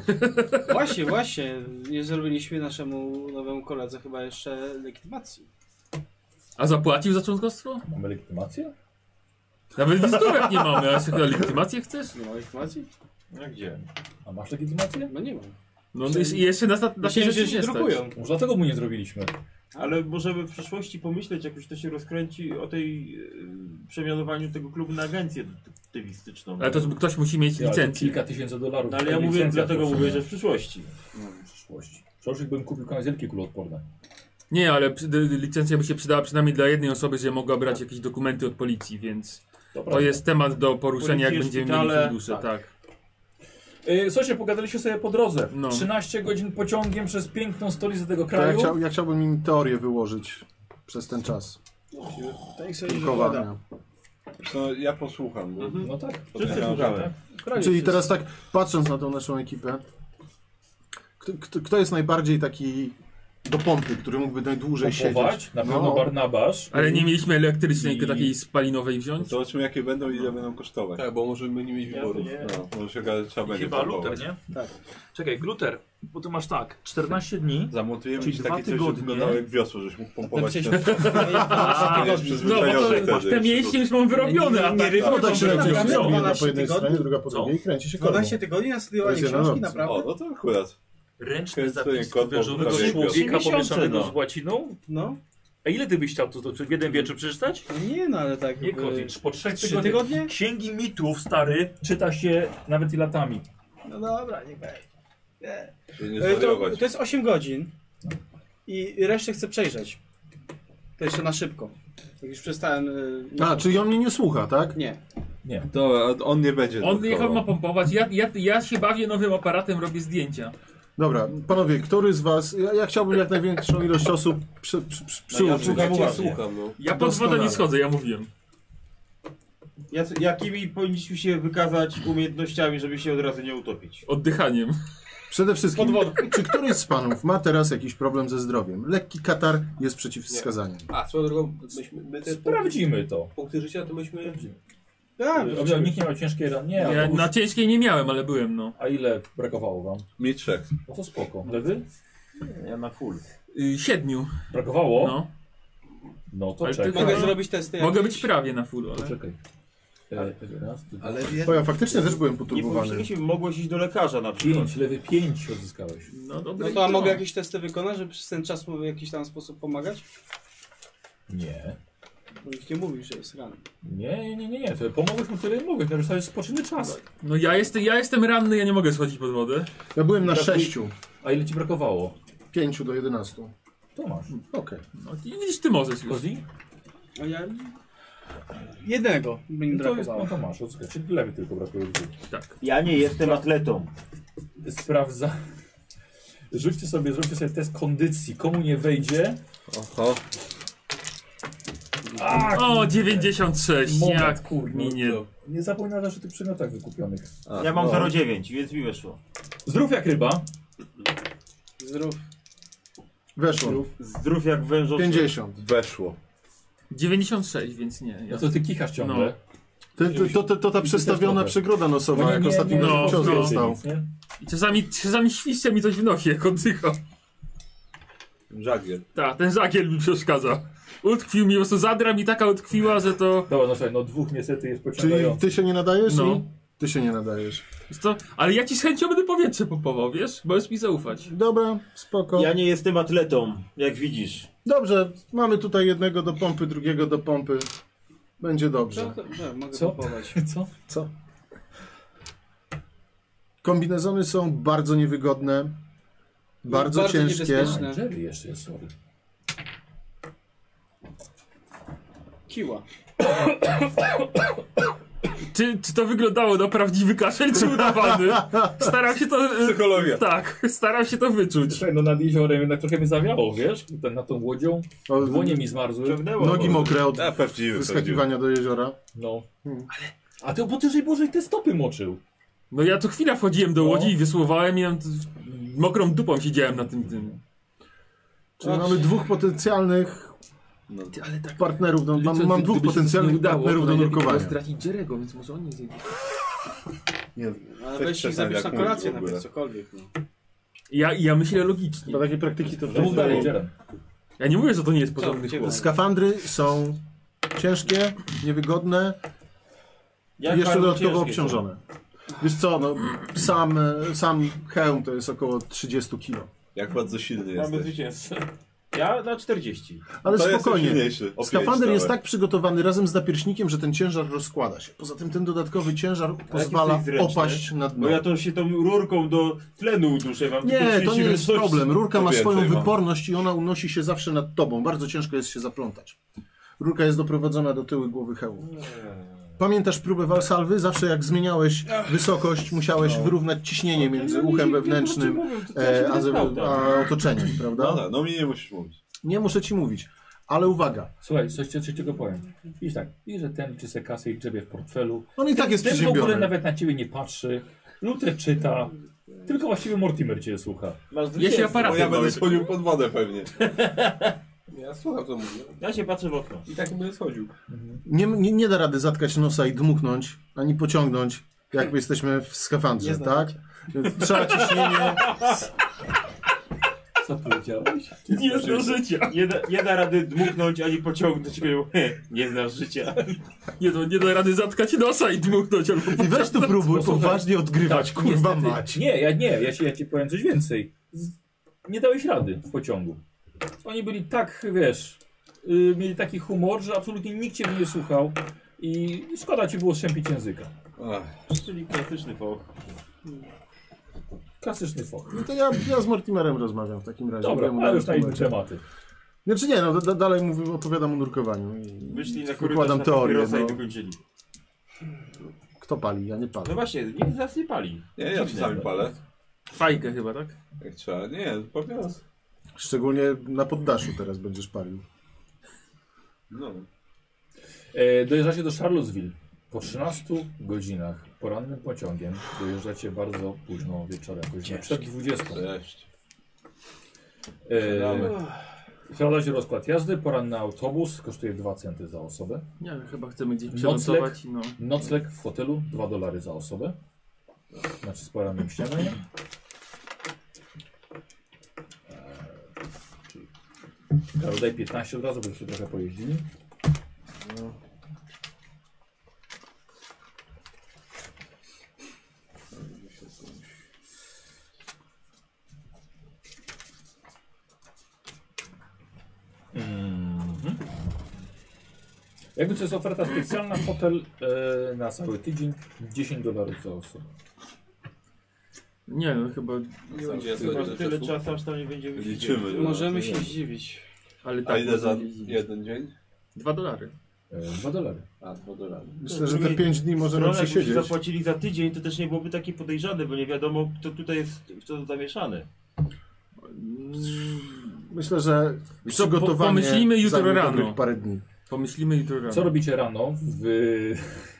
[SPEAKER 1] Właśnie, właśnie, nie zrobiliśmy naszemu nowemu koledze chyba jeszcze legitymacji.
[SPEAKER 3] A zapłacił za członkostwo?
[SPEAKER 2] Mamy legitymację?
[SPEAKER 3] Nawet listówek nie mamy, a jeszcze chyba legitymację chcesz?
[SPEAKER 1] Nie ma legitymacji?
[SPEAKER 10] No gdzie?
[SPEAKER 2] A masz legitymację?
[SPEAKER 1] No nie mam.
[SPEAKER 3] No i jeszcze nas na, na
[SPEAKER 1] Myślałem,
[SPEAKER 3] rzeczy
[SPEAKER 1] że się
[SPEAKER 3] nie stać.
[SPEAKER 1] drukują.
[SPEAKER 2] Może dlatego mu nie zrobiliśmy.
[SPEAKER 10] Ale możemy w przyszłości pomyśleć, jak już to się rozkręci, o tej e, przemianowaniu tego klubu na agencję aktywistyczną.
[SPEAKER 3] Ale to żeby ktoś musi mieć
[SPEAKER 2] Ja,
[SPEAKER 3] licencję.
[SPEAKER 2] Kilka tysięcy dolarów.
[SPEAKER 10] No ale ja mówię,
[SPEAKER 2] Licencja
[SPEAKER 10] dlatego
[SPEAKER 2] proszę.
[SPEAKER 10] mówię, że w przyszłości.
[SPEAKER 2] No, w przyszłości. Przecież bym kupił kamizelki kuloodporne.
[SPEAKER 3] Nie, ale przy- d- licencja by się przydała przynajmniej dla jednej osoby, że mogła brać jakieś dokumenty od policji, więc to
[SPEAKER 2] Dobra.
[SPEAKER 3] jest temat do poruszenia, jak
[SPEAKER 10] Policje,
[SPEAKER 3] będziemy
[SPEAKER 10] szpitale,
[SPEAKER 3] mieli fundusze, tak.
[SPEAKER 10] tak.
[SPEAKER 2] Y, Słuchajcie, pogadaliście sobie po drodze.
[SPEAKER 3] No.
[SPEAKER 2] 13 godzin pociągiem przez piękną stolicę tego
[SPEAKER 6] To ja,
[SPEAKER 2] kraju.
[SPEAKER 6] chciał, ja chciałbym im teorię wyłożyć przez ten czas.
[SPEAKER 9] Tak sobie wypada.
[SPEAKER 6] Drukowania.
[SPEAKER 8] No, ja posłucham. Bo
[SPEAKER 2] No tak.
[SPEAKER 10] Wszyscy
[SPEAKER 8] Ja-
[SPEAKER 10] słuchamy.
[SPEAKER 6] Czyli teraz tak, patrząc na tą naszą ekipę, kto, kto, kto jest najbardziej taki do pompy, który mógłby najdłużej siedzieć. No.
[SPEAKER 2] Kupować? Na pewno Barnabasz.
[SPEAKER 3] Ale nie mieliśmy elektrycznej,
[SPEAKER 2] I-
[SPEAKER 3] tylko takiej spalinowej wziąć.
[SPEAKER 8] Zobaczmy jakie będą i ile będą kosztować.
[SPEAKER 5] Tak, bo możemy nie mieć wyborów.
[SPEAKER 8] No, może się okazać, trzeba
[SPEAKER 25] I
[SPEAKER 8] będzie
[SPEAKER 25] chyba luter,
[SPEAKER 8] kupować.
[SPEAKER 25] nie?
[SPEAKER 1] Tak.
[SPEAKER 25] Czekaj, gluter, bo ty masz tak, 14 dni.
[SPEAKER 8] Zamotujemy
[SPEAKER 25] Czyli
[SPEAKER 8] ci
[SPEAKER 25] dwa
[SPEAKER 8] takie coś, żeby
[SPEAKER 25] tygodnie.
[SPEAKER 8] wyglądało jak wiosło, żeś mógł pompować ten...
[SPEAKER 1] Napisaliśmy-
[SPEAKER 8] To jest
[SPEAKER 3] No bo
[SPEAKER 8] przyzwyczajone
[SPEAKER 3] to,
[SPEAKER 8] wtedy.
[SPEAKER 3] te mięśnie już mam wyrobione, a
[SPEAKER 1] Nie,
[SPEAKER 3] tak
[SPEAKER 1] nie,
[SPEAKER 2] No
[SPEAKER 3] to
[SPEAKER 1] nie,
[SPEAKER 3] tak
[SPEAKER 1] nie,
[SPEAKER 3] się
[SPEAKER 1] nie,
[SPEAKER 3] robi.
[SPEAKER 1] nie,
[SPEAKER 3] Co?
[SPEAKER 1] nie,
[SPEAKER 6] Jedna po
[SPEAKER 1] 12
[SPEAKER 6] jednej
[SPEAKER 1] tygodni?
[SPEAKER 6] stronie, druga po
[SPEAKER 25] Co?
[SPEAKER 6] drugiej i kręci się kolą.
[SPEAKER 1] 12 tygodni na studiowanie
[SPEAKER 6] To jest
[SPEAKER 1] książki,
[SPEAKER 6] jedna
[SPEAKER 1] naprawdę?
[SPEAKER 8] O, no to akurat.
[SPEAKER 25] Ręczny
[SPEAKER 8] Kręcenie
[SPEAKER 25] zapis
[SPEAKER 8] kotwą
[SPEAKER 25] wężowego
[SPEAKER 8] prawie
[SPEAKER 25] człowieka
[SPEAKER 10] miesiące,
[SPEAKER 25] pomieszanego
[SPEAKER 10] no.
[SPEAKER 25] z łaciną.
[SPEAKER 1] No.
[SPEAKER 25] A ile ty byś chciał to to w jeden wieczór przeczytać?
[SPEAKER 1] No nie, no ale tak...
[SPEAKER 25] Nie
[SPEAKER 1] jakby-
[SPEAKER 25] kotwicz, po trzech
[SPEAKER 1] Trzy
[SPEAKER 25] tygodniach.
[SPEAKER 1] tygodnie?
[SPEAKER 25] Księgi mitów, stary, czyta się nawet i latami.
[SPEAKER 1] No dobra, niech będzie.
[SPEAKER 8] Żeby nie
[SPEAKER 1] E, To,
[SPEAKER 8] zwariować.
[SPEAKER 1] to jest 8 godzin i resztę chcę przejrzeć. To jeszcze na szybko. Jak już przestałem... e,
[SPEAKER 6] A, czyli on mnie nie słucha, tak?
[SPEAKER 1] Nie.
[SPEAKER 8] To a on nie będzie.
[SPEAKER 3] On niech on
[SPEAKER 8] drukował.
[SPEAKER 3] ma pompować, ja, ja, ja się bawię nowym aparatem, robię zdjęcia.
[SPEAKER 6] Dobra, panowie, który z was... Ja, ja chciałbym jak największą ilość osób przy, przy, przy, przyuczyć.
[SPEAKER 5] No Ja cię słucham, no.
[SPEAKER 3] Ja pod wodę nie
[SPEAKER 6] Doskonale.
[SPEAKER 3] schodzę, ja mówiłem.
[SPEAKER 10] Jacy- Jakimi powinniśmy się wykazać umiejętnościami, żeby się od razu nie utopić?
[SPEAKER 3] Oddychaniem.
[SPEAKER 6] Przede wszystkim, czy któryś z panów ma teraz jakiś problem ze zdrowiem? Lekki katar jest przeciwwskazaniem.
[SPEAKER 7] A, swoją drogą, myśmy, my te
[SPEAKER 2] Sprawdzimy to.
[SPEAKER 7] punkty, punkty życia to myśmy...
[SPEAKER 10] Tak.
[SPEAKER 1] A,
[SPEAKER 2] Dobrze, nikt nie miał ciężkiej rany. Nie,
[SPEAKER 3] Ja
[SPEAKER 2] autobus-
[SPEAKER 3] na ciężkiej nie miałem, ale byłem, no.
[SPEAKER 2] A ile brakowało wam?
[SPEAKER 8] Mi trzech.
[SPEAKER 2] No to spoko. Ale wy?
[SPEAKER 10] Ja na full.
[SPEAKER 3] Y, siedmiu,
[SPEAKER 2] Brakowało? No,
[SPEAKER 3] no.
[SPEAKER 2] to
[SPEAKER 3] Ale ty-
[SPEAKER 2] czekaj.
[SPEAKER 1] Mogę zrobić testy.
[SPEAKER 3] Mogę
[SPEAKER 1] jakieś?
[SPEAKER 3] być prawie na full,
[SPEAKER 2] To
[SPEAKER 3] ale...
[SPEAKER 2] czekaj. E, 11,
[SPEAKER 5] Ale wie...
[SPEAKER 6] Bo ja faktycznie też byłem
[SPEAKER 10] Nie
[SPEAKER 6] poturbowany.
[SPEAKER 10] powinniśmy, mogłeś iść do lekarza na przykład.
[SPEAKER 2] 5, lewy 5 odzyskałeś.
[SPEAKER 3] No dobra.
[SPEAKER 1] No to a mogę jakieś testy wykonać, żeby przez ten czas mu w jakiś tam sposób pomagać?
[SPEAKER 2] Nie.
[SPEAKER 1] Bo nikt nie mówił, że jest rany.
[SPEAKER 2] Nie, nie, nie, nie. To Pomogłeś mu tyle, jak mogłeś. No, dostałeś spoczyny czas.
[SPEAKER 3] No ja jestem, ja jestem ranny, ja nie mogę schodzić pod wodę.
[SPEAKER 6] Ja byłem na
[SPEAKER 2] Brakuje-
[SPEAKER 6] sześciu,
[SPEAKER 2] A ile ci brakowało?
[SPEAKER 6] pięciu do 11.
[SPEAKER 2] To masz.
[SPEAKER 6] Okej.
[SPEAKER 3] No i widzisz, ty możesz już.
[SPEAKER 2] Kozi?
[SPEAKER 1] A ja... Jednego by mi
[SPEAKER 2] No to, jest, no
[SPEAKER 1] brakowało.
[SPEAKER 2] to masz, odzyskać. Czyli lewy tylko brakuje.
[SPEAKER 3] Tak.
[SPEAKER 10] Ja nie jestem atletą.
[SPEAKER 2] Sprawdza. Rzućcie sobie, zróbcie sobie test kondycji. Komu nie wejdzie?
[SPEAKER 5] Oho.
[SPEAKER 2] A,
[SPEAKER 3] O, 96,
[SPEAKER 2] Moment,
[SPEAKER 3] jak
[SPEAKER 2] kurde.
[SPEAKER 3] mi nie...
[SPEAKER 2] Nie zapominaj że tych przymiotach wykupionych.
[SPEAKER 5] A,
[SPEAKER 10] Ja mam
[SPEAKER 5] no.
[SPEAKER 10] 0,9, więc mi wyszło.
[SPEAKER 2] Zdrów jak ryba.
[SPEAKER 1] Zdrów.
[SPEAKER 6] Weszło.
[SPEAKER 10] Zdrów jak wężowy.
[SPEAKER 6] 50.
[SPEAKER 5] Weszło.
[SPEAKER 3] 96, więc nie. Ja...
[SPEAKER 2] No to ty kichasz ciągle.
[SPEAKER 6] To, to, to, to ta przestawiona przegroda nosowa, jak ostatnim
[SPEAKER 3] nie,
[SPEAKER 6] razem
[SPEAKER 3] no,
[SPEAKER 6] cios
[SPEAKER 3] no.
[SPEAKER 6] dostał.
[SPEAKER 3] I czasami, czasami świszcze mi coś w nosie, jak oddycham.
[SPEAKER 5] Żagiel.
[SPEAKER 3] Tak, ten żagiel mi przeszkadza. Utkwił mi, po prostu zadra mi taka utkwiła, że to...
[SPEAKER 2] Dobra, no słuchaj, no dwóch niestety jest
[SPEAKER 6] Czyli
[SPEAKER 2] pociągających.
[SPEAKER 6] ty się nie nadajesz
[SPEAKER 3] No.
[SPEAKER 6] i ty się nie nadajesz.
[SPEAKER 3] jest to... Ale ja ci z chęcią będę powietrze pompował, wiesz? Możesz mi zaufać.
[SPEAKER 6] Dobra, spoko.
[SPEAKER 10] Ja nie jestem atletą, jak widzisz.
[SPEAKER 6] Dobrze, mamy tutaj jednego do pompy, drugiego do pompy. Będzie
[SPEAKER 1] Co?
[SPEAKER 6] dobrze.
[SPEAKER 1] To, to, mogę
[SPEAKER 2] Co?
[SPEAKER 1] kupować.
[SPEAKER 2] Co?
[SPEAKER 6] Co? Kombinezony są bardzo niewygodne, bardzo,
[SPEAKER 1] Bardzo
[SPEAKER 6] ciężkie.
[SPEAKER 1] niebezpieczne.
[SPEAKER 2] A, Jerry jeszcze jest, sorry.
[SPEAKER 1] Kiła.
[SPEAKER 3] Czy, czy to wyglądało na prawdziwy kaszel, czy udawany? Staram się to... e,
[SPEAKER 8] Psychologia.
[SPEAKER 3] Tak, staram się to wyczuć.
[SPEAKER 2] Słuchaj, no nad jeziorem jednak trochę mnie zawiało, wiesz? Ten, nad tą łodzią.
[SPEAKER 6] O,
[SPEAKER 2] Dłonie mi zmarzły.
[SPEAKER 10] Ciągnęło.
[SPEAKER 6] Nogi mokre od
[SPEAKER 8] A, prawdziwy, prawdziwy.
[SPEAKER 6] wyskakiwania do jeziora.
[SPEAKER 2] No.
[SPEAKER 6] Hmm.
[SPEAKER 2] Ale... A ty, bo ty, że Boże, te stopy moczył.
[SPEAKER 3] No ja tu chwila wchodziłem do
[SPEAKER 2] No.
[SPEAKER 3] łodzi i wysuwałem i miałem t- mokrą dupą siedziałem na tym tym.
[SPEAKER 6] Czyli mamy dwóch potencjalnych
[SPEAKER 10] tak,
[SPEAKER 6] partnerów, do, mam, mam dwóch potencjalnych partnerów do nurkowania.
[SPEAKER 23] stracić Jerego, więc może on nie zjedzie.
[SPEAKER 5] Nie,
[SPEAKER 1] Ale
[SPEAKER 8] Też
[SPEAKER 1] weź ich
[SPEAKER 8] czasami jak
[SPEAKER 1] zabierz na
[SPEAKER 8] mówił
[SPEAKER 1] kolację
[SPEAKER 8] w ogóle.
[SPEAKER 1] nawet, cokolwiek. No.
[SPEAKER 3] Ja, ja myślę logicznie.
[SPEAKER 6] Do takiej praktyki to
[SPEAKER 2] Mów dalej, Jerem.
[SPEAKER 3] Ja nie mówię, że to nie jest
[SPEAKER 1] Co,
[SPEAKER 3] porządny
[SPEAKER 1] gdzie
[SPEAKER 3] chłop.
[SPEAKER 6] Skafandry są ciężkie, niewygodne
[SPEAKER 10] Jak
[SPEAKER 6] i jeszcze
[SPEAKER 10] bardzo
[SPEAKER 6] dodatkowo
[SPEAKER 10] ciężkie są.
[SPEAKER 6] obciążone. Wiesz co, no, sam, e, sam hełm to jest około 30 kg.
[SPEAKER 8] Jak bardzo silny
[SPEAKER 10] Mamy
[SPEAKER 8] jesteś.
[SPEAKER 10] zwycięzcę. Ja na 40.
[SPEAKER 6] Ale
[SPEAKER 8] To jestem
[SPEAKER 6] spokojnie.
[SPEAKER 8] silniejszy. O pięć
[SPEAKER 6] Skafander jest
[SPEAKER 8] nawet.
[SPEAKER 6] tak przygotowany razem z napierśnikiem, że ten ciężar rozkłada się. Poza tym ten dodatkowy ciężar pozwala
[SPEAKER 10] jesteś zręczny?
[SPEAKER 6] opaść na dno.
[SPEAKER 10] Bo No ja to się tą rurką do tlenu uduszę. Mam tylko
[SPEAKER 6] No. Nie, to
[SPEAKER 10] 30
[SPEAKER 6] nie jest
[SPEAKER 10] wysokości.
[SPEAKER 6] problem. Rurka
[SPEAKER 8] To
[SPEAKER 6] ma
[SPEAKER 8] więcej
[SPEAKER 6] swoją
[SPEAKER 8] mam.
[SPEAKER 6] wyporność i ona unosi się zawsze nad tobą. Bardzo ciężko jest się zaplątać. Rurka jest doprowadzona do tyłu głowy hełmu. Pamiętasz próbę Walsalwy? Zawsze jak zmieniałeś wysokość,
[SPEAKER 2] No.
[SPEAKER 6] musiałeś wyrównać ciśnienie między uchem wewnętrznym e, a, ze- a otoczeniem,
[SPEAKER 8] No,
[SPEAKER 6] prawda?
[SPEAKER 8] no, no mi nie musisz mówić.
[SPEAKER 6] Nie muszę ci mówić, ale uwaga.
[SPEAKER 2] Słuchaj, coś ci- coś ci go powiem. Idź tak, i że ten czy se kasę i grzebie w portfelu.
[SPEAKER 6] On i tak jest
[SPEAKER 2] Ten w ogóle
[SPEAKER 6] przeziębiony.
[SPEAKER 2] nawet na ciebie nie patrzy. Luther czyta. Tylko właściwie Mortimer cię słucha.
[SPEAKER 3] No Jeśli aparat
[SPEAKER 8] Bo ja będę schodził pod wodę pewnie.
[SPEAKER 7] Ja słucham co mówię.
[SPEAKER 10] Ja się patrzę w okno.
[SPEAKER 7] I tak będę schodził.
[SPEAKER 6] Nie, nie, nie da rady zatkać nosa i dmuchnąć, ani pociągnąć, jak jesteśmy w skafandrze, tak? Trzeba ciśnienie.
[SPEAKER 2] Co powiedziałeś?
[SPEAKER 10] Nie znasz życia. Nie da, nie da rady dmuchnąć ani pociągnąć. Mówią, "He, Nie znasz życia.
[SPEAKER 3] Nie, no, nie da rady zatkać nosa i dmuchnąć albo
[SPEAKER 6] I weź tu próbuj poważnie odgrywać, kurwa
[SPEAKER 2] Niestety.
[SPEAKER 6] mać.
[SPEAKER 2] Nie, ja nie, ja ci, ja ci powiem coś więcej. Z- Nie dałeś rady w pociągu. Oni byli tak, wiesz, y, mieli taki humor, że absolutnie nikt cię nie słuchał i szkoda ci było szczępić języka.
[SPEAKER 10] Czyli klasyczny foch.
[SPEAKER 2] Klasyczny foch.
[SPEAKER 6] No to ja, ja z Mortimerem rozmawiam w takim razie.
[SPEAKER 2] Dobra,
[SPEAKER 6] Ja mu
[SPEAKER 2] ale
[SPEAKER 6] dam
[SPEAKER 2] już na inne
[SPEAKER 6] tłumaczenie.
[SPEAKER 2] tematy.
[SPEAKER 6] Znaczy nie, no da- da, dalej mówię, opowiadam o nurkowaniu. i-
[SPEAKER 10] Wyszli na korytarz
[SPEAKER 6] Wykładam
[SPEAKER 10] na
[SPEAKER 6] teorię.
[SPEAKER 10] papierosa i
[SPEAKER 6] No.
[SPEAKER 10] dokończyli.
[SPEAKER 6] Kto pali? Ja nie
[SPEAKER 10] No
[SPEAKER 6] palę.
[SPEAKER 10] właśnie, nikt z nas nie pali.
[SPEAKER 8] Nie, ja czasami palę.
[SPEAKER 3] Fajkę chyba, tak?
[SPEAKER 8] Jak trzeba. Nie, papieros.
[SPEAKER 6] Szczególnie na poddaszu teraz będziesz palił.
[SPEAKER 8] No.
[SPEAKER 2] E, dojeżdżacie do Charlottesville. Po 13 godzinach porannym pociągiem dojeżdżacie bardzo późno wieczorem, jakoś na przed 20.
[SPEAKER 8] Cześć.
[SPEAKER 2] E, Sprawdzacie rozkład jazdy, poranny autobus kosztuje 2 centy za osobę.
[SPEAKER 3] Nie, ale chyba chcemy gdzieś
[SPEAKER 2] Nocleg.
[SPEAKER 3] przenocować. i No.
[SPEAKER 2] Nocleg w hotelu 2 dolary za osobę. Znaczy z porannym śniadaniem. E, Karol, daj 15 od razu, byście trochę pojeździli. Mhm. Jakby to jest oferta specjalna, hotel e, na cały tydzień 10 dolarów za osobę.
[SPEAKER 3] nie, no chyba.
[SPEAKER 8] Nie będzie
[SPEAKER 10] Chyba
[SPEAKER 8] jasne,
[SPEAKER 10] tyle czasu, aż tam nie będziemy
[SPEAKER 8] Liczymy.
[SPEAKER 10] siedzieć.
[SPEAKER 9] Możemy się
[SPEAKER 8] Nie.
[SPEAKER 9] zdziwić.
[SPEAKER 3] Ale
[SPEAKER 8] A
[SPEAKER 3] tak.
[SPEAKER 8] ile za
[SPEAKER 3] można jeździć.
[SPEAKER 8] jeden dzień?
[SPEAKER 3] Dwa dolary.
[SPEAKER 2] E, 2 dolary.
[SPEAKER 8] A, dwa dolary.
[SPEAKER 6] Myślę, że te 5 dni możemy
[SPEAKER 10] Stronę, jakby
[SPEAKER 6] przesiedzieć.
[SPEAKER 10] zapłacili za tydzień, to też nie byłoby takie podejrzane, bo nie wiadomo, kto tutaj jest, kto zamieszany.
[SPEAKER 6] Myślę, że
[SPEAKER 3] co, po-
[SPEAKER 6] przygotowanie
[SPEAKER 3] pomyślimy jutro
[SPEAKER 6] zajmie
[SPEAKER 3] rano.
[SPEAKER 6] dobrych parę dni.
[SPEAKER 3] Pomyślimy jutro rano.
[SPEAKER 2] Co robicie rano w,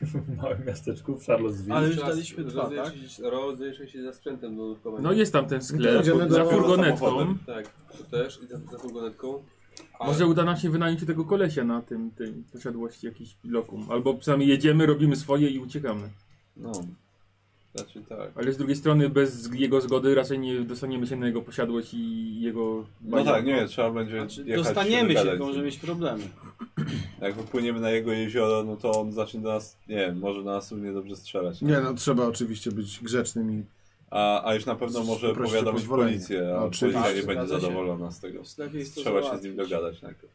[SPEAKER 2] w małym miasteczku w Charlottesville?
[SPEAKER 9] Ale już
[SPEAKER 7] Czas-
[SPEAKER 9] daliśmy dwa, tak?
[SPEAKER 7] rozejrzeć- Rozejrzę się za sprzętem do nurkowania.
[SPEAKER 3] No jest tam ten
[SPEAKER 6] No to
[SPEAKER 3] sklep,
[SPEAKER 6] idziemy
[SPEAKER 3] za
[SPEAKER 6] do-
[SPEAKER 3] furgonetką.
[SPEAKER 7] Tak, to też i za, za furgonetką. Ale-
[SPEAKER 3] Może uda nam się wynająć tego kolesia na tym, tym posiadłości jakiś lokum. Albo przynajmniej jedziemy, robimy swoje i uciekamy.
[SPEAKER 8] No. Znaczy tak.
[SPEAKER 3] Ale z drugiej strony bez jego zgody raczej nie dostaniemy się na jego posiadłość i jego...
[SPEAKER 8] No tak, nie, trzeba będzie
[SPEAKER 9] Znaczy,
[SPEAKER 8] jechać
[SPEAKER 9] dostaniemy się,
[SPEAKER 8] dogadać.
[SPEAKER 9] tylko może mieć problemy.
[SPEAKER 8] Jak wypłyniemy na jego jezioro, no to on zacznie do nas, nie wiem, może do nas równie dobrze strzelać.
[SPEAKER 6] Nie no, trzeba oczywiście być grzecznym i
[SPEAKER 8] A, a już na pewno może
[SPEAKER 6] Poproście
[SPEAKER 8] powiadomić
[SPEAKER 6] pozwolenie.
[SPEAKER 8] policję, a
[SPEAKER 6] No, Oczywiście.
[SPEAKER 8] policja nie będzie
[SPEAKER 9] Zgadza się.
[SPEAKER 8] zadowolona z tego.
[SPEAKER 9] Lepiej jest to
[SPEAKER 8] Trzeba się z
[SPEAKER 9] załatwić.
[SPEAKER 8] nim dogadać najpierw.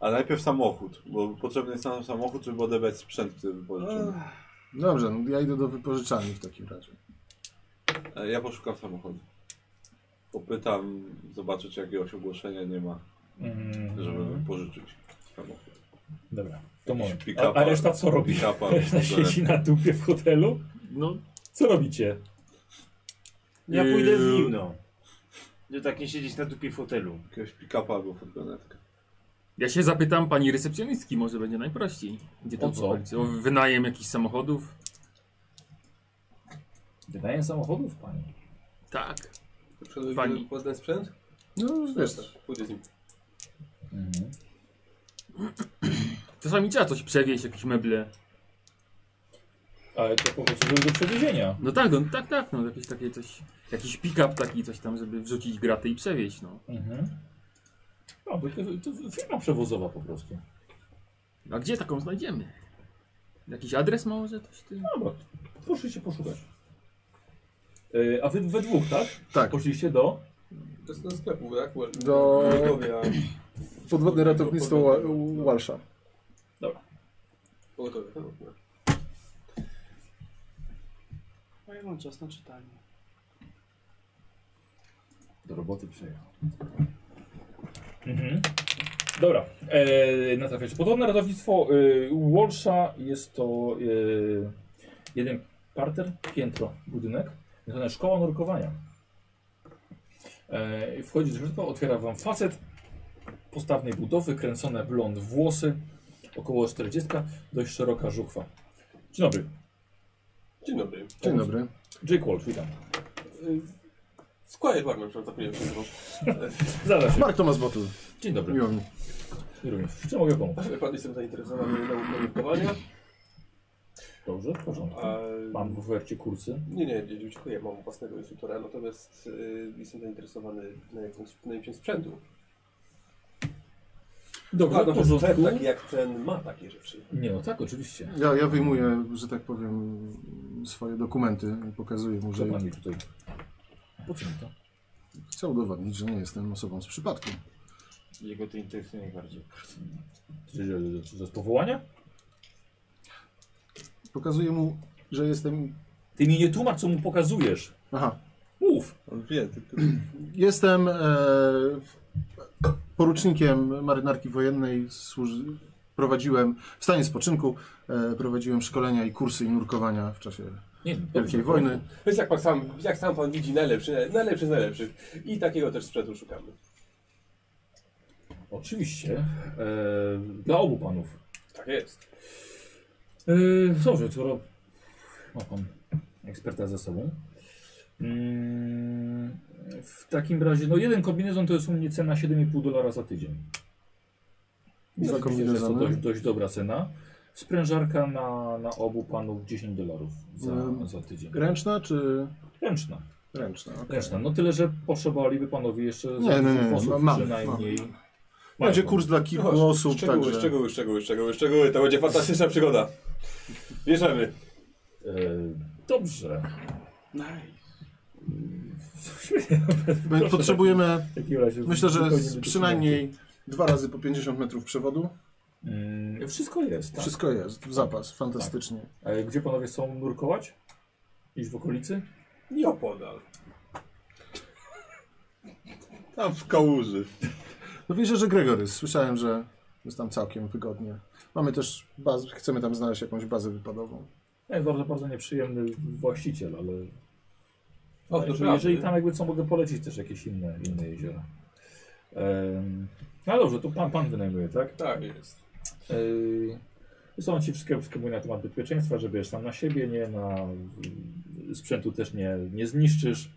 [SPEAKER 8] A najpierw samochód, bo potrzebny jest nam samochód, żeby odebrać sprzęt, który wypożyczymy.
[SPEAKER 9] Ech,
[SPEAKER 6] Dobrze, no ja idę do wypożyczalni w takim razie.
[SPEAKER 8] E, Ja poszukam samochodu. Popytam, zobaczyć jakiegoś ogłoszenia nie ma,
[SPEAKER 2] Mm,
[SPEAKER 8] żeby
[SPEAKER 6] Mhm.
[SPEAKER 8] pożyczyć samochód.
[SPEAKER 2] Dobra, to może.
[SPEAKER 8] Jakiś
[SPEAKER 2] A, a reszta co robi?
[SPEAKER 8] pick-upa,
[SPEAKER 2] Reszta siedzi na dupie w hotelu?
[SPEAKER 3] No,
[SPEAKER 2] Co robicie?
[SPEAKER 10] Ja
[SPEAKER 3] Yy.
[SPEAKER 10] pójdę z nim, no. Żeby tak nie siedzieć na dupie w hotelu.
[SPEAKER 8] Jakiegoś pick-upa albo furgonetkę.
[SPEAKER 3] ja się zapytam pani recepcjonistki, może będzie najprościej. Gdzie
[SPEAKER 2] O
[SPEAKER 3] to
[SPEAKER 2] co?
[SPEAKER 3] O wynajem jakichś samochodów?
[SPEAKER 2] Wydaję samochodów, pani.
[SPEAKER 3] Tak.
[SPEAKER 7] Przodujemy
[SPEAKER 3] Pani.
[SPEAKER 7] pod ten sprzęt?
[SPEAKER 6] No wiesz,
[SPEAKER 7] Pójdę z nim.
[SPEAKER 2] Mhm.
[SPEAKER 3] Czasami trzeba coś przewieźć, jakieś meble.
[SPEAKER 2] Ale to po prostu były do przewiezienia.
[SPEAKER 3] No tak, no, tak, tak, no jakieś takie coś... Jakiś pick-up taki coś tam, żeby wrzucić graty i przewieźć, no.
[SPEAKER 2] Mhm. No, bo to, to firma przewozowa po prostu.
[SPEAKER 3] A gdzie taką znajdziemy? Jakiś adres może? Coś ty...
[SPEAKER 2] Dobra, No, proszę się poszukać. E, a wy we dwóch, tak?
[SPEAKER 6] tak,
[SPEAKER 2] Poszliście do...
[SPEAKER 7] To jest do sklepu, tak? Well,
[SPEAKER 6] Do-
[SPEAKER 7] Pogotowia.
[SPEAKER 6] podwodne ratownictwo Wa- Walsza.
[SPEAKER 7] Pogotowia. no.
[SPEAKER 9] A ja mam czas na czytanie.
[SPEAKER 2] Do roboty przyjechał. Mhm. Dobra, e, natrafiacie. Podobne ratownictwo e, Walsha jest to e, jeden parter, piętro, budynek. Natomiast szkoła nurkowania. E, i wchodzi żywotko, otwiera wam facet postawnej budowy, kręcone blond włosy, około 40, dość szeroka żuchwa. Dzień dobry,
[SPEAKER 7] Dzień dobry.
[SPEAKER 6] Dzień dobry.
[SPEAKER 2] Jake Wolf, witam.
[SPEAKER 7] Squire Bar na przykład zapomniałem się
[SPEAKER 2] Zaraz.
[SPEAKER 6] Mark Thomas Bottle.
[SPEAKER 2] Dzień dobry.
[SPEAKER 6] Miło mi.
[SPEAKER 2] I również. W czym mogę pomóc?
[SPEAKER 7] Wie pan, jestem zainteresowany nau- naukowania.
[SPEAKER 2] Dobrze, w porządku.
[SPEAKER 7] A,
[SPEAKER 2] Mam w ofercie kursy.
[SPEAKER 7] Nie, nie, nie, dziękuję, mam własnego instruktora, natomiast y, jestem zainteresowany najęciem- najęciem sprzętu.
[SPEAKER 2] Dobra,
[SPEAKER 7] A,
[SPEAKER 2] w
[SPEAKER 7] no, że sklep
[SPEAKER 2] porządku.
[SPEAKER 7] taki jak ten ma takie rzeczy.
[SPEAKER 2] Nie no, tak, oczywiście.
[SPEAKER 6] Ja, ja wyjmuję, że tak powiem, swoje dokumenty i pokazuję mu,
[SPEAKER 2] Co
[SPEAKER 6] że
[SPEAKER 2] pan mi tutaj? Po czym to?
[SPEAKER 6] chcę udowodnić, że nie jestem osobą z przypadku.
[SPEAKER 10] Jego to interesuje najbardziej.
[SPEAKER 2] Czy, że, że z powołania?
[SPEAKER 6] Pokazuję mu, że jestem...
[SPEAKER 2] Ty mi nie tłumacz, co mu pokazujesz.
[SPEAKER 6] Aha.
[SPEAKER 2] Mów.
[SPEAKER 5] On wie, tylko...
[SPEAKER 6] Jestem e, porucznikiem marynarki wojennej. Służy, prowadziłem w stanie spoczynku, e, prowadziłem szkolenia i kursy i nurkowania w czasie
[SPEAKER 2] Nie, no,
[SPEAKER 6] Wielkiej Wojny.
[SPEAKER 7] Więc jak pan sam, jak sam pan widzi, najlepszy, najlepszy z najlepszych. I takiego też sprzętu szukamy.
[SPEAKER 2] Oczywiście. E, dla obu panów.
[SPEAKER 7] Tak jest.
[SPEAKER 2] E, dobrze, skoro ma pan eksperta ze sobą. Mm, w takim razie, no jeden kombinezon to jest u mnie cena 7,5 dolara za tydzień. Myślę, że
[SPEAKER 6] Za
[SPEAKER 2] jest to
[SPEAKER 6] kombinezony.
[SPEAKER 2] dość, dość dobra cena. Sprężarka na, na obu panów 10 dolarów za,
[SPEAKER 6] Em,
[SPEAKER 2] za tydzień.
[SPEAKER 6] Ręczna czy...
[SPEAKER 2] Ręczna.
[SPEAKER 6] Ręczna. okej.
[SPEAKER 2] Ręczna. No tyle, że potrzebowaliby panowie jeszcze
[SPEAKER 6] Nie, nie, nie, nie,
[SPEAKER 2] osób
[SPEAKER 6] ma- mam,
[SPEAKER 2] przynajmniej.
[SPEAKER 6] mam. Będzie kurs dla kilku osób,
[SPEAKER 8] szczegóły,
[SPEAKER 6] także...
[SPEAKER 8] szczegóły, szczegóły, szczegóły, szczegóły. To będzie fantastyczna przygoda. Bierzemy.
[SPEAKER 2] E, dobrze.
[SPEAKER 6] My
[SPEAKER 2] Proszę,
[SPEAKER 6] Potrzebujemy,
[SPEAKER 2] w takim razie
[SPEAKER 6] myślę, że
[SPEAKER 2] zupełnie
[SPEAKER 6] z
[SPEAKER 2] będzie
[SPEAKER 6] przynajmniej dwa razy po 50 metrów przewodu.
[SPEAKER 2] Mm, wszystko jest. Tak.
[SPEAKER 6] Wszystko jest, w zapas, fantastycznie.
[SPEAKER 2] E, Gdzie panowie są nurkować? Iść w okolicy?
[SPEAKER 7] Nie opodal.
[SPEAKER 5] Tam w kałuży.
[SPEAKER 6] No wierzę, że Gregorys. Słyszałem, że jest tam całkiem wygodnie. Mamy też bazę, chcemy tam znaleźć jakąś bazę wypadową.
[SPEAKER 2] Jest bardzo, bardzo nieprzyjemny właściciel, ale.
[SPEAKER 7] O,
[SPEAKER 2] ale
[SPEAKER 7] to
[SPEAKER 2] jeżeli, jeżeli
[SPEAKER 7] prawda.
[SPEAKER 2] tam jakby co mogę polecić też jakieś inne, inne jeziora. Ehm, no dobrze, to pan, pan wynajmuje, tak?
[SPEAKER 7] Tak jest.
[SPEAKER 2] Yy, są ci wszystkie wszystkie mówię na temat bezpieczeństwa, że bierzesz tam na siebie, nie na y, sprzętu też nie, nie zniszczysz.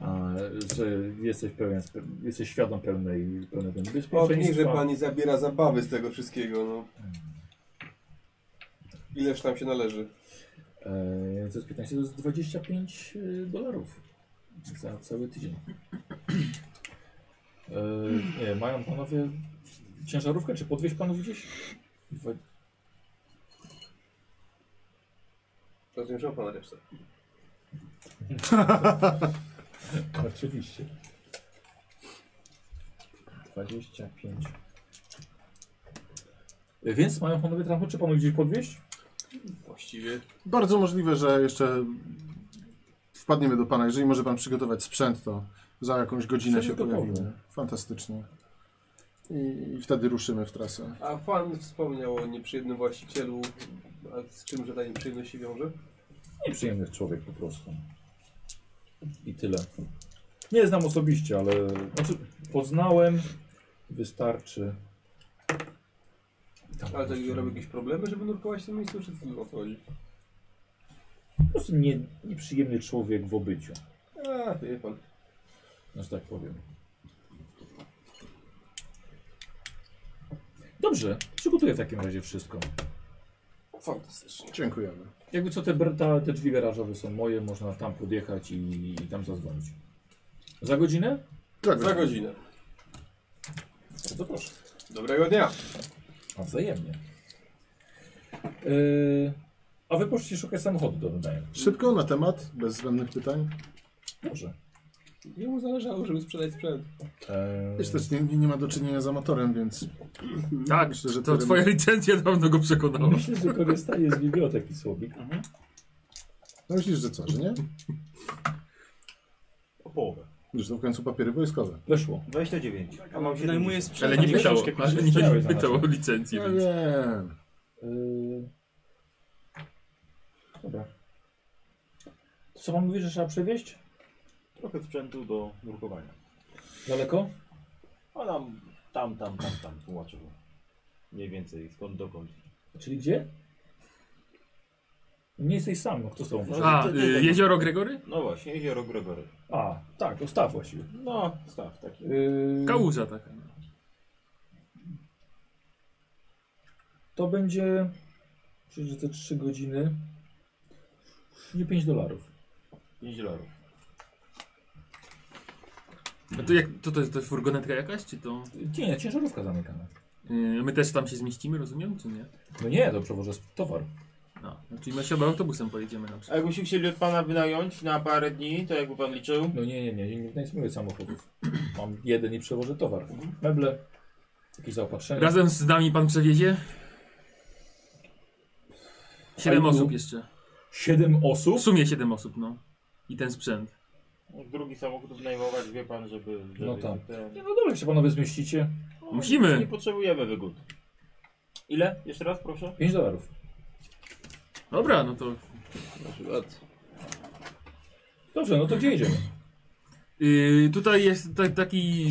[SPEAKER 2] A, że jesteś pełen, spe- jesteś świadom pełnej, pełnego
[SPEAKER 7] O, niech, że
[SPEAKER 2] niebezpieczeństwa.
[SPEAKER 7] pani zabiera zabawy z tego wszystkiego, no. Ileż tam się należy.
[SPEAKER 2] Eee, to jest 15, to jest 25 dolarów za cały tydzień. Eee, nie, mają panowie ciężarówkę, czy podwieźć panów gdzieś? Dwa...
[SPEAKER 7] Rozumiem, że ma pan resztę.
[SPEAKER 2] Oczywiście. 25. Eee, Więc mają panowie transport, czy panu gdzieś podwieźć?
[SPEAKER 7] Właściwie.
[SPEAKER 6] Bardzo możliwe, że jeszcze wpadniemy do pana. Jeżeli może pan przygotować sprzęt, to za jakąś godzinę się
[SPEAKER 2] Sprzęt gotowy.
[SPEAKER 6] pojawimy. Fantastycznie. I, I wtedy ruszymy w trasę.
[SPEAKER 7] A pan wspomniał o nieprzyjemnym właścicielu. A z czym, że ta nieprzyjemność się wiąże?
[SPEAKER 2] Nieprzyjemny człowiek po prostu. I tyle. Nie znam osobiście, ale znaczy, poznałem, wystarczy. Tam
[SPEAKER 7] Ale
[SPEAKER 2] po
[SPEAKER 7] to
[SPEAKER 2] prostu-
[SPEAKER 7] robią jakieś problemy, żeby nurkować w tym miejscu, czy co o co chodzi?
[SPEAKER 2] Po prostu nie, nieprzyjemny człowiek w obyciu,
[SPEAKER 7] A, wie pan.
[SPEAKER 2] że tak powiem. Dobrze, przygotuję w takim razie wszystko.
[SPEAKER 7] Fantastycznie.
[SPEAKER 6] Dziękujemy.
[SPEAKER 2] Jakby co, te, br- ta, te drzwi garażowe są moje, można tam podjechać i, i tam zadzwonić. Za godzinę?
[SPEAKER 6] Tak,
[SPEAKER 7] Za godzinę.
[SPEAKER 2] Bardzo proszę.
[SPEAKER 7] Dobrego dnia.
[SPEAKER 2] A wzajemnie. Yy, a wy poszliście szukać samochodu do wydania.
[SPEAKER 6] Szybko na temat, bez zbędnych pytań.
[SPEAKER 2] Dobrze.
[SPEAKER 7] Jemu zależało, żeby sprzedać sprzęt.
[SPEAKER 2] Eee,
[SPEAKER 6] Wiesz, też nie, nie ma do czynienia z amatorem, więc
[SPEAKER 3] Tak,
[SPEAKER 6] myślę, że
[SPEAKER 3] to
[SPEAKER 6] tyle-
[SPEAKER 3] twoja licencja dawno go przekonała.
[SPEAKER 2] Myślę, że korzystanie z biblioteki Słowik.
[SPEAKER 4] Mhm.
[SPEAKER 6] No myślisz, że co, że nie?
[SPEAKER 4] O połowę.
[SPEAKER 6] Już to w końcu papiery wojskowe.
[SPEAKER 2] Weszło.
[SPEAKER 10] 29.
[SPEAKER 9] A mam wynajmuję sprzęt.
[SPEAKER 3] Ale nie
[SPEAKER 2] Książkę
[SPEAKER 3] pytało,
[SPEAKER 2] ktoś
[SPEAKER 3] ale nie,
[SPEAKER 2] chciałeś
[SPEAKER 3] nie pytało o
[SPEAKER 2] zobaczyć.
[SPEAKER 3] licencję.
[SPEAKER 6] Ja
[SPEAKER 3] więc-
[SPEAKER 6] wiem.
[SPEAKER 2] Yy, dobra. Co mam mówić, że trzeba przewieźć?
[SPEAKER 10] Trochę sprzętu do nurkowania.
[SPEAKER 2] Daleko?
[SPEAKER 10] A tam, tam, tam, tam, tam tłumaczył. Mniej więcej skąd dokąd.
[SPEAKER 2] Czyli gdzie? Nie jesteś sam, no kto z tobą poszedł?
[SPEAKER 3] A, y, jezioro Gregory?
[SPEAKER 10] No właśnie, jezioro Gregory.
[SPEAKER 2] A, tak, to staw właściwie.
[SPEAKER 10] No, staw taki.
[SPEAKER 2] Yy,
[SPEAKER 3] Kałuża taka. no.
[SPEAKER 2] To będzie, myślę, że te 3 godziny, nie 5 dolarów.
[SPEAKER 10] 5 dolarów.
[SPEAKER 3] A to, jak, to, to jest to furgonetka jakaś, czy to...
[SPEAKER 2] Nie, nie, ciężarówka zamykana.
[SPEAKER 3] Y, my też tam się zmieścimy, rozumiem, czy nie?
[SPEAKER 2] No nie, to przewożę towar.
[SPEAKER 3] No, czyli my chyba autobusem pojedziemy na
[SPEAKER 10] A
[SPEAKER 3] przykład.
[SPEAKER 10] jakbyśmy chcieli od pana wynająć na parę dni, to jakby pan liczył?
[SPEAKER 2] No nie, nie, nie, nie, nie znajduję samochodów. Mam jeden i przewożę towar. Meble, jakieś zaopatrzenie.
[SPEAKER 3] E, Razem z nami pan przewiezie? Siedem
[SPEAKER 2] A ilu?
[SPEAKER 3] osób jeszcze.
[SPEAKER 2] Siedem
[SPEAKER 3] W
[SPEAKER 2] osób?
[SPEAKER 3] sumie siedem osób, no. I ten sprzęt.
[SPEAKER 10] Drugi samochód wynajmować, wie pan, żeby... żeby
[SPEAKER 2] No tak.
[SPEAKER 10] Ten...
[SPEAKER 2] Nie, no dobra, jak się panowie zmieścicie.
[SPEAKER 10] No,
[SPEAKER 3] Musimy.
[SPEAKER 10] Nie potrzebujemy wygód. Ile? Jeszcze raz, proszę.
[SPEAKER 2] 5 dolarów.
[SPEAKER 3] Dobra, no to...
[SPEAKER 2] Dobrze, no to gdzie jedziemy?
[SPEAKER 3] Y, tutaj jest ta, taki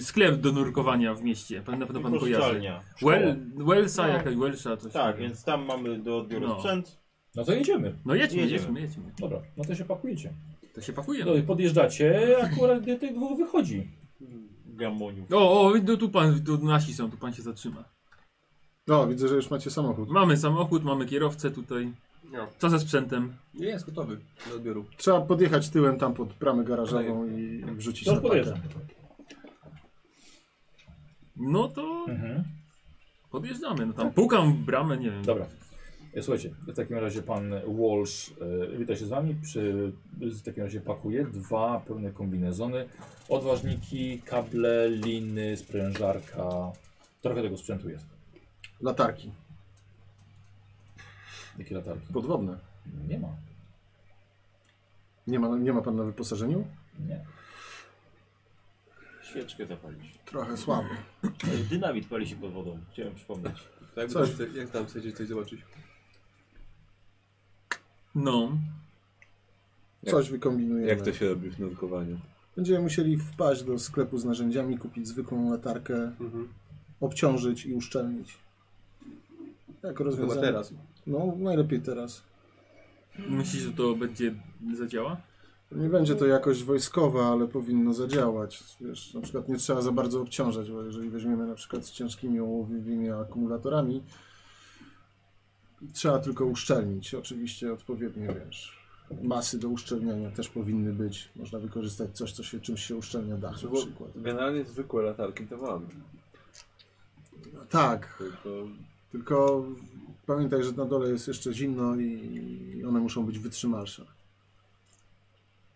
[SPEAKER 3] y, sklep do nurkowania w mieście. Pan, na pewno pan kojarzy.
[SPEAKER 10] Wypożyczalnia.
[SPEAKER 3] Well, Wellsa
[SPEAKER 10] No.
[SPEAKER 3] jakaś, Welsha coś.
[SPEAKER 10] Tak, więc tam mamy do odbioru
[SPEAKER 3] No.
[SPEAKER 10] sprzęt.
[SPEAKER 2] No to jedziemy.
[SPEAKER 3] No jedźmy,
[SPEAKER 10] Jedziemy.
[SPEAKER 3] jedźmy, jedźmy.
[SPEAKER 2] Dobra, no to się pakujecie.
[SPEAKER 3] To się pakuje.
[SPEAKER 2] No i podjeżdżacie, akurat do tych dwóch wychodzi.
[SPEAKER 10] Gamoniu.
[SPEAKER 3] O, o, no tu pan, tu nasi są, tu pan się zatrzyma.
[SPEAKER 6] No, widzę, że już macie samochód.
[SPEAKER 3] Mamy samochód, mamy kierowcę tutaj.
[SPEAKER 7] No.
[SPEAKER 3] Co ze sprzętem?
[SPEAKER 7] Nie jest gotowy do odbioru.
[SPEAKER 6] Trzeba podjechać tyłem tam pod bramę garażową i wrzucić
[SPEAKER 2] To
[SPEAKER 6] na pakę.
[SPEAKER 2] podjeżdżam.
[SPEAKER 3] No to
[SPEAKER 2] Mhm.
[SPEAKER 3] podjeżdżamy. No
[SPEAKER 6] Tak.
[SPEAKER 3] tam pukam w bramę, nie wiem.
[SPEAKER 2] Dobra. E, Słuchajcie, w takim razie pan Walsh e, wita się z wami. Przy, w takim razie pakuje dwa pełne kombinezony, odważniki, kable, liny, sprężarka. Trochę tego sprzętu jest.
[SPEAKER 6] Latarki.
[SPEAKER 2] Jakie latarki?
[SPEAKER 6] Podwodne.
[SPEAKER 2] Nie ma.
[SPEAKER 6] Nie ma, nie ma pan na wyposażeniu?
[SPEAKER 2] Nie.
[SPEAKER 10] Świeczkę zapalić.
[SPEAKER 6] Trochę słabo.
[SPEAKER 10] Dynamit pali się pod wodą, chciałem przypomnieć.
[SPEAKER 7] Tak,
[SPEAKER 6] Coś.
[SPEAKER 7] Coś. Jak tam chcecie coś zobaczyć?
[SPEAKER 3] No.
[SPEAKER 6] Coś wykombinujemy.
[SPEAKER 5] Jak to się robi w nurkowaniu?
[SPEAKER 6] Będziemy musieli wpaść do sklepu z narzędziami, kupić zwykłą latarkę, obciążyć i uszczelnić. Jak
[SPEAKER 7] Chyba
[SPEAKER 6] rozwiązanie.
[SPEAKER 7] teraz.
[SPEAKER 6] No, najlepiej teraz.
[SPEAKER 3] Myślisz, że to będzie zadziała?
[SPEAKER 6] Nie będzie to jakoś wojskowa, ale powinno zadziałać. Wiesz, na przykład nie trzeba za bardzo obciążać, bo jeżeli weźmiemy na przykład z ciężkimi ołowionymi akumulatorami, trzeba tylko uszczelnić. Oczywiście odpowiednie, wiesz, masy do uszczelniania też powinny być. Można wykorzystać coś, co się, czymś się uszczelnia dach na
[SPEAKER 5] Bo
[SPEAKER 6] przykład.
[SPEAKER 5] generalnie zwykłe latarki to mam.
[SPEAKER 6] Tak,
[SPEAKER 5] Tylko
[SPEAKER 6] tylko pamiętaj, że na dole jest jeszcze zimno i one muszą być wytrzymalsze.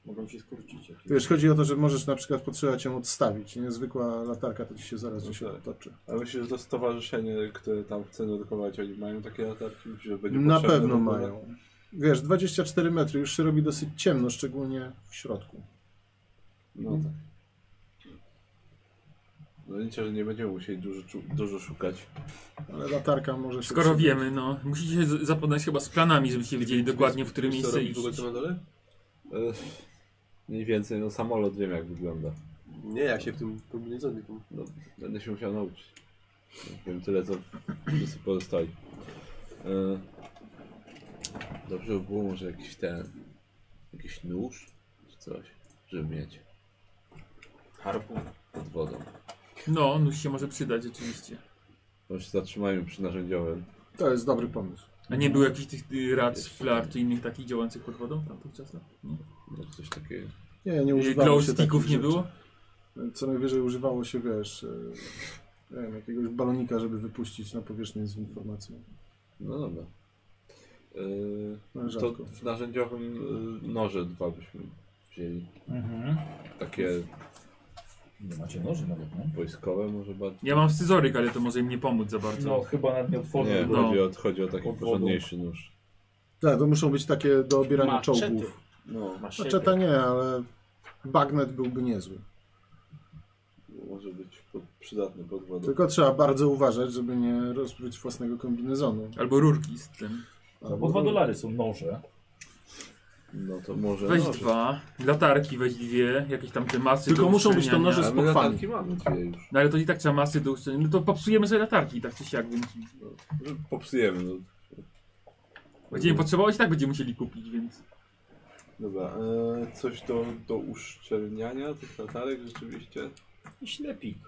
[SPEAKER 10] Mogą się skurczyć. jak-
[SPEAKER 6] Wiesz, chodzi o to, że możesz na przykład potrzebować ją odstawić. Niezwykła latarka to ci się zaraz gdzieś
[SPEAKER 5] No tak.
[SPEAKER 6] otoczy.
[SPEAKER 5] A myślę, że to stowarzyszenie, które tam chce nurkować, oni mają takie latarki? Myślę, że będzie
[SPEAKER 6] Na
[SPEAKER 5] potrzebne
[SPEAKER 6] pewno
[SPEAKER 5] w ogóle.
[SPEAKER 6] mają. Wiesz, 24 metry już się robi dosyć ciemno, szczególnie w środku.
[SPEAKER 5] No tak. No liczę, że nie będziemy musieli dużo, czu- dużo szukać.
[SPEAKER 6] Ale latarka może się.
[SPEAKER 3] Skoro
[SPEAKER 6] przydać.
[SPEAKER 3] wiemy, no. Musicie się z- zapoznać chyba z planami, żebyście wiedzieli dokładnie, w które
[SPEAKER 7] Wiesz, co
[SPEAKER 3] miejsce
[SPEAKER 7] robić
[SPEAKER 3] iść.
[SPEAKER 7] w ogóle co na dole?
[SPEAKER 5] E, Mniej więcej, no samolot wiem jak wygląda.
[SPEAKER 7] Nie, ja się w tym kombinezonie. tu-
[SPEAKER 5] No, będę się musiał nauczyć. Wiem tyle, co wszyscy pozostali. E, Dobrze by było może jakiś ten... Jakiś nóż czy coś, żeby mieć
[SPEAKER 10] Harpun.
[SPEAKER 5] pod wodą.
[SPEAKER 3] No, nóż się może przydać rzeczywiście.
[SPEAKER 5] Może się zatrzymajmy przy narzędziowym.
[SPEAKER 6] To jest dobry pomysł.
[SPEAKER 3] A nie było jakichś tych y, rad, flar czy innych takich działających pod wodą tamtych czasach? Nie?
[SPEAKER 5] No coś takiego.
[SPEAKER 6] Nie, nie
[SPEAKER 3] Y,
[SPEAKER 6] używało
[SPEAKER 3] Glow
[SPEAKER 6] się
[SPEAKER 3] sticków
[SPEAKER 6] takich
[SPEAKER 3] nie
[SPEAKER 6] rzeczy.
[SPEAKER 3] było?
[SPEAKER 6] Co najwyżej używało się, wiesz, e, nie wiem, jakiegoś balonika, żeby wypuścić na powierzchnię z informacją.
[SPEAKER 5] No dobra. Yy,
[SPEAKER 6] No,
[SPEAKER 5] to
[SPEAKER 6] rzadko.
[SPEAKER 5] w narzędziowym yy, noże dwa byśmy wzięli.
[SPEAKER 2] Mhm.
[SPEAKER 5] Takie
[SPEAKER 2] Nie macie noży nawet, nie?
[SPEAKER 5] wojskowe może bardziej.
[SPEAKER 3] Ja mam scyzoryk, ale to może im nie pomóc za bardzo.
[SPEAKER 2] No chyba nawet nie otworzę.
[SPEAKER 5] Nie,
[SPEAKER 3] no.
[SPEAKER 5] chodzi, o, chodzi o taki
[SPEAKER 2] Pod wodą.
[SPEAKER 5] porządniejszy nóż.
[SPEAKER 6] Tak, to muszą być takie do obierania
[SPEAKER 9] Maczety.
[SPEAKER 6] czołgów.
[SPEAKER 5] No,
[SPEAKER 6] Maczeta nie, ale bagnet byłby niezły.
[SPEAKER 5] może być pod, przydatny pod wodą.
[SPEAKER 6] Tylko trzeba bardzo uważać, żeby nie rozpróć własnego kombinezonu.
[SPEAKER 3] Albo rurki z tym.
[SPEAKER 2] No, Bo dwa dolary są noże.
[SPEAKER 5] No to może
[SPEAKER 3] Weź
[SPEAKER 5] noże.
[SPEAKER 3] dwa, latarki weź dwie, jakieś tam te masy
[SPEAKER 6] Tylko
[SPEAKER 3] do
[SPEAKER 6] muszą być to
[SPEAKER 3] uszczelniania.
[SPEAKER 6] noże
[SPEAKER 5] A
[SPEAKER 6] z
[SPEAKER 5] my
[SPEAKER 6] pochwami.
[SPEAKER 5] latarki mamy dwie już.
[SPEAKER 3] No ale to i tak trzeba masy do uszczelnienia. No to popsujemy sobie latarki, tak czy siak, więc...
[SPEAKER 5] Popsujemy. No.
[SPEAKER 3] Będziemy potrzebować, i tak będziemy musieli kupić, więc...
[SPEAKER 8] Dobra, e, coś do, do uszczelniania tych latarek rzeczywiście?
[SPEAKER 10] Ślepik.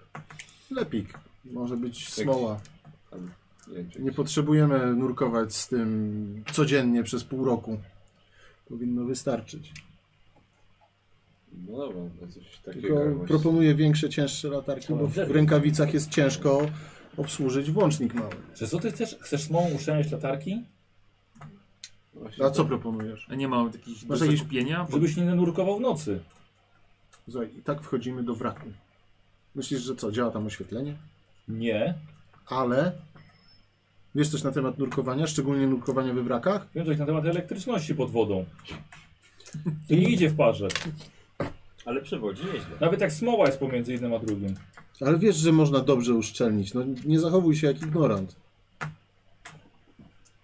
[SPEAKER 6] Lepik. Może być smoła.
[SPEAKER 8] Tam, nie wiem, czy
[SPEAKER 6] Nie potrzebujemy nurkować z tym codziennie przez pół roku. Powinno wystarczyć.
[SPEAKER 8] No dobra, no coś takiego.
[SPEAKER 6] Tylko
[SPEAKER 8] jakoś.
[SPEAKER 6] proponuję większe, cięższe latarki, bo w rękawicach jest ciężko obsłużyć włącznik mały.
[SPEAKER 2] Czy co ty chcesz? Chcesz smą uszczelniać latarki?
[SPEAKER 8] Właśnie
[SPEAKER 6] A co
[SPEAKER 8] tak.
[SPEAKER 6] proponujesz?
[SPEAKER 3] A nie mamy takich do
[SPEAKER 6] Masz jakieś-
[SPEAKER 3] zakupienia? Bo...
[SPEAKER 2] Żebyś nie nurkował w nocy.
[SPEAKER 6] Słuchaj, i tak wchodzimy do wraku. Myślisz, że co, działa tam oświetlenie?
[SPEAKER 2] Nie.
[SPEAKER 6] Ale wiesz coś na temat nurkowania, szczególnie nurkowania we wrakach?
[SPEAKER 2] Wiem coś na temat elektryczności pod wodą. To nie idzie w parze.
[SPEAKER 10] Ale przewodzi nieźle.
[SPEAKER 2] Nawet jak smoła jest pomiędzy jednym a drugim.
[SPEAKER 6] Ale wiesz, że można dobrze uszczelnić. No nie zachowuj się jak ignorant.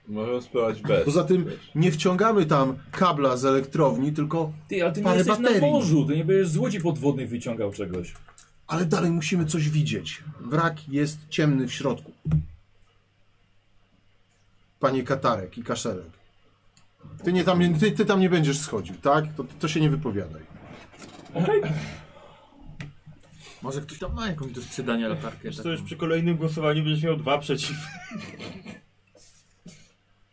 [SPEAKER 8] Możemy spróbować bez.
[SPEAKER 6] Poza tym
[SPEAKER 8] wiesz.
[SPEAKER 6] nie wciągamy tam kabla z elektrowni, tylko
[SPEAKER 2] Ty, ale ty nie
[SPEAKER 6] parę
[SPEAKER 2] jesteś
[SPEAKER 6] baterii.
[SPEAKER 2] na morzu, ty nie będziesz z łodzi podwodnych wyciągał czegoś.
[SPEAKER 6] Ale dalej musimy coś widzieć. Wrak jest ciemny w środku. Panie Katarek i Kaszelek. Ty, nie tam, ty, ty tam nie będziesz schodził, tak? To, to się nie wypowiadaj.
[SPEAKER 3] Może ktoś tam ma jakąś do sprzedania latarkę.
[SPEAKER 10] Wiesz co,
[SPEAKER 3] taką.
[SPEAKER 10] już przy kolejnym głosowaniu będziesz miał dwa przeciw.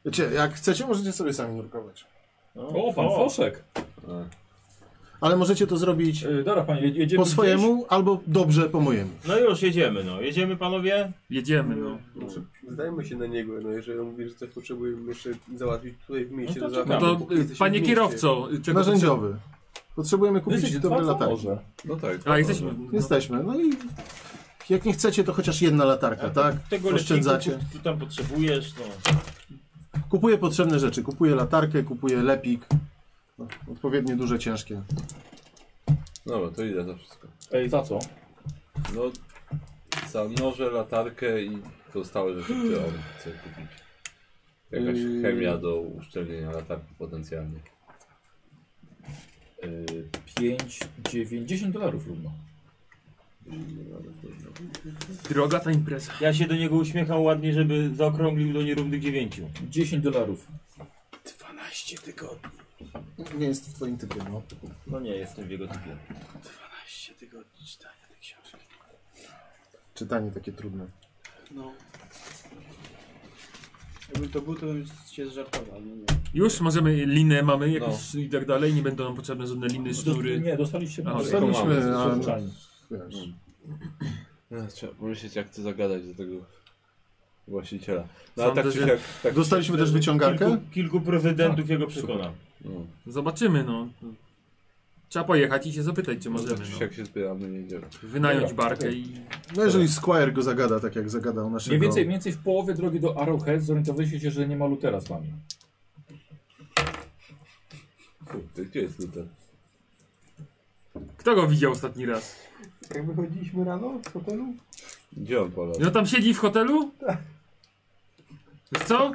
[SPEAKER 6] Wiecie, jak chcecie, możecie sobie sami nurkować.
[SPEAKER 10] No.
[SPEAKER 2] O, pan Foszek.
[SPEAKER 6] Ale możecie to zrobić
[SPEAKER 2] Yy, dobra, panie, jedzie- jedziemy
[SPEAKER 6] po swojemu albo dobrze po mojemu.
[SPEAKER 10] No już, jedziemy no. Jedziemy panowie?
[SPEAKER 3] Jedziemy, no.
[SPEAKER 7] Zdajmy się na niego, no jeżeli on mówi, że coś potrzebujemy jeszcze załatwić tutaj w mieście,
[SPEAKER 2] No to
[SPEAKER 7] to
[SPEAKER 2] czekamy.
[SPEAKER 7] załatwimy.
[SPEAKER 3] No to,
[SPEAKER 7] póki
[SPEAKER 3] y,
[SPEAKER 7] jesteśmy
[SPEAKER 3] panie
[SPEAKER 7] w mieście.
[SPEAKER 3] kierowco, y, czego
[SPEAKER 6] Narzędziowy. Potrzebujemy
[SPEAKER 2] gdzieś.
[SPEAKER 6] kupić
[SPEAKER 2] Jesteś
[SPEAKER 6] dobre
[SPEAKER 2] dwa, co
[SPEAKER 6] latarki.
[SPEAKER 2] może.
[SPEAKER 8] No tak.
[SPEAKER 3] A, jesteśmy...
[SPEAKER 6] Jesteśmy. No i jak nie chcecie, to chociaż jedna latarka, tak?
[SPEAKER 10] Tego
[SPEAKER 6] Oszczędzacie.
[SPEAKER 10] leczniku, tu tam potrzebujesz, no.
[SPEAKER 6] Kupuję potrzebne rzeczy. Kupuję latarkę, kupuję lepik. No, odpowiednie duże, ciężkie.
[SPEAKER 8] Dobra, to idę za wszystko.
[SPEAKER 2] Ej, za co?
[SPEAKER 8] No, za noże, latarkę i pozostałe rzeczy, które on chce kupić. Jakaś
[SPEAKER 6] Yy.
[SPEAKER 8] chemia do uszczelnienia latarki potencjalnie.
[SPEAKER 2] Yy, 5, 9, 10 dolarów równo.
[SPEAKER 3] Droga ta impreza.
[SPEAKER 10] Ja się do niego uśmiecham ładnie, żeby zaokrąglił do nierównych dziewięciu.
[SPEAKER 2] 10 dolarów.
[SPEAKER 23] 12 tygodni.
[SPEAKER 6] Nie jest w twoim typie, no.
[SPEAKER 10] No nie, jestem w jego typie.
[SPEAKER 23] 12 tygodni czytania tej książki.
[SPEAKER 6] Czytanie takie trudne.
[SPEAKER 9] No. Jakby to był, to bym się zżartował, ale nie.
[SPEAKER 3] Już możemy, linę mamy jakąś i tak dalej, nie będą nam potrzebne żadne liny,
[SPEAKER 2] Do,
[SPEAKER 3] sznury.
[SPEAKER 2] nie, dostaliście
[SPEAKER 3] A,
[SPEAKER 2] noże.
[SPEAKER 8] dostaliśmy,
[SPEAKER 2] Mamy,
[SPEAKER 6] a-
[SPEAKER 2] zazwyczaj.
[SPEAKER 6] Wiesz.
[SPEAKER 8] No, trzeba pomyśleć, jak to zagadać do tego właściciela. No,
[SPEAKER 3] Sądzę,
[SPEAKER 8] ale tak czy
[SPEAKER 3] że-
[SPEAKER 8] siak... Tak,
[SPEAKER 6] Dostaliśmy też wyciągarkę.
[SPEAKER 10] Kilku, kilku prezydentów jego przekona.
[SPEAKER 8] no,
[SPEAKER 3] Zobaczymy, no. Trzeba pojechać i się zapytać, czy
[SPEAKER 8] tak
[SPEAKER 3] możemy.
[SPEAKER 8] czy
[SPEAKER 3] No.
[SPEAKER 8] siak się zbieramy, nie idziemy.
[SPEAKER 3] Wynająć barkę i...
[SPEAKER 6] No jeżeli Squire go zagada, tak jak zagadał naszego...
[SPEAKER 2] Mniej więcej, mniej więcej w połowie drogi do Arrowhead zorientowaliście się, że nie ma Lutera z wami.
[SPEAKER 8] Kurde, gdzie jest Luther?
[SPEAKER 3] Kto go widział ostatni raz?
[SPEAKER 7] Jak wychodziliśmy rano z hotelu?
[SPEAKER 8] Gdzie on polał?
[SPEAKER 3] No tam siedzi w hotelu? Wiesz co?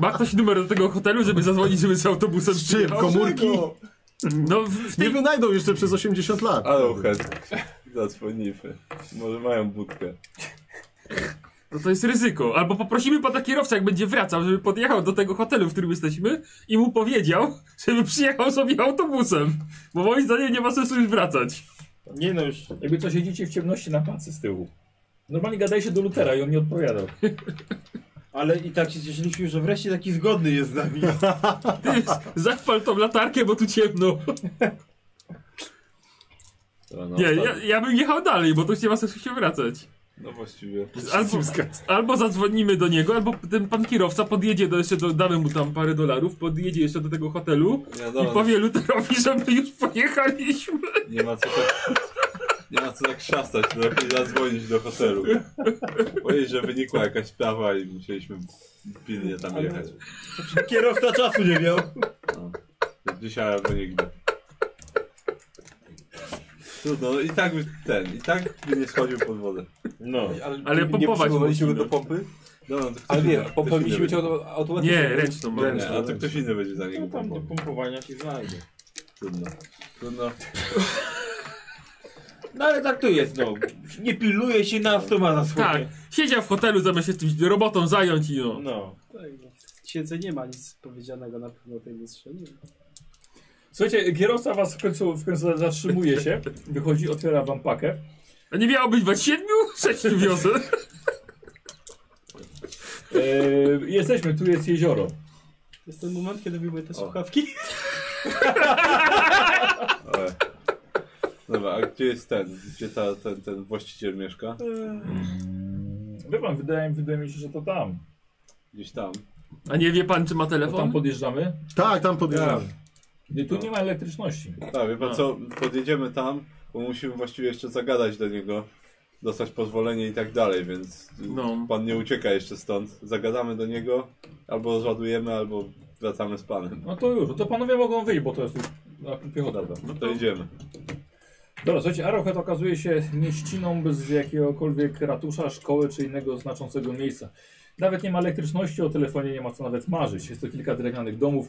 [SPEAKER 3] Ma ktoś numer do tego hotelu, żeby zadzwonić, żeby z autobusem
[SPEAKER 6] Z czym?
[SPEAKER 3] przyjechał?
[SPEAKER 6] Komórki?
[SPEAKER 3] No, w, w
[SPEAKER 6] Nie
[SPEAKER 3] tej...
[SPEAKER 6] wynajdą jeszcze przez 80 lat.
[SPEAKER 8] Arrowhead. Zadzwonimy. Może mają budkę.
[SPEAKER 3] no to jest ryzyko. Albo poprosimy pana kierowcę, jak będzie wracał, żeby podjechał do tego hotelu, w którym jesteśmy i mu powiedział, żeby przyjechał sobie autobusem. Bo moim zdaniem nie ma sensu już wracać.
[SPEAKER 10] Nie no już.
[SPEAKER 2] Jakby co siedzicie w ciemności na pacy z tyłu. Normalnie gadajcie do Lutera i on nie odpowiadał.
[SPEAKER 10] Ale i tak się cieszyliśmy, że wreszcie taki zgodny jest z nami.
[SPEAKER 3] Ty, zachwal tą latarkę, bo tu ciemno.
[SPEAKER 8] Dobra, no,
[SPEAKER 3] Nie,
[SPEAKER 8] tak.
[SPEAKER 3] ja, ja bym jechał dalej, bo tu już nie ma sensu się wracać.
[SPEAKER 8] No właściwie.
[SPEAKER 3] Albo, albo zadzwonimy do niego, albo ten pan kierowca podjedzie do jeszcze, do, damy mu tam parę dolarów, podjedzie jeszcze do tego hotelu
[SPEAKER 8] Nie,
[SPEAKER 3] i
[SPEAKER 8] dobra,
[SPEAKER 3] powie Luterowi, że my już pojechaliśmy.
[SPEAKER 8] nie ma co tak... Nie ma co tak szastać, to lepiej zadzwonić do hotelu. Powiedzieć, że wynikła jakaś sprawa i musieliśmy pilnie tam jechać. No,
[SPEAKER 10] Kierowca czasu nie miał.
[SPEAKER 8] Dzisiaj albo nigdy. Trudno, no i tak by ten, i tak by nie schodził pod wodę.
[SPEAKER 10] No.
[SPEAKER 3] Ale pompować
[SPEAKER 7] Nie przyjmowaliśmy
[SPEAKER 3] musimy.
[SPEAKER 7] go do pompy?
[SPEAKER 8] Dobra, no to ktoś
[SPEAKER 7] Ale nie,
[SPEAKER 8] inny- ktoś
[SPEAKER 7] pompę
[SPEAKER 8] inny
[SPEAKER 7] mieliśmy
[SPEAKER 8] będzie.
[SPEAKER 7] cię automatycznie.
[SPEAKER 3] Nie, ręczną mam.
[SPEAKER 8] Nie, a to ktoś inny będzie za
[SPEAKER 10] No
[SPEAKER 8] niego
[SPEAKER 10] tam do
[SPEAKER 8] pompował.
[SPEAKER 10] pompowania się znajdzie.
[SPEAKER 8] Trudno. Trudno.
[SPEAKER 10] No ale tak to jest, no. Nie pilnuje się nas, to ma na
[SPEAKER 3] Tak,
[SPEAKER 10] swoje.
[SPEAKER 3] siedział w hotelu zamiast się czymś robotą zająć i no.
[SPEAKER 10] No.
[SPEAKER 9] księdze nie ma nic powiedzianego na pewno o tej mistrzyni.
[SPEAKER 2] Słuchajcie, kierowca was w końcu, w końcu zatrzymuje się, wychodzi, otwiera wam pakę.
[SPEAKER 3] A nie miało być was siedmiu? Sześciu wiosę.
[SPEAKER 2] Eee, jesteśmy, tu jest jezioro.
[SPEAKER 9] Jest ten moment, kiedy wyjmuję te słuchawki.
[SPEAKER 8] Ale... Dobra, a gdzie jest ten? Gdzie ta, ten, ten właściciel mieszka?
[SPEAKER 2] Wie pan, wydaje, wydaje mi się, że to tam.
[SPEAKER 8] Gdzieś tam.
[SPEAKER 3] A nie wie pan, czy ma
[SPEAKER 2] Bo
[SPEAKER 3] telefon?
[SPEAKER 2] tam podjeżdżamy?
[SPEAKER 6] Tak, tam podjeżdżamy.
[SPEAKER 2] Nie,
[SPEAKER 7] No.
[SPEAKER 2] tu nie ma elektryczności.
[SPEAKER 8] Tak, wie pan co, podjedziemy tam, bo musimy właściwie jeszcze zagadać do niego, dostać pozwolenie i tak dalej, więc
[SPEAKER 3] No.
[SPEAKER 8] pan nie ucieka jeszcze stąd. Zagadamy do niego, albo zładujemy, albo wracamy z panem.
[SPEAKER 2] No to już, no to panowie mogą wyjść, bo to jest na piechota.
[SPEAKER 8] No to idziemy.
[SPEAKER 2] Dobra, słuchajcie, Arrowhead okazuje się mieściną bez jakiegokolwiek ratusza, szkoły czy innego znaczącego miejsca. Nawet nie ma elektryczności, o telefonie nie ma co nawet marzyć. Jest to kilka drewnianych domów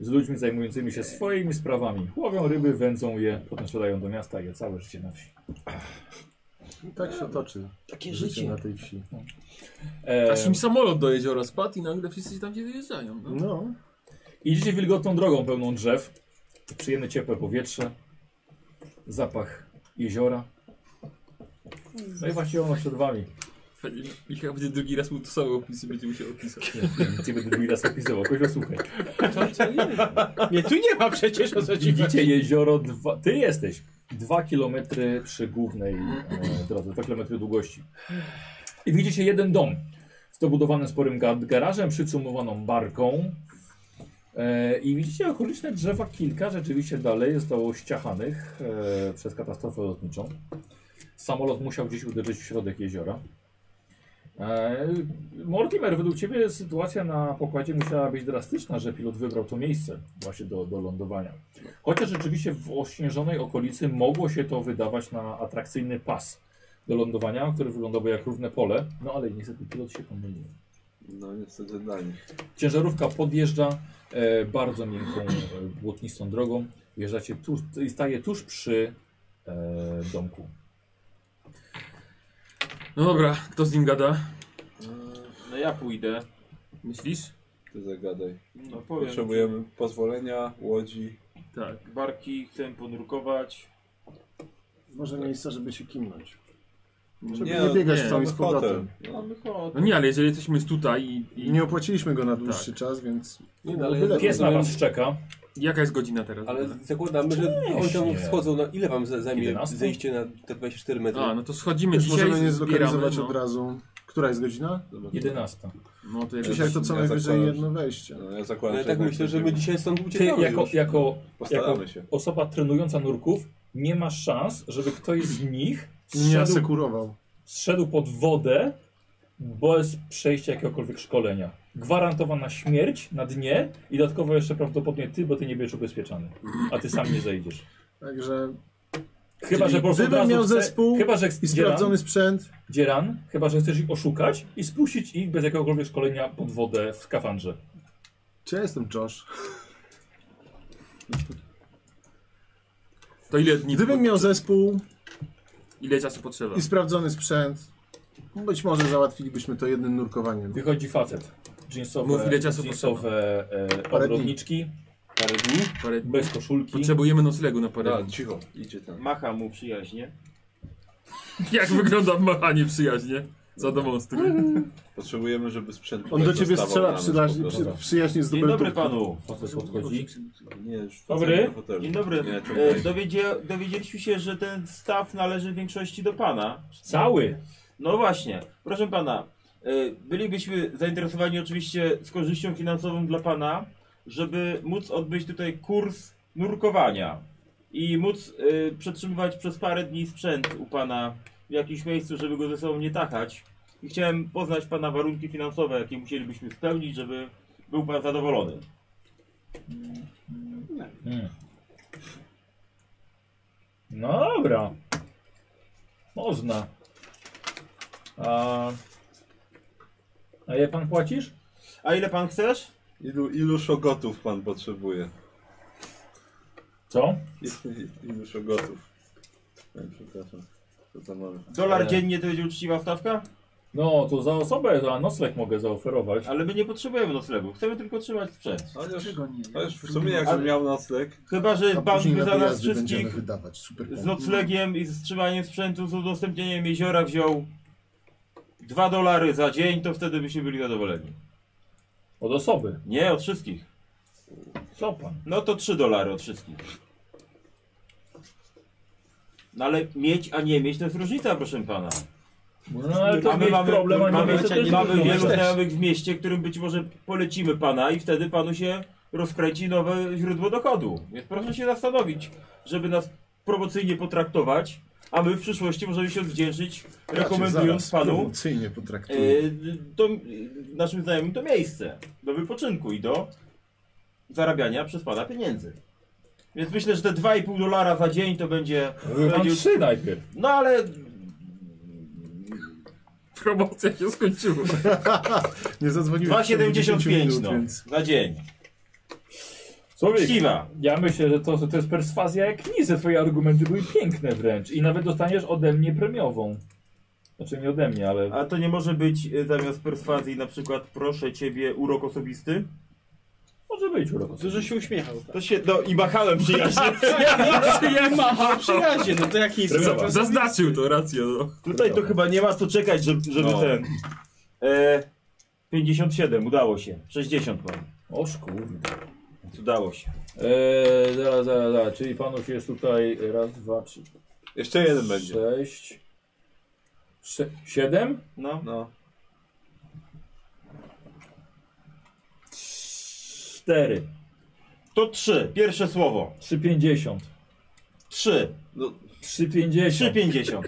[SPEAKER 2] z ludźmi zajmującymi się swoimi sprawami. Łowią ryby, wędzą je, potem sprzedają do miasta i je całe życie na wsi.
[SPEAKER 6] Tak się toczy.
[SPEAKER 23] Takie życie.
[SPEAKER 6] na tej wsi.
[SPEAKER 23] Aż
[SPEAKER 2] E,
[SPEAKER 23] im samolot do jeziora spadł i nagle wszyscy tam gdzie wyjeżdżają. No.
[SPEAKER 6] No.
[SPEAKER 2] Idziecie wilgotną drogą pełną drzew, przyjemne ciepłe powietrze, zapach jeziora. No i właśnie ono przed wami.
[SPEAKER 23] Fajnie, Michał będzie drugi raz mu to samo opisy, będzie musiał opisać.
[SPEAKER 2] Nic nie będę drugi raz opisywał, kogoś słuchaj.
[SPEAKER 9] Nie, tu nie ma przecież o co ci chodzi.
[SPEAKER 2] Widzicie jezioro, dwa, ty jesteś 2 km przy głównej e, drodze, 2 km długości. I widzicie jeden dom z dobudowanym sporym ga garażem, przycumowaną barką. E, I widzicie okoliczne drzewa, kilka rzeczywiście dalej zostało ściachanych e, przez katastrofę lotniczą. Samolot musiał gdzieś uderzyć w środek jeziora. E, Mortimer, według Ciebie sytuacja na pokładzie musiała być drastyczna, że pilot wybrał to miejsce właśnie do, do lądowania. Chociaż rzeczywiście w ośnieżonej okolicy mogło się to wydawać na atrakcyjny pas do lądowania, który wyglądał jak równe pole, no ale niestety pilot się pomylił.
[SPEAKER 8] No niestety dla nich.
[SPEAKER 2] Ciężarówka podjeżdża e, bardzo miękką, e, błotnistą drogą. Wjeżdżacie tuż, i staje tuż przy e, domku.
[SPEAKER 3] No dobra, kto z nim gada?
[SPEAKER 10] No ja pójdę.
[SPEAKER 3] Myślisz?
[SPEAKER 8] Ty zagadaj.
[SPEAKER 10] No powiem.
[SPEAKER 8] Potrzebujemy pozwolenia, łodzi.
[SPEAKER 3] Tak.
[SPEAKER 10] Barki chcę ponurkować.
[SPEAKER 6] Może miejsca, żeby się kimnąć. Żeby
[SPEAKER 8] Nie,
[SPEAKER 6] nie,
[SPEAKER 8] no,
[SPEAKER 6] biegać
[SPEAKER 8] nie,
[SPEAKER 6] tam i z
[SPEAKER 8] mamy hotel.
[SPEAKER 6] powrotem.
[SPEAKER 10] Mamy hotel.
[SPEAKER 3] No nie, ale jeżeli jesteśmy tutaj i... i...
[SPEAKER 6] Nie opłaciliśmy go na dłuższy czas, więc...
[SPEAKER 23] Nie, no,
[SPEAKER 6] byłoby
[SPEAKER 23] ale
[SPEAKER 6] lepiej.
[SPEAKER 2] Pies na Was szczeka.
[SPEAKER 3] Jaka jest godzina teraz?
[SPEAKER 23] Ale zakładamy, że oni tam
[SPEAKER 2] Właśnie.
[SPEAKER 23] wchodzą. No, ile wam za- zajmie
[SPEAKER 2] 11?
[SPEAKER 23] zejście na te 24 metry?
[SPEAKER 3] A, no to schodzimy
[SPEAKER 6] Też
[SPEAKER 3] dzisiaj,
[SPEAKER 6] możemy nie
[SPEAKER 3] zbieramy,
[SPEAKER 6] zlokalizować
[SPEAKER 3] no.
[SPEAKER 6] od razu. Która jest godzina?
[SPEAKER 2] 11.
[SPEAKER 3] No to jak...
[SPEAKER 6] Dzisiaj to co
[SPEAKER 8] Ja
[SPEAKER 6] najwyżej
[SPEAKER 8] zakładam,
[SPEAKER 6] jedno wejście.
[SPEAKER 8] No, ja
[SPEAKER 23] No
[SPEAKER 8] zakładam,
[SPEAKER 23] ja
[SPEAKER 8] że
[SPEAKER 23] tak
[SPEAKER 8] jednak
[SPEAKER 23] myślę, że my
[SPEAKER 8] będziemy.
[SPEAKER 23] dzisiaj stąd
[SPEAKER 2] Ty
[SPEAKER 23] uciekamy
[SPEAKER 2] jako,
[SPEAKER 23] już.
[SPEAKER 2] jako, jako
[SPEAKER 8] Postaramy się.
[SPEAKER 2] osoba trenująca nurków nie masz szans, żeby ktoś z nich
[SPEAKER 6] Nie
[SPEAKER 2] zszedł,
[SPEAKER 6] asekurował.
[SPEAKER 2] zszedł pod wodę bez przejścia jakiegokolwiek szkolenia. Gwarantowana śmierć na dnie i dodatkowo jeszcze prawdopodobnie ty, bo ty nie będziesz ubezpieczany, a ty sam nie zejdziesz.
[SPEAKER 6] Także
[SPEAKER 2] Chyba, że po prostu od
[SPEAKER 6] Gdybym
[SPEAKER 2] razu
[SPEAKER 6] miał
[SPEAKER 2] chce-
[SPEAKER 6] zespół
[SPEAKER 2] chyba, że
[SPEAKER 6] i
[SPEAKER 2] dzieran,
[SPEAKER 6] sprawdzony sprzęt.
[SPEAKER 2] dzieran, chyba, że chcesz ich oszukać i spuścić ich bez jakiegokolwiek szkolenia pod wodę w skafandrze.
[SPEAKER 6] Czy ja jestem Josh?
[SPEAKER 3] To ile dni...
[SPEAKER 6] Gdybym miał zespół
[SPEAKER 3] Ile czasu potrzeba?
[SPEAKER 6] i sprawdzony sprzęt, być może załatwilibyśmy to jednym nurkowaniem.
[SPEAKER 2] Wychodzi facet.
[SPEAKER 3] Mów,
[SPEAKER 2] Jeansowe,
[SPEAKER 3] ile czasu
[SPEAKER 2] jeansowe e,
[SPEAKER 6] Parę dni.
[SPEAKER 2] odrodniczki,
[SPEAKER 23] Parę dni?
[SPEAKER 3] Parę dni.
[SPEAKER 2] bez koszulki.
[SPEAKER 3] Potrzebujemy noclegu na parę
[SPEAKER 8] Da,
[SPEAKER 3] dni.
[SPEAKER 8] cicho, idzie tam.
[SPEAKER 10] Macha mu przyjaźnie.
[SPEAKER 3] Jak wygląda machanie przyjaźnie? Za domą z tym.
[SPEAKER 8] Potrzebujemy, żeby sprzęt.
[SPEAKER 6] On do ciebie
[SPEAKER 8] zostawał na
[SPEAKER 6] strzela
[SPEAKER 8] nas
[SPEAKER 6] przyjaźnie,
[SPEAKER 8] po
[SPEAKER 6] przy,
[SPEAKER 8] prostu.
[SPEAKER 6] przyjaźnie z
[SPEAKER 10] Dzień dobry
[SPEAKER 6] dubeltówką.
[SPEAKER 10] panu.
[SPEAKER 2] Facet podchodzi.
[SPEAKER 8] Nie, już wracamy
[SPEAKER 2] Dobry.
[SPEAKER 8] do hotelu.
[SPEAKER 10] Dzień dobry.
[SPEAKER 8] Nie,
[SPEAKER 10] E, dowiedzie, dowiedzieliśmy się, że ten staw należy w większości do pana.
[SPEAKER 2] Cały.
[SPEAKER 10] No właśnie, proszę pana, e, bylibyśmy zainteresowani oczywiście z korzyścią finansową dla pana, żeby móc odbyć tutaj kurs nurkowania i móc e, przetrzymywać przez parę dni sprzęt u pana w jakimś miejscu, żeby go ze sobą nie tachać. I chciałem poznać pana warunki finansowe, jakie musielibyśmy spełnić, żeby był pan zadowolony.
[SPEAKER 2] Mm. No dobra. Można. A... A ile pan płacisz?
[SPEAKER 10] A ile pan chcesz?
[SPEAKER 8] Ilu, ilu szogotów pan potrzebuje?
[SPEAKER 2] Co?
[SPEAKER 8] I- i- Ilu szogotów? E, Przepraszam. Co to mamy?
[SPEAKER 10] Dolar
[SPEAKER 2] E.
[SPEAKER 10] dziennie to będzie uczciwa stawka?
[SPEAKER 2] No, to za osobę, za nocleg mogę zaoferować.
[SPEAKER 10] Ale my nie potrzebujemy noclegu, chcemy tylko trzymać sprzęt.
[SPEAKER 8] No, Chociaż,
[SPEAKER 6] nie?
[SPEAKER 8] chociaż w sumie jakbym miał nocleg...
[SPEAKER 10] Chyba, że
[SPEAKER 6] A
[SPEAKER 10] bank
[SPEAKER 6] później
[SPEAKER 10] by
[SPEAKER 6] na
[SPEAKER 10] za nas
[SPEAKER 6] wyjazdy będziemy
[SPEAKER 10] wszystkich
[SPEAKER 6] wydawać. Super.
[SPEAKER 10] z noclegiem i z trzymaniem sprzętu, z udostępnieniem jeziora wziął 2 dolary za dzień, to wtedy byśmy byli zadowoleni.
[SPEAKER 2] Od osoby?
[SPEAKER 10] Nie, od wszystkich.
[SPEAKER 2] Co pan?
[SPEAKER 10] No to 3 dolary od wszystkich. No ale mieć, a nie mieć to jest różnica, proszę pana.
[SPEAKER 2] No, ale to jest problem, a nie
[SPEAKER 10] mamy,
[SPEAKER 2] mieć to też
[SPEAKER 10] mamy
[SPEAKER 2] problem.
[SPEAKER 10] wielu znajomych w mieście, którym być może polecimy pana i wtedy panu się rozkręci nowe źródło dochodu. Więc proszę się zastanowić, żeby nas promocyjnie potraktować, a my w przyszłości możemy się odwdzięczyć, rekomendując panu
[SPEAKER 6] Promocyjnie potraktuję.
[SPEAKER 10] e, to, e, naszym znajomym to miejsce do wypoczynku i do zarabiania przez pana pieniędzy. Więc myślę, że te 2,5 dolara za dzień to będzie... to
[SPEAKER 2] Pan
[SPEAKER 10] będzie-
[SPEAKER 2] trzy najpierw.
[SPEAKER 10] No ale
[SPEAKER 3] Promocja się skończyła.
[SPEAKER 6] nie zadzwoniłem.
[SPEAKER 10] 2,75 no, za dzień.
[SPEAKER 2] Człowiek,
[SPEAKER 10] Siwa.
[SPEAKER 2] ja myślę, że to, to jest perswazja jak nic, że twoje argumenty były piękne wręcz i nawet dostaniesz ode mnie premiową. Znaczy nie ode mnie, ale...
[SPEAKER 10] A to nie może być y, zamiast perswazji na przykład proszę ciebie urok osobisty?
[SPEAKER 2] Może być urok
[SPEAKER 9] Dużo się uśmiechał.
[SPEAKER 10] To się, no i machałem przyjaźnie.
[SPEAKER 9] Jak machał przyjaźnie, no to jaki jest
[SPEAKER 3] Za- Zaznaczył to, racja. No.
[SPEAKER 10] Tutaj to chyba nie ma co czekać, żeby, żeby
[SPEAKER 2] No.
[SPEAKER 10] ten... E, 57, udało się. 60 mam.
[SPEAKER 2] O kurde.
[SPEAKER 10] Udało się.
[SPEAKER 2] Eee, zaraz, zaraz, zaraz, czyli panów jest tutaj raz, dwa, trzy,
[SPEAKER 8] Jeszcze jeden będzie.
[SPEAKER 2] sześć, sze siedem?
[SPEAKER 10] No.
[SPEAKER 8] No.
[SPEAKER 2] Cztery.
[SPEAKER 10] To 3, pierwsze słowo.
[SPEAKER 2] Trzy pięćdziesiąt.
[SPEAKER 10] 3,
[SPEAKER 8] No,
[SPEAKER 2] Trzy pięćdziesiąt.
[SPEAKER 10] 3,50.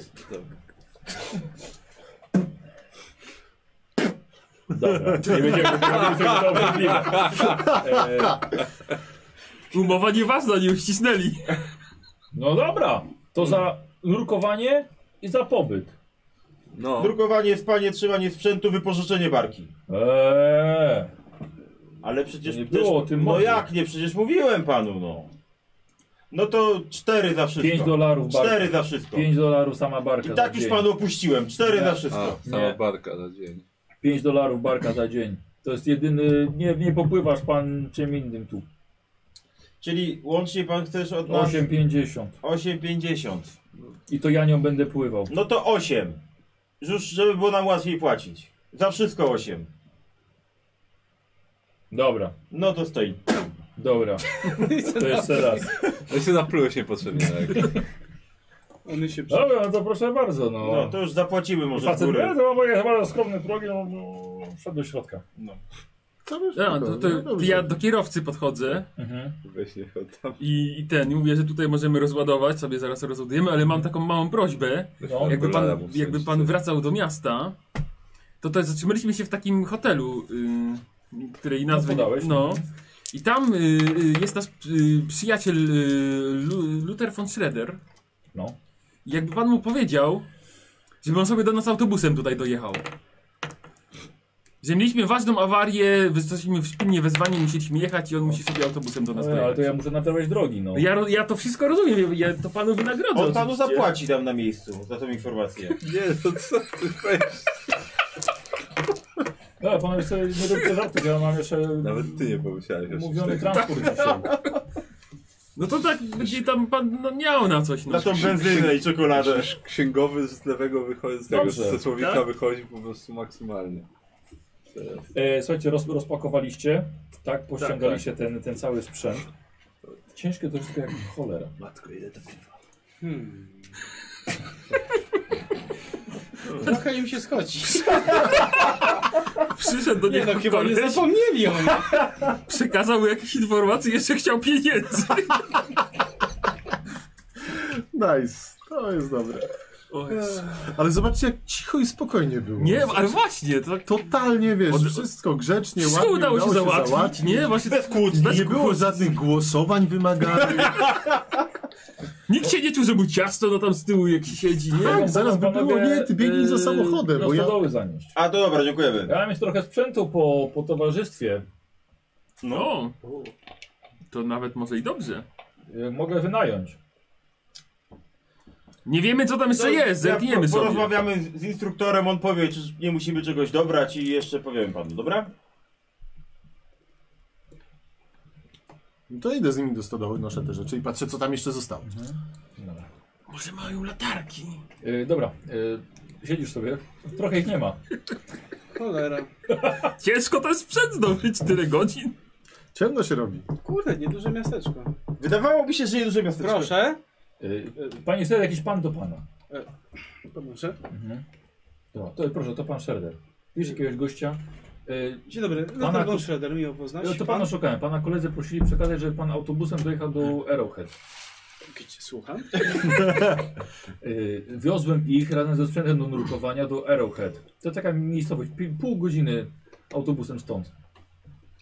[SPEAKER 2] Dobra, nie będziemy robić tego to obrzydliwe. Eee,
[SPEAKER 3] Umowa nieważna, nie uścisnęli.
[SPEAKER 2] No dobra, to za nurkowanie i za pobyt.
[SPEAKER 8] No.
[SPEAKER 10] Drukowanie, spanie, trzymanie sprzętu, wypożyczenie barki.
[SPEAKER 2] Eee,
[SPEAKER 10] Ale przecież
[SPEAKER 2] To nie
[SPEAKER 10] też-
[SPEAKER 2] było o tym
[SPEAKER 10] No
[SPEAKER 2] mowy.
[SPEAKER 10] jak nie, przecież mówiłem panu, no. No to 4 za wszystko.
[SPEAKER 2] 5 dolarów barka.
[SPEAKER 10] 4 za wszystko.
[SPEAKER 2] 5 dolarów sama barka
[SPEAKER 10] I
[SPEAKER 2] za
[SPEAKER 10] tak już
[SPEAKER 2] dzień.
[SPEAKER 10] panu opuściłem. 4 za
[SPEAKER 8] A,
[SPEAKER 10] wszystko.
[SPEAKER 8] cała
[SPEAKER 2] Nie.
[SPEAKER 8] barka za dzień.
[SPEAKER 2] 5 dolarów barka za dzień. To jest jedyny, nie, nie popływasz pan czym innym tu.
[SPEAKER 10] Czyli łącznie pan chcesz od nas
[SPEAKER 2] 8,50.
[SPEAKER 10] 8,50.
[SPEAKER 2] I to ja nią będę pływał.
[SPEAKER 10] No to 8. Już, żeby było nam łatwiej płacić. Za wszystko 8.
[SPEAKER 2] Dobra,
[SPEAKER 10] No to stoi.
[SPEAKER 2] dobra. To jeszcze raz.
[SPEAKER 8] Ja No się naplułeś niepotrzebnie. Tak.
[SPEAKER 9] One się przy...
[SPEAKER 2] Dobra, no to proszę bardzo, no.
[SPEAKER 10] No to już zapłacimy może w
[SPEAKER 2] Facet,
[SPEAKER 10] górę.
[SPEAKER 2] e, to mam moje bardzo skromne progi, no, no wszedł do środka.
[SPEAKER 3] Ja, No, to,
[SPEAKER 6] no,
[SPEAKER 3] to, ja do kierowcy podchodzę
[SPEAKER 2] Mhm.
[SPEAKER 8] Weź nie chodź tam.
[SPEAKER 3] i, i ten, i mówię, że tutaj możemy rozładować, sobie zaraz rozładujemy, ale mam taką małą prośbę.
[SPEAKER 2] No,
[SPEAKER 3] Jakby
[SPEAKER 8] Czekolada
[SPEAKER 3] pan,
[SPEAKER 8] mu
[SPEAKER 3] jakby
[SPEAKER 8] wsadzić.
[SPEAKER 3] pan wracał do miasta, to też zatrzymaliśmy się w takim hotelu, y, której nazwy... nie-
[SPEAKER 2] podałeś.
[SPEAKER 3] no. I tam y, y, jest nasz y, przyjaciel y, Lu- Luther von Schroeder.
[SPEAKER 2] no.
[SPEAKER 3] I Jakby pan mu powiedział, żeby on sobie do nas autobusem tutaj dojechał. Że mieliśmy ważną awarię, wysłaliśmy wspólnie wezwanie, musieliśmy jechać i on musi sobie autobusem do nas
[SPEAKER 2] E, ale
[SPEAKER 3] dojechać.
[SPEAKER 2] to ja muszę naprawiać drogi, no.
[SPEAKER 3] Ja, ro- ja to wszystko rozumiem, ja to panu wynagrodzę.
[SPEAKER 10] On panu
[SPEAKER 3] oczywiście.
[SPEAKER 10] no zapłaci tam na miejscu za tą informację.
[SPEAKER 8] Nie,
[SPEAKER 7] no
[SPEAKER 8] to co ty weź.
[SPEAKER 2] Dobra, panowie sobie nie róbcie żartów, ja mam jeszcze
[SPEAKER 8] Nawet ty nie pomyślałeś o czymś
[SPEAKER 2] mówiony
[SPEAKER 8] takim.
[SPEAKER 2] transport dzisiaj.
[SPEAKER 3] No to tak będzie tam pan no, miał na coś. No.
[SPEAKER 10] Za tą benzynę i czekoladę.
[SPEAKER 8] Księż- Księgowy z lewego wychodzi, z tego
[SPEAKER 2] Dobrze.
[SPEAKER 8] ze słowika
[SPEAKER 2] Tak?
[SPEAKER 8] wychodzi po prostu maksymalnie.
[SPEAKER 2] E, słuchajcie, roz, rozpakowaliście, tak? Pościągaliście Ten, ten cały sprzęt. Ciężkie to wszystko jak cholera.
[SPEAKER 8] Matko, ile to piwa.
[SPEAKER 9] Hmm. Trochę im się schodzi.
[SPEAKER 3] Przyszedł do
[SPEAKER 9] Nie
[SPEAKER 3] niego
[SPEAKER 9] no, chyba nie
[SPEAKER 3] koleś,
[SPEAKER 9] zapomnieli o mnie.
[SPEAKER 3] przekazał mu jakieś informacje, jeszcze chciał pieniędzy.
[SPEAKER 6] Nice. To jest dobre.
[SPEAKER 3] O Jezu.
[SPEAKER 6] Ale zobaczcie, jak cicho i spokojnie było.
[SPEAKER 3] Nie, ale właśnie, to tak...
[SPEAKER 6] Totalnie wiesz,
[SPEAKER 3] Od-
[SPEAKER 6] wszystko grzecznie,
[SPEAKER 3] Wszystko
[SPEAKER 6] ładnie
[SPEAKER 3] udało się załatwić, nie? Właśnie
[SPEAKER 10] Bez kłótni.
[SPEAKER 6] Nie było żadnych głosowań wymaganych.
[SPEAKER 3] Nikt się nie czuł, że mu ciasto no tam z tyłu jak siedzi, nie?
[SPEAKER 2] no,
[SPEAKER 6] Tak, zaraz by było, nie, ty biegnij
[SPEAKER 2] y,
[SPEAKER 6] za samochodem, bo
[SPEAKER 2] bo
[SPEAKER 6] ja-
[SPEAKER 2] zanieść.
[SPEAKER 10] A to dobra, dziękujemy.
[SPEAKER 2] Ja mam jeszcze trochę sprzętu po, po towarzystwie.
[SPEAKER 3] No.
[SPEAKER 2] Y,
[SPEAKER 3] To nawet może i dobrze.
[SPEAKER 2] E, Mogę wynająć.
[SPEAKER 3] Nie wiemy, co tam jeszcze jest, zerkniemy
[SPEAKER 10] po-
[SPEAKER 3] sobie.
[SPEAKER 10] Porozmawiamy z- z instruktorem, on powie, czy nie musimy czegoś dobrać i jeszcze powiem panu, dobra?
[SPEAKER 6] No to idę z nimi do stodoły, noszę te rzeczy i patrzę, co tam jeszcze zostało. No.
[SPEAKER 3] Może mają latarki.
[SPEAKER 2] E, dobra, e, siedzisz sobie. Trochę ich nie ma.
[SPEAKER 9] Cholera.
[SPEAKER 3] Ciężko to jest przedzdobyć tyle godzin.
[SPEAKER 6] Ciemno się robi.
[SPEAKER 9] Kurde, nieduże miasteczko.
[SPEAKER 10] Wydawałoby się, że nieduże miasteczko.
[SPEAKER 9] Proszę.
[SPEAKER 2] E, panie Serder, jakiś pan do pana.
[SPEAKER 9] Proszę.
[SPEAKER 2] Mhm.
[SPEAKER 6] No.
[SPEAKER 2] Dobra, to, proszę, to pan Serder. Widzisz jakiegoś gościa? E,
[SPEAKER 9] Dzień dobry,
[SPEAKER 2] Pana
[SPEAKER 9] Leopold
[SPEAKER 2] ku-
[SPEAKER 9] von Schroeder, miło poznać.
[SPEAKER 2] no to pana szukałem. Pana koledzy prosili przekazać, że pan autobusem dojechał do Arrowhead.
[SPEAKER 9] Gdzie słucham?
[SPEAKER 2] Y, Wiozłem ich razem ze sprzętem do nurkowania do Arrowhead. To taka miejscowość, pi- pół godziny autobusem stąd.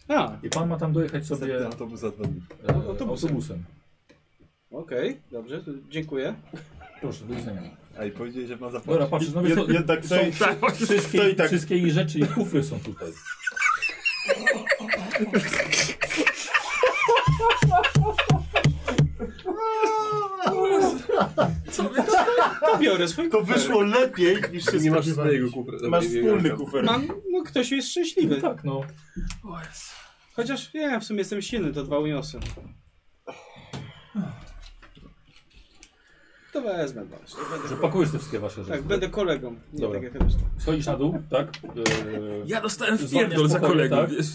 [SPEAKER 9] A.
[SPEAKER 2] I pan ma tam dojechać sobie
[SPEAKER 8] Autobus za dwa dni.
[SPEAKER 2] e, autobusem.
[SPEAKER 9] Okej, dobrze, to dziękuję.
[SPEAKER 2] Proszę, do widzenia.
[SPEAKER 8] A i powiedzieli, że ma zapłacić.
[SPEAKER 2] Dobra, patrz, no wiesz, co,
[SPEAKER 8] Jednak
[SPEAKER 2] są,
[SPEAKER 8] to i-
[SPEAKER 2] tak, wszystkie,
[SPEAKER 8] to i tak.
[SPEAKER 2] wszystkie jej rzeczy i kufry są tutaj.
[SPEAKER 9] To biorę swój
[SPEAKER 7] To
[SPEAKER 9] kufer.
[SPEAKER 7] wyszło lepiej niż się
[SPEAKER 8] Tak. Nie masz
[SPEAKER 7] spodziewałem.
[SPEAKER 8] swojego kufra. Dobra,
[SPEAKER 7] Masz
[SPEAKER 8] nie
[SPEAKER 7] wspólny
[SPEAKER 8] wiedziałem.
[SPEAKER 7] kufer.
[SPEAKER 9] Mam, no ktoś jest szczęśliwy.
[SPEAKER 2] Tak, no.
[SPEAKER 9] Chociaż nie, w sumie jestem silny, to dwa uniosę. To wezmę właśnie. Będę
[SPEAKER 2] Że
[SPEAKER 9] kole-
[SPEAKER 2] pakujesz te wszystkie wasze rzeczy.
[SPEAKER 9] tak, będę kolegą. Nie
[SPEAKER 2] Dobra.
[SPEAKER 9] tak jak reszta.
[SPEAKER 2] Schodzisz na dół, tak? Eee,
[SPEAKER 3] Ja dostałem
[SPEAKER 2] zwalniasz
[SPEAKER 3] wpierdol za
[SPEAKER 2] pokoje,
[SPEAKER 3] kolegów,
[SPEAKER 2] tak?
[SPEAKER 3] wiesz.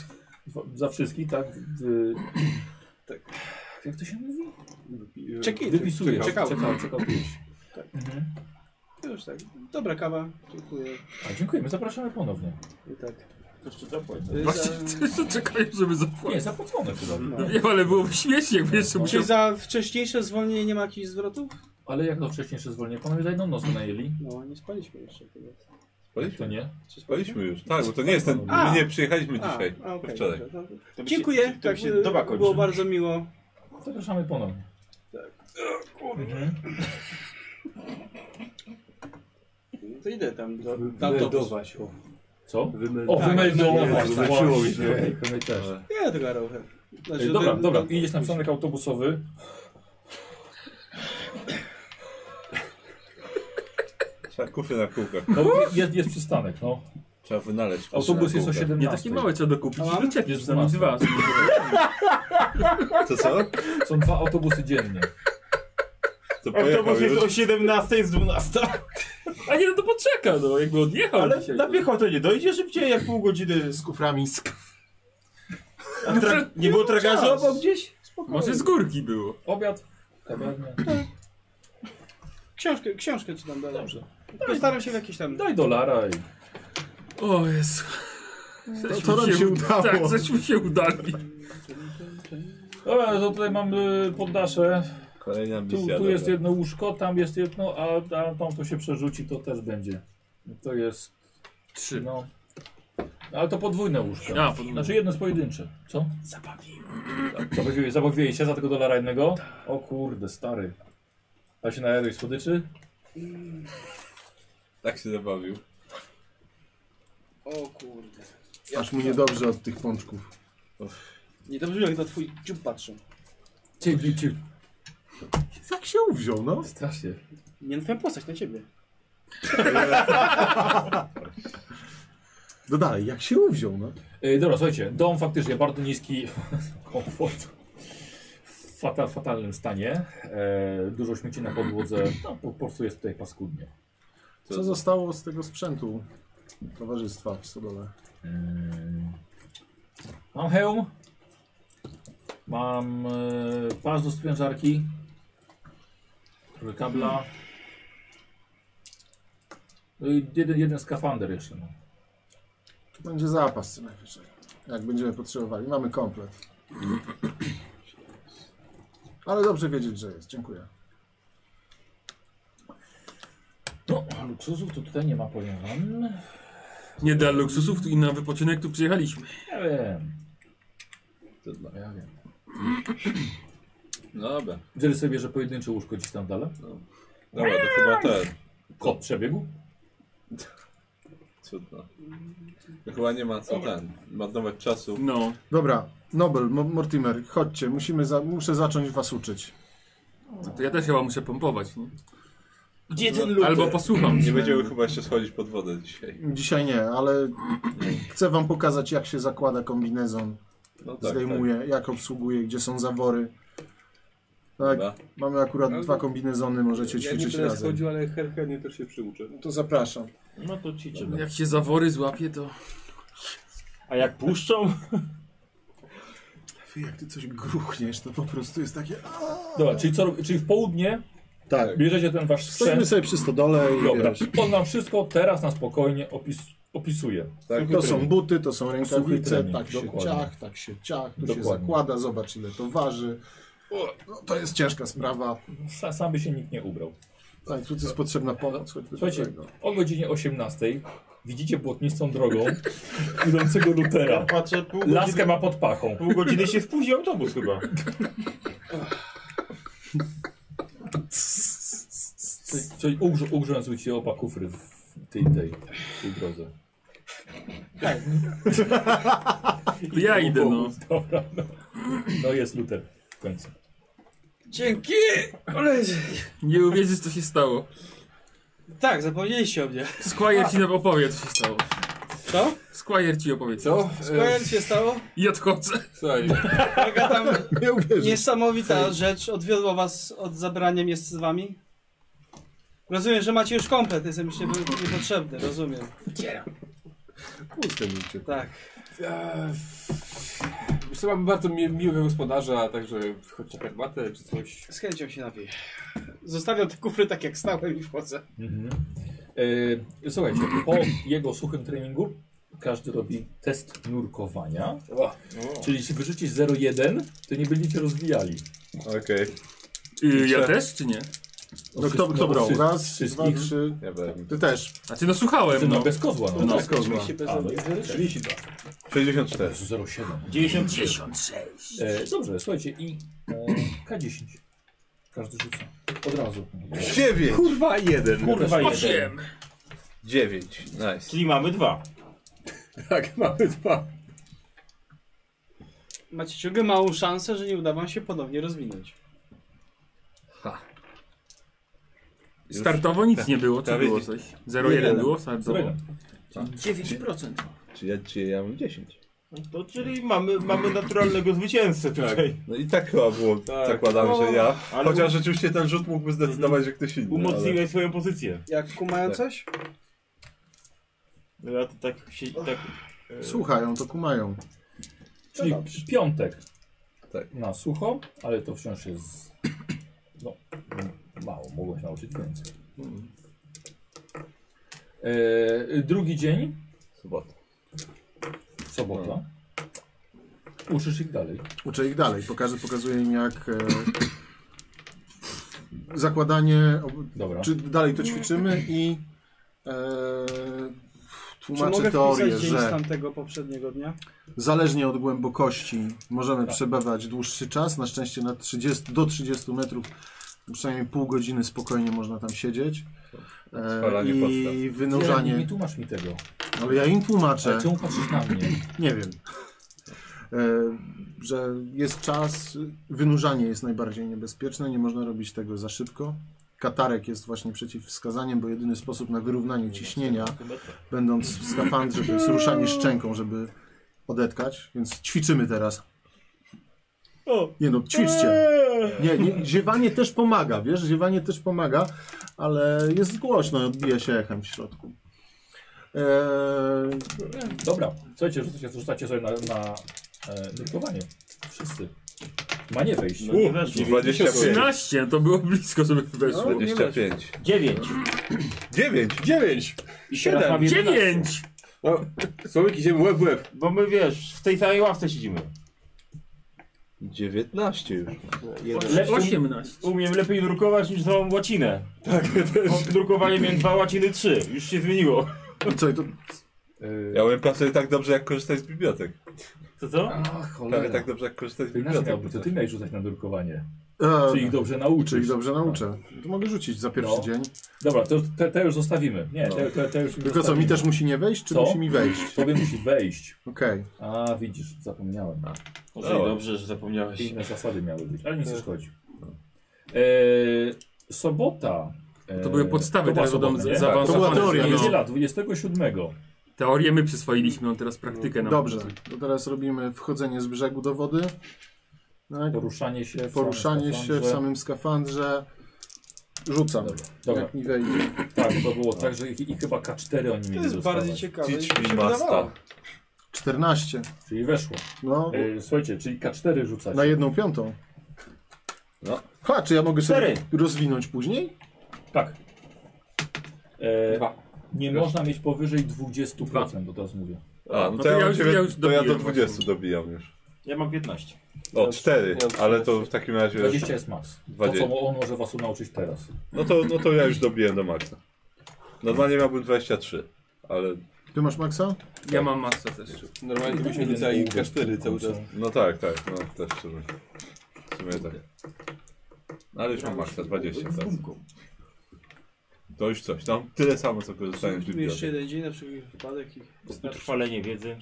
[SPEAKER 2] W- Za wszystkich, tak? W- tak. Jak to się mówi?
[SPEAKER 9] Check-in.
[SPEAKER 2] Wypisujesz.
[SPEAKER 9] Check-out.
[SPEAKER 2] Czekał, czekał.
[SPEAKER 9] Już tak. Dobra kawa, dziękuję.
[SPEAKER 2] A dziękujemy, zapraszamy ponownie.
[SPEAKER 9] I tak.
[SPEAKER 10] Jeszcze zapłacę.
[SPEAKER 9] Y,
[SPEAKER 3] Właśnie
[SPEAKER 9] za-
[SPEAKER 3] jeszcze czekają, żeby zapłacić.
[SPEAKER 2] Nie, zapłacone chyba.
[SPEAKER 9] No.
[SPEAKER 3] No wiem, ale byłoby śmiesznie, jakby jeszcze musiał...
[SPEAKER 9] Czy za wcześniejsze zwolnienie nie ma jakichś zwrotów?
[SPEAKER 2] Ale jak to wcześniejsze zwolnienie? Panowie za jedną noc najęli.
[SPEAKER 9] No, nie spaliśmy jeszcze tego.
[SPEAKER 2] Jak to nie?
[SPEAKER 9] Czy
[SPEAKER 8] Spaliśmy już. Tak, bo to nie jest ten.
[SPEAKER 9] A.
[SPEAKER 8] My nie przyjechaliśmy
[SPEAKER 9] A,
[SPEAKER 8] dzisiaj.
[SPEAKER 9] a, okej,
[SPEAKER 8] wczoraj.
[SPEAKER 9] dobrze, dobrze.
[SPEAKER 10] To by się-
[SPEAKER 9] Dziękuję,
[SPEAKER 10] to by
[SPEAKER 9] tak,
[SPEAKER 10] się
[SPEAKER 9] y,
[SPEAKER 10] doba kończy.
[SPEAKER 9] było bardzo miło.
[SPEAKER 2] Zapraszamy ponownie. Mhm.
[SPEAKER 9] To idę tam do, tam do
[SPEAKER 7] Meldować, o.
[SPEAKER 2] Co?
[SPEAKER 7] Wymeldować.
[SPEAKER 2] O, wymeldować.
[SPEAKER 7] Jezu, zaczęło mi się.
[SPEAKER 2] Ej, pewnie też.
[SPEAKER 9] Ja tego robię. Znaczy,
[SPEAKER 2] Ej, Dobra,
[SPEAKER 9] do-
[SPEAKER 2] dobra,
[SPEAKER 9] do-
[SPEAKER 2] idziesz na przystanek autobusowy.
[SPEAKER 8] Trzeba kufry na kółkach.
[SPEAKER 2] No, jest, jest przystanek, no.
[SPEAKER 8] Trzeba wynaleźć kufry
[SPEAKER 2] Autobus
[SPEAKER 8] na
[SPEAKER 2] jest o
[SPEAKER 8] kółkach.
[SPEAKER 2] 17.
[SPEAKER 3] Nie takie małe trzeba dokupić.
[SPEAKER 9] A mam?
[SPEAKER 3] No ciepiesz,
[SPEAKER 2] Jest
[SPEAKER 3] za nic was.
[SPEAKER 2] 12.
[SPEAKER 8] To co?
[SPEAKER 2] Są dwa autobusy dziennie.
[SPEAKER 8] To pojechał
[SPEAKER 10] Autobus jest
[SPEAKER 8] już.
[SPEAKER 10] o 17, jest 12.
[SPEAKER 3] A nie, no to poczeka, no, jakby odjechał
[SPEAKER 10] Ale
[SPEAKER 3] dzisiaj.
[SPEAKER 10] na piechotę nie dojdzie szybciej, jak pół godziny.
[SPEAKER 6] Z kuframi.
[SPEAKER 10] A tra- nie było tragarzy obok gdzieś?
[SPEAKER 3] No Może z górki było.
[SPEAKER 2] Obiad. Kawiarnia.
[SPEAKER 9] Książkę, książkę ci tam dałem.
[SPEAKER 2] Dobrze.
[SPEAKER 9] Postaram się w jakiś tam...
[SPEAKER 2] Daj dolara i...
[SPEAKER 3] O Jezu. Coś
[SPEAKER 6] to
[SPEAKER 3] mi
[SPEAKER 6] nam się udało.
[SPEAKER 3] Tak, coś mi się udali.
[SPEAKER 2] Dobra, to tutaj mam y, poddasze.
[SPEAKER 8] Kolejna misja.
[SPEAKER 2] Tu, tu
[SPEAKER 8] dobra.
[SPEAKER 2] jest jedno łóżko, tam jest jedno, a, a tam to się przerzuci, to też będzie. To jest...
[SPEAKER 3] Trzy.
[SPEAKER 2] No. Ale to podwójne łóżko.
[SPEAKER 3] A, podwójne.
[SPEAKER 2] Znaczy jedno jest pojedyncze. Co?
[SPEAKER 3] Zabawiłem.
[SPEAKER 2] Zabawiłeś, zabawiłeś się za tego dolara jednego? O kurde, stary. A się najadłeś słodyczy?
[SPEAKER 8] Tak się zabawił.
[SPEAKER 9] O kurde.
[SPEAKER 6] Aż mu niedobrze od tych pączków.
[SPEAKER 9] Nie dobrze jak na twój dziób patrzę.
[SPEAKER 2] Ciebie, ciebie.
[SPEAKER 6] Jak się uwziął, no?
[SPEAKER 2] Strasznie.
[SPEAKER 9] Nie na twoją postać, na ciebie.
[SPEAKER 6] No dalej, jak się uwziął, no?
[SPEAKER 2] Yy, dobra, słuchajcie, dom faktycznie bardzo niski komfort. W Fata, fatalnym stanie. E, dużo śmieci na podłodze. No, po, po prostu jest tutaj paskudnie.
[SPEAKER 6] Co zostało z tego sprzętu towarzystwa w stodole?
[SPEAKER 2] Mm. Mam hełm. Mam e, pas do sprężarki. Trochę kabla. No i jeden, jeden skafander jeszcze. No.
[SPEAKER 6] To będzie zapas co najwyżej. Jak będziemy potrzebowali. Mamy komplet. Ale dobrze wiedzieć, że jest. Dziękuję.
[SPEAKER 2] No, a luksusów to tutaj nie ma, powiem wam.
[SPEAKER 3] Nie dla luksusów tu i na wypoczynek tu przyjechaliśmy.
[SPEAKER 2] Ja wiem,
[SPEAKER 8] To dla-
[SPEAKER 2] ja wiem.
[SPEAKER 8] No dobra.
[SPEAKER 2] Dzielę sobie, że pojedyncze łóżko gdzieś tam dalej.
[SPEAKER 8] Dobra, to chyba ten.
[SPEAKER 2] Kot przebiegł?
[SPEAKER 8] Cudno. To chyba nie ma co ten. Marnować czasu.
[SPEAKER 3] No.
[SPEAKER 6] Dobra, Nobel, Mo- Mortimer, chodźcie. Musimy za muszę zacząć was uczyć.
[SPEAKER 3] To ja też chyba muszę pompować, nie?
[SPEAKER 9] No,
[SPEAKER 10] Gdzie ten
[SPEAKER 8] Luther?
[SPEAKER 3] Albo posłucham.
[SPEAKER 8] Nie będziemy chyba jeszcze schodzić pod wodę dzisiaj.
[SPEAKER 6] Dzisiaj nie, ale chcę wam pokazać, jak się zakłada kombinezon.
[SPEAKER 8] No tak,
[SPEAKER 6] Zdejmuje, jak obsługuje, gdzie są zawory. Tak,
[SPEAKER 8] Dobra.
[SPEAKER 6] mamy akurat
[SPEAKER 8] No,
[SPEAKER 6] dwa kombinezony, możecie
[SPEAKER 7] Ja nie
[SPEAKER 6] ćwiczyć
[SPEAKER 7] będę
[SPEAKER 6] razem.
[SPEAKER 7] schodził, ale herchenie też się przyuczę.
[SPEAKER 6] No to zapraszam.
[SPEAKER 10] No to ćwiczymy.
[SPEAKER 3] Jak się zawory złapie, to...
[SPEAKER 10] A jak puszczą?
[SPEAKER 6] Jak ty coś gruchniesz, to po prostu jest takie...
[SPEAKER 2] Dobra, czyli, co, rob- czyli w południe
[SPEAKER 6] Tak.
[SPEAKER 2] bierzecie ten wasz
[SPEAKER 6] Stośmy
[SPEAKER 2] sprzęt.
[SPEAKER 6] sobie przy stodole i
[SPEAKER 2] Dobra,
[SPEAKER 6] wiesz,
[SPEAKER 2] on nam wszystko teraz na spokojnie opis, opisuje.
[SPEAKER 6] To są buty, to są
[SPEAKER 2] Suchy
[SPEAKER 6] rękawice,
[SPEAKER 2] trening,
[SPEAKER 6] tak się
[SPEAKER 2] dokładnie.
[SPEAKER 6] ciach, tak się ciach, tu się
[SPEAKER 2] Dokładnie.
[SPEAKER 6] zakłada, zobacz ile to waży. O, No, to jest ciężka sprawa.
[SPEAKER 2] Sa- Sam by się nikt nie ubrał.
[SPEAKER 6] Tak, tu jest potrzebna pomoc. choćby do
[SPEAKER 2] Słuchajcie,
[SPEAKER 6] tego.
[SPEAKER 2] o godzinie 18 widzicie błotnistą drogą idącego Lutera.
[SPEAKER 10] Patrzę, pół godziny,
[SPEAKER 2] Laskę ma pod pachą.
[SPEAKER 10] pół godziny się spóźni autobus chyba.
[SPEAKER 2] Coś, coś ugrz, ugrzązł ci oba kufry w tej, tej, tej drodze.
[SPEAKER 3] Ja idę, no.
[SPEAKER 2] Dobra, no. no jest Luter w końcu.
[SPEAKER 9] Dzięki! Koleś.
[SPEAKER 3] Nie uwierzysz, co się stało.
[SPEAKER 9] Tak, zapomnieliście o mnie.
[SPEAKER 3] Squire ci nam opowie, co się stało.
[SPEAKER 9] Co?
[SPEAKER 3] Squire ci opowie, co?
[SPEAKER 23] Co?
[SPEAKER 9] Skończ się stało?
[SPEAKER 3] I odchodzę.
[SPEAKER 23] Słuchaj,
[SPEAKER 9] Jaka tam
[SPEAKER 6] Nie uwierzę.
[SPEAKER 9] niesamowita rzecz odwiodła was od zabrania miejsc z wami? Rozumiem, że macie już komplet, jestem już nie- niepotrzebny, rozumiem.
[SPEAKER 6] Puste życie.
[SPEAKER 9] Tak.
[SPEAKER 23] e, wiesz co, mamy bardzo mi, miłego gospodarza, także chodź na herbatę czy coś.
[SPEAKER 9] Z chęcią się napiję. Zostawiam te kufry tak jak stałem i wchodzę.
[SPEAKER 2] Mhm. E, słuchajcie, po jego suchym treningu każdy robi test nurkowania. Czyli jeśli wyrzucić 0,1, to nie będziecie rozwijali.
[SPEAKER 8] Okej,
[SPEAKER 3] Y, ja też, czy nie?
[SPEAKER 6] No kto, kto brał? Raz, dwa,
[SPEAKER 2] wszystkich.
[SPEAKER 6] trzy.
[SPEAKER 8] ja wiem.
[SPEAKER 6] Ty też.
[SPEAKER 3] Znaczy, no słuchałem,
[SPEAKER 2] No,
[SPEAKER 3] no.
[SPEAKER 2] bez kozła, no.
[SPEAKER 6] No,
[SPEAKER 2] no.
[SPEAKER 6] z kozła.
[SPEAKER 9] Się bez
[SPEAKER 2] A, no,
[SPEAKER 8] 32. 64.
[SPEAKER 2] 0,7.
[SPEAKER 10] 96.
[SPEAKER 2] E, dobrze, słuchajcie, i e, K10. Każdy rzuca. Od razu.
[SPEAKER 8] 9! Kurwa, 1.
[SPEAKER 2] Kurwa, jeden.
[SPEAKER 3] Osiem.
[SPEAKER 8] 9. Nice.
[SPEAKER 10] Czyli mamy dwa.
[SPEAKER 8] Tak, mamy dwa.
[SPEAKER 9] Macie ciągle małą szansę, że nie uda wam się ponownie rozwinąć.
[SPEAKER 3] Startowo nic nie było, czy
[SPEAKER 8] Prawie
[SPEAKER 3] było
[SPEAKER 8] nic.
[SPEAKER 3] coś? 0,1 było startowo?
[SPEAKER 10] 9%.
[SPEAKER 8] Czy ja, czy ja mam 10?
[SPEAKER 10] No To czyli mamy, mamy naturalnego zwycięzcę tutaj.
[SPEAKER 8] No i tak chyba było,
[SPEAKER 10] Tak.
[SPEAKER 8] zakładam, że ja.
[SPEAKER 10] Ale
[SPEAKER 8] Chociaż rzeczywiście ten rzut mógłby zdecydować, że ktoś inny.
[SPEAKER 10] Umocniłeś swoją pozycję.
[SPEAKER 9] Jak kumają
[SPEAKER 8] Tak.
[SPEAKER 9] coś?
[SPEAKER 10] No Ja to tak się... Tak, e,
[SPEAKER 6] Słuchają, to kumają.
[SPEAKER 2] Czyli
[SPEAKER 9] dobrze.
[SPEAKER 2] piątek.
[SPEAKER 8] Tak.
[SPEAKER 2] Na sucho, ale to wciąż jest. No, mało, mogło się nauczyć więcej. E, drugi dzień,
[SPEAKER 8] Sobota.
[SPEAKER 2] sobota.
[SPEAKER 8] No.
[SPEAKER 2] Uczysz ich dalej.
[SPEAKER 6] Uczę ich dalej. Pokażę, pokazuję im jak e, zakładanie, ob-
[SPEAKER 2] Dobra.
[SPEAKER 6] czy dalej to ćwiczymy i e,
[SPEAKER 9] Czy mogę
[SPEAKER 6] tłumaczę teorię,
[SPEAKER 9] wpisać dzień z
[SPEAKER 6] że
[SPEAKER 9] tamtego poprzedniego dnia?
[SPEAKER 6] zależnie od głębokości możemy przebywać dłuższy czas. Na szczęście na 30, do 30 metrów przynajmniej pół godziny spokojnie można tam siedzieć. E,
[SPEAKER 8] Spalanie
[SPEAKER 6] I
[SPEAKER 2] Nie, nie
[SPEAKER 6] wynurzanie.
[SPEAKER 2] tłumacz mi tego.
[SPEAKER 6] Ale ja im tłumaczę.
[SPEAKER 2] Ale czemu patrzysz na mnie?
[SPEAKER 6] Nie wiem. E, Że jest czas, wynurzanie jest najbardziej niebezpieczne, nie można robić tego za szybko. Katarek jest właśnie przeciwwskazaniem, bo jedyny sposób na wyrównanie ciśnienia, będąc w skafandrze, to jest ruszanie szczęką, żeby odetkać, więc ćwiczymy teraz. Nie no, ćwiczcie. Nie, nie, ziewanie też pomaga, wiesz, ziewanie też pomaga, ale jest głośno i odbija się echem w środku. Eee,
[SPEAKER 2] Dobra, słuchajcie, rzucacie, rzucacie sobie na, na e, nurkowanie. Wszyscy. Ma nie wejść.
[SPEAKER 10] no nie weszło.
[SPEAKER 8] 25.
[SPEAKER 3] 13, to było blisko, żeby weszło.
[SPEAKER 8] 25.
[SPEAKER 10] 9.
[SPEAKER 8] 9!
[SPEAKER 23] 9!
[SPEAKER 10] I siedem. Teraz mam 11,
[SPEAKER 3] 9!
[SPEAKER 23] No, Słowik idziemy łeb w łeb.
[SPEAKER 10] Bo my wiesz, w tej samej ławce siedzimy.
[SPEAKER 8] 19 już.
[SPEAKER 10] Lecz
[SPEAKER 23] 18.
[SPEAKER 10] umiem lepiej drukować niż całą łacinę. Tak, też. Drukowanie miałem dwa łaciny trzy. Już się zmieniło.
[SPEAKER 6] co, i to
[SPEAKER 8] Ja umiem pracuję tak dobrze, jak korzystać z bibliotek.
[SPEAKER 10] Co co?
[SPEAKER 2] A,
[SPEAKER 8] Prawie
[SPEAKER 2] cholera.
[SPEAKER 8] tak dobrze, jak korzystać z
[SPEAKER 2] To inaczej miałby,
[SPEAKER 8] bibliotek.
[SPEAKER 2] to ty miałeś rzucać na nurkowanie.
[SPEAKER 6] Eee,
[SPEAKER 2] Czy ich dobrze
[SPEAKER 6] Czy
[SPEAKER 2] nauczysz.
[SPEAKER 6] ich dobrze nauczę? To mogę rzucić za pierwszy
[SPEAKER 2] No.
[SPEAKER 6] dzień.
[SPEAKER 2] Dobra, to, te, te już zostawimy. Nie, te, te, te już
[SPEAKER 6] Tylko co, mi też musi nie wejść, czy
[SPEAKER 2] Co?
[SPEAKER 6] musi mi wejść?
[SPEAKER 2] Tobie musi wejść.
[SPEAKER 6] Okej.
[SPEAKER 2] A, widzisz, zapomniałem.
[SPEAKER 10] Może i dobrze, że zapomniałeś.
[SPEAKER 2] Inne zasady miały być, ale nic nie szkodzi. E, sobota.
[SPEAKER 6] No
[SPEAKER 3] To były podstawy,
[SPEAKER 2] była
[SPEAKER 3] teraz będą
[SPEAKER 2] sobota, nie? Tak,
[SPEAKER 3] zaawansowane.
[SPEAKER 2] To była teoria,
[SPEAKER 3] No.
[SPEAKER 2] niedziela, 27.
[SPEAKER 3] Teorię my przyswoiliśmy, on teraz
[SPEAKER 2] no.
[SPEAKER 3] praktykę nam
[SPEAKER 6] Dobrze, to teraz robimy wchodzenie z brzegu do wody. Tak.
[SPEAKER 2] Poruszanie się w
[SPEAKER 6] Poruszanie
[SPEAKER 2] samym
[SPEAKER 6] się w
[SPEAKER 2] skafandrze.
[SPEAKER 6] samym skafandrze. Rzucam,
[SPEAKER 2] Dobra.
[SPEAKER 6] jak mi wejdzie.
[SPEAKER 2] Tak, to było tak, że ich, ich chyba K4 oni mieli
[SPEAKER 6] jest
[SPEAKER 2] dostawać.
[SPEAKER 6] bardziej ciekawe,
[SPEAKER 2] Teach
[SPEAKER 6] niż mi się
[SPEAKER 2] me basta.
[SPEAKER 6] wydawało. 14.
[SPEAKER 2] Czyli weszło.
[SPEAKER 6] No.
[SPEAKER 2] E, słuchajcie, czyli K4 rzucać.
[SPEAKER 6] Na jedną piątą.
[SPEAKER 2] No.
[SPEAKER 6] Ha, czy ja mogę sobie
[SPEAKER 2] Cztery.
[SPEAKER 6] rozwinąć później?
[SPEAKER 2] Tak. E, Nie można mieć powyżej 20%, bo teraz mówię.
[SPEAKER 8] A, no to, ja, mam dziewię- to ja do 20 dobijam już.
[SPEAKER 10] Ja mam 15.
[SPEAKER 8] O, 4, ale to w takim razie...
[SPEAKER 2] 20 jest max. To,
[SPEAKER 8] 20.
[SPEAKER 2] co on może was nauczyć teraz.
[SPEAKER 8] No to, no to ja już dobiłem do maksa. Normalnie miałbym 23, ale...
[SPEAKER 6] Ty masz maksa?
[SPEAKER 8] Ja
[SPEAKER 6] mam
[SPEAKER 8] maksa też.
[SPEAKER 7] Tak. Normalnie byśmy rzucali K4 cały czas.
[SPEAKER 8] No tak, tak, no też w sumie. W sumie tak. No ale już mam maksa, 20 teraz. To już coś, tam tyle samo co korzystałem z
[SPEAKER 9] Tu jeszcze
[SPEAKER 8] biblioteki.
[SPEAKER 9] jeden dzień na wszelki wypadek i wystarczy.
[SPEAKER 10] Utrwalenie wiedzy.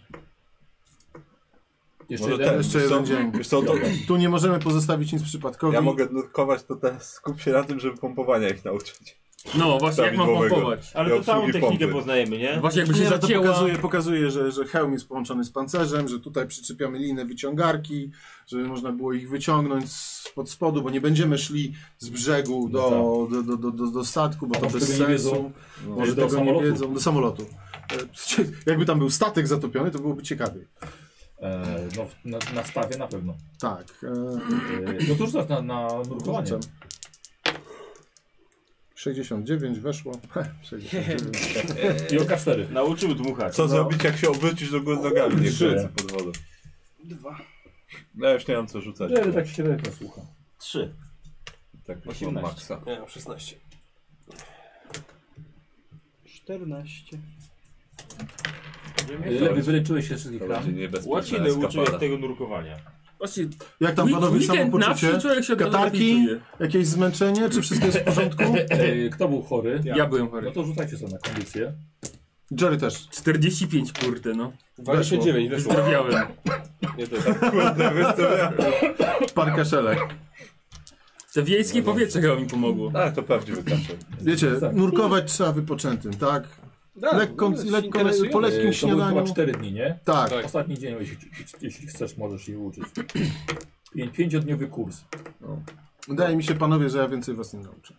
[SPEAKER 8] Może
[SPEAKER 6] jeden,
[SPEAKER 8] ten,
[SPEAKER 6] jeszcze
[SPEAKER 8] wiesz
[SPEAKER 6] jeden
[SPEAKER 8] co,
[SPEAKER 6] dzień.
[SPEAKER 8] wiesz co, to-
[SPEAKER 6] Tu nie możemy pozostawić nic przypadkowi.
[SPEAKER 8] Ja mogę nurkować, to teraz skup się na tym, żeby pompowania ich nauczyć.
[SPEAKER 3] No, właśnie, jak mam
[SPEAKER 8] Prawidłowego.
[SPEAKER 3] pompować?
[SPEAKER 10] Ale
[SPEAKER 8] I
[SPEAKER 10] to całą
[SPEAKER 8] obsługi
[SPEAKER 10] technikę
[SPEAKER 8] pompy.
[SPEAKER 10] poznajemy, nie?
[SPEAKER 3] Właśnie jakby się
[SPEAKER 6] Nie, no
[SPEAKER 3] zacięła-
[SPEAKER 6] To pokazuje, pokazuje że, że hełm jest połączony z pancerzem, że tutaj przyczepiamy linę wyciągarki, żeby można było ich wyciągnąć spod spodu, bo nie będziemy szli z brzegu do, do, do, do, do, do statku,
[SPEAKER 2] No
[SPEAKER 6] bo
[SPEAKER 2] tak. A
[SPEAKER 6] to
[SPEAKER 2] może
[SPEAKER 6] bez
[SPEAKER 2] tego nie
[SPEAKER 6] sensu.
[SPEAKER 2] wiedzą?
[SPEAKER 6] No.
[SPEAKER 2] No.
[SPEAKER 6] Może
[SPEAKER 2] Do
[SPEAKER 6] tego
[SPEAKER 2] samolotu.
[SPEAKER 6] nie wiedzą. Do samolotu. E, Jakby tam był statek zatopiony, to byłoby ciekawiej.
[SPEAKER 2] E, no, w- na, na stawie na pewno.
[SPEAKER 6] Tak. E,
[SPEAKER 2] E, no to rzucać na, na nurkowanie.
[SPEAKER 6] Wrzucam. 69 weszło. 69.
[SPEAKER 2] I o K4.
[SPEAKER 10] Nauczył dmuchać.
[SPEAKER 8] Co zrobić, jak się obrócisz do góry nogami, nie krzyczy pod wodą.
[SPEAKER 9] Dwa.
[SPEAKER 8] No ja już nie mam co rzucać.
[SPEAKER 2] Jerry tak średnio słucha.
[SPEAKER 10] Trzy.
[SPEAKER 8] Tak, już mam
[SPEAKER 10] 18.
[SPEAKER 8] maksa.
[SPEAKER 7] Nie, 16.
[SPEAKER 9] 14.
[SPEAKER 2] Lewy, E, wyleczyłeś się z wszystkich
[SPEAKER 8] To
[SPEAKER 2] ran.
[SPEAKER 8] będzie niebezpieczna
[SPEAKER 10] Łaciny uczy
[SPEAKER 8] eskapada.
[SPEAKER 10] tego nurkowania.
[SPEAKER 3] Właśnie,
[SPEAKER 6] Jak tam
[SPEAKER 3] Week-
[SPEAKER 6] panowie
[SPEAKER 3] weekend na
[SPEAKER 6] samopoczucie?
[SPEAKER 3] wsi, człowiek się
[SPEAKER 6] Katarki?
[SPEAKER 3] odnawidzuje.
[SPEAKER 6] Jakieś zmęczenie? Czy wszystko jest w porządku?
[SPEAKER 2] E, Kto był chory?
[SPEAKER 3] Ja byłem chory.
[SPEAKER 2] No to rzucajcie sobie na kondycję.
[SPEAKER 6] Jerry też.
[SPEAKER 3] 45, kurde, no.
[SPEAKER 7] 29 weszło.
[SPEAKER 3] Wyzdrowiałem.
[SPEAKER 7] Nie to
[SPEAKER 8] Kurde, wystawiam.
[SPEAKER 6] Par kaszelek.
[SPEAKER 3] Te wiejskie powietrze chyba mi pomogło.
[SPEAKER 8] Tak, to prawdziwy kaszel.
[SPEAKER 6] Wiecie, nurkować trzeba wypoczętym, tak?
[SPEAKER 9] Tak,
[SPEAKER 6] lekko,
[SPEAKER 10] No,
[SPEAKER 9] w ogóle się
[SPEAKER 6] lekko
[SPEAKER 9] interesują.
[SPEAKER 6] po lekkim
[SPEAKER 2] E, to były chyba
[SPEAKER 6] śniadaniu.
[SPEAKER 2] 4 dni, nie?
[SPEAKER 6] Tak.
[SPEAKER 2] Ostatni dzień, jeśli, jeśli chcesz, możesz się uczyć. Pię- Pięciodniowy kurs.
[SPEAKER 6] Wydaje mi się, panowie, że ja więcej was nie nauczę.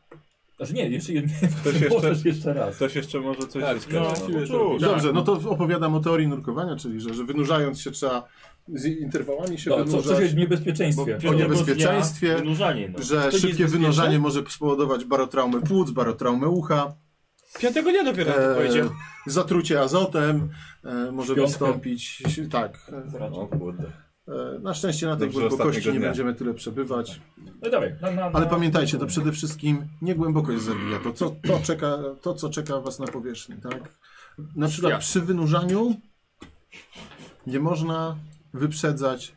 [SPEAKER 2] Znaczy nie, jeszcze jednie.
[SPEAKER 8] Ktoś jeszcze,
[SPEAKER 2] Możesz jeszcze raz.
[SPEAKER 8] ktoś jeszcze może coś
[SPEAKER 7] Tak,
[SPEAKER 8] zyskać.
[SPEAKER 7] no,
[SPEAKER 8] no.
[SPEAKER 7] siłę zrobić.
[SPEAKER 6] Dobrze, no to opowiadam o teorii nurkowania, czyli że, że wynurzając się trzeba z interwałami się
[SPEAKER 2] No, co,
[SPEAKER 6] wynurzać.
[SPEAKER 2] co jest w niebezpieczeństwie?
[SPEAKER 6] o niebezpieczeństwie,
[SPEAKER 10] Wynurzanie, no.
[SPEAKER 6] że
[SPEAKER 9] To nie
[SPEAKER 6] szybkie
[SPEAKER 9] jest
[SPEAKER 6] wynurzanie może spowodować barotraumę płuc, barotraumę ucha,
[SPEAKER 9] Piątego dnia dopiero
[SPEAKER 6] e,
[SPEAKER 9] eee. powiedział.
[SPEAKER 6] zatrucie azotem, e, może
[SPEAKER 2] Piątkę.
[SPEAKER 6] wystąpić, tak.
[SPEAKER 8] O kurde.
[SPEAKER 6] E, e, na szczęście na tej
[SPEAKER 8] Dobrze,
[SPEAKER 6] głębokości
[SPEAKER 8] ostatniego
[SPEAKER 6] nie
[SPEAKER 8] dnia.
[SPEAKER 6] będziemy tyle przebywać.
[SPEAKER 2] No dawaj. Na, na, na...
[SPEAKER 6] Ale pamiętajcie, to przede wszystkim nie głębokość zabija, to, co, to, czeka, to co czeka Was na powierzchni, tak? Na przykład
[SPEAKER 3] Świat.
[SPEAKER 6] przy wynurzaniu nie można wyprzedzać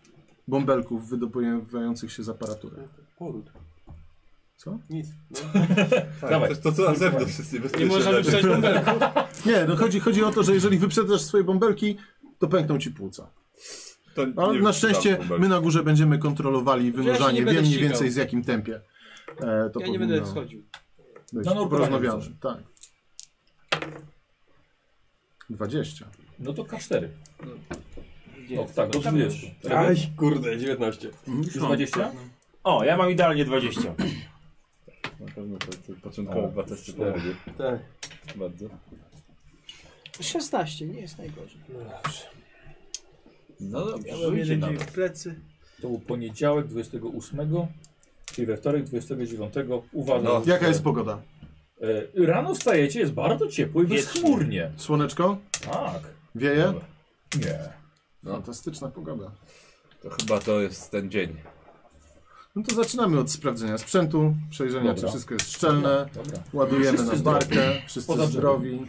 [SPEAKER 6] bąbelków wydobywających się z aparatury.
[SPEAKER 7] Poród.
[SPEAKER 6] Co?
[SPEAKER 7] Nic.
[SPEAKER 8] Tak,
[SPEAKER 2] Dawaj.
[SPEAKER 8] To, to co na zewnątrz jest
[SPEAKER 9] Nie
[SPEAKER 8] niebezpieczne. Tak,
[SPEAKER 9] można wyprzeć bąbelków.
[SPEAKER 6] Nie, no chodzi, chodzi o to, że jeżeli wyprzedzasz swoje bąbelki, to pękną Ci płuca.
[SPEAKER 8] To
[SPEAKER 6] Ale
[SPEAKER 8] nie
[SPEAKER 6] No, na
[SPEAKER 8] wiem,
[SPEAKER 6] szczęście
[SPEAKER 8] czy dam
[SPEAKER 6] my na górze będziemy kontrolowali
[SPEAKER 9] ja się nie
[SPEAKER 6] wynurzanie,
[SPEAKER 9] będę
[SPEAKER 6] wiem mniej
[SPEAKER 9] ścigał.
[SPEAKER 6] więcej z jakim tempie. E, to
[SPEAKER 9] Ja nie
[SPEAKER 6] powinno
[SPEAKER 9] będę schodził.
[SPEAKER 6] być.
[SPEAKER 2] Na nurkowanie
[SPEAKER 6] Porozmawiamy,
[SPEAKER 2] chcesz.
[SPEAKER 6] tak. 20.
[SPEAKER 2] No to K4. No tak, do 20.
[SPEAKER 7] Aj, kurde, 19.
[SPEAKER 2] Już 20?
[SPEAKER 10] O, ja mam idealnie 20.
[SPEAKER 8] Na pewno to, to początkowe dwa testy
[SPEAKER 2] cztery.
[SPEAKER 8] pomogły.
[SPEAKER 7] Tak.
[SPEAKER 8] Bardzo.
[SPEAKER 9] 16, nie jest najgorzej.
[SPEAKER 8] No
[SPEAKER 9] Ja
[SPEAKER 8] dobrze.
[SPEAKER 9] mam
[SPEAKER 2] Żyjcie
[SPEAKER 9] jeden dzień
[SPEAKER 2] nawet.
[SPEAKER 9] w plecy.
[SPEAKER 2] To był poniedziałek 28, czyli we wtorek 29. Uwaga.
[SPEAKER 8] No.
[SPEAKER 6] Jaka jest pogoda?
[SPEAKER 2] E, Rano wstajecie, jest bardzo ciepło i
[SPEAKER 10] Wiecznie.
[SPEAKER 2] bezchmurnie.
[SPEAKER 6] Słoneczko?
[SPEAKER 2] Tak.
[SPEAKER 6] Wieje?
[SPEAKER 2] Dobra. Nie.
[SPEAKER 6] Fantastyczna pogoda.
[SPEAKER 8] To chyba to jest ten dzień.
[SPEAKER 6] No to zaczynamy od sprawdzenia sprzętu, przejrzenia,
[SPEAKER 2] Dobra.
[SPEAKER 6] czy wszystko jest szczelne.
[SPEAKER 2] Dobra.
[SPEAKER 6] Ładujemy
[SPEAKER 2] Wszyscy
[SPEAKER 6] na
[SPEAKER 2] zdrowi.
[SPEAKER 6] barkę, wszyscy
[SPEAKER 2] Poza
[SPEAKER 6] zdrowi.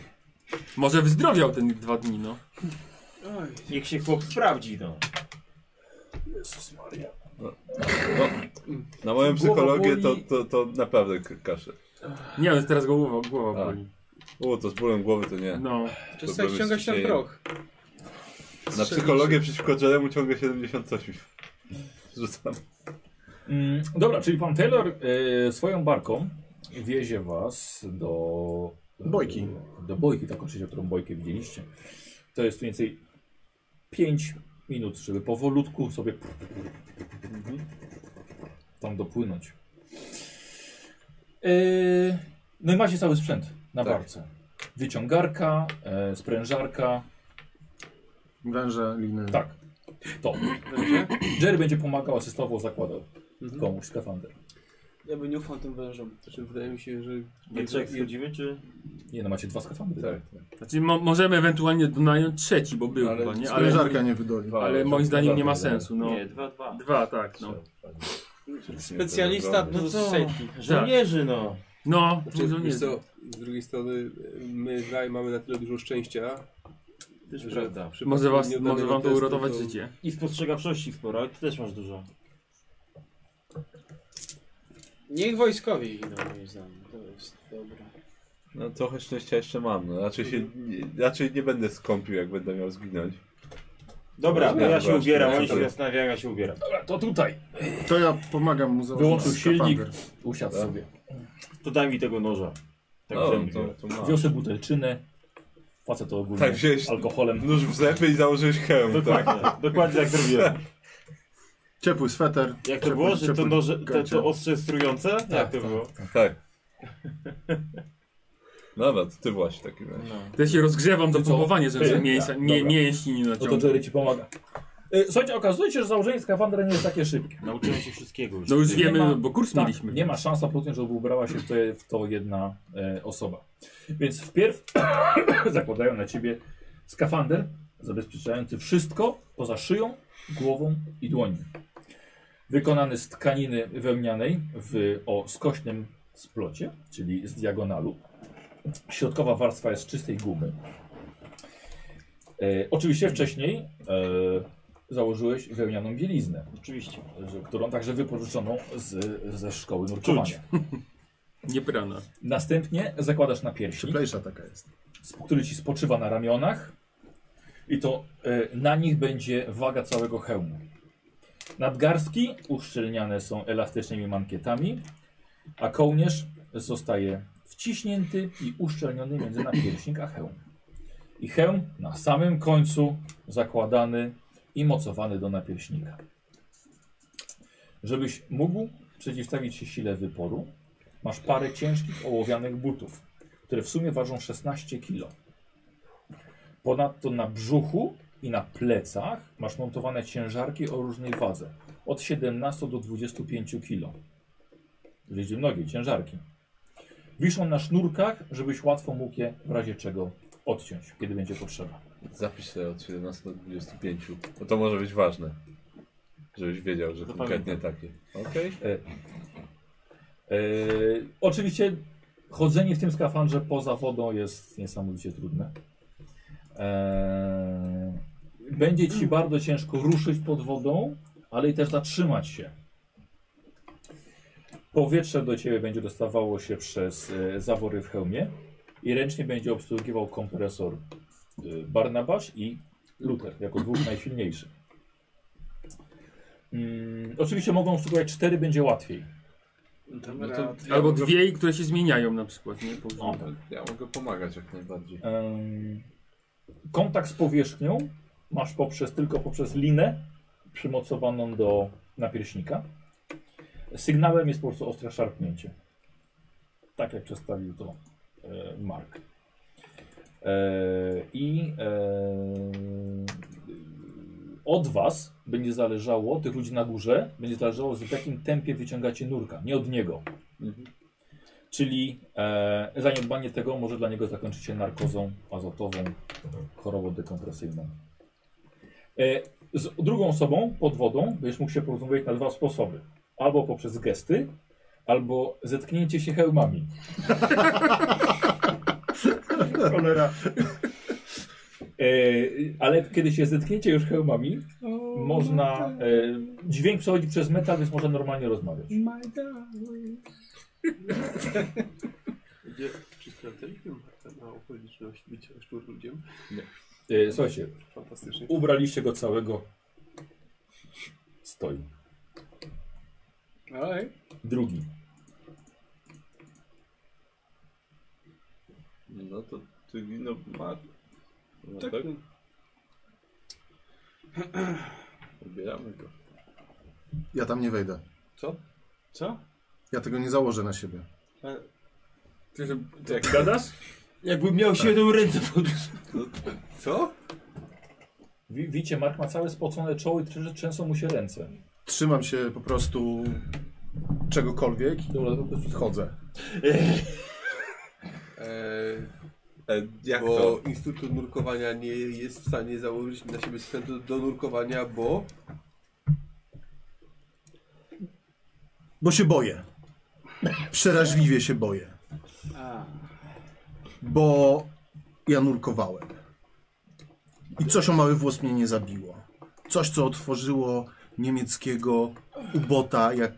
[SPEAKER 3] Może wyzdrowiał ten dwa dni, no.
[SPEAKER 9] Oj,
[SPEAKER 10] Niech się chłop sprawdzi, no.
[SPEAKER 8] Na moją psychologię to, to, to naprawdę k- kaszę.
[SPEAKER 3] Nie, ale teraz go głowa, głowa
[SPEAKER 8] A.
[SPEAKER 3] boli.
[SPEAKER 8] O, to z bólem głowy to nie.
[SPEAKER 3] No.
[SPEAKER 9] Czasem
[SPEAKER 8] Problemy z
[SPEAKER 9] ściąga się ten
[SPEAKER 8] ciśnieniem.
[SPEAKER 9] proch.
[SPEAKER 8] Na psychologię przeciwko Jeremu ciągle 70 coś mi rzucam.
[SPEAKER 2] Mm, dobra, czyli pan Taylor e, swoją barką wiezie was do... e,
[SPEAKER 6] Bojki.
[SPEAKER 2] Do bojki, tak oczywiście, którą bojkę widzieliście. To jest mniej więcej 5 minut, żeby powolutku sobie tam dopłynąć. Yy, no i macie cały sprzęt na
[SPEAKER 6] Tak.
[SPEAKER 2] barce. Wyciągarka, e, sprężarka.
[SPEAKER 6] Węże, liny.
[SPEAKER 2] Tak. To. Jerry będzie pomagał, asystował, zakładał komuś skafander.
[SPEAKER 9] Ja bym nie ufał tym wężom.
[SPEAKER 7] Znaczy, wydaje mi się, że...
[SPEAKER 10] We trzech wchodzimy, czy...
[SPEAKER 2] Nie no, macie dwa skafandry. Tak.
[SPEAKER 3] Znaczy mo możemy ewentualnie nająć trzeci, bo był
[SPEAKER 2] Ale
[SPEAKER 3] chyba, nie?
[SPEAKER 6] sprężarka nie wydoli.
[SPEAKER 3] Ale moim zdaniem nie ma
[SPEAKER 2] Sprężarka
[SPEAKER 3] sensu, no.
[SPEAKER 10] Nie, dwa, dwa.
[SPEAKER 3] Dwa, tak, no.
[SPEAKER 9] Specjalista plus
[SPEAKER 10] No co?
[SPEAKER 9] safety.
[SPEAKER 10] Żołnierzy, no.
[SPEAKER 3] No,
[SPEAKER 7] Znaczy,
[SPEAKER 3] może nie.
[SPEAKER 7] wiesz co, z drugiej strony e, my dwaj mamy na tyle dużo szczęścia, że
[SPEAKER 10] prawda.
[SPEAKER 7] w przypadku
[SPEAKER 3] Może, was,
[SPEAKER 7] nieoddanego
[SPEAKER 3] może wam to
[SPEAKER 7] testu
[SPEAKER 3] uratować
[SPEAKER 7] to-
[SPEAKER 3] życie.
[SPEAKER 10] I spostrzegawczości sporo, ale ty też masz dużo.
[SPEAKER 9] Niech wojskowi idą, moim zdaniem. To jest dobre.
[SPEAKER 8] No trochę szczęścia jeszcze mam, no. Raczej, się, nie, raczej nie będę skąpił, jak będę miał zginąć.
[SPEAKER 10] Dobra,
[SPEAKER 8] No,
[SPEAKER 10] no, ja
[SPEAKER 8] właśnie,
[SPEAKER 10] się ubieram, oni
[SPEAKER 8] super.
[SPEAKER 10] się zastanawiają, ja się ubieram.
[SPEAKER 2] Dobra, to tutaj.
[SPEAKER 6] To ja pomagam mu założyć
[SPEAKER 2] Wyłączył silnik,
[SPEAKER 6] skafander.
[SPEAKER 2] usiadł sobie.
[SPEAKER 10] To daj mi tego noża. Tak
[SPEAKER 8] O,
[SPEAKER 10] no,
[SPEAKER 8] to, to mam.
[SPEAKER 2] Wiosę butelczynę. Facet to ogólnie
[SPEAKER 8] Tak, wziąłeś
[SPEAKER 2] alkoholem. No
[SPEAKER 8] nóż w zęby i założyłeś hełm, tak?
[SPEAKER 10] Dokładnie, dokładnie tak zrobiłem.
[SPEAKER 6] Ciepły sweter.
[SPEAKER 10] Jak to
[SPEAKER 6] ciepły-
[SPEAKER 10] było, że to,
[SPEAKER 6] ciepły
[SPEAKER 10] noże, te,
[SPEAKER 6] gacie.
[SPEAKER 10] to ostrze jest trujące? Jak to było?
[SPEAKER 8] Tak. Dobra, to ty właśnie taki razie.
[SPEAKER 3] Ja się rozgrzewam do
[SPEAKER 2] Ty co?
[SPEAKER 3] pompowania, żeby
[SPEAKER 2] Ty?
[SPEAKER 3] sobie mięsa,
[SPEAKER 2] Dobra.
[SPEAKER 3] mie, mięśni nie
[SPEAKER 2] No to
[SPEAKER 3] naciągnąć.
[SPEAKER 2] Jerry ci pomaga. Y, Słuchajcie, okazuje się, że założenie skafandra nie jest takie szybkie.
[SPEAKER 10] Nauczyłem się wszystkiego już.
[SPEAKER 3] No już
[SPEAKER 2] Nie
[SPEAKER 3] wiemy,
[SPEAKER 2] ma-
[SPEAKER 3] bo kurs
[SPEAKER 2] tak,
[SPEAKER 3] mieliśmy.
[SPEAKER 2] Nie ma szans absolutnie, żeby ubrała się w to, w to jedna e, osoba. Więc wpierw zakładają na ciebie skafander zabezpieczający wszystko poza szyją, głową i dłoni. Wykonany z tkaniny wełnianej w, o skośnym splocie, czyli z diagonalu. Środkowa warstwa jest z czystej gumy. E, oczywiście wcześniej e, założyłeś wełnianą bieliznę
[SPEAKER 10] Oczywiście.
[SPEAKER 2] że- którą także wypożyczoną z, ze szkoły nurkowania.
[SPEAKER 3] Niebrana.
[SPEAKER 2] Następnie zakładasz na piersi,
[SPEAKER 6] Cieplejsza taka jest.
[SPEAKER 2] który ci spoczywa na ramionach i to e, na nich będzie waga całego hełmu. Nadgarstki uszczelniane są elastycznymi mankietami, a kołnierz zostaje wciśnięty i uszczelniony między napierśnik a hełm. I hełm na samym końcu zakładany i mocowany do napierśnika. Żebyś mógł przeciwstawić się sile wyporu, masz parę ciężkich ołowianych butów, które w sumie ważą 16 kg. Ponadto na brzuchu i na plecach masz montowane ciężarki o różnej wadze, od 17 do 25 kg. Wiecie, nogi, ciężarki. Wiszą na sznurkach, żebyś łatwo mógł je w razie czego odciąć, kiedy będzie potrzeba.
[SPEAKER 8] Zapisz sobie od 17 do 25, bo to może być ważne. Żebyś wiedział, że konkretnie takie. Okej.
[SPEAKER 2] E, e, oczywiście chodzenie w tym skafandrze poza wodą jest niesamowicie trudne. E, będzie ci bardzo ciężko ruszyć pod wodą, ale i też zatrzymać się. Powietrze do ciebie będzie dostawało się przez e, zawory w hełmie i ręcznie będzie obsługiwał kompresor e, Barnabasz i Luther jako dwóch najsilniejszych. Mm, oczywiście mogą obsługiwać cztery, będzie łatwiej.
[SPEAKER 1] No
[SPEAKER 9] Dobra, to-
[SPEAKER 3] Albo dwie, które się zmieniają na przykład, nie? Po
[SPEAKER 8] No, Ja mogę pomagać jak najbardziej.
[SPEAKER 2] Em, kontakt z powierzchnią masz poprzez, tylko poprzez linę przymocowaną do napierśnika. Sygnałem jest po prostu ostre szarpnięcie. Tak jak przedstawił to e, Mark. E, I e, od Was będzie zależało, tych ludzi na górze, będzie zależało, w jakim tempie wyciągacie nurka, nie od niego. Czyli e, zaniedbanie tego może dla niego zakończyć się narkozą azotową, chorobą dekompresyjną. E, z drugą osobą pod wodą będziesz mógł się porozmawiać na dwa sposoby. Albo poprzez gesty, albo zetknięcie się hełmami.
[SPEAKER 10] Cholera.
[SPEAKER 2] E, ale kiedy się zetkniecie już hełmami, można. E, dźwięk przechodzi przez metal, więc można normalnie rozmawiać.
[SPEAKER 7] Gdzie, czy sprawdzaliśmy Marta na okoliczność bycia szczur ludziem?
[SPEAKER 2] E, słuchajcie,
[SPEAKER 7] Fantastycznie.
[SPEAKER 2] ubraliście go całego. Stoi.
[SPEAKER 9] Oj.
[SPEAKER 2] Drugi.
[SPEAKER 8] No to ty wino masz. No, tak?
[SPEAKER 1] no.
[SPEAKER 8] Ubieramy go.
[SPEAKER 6] Ja tam nie wejdę.
[SPEAKER 8] Co?
[SPEAKER 1] Co?
[SPEAKER 6] Ja tego nie założę na siebie.
[SPEAKER 8] Ty, że, jak
[SPEAKER 2] gadasz?
[SPEAKER 10] Jakbym miał siedem ręce pod...
[SPEAKER 8] Co?
[SPEAKER 2] Wi- Widzicie, Mark ma całe spocone czoło i trze- trzęsą mu się ręce.
[SPEAKER 6] Trzymam się po prostu czegokolwiek i chodzę.
[SPEAKER 8] E, jak
[SPEAKER 7] E, bo
[SPEAKER 8] to?
[SPEAKER 7] Instruktor nurkowania nie jest w stanie założyć na siebie sprzętu do nurkowania, bo...
[SPEAKER 6] Bo się boję. Przeraźliwie się boję.
[SPEAKER 1] A,
[SPEAKER 6] Bo ja nurkowałem. I coś o mały włos mnie nie zabiło. Coś, co otworzyło niemieckiego ubota jak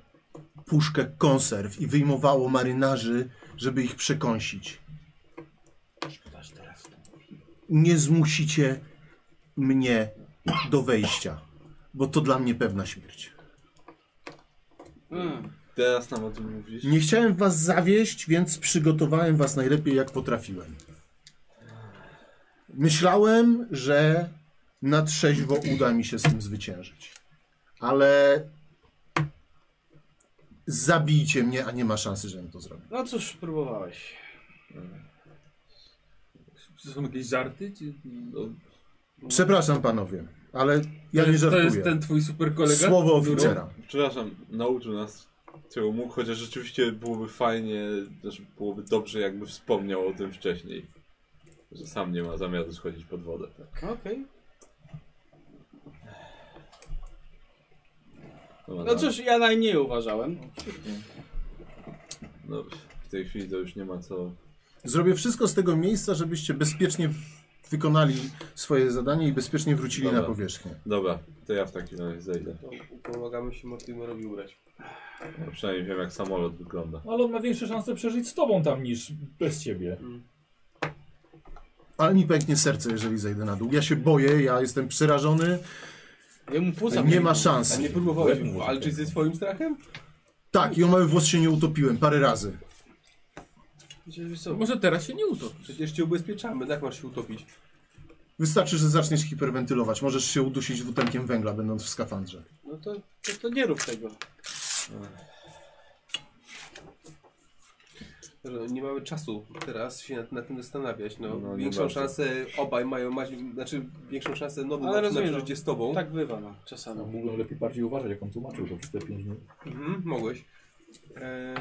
[SPEAKER 6] puszkę konserw i wyjmowało marynarzy, żeby ich przekąsić. Nie zmusicie mnie do wejścia, bo to dla mnie pewna śmierć.
[SPEAKER 8] Teraz nam o tym mówisz.
[SPEAKER 6] Nie chciałem was zawieść, więc przygotowałem was najlepiej jak potrafiłem. Myślałem, że na trzeźwo uda mi się z tym zwyciężyć. Ale zabijcie mnie, a nie ma szansy, żebym to zrobił.
[SPEAKER 1] no cóż, próbowałeś.
[SPEAKER 23] To są jakieś żarty? Czy...
[SPEAKER 6] Przepraszam panowie, ale ja
[SPEAKER 23] To jest-
[SPEAKER 6] nie
[SPEAKER 23] to
[SPEAKER 6] żartuję.
[SPEAKER 23] jest ten twój super kolega?
[SPEAKER 6] Słowo oficera.
[SPEAKER 8] Przepraszam, nauczył nas czego mógł, chociaż rzeczywiście byłoby fajnie, też byłoby dobrze, jakby wspomniał o tym wcześniej. Że sam nie ma zamiaru schodzić pod wodę.
[SPEAKER 1] Okej. No
[SPEAKER 8] Dobra,
[SPEAKER 1] No cóż, ja najmniej uważałem.
[SPEAKER 8] No, w tej chwili to już nie ma co.
[SPEAKER 6] Zrobię wszystko z tego miejsca, żebyście bezpiecznie wykonali swoje zadanie i bezpiecznie wrócili na
[SPEAKER 8] Dobra.
[SPEAKER 6] powierzchnię.
[SPEAKER 8] Dobra, to ja w takim razie zejdę.
[SPEAKER 7] Pomagamy się Mortimerowi ubrać.
[SPEAKER 8] Ja przynajmniej wiem, jak samolot wygląda.
[SPEAKER 2] No, Ale on ma większe szanse przeżyć z tobą tam niż bez ciebie.
[SPEAKER 6] Ale mi pęknie serce, jeżeli zejdę na dół. Ja się boję, ja jestem przerażony.
[SPEAKER 1] Jemu płuca
[SPEAKER 6] nie ma
[SPEAKER 1] pękną.
[SPEAKER 6] szans.
[SPEAKER 7] A nie próbowałeś walczyć ze swoim strachem?
[SPEAKER 6] Tak, i o mały włos się nie utopiłem parę razy.
[SPEAKER 23] Może teraz się nie utopi.
[SPEAKER 7] Przecież cię ubezpieczamy, tak masz się utopić.
[SPEAKER 6] Wystarczy, że zaczniesz hiperwentylować. Możesz się udusić dwutlenkiem węgla, będąc w skafandrze.
[SPEAKER 1] No to, to, to nie rób tego.
[SPEAKER 7] Że Nie mamy czasu teraz się nad, nad tym zastanawiać. No,
[SPEAKER 8] No, nie
[SPEAKER 7] większą
[SPEAKER 8] bardzo.
[SPEAKER 7] szansę obaj mają, mać, znaczy większą szansę nowy
[SPEAKER 1] Ale
[SPEAKER 7] ma na
[SPEAKER 1] rozumiem, no.
[SPEAKER 7] przeżycie z tobą.
[SPEAKER 1] Tak bywa, no, czasami.
[SPEAKER 2] No, mógłbym lepiej bardziej uważać, jak on tłumaczył to przez te pięć minut.
[SPEAKER 7] Mhm, mogłeś. Eee,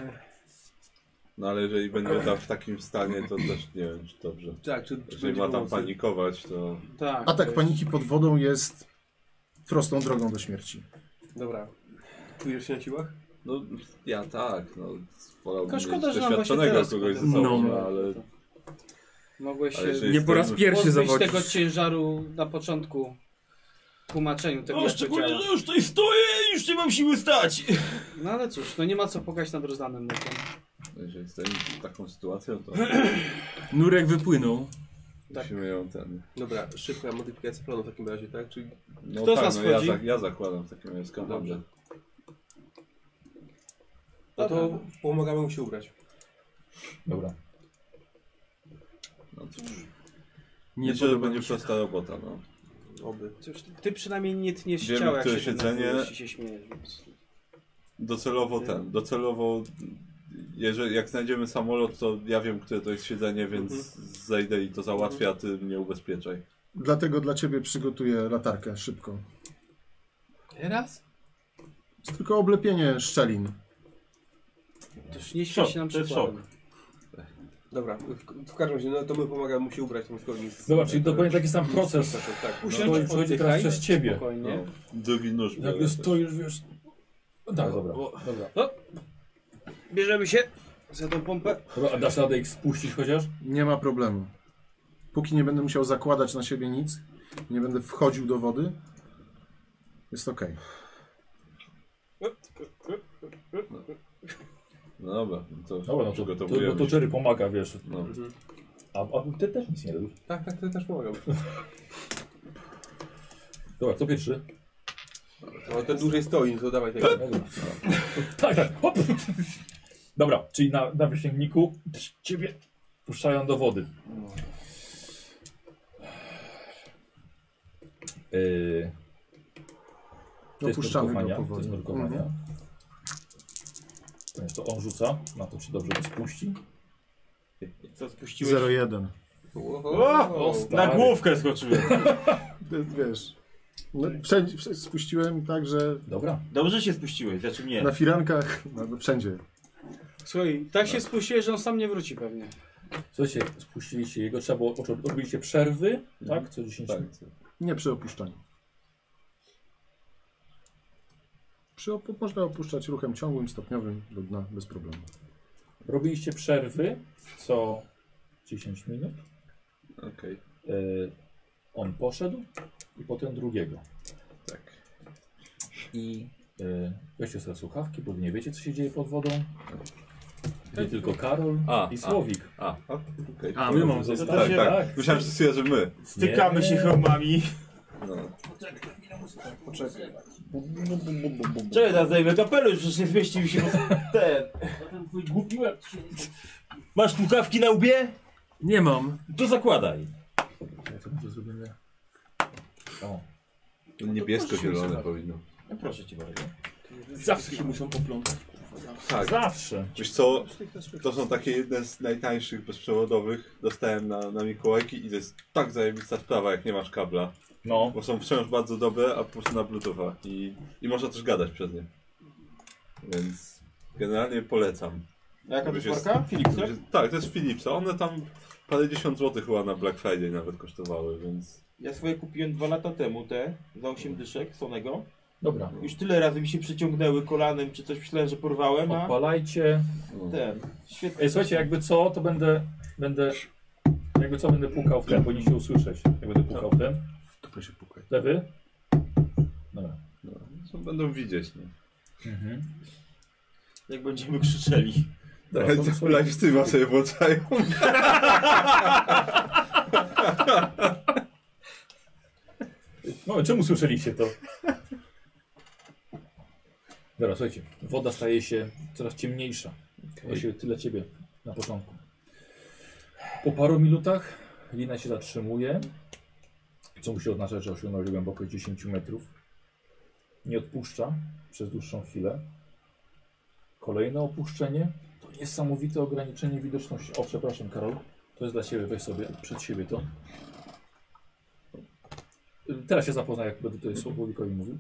[SPEAKER 8] No ale jeżeli będzie tam w takim stanie, to też nie wiem, czy dobrze.
[SPEAKER 7] tak, czy, czy
[SPEAKER 8] Jeżeli
[SPEAKER 7] będzie
[SPEAKER 8] ma tam
[SPEAKER 7] pomocy?
[SPEAKER 8] panikować, to.
[SPEAKER 1] Tak. to
[SPEAKER 6] Atak
[SPEAKER 1] jest-
[SPEAKER 6] paniki pod wodą jest prostą drogą do śmierci.
[SPEAKER 7] Dobra. Czujesz się na siłach?
[SPEAKER 8] No ja tak, no wolałbym
[SPEAKER 1] Tylko
[SPEAKER 8] mieć
[SPEAKER 1] szkoda, że nam właśnie
[SPEAKER 8] doświadczonego
[SPEAKER 1] teraz
[SPEAKER 8] kogoś ze
[SPEAKER 1] potem-
[SPEAKER 8] sobą,
[SPEAKER 1] No.
[SPEAKER 8] no, ale
[SPEAKER 1] Mogłeś
[SPEAKER 8] Ale
[SPEAKER 1] się
[SPEAKER 8] jeżeli Nie po raz
[SPEAKER 23] pierwszy
[SPEAKER 1] pozbyć
[SPEAKER 23] zawodzisz.
[SPEAKER 1] tego ciężaru na początku tłumaczeniu tego,
[SPEAKER 10] No
[SPEAKER 1] jak to
[SPEAKER 10] szczególnie,
[SPEAKER 1] działa.
[SPEAKER 10] no już tutaj stoję i już nie mam siły stać.
[SPEAKER 1] No ale cóż, no nie ma co płakać nad no rozdanym mlekiem.
[SPEAKER 8] jeżeli stoimy przed taką sytuacją, to
[SPEAKER 1] Tak.
[SPEAKER 23] Nurek wypłynął.
[SPEAKER 8] musimy ją ten...
[SPEAKER 7] Dobra, szybka modyfikacja planu w takim razie, tak? Czyli
[SPEAKER 8] No
[SPEAKER 1] Kto z
[SPEAKER 8] tak,
[SPEAKER 1] nas
[SPEAKER 8] no, ja,
[SPEAKER 1] wchodzi?
[SPEAKER 8] za, ja zakładam w takim razie skafandrze.
[SPEAKER 7] no to pomagamy mu się ubrać.
[SPEAKER 2] Dobra.
[SPEAKER 8] No cóż,
[SPEAKER 23] Nie
[SPEAKER 8] myślę, że
[SPEAKER 23] podoba
[SPEAKER 8] będzie
[SPEAKER 23] mi się.
[SPEAKER 8] prosta robota, no.
[SPEAKER 7] Oby.
[SPEAKER 1] Cóż, ty przynajmniej nie tniesz
[SPEAKER 8] Wiemy,
[SPEAKER 1] ciała, jak
[SPEAKER 8] które
[SPEAKER 1] się
[SPEAKER 8] siedzenie-
[SPEAKER 1] denerwujesz i się śmiejesz. Więc...
[SPEAKER 8] Docelowo ten, docelowo... Jeżeli, jak znajdziemy samolot, to ja wiem, które to jest siedzenie, więc zejdę i to załatwię, a ty mnie ubezpieczaj.
[SPEAKER 6] Dlatego dla ciebie przygotuję latarkę szybko.
[SPEAKER 23] Teraz?
[SPEAKER 6] Jest tylko oblepienie szczelin.
[SPEAKER 1] Toż nie śmiej
[SPEAKER 10] Szok,
[SPEAKER 1] się nam
[SPEAKER 10] to jest
[SPEAKER 1] przykładem.
[SPEAKER 7] Dobra, w, w każdym razie, no to my pomagamy mu się ubrać tam zgodnie z...
[SPEAKER 2] Dobra, czyli dokładnie taki sam
[SPEAKER 7] Tak,
[SPEAKER 2] proces.
[SPEAKER 7] tak.
[SPEAKER 2] No, to chodzi teraz przez ciebie.
[SPEAKER 8] No.
[SPEAKER 1] Spokojnie.
[SPEAKER 8] Drugi nóż
[SPEAKER 2] Jak
[SPEAKER 8] biorę
[SPEAKER 2] już
[SPEAKER 8] też.
[SPEAKER 2] to już wiesz. No tak, dobra. Dobra.
[SPEAKER 1] Bierzemy się za tą pompę.
[SPEAKER 2] dobra. A dasz radę ich spuścić chociaż?
[SPEAKER 6] Nie ma problemu. Póki nie będę musiał zakładać na siebie nic, nie będę wchodził do wody, jest ok.
[SPEAKER 8] No dobra, no to
[SPEAKER 2] Dobra, no to, to,
[SPEAKER 8] przygotowujemy
[SPEAKER 2] to, to
[SPEAKER 8] się.
[SPEAKER 2] Jerry pomaga, wiesz.
[SPEAKER 8] No.
[SPEAKER 2] A, a ty też nic nie robisz.
[SPEAKER 7] Tak, tak, to też pomagam.
[SPEAKER 2] Dobra, to pierwszy.
[SPEAKER 7] No, ten dłużej stoi, no to dawaj tego.
[SPEAKER 2] Dobra. Tak, tak. Hop. Dobra, czyli na, na wysięgniku. Ciebie. Puszczają do wody. Yy, to jest
[SPEAKER 6] Opuszczamy go
[SPEAKER 2] nurkowania,
[SPEAKER 6] powoli.
[SPEAKER 2] To jest nurkowania.
[SPEAKER 6] Mhm.
[SPEAKER 2] Więc To on rzuca na to, czy dobrze go spuści.
[SPEAKER 10] Co spuściłeś?
[SPEAKER 26] 0,1.
[SPEAKER 10] O, o, stary. na główkę skoczyłem.
[SPEAKER 6] Wiesz. No, wszędzie, wszędzie spuściłem tak, że.
[SPEAKER 2] Dobra.
[SPEAKER 10] Dobrze się spuściłeś, znaczy mnie.
[SPEAKER 6] Na firankach, no, no, wszędzie.
[SPEAKER 9] Słuchaj, tak się spuściłeś, że on sam nie wróci pewnie.
[SPEAKER 2] Słuchajcie, spuściliście jego, trzeba było, robiliście przerwy,
[SPEAKER 7] Mhm.
[SPEAKER 2] tak? Co 10 minut.
[SPEAKER 6] Nie przy opuszczaniu. Przy opu- można opuszczać ruchem ciągłym, stopniowym do dna bez problemu.
[SPEAKER 2] Robiliście przerwy co 10 minut.
[SPEAKER 8] Okej.
[SPEAKER 2] Y, on poszedł i potem drugiego. Tak. I y, weźcie sobie słuchawki, bo wy nie wiecie co się dzieje pod wodą. Wie tylko Karol
[SPEAKER 8] A,
[SPEAKER 2] i
[SPEAKER 8] a,
[SPEAKER 2] Słowik.
[SPEAKER 8] A, a, okej.
[SPEAKER 2] Tak. A, my mamy zostać.
[SPEAKER 8] Tak, tak. Myślałem, że stwierdzę, że my.
[SPEAKER 10] Stykamy się chromami.
[SPEAKER 8] No.
[SPEAKER 10] Poczekaj. Czekaj, teraz zdejmę kapelusz, przecież nie zmieścił się ten. ten twój głupi łeb. Masz słuchawki na łbie?
[SPEAKER 3] Nie mam.
[SPEAKER 10] To zakładaj.
[SPEAKER 2] Co będzie zrobione? O.
[SPEAKER 8] To niebiesko-zielone powinno.
[SPEAKER 10] No proszę cię bardzo.
[SPEAKER 3] Zawsze się muszą poplątać.
[SPEAKER 8] Tak.
[SPEAKER 2] Zawsze.
[SPEAKER 8] Wiesz co, to są takie jedne z najtańszych bezprzewodowych. Dostałem na, na Mikołajki i to jest tak zajebista sprawa, jak nie masz kabla.
[SPEAKER 2] No.
[SPEAKER 8] Bo są wciąż bardzo dobre, a po prostu na Bluetootha. I, i można też gadać przez nie. Więc generalnie polecam.
[SPEAKER 4] A jaka to
[SPEAKER 8] Któryś
[SPEAKER 4] jest
[SPEAKER 8] jest-
[SPEAKER 4] marka? Philipsa?
[SPEAKER 8] któryś jest- Tak, to jest Philipsa. One tam parędziesiąt złotych chyba na Black Friday nawet kosztowały, więc...
[SPEAKER 10] Ja swoje kupiłem dwa lata temu te, za 8 dyszek Sonego.
[SPEAKER 2] Dobra.
[SPEAKER 10] Już tyle razy mi się przyciągnęły kolanem czy coś, myślałem, że porwałem, a...
[SPEAKER 2] Odpalajcie.
[SPEAKER 10] Ten, świetnie.
[SPEAKER 2] Ej, E, słuchajcie, jakby co, to będę, będę, jakby co, będę pukał w ten, powinniście usłyszeć, jak będę pukał w ten.
[SPEAKER 8] To się pukaj.
[SPEAKER 2] Lewy? Dobra.
[SPEAKER 8] Co będą widzieć, nie?
[SPEAKER 2] Mhm.
[SPEAKER 10] Jak będziemy krzyczeli.
[SPEAKER 8] Tak,
[SPEAKER 2] Dobra, są-
[SPEAKER 8] to
[SPEAKER 2] są-
[SPEAKER 8] live streama sobie włączają.
[SPEAKER 2] No, czemu słyszeliście to? Dobra, słuchajcie, woda staje się coraz ciemniejsza. Właściwie tyle ciebie na początku. Po paru minutach lina się zatrzymuje, co musi oznaczać, że osiągnąłeś głębokość 10 metrów. Nie odpuszcza przez dłuższą chwilę. Kolejne opuszczenie. To niesamowite ograniczenie widoczności. O, przepraszam, Karol. To jest dla ciebie, weź sobie przed siebie to. Teraz się zapozna, jak będę tutaj Słowikowi mówił.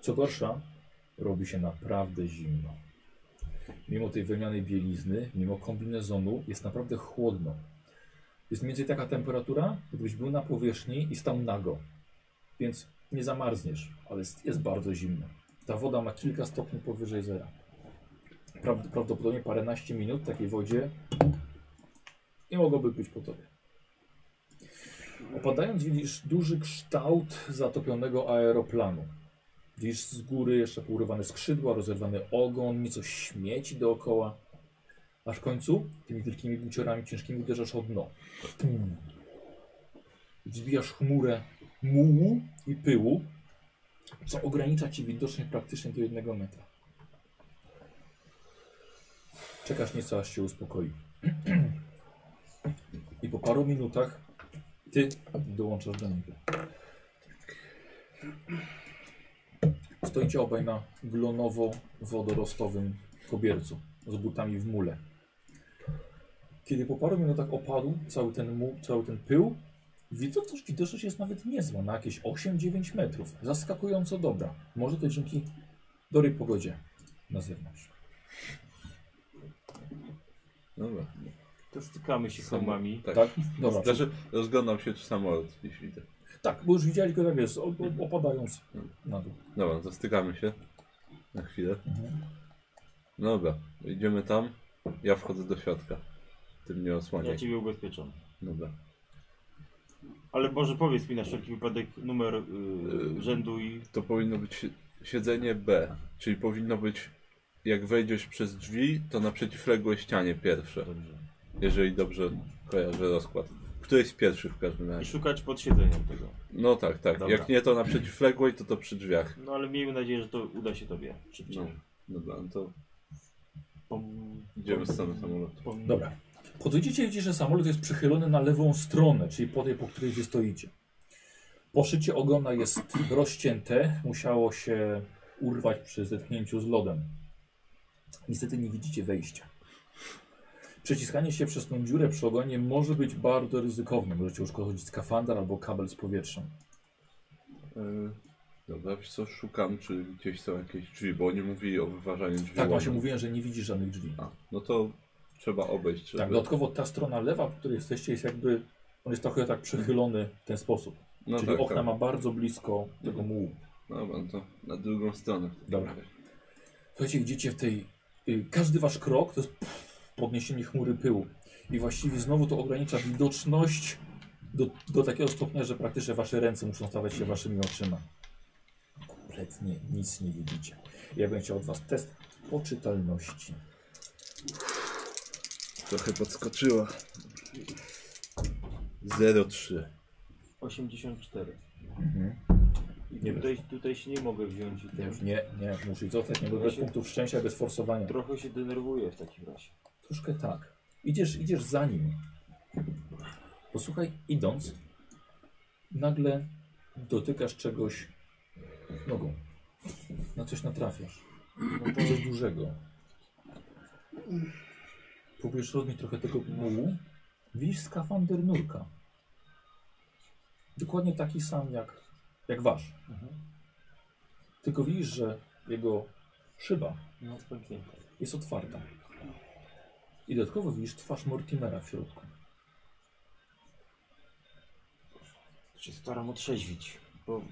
[SPEAKER 2] Co gorsza, robi się naprawdę zimno. Mimo tej wymiany bielizny, mimo kombinezonu, jest naprawdę chłodno. Jest mniej więcej taka temperatura, gdybyś był na powierzchni i stał nago. Więc nie zamarzniesz, ale jest, jest bardzo zimno. Ta woda ma kilka stopni powyżej zera. Praw- Prawdopodobnie paręnaście minut w takiej wodzie nie mogłoby być po tobie. Opadając widzisz duży kształt zatopionego aeroplanu. Widzisz z góry jeszcze pourywane skrzydła, rozerwany ogon, nieco śmieci dookoła. Aż w końcu tymi wielkimi buciorami ciężkimi uderzasz o dno. Pum. Zbijasz chmurę mułu i pyłu, co ogranicza ci widoczność praktycznie do jednego metra. Czekasz nieco, aż się uspokoi. I po paru minutach ty dołączasz do niego. Stoicie obaj na glonowo-wodorostowym kobiercu z butami w mule. Kiedy po paru minutach opadł cały ten, mu, cały ten pył, widoczność, widoczność jest nawet niezła, na jakieś 8-9 metrów. Zaskakująco dobra. Może to dzięki dobrej pogodzie na zewnątrz.
[SPEAKER 8] Dobra.
[SPEAKER 10] To stykamy się chromami.
[SPEAKER 8] Tak.
[SPEAKER 2] Tak? Dobra.
[SPEAKER 8] Dobra. Znaczy, rozglądam się, czy samolot gdzieś widzę.
[SPEAKER 2] Tak, bo już widziałeś go, tak jest, o- o- opadając na dół.
[SPEAKER 8] Dobra, no to stykamy się. Na chwilę. No Dobra, idziemy tam. Ja wchodzę do środka. Ty mnie osłaniaj.
[SPEAKER 10] Ja ciebie ubezpieczam.
[SPEAKER 8] Dobra.
[SPEAKER 10] Ale może powiedz mi na wszelki wypadek numer y, rzędu i...
[SPEAKER 8] To powinno być si- siedzenie B. Czyli powinno być, jak wejdziesz przez drzwi, to na przeciwległej ścianie pierwsze. Jeżeli dobrze kojarzę rozkład. Któreś z pierwszych w każdym
[SPEAKER 10] I
[SPEAKER 8] razie.
[SPEAKER 10] szukać pod siedzeniem tego.
[SPEAKER 8] No tak, tak.
[SPEAKER 10] Dobra.
[SPEAKER 8] Jak nie to na przeciwległej, to to przy drzwiach.
[SPEAKER 10] No ale miejmy nadzieję, że to uda się tobie szybciej.
[SPEAKER 8] No, dobra, no to
[SPEAKER 10] Pom-
[SPEAKER 8] idziemy z samolotu.
[SPEAKER 2] No. Dobra. Podejdziecie i widzicie, że samolot jest przychylony na lewą stronę, czyli po tej, po której wy stoicie. Poszycie ogona jest rozcięte, musiało się urwać przy zetknięciu z lodem. Niestety nie widzicie wejścia. Przeciskanie się przez tą dziurę przy ogonie może być bardzo ryzykowne. Możecie uszkodzić skafander albo kabel z powietrzem.
[SPEAKER 8] Yy, Dobra, wiesz co, szukam, czy gdzieś są jakieś drzwi, bo oni mówili o wyważaniu drzwi.
[SPEAKER 2] Tak,
[SPEAKER 8] łomem.
[SPEAKER 2] właśnie mówiłem, że nie widzisz żadnych drzwi.
[SPEAKER 8] A, no to trzeba obejść, żeby...
[SPEAKER 2] Tak, dodatkowo ta strona lewa, po której jesteście, jest jakby. On jest trochę tak przechylony w ten sposób.
[SPEAKER 8] No
[SPEAKER 2] Czyli
[SPEAKER 8] tak,
[SPEAKER 2] okna
[SPEAKER 8] tak.
[SPEAKER 2] ma bardzo blisko tego mułu.
[SPEAKER 8] Dobra, no to na drugą stronę.
[SPEAKER 2] Dobra. Słuchajcie, widzicie w tej. y, Każdy wasz krok to jest podniesienie chmury pyłu. I właściwie znowu to ogranicza widoczność do, do takiego stopnia, że praktycznie wasze ręce muszą stawać się waszymi oczyma. Kompletnie nic nie widzicie. Ja bym chciał od was test poczytalności.
[SPEAKER 5] Trochę podskoczyła. 03.
[SPEAKER 10] 84.
[SPEAKER 2] Mhm.
[SPEAKER 10] I tutaj, tutaj się nie mogę wziąć. i
[SPEAKER 2] Nie,
[SPEAKER 10] ten-
[SPEAKER 2] już nie, nie, muszę zostać, nie, bo bez punktów szczęścia, bez forsowania.
[SPEAKER 10] Trochę się denerwuję w takim razie.
[SPEAKER 2] Troszkę tak. Idziesz, idziesz za nim. Posłuchaj, idąc, nagle dotykasz czegoś nogą. Na coś natrafiasz. Na coś dużego. Próbujesz rozmieć trochę tego mułu. Widzisz skafander nurka. Dokładnie taki sam jak, jak wasz. Tylko widzisz, że jego szyba
[SPEAKER 10] No, pęknięte.
[SPEAKER 2] jest otwarta. I dodatkowo widzisz twarz Mortimera w środku.
[SPEAKER 10] się staram otrzeźwić, bo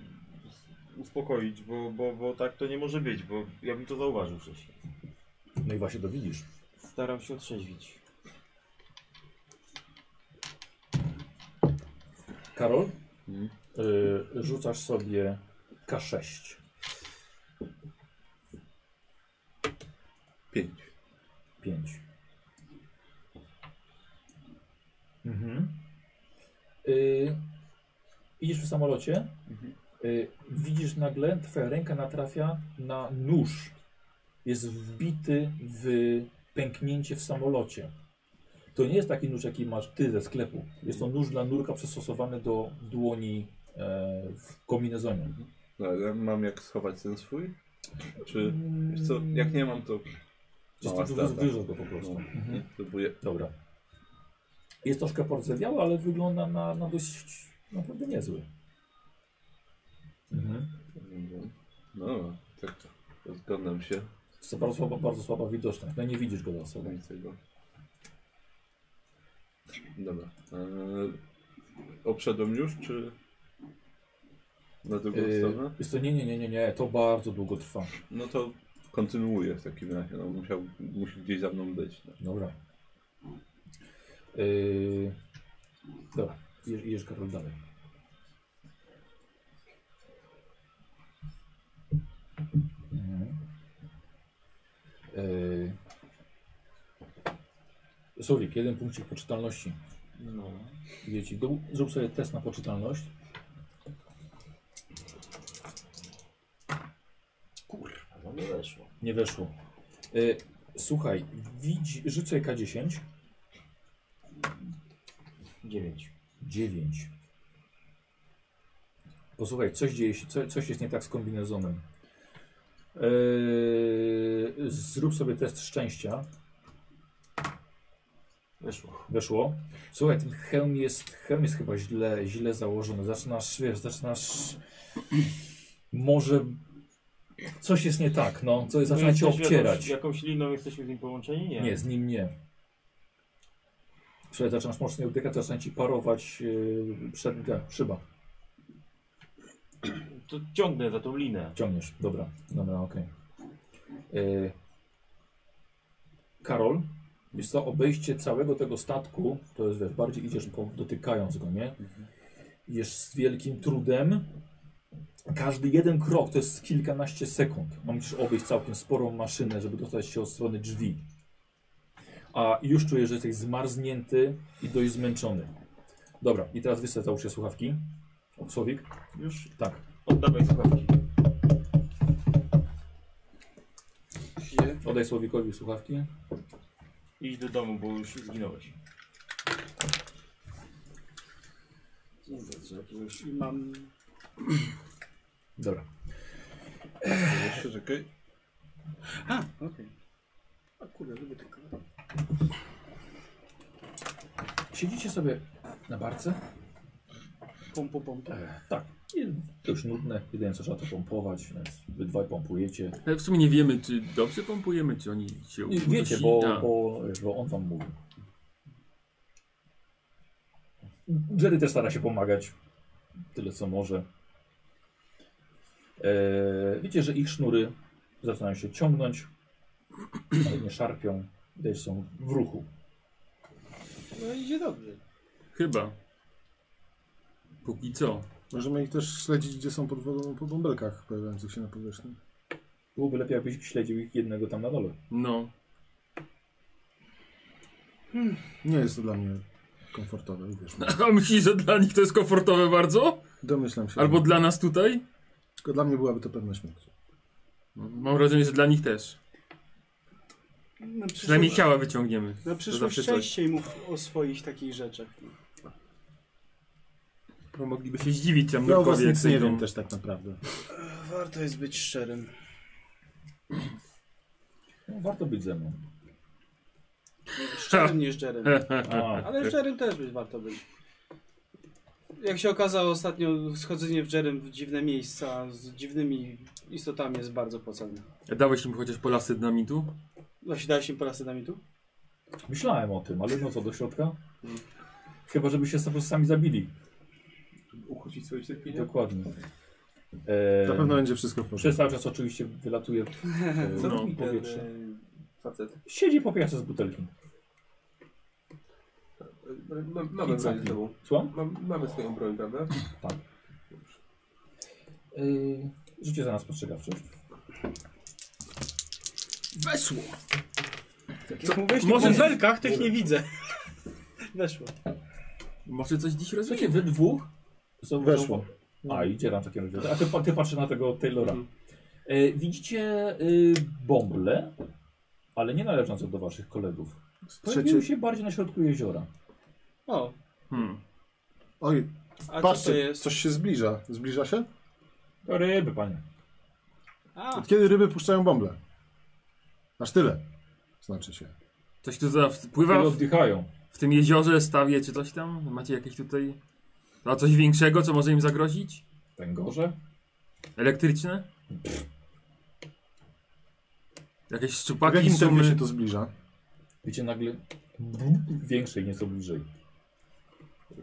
[SPEAKER 10] uspokoić, bo, bo, bo tak to nie może być, bo ja bym to zauważył wcześniej.
[SPEAKER 2] No i właśnie to widzisz.
[SPEAKER 10] Staram się otrzeźwić.
[SPEAKER 2] Karol, y, rzucasz sobie K6.
[SPEAKER 8] 5.
[SPEAKER 2] 5. Mhm. Y, idziesz w samolocie. Y, widzisz nagle, twoja ręka natrafia na nóż. Jest wbity w pęknięcie w samolocie. To nie jest taki nóż, jaki masz ty ze sklepu. Jest to nóż dla nurka przystosowany do dłoni e, w kombinezonie.
[SPEAKER 8] No, ale mam jak schować ten swój? Czy, wiesz co, jak nie mam, to...
[SPEAKER 2] Jest
[SPEAKER 8] Mała
[SPEAKER 2] to wy-
[SPEAKER 8] strata.
[SPEAKER 2] wyrzuć go po prostu.
[SPEAKER 8] No,
[SPEAKER 2] Mhm.
[SPEAKER 8] Próbuję.
[SPEAKER 2] Dobra. Jest troszkę porzewiały, ale wygląda na, na dość naprawdę niezły. Mhm.
[SPEAKER 8] No, tak, rozglądam się.
[SPEAKER 2] Jest to bardzo słaba, bardzo słaba widoczność. No nie widzisz go za sobą.
[SPEAKER 8] Nie widzę go. Dobra. Eee, obszedłem już, czy na drugą
[SPEAKER 2] Yy,
[SPEAKER 8] stronę?
[SPEAKER 2] jest to nie, nie, nie, nie, nie, to bardzo długo trwa.
[SPEAKER 8] No to kontynuuję w takim razie. No, musiał, musi gdzieś za mną być. No.
[SPEAKER 2] Dobra. Yy, dobra, idziesz, idziesz Karol dalej. Mhm. Yy, Słowik, jeden punkcik poczytalności.
[SPEAKER 10] No.
[SPEAKER 2] Dzieci, do, zrób sobie test na poczytalność.
[SPEAKER 10] Kurwa, no nie weszło.
[SPEAKER 2] Nie weszło. Y, słuchaj, widzi, rzuć sobie K10.
[SPEAKER 10] 9.
[SPEAKER 2] 9. Posłuchaj, coś dzieje się, co, coś jest nie tak z kombinezonem. Yy, zrób sobie test szczęścia.
[SPEAKER 10] Weszło.
[SPEAKER 2] Weszło. Słuchaj, ten hełm jest, hełm jest chyba źle, źle założony. Zaczynasz, wiesz, zaczynasz... Może... Coś jest nie tak, no. Coś zaczyna cię
[SPEAKER 10] jesteśmy
[SPEAKER 2] obcierać.
[SPEAKER 10] Jakąś, jakąś liną jesteśmy z nim połączeni? Nie.
[SPEAKER 2] Nie, z nim nie. Słuchaj, zaczynasz mocniej oddychać, zaczyna ci parować yy, przed, tak, szyba.
[SPEAKER 10] To ciągnę za tą linę.
[SPEAKER 2] Ciągniesz, dobra, dobra, okej. Yy, Karol, jest to obejście całego tego statku, to jest wiesz, bardziej idziesz po, dotykając go, nie? Idziesz z wielkim trudem. Każdy jeden krok to jest kilkanaście sekund. No, musisz obejść całkiem sporą maszynę, żeby dostać się od strony drzwi. A już czujesz, że jesteś zmarznięty i dość zmęczony. Dobra, i teraz wysadzał się słuchawki. O, Słowik?
[SPEAKER 10] Już?
[SPEAKER 2] Tak.
[SPEAKER 10] Oddawaj słuchawki.
[SPEAKER 2] Odej Słowikowi słuchawki.
[SPEAKER 10] Idź do domu, bo już zginąłeś.
[SPEAKER 9] Nie wiem, jakiegoś i mam...
[SPEAKER 2] Dobra.
[SPEAKER 8] Jeszcze czekaj.
[SPEAKER 9] A, okej. A kurde, lubię tylko.
[SPEAKER 2] Siedzicie sobie na barce?
[SPEAKER 9] Pom, pom, pom. pom.
[SPEAKER 2] Tak. I To już nudne. Jeden co trzeba to pompować, więc wy dwaj pompujecie.
[SPEAKER 3] Ale w sumie nie wiemy, czy dobrze pompujemy, czy oni się Tak,
[SPEAKER 2] Nie, wiecie, tak. bo, bo, bo on wam mówi. Jerry też stara się pomagać. Tyle co może. Eee, wiecie, że ich sznury zaczynają się ciągnąć, ale nie szarpią. Widać, że są w ruchu.
[SPEAKER 9] No idzie dobrze.
[SPEAKER 3] Chyba. Póki co.
[SPEAKER 6] Możemy ich też śledzić, gdzie są pod wodą, po bąbelkach pojawiających się na powierzchni.
[SPEAKER 2] Byłoby lepiej, jakbyś śledził ich jednego tam na dole.
[SPEAKER 3] No.
[SPEAKER 6] Nie jest to dla mnie komfortowe, uwierz mi.
[SPEAKER 3] A myślisz, że dla nich to jest komfortowe bardzo?
[SPEAKER 6] Domyślam się.
[SPEAKER 3] Albo dla nas tutaj?
[SPEAKER 6] Tylko dla mnie byłaby to pewna śmierć.
[SPEAKER 3] Mam wrażenie, że dla nich też.
[SPEAKER 9] Na
[SPEAKER 3] Przynajmniej
[SPEAKER 9] przyszłość-
[SPEAKER 3] ciała wyciągniemy.
[SPEAKER 9] Na
[SPEAKER 3] To
[SPEAKER 9] przyszłość
[SPEAKER 3] zawsze coś.
[SPEAKER 9] częściej mów o swoich takich rzeczach.
[SPEAKER 3] Bo mogliby się zdziwić, no. czemu
[SPEAKER 6] Ja o was nic nie wiem też tak naprawdę.
[SPEAKER 2] E.
[SPEAKER 9] Warto jest być szczerym.
[SPEAKER 2] No, warto być ze mną.
[SPEAKER 9] Szczerym nie szczerym.
[SPEAKER 2] A,
[SPEAKER 9] Ale szczerym też być warto być. Jak się okazało ostatnio schodzenie w Jerem w dziwne miejsca z dziwnymi istotami jest bardzo płacalne.
[SPEAKER 3] E, Dałeś im chociaż po lasy dynamitu?
[SPEAKER 9] Właśnie dałeś im parę dynamitu?
[SPEAKER 2] Myślałem o tym, ale no co, do środka? Chyba, żeby się po prostu sami zabili.
[SPEAKER 4] Uchodzić swoje cierpienie?
[SPEAKER 2] Dokładnie. Eee,
[SPEAKER 6] Na pewno będzie wszystko w porządku.
[SPEAKER 2] Przez cały czas oczywiście wylatuje e,
[SPEAKER 4] Co
[SPEAKER 2] no,
[SPEAKER 4] robi ten
[SPEAKER 2] powietrze.
[SPEAKER 4] e, facet?
[SPEAKER 2] Siedzi po pijace z butelki.
[SPEAKER 4] E, ma- Mamy
[SPEAKER 2] I
[SPEAKER 4] broń
[SPEAKER 2] caki.
[SPEAKER 4] ze sobą.
[SPEAKER 2] Słucham?
[SPEAKER 4] Mam- Mamy swoją broń, prawda?
[SPEAKER 2] Tak. E, Rzucie za nas postrzegawczość.
[SPEAKER 3] Wesło!
[SPEAKER 6] Tak
[SPEAKER 9] Jak mówiłeś
[SPEAKER 3] może-
[SPEAKER 9] może... o belkach, tych nie widzę. Weszło.
[SPEAKER 3] Może coś dziś
[SPEAKER 2] Słuchajcie,
[SPEAKER 3] rozumiem?
[SPEAKER 2] wy dwóch zauważą-
[SPEAKER 6] Weszło.
[SPEAKER 2] A, idzie nam w takim razie. A ty, pa- ty patrzysz na tego Taylora. E, widzicie y, bąble, ale nie należące do waszych kolegów. Pojawiły
[SPEAKER 6] Trzecie-
[SPEAKER 2] się bardziej na środku jeziora.
[SPEAKER 9] O,
[SPEAKER 3] Hmm.
[SPEAKER 6] Oj,
[SPEAKER 9] a co to
[SPEAKER 6] patrzcie,
[SPEAKER 9] jest?
[SPEAKER 6] coś się zbliża. Zbliża się?
[SPEAKER 2] To ryby, panie.
[SPEAKER 9] A,
[SPEAKER 6] Od kiedy ryby puszczają bąble? Aż tyle. Znaczy się.
[SPEAKER 3] Coś tu za...
[SPEAKER 2] Ryby
[SPEAKER 3] pływa w,
[SPEAKER 2] oddychają.
[SPEAKER 3] w tym jeziorze, stawie czy coś tam? Macie jakieś tutaj... A coś większego, co może im zagrozić?
[SPEAKER 2] Węgorze?
[SPEAKER 3] Elektryczne? Jakieś
[SPEAKER 6] W
[SPEAKER 3] szczupaki
[SPEAKER 6] jakim tempie się
[SPEAKER 3] intumy?
[SPEAKER 6] to zbliża?
[SPEAKER 2] Wiecie, nagle większej, nieco bliżej.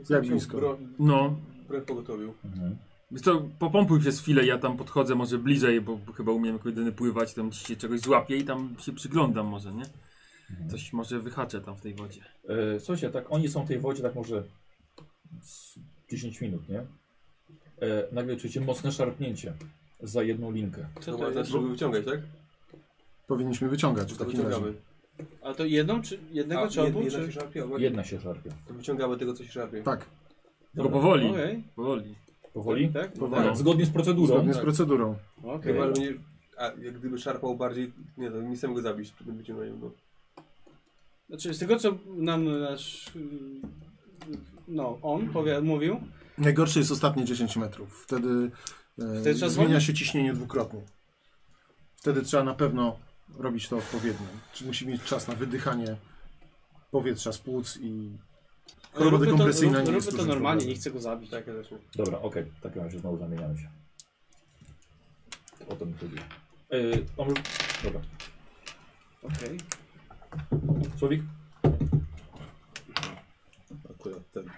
[SPEAKER 6] Jak blisko?
[SPEAKER 4] Broń,
[SPEAKER 3] No.
[SPEAKER 4] broń pogotowiu.
[SPEAKER 2] Mhm.
[SPEAKER 3] Wiesz co, popompuj przez chwilę, ja tam podchodzę może bliżej, bo chyba umiem jako jedyny pływać, tam ci się czegoś złapię i tam się przyglądam może, nie? Coś może wyhaczę tam w tej wodzie.
[SPEAKER 2] E, słuchajcie, tak oni są w tej wodzie tak może z 10 minut, nie? E, nagle czujecie mocne szarpnięcie za jedną linkę.
[SPEAKER 9] co
[SPEAKER 4] To
[SPEAKER 9] to
[SPEAKER 4] można
[SPEAKER 9] jest?
[SPEAKER 4] żeby wyciągać, tak?
[SPEAKER 6] Powinniśmy wyciągać w
[SPEAKER 4] To
[SPEAKER 6] takim razie.
[SPEAKER 4] wyciągamy.
[SPEAKER 9] A to jedną czy jednego
[SPEAKER 4] A,
[SPEAKER 9] czy obu?
[SPEAKER 4] jedna
[SPEAKER 9] czy...
[SPEAKER 4] się szarpie, albo-
[SPEAKER 2] Jedna się szarpie.
[SPEAKER 4] To wyciągamy tego, co się szarpie.
[SPEAKER 6] Tak,
[SPEAKER 3] Tylko
[SPEAKER 2] Dobra.
[SPEAKER 3] powoli,
[SPEAKER 9] Okej.
[SPEAKER 3] powoli.
[SPEAKER 2] Powoli?
[SPEAKER 9] Tak?
[SPEAKER 6] powoli.
[SPEAKER 2] Tak, zgodnie z procedurą.
[SPEAKER 6] Zgodnie z procedurą.
[SPEAKER 9] Okej.
[SPEAKER 4] Chyba, że mnie, a jak gdyby szarpał bardziej, nie no, nie chcemy go zabić, to no. będzie na niego.
[SPEAKER 9] Znaczy, z tego co nam nasz... ym, No, on powie, mówił,
[SPEAKER 6] Najgorsze jest ostatnie 10 metrów. Wtedy, e,
[SPEAKER 9] Wtedy trzeba
[SPEAKER 6] zmienia
[SPEAKER 9] zwolnić?
[SPEAKER 6] się ciśnienie dwukrotnie. Wtedy trzeba na pewno robić to odpowiednio. Czy musi mieć czas na wydychanie powietrza z płuc i choroba
[SPEAKER 9] Róbmy to-
[SPEAKER 6] dekompresyjna
[SPEAKER 9] rób-
[SPEAKER 6] nie jest
[SPEAKER 9] róbmy to
[SPEAKER 6] dużym
[SPEAKER 9] normalnie, nie
[SPEAKER 6] problemem.
[SPEAKER 9] chcę go zabić.
[SPEAKER 4] Tak, ja też.
[SPEAKER 2] Dobra, okej, w takim razie znowu zamieniamy się. O to mi chodzi. E, on... Dobra.
[SPEAKER 9] Okej.
[SPEAKER 2] Słowik?
[SPEAKER 8] Akurat ten.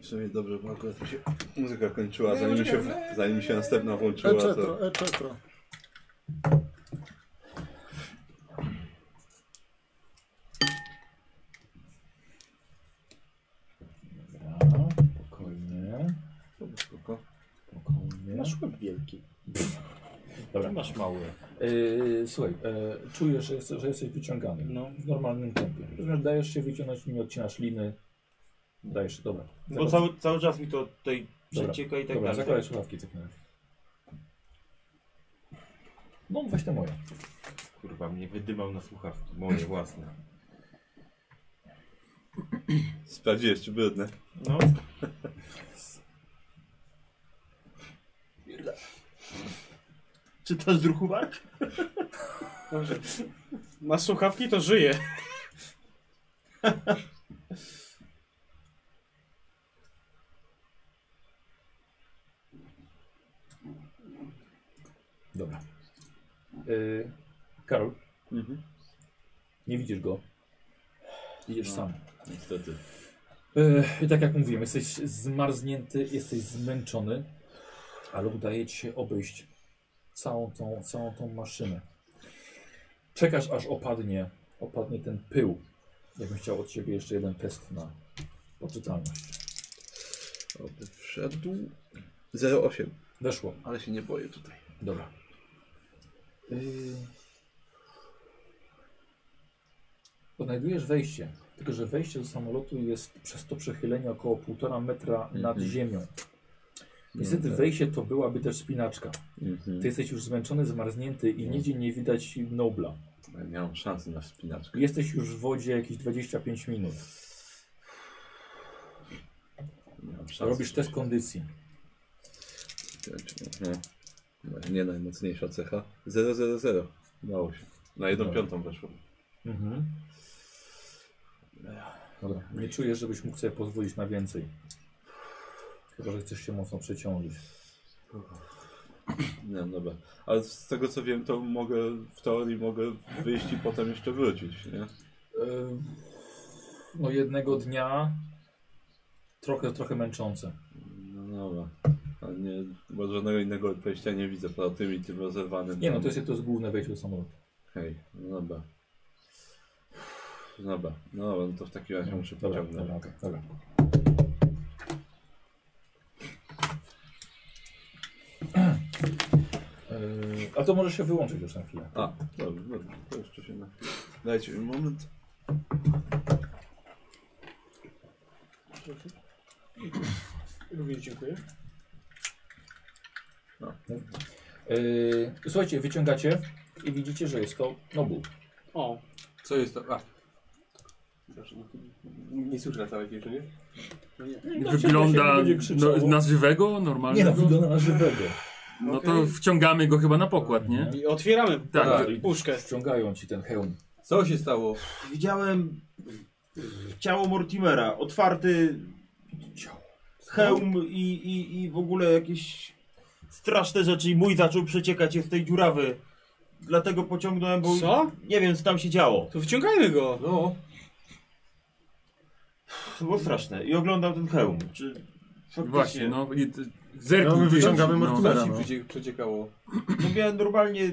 [SPEAKER 8] W sumie dobrze, bo akurat mi się muzyka kończyła, zanim się, zanim się następna włączyła. To...
[SPEAKER 6] Eczetro, eczetro.
[SPEAKER 2] Dobra, spokojnie.
[SPEAKER 8] Spoko.
[SPEAKER 2] Spokojnie.
[SPEAKER 25] Masz łeb wielki.
[SPEAKER 2] Dobra.
[SPEAKER 25] Ty masz mały.
[SPEAKER 2] E, słuchaj, e, czujesz, że, jesteś- że jesteś wyciągany.
[SPEAKER 9] No.
[SPEAKER 2] W normalnym tempie. Rozumiesz, dajesz się wyciągnąć, nie odcinasz liny. Dajesz się, dobra.
[SPEAKER 10] Bo cały, cały czas mi to tutaj przecieka i tak
[SPEAKER 2] Dobra,
[SPEAKER 10] dalej.
[SPEAKER 2] zakładaj słuchawki w takim razie. No, weź te moje.
[SPEAKER 10] Kurwa, mnie wydymał na słuchawki, moje własne.
[SPEAKER 8] Sprawdziłeś, czy brudne.
[SPEAKER 10] No. Czytasz drukuwark?
[SPEAKER 9] Dobrze. Ma słuchawki, to żyje.
[SPEAKER 2] Dobra. Y, Karol,
[SPEAKER 8] Mhm.
[SPEAKER 2] nie widzisz go. Idziesz
[SPEAKER 8] No.
[SPEAKER 2] sam.
[SPEAKER 8] Niestety.
[SPEAKER 2] Ech, I tak jak mówiłem, jesteś zmarznięty, jesteś zmęczony, ale udaje ci się obejść całą tą, całą tą maszynę. Czekasz aż opadnie, opadnie ten pył. Ja bym chciał od ciebie jeszcze jeden test na poczytalność.
[SPEAKER 5] Oby wszedł. 08.
[SPEAKER 2] Weszło.
[SPEAKER 5] Ale się nie boję tutaj.
[SPEAKER 2] Dobra. Yy... Odnajdujesz wejście, tylko że wejście do samolotu jest przez to przechylenie około 1,5 metra nad
[SPEAKER 5] Mhm.
[SPEAKER 2] ziemią. Niestety
[SPEAKER 5] tak.
[SPEAKER 2] wejście to byłaby też spinaczka.
[SPEAKER 5] Mhm. No.
[SPEAKER 2] Ty jesteś już zmęczony, zmarznięty i nigdzie nie widać Nobla.
[SPEAKER 8] Ja nie mam szansy na wspinaczkę.
[SPEAKER 2] Jesteś już w wodzie jakieś 25 minut.
[SPEAKER 8] Nie mam szans.
[SPEAKER 2] Robisz test kondycji.
[SPEAKER 5] No.
[SPEAKER 8] Mhm.
[SPEAKER 5] No, Nie najmocniejsza cecha. 000. Dało się.
[SPEAKER 8] Na jedną
[SPEAKER 2] Dobra.
[SPEAKER 8] piątą weszło.
[SPEAKER 2] Mhm. Dobra. Nie czujesz, żebyś mógł sobie pozwolić na więcej. Chyba, że chcesz się mocno przeciążyć.
[SPEAKER 8] Nie, no dobra. Ale z tego co wiem, to mogę w teorii mogę wyjść i potem jeszcze wrócić, nie?
[SPEAKER 2] Ym, No jednego dnia trochę, trochę męczące.
[SPEAKER 8] No dobra. Ale nie, bo żadnego innego wejścia nie widzę poza tym i tym rozerwanym.
[SPEAKER 2] Nie no,
[SPEAKER 8] tam.
[SPEAKER 2] to jest, to jest główne wejście do samolotu.
[SPEAKER 8] Hej, no dobra. Dobra, no dobra, no to w takim razie muszę
[SPEAKER 2] Dobra,
[SPEAKER 8] pociągnąć.
[SPEAKER 2] dobra, okej, dobra. Yy, A to może się wyłączyć już na chwilę.
[SPEAKER 8] A, dobrze, dobrze, to jeszcze się na... Dajcie mi moment.
[SPEAKER 9] Również dziękuję.
[SPEAKER 2] Yy, Słuchajcie, wyciągacie i widzicie, że jest to Nobu.
[SPEAKER 9] O,
[SPEAKER 23] Co jest to? A,
[SPEAKER 4] Proszę, no nie, nie słyszę na całej kieszeni.
[SPEAKER 3] Wygląda
[SPEAKER 2] Będzie krzyczało.
[SPEAKER 3] no, na żywego,
[SPEAKER 2] Nie no,
[SPEAKER 3] normalnego.
[SPEAKER 2] wygląda na żywego.
[SPEAKER 3] No to wciągamy go chyba na pokład, nie?
[SPEAKER 9] I otwieramy tak.
[SPEAKER 3] Tak.
[SPEAKER 9] puszkę.
[SPEAKER 2] Ściągają ci ten hełm.
[SPEAKER 23] co się stało?
[SPEAKER 10] Widziałem e, ciało Mortimera, otwarty hełm i, i, i w ogóle jakieś straszne rzeczy i mój zaczął przeciekać się z tej dziurawy. Dlatego pociągnąłem, bo
[SPEAKER 9] Co?
[SPEAKER 10] nie wiem co tam się działo.
[SPEAKER 9] To wyciągajmy go.
[SPEAKER 23] No,
[SPEAKER 10] To było straszne. I oglądam ten hełm. Czy
[SPEAKER 23] Tak.
[SPEAKER 10] faktycznie...
[SPEAKER 3] Właśnie, no. i t-
[SPEAKER 6] No,
[SPEAKER 3] Zerknij.
[SPEAKER 6] my
[SPEAKER 3] ty,
[SPEAKER 6] wyciągamy Mortimera.
[SPEAKER 23] co ci
[SPEAKER 6] no.
[SPEAKER 23] przycie- przeciekało?
[SPEAKER 10] No miałem normalnie...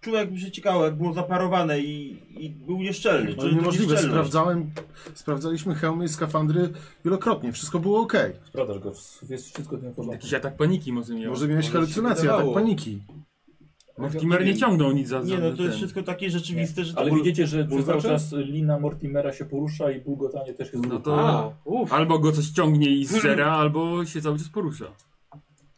[SPEAKER 10] Czułem jak mi się ciekało, jak było zaparowane i, i był nieszczelny.
[SPEAKER 6] No,
[SPEAKER 10] Czułem tę
[SPEAKER 6] niemożliwe,
[SPEAKER 10] nieszczelność.
[SPEAKER 6] sprawdzałem, sprawdzaliśmy hełmy i skafandry wielokrotnie, wszystko było ok.
[SPEAKER 2] Sprawdzasz go, w- jest wszystko w tym porządku.
[SPEAKER 3] Jakiś atak paniki może miał.
[SPEAKER 6] Może miałeś
[SPEAKER 23] się
[SPEAKER 6] halucynację,
[SPEAKER 23] wydawało.
[SPEAKER 6] atak paniki.
[SPEAKER 3] Mortimer nie ciągnął nic za, za
[SPEAKER 10] Nie no, to
[SPEAKER 3] ten.
[SPEAKER 10] jest wszystko takie rzeczywiste, że to
[SPEAKER 2] Ale
[SPEAKER 10] było-
[SPEAKER 2] widzicie, że przez cały
[SPEAKER 23] Bulgacze?
[SPEAKER 2] czas lina Mortimera się porusza i bulgotanie też jest
[SPEAKER 3] No
[SPEAKER 2] ruchem.
[SPEAKER 3] to albo go coś ciągnie i zżera, albo się cały czas porusza.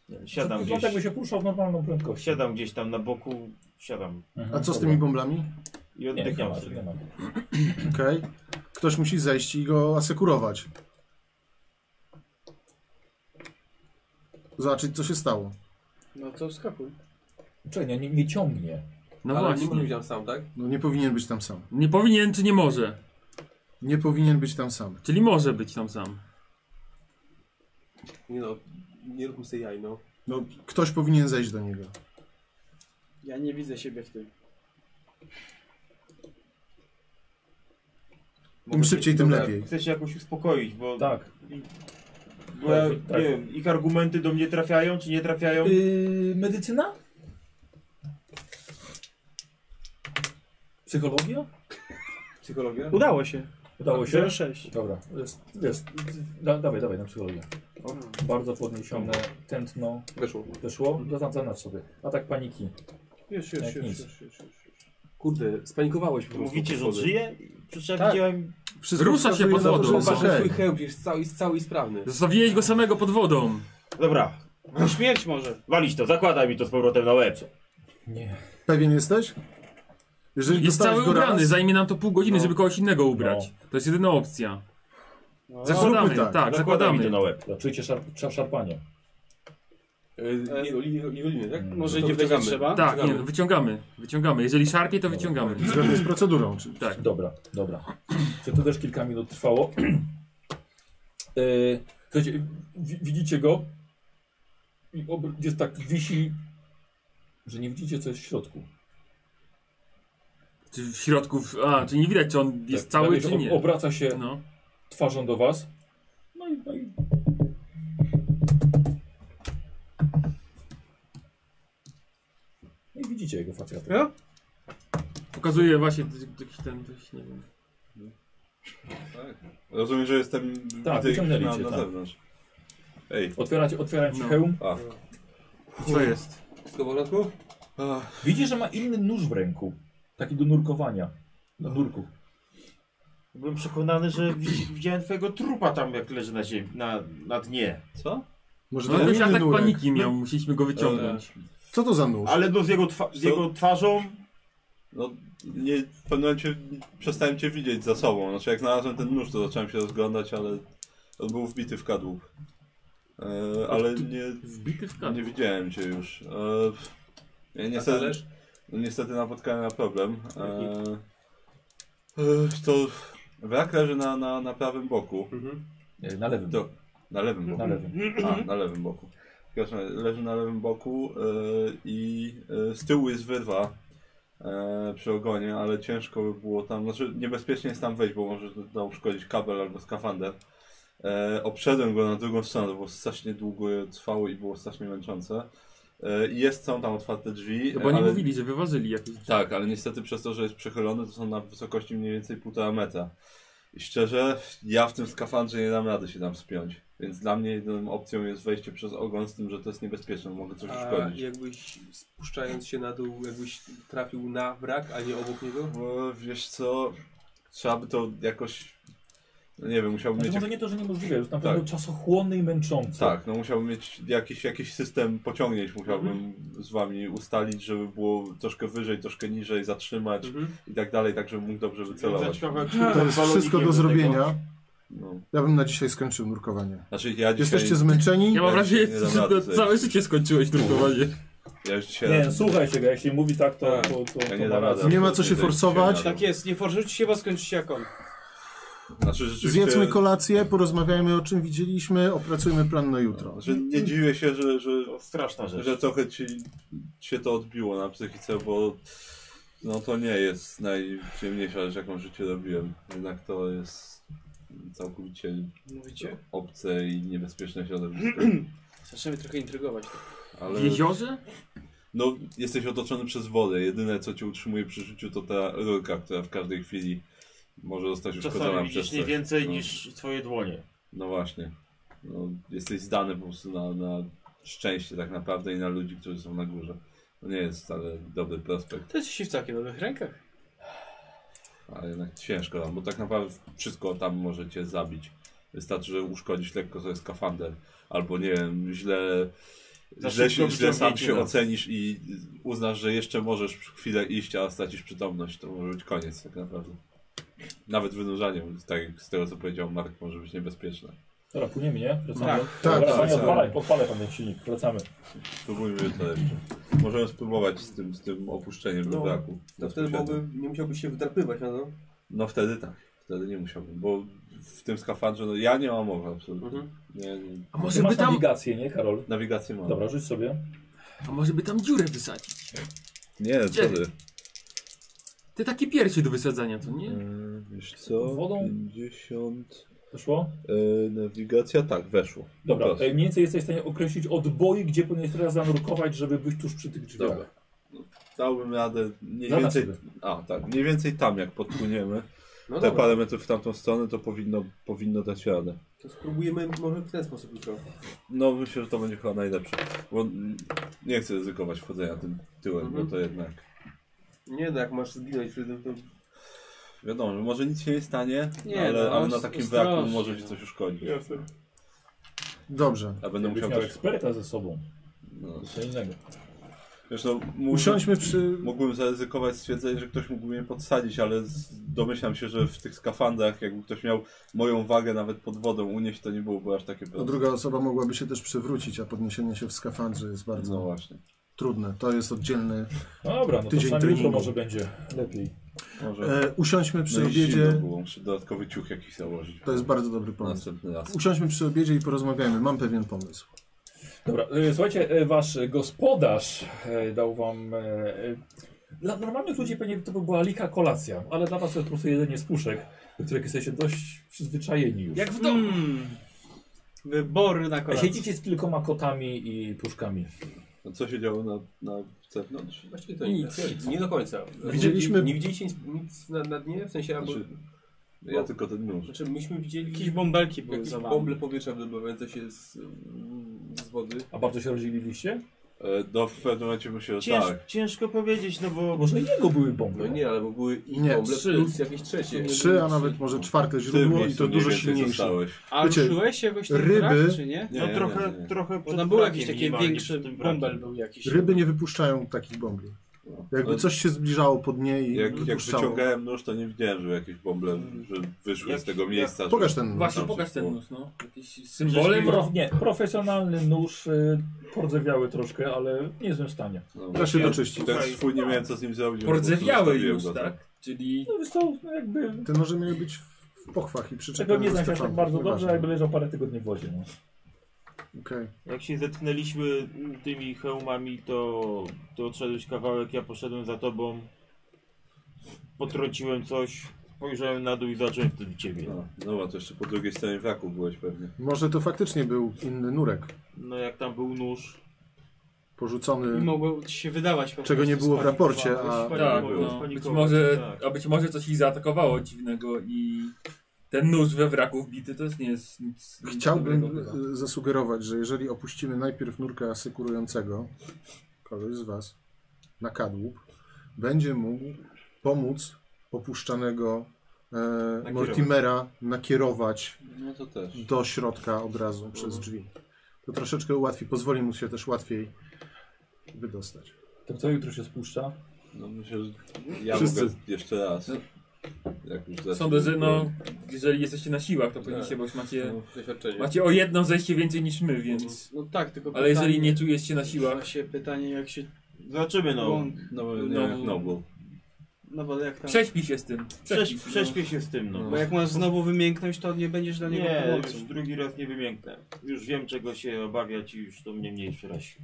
[SPEAKER 10] Siadam
[SPEAKER 2] Wygląda
[SPEAKER 10] gdzieś,
[SPEAKER 2] tak, jakby się poruszał w normalną prędkość.
[SPEAKER 10] siadam gdzieś tam na boku, siadam
[SPEAKER 6] A co z tymi bąblami?
[SPEAKER 10] i
[SPEAKER 2] Nie, nie
[SPEAKER 10] oddycham
[SPEAKER 2] ma, nie
[SPEAKER 10] sobie.
[SPEAKER 2] ma.
[SPEAKER 6] Okej. Ktoś musi zejść i go asekurować. Zobaczyć, co się stało.
[SPEAKER 9] No to wskakuj.
[SPEAKER 2] Czekaj, nie, nie, nie ciągnie.
[SPEAKER 3] No
[SPEAKER 23] Ale nie
[SPEAKER 3] właśnie.
[SPEAKER 23] może
[SPEAKER 3] Nie,
[SPEAKER 23] być tam sam, tak?
[SPEAKER 6] No nie powinien być tam sam.
[SPEAKER 3] powinien czy nie może.
[SPEAKER 6] Nie powinien być tam sam.
[SPEAKER 3] Czyli może być tam sam.
[SPEAKER 4] Nie no, nie róbmy sobie jaj, no.
[SPEAKER 6] No, ktoś powinien zejść do niego.
[SPEAKER 9] Ja nie widzę siebie w tym.
[SPEAKER 6] Im szybciej, tym
[SPEAKER 10] Dobra,
[SPEAKER 6] lepiej.
[SPEAKER 10] Chcę się jakoś uspokoić, bo,
[SPEAKER 2] Tak.
[SPEAKER 10] bo ja,
[SPEAKER 2] tak.
[SPEAKER 10] nie wiem, ich argumenty do mnie trafiają, czy nie trafiają.
[SPEAKER 2] Yy, medycyna? Psychologia?
[SPEAKER 4] Psychologia?
[SPEAKER 9] Udało się.
[SPEAKER 2] Udało się?
[SPEAKER 9] 06.
[SPEAKER 2] Dobra, jest, jest. Da, dawaj, dawaj na psychologię. Bardzo podniesione tętno.
[SPEAKER 23] Weszło.
[SPEAKER 2] Wyszło? No Zaznacz sobie. Atak paniki.
[SPEAKER 9] Już,
[SPEAKER 2] Jak
[SPEAKER 9] już, już,
[SPEAKER 2] nic.
[SPEAKER 9] już, już, już, już.
[SPEAKER 23] Kurde, spanikowałeś po prostu.
[SPEAKER 10] Mówicie, że
[SPEAKER 2] Tak.
[SPEAKER 23] podchodzę.
[SPEAKER 10] żyje? Przecież ja
[SPEAKER 6] Tak.
[SPEAKER 10] widziałem...
[SPEAKER 6] Wszystko
[SPEAKER 3] Rusza się
[SPEAKER 6] wskazuje
[SPEAKER 3] pod
[SPEAKER 6] na to,
[SPEAKER 3] wodą.
[SPEAKER 6] że jest
[SPEAKER 23] Zobacz,
[SPEAKER 6] okej.
[SPEAKER 23] swój hełm jest cały, jest cały i sprawny.
[SPEAKER 3] Zostawiłeś go samego pod wodą.
[SPEAKER 10] Dobra,
[SPEAKER 9] No śmierć może.
[SPEAKER 10] walić to, zakładaj mi to z powrotem na łeb.
[SPEAKER 2] Nie.
[SPEAKER 6] Pewien jesteś? Jeżeli
[SPEAKER 3] Jest
[SPEAKER 6] dostałeś
[SPEAKER 3] cały
[SPEAKER 6] go raz-
[SPEAKER 3] ubrany, zajmie nam to pół godziny, żeby kogoś innego ubrać. To jest jedyna opcja.
[SPEAKER 9] No.
[SPEAKER 3] Zakładamy, tak, zakładamy.
[SPEAKER 2] mi to na łeb. Czujecie szarp szarpanie.
[SPEAKER 4] E, nie, li- Ligoliny, tak? To
[SPEAKER 9] Może nie będzie
[SPEAKER 4] wyciągamy.
[SPEAKER 9] trzeba?
[SPEAKER 3] Tak, nie, no, wyciągamy. Wyciągamy. Jeżeli szarpie, to wyciągamy.
[SPEAKER 6] Zgodnie z procedurą oczywiście.
[SPEAKER 3] Tak.
[SPEAKER 2] Dobra, dobra. Czy to też kilka minut trwało? Yy, Słuchajcie, wi- widzicie go? I obr- jest tak wisi, że nie widzicie co jest w środku.
[SPEAKER 3] Czy w środku, w- a, czy nie widać, czy on jest cały,
[SPEAKER 2] prawie,
[SPEAKER 3] czy
[SPEAKER 2] że
[SPEAKER 3] nie.
[SPEAKER 2] Tak, ob- Obraca się
[SPEAKER 3] No.
[SPEAKER 2] twarzą do was. No i, no i... No i widzicie jego facjatę.
[SPEAKER 9] Ja?
[SPEAKER 3] Pokazuje właśnie t- jakiś ten, coś, nie wiem.
[SPEAKER 8] Rozumiem, że jestem
[SPEAKER 2] Tak,
[SPEAKER 8] widzę ich
[SPEAKER 2] wyciągnęli
[SPEAKER 8] na,
[SPEAKER 2] cię,
[SPEAKER 8] na
[SPEAKER 2] tak.
[SPEAKER 8] zewnątrz. Ej,
[SPEAKER 2] Otwieracie, otwieram ci
[SPEAKER 3] No.
[SPEAKER 2] hełm.
[SPEAKER 8] a,
[SPEAKER 3] Co jest?
[SPEAKER 4] Wszystko w porządku?
[SPEAKER 2] Widzisz, że ma inny nóż w ręku. Taki do nurkowania. Do nurków.
[SPEAKER 10] Byłem przekonany, że widz- widziałem twojego trupa tam, jak leży na ziemi, na, na dnie.
[SPEAKER 8] co?
[SPEAKER 6] Może
[SPEAKER 3] No,
[SPEAKER 6] to
[SPEAKER 3] jakiś
[SPEAKER 6] inny
[SPEAKER 3] atak
[SPEAKER 6] nurek. No,
[SPEAKER 3] paniki miał, musieliśmy go
[SPEAKER 4] E,
[SPEAKER 3] wyciągnąć.
[SPEAKER 6] Co to za nóż?
[SPEAKER 10] Ale no z jego, twa- z jego twarzą
[SPEAKER 8] No, nie, w pewnym momencie przestałem cię widzieć za sobą. Znaczy, jak znalazłem ten nóż, to zacząłem się rozglądać, ale on był wbity w kadłub. E, ale nie,
[SPEAKER 3] Wbity w
[SPEAKER 8] nie
[SPEAKER 3] kadłub.
[SPEAKER 8] widziałem cię już. E, ja niestety,
[SPEAKER 4] talerz?
[SPEAKER 8] no, niestety napotkałem na problem. E, e, to wrak leży na, na, na prawym boku.
[SPEAKER 2] Nie, E, Na lewym.
[SPEAKER 8] Do, na lewym boku.
[SPEAKER 2] Na lewym.
[SPEAKER 8] A, na lewym boku. Przepraszam, leży na lewym boku e, i e, z tyłu jest wyrwa e, przy ogonie, ale ciężko by było tam, znaczy niebezpiecznie jest tam wejść, bo może tam uszkodzić kabel albo skafander. E, obszedłem go na drugą stronę, to było strasznie długo trwało i było strasznie męczące. E, i jest, są tam otwarte drzwi.
[SPEAKER 3] No bo oni
[SPEAKER 8] ale-
[SPEAKER 3] mówili, że wyważyli jakieś...
[SPEAKER 8] tak, ale niestety przez to, że jest przechylony, to są na wysokości mniej więcej 1,5 metra. I szczerze, ja w tym skafandrze nie dam rady się tam spiąć. Więc dla mnie jedyną opcją jest wejście przez ogon z tym, że to jest niebezpieczne, mogę coś
[SPEAKER 4] A
[SPEAKER 8] uszkodzić.
[SPEAKER 4] jakbyś spuszczając się na dół, jakbyś trafił na wrak, a nie obok niego?
[SPEAKER 8] Bo wiesz co, trzeba by to jakoś, no nie wiem, musiałbym
[SPEAKER 2] Znaczy,
[SPEAKER 8] mieć...
[SPEAKER 2] może nie to, że niemożliwe, już na pewno
[SPEAKER 8] Tak.
[SPEAKER 2] czasochłonny i męczący.
[SPEAKER 8] Tak, no musiałbym mieć jakiś, jakiś system pociągnięć, musiałbym z wami ustalić, żeby było troszkę wyżej, troszkę niżej, zatrzymać i tak dalej, tak żebym mógł dobrze wycelować.
[SPEAKER 6] To jest wszystko do zrobienia.
[SPEAKER 8] No.
[SPEAKER 6] Ja bym na dzisiaj skończył nurkowanie.
[SPEAKER 8] Znaczy ja dzisiaj...
[SPEAKER 6] Jesteście zmęczeni?
[SPEAKER 3] Ja mam
[SPEAKER 8] Ja
[SPEAKER 3] wrażenie,
[SPEAKER 8] nie dam
[SPEAKER 3] że
[SPEAKER 8] rady
[SPEAKER 3] to całe
[SPEAKER 8] zejść.
[SPEAKER 3] życie skończyłeś drukowanie.
[SPEAKER 8] Ja już dzisiaj
[SPEAKER 2] Nie, słuchaj się go, jeśli mówi tak, to, to, to,
[SPEAKER 8] Ja
[SPEAKER 2] to
[SPEAKER 8] nie
[SPEAKER 2] ma
[SPEAKER 8] dam
[SPEAKER 2] rację.
[SPEAKER 8] rady.
[SPEAKER 6] Nie ma co się
[SPEAKER 8] Absolutnie
[SPEAKER 6] forsować.
[SPEAKER 8] nie
[SPEAKER 9] Tak jest, nie forsujcie się, bo skończycie jak on.
[SPEAKER 8] Znaczy, rzeczywiście,
[SPEAKER 6] Zjedzmy kolację, porozmawiajmy o czym widzieliśmy, opracujmy plan na jutro.
[SPEAKER 8] znaczy, nie dziwię się, że, że,
[SPEAKER 10] to straszna rzecz.
[SPEAKER 8] że trochę ci się to odbiło na psychice, bo no to nie jest najprzyjemniejsza rzecz, jaką w życiu robiłem. Jednak to jest całkowicie
[SPEAKER 9] Mówicie?
[SPEAKER 8] obce i niebezpieczne środowisko.
[SPEAKER 9] Zaczynamy trochę intrygować.
[SPEAKER 8] Ale
[SPEAKER 3] W jeziorze?
[SPEAKER 8] no, jesteś otoczony przez wodę. Jedyne, co cię utrzymuje przy życiu, to ta rurka, która w każdej chwili może zostać uszkodzona
[SPEAKER 10] Czasami
[SPEAKER 8] przez
[SPEAKER 10] widzisz nie
[SPEAKER 8] coś.
[SPEAKER 10] więcej
[SPEAKER 8] No.
[SPEAKER 10] niż twoje dłonie.
[SPEAKER 8] No właśnie. No, jesteś zdany po prostu na, na szczęście tak naprawdę i na ludzi, którzy są na górze. To nie jest wcale dobry prospekt,
[SPEAKER 9] To jest się w całkiem dobrych rękach.
[SPEAKER 8] a jednak ciężko tam, bo tak naprawdę wszystko tam możecie zabić. Wystarczy, że uszkodzić lekko sobie skafander, albo nie wiem, źle,
[SPEAKER 10] Za
[SPEAKER 8] źle,
[SPEAKER 10] szybko
[SPEAKER 8] się, źle sam
[SPEAKER 10] wyciągnięcie,
[SPEAKER 8] się
[SPEAKER 10] no.
[SPEAKER 8] ocenisz i uznasz, że jeszcze możesz chwilę iść, a stracisz przytomność. To może być koniec tak naprawdę. Nawet wynurzanie, tak jak z tego co powiedział Mark, może być niebezpieczne.
[SPEAKER 2] Dobra, płyniemy, nie? Wracamy.
[SPEAKER 6] Tak,
[SPEAKER 2] Dobra,
[SPEAKER 6] tak,
[SPEAKER 2] nie,
[SPEAKER 6] tak.
[SPEAKER 2] odpalaj, podpalaj pan ten silnik, wracamy.
[SPEAKER 8] Spróbujmy to jeszcze. Możemy spróbować z tym, z tym opuszczeniem
[SPEAKER 4] No,
[SPEAKER 8] do braku.
[SPEAKER 4] To wtedy byłoby, nie musiałbyś się wdrapywać na to.
[SPEAKER 8] No wtedy tak. Wtedy nie musiałbym, bo w tym skafandrze no, ja nie mam mowy absolutnie.
[SPEAKER 4] Mhm.
[SPEAKER 8] Nie, nie.
[SPEAKER 3] A
[SPEAKER 2] Ty
[SPEAKER 3] może by
[SPEAKER 2] masz
[SPEAKER 3] tam,
[SPEAKER 2] nawigację, nie Karol?
[SPEAKER 8] Nawigację mam.
[SPEAKER 2] Dobra, rzuć sobie.
[SPEAKER 3] a może by tam dziurę wysadzić?
[SPEAKER 8] Nie, co ty?
[SPEAKER 3] Te takie piersi do wysadzania, to nie?
[SPEAKER 8] Yy, Wiesz co?
[SPEAKER 2] Wodą?
[SPEAKER 8] 50...
[SPEAKER 2] Wyszło?
[SPEAKER 8] Yy, nawigacja, tak, weszło.
[SPEAKER 2] Dobra,
[SPEAKER 8] Po prostu.
[SPEAKER 2] e, mniej więcej jesteś w stanie określić odboi, gdzie powinieneś teraz zanurkować, żeby być tuż przy tych drzwiach.
[SPEAKER 8] Dobra. Dałbym radę mniej
[SPEAKER 2] Zada
[SPEAKER 8] więcej...
[SPEAKER 2] sobie.
[SPEAKER 8] A, tak. Mniej więcej tam, jak podpłyniemy,
[SPEAKER 4] No
[SPEAKER 8] te
[SPEAKER 4] dobra,
[SPEAKER 8] parę metrów w tamtą stronę, to powinno, powinno dać radę.
[SPEAKER 4] to spróbujemy może w ten sposób jutro.
[SPEAKER 8] No myślę, że to będzie chyba najlepsze. Bo mm, nie chcę ryzykować wchodzenia tym tyłem,
[SPEAKER 4] Mhm.
[SPEAKER 8] bo to jednak.
[SPEAKER 4] Nie no, jak masz zginąć wtedy, to...
[SPEAKER 8] Wiadomo, że może nic się nie stanie,
[SPEAKER 9] Nie,
[SPEAKER 8] ale,
[SPEAKER 9] no,
[SPEAKER 8] ale na
[SPEAKER 9] os-
[SPEAKER 8] takim
[SPEAKER 9] ostrożnie,
[SPEAKER 8] braku może ci
[SPEAKER 9] no.
[SPEAKER 8] coś uszkodzić.
[SPEAKER 6] Dobrze.
[SPEAKER 8] A będę
[SPEAKER 2] Będę
[SPEAKER 8] musiał
[SPEAKER 2] miał
[SPEAKER 8] też.
[SPEAKER 2] eksperta ze sobą,
[SPEAKER 8] No,
[SPEAKER 2] co innego.
[SPEAKER 8] Zresztą no, mógłbym,
[SPEAKER 6] Usiądźmy przy...
[SPEAKER 8] mógłbym zaryzykować stwierdzenie, że ktoś mógłby mnie podsadzić, ale z- domyślam się, że w tych skafandrach, jakby ktoś miał moją wagę nawet pod wodą unieść, to nie byłoby aż takie
[SPEAKER 6] No,
[SPEAKER 8] proste.
[SPEAKER 6] druga osoba mogłaby się też przewrócić, a podniesienie się w skafandrze jest bardzo
[SPEAKER 8] No właśnie.
[SPEAKER 6] trudne. To jest oddzielny
[SPEAKER 2] No dobra, no to
[SPEAKER 6] tydzień
[SPEAKER 2] przynajmniej jutro
[SPEAKER 6] treningu.
[SPEAKER 2] może będzie lepiej.
[SPEAKER 8] Może.
[SPEAKER 6] E, usiądźmy przy
[SPEAKER 8] no i
[SPEAKER 6] obiedzie.
[SPEAKER 8] zimno było, muszę dodatkowy ciuch jakiś założyć.
[SPEAKER 6] To jest bardzo dobry
[SPEAKER 8] No.
[SPEAKER 6] pomysł.
[SPEAKER 8] Następny raz.
[SPEAKER 6] Usiądźmy przy obiedzie i porozmawiajmy. Mam pewien pomysł.
[SPEAKER 2] Dobra, e, słuchajcie, e, wasz gospodarz e, dał wam... e, e, Dla normalnych ludzi pewnie to by była lika kolacja, ale dla was to jest po prostu jedzenie z puszek, do których jesteście dość przyzwyczajeni już.
[SPEAKER 9] Jak w domu. Wyborna kolacja.
[SPEAKER 2] Siedzicie z kilkoma kotami i puszkami.
[SPEAKER 8] No, co się działo na, na zewnątrz?
[SPEAKER 23] Właściwie to nic, nie do końca.
[SPEAKER 6] Widzieliśmy-
[SPEAKER 23] Nie, nie widzieliście nic, nic na, na dnie, w sensie albo...
[SPEAKER 8] Znaczy, Ja tylko ten nóż.
[SPEAKER 23] Znaczy myśmy widzieli
[SPEAKER 9] Jakieś bąbelki były
[SPEAKER 23] jakieś
[SPEAKER 9] za wami.
[SPEAKER 23] bąble powietrza wydobywające się z, mm, z wody.
[SPEAKER 2] A bardzo się rozdzieliliście?
[SPEAKER 8] E, Do w pewnym momencie myślę, że
[SPEAKER 10] Cięż,
[SPEAKER 8] tak.
[SPEAKER 10] Ciężko powiedzieć, no bo
[SPEAKER 2] Może jego były
[SPEAKER 23] No
[SPEAKER 2] bomby.
[SPEAKER 23] nie, ale bo były ich
[SPEAKER 6] Nie,
[SPEAKER 23] bąble
[SPEAKER 9] trzy.
[SPEAKER 23] plus jakieś trzecie.
[SPEAKER 6] Trzy, a nawet może czwarte
[SPEAKER 8] W tym
[SPEAKER 6] źródło i
[SPEAKER 8] miejscu
[SPEAKER 6] to
[SPEAKER 8] mniej
[SPEAKER 6] dużo
[SPEAKER 8] więcej
[SPEAKER 6] silniejsze.
[SPEAKER 8] zostałeś.
[SPEAKER 9] A
[SPEAKER 6] Wiecie,
[SPEAKER 9] ruszyłeś jakoś ten
[SPEAKER 6] ryby-
[SPEAKER 9] brak, czy nie?
[SPEAKER 8] Nie,
[SPEAKER 10] no
[SPEAKER 8] nie,
[SPEAKER 10] trochę,
[SPEAKER 8] nie, nie.
[SPEAKER 10] trochę
[SPEAKER 9] Bo
[SPEAKER 10] przed
[SPEAKER 9] tam był
[SPEAKER 10] brakiem
[SPEAKER 9] jakiś taki
[SPEAKER 10] minimalnie,
[SPEAKER 9] większy
[SPEAKER 10] przed tym brakiem.
[SPEAKER 9] bąbel był jakiś.
[SPEAKER 6] Ryby nie wypuszczają takich bombli. Jakby
[SPEAKER 8] Ale
[SPEAKER 6] coś się zbliżało pod nie i
[SPEAKER 8] No, Jak, jak
[SPEAKER 6] wypuszczało.
[SPEAKER 8] wyciągałem nóż, to nie widziałem, że jakieś bąble że wyszły
[SPEAKER 10] Jak-
[SPEAKER 8] z tego
[SPEAKER 10] jak-
[SPEAKER 8] miejsca. że-
[SPEAKER 6] Pokaż ten.
[SPEAKER 8] Właśnie,
[SPEAKER 23] Właśnie,
[SPEAKER 8] Tam pokaż
[SPEAKER 23] pokaż
[SPEAKER 8] się ten
[SPEAKER 23] ten
[SPEAKER 8] było.
[SPEAKER 23] nóż, no. Jakiś
[SPEAKER 2] Symbolem? Pro, nie, profesjonalny nóż, y, pordzewiały troszkę, ale w niezłym stanie.
[SPEAKER 8] No,
[SPEAKER 6] Da się
[SPEAKER 23] Ja-
[SPEAKER 6] doczyścić.
[SPEAKER 8] Ten swój nie miałem co z nim zrobić. bo po prostu
[SPEAKER 23] Pordzewiały
[SPEAKER 8] zostawiłem
[SPEAKER 23] już,
[SPEAKER 8] go tam.
[SPEAKER 23] tak? Czyli
[SPEAKER 2] No jest to no, jakby...
[SPEAKER 6] Te noże miały być w- w pochwach i
[SPEAKER 2] Czego
[SPEAKER 6] przyczepione
[SPEAKER 2] nie
[SPEAKER 6] do
[SPEAKER 2] znam się aż tak
[SPEAKER 6] skafandu.
[SPEAKER 2] bardzo
[SPEAKER 6] Nieważne.
[SPEAKER 2] dobrze, jakby leżał parę tygodni w wodzie. No.
[SPEAKER 6] Okej.
[SPEAKER 10] Jak się zetknęliśmy tymi hełmami, to, to odszedłeś kawałek, ja poszedłem za tobą, potrąciłem coś, spojrzałem na dół i zacząłem wtedy ciebie.
[SPEAKER 8] No, dobra, to jeszcze po drugiej stronie wraku byłeś pewnie.
[SPEAKER 6] Może to faktycznie był inny nurek.
[SPEAKER 10] No jak tam był nóż,
[SPEAKER 9] I
[SPEAKER 6] Porzucony.
[SPEAKER 9] mogło ci się wydawać po
[SPEAKER 6] Czego nie
[SPEAKER 9] prostu,
[SPEAKER 6] było w raporcie, a
[SPEAKER 9] spanikowałeś.
[SPEAKER 23] tak,
[SPEAKER 8] było.
[SPEAKER 23] no.
[SPEAKER 10] Pani
[SPEAKER 23] Być
[SPEAKER 10] Kowa,
[SPEAKER 23] może,
[SPEAKER 10] tak.
[SPEAKER 23] a być może coś ich zaatakowało dziwnego i ten nóż we wraku wbity to jest nie jest nic, nic
[SPEAKER 6] Chciałbym
[SPEAKER 23] dobrego chyba.
[SPEAKER 6] y, zasugerować, że jeżeli opuścimy najpierw nurka asykurującego, kogoś z Was, na kadłub, będzie mógł pomóc opuszczanego e, Mortimera nakierować
[SPEAKER 8] No to też.
[SPEAKER 6] do środka od razu przez drzwi. To troszeczkę ułatwi, pozwoli mu się też łatwiej wydostać.
[SPEAKER 2] To kto jutro się spuszcza?
[SPEAKER 8] No myślę, że ja
[SPEAKER 6] Wszyscy.
[SPEAKER 8] mogę jeszcze raz. Jak już
[SPEAKER 23] Sądzę, że no, jeżeli jesteście na siłach, to powinniście, bo już macie,
[SPEAKER 8] No.
[SPEAKER 23] macie o jedno zejście więcej niż my, więc...
[SPEAKER 9] No tak, tylko
[SPEAKER 23] Ale jeżeli nie
[SPEAKER 9] pytanie-
[SPEAKER 23] czujesz się na siłach,
[SPEAKER 9] Właśnie pytanie jak się...
[SPEAKER 10] Zobaczymy no.
[SPEAKER 9] Błąd.
[SPEAKER 8] No, bo nie
[SPEAKER 23] no.
[SPEAKER 8] jak Noble.
[SPEAKER 9] No bo jak tam...
[SPEAKER 23] prześpij się z tym.
[SPEAKER 10] Prześ,
[SPEAKER 23] no.
[SPEAKER 10] prześpię się z tym no.
[SPEAKER 9] Bo jak masz znowu wymięknąć, to nie będziesz dla niego
[SPEAKER 10] Nie,
[SPEAKER 9] pomocą.
[SPEAKER 10] już drugi raz nie wymięknę. Już wiem czego się obawiać i już to mnie mniej przerazi.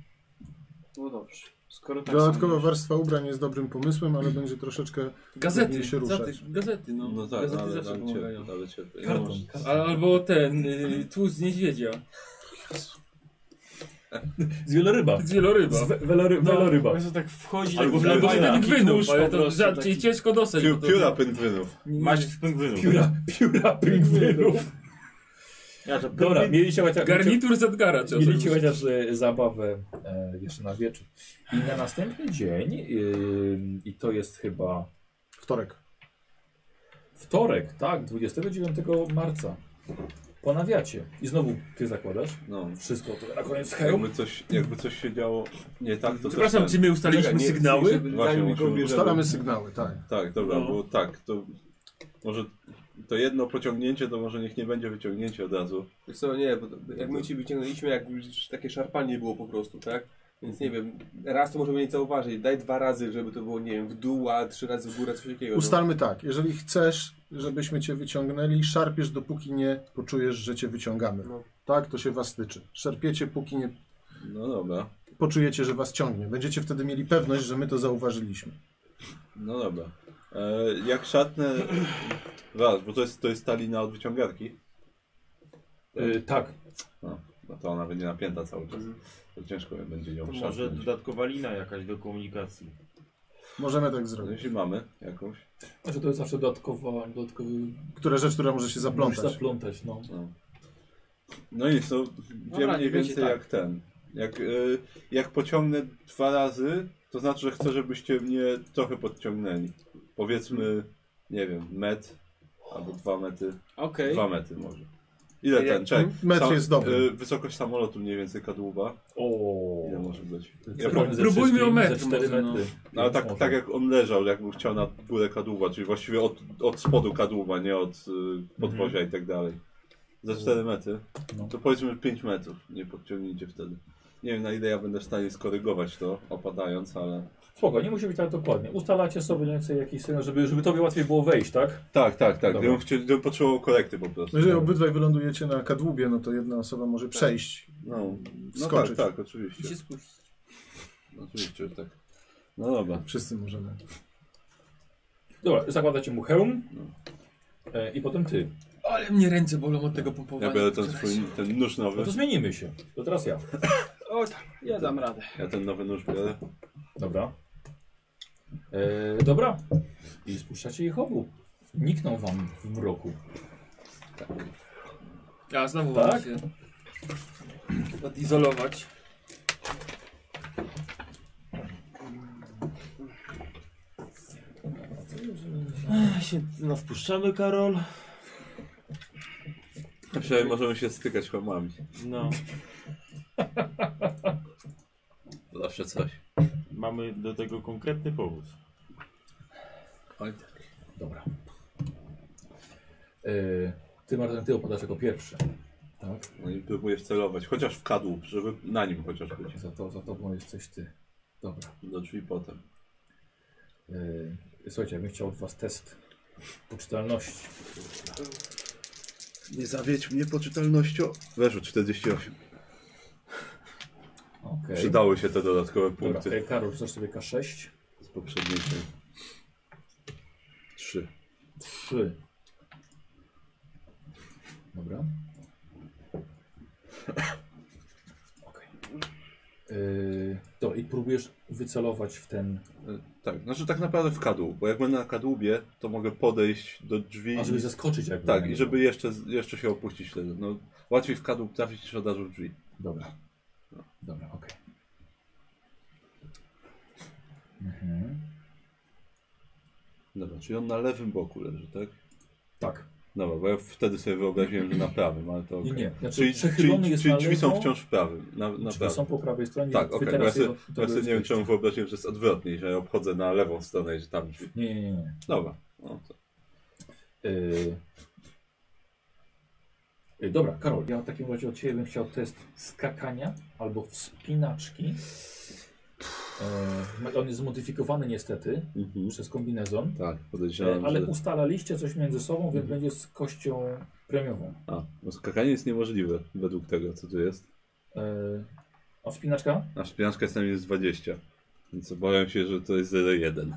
[SPEAKER 9] No dobrze. Skoro tak
[SPEAKER 6] Dodatkowa
[SPEAKER 9] sądzisz.
[SPEAKER 6] warstwa ubrań jest dobrym pomysłem, ale będzie troszeczkę
[SPEAKER 23] Gazety,
[SPEAKER 6] Powinien się ruszać.
[SPEAKER 23] zaty- gazety, no.
[SPEAKER 8] No tak,
[SPEAKER 23] gazety
[SPEAKER 8] ale,
[SPEAKER 23] zawsze
[SPEAKER 8] ale
[SPEAKER 23] pomagają.
[SPEAKER 8] cierpię, ale cierpię. Ja
[SPEAKER 23] Karton.
[SPEAKER 8] mam-
[SPEAKER 23] Al- Albo ten, y, tłuszcz z niedźwiedzia.
[SPEAKER 2] Z wieloryba.
[SPEAKER 23] Z wieloryba.
[SPEAKER 2] Z we- welory,
[SPEAKER 10] No,
[SPEAKER 2] weloryba.
[SPEAKER 9] Jezu, tak wchodzi
[SPEAKER 8] Albo
[SPEAKER 2] No,
[SPEAKER 9] tak
[SPEAKER 8] w lewo
[SPEAKER 23] Albo
[SPEAKER 9] fajnie.
[SPEAKER 23] ten
[SPEAKER 9] Taki
[SPEAKER 23] gwynów,
[SPEAKER 9] tłuszcz
[SPEAKER 23] ale
[SPEAKER 9] po
[SPEAKER 23] to
[SPEAKER 9] prostu
[SPEAKER 23] żar-
[SPEAKER 9] taki.
[SPEAKER 23] ciężko dostać.
[SPEAKER 8] Piu,
[SPEAKER 23] bo to-
[SPEAKER 8] pióra pędwinów.
[SPEAKER 2] Masz
[SPEAKER 10] z pingwinów.
[SPEAKER 2] pióra, pióra pingwinów.
[SPEAKER 10] Ja to
[SPEAKER 2] Dobra, mieliście chociaż,
[SPEAKER 23] Garnitur z Edgara trzeba
[SPEAKER 2] mieliście
[SPEAKER 23] zrobić.
[SPEAKER 2] chociaż e, zabawę e, jeszcze na wieczór. I na następny dzień, e, i to jest chyba
[SPEAKER 6] wtorek.
[SPEAKER 2] wtorek, tak, 29 marca, ponawiacie. I znowu ty zakładasz
[SPEAKER 8] No.
[SPEAKER 2] wszystko to na koniec hełm.
[SPEAKER 8] Jakby coś, jakby coś się działo nie tak, to
[SPEAKER 23] Przepraszam,
[SPEAKER 8] też
[SPEAKER 23] czy
[SPEAKER 8] ten...
[SPEAKER 23] my ustaliliśmy
[SPEAKER 8] Czekaj, nie,
[SPEAKER 23] sygnały?
[SPEAKER 8] Właśnie, musimy...
[SPEAKER 6] Ustalamy sygnały, tak.
[SPEAKER 8] Tak, dobra,
[SPEAKER 23] No.
[SPEAKER 8] bo tak, to może to jedno pociągnięcie, to może niech nie będzie wyciągnięcie od razu.
[SPEAKER 4] Wiesz co, nie, bo to- jak my ci wyciągnęliśmy, jak już takie szarpanie było po prostu, tak? Więc nie wiem, raz to możemy nie zauważyć, daj dwa razy, żeby to było, nie wiem, w dół, a trzy razy w górę, coś takiego. no.
[SPEAKER 6] Ustalmy tak, jeżeli chcesz, żebyśmy cię wyciągnęli, szarpiesz dopóki nie poczujesz, że cię wyciągamy.
[SPEAKER 4] No.
[SPEAKER 6] Tak, to się was tyczy. Szarpiecie, póki nie
[SPEAKER 8] No dobra,
[SPEAKER 6] poczujecie, że was ciągnie. Będziecie wtedy mieli pewność, że my to zauważyliśmy.
[SPEAKER 8] no dobra. E, jak szatnę... Raz, bo to jest, to jest ta lina od wyciągarki.
[SPEAKER 2] E, tak,
[SPEAKER 8] No, no to ona będzie napięta cały czas. To ciężko będzie ją
[SPEAKER 10] To może
[SPEAKER 8] szarpnąć.
[SPEAKER 10] dodatkowa lina jakaś do komunikacji.
[SPEAKER 6] Możemy tak
[SPEAKER 8] No,
[SPEAKER 6] zrobić.
[SPEAKER 8] jeśli mamy jakąś.
[SPEAKER 2] znaczy to jest zawsze dodatkowa, dodatkowy...
[SPEAKER 6] Która rzecz, która może się
[SPEAKER 2] możesz
[SPEAKER 6] zaplątać.
[SPEAKER 2] zaplątać, no.
[SPEAKER 8] No, no nic, no wiem mniej
[SPEAKER 9] niech będzie
[SPEAKER 8] więcej
[SPEAKER 9] tak.
[SPEAKER 8] jak ten. Jak, y, jak pociągnę dwa razy, to znaczy, że chcę, żebyście mnie trochę podciągnęli. Powiedzmy, nie wiem, metr albo dwa metry.
[SPEAKER 9] Okej,
[SPEAKER 8] Dwa metry może. Ile ten? Czekaj.
[SPEAKER 6] Metr
[SPEAKER 8] Sam-
[SPEAKER 6] jest dobry.
[SPEAKER 8] y, wysokość samolotu mniej więcej kadłuba.
[SPEAKER 2] O.
[SPEAKER 8] Ile może być? Ja
[SPEAKER 2] Ja
[SPEAKER 8] powiem,
[SPEAKER 2] ze
[SPEAKER 3] próbujmy
[SPEAKER 2] wszystkim
[SPEAKER 3] o metr
[SPEAKER 2] ze cztery
[SPEAKER 3] może, no.
[SPEAKER 2] metry.
[SPEAKER 8] no, ale tak,
[SPEAKER 2] Może.
[SPEAKER 8] tak jak on leżał, jakby chciał na górę kadłuba, czyli właściwie od, od spodu kadłuba, nie od y, podwozia i tak dalej. Za 4 metry.
[SPEAKER 2] Mhm. No.
[SPEAKER 8] To powiedzmy 5 metrów, nie podciągnijcie wtedy. Nie wiem na ile ja będę w stanie skorygować to, opadając, ale...
[SPEAKER 2] Spoko, nie musi być tak dokładnie. Ustalacie sobie mniej więcej jakiś sygnał, żeby, żeby tobie łatwiej było wejść, tak?
[SPEAKER 8] Tak, tak, tak.
[SPEAKER 2] Dobra.
[SPEAKER 8] Gdybym, chciał, gdybym potrzebował korekty po prostu.
[SPEAKER 6] No Jeżeli obydwaj wylądujecie na kadłubie, no to jedna osoba może przejść.
[SPEAKER 8] No, no tak,
[SPEAKER 6] Skoczyć.
[SPEAKER 8] tak, oczywiście.
[SPEAKER 9] się spuścić.
[SPEAKER 8] Oczywiście, że tak. No dobra.
[SPEAKER 6] Wszyscy możemy.
[SPEAKER 2] Dobra, zakładacie mu hełm e, i potem ty.
[SPEAKER 23] Ale mnie ręce bolą od tego pompowania.
[SPEAKER 8] Ja biorę ten swój, ten nóż
[SPEAKER 2] No
[SPEAKER 8] nowy.
[SPEAKER 2] to zmienimy się. To teraz ja.
[SPEAKER 9] O tak, ja dam radę.
[SPEAKER 8] Ja ten nowy nóż biorę.
[SPEAKER 2] Dobra. E, dobra. I spuszczacie ich obu. Nikną wam w mroku.
[SPEAKER 23] A, Tak. znowu
[SPEAKER 2] Tak?
[SPEAKER 23] tak? się odizolować.
[SPEAKER 10] Ech, się no, wpuszczamy, Karol.
[SPEAKER 8] Przynajmniej możemy się stykać chłopami.
[SPEAKER 10] No,
[SPEAKER 8] To zawsze coś.
[SPEAKER 10] mamy do tego konkretny powód.
[SPEAKER 2] Dobra. E, ty, Martin, ty opadasz jako pierwszy. Tak?
[SPEAKER 8] No i próbuję wcelować, chociaż w kadłub, żeby na nim chociaż być.
[SPEAKER 2] Za, to, za tobą jesteś ty. Dobra.
[SPEAKER 8] Do drzwi potem.
[SPEAKER 2] E, słuchajcie, ja bym chciał od was test poczytalności.
[SPEAKER 8] Nie zawiedź mnie poczytalnością. Weszło 48.
[SPEAKER 2] Okej.
[SPEAKER 8] Przydały się te dodatkowe
[SPEAKER 2] Dobra,
[SPEAKER 8] punkty
[SPEAKER 2] e, Karol, rzucasz sobie K6.
[SPEAKER 8] z poprzedniczej. 3.
[SPEAKER 2] 3. Dobra. Okej. Yy, to i próbujesz wycelować w ten.
[SPEAKER 8] Tak, znaczy tak naprawdę w kadłub, bo jak będę na kadłubie, to mogę podejść do drzwi.
[SPEAKER 2] A żeby zaskoczyć jakby.
[SPEAKER 8] Tak,
[SPEAKER 2] na
[SPEAKER 8] i
[SPEAKER 2] niego.
[SPEAKER 8] żeby jeszcze, jeszcze się opuścić wtedy. No, łatwiej w kadłub trafić niż od razu w drzwi.
[SPEAKER 2] Dobra. Dobra, okej. Mhm.
[SPEAKER 8] Dobra, czyli on na lewym boku leży, tak?
[SPEAKER 2] Tak.
[SPEAKER 8] Dobra, bo ja wtedy sobie wyobraziłem, że na prawym, ale to
[SPEAKER 2] Nie,
[SPEAKER 8] okej.
[SPEAKER 2] nie. Znaczy,
[SPEAKER 8] Czyli,
[SPEAKER 2] przechylony
[SPEAKER 8] czyli,
[SPEAKER 2] jest
[SPEAKER 8] czyli
[SPEAKER 2] na
[SPEAKER 8] drzwi są
[SPEAKER 2] lewo,
[SPEAKER 8] wciąż w prawym. Na,
[SPEAKER 2] Drzwi
[SPEAKER 8] na
[SPEAKER 2] są
[SPEAKER 8] prawym.
[SPEAKER 2] po prawej stronie.
[SPEAKER 8] Tak,
[SPEAKER 2] wy
[SPEAKER 8] okej.
[SPEAKER 2] teraz
[SPEAKER 8] bo Ja sobie,
[SPEAKER 2] jego-
[SPEAKER 8] bo ja sobie nie wiem,
[SPEAKER 2] jesteście.
[SPEAKER 8] czemu wyobraziłem, że jest odwrotnie, że ja obchodzę na lewą stronę i że tam drzwi.
[SPEAKER 2] Nie, nie, nie. nie.
[SPEAKER 8] Dobra. No, to.
[SPEAKER 2] Yy. Yy, Dobra, Karol, ja w takim razie od Ciebie bym chciał test skakania albo wspinaczki. Yy, ma- on jest zmodyfikowany niestety
[SPEAKER 8] Mhm.
[SPEAKER 2] przez kombinezon,
[SPEAKER 8] Tak,
[SPEAKER 2] yy,
[SPEAKER 8] podejrzewam,
[SPEAKER 2] ale
[SPEAKER 8] że... Mhm.
[SPEAKER 2] ustalaliście coś między sobą, więc będzie z kością premiową.
[SPEAKER 8] A, no skakanie jest niemożliwe według tego, co tu jest.
[SPEAKER 2] Yy, a wspinaczka?
[SPEAKER 8] A wspinaczka jest na minus 20. Więc obawiam się, że to jest 0,1.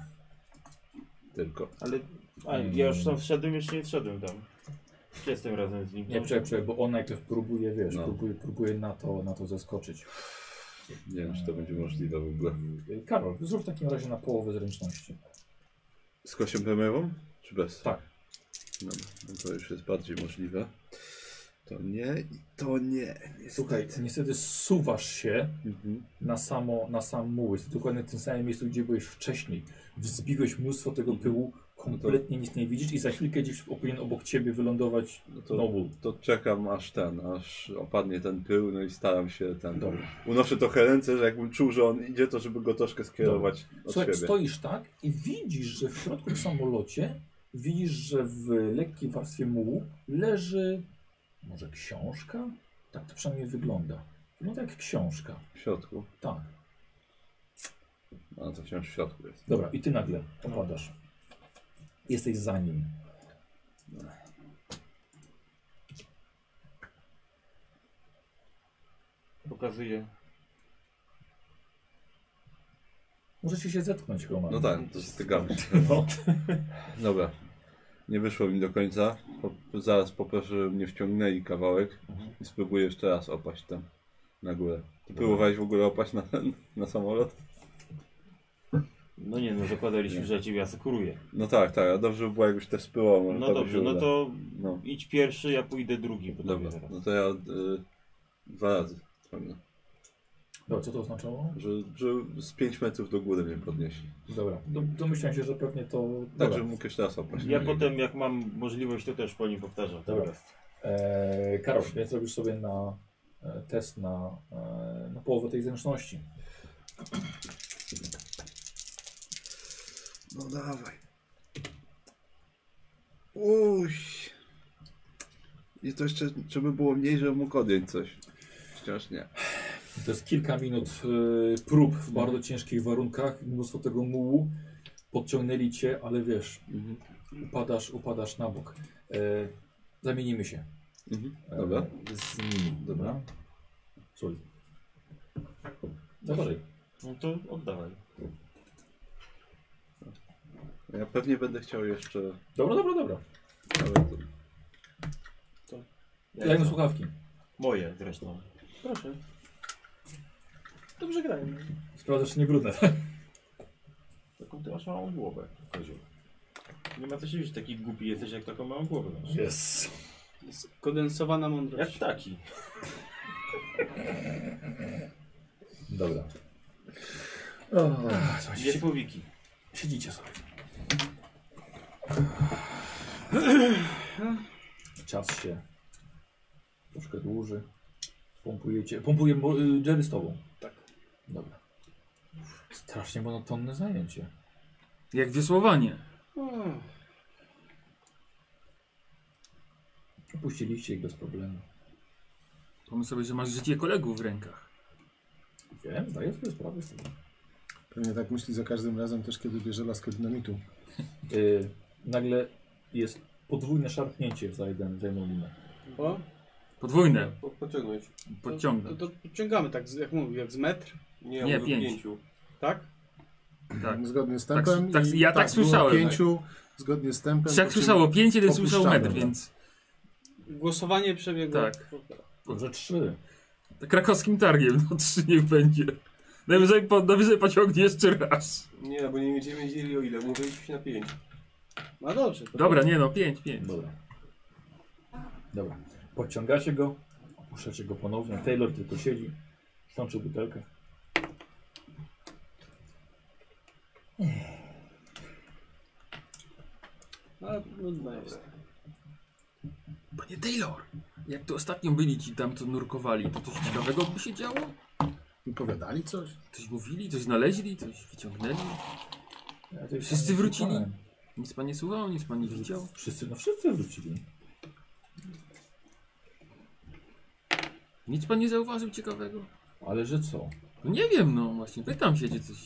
[SPEAKER 8] Tylko.
[SPEAKER 10] Ale a, ja już tam wszedłem, jeszcze nie wszedłem tam. Jestem razem z nim.
[SPEAKER 2] Nie, czekaj, czekaj, bo on najpierw próbuje, wiesz,
[SPEAKER 8] No.
[SPEAKER 2] próbuje, próbuje na, to, na to zaskoczyć.
[SPEAKER 8] Nie wiem, czy to będzie możliwe w ogóle.
[SPEAKER 2] Yy, Karol, zrób w takim razie na połowę zręczności.
[SPEAKER 8] Z kością premierową? Czy bez?
[SPEAKER 2] Tak.
[SPEAKER 8] Dobra, no to już jest bardziej możliwe. To nie i to nie.
[SPEAKER 2] Słuchaj, niestety suwasz się
[SPEAKER 8] Mhm.
[SPEAKER 2] na, samo, na sam muł. Jest dokładnie w tym samym miejscu, gdzie byłeś wcześniej. Wzbiłeś mnóstwo tego pyłu, kompletnie nic nie widzisz i za chwilkę gdzieś powinien obok ciebie wylądować
[SPEAKER 8] No to,
[SPEAKER 2] Nobu.
[SPEAKER 8] to czekam aż ten, aż opadnie ten pył, no i staram się ten.
[SPEAKER 2] Dobra.
[SPEAKER 8] Unoszę trochę ręce, że jakbym czuł, że on idzie, to żeby go troszkę skierować od
[SPEAKER 2] Słuchaj,
[SPEAKER 8] siebie.
[SPEAKER 2] stoisz tak i widzisz, że w środku w samolocie widzisz, że w lekkiej warstwie mułu leży może książka? Tak to przynajmniej wygląda. Wygląda jak książka.
[SPEAKER 8] W środku.
[SPEAKER 2] Tak.
[SPEAKER 8] No to wciąż w środku jest.
[SPEAKER 2] Dobra, i ty nagle opadasz. Jesteś za nim.
[SPEAKER 10] Pokazuję.
[SPEAKER 2] Możecie się zetknąć, No. Roman.
[SPEAKER 8] No tak, to stygamy się. Dobra. Nie wyszło mi do końca. Po, zaraz poproszę, żeby mnie wciągnęli kawałek
[SPEAKER 2] Mhm.
[SPEAKER 8] i spróbuję jeszcze raz opaść tam na górę. Ty próbowałeś w ogóle opaść na, na samolot?
[SPEAKER 10] No nie, no zakładaliśmy, że ja ciebie asekuruję.
[SPEAKER 8] No tak, tak, a dobrze by było jakbyś też spyłał. może
[SPEAKER 10] No
[SPEAKER 8] to by
[SPEAKER 10] dobrze,
[SPEAKER 8] się
[SPEAKER 10] no
[SPEAKER 8] uda.
[SPEAKER 10] to
[SPEAKER 8] No,
[SPEAKER 10] idź pierwszy, ja pójdę drugi. Bo
[SPEAKER 8] dobra,
[SPEAKER 10] tobie zaraz.
[SPEAKER 8] no to ja y, dwa razy. Pewnie.
[SPEAKER 2] Dobra, co to oznaczało?
[SPEAKER 8] Że, że z 5 metrów do góry mnie podnieśli.
[SPEAKER 2] Dobra, do- domyślam się, że pewnie to...
[SPEAKER 8] Tak,
[SPEAKER 2] Dobra,
[SPEAKER 8] żebym mógł jeszcze raz opaść.
[SPEAKER 10] Ja potem, jak mam możliwość, to też po nim powtarzam.
[SPEAKER 2] Dobra.
[SPEAKER 10] Dobra.
[SPEAKER 2] E, Karol, więc robisz sobie na e, test na, e, na połowę tej zręczności.
[SPEAKER 8] No dawaj. Uj. I to jeszcze, żeby było mniej, żebym mógł odjąć coś. Wciąż nie.
[SPEAKER 2] To jest kilka minut e, prób w bardzo ciężkich warunkach, mnóstwo tego mułu. Podciągnęli cię, ale wiesz, upadasz, upadasz na bok. E, zamienimy się. E,
[SPEAKER 8] Dobra.
[SPEAKER 2] Z nimi, dobra? Słuchaj. Dobrze.
[SPEAKER 10] No to oddawaj.
[SPEAKER 8] E, Ja pewnie będę chciał jeszcze...
[SPEAKER 2] Dobra, dobra, dobra.
[SPEAKER 8] Ale to...
[SPEAKER 2] Daj mu słuchawki.
[SPEAKER 10] Moje zresztą.
[SPEAKER 9] Proszę. Dobrze grają.
[SPEAKER 2] Sprawdzasz, czy nie brudne.
[SPEAKER 10] Taką ty masz małą głowę, kozioł. Nie ma co się dziwić, taki głupi jesteś, jak taką małą głowę masz.
[SPEAKER 2] Jest.
[SPEAKER 9] Kondensowana
[SPEAKER 10] Jak
[SPEAKER 9] mądrość.
[SPEAKER 10] ptaki.
[SPEAKER 2] Dobra. Ach, słuchajcie,
[SPEAKER 10] Dwie słowiki.
[SPEAKER 2] Siedzicie sobie. Czas się troszkę dłuży. Pompujecie. Pompuje bo- y, Jerry z tobą.
[SPEAKER 9] Tak.
[SPEAKER 2] Dobra. Strasznie monotonne zajęcie.
[SPEAKER 3] Jak wiosłowanie.
[SPEAKER 9] O,
[SPEAKER 2] Opuściliście ich bez problemu.
[SPEAKER 3] Pomyśl sobie, że masz życie kolegów w rękach.
[SPEAKER 2] Wiem, zdaję sobie sprawę z tego.
[SPEAKER 6] Pewnie tak myśli za każdym razem też, kiedy bierze laskę dynamitu.
[SPEAKER 2] Y, nagle jest podwójne szarpnięcie za jeden, za jedną linę.
[SPEAKER 9] o,
[SPEAKER 3] Podwójne.
[SPEAKER 7] Po- Pociągnąć.
[SPEAKER 3] Podciągnę.
[SPEAKER 9] To, to, to podciągamy tak, z- jak mówię, jak z metr,
[SPEAKER 7] Nie, mówię
[SPEAKER 3] Nie, pięć.
[SPEAKER 7] pięciu.
[SPEAKER 9] tak?
[SPEAKER 3] Tak.
[SPEAKER 6] Zgodnie z tempem.
[SPEAKER 3] Tak, tak,
[SPEAKER 6] i
[SPEAKER 3] ja tak
[SPEAKER 6] było
[SPEAKER 3] słyszałem.
[SPEAKER 6] Pięciu, zgodnie z tempem.
[SPEAKER 3] Trzech
[SPEAKER 6] po czym-
[SPEAKER 3] słyszało pięć, jeden słyszał
[SPEAKER 6] opuszczamy,
[SPEAKER 3] metr,
[SPEAKER 6] tak.
[SPEAKER 3] więc
[SPEAKER 9] Głosowanie przebiegło.
[SPEAKER 3] Tak.
[SPEAKER 2] Dobrze, trzy.
[SPEAKER 3] to krakowskim targiem, no trzy niech będzie. Najwyżej, po, najwyżej pociągnie jeszcze raz.
[SPEAKER 7] Nie, bo nie będziemy wiedzieli o ile. Mówiliśmy się na pięć.
[SPEAKER 9] No dobrze. To
[SPEAKER 3] Dobra, nie no, pięć, pięć.
[SPEAKER 2] Dobra. Dobra. Podciągacie go, opuszczacie go ponownie. Taylor tylko siedzi, stączy butelkę.
[SPEAKER 9] A, nudno No, jest.
[SPEAKER 3] Panie Taylor, jak to ostatnio byli ci tam, co nurkowali, to coś ciekawego by się działo?
[SPEAKER 6] Powiadali coś?
[SPEAKER 3] Coś mówili, coś znaleźli, coś wyciągnęli?
[SPEAKER 2] Ja to
[SPEAKER 3] Wszyscy wrócili? Nic pan nie słuchał, nic pan nie widział?
[SPEAKER 2] Wszyscy, no wszyscy wrócili.
[SPEAKER 3] Nic pan nie zauważył ciekawego?
[SPEAKER 2] Ale że co?
[SPEAKER 3] No nie wiem, no właśnie, pytam się, czy coś...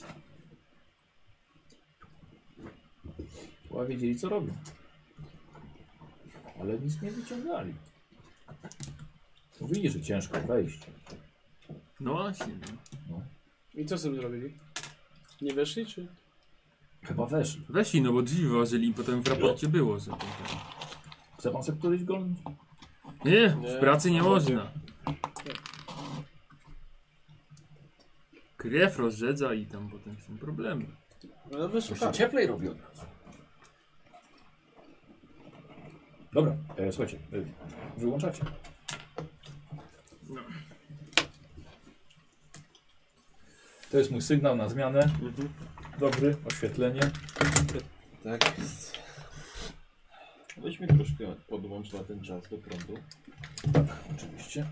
[SPEAKER 2] Chyba wiedzieli co robią. Ale nic nie wyciągali. Mówili, że ciężko wejść.
[SPEAKER 3] No właśnie, no.
[SPEAKER 9] I co z tym zrobili? Nie weszli, czy?
[SPEAKER 2] Chyba weszli.
[SPEAKER 3] Weszli, no bo drzwi wyważyli i potem w raporcie było, że...
[SPEAKER 2] Chce pan sobie któryś golnąć?
[SPEAKER 3] Nie, w pracy nie można. Krew rozrzedza i tam potem są problemy.
[SPEAKER 9] No weszli,
[SPEAKER 2] Jeszcze
[SPEAKER 9] tak.
[SPEAKER 2] cieplej robi od razu. Dobra, e, słuchajcie, e, wyłączacie. To jest mój sygnał na zmianę. Dobry, oświetlenie.
[SPEAKER 7] Tak jest.
[SPEAKER 10] Weźmy troszkę podłącz na ten czas do prądu.
[SPEAKER 2] Oczywiście.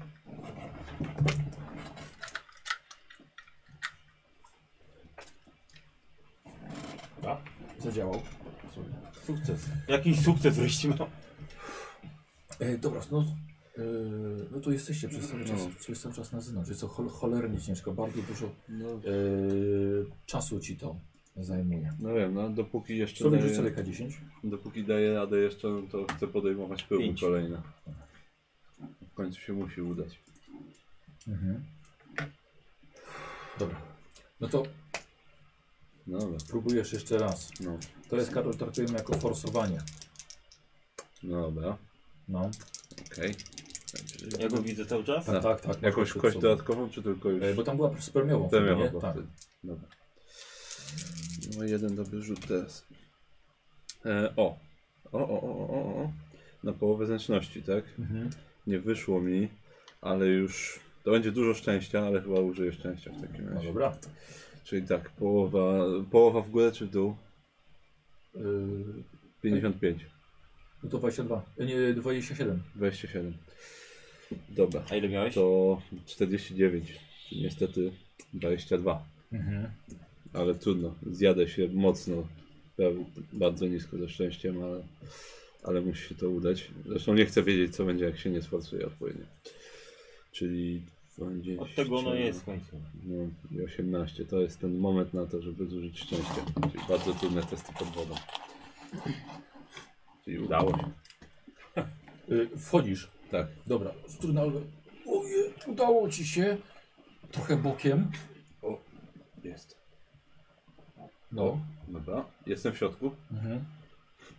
[SPEAKER 2] A, zadziałał. Sorry.
[SPEAKER 10] Sukces. Jakiś sukces wreszcie mam.
[SPEAKER 2] E, dobra, no, e, no to jesteście przez cały czas, przez cały czas na zewnątrz. Jest to chol, cholernie ciężko, bardzo dużo e, czasu ci to zajmuje.
[SPEAKER 8] No wiem, no dopóki jeszcze
[SPEAKER 2] Sobie
[SPEAKER 8] daję-
[SPEAKER 2] rzucę leka 10.
[SPEAKER 8] Dopóki daję radę jeszcze, no to chcę podejmować próby
[SPEAKER 10] Pięć.
[SPEAKER 8] kolejne. W końcu się musi udać.
[SPEAKER 2] Mhm. Dobra. No to
[SPEAKER 8] No dobra,
[SPEAKER 2] próbujesz jeszcze raz.
[SPEAKER 8] no,
[SPEAKER 2] To jest Karol traktujemy jako forsowanie.
[SPEAKER 8] no dobra,
[SPEAKER 2] No,
[SPEAKER 8] okej.
[SPEAKER 10] Ja go widzę cały czas.
[SPEAKER 2] tak, tak, tak.
[SPEAKER 8] Jakąś
[SPEAKER 2] Przed
[SPEAKER 8] kość
[SPEAKER 2] sobą.
[SPEAKER 8] dodatkową, czy tylko już?
[SPEAKER 2] E, Bo tam była spermiową.
[SPEAKER 8] Premiowo,
[SPEAKER 2] wtedy,
[SPEAKER 8] bo
[SPEAKER 2] nie? Tak.
[SPEAKER 8] wtedy. Dobra. No jeden dobry rzut teraz. E, o. O, o, o, o, o, o. Na połowę zręczności, tak?
[SPEAKER 2] Mhm.
[SPEAKER 8] Nie wyszło mi, ale już... To będzie dużo szczęścia, ale chyba użyję szczęścia w takim
[SPEAKER 2] No
[SPEAKER 8] razie.
[SPEAKER 2] dobra.
[SPEAKER 8] Czyli tak, połowa, połowa w górę czy w dół?
[SPEAKER 2] E,
[SPEAKER 8] 55.
[SPEAKER 2] No to 22. E, Nie, 27.
[SPEAKER 8] 27. Dobra,
[SPEAKER 10] A ile miałeś?
[SPEAKER 8] to 49. Niestety 22.
[SPEAKER 2] Mhm.
[SPEAKER 8] Ale trudno, zjadę się mocno, prawie bardzo nisko ze szczęściem, ale, ale musi się to udać. Zresztą nie chcę wiedzieć, co będzie, jak się nie sforsuje odpowiednio. Czyli 20,
[SPEAKER 10] Od tego ono jest w końcu.
[SPEAKER 8] No, i 18. To jest ten moment na to, żeby zużyć szczęście. Czyli bardzo trudne testy pod wodą. Czyli udało się.
[SPEAKER 2] Y, Wchodzisz.
[SPEAKER 8] Tak.
[SPEAKER 2] Dobra. Trudno. Ojej, udało ci się. Trochę bokiem.
[SPEAKER 8] Jest.
[SPEAKER 2] No.
[SPEAKER 8] Dobra, jestem w środku.
[SPEAKER 2] Mhm.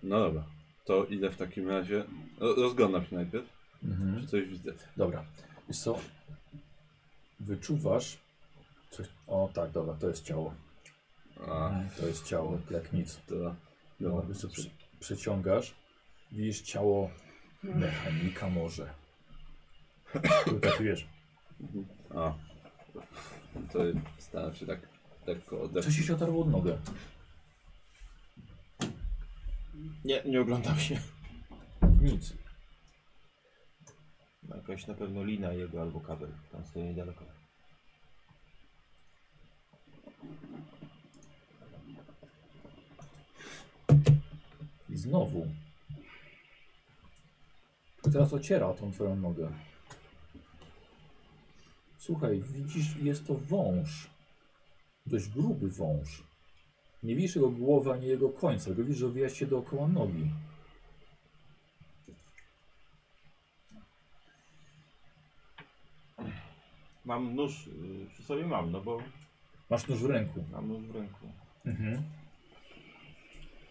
[SPEAKER 8] No dobra, to idę w takim razie. Ro- Rozglądam się najpierw,
[SPEAKER 2] Mhm.
[SPEAKER 8] czy coś widzę.
[SPEAKER 2] Dobra. Wiesz co? Wyczuwasz coś... O tak, dobra, to jest ciało.
[SPEAKER 8] A,
[SPEAKER 2] To jest ciało, jak nic.
[SPEAKER 8] to.
[SPEAKER 2] No,
[SPEAKER 8] No,
[SPEAKER 2] wiesz co, przy, przeciągasz, widzisz ciało mechanika może. Który tak, Tatuiesz.
[SPEAKER 8] a. To staram się tak lekko
[SPEAKER 2] Coś ci
[SPEAKER 8] odepchnąć.
[SPEAKER 2] się otarło od nogę.
[SPEAKER 10] Nie, nie oglądam się.
[SPEAKER 2] Nic.
[SPEAKER 10] Jakaś na pewno lina jego albo kabel. Tam stoi niedaleko.
[SPEAKER 2] I znowu. I Teraz ociera tą twoją nogę. Słuchaj, widzisz, jest to wąż. Dość gruby wąż. Nie widzisz jego głowy ani jego końca, tylko widzisz, że owija się dookoła nogi.
[SPEAKER 10] Mam nóż, y, przy sobie mam, no bo
[SPEAKER 2] Masz nóż w ręku.
[SPEAKER 10] mam nóż w ręku.
[SPEAKER 2] Mhm.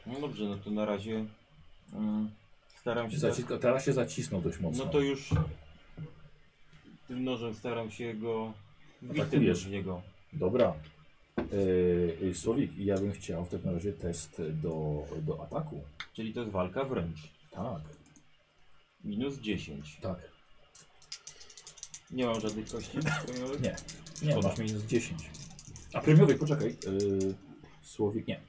[SPEAKER 10] No dobrze, no to na razie mm, staram się...
[SPEAKER 2] Zaciska, teraz się zacisnął dość mocno.
[SPEAKER 10] No to już tym nożem staram się go...
[SPEAKER 2] No
[SPEAKER 10] wbić ten
[SPEAKER 2] Atakujesz.
[SPEAKER 10] nóż w niego.
[SPEAKER 2] Dobra. Yy, Yy, Słowik, ja bym chciał w takim razie test do, do ataku.
[SPEAKER 10] Czyli to jest walka wręcz.
[SPEAKER 2] Tak,
[SPEAKER 10] Minus 10.
[SPEAKER 2] tak.
[SPEAKER 10] Nie mam żadnych kości premiowych?
[SPEAKER 2] Nie. Nie,
[SPEAKER 10] Szkoda.
[SPEAKER 2] masz minus 10. A premiowy, poczekaj. Yy, Słowik, nie.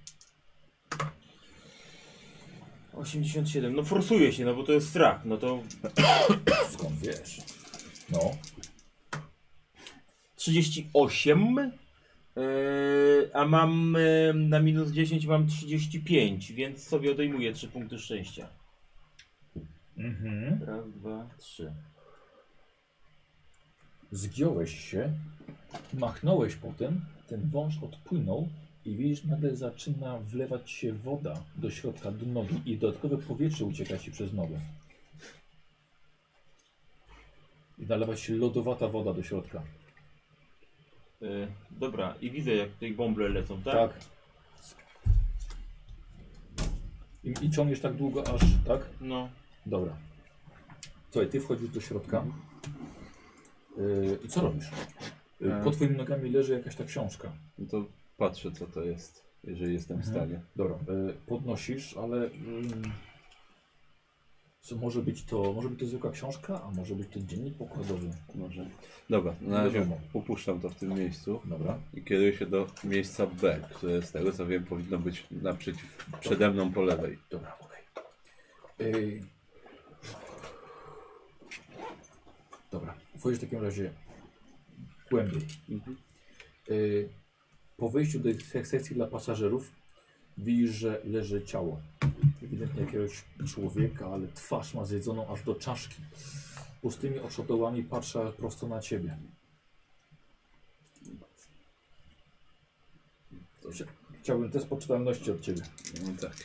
[SPEAKER 10] 87. No forsuje się, no bo to jest strach. No to
[SPEAKER 2] Skąd wiesz? No,
[SPEAKER 10] 38. Yy, a mam yy, na minus 10 mam 35, więc sobie odejmuję 3 punkty szczęścia.
[SPEAKER 2] Mhm.
[SPEAKER 10] Raz, dwa, trzy.
[SPEAKER 2] Zgiąłeś się, machnąłeś potem, ten wąż odpłynął i widzisz, nagle zaczyna wlewać się woda do środka, do nogi i dodatkowe powietrze ucieka ci przez nogę. I nalewa się lodowata woda do środka.
[SPEAKER 10] Yy, dobra, i widzę jak tutaj bąble lecą, tak?
[SPEAKER 2] I, I ciągniesz tak długo, aż tak?
[SPEAKER 10] No.
[SPEAKER 2] Dobra. Słuchaj, ty wchodzisz do środka. Yy, I co robisz? Yy,
[SPEAKER 8] E.
[SPEAKER 2] Pod twoimi nogami leży jakaś ta książka.
[SPEAKER 8] No to patrzę, co to jest, jeżeli jestem w
[SPEAKER 2] Mhm.
[SPEAKER 8] stanie.
[SPEAKER 2] Dobra, y, podnosisz, ale mm, co może być to? Może być to zwykła książka, a może być to dziennik pokładowy.
[SPEAKER 8] Może. Dobra, na
[SPEAKER 2] Nie
[SPEAKER 8] razie
[SPEAKER 2] wiadomo.
[SPEAKER 8] upuszczam to w tym miejscu
[SPEAKER 2] Dobra.
[SPEAKER 8] i kieruję się do miejsca B, które z tego co wiem powinno być naprzeciw, przede mną po lewej.
[SPEAKER 2] Dobra, okej. Ej. Dobra, wchodzisz w takim razie głębiej. Ej, Po wejściu do tej sekcji dla pasażerów widzisz, że leży ciało. Ewidentnie jakiegoś człowieka, ale twarz ma zjedzoną aż do czaszki. Pustymi oczodołami patrzę prosto na ciebie. Dobrze. Chciałbym test poczytalności od ciebie.
[SPEAKER 8] No tak.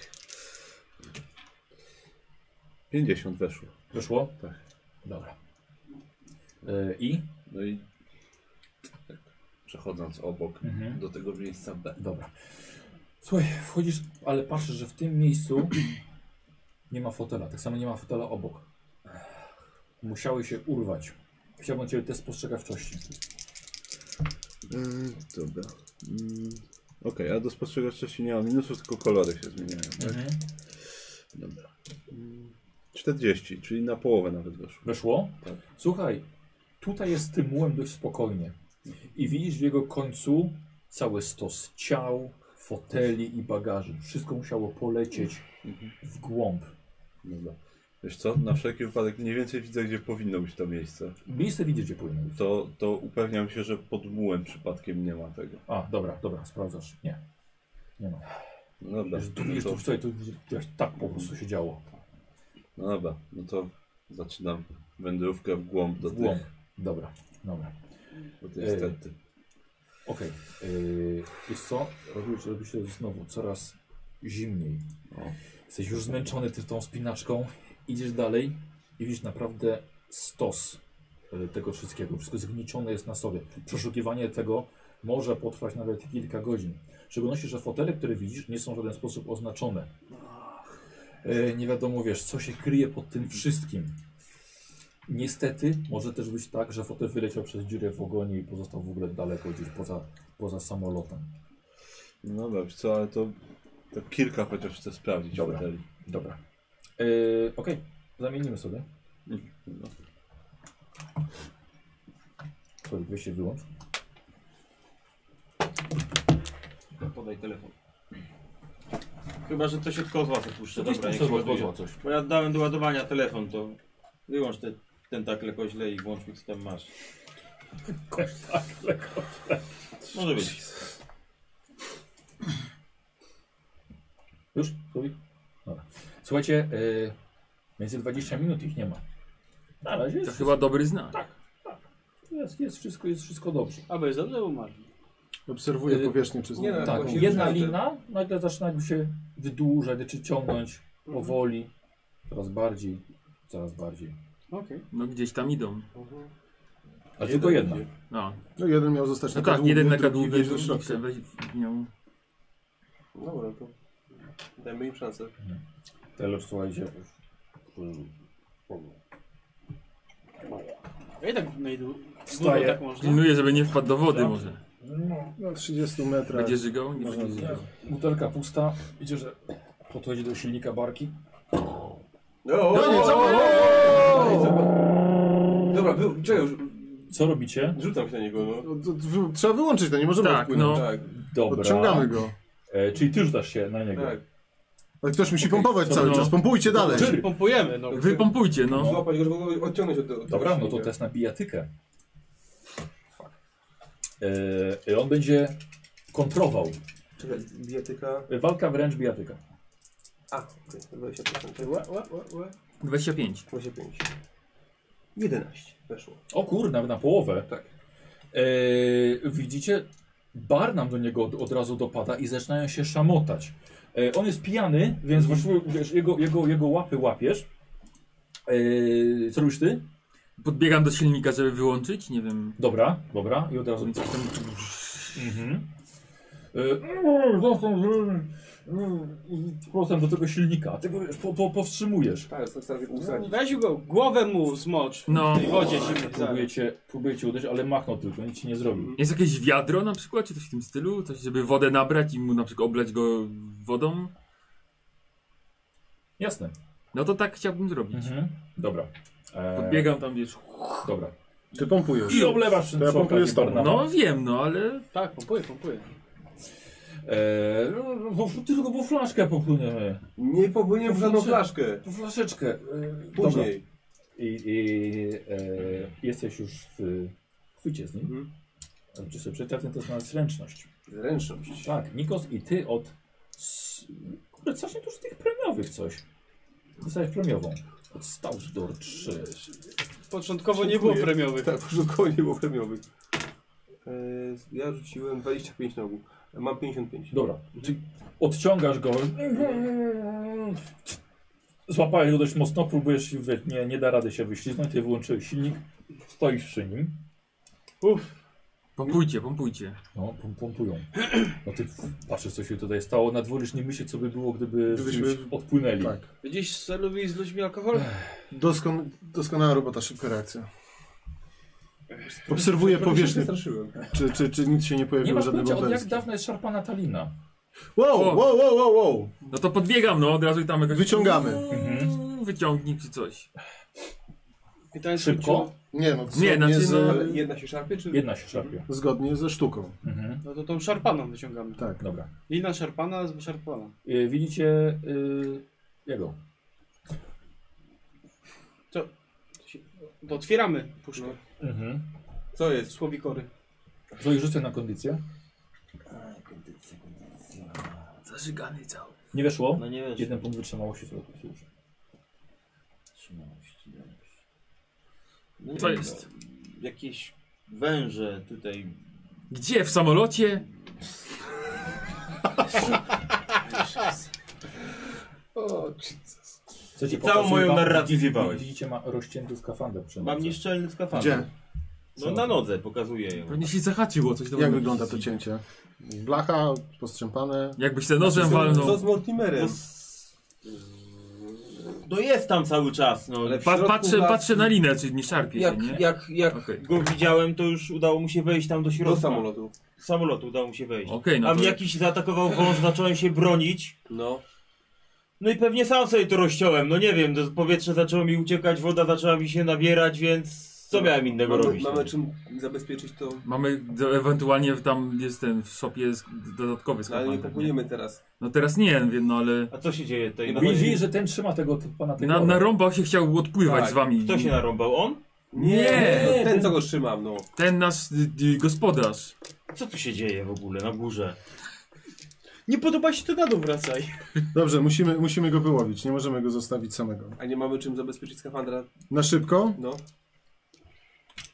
[SPEAKER 8] 50 weszło.
[SPEAKER 2] Wyszło?
[SPEAKER 8] Tak.
[SPEAKER 2] Dobra. Yy, I?
[SPEAKER 8] No i tak, przechodząc obok
[SPEAKER 2] Mhm.
[SPEAKER 8] do tego miejsca B.
[SPEAKER 2] Dobra. Słuchaj, wchodzisz, ale patrzysz, że w tym miejscu nie ma fotela. Tak samo nie ma fotela obok. Musiały się urwać. Chciałbym Ciebie test spostrzegawczości.
[SPEAKER 8] Mm, dobra. Mm, Okej, a do spostrzegawczości nie mam minusów, tylko kolory się zmieniają. Tak?
[SPEAKER 2] Mhm.
[SPEAKER 8] Dobra. Mm, 40, czyli na połowę nawet weszło.
[SPEAKER 2] Weszło?
[SPEAKER 8] Tak.
[SPEAKER 2] Słuchaj, tutaj jest tym mułem dość spokojnie. I widzisz w jego końcu cały stos ciał, foteli i bagaży. Wszystko musiało polecieć w głąb.
[SPEAKER 8] Dobra. Wiesz co, na wszelki wypadek mniej więcej widzę, gdzie powinno być to miejsce.
[SPEAKER 2] Miejsce widzicie płynie.
[SPEAKER 8] To, to upewniam się, że pod mułem przypadkiem nie ma tego.
[SPEAKER 2] A, dobra, dobra, sprawdzasz. Nie. Nie ma.
[SPEAKER 8] No dobra.
[SPEAKER 2] Że Tu widzisz,
[SPEAKER 8] no
[SPEAKER 2] tu
[SPEAKER 8] to,
[SPEAKER 2] wczoraj, tu widzisz, tak po prostu się działo.
[SPEAKER 8] no dobra, no to zaczynam wędrówkę w głąb do
[SPEAKER 2] W głąb.
[SPEAKER 8] tych,
[SPEAKER 2] Dobra, dobra.
[SPEAKER 8] do tej stety.
[SPEAKER 2] Okej. Yy, wiesz co? Robi się, robi się znowu coraz zimniej. Jesteś już zmęczony ty tą spinaczką. Idziesz dalej i widzisz naprawdę stos yy, tego wszystkiego. Wszystko zgniecione jest na sobie. Przeszukiwanie tego może potrwać nawet kilka godzin. W szczególności, że fotele, które widzisz, nie są w żaden sposób oznaczone. Yy, nie wiadomo, wiesz, co się kryje pod tym wszystkim. Niestety może też być tak, że fotel wyleciał przez dziurę w ogonie i pozostał w ogóle daleko gdzieś poza, poza samolotem.
[SPEAKER 8] No dobra, wiesz co, ale to, to kilka chociaż chcę sprawdzić
[SPEAKER 2] Dobra.
[SPEAKER 8] foteli.
[SPEAKER 2] Dobra. Yy, Okej, zamienimy sobie.
[SPEAKER 8] No.
[SPEAKER 2] Sorry, weź się wyłącz. Tak.
[SPEAKER 10] Podaj telefon. Chyba, że to się tylko od was opuszczę.
[SPEAKER 2] Gdzieś
[SPEAKER 10] Dobra,
[SPEAKER 2] tam
[SPEAKER 10] niech
[SPEAKER 2] sobie
[SPEAKER 10] się ładuje.
[SPEAKER 2] odpadła coś.
[SPEAKER 10] Bo ja dałem do ładowania telefon, to wyłącz te tentakle koźle i włącz mi co tam masz.
[SPEAKER 2] Tentakle
[SPEAKER 10] koźle. Może być.
[SPEAKER 2] Już? Słowik? Dobra. Słuchajcie, yy, między 20 minut ich nie ma. Na razie
[SPEAKER 3] To
[SPEAKER 2] jest,
[SPEAKER 3] chyba dobry znak.
[SPEAKER 2] jest, jest, wszystko, jest wszystko dobrze.
[SPEAKER 9] A bo jest dobrze umarli.
[SPEAKER 6] Obserwuję
[SPEAKER 2] Y,
[SPEAKER 6] powierzchnię przez
[SPEAKER 4] nie,
[SPEAKER 6] nie.
[SPEAKER 4] no,
[SPEAKER 2] Tak,
[SPEAKER 4] właśnie
[SPEAKER 2] jedna
[SPEAKER 4] różne te-
[SPEAKER 2] lina nagle zaczyna jakby się wydłużać, czy ciągnąć powoli, coraz bardziej, coraz bardziej.
[SPEAKER 9] Okej.
[SPEAKER 3] No gdzieś tam idą.
[SPEAKER 2] Ale tylko jedna.
[SPEAKER 3] No,
[SPEAKER 6] No jeden miał zostać
[SPEAKER 3] no
[SPEAKER 6] na
[SPEAKER 3] tak,
[SPEAKER 6] kadłubie,
[SPEAKER 3] jeden na
[SPEAKER 6] drugi
[SPEAKER 3] kadłubie,
[SPEAKER 6] wjeżdża
[SPEAKER 3] drugi
[SPEAKER 6] środka.
[SPEAKER 3] chce wejść w nią.
[SPEAKER 4] Dobra, to dajmy im szansę.
[SPEAKER 2] Tyle, słuchajcie.
[SPEAKER 9] A jednak na idu.
[SPEAKER 2] Wstaję.
[SPEAKER 9] Tak można.
[SPEAKER 3] Pilnuję, żeby nie wpadł do
[SPEAKER 6] Tak.
[SPEAKER 3] wody może.
[SPEAKER 6] Na 30 No, metrach.
[SPEAKER 3] Będzie żygał? Nie będzie żygał.
[SPEAKER 2] Butelka pusta. Widzicie, że podchodzi do silnika barki.
[SPEAKER 6] No nie, co?
[SPEAKER 4] Dobra, wy, czekaj, już
[SPEAKER 2] Co robicie?
[SPEAKER 4] rzucam się na niego, no.
[SPEAKER 6] No, to w- Trzeba wyłączyć to, nie możemy
[SPEAKER 3] Tak,
[SPEAKER 6] wpłynąć.
[SPEAKER 3] no.
[SPEAKER 4] Tak,
[SPEAKER 2] Dobra.
[SPEAKER 6] Odciągamy go.
[SPEAKER 2] E, czyli ty rzucasz się na niego.
[SPEAKER 4] tak.
[SPEAKER 6] Ale ktoś musi pompować cały
[SPEAKER 3] no.
[SPEAKER 6] czas. Pompujcie dalej.
[SPEAKER 9] Czyli pompujemy, no.
[SPEAKER 3] Wypompujcie, no.
[SPEAKER 4] Złapać go, żeby go odciągnąć od, od
[SPEAKER 2] Dobra,
[SPEAKER 4] tego
[SPEAKER 2] no to
[SPEAKER 4] silnika.
[SPEAKER 2] test na bijatykę. E, i on będzie kontrował.
[SPEAKER 4] Czekaj, bijatyka...
[SPEAKER 2] E, Walka wręcz bijatyka.
[SPEAKER 4] A, okej, 20%. Czekaj, Łe, łe, łe, łe.
[SPEAKER 3] 25.
[SPEAKER 4] 25. 11 weszło.
[SPEAKER 2] O kur, nawet na połowę.
[SPEAKER 4] Tak.
[SPEAKER 2] Eee, widzicie, bar nam do niego od, od razu dopada i zaczynają się szamotać. Eee, on jest pijany, więc właściwie wiesz, jego, jego, jego łapy łapiesz. Eee, co robisz ty?
[SPEAKER 3] Podbiegam do silnika, żeby wyłączyć, nie wiem.
[SPEAKER 2] Dobra, dobra. I od razu...
[SPEAKER 3] Coś tam...
[SPEAKER 2] Mhm. Eee, został zrobiony. Eee, Powrotem do tego silnika. a Ty go wiesz, po, po, powstrzymujesz.
[SPEAKER 4] Tak, jestem w stanie usadzić.
[SPEAKER 9] No, Weź go, głowę mu zmocz.
[SPEAKER 3] No.
[SPEAKER 9] W wodzie zimnej zaraz.
[SPEAKER 2] Próbujecie, próbujecie uderzyć, ale machnął tylko, nic ci nie zrobił.
[SPEAKER 3] Jest jakieś wiadro na przykład, czy coś w tym stylu? Coś, żeby wodę nabrać i mu na przykład oblać go wodą?
[SPEAKER 2] Jasne.
[SPEAKER 3] No to tak chciałbym zrobić.
[SPEAKER 2] Mhm. Dobra. Eee,
[SPEAKER 3] Podbiegam tam, wiesz.
[SPEAKER 2] Dobra.
[SPEAKER 6] Ty pompujesz.
[SPEAKER 2] I oblewasz
[SPEAKER 6] To ja
[SPEAKER 2] przy
[SPEAKER 6] pompuję
[SPEAKER 2] okazji
[SPEAKER 6] z tobą.
[SPEAKER 2] Barnaba.
[SPEAKER 3] No wiem, no ale...
[SPEAKER 9] Tak, pompuję, pompuję.
[SPEAKER 2] Eee, no, no, bo- tylko po flaszkę popłyniemy.
[SPEAKER 4] Nie popłynie w żadną flaszkę.
[SPEAKER 2] Po flaszeczkę. Eee,
[SPEAKER 4] Później.
[SPEAKER 2] I, i eee, jesteś już w chwycie z nim.
[SPEAKER 4] Mhm.
[SPEAKER 2] Robicie sobie przetarty test na zręczność.
[SPEAKER 4] Zręczność.
[SPEAKER 2] Tak, Nikos i ty od... s- Kurde, strasznie dużo tych premiowych coś. Dostałeś premiową. Od Stoutsdor 3.
[SPEAKER 9] Początkowo nie było premiowych.
[SPEAKER 4] Tak, porządkowo nie było premiowych. E, Ja rzuciłem 25 na ogół. Mam 55.
[SPEAKER 2] Dobra, czyli odciągasz go. Złapałeś go dość mocno, próbujesz, wie- nie, nie da rady się wyśliznąć, ty wyłączyłeś silnik, stoisz przy nim.
[SPEAKER 3] Pompujcie, pompujcie.
[SPEAKER 2] No, pom- pompują. No ty patrzysz, co się tutaj stało. Na dworze nie myśli, co by było, gdyby
[SPEAKER 6] Gdybyśmy-
[SPEAKER 2] Gdybyśmy... odpłynęli.
[SPEAKER 6] Tak.
[SPEAKER 9] Widzisz, celuj z ludźmi alkohol?
[SPEAKER 6] Doskon, doskonała robota, szybka reakcja. Obserwuję
[SPEAKER 4] się
[SPEAKER 6] powierzchnię,
[SPEAKER 4] straszyłem.
[SPEAKER 6] czy, czy, czy nic się nie
[SPEAKER 2] Nie
[SPEAKER 6] pojawiło,
[SPEAKER 2] masz
[SPEAKER 6] żadnego
[SPEAKER 2] pojęcia, od jak
[SPEAKER 6] obelski.
[SPEAKER 2] dawna jest szarpana talina.
[SPEAKER 6] Wow, wow, wow, wow, wow.
[SPEAKER 3] No to podbiegam, no od razu i tam jakoś...
[SPEAKER 6] Wyciągamy.
[SPEAKER 3] Mm, Wyciągnij czy coś.
[SPEAKER 9] Pytanie
[SPEAKER 2] Szybko?
[SPEAKER 6] Nie no,
[SPEAKER 3] Nie,
[SPEAKER 6] zgodnie,
[SPEAKER 3] znaczy,
[SPEAKER 6] z,
[SPEAKER 3] no-
[SPEAKER 4] Ale jedna się szarpie, czy...
[SPEAKER 2] Jedna się szarpie.
[SPEAKER 6] zgodnie ze sztuką.
[SPEAKER 2] Mhm.
[SPEAKER 9] No to tą szarpaną wyciągamy.
[SPEAKER 6] Tak.
[SPEAKER 2] Dobra.
[SPEAKER 9] Lina szarpana, szarpana.
[SPEAKER 2] Y, widzicie y, jego.
[SPEAKER 9] To otwieramy puszkę.
[SPEAKER 2] Mhm.
[SPEAKER 4] Co jest?
[SPEAKER 9] Słowikory.
[SPEAKER 2] Co i rzucę na kondycję?
[SPEAKER 3] Zażygany cały.
[SPEAKER 2] Nie weszło?
[SPEAKER 10] No nie wiesz.
[SPEAKER 2] Jeden punkt wytrzymałości sobie posłuży.
[SPEAKER 10] Trzymałości, dobrze. No
[SPEAKER 3] Co
[SPEAKER 10] nie wiem,
[SPEAKER 3] jest?
[SPEAKER 10] no, Jakieś węże tutaj.
[SPEAKER 3] Gdzie? W samolocie?
[SPEAKER 2] Co ci
[SPEAKER 10] I całą
[SPEAKER 2] pokazuje,
[SPEAKER 10] moją
[SPEAKER 2] wam-
[SPEAKER 10] narrację
[SPEAKER 2] widzicie-
[SPEAKER 10] zjebałeś.
[SPEAKER 2] Widzicie, ma rozcięty skafander przy
[SPEAKER 10] Mam
[SPEAKER 2] nodze.
[SPEAKER 10] nieszczelny skafander.
[SPEAKER 6] Gdzie?
[SPEAKER 10] No na nodze pokazuję ją.
[SPEAKER 3] Pewnie się zahaczyło coś do
[SPEAKER 6] Jak wygląda to cięcie? Blacha, postrzępane.
[SPEAKER 3] Jakbyś se nożem
[SPEAKER 4] Co
[SPEAKER 3] walnął.
[SPEAKER 4] z Mortimerem?
[SPEAKER 10] No jest tam cały czas, no.
[SPEAKER 4] Ale w
[SPEAKER 3] Pa
[SPEAKER 4] środku
[SPEAKER 3] patrzę,
[SPEAKER 4] laski-
[SPEAKER 3] patrzę na linę, czyli nie szarpie się,
[SPEAKER 10] Jak,
[SPEAKER 3] nie?
[SPEAKER 10] jak, jak
[SPEAKER 3] Okej.
[SPEAKER 10] go widziałem, to już udało mu się wejść tam do
[SPEAKER 4] Do
[SPEAKER 10] środka.
[SPEAKER 4] samolotu.
[SPEAKER 10] Z samolotu udało mu się wejść.
[SPEAKER 3] Okej, no
[SPEAKER 10] A
[SPEAKER 3] to-
[SPEAKER 10] jakiś zaatakował wąż, zacząłem się bronić.
[SPEAKER 4] No.
[SPEAKER 10] No i pewnie sam sobie to rozciąłem, no nie wiem, to powietrze zaczęło mi uciekać, woda zaczęła mi się nabierać, więc co miałem innego
[SPEAKER 4] Mamy,
[SPEAKER 10] robić?
[SPEAKER 4] mamy czym zabezpieczyć to.
[SPEAKER 3] Mamy do, ewentualnie tam jest ten w shopie jest dodatkowy
[SPEAKER 4] No, ale nie
[SPEAKER 3] skafander. nie?
[SPEAKER 4] popłyniemy teraz.
[SPEAKER 3] No teraz nie, wiem, no ale
[SPEAKER 10] A co się dzieje tutaj? Na
[SPEAKER 2] Widzi, że ten trzyma tego ty- pana tego.
[SPEAKER 3] na, narąbał się chciał odpływać
[SPEAKER 4] Tak,
[SPEAKER 3] z wami.
[SPEAKER 10] Kto się narąbał? On?
[SPEAKER 3] Nie!
[SPEAKER 4] Ten co go trzymam, no.
[SPEAKER 3] Ten nasz y, y, gospodarz.
[SPEAKER 10] Co tu się dzieje w ogóle na górze?
[SPEAKER 9] Nie podoba się to gadu, wracaj.
[SPEAKER 6] Dobrze, musimy, musimy go wyłowić, nie możemy go zostawić samego.
[SPEAKER 4] A nie mamy czym zabezpieczyć skafandra,
[SPEAKER 6] Na szybko
[SPEAKER 4] no.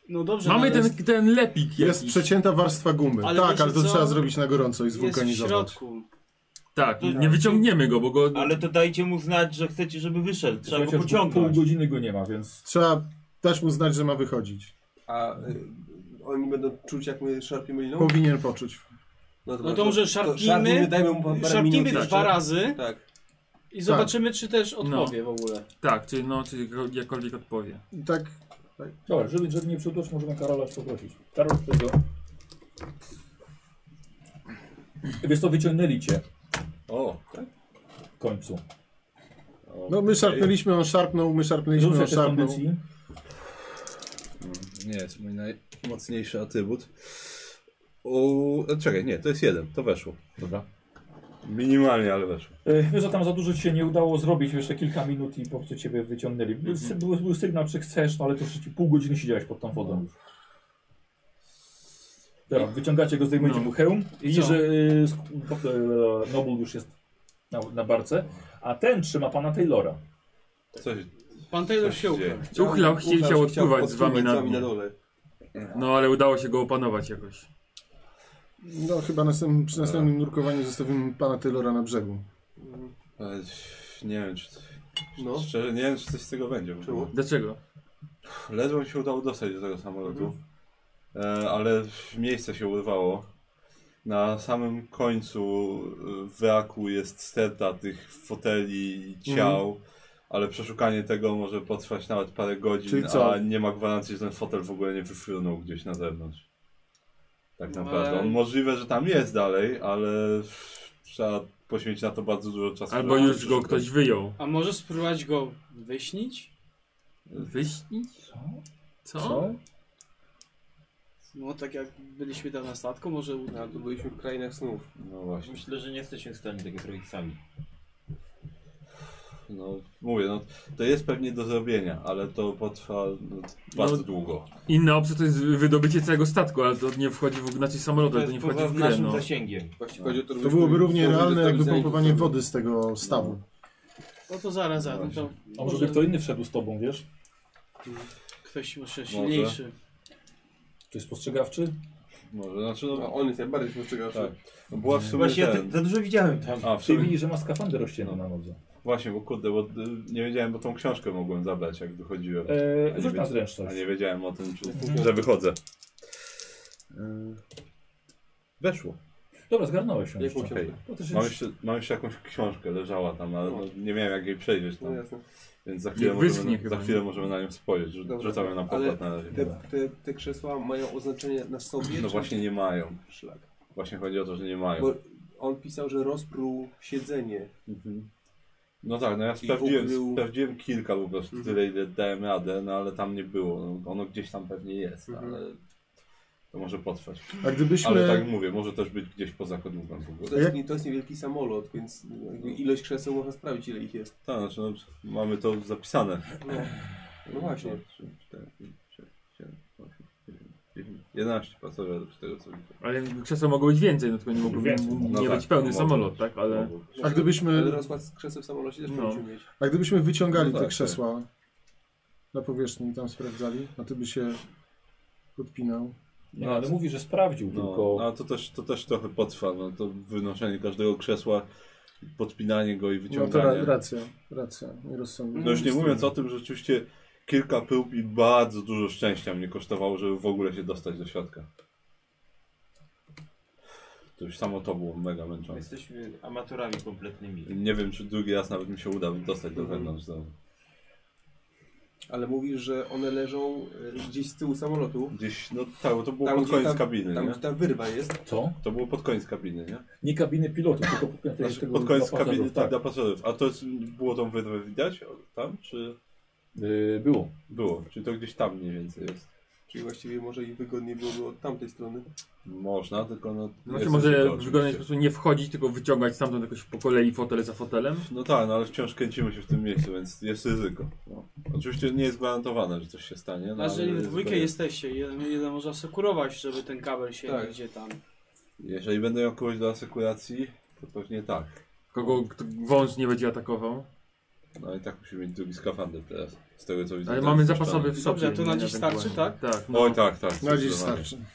[SPEAKER 9] No dobrze.
[SPEAKER 3] Mamy
[SPEAKER 9] ale
[SPEAKER 3] ten,
[SPEAKER 9] jest-
[SPEAKER 3] ten lepik
[SPEAKER 6] jest
[SPEAKER 3] jakiś.
[SPEAKER 6] przecięta warstwa gumy.
[SPEAKER 9] Ale
[SPEAKER 6] tak,
[SPEAKER 9] wiecie
[SPEAKER 6] ale to
[SPEAKER 9] co?
[SPEAKER 6] trzeba zrobić na gorąco i
[SPEAKER 9] Jest w
[SPEAKER 6] zwulkanizować.
[SPEAKER 9] środku.
[SPEAKER 3] Tak, i nie wyciągniemy go, bo go...
[SPEAKER 10] Ale to dajcie mu znać, że chcecie, żeby wyszedł. Trzeba go
[SPEAKER 2] Chociaż Pół
[SPEAKER 10] pociągnąć.
[SPEAKER 2] godziny go nie ma, więc.
[SPEAKER 6] Trzeba dać mu znać, że ma wychodzić.
[SPEAKER 4] A y, oni będą czuć jak my szarpiemy liną?
[SPEAKER 6] Powinien poczuć.
[SPEAKER 9] No to może
[SPEAKER 4] szarpnijmy,
[SPEAKER 9] szarpnijmy,
[SPEAKER 4] dajmy mu parę
[SPEAKER 9] szarpnijmy
[SPEAKER 4] minut
[SPEAKER 9] dwa
[SPEAKER 4] jeszcze.
[SPEAKER 9] razy
[SPEAKER 4] Tak.
[SPEAKER 9] i zobaczymy, czy
[SPEAKER 3] No.
[SPEAKER 9] też odpowie w ogóle.
[SPEAKER 3] Tak, czy no, czy jako- jakkolwiek odpowie.
[SPEAKER 6] I tak
[SPEAKER 2] Dobra, żeby, żeby nie przyutoczyć, możemy Karola poprosić. Karol, tego. Wiesz to wyciągnęli cię
[SPEAKER 8] O, tak?
[SPEAKER 2] w końcu.
[SPEAKER 6] No my szarpnęliśmy, on szarpnął, my szarpnęliśmy, on
[SPEAKER 2] Rzucę też
[SPEAKER 6] szarpnął.
[SPEAKER 2] kondycji.
[SPEAKER 5] Nie jest mój najmocniejszy atrybut. O,
[SPEAKER 8] no
[SPEAKER 5] e, czekaj, nie, to jest jeden, to weszło.
[SPEAKER 2] Dobra.
[SPEAKER 8] Minimalnie, ale weszło.
[SPEAKER 2] E, Wiesz, że tam za dużo ci się nie udało zrobić, jeszcze kilka minut i po prostu ciebie wyciągnęli. Był, był, był sygnał, czy chcesz, no ale to już ci pół godziny siedziałeś pod tą wodą już. Dobra, wyciągacie go, zdejmujecie
[SPEAKER 3] No.
[SPEAKER 2] mu hełm i widzisz,
[SPEAKER 3] Co?
[SPEAKER 2] że y, sk- e, Nobul już jest na, na barce, a ten trzyma pana Taylora.
[SPEAKER 8] Coś,
[SPEAKER 9] Pan Taylor
[SPEAKER 8] coś
[SPEAKER 9] się
[SPEAKER 8] się
[SPEAKER 9] ukrył.
[SPEAKER 8] dzieje.
[SPEAKER 3] Uchlał, chciał, chciał odpływać z
[SPEAKER 4] odpływać
[SPEAKER 3] wami na dół.
[SPEAKER 4] dole.
[SPEAKER 3] No ale udało się go opanować jakoś.
[SPEAKER 6] No chyba następnym, przy następnym nurkowaniu zostawimy pana Taylora na brzegu.
[SPEAKER 8] ale Nie wiem, czy.
[SPEAKER 4] No.
[SPEAKER 8] Szczerze, nie wiem, czy coś z tego będzie. w ogóle.
[SPEAKER 3] Dlaczego?
[SPEAKER 8] Ledwo mi się udało dostać do tego samolotu, e, ale miejsce się urwało. Na samym końcu e, wraku jest sterta tych foteli i ciał, ale przeszukanie tego może potrwać nawet parę godzin,
[SPEAKER 6] Czyli co?
[SPEAKER 8] a nie ma gwarancji, że ten fotel w ogóle nie wyfrunął gdzieś na zewnątrz. Tak
[SPEAKER 9] No,
[SPEAKER 8] naprawdę.
[SPEAKER 9] ale-
[SPEAKER 8] On możliwe, że tam jest dalej, ale trzeba poświęcić na to bardzo dużo czasu.
[SPEAKER 3] Albo
[SPEAKER 8] żeby
[SPEAKER 3] już go
[SPEAKER 8] przeszukać.
[SPEAKER 3] ktoś wyjął.
[SPEAKER 9] A może spróbować go wyśnić?
[SPEAKER 3] Wyśnić?
[SPEAKER 2] Co?
[SPEAKER 3] Co?
[SPEAKER 9] No tak jak byliśmy tam na statku, może uda.
[SPEAKER 4] No, tu byliśmy w krainach snów.
[SPEAKER 8] No właśnie.
[SPEAKER 10] Myślę, że nie jesteśmy w stanie tego zrobić sami.
[SPEAKER 8] No, mówię, no, to jest pewnie do zrobienia, ale to potrwa no, bardzo długo.
[SPEAKER 3] Inna opcja to jest wydobycie całego statku, ale to nie wchodzi w ogóle, znaczy samolotu,
[SPEAKER 10] To
[SPEAKER 3] ale to
[SPEAKER 10] jest
[SPEAKER 3] nie wchodzi
[SPEAKER 10] poza
[SPEAKER 3] w grę,
[SPEAKER 10] naszym
[SPEAKER 3] no.
[SPEAKER 10] zasięgiem.
[SPEAKER 4] Właściwie chodzi o to,
[SPEAKER 6] To
[SPEAKER 4] żebyśmy-
[SPEAKER 6] byłoby równie
[SPEAKER 4] żeby
[SPEAKER 6] realne jak
[SPEAKER 7] tak
[SPEAKER 4] zostawić zanik
[SPEAKER 6] wypompowanie
[SPEAKER 4] sobie.
[SPEAKER 6] wody z tego stawu.
[SPEAKER 9] No to zaraz, zaraz. No to
[SPEAKER 2] A może by kto inny wszedł z tobą, wiesz?
[SPEAKER 9] ktoś może silniejszy.
[SPEAKER 2] To jest spostrzegawczy?
[SPEAKER 8] Może, znaczy, no,
[SPEAKER 4] No, on jest najbardziej spostrzegawczy.
[SPEAKER 8] Tak. no, była w sumie
[SPEAKER 10] Właśnie ja
[SPEAKER 8] ten...
[SPEAKER 10] ty, za dużo widziałem tam.
[SPEAKER 8] A,
[SPEAKER 2] Ty
[SPEAKER 8] w sumie...
[SPEAKER 2] widzisz, że ma skafander rozcięty na nodze.
[SPEAKER 8] Właśnie, bo kurde, bo y, nie wiedziałem, bo tą książkę mogłem zabrać, jak wychodziłem. A
[SPEAKER 2] E,
[SPEAKER 8] nie
[SPEAKER 2] rzuć na
[SPEAKER 8] wie-
[SPEAKER 2] zręczność.
[SPEAKER 8] A nie wiedziałem o tym, czy, że wychodzę. Y, Weszło.
[SPEAKER 2] Dobra, zgarnąłeś ją
[SPEAKER 4] Jak mu
[SPEAKER 2] jeszcze.
[SPEAKER 4] się
[SPEAKER 8] Okej.
[SPEAKER 2] To też
[SPEAKER 8] Mam
[SPEAKER 2] jest...
[SPEAKER 8] jeszcze, mam jeszcze jakąś książkę, leżała tam, ale no, nie miałem jak jej przejrzeć
[SPEAKER 4] No
[SPEAKER 3] tak.
[SPEAKER 8] tam,
[SPEAKER 4] jasne.
[SPEAKER 8] więc za chwilę,
[SPEAKER 3] Nie
[SPEAKER 8] możemy,
[SPEAKER 3] wyschnie
[SPEAKER 8] na-
[SPEAKER 3] chyba,
[SPEAKER 8] za
[SPEAKER 3] nie?
[SPEAKER 8] chwilę możemy na nią spojrzeć. Rzu-
[SPEAKER 4] Dobra.
[SPEAKER 8] Rzucamy na
[SPEAKER 4] Ale
[SPEAKER 8] pokład na razie.
[SPEAKER 4] Te, te, te krzesła mają oznaczenie na sobie?
[SPEAKER 8] No
[SPEAKER 4] czy-
[SPEAKER 8] właśnie nie mają.
[SPEAKER 4] Szlak.
[SPEAKER 8] Właśnie chodzi o to, że nie mają.
[SPEAKER 4] Bo on pisał, że rozpruł siedzenie.
[SPEAKER 8] Mhm. No tak, no ja
[SPEAKER 4] I
[SPEAKER 8] sprawdziłem,
[SPEAKER 4] ukrył-
[SPEAKER 8] sprawdziłem kilka po prostu, tyle ile dałem radę, no ale tam nie było. No, ono gdzieś tam pewnie jest, ale to może potrwać.
[SPEAKER 6] A
[SPEAKER 8] Ale
[SPEAKER 6] gdybyśmy...
[SPEAKER 8] tak jak mówię, może też być gdzieś poza kodłubem w
[SPEAKER 4] To
[SPEAKER 8] ogóle.
[SPEAKER 4] jest, nie- to jest niewielki samolot, więc jakby ilość krzeseł można sprawdzić, ile ich jest.
[SPEAKER 8] Tak, znaczy no, mamy to zapisane. No właśnie. 3, 4, 5, 6, 7, 8, 9, 10, 11 pasażerów z tego co widzę.
[SPEAKER 3] Ale krzesła mogło być więcej, no tylko nie mogło
[SPEAKER 2] Więcej.
[SPEAKER 3] nie
[SPEAKER 8] No
[SPEAKER 3] być
[SPEAKER 8] tak,
[SPEAKER 3] pełny
[SPEAKER 8] mogło
[SPEAKER 3] samolot,
[SPEAKER 8] być,
[SPEAKER 3] tak? Ale
[SPEAKER 8] mogło być.
[SPEAKER 6] A gdybyśmy,
[SPEAKER 4] Ale rozkład z krzeseł w samolocie też
[SPEAKER 3] No.
[SPEAKER 4] powinniśmy mieć.
[SPEAKER 6] a gdybyśmy wyciągali
[SPEAKER 8] No
[SPEAKER 6] te
[SPEAKER 8] tak,
[SPEAKER 6] krzesła na powierzchni i tam sprawdzali, a ty by się podpinał.
[SPEAKER 2] No ale mówi, że sprawdził,
[SPEAKER 8] No,
[SPEAKER 2] tylko...
[SPEAKER 8] no to też, to też trochę potrwa, no to wynoszenie każdego krzesła, podpinanie go i
[SPEAKER 6] No to ra-
[SPEAKER 8] wyciąganie.
[SPEAKER 6] racja, racja, nierozsądnie.
[SPEAKER 8] No już
[SPEAKER 4] Mm,
[SPEAKER 8] nie mówiąc o tym, że rzeczywiście kilka pyłb i bardzo dużo szczęścia mnie kosztowało, żeby w ogóle się dostać do środka. To już samo to było mega
[SPEAKER 10] My
[SPEAKER 8] męczące.
[SPEAKER 10] jesteśmy amatorami kompletnymi.
[SPEAKER 8] Nie wiem, czy drugi raz nawet mi się uda dostać do
[SPEAKER 4] Mhm.
[SPEAKER 8] wewnątrz znowu.
[SPEAKER 4] Ale mówisz, że one leżą y, gdzieś z tyłu samolotu.
[SPEAKER 8] Gdzieś, no tak, bo to było
[SPEAKER 4] Tam,
[SPEAKER 8] pod
[SPEAKER 4] gdzie
[SPEAKER 8] koniec
[SPEAKER 4] tam-
[SPEAKER 8] kabiny,
[SPEAKER 4] Tam
[SPEAKER 8] nie?
[SPEAKER 4] gdzie ta wyrwa jest.
[SPEAKER 2] Co?
[SPEAKER 8] To było pod koniec kabiny, nie?
[SPEAKER 2] Nie kabiny pilotu, tylko pod koniec,
[SPEAKER 8] Znaczy,
[SPEAKER 2] tego
[SPEAKER 8] pod koniec
[SPEAKER 2] dla pasażerów,
[SPEAKER 8] kabiny tak,
[SPEAKER 2] tak.
[SPEAKER 8] dla pasażerów. A to jest, było tą wyrwę widać o, tam, czy
[SPEAKER 2] Y, było.
[SPEAKER 8] było? Czy to gdzieś tam mniej więcej jest?
[SPEAKER 4] Czyli właściwie może i wygodniej byłoby od tamtej strony.
[SPEAKER 8] Można, tylko no...
[SPEAKER 3] znaczy
[SPEAKER 8] jest
[SPEAKER 3] może
[SPEAKER 8] ryzyko
[SPEAKER 3] w wygodny
[SPEAKER 8] oczywiście.
[SPEAKER 3] sposób nie wchodzić, tylko wyciągać stamtąd jakoś po kolei fotel za fotelem.
[SPEAKER 8] No tak, no ale wciąż kręcimy się w tym miejscu, więc jest ryzyko. No. Oczywiście nie jest gwarantowane, że coś się stanie.
[SPEAKER 9] A jeżeli
[SPEAKER 8] No, ale
[SPEAKER 9] Znaczy, w
[SPEAKER 8] ryzyko
[SPEAKER 9] dwójkę
[SPEAKER 8] jest.
[SPEAKER 9] jesteście, jeden, jeden może asekurować, żeby ten kabel się
[SPEAKER 4] Tak.
[SPEAKER 9] gdzie tam.
[SPEAKER 8] Jeżeli będę miał kogoś do asekuracji, to pewnie tak.
[SPEAKER 3] Kogo kto- wąż nie będzie atakował.
[SPEAKER 8] No i tak musimy mieć drugi skafander teraz, z tego co widzę.
[SPEAKER 3] Ale
[SPEAKER 8] to
[SPEAKER 3] mamy
[SPEAKER 8] jest
[SPEAKER 3] zapasowy w
[SPEAKER 9] Dobrze,
[SPEAKER 3] szopie.
[SPEAKER 9] a to na dziś
[SPEAKER 3] ewentualnie.
[SPEAKER 9] starczy, tak?
[SPEAKER 3] Tak.
[SPEAKER 8] puszczone. Tak, Oj tak, tak.
[SPEAKER 6] Na dziś
[SPEAKER 8] zdecydowanie.
[SPEAKER 6] starczy.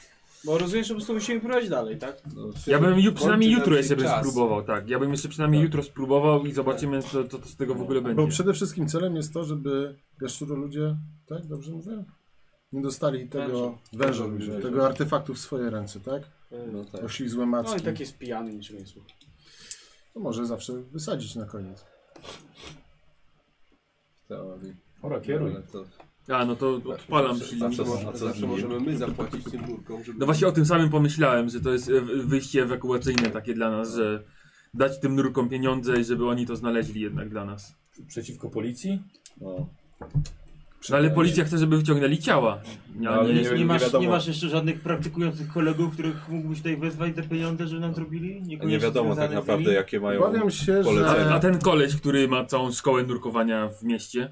[SPEAKER 9] Bo rozumiem, że po prostu musimy próbować dalej, tak?
[SPEAKER 8] No,
[SPEAKER 3] Ja bym ju,
[SPEAKER 4] Kończy
[SPEAKER 3] przynajmniej
[SPEAKER 4] nam
[SPEAKER 3] jutro
[SPEAKER 4] się
[SPEAKER 3] jeszcze bym
[SPEAKER 4] czas.
[SPEAKER 3] spróbował, tak. Ja bym jeszcze przynajmniej jutro spróbował i zobaczymy, co, co, co z tego w ogóle
[SPEAKER 6] Bo
[SPEAKER 3] będzie.
[SPEAKER 6] przede wszystkim celem jest to, żeby jaszczuro ludzie, tak dobrze mówię? Nie dostali tego węża ludzie, tego artefaktu w swoje ręce, tak?
[SPEAKER 8] no tak.
[SPEAKER 6] Oślizłe
[SPEAKER 9] No i
[SPEAKER 6] macki.
[SPEAKER 9] tak jest pijany, niczego nie słucha.
[SPEAKER 6] To może zawsze wysadzić na koniec.
[SPEAKER 8] Teorii.
[SPEAKER 2] Ora, kieruj.
[SPEAKER 8] Ale to-
[SPEAKER 3] A, no to odpalam silnik.
[SPEAKER 8] Tak, Zawsze można,
[SPEAKER 4] Zawsze, zawsze możemy my zapłacić tym nurkom, żeby...
[SPEAKER 3] No właśnie o tym samym pomyślałem, że to jest e, wyjście ewakuacyjne takie dla nas, że dać tym nurkom pieniądze i żeby oni to znaleźli jednak dla nas.
[SPEAKER 2] Przeciwko policji?
[SPEAKER 8] No.
[SPEAKER 3] No ale policja chce, żeby wyciągnęli ciała. No, Ja
[SPEAKER 8] Ale
[SPEAKER 3] nie,
[SPEAKER 8] nie-
[SPEAKER 10] No, Nie masz,
[SPEAKER 8] wiadomo.
[SPEAKER 10] nie masz jeszcze żadnych praktykujących kolegów, których mógłbyś tutaj wezwać za pieniądze, żeby nam zrobili?
[SPEAKER 8] A nie wiadomo tak naprawdę, jakie mają
[SPEAKER 6] Obawiam się,
[SPEAKER 8] polecenia.
[SPEAKER 6] że...
[SPEAKER 3] a, a ten koleś, który ma całą szkołę nurkowania w mieście,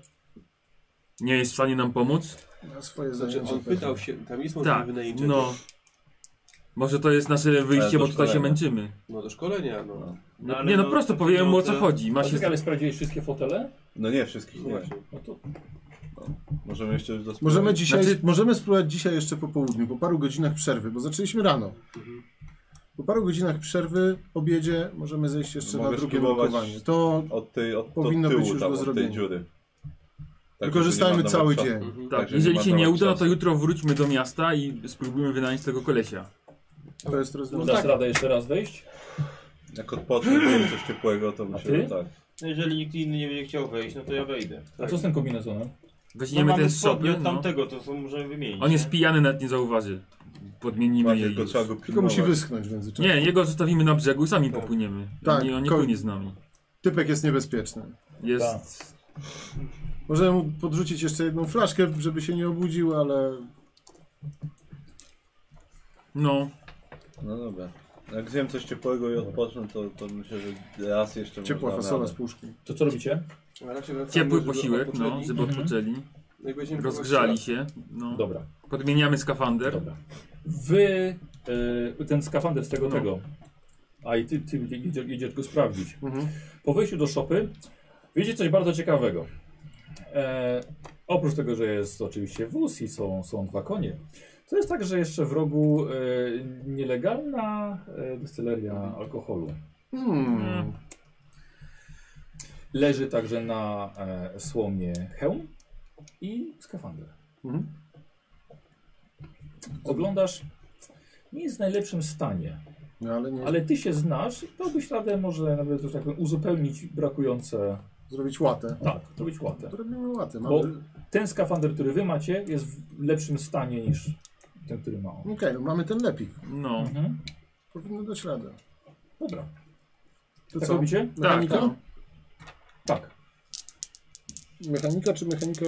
[SPEAKER 3] nie jest w stanie nam pomóc?
[SPEAKER 6] Na swoje
[SPEAKER 4] Znaczy
[SPEAKER 6] zajęcie
[SPEAKER 4] on pytał się, tam jest możliwe
[SPEAKER 3] Tak,
[SPEAKER 4] wynajęcie.
[SPEAKER 3] no. Może to jest nasze wyjście,
[SPEAKER 8] do
[SPEAKER 3] bo tutaj się
[SPEAKER 8] szkolenia.
[SPEAKER 3] męczymy.
[SPEAKER 4] No do szkolenia, no.
[SPEAKER 10] No, ale
[SPEAKER 3] nie no,
[SPEAKER 10] no,
[SPEAKER 3] prosto powiem mu o co
[SPEAKER 10] to-
[SPEAKER 3] chodzi. Ma
[SPEAKER 2] A
[SPEAKER 3] się...
[SPEAKER 2] czekaj, ale sprawdziłeś wszystkie fotele?
[SPEAKER 8] No nie, wszystkich nie. no.
[SPEAKER 4] Właśnie.
[SPEAKER 2] No to
[SPEAKER 8] Możemy jeszcze do
[SPEAKER 6] Możemy dzisiaj,
[SPEAKER 3] Znaczy-
[SPEAKER 6] możemy spróbować dzisiaj jeszcze po południu, po paru godzinach przerwy, bo zaczęliśmy rano. Po paru godzinach przerwy, obiedzie, możemy zejść jeszcze
[SPEAKER 8] No Mogę
[SPEAKER 6] na drugie
[SPEAKER 8] spróbować- Tak,
[SPEAKER 6] nurkowanie. To
[SPEAKER 8] Od tej, od,
[SPEAKER 6] Powinno
[SPEAKER 8] od tyłu,
[SPEAKER 6] być już
[SPEAKER 8] tam,
[SPEAKER 6] do
[SPEAKER 8] od
[SPEAKER 6] zrobienia.
[SPEAKER 8] tej dziury. Tak,
[SPEAKER 6] wykorzystajmy
[SPEAKER 8] żeby nie
[SPEAKER 6] cały
[SPEAKER 8] marnować
[SPEAKER 6] dzień.
[SPEAKER 8] czasu.
[SPEAKER 3] Tak,
[SPEAKER 8] Także
[SPEAKER 3] jeżeli
[SPEAKER 8] nie
[SPEAKER 3] się
[SPEAKER 8] ma
[SPEAKER 3] nie
[SPEAKER 8] nawet
[SPEAKER 3] uda, no to
[SPEAKER 8] czasu.
[SPEAKER 3] jutro wróćmy do miasta i spróbujemy wynająć tego kolesia.
[SPEAKER 6] To jest rozwiązanie.
[SPEAKER 2] dasz radę jeszcze raz wejść?
[SPEAKER 8] Jak odpocznę będzie coś ciepłego, to myślę, że
[SPEAKER 2] ty?
[SPEAKER 8] tak.
[SPEAKER 10] No, Jeżeli nikt inny nie będzie chciał wejść, no to ja wejdę.
[SPEAKER 2] A co z tym kombinezonem?
[SPEAKER 3] Weźmiemy
[SPEAKER 10] No mamy
[SPEAKER 3] ten z
[SPEAKER 10] spodnie
[SPEAKER 3] szopy.
[SPEAKER 10] od
[SPEAKER 3] No.
[SPEAKER 10] tamtego, to są możemy wymienić.
[SPEAKER 3] On jest
[SPEAKER 10] nie?
[SPEAKER 3] pijany, nawet nie zauważy. Podmienimy
[SPEAKER 8] Bardziej
[SPEAKER 3] jej.
[SPEAKER 8] Tylko
[SPEAKER 3] już.
[SPEAKER 8] trzeba go
[SPEAKER 6] Tylko musi
[SPEAKER 8] pilnować.
[SPEAKER 6] wyschnąć w międzyczasie.
[SPEAKER 3] Nie, jego zostawimy na brzegu i sami popłyniemy.
[SPEAKER 6] Tak,
[SPEAKER 3] nie, on nie
[SPEAKER 6] koń-
[SPEAKER 3] płynie z nami.
[SPEAKER 6] Typek jest niebezpieczny.
[SPEAKER 3] Jest...
[SPEAKER 2] Tak.
[SPEAKER 6] Możemy mu podrzucić jeszcze jedną flaszkę, żeby się nie obudził, ale
[SPEAKER 3] No,
[SPEAKER 8] No dobra. Jak zjem coś ciepłego i odpocznę, to, to myślę, że raz jeszcze
[SPEAKER 6] ciepła
[SPEAKER 8] można
[SPEAKER 6] fasola z
[SPEAKER 8] radę.
[SPEAKER 6] puszki.
[SPEAKER 2] To co robicie?
[SPEAKER 4] A raz się wracamy,
[SPEAKER 3] ciepły
[SPEAKER 4] żeby
[SPEAKER 3] posiłek, no,
[SPEAKER 4] odpoczęli.
[SPEAKER 3] żeby
[SPEAKER 2] Mhm.
[SPEAKER 3] odpoczęli.
[SPEAKER 4] No i będziemy
[SPEAKER 3] Rozgrzali się. No.
[SPEAKER 2] Dobra,
[SPEAKER 3] Podmieniamy skafander.
[SPEAKER 2] dobra. Wy, y, ten skafander z tego,
[SPEAKER 6] No.
[SPEAKER 2] tego. A i ty, ty jedziesz, jedziesz go sprawdzić.
[SPEAKER 6] Mhm.
[SPEAKER 2] Po wejściu do szopy wiecie coś bardzo ciekawego. E, oprócz tego, że jest oczywiście wóz i są, są dwa konie, to jest także jeszcze w rogu e, nielegalna e, dystyleria alkoholu.
[SPEAKER 6] Hmm.
[SPEAKER 2] Leży także na e, słomie hełm i skafander.
[SPEAKER 6] Mhm.
[SPEAKER 2] Oglądasz, nie jest w najlepszym stanie,
[SPEAKER 6] No ale nie.
[SPEAKER 2] ale ty się znasz i dałbyś radę może nawet, że tak powiem, uzupełnić brakujące,
[SPEAKER 6] Zrobić łatę.
[SPEAKER 2] tak, zrobić łatę.
[SPEAKER 6] Robimy łatę. Mamy...
[SPEAKER 2] Bo ten skafander, który wy macie, jest w lepszym stanie niż ten, który ma on.
[SPEAKER 6] Okej, no mamy ten lepik.
[SPEAKER 3] No.
[SPEAKER 2] Mhm.
[SPEAKER 6] Powinno dać radę.
[SPEAKER 2] Dobra.
[SPEAKER 6] To
[SPEAKER 2] tak
[SPEAKER 6] co?
[SPEAKER 2] robicie?
[SPEAKER 6] Mechanika?
[SPEAKER 2] tak. Tak.
[SPEAKER 6] Mechanika czy mechanika,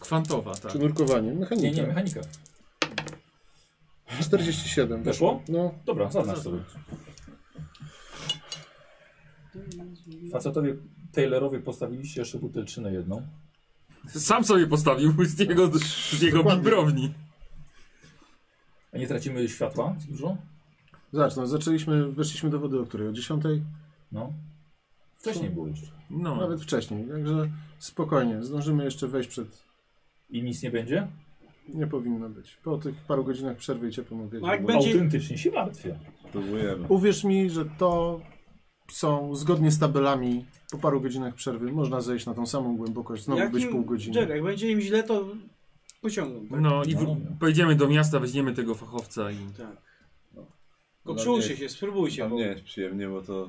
[SPEAKER 3] Kwantowa, tak.
[SPEAKER 6] czy nurkowanie? Mechanika.
[SPEAKER 2] Nie, nie, mechanika.
[SPEAKER 6] 47.
[SPEAKER 2] Weszło?
[SPEAKER 6] No,
[SPEAKER 2] Dobra, zaznacz sobie. Facetowie Taylorowi postawiliście jeszcze butelczynę jedną.
[SPEAKER 3] Sam sobie postawił z jego, z jego
[SPEAKER 6] Dokładnie.
[SPEAKER 3] bibrowni.
[SPEAKER 2] A nie tracimy światła dużo?
[SPEAKER 6] Zobacz, no zaczęliśmy, weszliśmy do wody o której? O 10?
[SPEAKER 2] No. Wcześniej było jeszcze.
[SPEAKER 3] No.
[SPEAKER 6] Nawet wcześniej, także spokojnie, zdążymy jeszcze wejść przed...
[SPEAKER 2] I nic nie będzie?
[SPEAKER 6] Nie powinno być. Po tych paru godzinach przerwy i ciepłym obiedzie.
[SPEAKER 9] No jak
[SPEAKER 6] bo-
[SPEAKER 9] będzie-
[SPEAKER 2] Autentycznie się martwię.
[SPEAKER 8] Próbujemy.
[SPEAKER 6] Uwierz mi, że to są zgodnie z tabelami. Po paru godzinach przerwy można zejść na tą samą głębokość, znowu
[SPEAKER 9] Jak
[SPEAKER 6] być
[SPEAKER 9] im-
[SPEAKER 6] pół godziny.
[SPEAKER 9] Jerry, jak będzie im źle, to pociągną. Tak?
[SPEAKER 3] No i
[SPEAKER 2] No.
[SPEAKER 3] w- pojedziemy do miasta, weźmiemy tego fachowca i...
[SPEAKER 9] Tak.
[SPEAKER 8] No
[SPEAKER 9] Tylko przyłóżcie
[SPEAKER 8] nie.
[SPEAKER 9] się, spróbujcie.
[SPEAKER 8] Tam
[SPEAKER 9] Bo...
[SPEAKER 8] nie jest przyjemnie, bo to...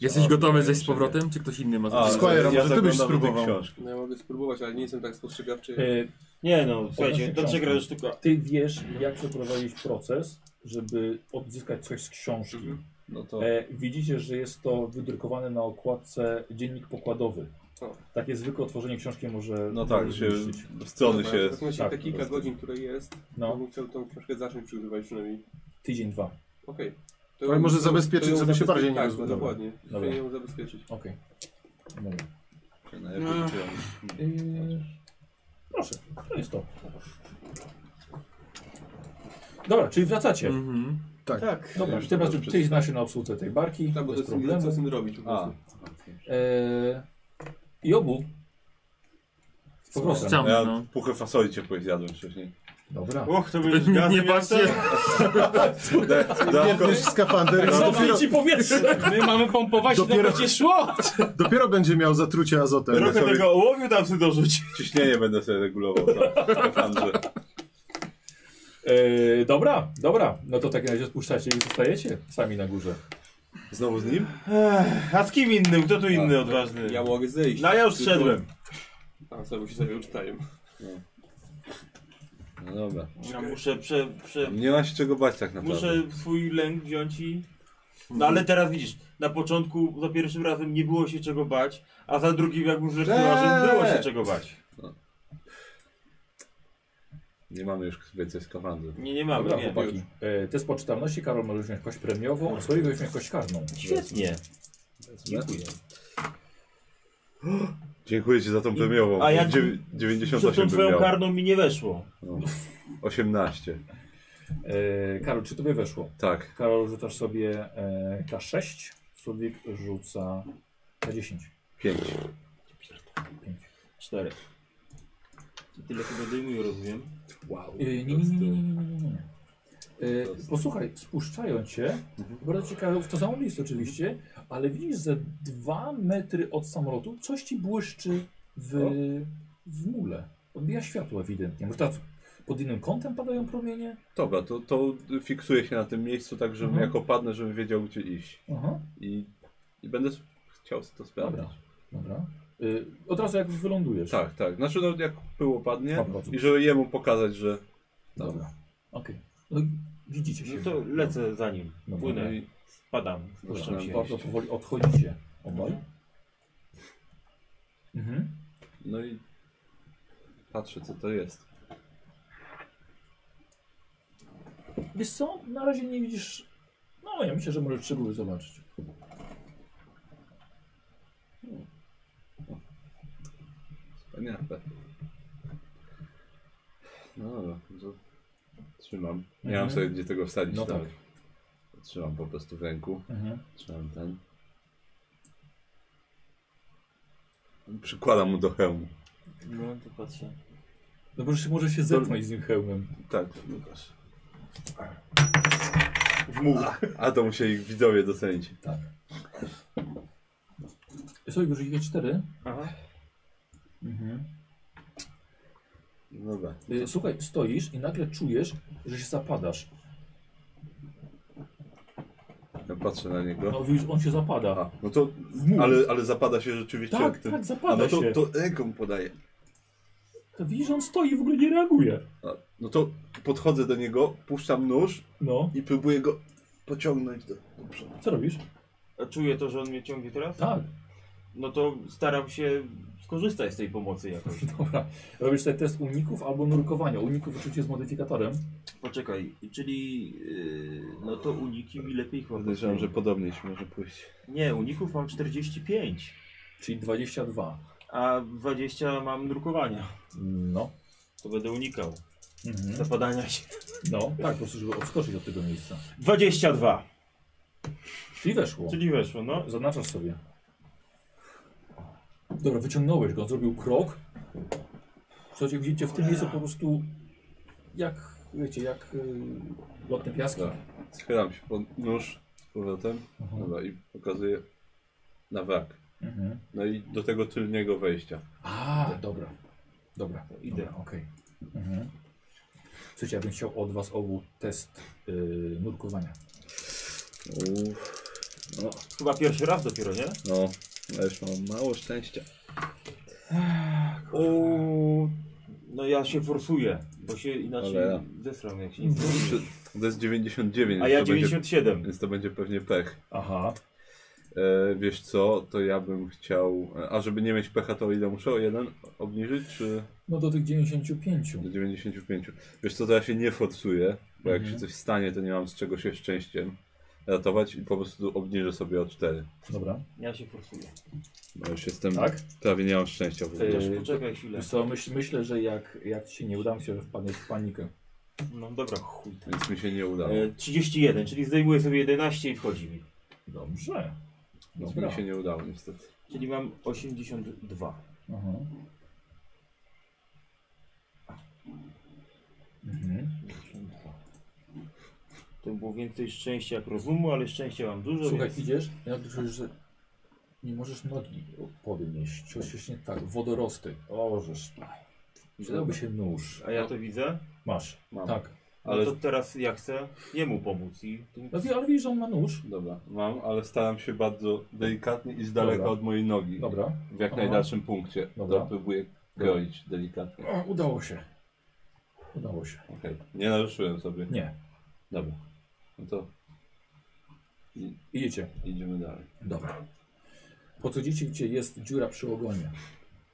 [SPEAKER 3] Jesteś
[SPEAKER 8] A,
[SPEAKER 3] gotowy
[SPEAKER 8] wydaje
[SPEAKER 3] zejść
[SPEAKER 8] mi
[SPEAKER 3] z
[SPEAKER 8] się,
[SPEAKER 3] powrotem, czy ktoś inny ma
[SPEAKER 8] nie.
[SPEAKER 3] zrobić?
[SPEAKER 8] A,
[SPEAKER 6] Squire,
[SPEAKER 8] ja
[SPEAKER 6] może ty
[SPEAKER 8] zaglądam
[SPEAKER 6] byś
[SPEAKER 8] do tej
[SPEAKER 6] spróbował.
[SPEAKER 8] książki.
[SPEAKER 4] No ja mogę spróbować, ale nie jestem tak spostrzegawczy.
[SPEAKER 2] E,
[SPEAKER 10] Nie no, słuchajcie,
[SPEAKER 2] Odnośnie książki.
[SPEAKER 10] dobrze gra sztuka.
[SPEAKER 2] Ty wiesz, jak przeprowadzić proces, żeby odzyskać coś z książki.
[SPEAKER 4] Mhm.
[SPEAKER 8] No to...
[SPEAKER 2] E, widzicie, że jest to wydrukowane na okładce dziennik pokładowy.
[SPEAKER 4] O.
[SPEAKER 2] Takie zwykłe otworzenie książki może.
[SPEAKER 8] No tak,
[SPEAKER 2] może
[SPEAKER 8] że się...
[SPEAKER 2] zniszczyć.
[SPEAKER 8] Strony
[SPEAKER 4] Dobra,
[SPEAKER 8] się...
[SPEAKER 4] teraz macie
[SPEAKER 2] tak,
[SPEAKER 4] te
[SPEAKER 2] po
[SPEAKER 4] kilka
[SPEAKER 2] prostu.
[SPEAKER 4] godzin, które jest, no. to
[SPEAKER 2] No,
[SPEAKER 4] bym chciał tą książkę zacząć przygotować przynajmniej.
[SPEAKER 2] tydzień, dwa.
[SPEAKER 4] Okej. To
[SPEAKER 6] Ale
[SPEAKER 4] ją-
[SPEAKER 6] może
[SPEAKER 4] to-
[SPEAKER 6] zabezpieczyć,
[SPEAKER 4] to ją
[SPEAKER 6] żeby się bardziej nie
[SPEAKER 4] zabezpie- Tak,
[SPEAKER 6] rozładował.
[SPEAKER 4] dokładnie.
[SPEAKER 2] Dobra.
[SPEAKER 4] Żeby ją zabezpieczyć.
[SPEAKER 2] Okej. Dobra.
[SPEAKER 8] No, ja powiedziałem.
[SPEAKER 2] Yy, proszę, to jest to. Dobra, czyli wracacie.
[SPEAKER 3] Mhm.
[SPEAKER 9] Tak.
[SPEAKER 2] Dobra,
[SPEAKER 8] Już
[SPEAKER 2] i teraz
[SPEAKER 8] to
[SPEAKER 2] ty znasz się na obsłudze tej barki,
[SPEAKER 4] Tak, bo to
[SPEAKER 2] bez
[SPEAKER 4] jest problem. co z
[SPEAKER 2] problemu.
[SPEAKER 4] tym robić po
[SPEAKER 8] A,
[SPEAKER 4] prostu.
[SPEAKER 9] Yy,
[SPEAKER 2] Eee, I obu. Z powrotem.
[SPEAKER 3] Chciałem,
[SPEAKER 8] ja
[SPEAKER 3] no.
[SPEAKER 8] puchę fasoli ciepłej zjadłem wcześniej.
[SPEAKER 2] Dobra.
[SPEAKER 10] Och, to będzie
[SPEAKER 3] Nie patrzcie,
[SPEAKER 8] Da- Dodatkowo,
[SPEAKER 6] Wiesz, skafander, no dopiero,
[SPEAKER 10] ci powietrze!
[SPEAKER 9] My mamy pompować,
[SPEAKER 6] Dopiero-
[SPEAKER 9] Dopiero... to będzie szło!
[SPEAKER 6] dopiero będzie miał zatrucie azotem.
[SPEAKER 8] Robię
[SPEAKER 10] Trochę
[SPEAKER 8] sobie-
[SPEAKER 10] tego ołowiu tam sobie dorzuć.
[SPEAKER 8] ciśnienie będę sobie regulował. Tak, w skafandrze.
[SPEAKER 2] Eee, dobra, dobra. No to w takim razie spuszczacie i zostajecie sami na górze.
[SPEAKER 8] Znowu z nim?
[SPEAKER 10] Ech, A z kim innym? Kto tu inny odważny?
[SPEAKER 4] Ja mogę zejść.
[SPEAKER 10] No ja już szedłem.
[SPEAKER 4] A sobie się sobie uczytajem.
[SPEAKER 8] No dobra.
[SPEAKER 10] Ja muszę prze, prze,
[SPEAKER 8] Nie ma się czego bać tak naprawdę.
[SPEAKER 10] Muszę swój lęk wziąć i... No ale teraz widzisz, na początku za pierwszym razem nie było się czego bać, a za drugim jak już lekceważył, było się czego bać.
[SPEAKER 8] Nie mamy już więcej skafandrów.
[SPEAKER 10] Nie, nie mamy,
[SPEAKER 2] Dobra,
[SPEAKER 10] nie.
[SPEAKER 2] chłopaki. E, test poczytalności, Karol może wziąć kość premiową, a swojego weźmie kość karną.
[SPEAKER 10] Świetnie.
[SPEAKER 8] Dziękuję. Dziękuję Ci za tą premiową.
[SPEAKER 10] a
[SPEAKER 8] A
[SPEAKER 10] ja-
[SPEAKER 8] ja
[SPEAKER 10] Przed tą
[SPEAKER 8] 98 bym
[SPEAKER 10] twoją
[SPEAKER 8] miał.
[SPEAKER 10] karną mi nie weszło.
[SPEAKER 8] No. 18.
[SPEAKER 2] E, Karol, czy tobie weszło?
[SPEAKER 8] Tak.
[SPEAKER 2] Karol, rzucasz sobie e, K6, Słowik rzuca K10.
[SPEAKER 8] 5.
[SPEAKER 2] 5.
[SPEAKER 10] Cztery. I Tyle chyba dojmuję, rozumiem.
[SPEAKER 8] Wow.
[SPEAKER 2] E, nie, nie, nie, nie, nie, nie, nie, nie, nie. E, posłuchaj, spuszczają cię,
[SPEAKER 10] Mhm.
[SPEAKER 2] bardzo ciekawe, w to samo miejsce oczywiście, ale widzisz, że dwa metry od samolotu coś ci błyszczy w, w mule. Odbija światło ewidentnie. Może tak pod innym kątem padają promienie?
[SPEAKER 8] Dobra, to, to fiksuję się na tym miejscu tak, żebym
[SPEAKER 2] Mhm.
[SPEAKER 8] jako padnę, żebym wiedział gdzie iść.
[SPEAKER 2] Aha.
[SPEAKER 8] I, i będę s- chciał to sprawdzić.
[SPEAKER 2] Dobra. Dobra. Y, od razu jak wylądujesz.
[SPEAKER 8] Tak, tak. Znaczy no, jak było padnie
[SPEAKER 2] Po prostu.
[SPEAKER 8] i żeby jemu pokazać, że...
[SPEAKER 2] Dobra. Okej. No, widzicie się.
[SPEAKER 10] tak. No to lecę za nim.
[SPEAKER 2] Dobra.
[SPEAKER 10] Płynę,
[SPEAKER 8] No I
[SPEAKER 10] padam,
[SPEAKER 2] Dobra,
[SPEAKER 10] puszczam się.
[SPEAKER 2] bardzo powoli odchodzicie obaj. Mhm.
[SPEAKER 8] No i patrzę co to jest.
[SPEAKER 2] Wiesz co, na razie nie widzisz... No ja myślę, że możesz szczegóły zobaczyć.
[SPEAKER 8] Wspaniale. No dobra, to trzymam. Nie mam sobie gdzie tego wsadzić.
[SPEAKER 2] Mhm. No tak.
[SPEAKER 8] Trzymam po prostu w ręku.
[SPEAKER 2] Mhm.
[SPEAKER 8] Trzymam ten. Przykładam mu do hełmu.
[SPEAKER 10] No to patrzę.
[SPEAKER 2] No możesz, możesz się zetknąć z nim hełmem.
[SPEAKER 8] Tak, Łukasz. W much. A to musieli widzowie docenić.
[SPEAKER 2] Tak. Słuchaj, już ich 4
[SPEAKER 10] Aha.
[SPEAKER 2] Mhm.
[SPEAKER 8] No Dobra.
[SPEAKER 2] Y, Słuchaj, stoisz i nagle czujesz, że się zapadasz.
[SPEAKER 8] Ja patrzę na niego.
[SPEAKER 2] No widzisz, on się zapada.
[SPEAKER 8] Aha, no to. Ale, ale zapada się rzeczywiście
[SPEAKER 2] Tak,
[SPEAKER 8] jak ten.
[SPEAKER 2] tak,
[SPEAKER 8] A
[SPEAKER 2] zapada
[SPEAKER 8] no to,
[SPEAKER 2] się.
[SPEAKER 8] to ręką podaję.
[SPEAKER 2] To widzisz, on stoi i w ogóle nie reaguje.
[SPEAKER 8] A, No to podchodzę do niego, puszczam nóż
[SPEAKER 2] No,
[SPEAKER 8] i próbuję go pociągnąć do, do przodu.
[SPEAKER 2] co robisz?
[SPEAKER 10] A czuję to, że on mnie ciągnie teraz?
[SPEAKER 2] Tak,
[SPEAKER 10] No to staram się skorzystać z tej pomocy jakoś.
[SPEAKER 2] dobra. Robisz sobie test uników albo nurkowania. Uników oczywiście z modyfikatorem.
[SPEAKER 10] Poczekaj, czyli yy, no to uniki mi lepiej chyba.
[SPEAKER 8] Podejrzewam, że podobnie się może pójść.
[SPEAKER 10] Nie, uników mam 45.
[SPEAKER 2] Czyli 22.
[SPEAKER 10] a 20 mam drukowania.
[SPEAKER 2] No.
[SPEAKER 10] To będę unikał
[SPEAKER 2] Mhm.
[SPEAKER 10] zapadania się.
[SPEAKER 2] No, tak, po prostu, żeby odskoczyć od tego miejsca.
[SPEAKER 10] 22,
[SPEAKER 2] Czyli weszło.
[SPEAKER 10] czyli weszło, no.
[SPEAKER 2] Zaznaczasz sobie. Dobra, wyciągnąłeś go, on zrobił krok. Słuchajcie, widzicie w tym miejscu po prostu jak, wiecie, jak y, lotne piaski.
[SPEAKER 8] Dobra. Schylam się pod nóż z powrotem
[SPEAKER 5] Mhm.
[SPEAKER 8] Dobra, i pokazuję na wrak.
[SPEAKER 2] Mhm.
[SPEAKER 8] No i do tego tylnego wejścia.
[SPEAKER 2] A, dobra. Dobra,
[SPEAKER 10] idę.
[SPEAKER 2] Tak. Dobra, okej. Mhm. Słuchajcie, ja bym chciał od was obu test y, nurkowania.
[SPEAKER 5] Uff,
[SPEAKER 10] Chyba pierwszy raz dopiero, nie?
[SPEAKER 5] no, ja już mam mało szczęścia.
[SPEAKER 10] O, no ja się forsuję, bo się inaczej
[SPEAKER 5] Cholera.
[SPEAKER 10] zesram jak się nie
[SPEAKER 8] Przy- To jest 99.
[SPEAKER 10] A ja
[SPEAKER 8] Mhm. to będzie-
[SPEAKER 10] 97.
[SPEAKER 8] Więc to będzie pewnie pech.
[SPEAKER 2] Aha.
[SPEAKER 8] E, wiesz co, to ja bym chciał. e, A żeby nie mieć pecha, to ile muszę? O jeden obniżyć, czy
[SPEAKER 2] No do tych 95.
[SPEAKER 8] do 95? Wiesz co, to ja się nie forsuję, bo jak
[SPEAKER 2] Mhm.
[SPEAKER 8] się coś stanie, to nie mam z czego się szczęściem ratować i po prostu obniżę sobie o 4.
[SPEAKER 2] Dobra.
[SPEAKER 10] Ja się forsuję.
[SPEAKER 8] No już jestem.
[SPEAKER 2] Tak? Yy,
[SPEAKER 8] Prawie nie mam szczęścia w ogóle.
[SPEAKER 2] Ty-
[SPEAKER 10] Też poczekaj chwilę.
[SPEAKER 2] Wiesz Co, myśl, myślę, że jak, jak ci się nie uda, myślę, że wpadniesz w panikę.
[SPEAKER 10] No dobra, chuj.
[SPEAKER 8] Więc mi się nie udało.
[SPEAKER 2] yy,
[SPEAKER 10] E, 31, czyli zdejmuję sobie 11 i wchodzi mi.
[SPEAKER 2] Dobrze.
[SPEAKER 8] Więc
[SPEAKER 2] dobra.
[SPEAKER 8] No, mi się nie udało niestety.
[SPEAKER 10] Czyli mam 82.
[SPEAKER 2] Aha. Mhm.
[SPEAKER 10] 82. To było więcej szczęścia jak rozumu, ale szczęścia mam dużo.
[SPEAKER 2] Słuchaj,
[SPEAKER 10] więc...
[SPEAKER 2] idziesz, ja czujesz, że nie możesz nogi podnieść. Coś jest nie tak, wodorosty. O, żeż. Przydałby się nóż.
[SPEAKER 10] A ja to widzę.
[SPEAKER 2] Masz.
[SPEAKER 8] Mam.
[SPEAKER 2] Tak.
[SPEAKER 8] Ale-
[SPEAKER 10] Ale to teraz ja chcę jemu pomóc i tu
[SPEAKER 2] No, wi- ale widzisz, że on ma nóż.
[SPEAKER 8] Dobra, mam, ale staram się bardzo delikatnie i z daleka
[SPEAKER 2] Dobra.
[SPEAKER 8] od mojej nogi.
[SPEAKER 2] Dobra.
[SPEAKER 8] W jak
[SPEAKER 2] Aha.
[SPEAKER 8] najdalszym punkcie.
[SPEAKER 2] Dobra.
[SPEAKER 8] Dobra. Próbuję kroić delikatnie.
[SPEAKER 2] O, udało się. Udało się.
[SPEAKER 8] Okej, nie naruszyłem sobie.
[SPEAKER 2] Nie.
[SPEAKER 8] Dobra. No to i-
[SPEAKER 2] Idziecie.
[SPEAKER 8] idziemy dalej.
[SPEAKER 2] Dobra. Po co dzieci, gdzie jest dziura przy ogonie?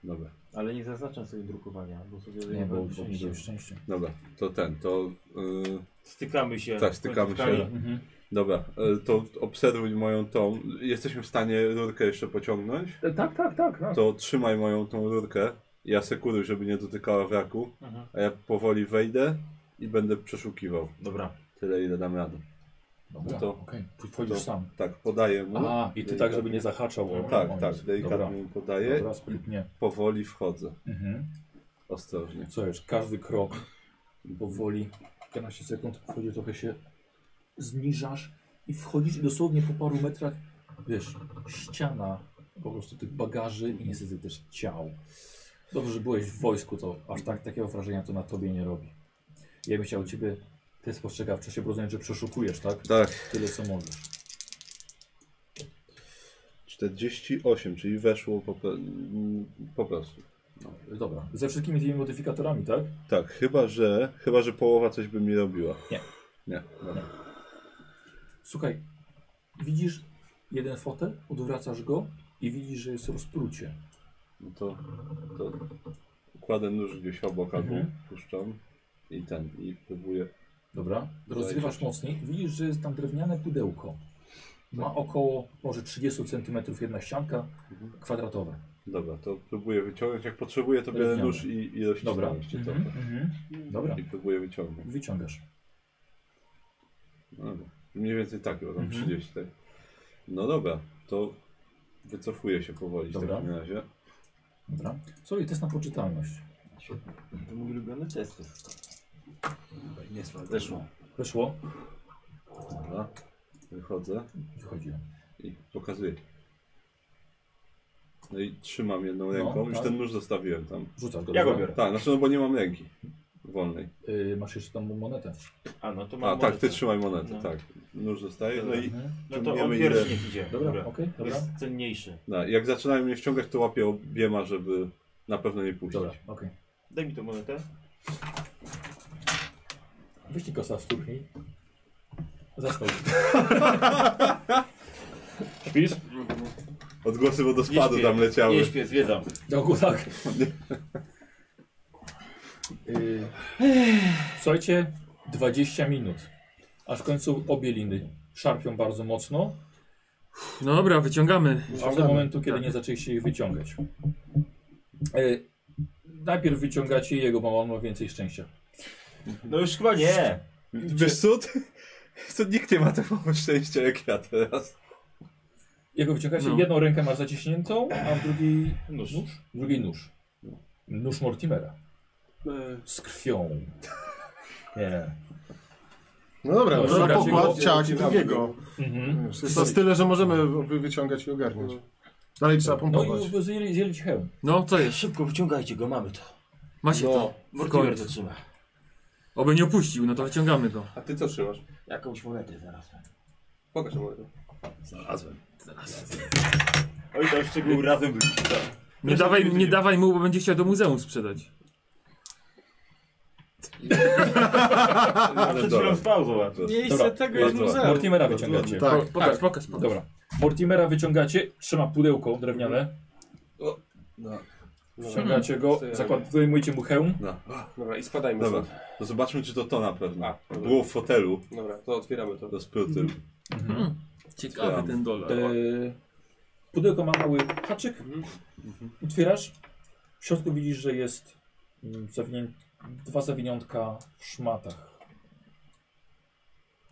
[SPEAKER 8] Dobra.
[SPEAKER 10] Ale nie zaznaczam sobie drukowania, bo sobie
[SPEAKER 2] Nie, bo, bo nie
[SPEAKER 10] szczęścia.
[SPEAKER 2] miałeś szczęścia.
[SPEAKER 8] Dobra, to ten, to... Yy,
[SPEAKER 10] Stykamy się. No,
[SPEAKER 8] Tak, stykamy
[SPEAKER 10] końcówkami.
[SPEAKER 8] się.
[SPEAKER 2] Mhm.
[SPEAKER 8] dobra, yy, to obserwuj moją tą... Jesteśmy w stanie rurkę jeszcze pociągnąć?
[SPEAKER 2] Tak, tak, tak.
[SPEAKER 10] no.
[SPEAKER 2] tak.
[SPEAKER 8] To trzymaj moją tą rurkę. Ja sekuruj, żeby nie dotykała wraku.
[SPEAKER 10] Mhm.
[SPEAKER 8] A ja powoli wejdę i będę przeszukiwał.
[SPEAKER 10] Dobra.
[SPEAKER 8] Tyle, ile dam radę.
[SPEAKER 2] Dobra,
[SPEAKER 8] No to-
[SPEAKER 2] okej. Wchodzisz
[SPEAKER 8] to-
[SPEAKER 2] sam.
[SPEAKER 8] Tak, podaję mu.
[SPEAKER 2] A, i ty tak, żeby nie zahaczał. o- o
[SPEAKER 8] Tak,
[SPEAKER 2] nic.
[SPEAKER 8] tak,
[SPEAKER 2] Dobra,
[SPEAKER 8] delikatnie mu podaję.
[SPEAKER 2] dobra sprytnie.
[SPEAKER 8] Powoli wchodzę.
[SPEAKER 2] Mhm.
[SPEAKER 8] Ostrożnie.
[SPEAKER 2] Co jest, każdy krok powoli, 15 sekund, wchodzi trochę się zniżasz i wchodzisz i dosłownie po paru metrach, wiesz, ściana po prostu tych bagaży i niestety też ciał. Dobrze, że byłeś w wojsku, to aż tak takiego wrażenia to na tobie nie robi. Ja bym chciał ciebie, ty spostrzegawczy się, bo rozumiem, że przeszukujesz, tak?
[SPEAKER 8] Tak,
[SPEAKER 2] Tyle co możesz.
[SPEAKER 8] 48, czyli weszło po, pro- mm, po prostu.
[SPEAKER 2] No, dobra, ze wszystkimi tymi modyfikatorami, tak?
[SPEAKER 8] Tak, chyba że, chyba że połowa coś by mi robiła.
[SPEAKER 2] Nie.
[SPEAKER 8] Nie. Dobra.
[SPEAKER 2] Słuchaj, widzisz jeden fotel, odwracasz go i widzisz, że jest rozprucie.
[SPEAKER 8] No to, to kładę nóż gdzieś obok albo
[SPEAKER 2] Mhm.
[SPEAKER 8] puszczam i ten, i próbuję.
[SPEAKER 2] Dobra. Rozrywasz
[SPEAKER 8] Zajrzeć.
[SPEAKER 2] mocniej. Widzisz, że jest tam drewniane pudełko. Ma około może 30 cm jedna ścianka kwadratowa.
[SPEAKER 8] Dobra, to próbuję wyciągnąć. Jak potrzebuję, to biorę
[SPEAKER 2] Rozumiem.
[SPEAKER 8] nóż i, i rozcinam
[SPEAKER 2] Dobra.
[SPEAKER 8] ci
[SPEAKER 2] Mhm,
[SPEAKER 8] trochę.
[SPEAKER 2] mhm. Dobra.
[SPEAKER 8] I próbuję wyciągnąć.
[SPEAKER 2] Wyciągasz.
[SPEAKER 8] No dobra. Mniej więcej tak, bo
[SPEAKER 2] Mhm.
[SPEAKER 8] tam 30. Tak. No dobra, to wycofuję się powoli
[SPEAKER 2] Dobra.
[SPEAKER 8] w takim razie.
[SPEAKER 2] Dobra. Sorry, test na poczytalność.
[SPEAKER 10] Świetnie. To mój ulubiony test. jest.
[SPEAKER 8] Nie spadł. Weszło.
[SPEAKER 2] Weszło?
[SPEAKER 8] Dobra. Wychodzę
[SPEAKER 2] Wychodziłem.
[SPEAKER 8] i pokazuję. No i trzymam jedną ręką. Już
[SPEAKER 2] tak.
[SPEAKER 8] ten nóż zostawiłem tam.
[SPEAKER 2] Rzucasz go.
[SPEAKER 10] Ja go
[SPEAKER 2] dobra?
[SPEAKER 10] biorę.
[SPEAKER 8] Tak, znaczy no bo nie mam ręki wolnej.
[SPEAKER 2] Y, masz jeszcze tam monetę.
[SPEAKER 10] A no to mam.
[SPEAKER 8] A tak, ty
[SPEAKER 10] monetę.
[SPEAKER 8] trzymaj monetę,
[SPEAKER 10] No.
[SPEAKER 8] tak. Nóż zostaje. No i
[SPEAKER 2] Mhm.
[SPEAKER 10] No to on
[SPEAKER 8] Ciągniemy
[SPEAKER 10] pierwszy niech idzie.
[SPEAKER 2] Dobra, okej, dobra.
[SPEAKER 10] Jest cenniejszy.
[SPEAKER 8] no, jak zaczynają mnie wciągać, to łapię obiema, żeby na pewno nie puścić.
[SPEAKER 2] Dobra, okej.
[SPEAKER 10] Daj mi tą monetę.
[SPEAKER 2] Wyścig kosa z turniej. Zastał.
[SPEAKER 10] Śpisz?
[SPEAKER 8] Odgłosy wodospadu tam leciały.
[SPEAKER 10] Nie śpię, zwiedzam.
[SPEAKER 2] Dogu, tak. Y, Słuchajcie, 20 minut. Aż w końcu obie liny szarpią bardzo mocno.
[SPEAKER 3] No dobra, wyciągamy.
[SPEAKER 2] Aż do momentu, kiedy nie zaczęliście jej wyciągać. E, najpierw wyciągacie jego, bo on ma więcej szczęścia.
[SPEAKER 10] No już chyba nie.
[SPEAKER 8] Wiesz co? To, to nikt nie ma tego szczęścia jak ja teraz.
[SPEAKER 2] Jego wyciągacie,
[SPEAKER 3] No.
[SPEAKER 2] jedną rękę masz zaciśniętą, a w drugiej
[SPEAKER 10] Nóż.
[SPEAKER 2] W drugiej nóż. Nóż Mortimera.
[SPEAKER 9] E,
[SPEAKER 2] Z krwią. Nie.
[SPEAKER 6] No dobra,
[SPEAKER 3] No
[SPEAKER 6] no
[SPEAKER 3] dobra,
[SPEAKER 6] dobra pokład,
[SPEAKER 3] dziękuję.
[SPEAKER 6] ciak i drugiego.
[SPEAKER 2] Mhm.
[SPEAKER 6] To jest nas tyle, że możemy wy- wyciągać i ogarniać. Dalej trzeba
[SPEAKER 2] No
[SPEAKER 6] pompować.
[SPEAKER 2] i rozdzieli- dzielić hełm.
[SPEAKER 3] No, co jest?
[SPEAKER 10] Szybko wyciągajcie go, mamy to. No,
[SPEAKER 3] Macie to. W
[SPEAKER 10] Mortimer to
[SPEAKER 3] końcu.
[SPEAKER 10] trzyma.
[SPEAKER 3] Oby nie opuścił, no to wyciągamy go.
[SPEAKER 4] A ty co trzymasz?
[SPEAKER 10] Jakąś monetę znalazłem.
[SPEAKER 4] Pokaż monetę.
[SPEAKER 10] Znalazłem. Znalazłem. Oj, tam szczegół razem był. No,
[SPEAKER 3] Nie dawaj, nie dawaj mu, bo będzie chciał do muzeum sprzedać.
[SPEAKER 10] A przed chwilą spał, zobacz.
[SPEAKER 9] Miejsce
[SPEAKER 2] Dobra,
[SPEAKER 9] tego jest
[SPEAKER 8] dobra.
[SPEAKER 9] muzeum.
[SPEAKER 2] Mortimera wyciągacie.
[SPEAKER 3] Po,
[SPEAKER 6] Tak.
[SPEAKER 3] pokaż, pokaż, pokaż.
[SPEAKER 2] Dobra. Mortimera wyciągacie, trzyma pudełko drewniane.
[SPEAKER 8] No.
[SPEAKER 2] Wciągacie go, zakład, wyjmujcie mu hełm.
[SPEAKER 8] No.
[SPEAKER 4] Dobra, i spadajmy
[SPEAKER 8] Dobra,
[SPEAKER 4] stąd.
[SPEAKER 8] to zobaczmy czy to to na pewno.
[SPEAKER 4] A, dobra.
[SPEAKER 8] Było w fotelu,
[SPEAKER 4] Dobra, to otwieramy to.
[SPEAKER 8] to z pruty.
[SPEAKER 10] Mhm.
[SPEAKER 3] Ciekawy ten dolar.
[SPEAKER 2] Yy, pudełko ma mały haczyk. Otwierasz. W środku widzisz, że jest mm, zawinię... dwa zawiniątka w szmatach.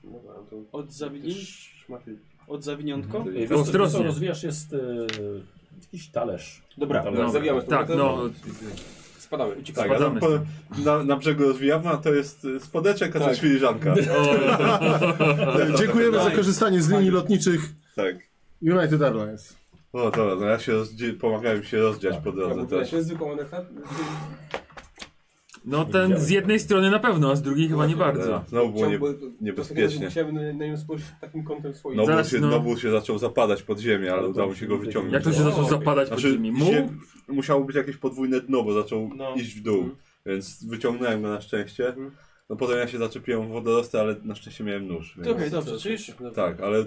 [SPEAKER 4] Dobra, no to
[SPEAKER 9] Od, zawini...
[SPEAKER 4] szmaty.
[SPEAKER 9] od zawiniątko?
[SPEAKER 8] Mm,
[SPEAKER 2] Yy,
[SPEAKER 3] To ostrożnie.
[SPEAKER 2] co rozwijasz jest yy, jakiś talerz.
[SPEAKER 10] Dobra,
[SPEAKER 2] Tam
[SPEAKER 4] Dobra,
[SPEAKER 2] leży.
[SPEAKER 4] zawijamy to.
[SPEAKER 3] Tak, no,
[SPEAKER 4] Spadamy. Uciekamy.
[SPEAKER 8] Tak, a tam
[SPEAKER 3] Spadamy.
[SPEAKER 8] po, na, na brzegu rozwijawna to jest y, spodeczek, a to jest
[SPEAKER 10] Tak.
[SPEAKER 8] filiżanka.
[SPEAKER 10] No.
[SPEAKER 8] No
[SPEAKER 6] E, Dziękujemy za korzystanie z linii lotniczych
[SPEAKER 8] Tak.
[SPEAKER 6] United Airlines.
[SPEAKER 8] O dobra, no ja się rozdzie- pomagałem się rozdziać
[SPEAKER 10] Tak.
[SPEAKER 8] po drodze
[SPEAKER 4] To
[SPEAKER 8] też.
[SPEAKER 4] jest zwykła moneta?
[SPEAKER 3] no ten z jednej strony na pewno, a z drugiej chyba nie bardzo.
[SPEAKER 8] No było nie,
[SPEAKER 4] Chciałby-
[SPEAKER 8] niebezpiecznie.
[SPEAKER 4] Musiałem na- na nią spojrzeć takim kątem swoim.
[SPEAKER 8] Nobul,
[SPEAKER 3] Zaraz,
[SPEAKER 8] się,
[SPEAKER 3] no.
[SPEAKER 8] Nobul się zaczął zapadać pod ziemię, ale udało się go
[SPEAKER 3] Jak
[SPEAKER 8] wyciągnąć. no.
[SPEAKER 3] to się zaczął zapadać pod
[SPEAKER 8] Znaczy,
[SPEAKER 3] ziemi? Mu?
[SPEAKER 8] ziem- musiało być jakieś podwójne dno, bo zaczął
[SPEAKER 10] No.
[SPEAKER 8] iść w dół, więc wyciągnąłem go na szczęście. No potem ja się zaczepiłem w wodorosty, ale na szczęście miałem nóż. Więc...
[SPEAKER 9] Okej, dobrze, czyż?
[SPEAKER 4] Dobra,
[SPEAKER 8] Tak, ale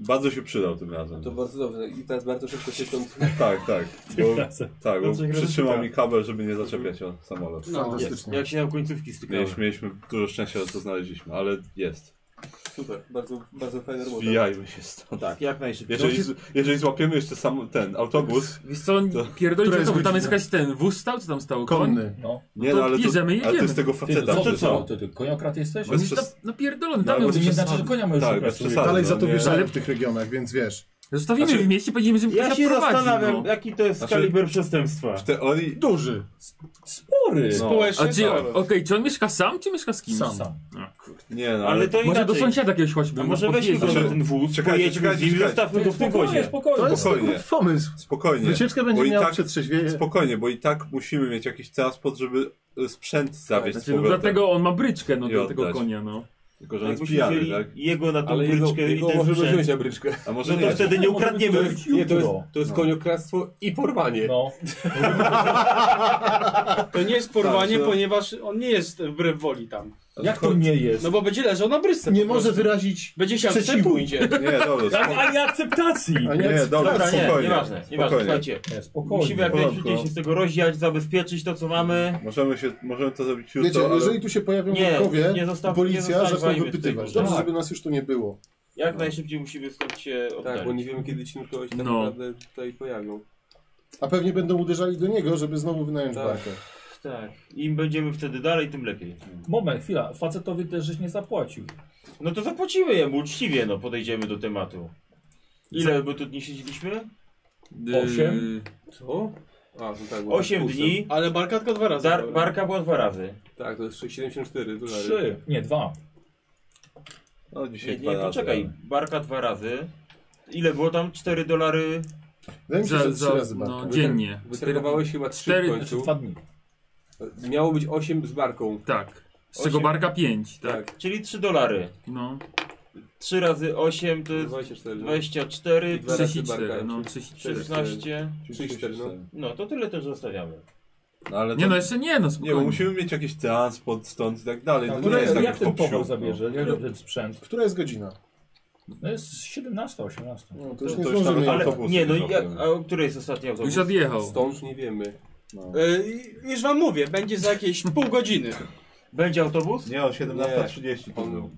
[SPEAKER 8] bardzo się przydał tym razem.
[SPEAKER 4] To bardzo dobrze. I teraz bardzo szybko się stąd...
[SPEAKER 8] Tak, tak. Bo, tak, bo
[SPEAKER 10] Znaczy,
[SPEAKER 8] przytrzymał
[SPEAKER 10] tak.
[SPEAKER 8] mi kabel, żeby nie zaczepiać o samolot.
[SPEAKER 9] No,
[SPEAKER 6] Fantastycznie.
[SPEAKER 10] Jak się na końcówki stykały.
[SPEAKER 8] Mieliśmy, mieliśmy dużo szczęścia, że to znaleźliśmy, ale jest.
[SPEAKER 4] Super, bardzo, bardzo fajna robota.
[SPEAKER 8] Zwijajmy się stąd.
[SPEAKER 10] Tak, jak najszybciej.
[SPEAKER 8] Jeżeli, jeżeli złapiemy jeszcze sam ten autobus,
[SPEAKER 3] Wiesz co,
[SPEAKER 8] To-
[SPEAKER 6] Która
[SPEAKER 3] pierdolicie
[SPEAKER 6] jest
[SPEAKER 3] to, bo tam jest
[SPEAKER 6] godzina?
[SPEAKER 3] jakaś ten wóz stał, co tam stało?
[SPEAKER 6] Konny.
[SPEAKER 2] No.
[SPEAKER 8] nie
[SPEAKER 3] to
[SPEAKER 8] no, ale,
[SPEAKER 3] bierzemy i
[SPEAKER 8] to, ale to
[SPEAKER 3] jedziemy.
[SPEAKER 8] jest tego
[SPEAKER 2] Ty, co,
[SPEAKER 8] faceta.
[SPEAKER 2] ty,
[SPEAKER 8] przez-
[SPEAKER 2] No co? Ty, ty koniokrat jesteś?
[SPEAKER 8] To
[SPEAKER 3] On
[SPEAKER 8] jest
[SPEAKER 3] jest
[SPEAKER 8] przez-
[SPEAKER 3] na- napierdolony,
[SPEAKER 8] No,
[SPEAKER 3] tam
[SPEAKER 8] bo
[SPEAKER 3] miał
[SPEAKER 8] to
[SPEAKER 2] To nie
[SPEAKER 8] jest
[SPEAKER 2] znaczy, że konia możesz
[SPEAKER 8] Tak,
[SPEAKER 2] tak,
[SPEAKER 8] bez
[SPEAKER 2] sobie.
[SPEAKER 8] przesady.
[SPEAKER 6] Dalej
[SPEAKER 8] no,
[SPEAKER 6] za to
[SPEAKER 8] nie.
[SPEAKER 6] wjeżdżamy w tych regionach, więc wiesz.
[SPEAKER 3] Zostawimy w mieście, powiedzmy, że
[SPEAKER 10] Ja
[SPEAKER 3] ktoś
[SPEAKER 10] się
[SPEAKER 3] prowadzi,
[SPEAKER 10] zastanawiam,
[SPEAKER 3] no.
[SPEAKER 10] jaki to jest
[SPEAKER 8] Znaczy-
[SPEAKER 10] kaliber przestępstwa.
[SPEAKER 8] W teorii...
[SPEAKER 6] Duży.
[SPEAKER 2] Spory!
[SPEAKER 3] A
[SPEAKER 8] No.
[SPEAKER 9] Społecznie
[SPEAKER 3] czy,
[SPEAKER 9] tak.
[SPEAKER 3] okej, czy on mieszka sam, czy mieszka z kimś?
[SPEAKER 6] Sam.
[SPEAKER 8] Nie no, ale...
[SPEAKER 10] Ale to
[SPEAKER 3] Może do
[SPEAKER 10] inaczej.
[SPEAKER 3] sąsiada jakiegoś
[SPEAKER 10] A
[SPEAKER 3] chodźmy.
[SPEAKER 10] może
[SPEAKER 3] no,
[SPEAKER 10] weźmy go
[SPEAKER 8] Znaczy-
[SPEAKER 10] na ten wóz,
[SPEAKER 8] Czekajcie,
[SPEAKER 10] pojedźmy z
[SPEAKER 8] czekajcie,
[SPEAKER 10] nim,
[SPEAKER 8] czekajcie.
[SPEAKER 10] zostawmy go w
[SPEAKER 2] Spokojnie,
[SPEAKER 10] pokoju.
[SPEAKER 6] To
[SPEAKER 2] spokojnie.
[SPEAKER 6] jest
[SPEAKER 8] Spokojnie.
[SPEAKER 6] dobry pomysł.
[SPEAKER 8] Spokojnie.
[SPEAKER 6] Wycieczka
[SPEAKER 8] Bo
[SPEAKER 6] będzie
[SPEAKER 8] i
[SPEAKER 6] miała
[SPEAKER 8] tak-
[SPEAKER 6] przetrzeźwienie.
[SPEAKER 8] Spokojnie, bo i tak musimy mieć jakiś transport, żeby y, sprzęt zawieźć
[SPEAKER 3] Znaczy,
[SPEAKER 8] z
[SPEAKER 3] no
[SPEAKER 8] powrotem.
[SPEAKER 3] dlatego on ma bryczkę, no
[SPEAKER 8] I
[SPEAKER 3] do tego
[SPEAKER 8] oddać.
[SPEAKER 3] konia, no.
[SPEAKER 8] Tylko, że on jest
[SPEAKER 10] Jakbyśmy
[SPEAKER 8] pijany,
[SPEAKER 10] wzięli
[SPEAKER 8] tak?
[SPEAKER 10] jego na tą
[SPEAKER 4] Ale jego,
[SPEAKER 10] bryczkę i
[SPEAKER 4] jego
[SPEAKER 10] ten
[SPEAKER 4] możemy wziąć
[SPEAKER 10] sprzęt,
[SPEAKER 4] na bryczkę.
[SPEAKER 8] A może
[SPEAKER 10] no
[SPEAKER 8] nie.
[SPEAKER 10] to wtedy nie ukradniemy.
[SPEAKER 4] Nie, to jest, to jest
[SPEAKER 8] No.
[SPEAKER 4] koniokradztwo i porwanie.
[SPEAKER 2] No.
[SPEAKER 9] To nie jest porwanie,
[SPEAKER 8] Tak, że-
[SPEAKER 9] ponieważ on nie jest wbrew woli tam.
[SPEAKER 2] Jak to nie jest?
[SPEAKER 9] No bo będzie leżał na brysce.
[SPEAKER 6] Nie
[SPEAKER 9] po prostu.
[SPEAKER 6] może wyrazić
[SPEAKER 9] Będzie się
[SPEAKER 6] sprzeciwu.
[SPEAKER 9] pójdzie.
[SPEAKER 8] Nie, dobra, spoko-
[SPEAKER 2] Ani akceptacji!
[SPEAKER 6] A
[SPEAKER 8] nie, dobra,
[SPEAKER 9] Tak,
[SPEAKER 10] Dobra, nie,
[SPEAKER 8] spokojnie.
[SPEAKER 10] nieważne, nieważnie,
[SPEAKER 8] spokojnie.
[SPEAKER 10] słuchajcie.
[SPEAKER 2] Nie, spokojnie.
[SPEAKER 10] Musimy jak najszybciej się z tego rozdziać, zabezpieczyć to, co mamy.
[SPEAKER 8] Możemy, się, możemy to zrobić jutro,
[SPEAKER 6] Wiecie,
[SPEAKER 8] ale...
[SPEAKER 6] jeżeli tu się pojawią
[SPEAKER 10] Nie,
[SPEAKER 6] wrogowie,
[SPEAKER 10] nie zostaw-
[SPEAKER 6] policja
[SPEAKER 10] nie
[SPEAKER 6] zacznie
[SPEAKER 10] zostawajmy
[SPEAKER 6] wypytywać.
[SPEAKER 10] tego.
[SPEAKER 6] Dobrze,
[SPEAKER 10] Tak.
[SPEAKER 6] żeby nas już tu nie było.
[SPEAKER 10] Jak najszybciej musimy stąd się
[SPEAKER 4] Tak, bo nie
[SPEAKER 10] oddalić.
[SPEAKER 4] wiemy kiedy ci nurkować tak
[SPEAKER 3] No.
[SPEAKER 4] naprawdę tutaj pojawią.
[SPEAKER 6] A pewnie będą uderzali do niego, żeby znowu wynająć
[SPEAKER 4] Tak.
[SPEAKER 6] barkę.
[SPEAKER 10] Tak, im będziemy wtedy dalej, tym lepiej.
[SPEAKER 2] Moment, chwila. Facetowi też żeś nie zapłacił.
[SPEAKER 10] No to zapłacimy jemu uczciwie, no podejdziemy do tematu. Ile by tu dni siedzieliśmy?
[SPEAKER 2] Osiem?
[SPEAKER 4] Co? A, no tak, bo-
[SPEAKER 10] 8
[SPEAKER 4] owszem.
[SPEAKER 10] dni.
[SPEAKER 9] Ale barka tylko dwa razy.
[SPEAKER 10] Dar,
[SPEAKER 9] dobra.
[SPEAKER 10] barka była dwa razy.
[SPEAKER 4] Tak, to jest 74 dolary.
[SPEAKER 2] Trzy. Nie, dwa.
[SPEAKER 8] No
[SPEAKER 10] Nie,
[SPEAKER 8] dzisiaj dwa
[SPEAKER 10] nie,
[SPEAKER 8] razy,
[SPEAKER 10] poczekaj.
[SPEAKER 8] ale-
[SPEAKER 10] Barka dwa razy. Ile było tam? 4 dolary.
[SPEAKER 6] Wydaje mi się,
[SPEAKER 3] Za,
[SPEAKER 6] że trzy
[SPEAKER 3] za,
[SPEAKER 6] razy barka.
[SPEAKER 3] no, dziennie.
[SPEAKER 4] Wytrenowałeś chyba 3
[SPEAKER 3] Cztery-
[SPEAKER 4] w
[SPEAKER 2] Znaczy
[SPEAKER 4] końcu.
[SPEAKER 2] dwa dni.
[SPEAKER 4] Miało być 8 z barką.
[SPEAKER 3] Tak. Z czego
[SPEAKER 4] Osiem.
[SPEAKER 3] barka 5, tak?
[SPEAKER 4] Tak,
[SPEAKER 10] Czyli 3 dolary.
[SPEAKER 3] No,
[SPEAKER 10] 3 razy 8 to
[SPEAKER 4] Tak,
[SPEAKER 10] jest
[SPEAKER 4] 24.
[SPEAKER 10] 24,
[SPEAKER 4] Dwa razy barka,
[SPEAKER 3] 34, no,
[SPEAKER 4] czyli
[SPEAKER 3] 34.
[SPEAKER 10] 16.
[SPEAKER 4] 34, no.
[SPEAKER 10] No to tyle też zostawiamy.
[SPEAKER 8] No, ale
[SPEAKER 3] Nie
[SPEAKER 8] to-
[SPEAKER 3] no, jeszcze nie, no
[SPEAKER 8] Nie, bo
[SPEAKER 3] spokojnie.
[SPEAKER 8] musimy mieć jakiś transport stąd i tak dalej.
[SPEAKER 6] Tak,
[SPEAKER 8] to nie
[SPEAKER 6] no,
[SPEAKER 8] jest tak
[SPEAKER 2] jak
[SPEAKER 8] jak
[SPEAKER 2] ten
[SPEAKER 8] po
[SPEAKER 2] towar
[SPEAKER 8] psiu.
[SPEAKER 2] zabierze? Jak ten sprzęt?
[SPEAKER 6] Która jest godzina?
[SPEAKER 2] No jest 17, 18.
[SPEAKER 6] No, to już
[SPEAKER 8] To-
[SPEAKER 6] nie
[SPEAKER 8] to już
[SPEAKER 6] zdążymy.
[SPEAKER 8] nawet
[SPEAKER 10] Ale
[SPEAKER 8] autobusy
[SPEAKER 10] nie, no
[SPEAKER 8] nie
[SPEAKER 10] jak,
[SPEAKER 8] robimy.
[SPEAKER 10] a o której jest ostatni autobus?
[SPEAKER 3] Już odjechał.
[SPEAKER 4] Stąd nie wiemy.
[SPEAKER 9] Y, już wam mówię, będzie za jakieś pół godziny.
[SPEAKER 10] Będzie autobus?
[SPEAKER 8] Nie, o 17.30 to
[SPEAKER 4] On-
[SPEAKER 8] był.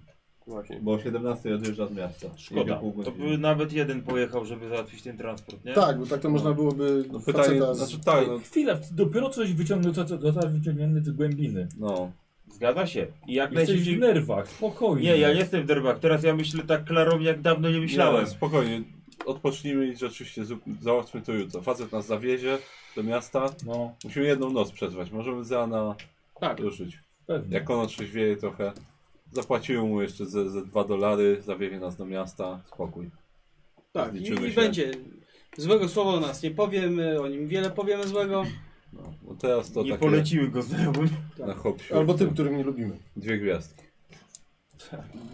[SPEAKER 23] Właśnie.
[SPEAKER 8] Bo o 17 odjeżdża z miasta. Jedzie
[SPEAKER 10] Szkoda.
[SPEAKER 8] pół godziny.
[SPEAKER 10] To by nawet jeden pojechał, żeby załatwić ten transport, nie?
[SPEAKER 6] Tak, bo tak to można byłoby
[SPEAKER 8] No pytanie,
[SPEAKER 6] faceta z-
[SPEAKER 8] znaczy tak, no,
[SPEAKER 2] Chwila, dopiero coś wyciągnął, co, co, został wyciągnięty z głębiny.
[SPEAKER 8] no.
[SPEAKER 10] Zgadza się. I jak
[SPEAKER 2] Jesteś w
[SPEAKER 10] najszybciej...
[SPEAKER 2] nerwach, spokojnie.
[SPEAKER 10] Nie, ja nie jestem w derbach. Teraz ja myślę tak klarownie, jak dawno nie myślałem.
[SPEAKER 8] Nie, spokojnie, odpocznijmy i rzeczywiście zrób- załatwmy to jutro. Facet nas zawiezie do miasta.
[SPEAKER 2] No,
[SPEAKER 8] Musimy jedną noc przetrwać, możemy za na
[SPEAKER 9] Tak.
[SPEAKER 8] ruszyć.
[SPEAKER 2] pewnie.
[SPEAKER 8] Jak ono trzeźwieje trochę, zapłacimy mu jeszcze ze, ze 2 dolary, zawiezie nas do miasta, spokój.
[SPEAKER 9] Tak, i,
[SPEAKER 8] Zliczymy
[SPEAKER 9] i
[SPEAKER 8] się.
[SPEAKER 9] będzie. Złego słowa o nas nie powiemy, o nim wiele powiemy złego.
[SPEAKER 8] No, bo teraz to
[SPEAKER 10] nie
[SPEAKER 8] takie
[SPEAKER 10] poleciły go znajomym.
[SPEAKER 8] na hop
[SPEAKER 6] Albo tym, którym nie lubimy.
[SPEAKER 8] Dwie gwiazdki.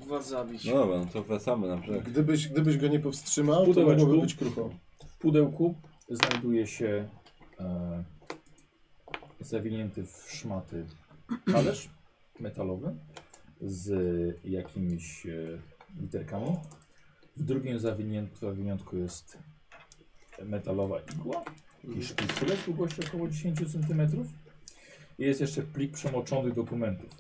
[SPEAKER 9] Was zabić.
[SPEAKER 8] No dobra, no to wracamy na brzeg.
[SPEAKER 6] Gdybyś, gdybyś go nie powstrzymał, to
[SPEAKER 2] Pudełeczku.
[SPEAKER 6] mogłoby być krucho.
[SPEAKER 2] W pudełku znajduje się e, zawinięty w szmaty talerz metalowy z jakimiś e, literkami. W drugim zawiniętku, zawiniątku jest metalowa igła i
[SPEAKER 23] Mhm.
[SPEAKER 2] szpiculek w długości około 10 cm. I jest jeszcze plik przemoczony dokumentów.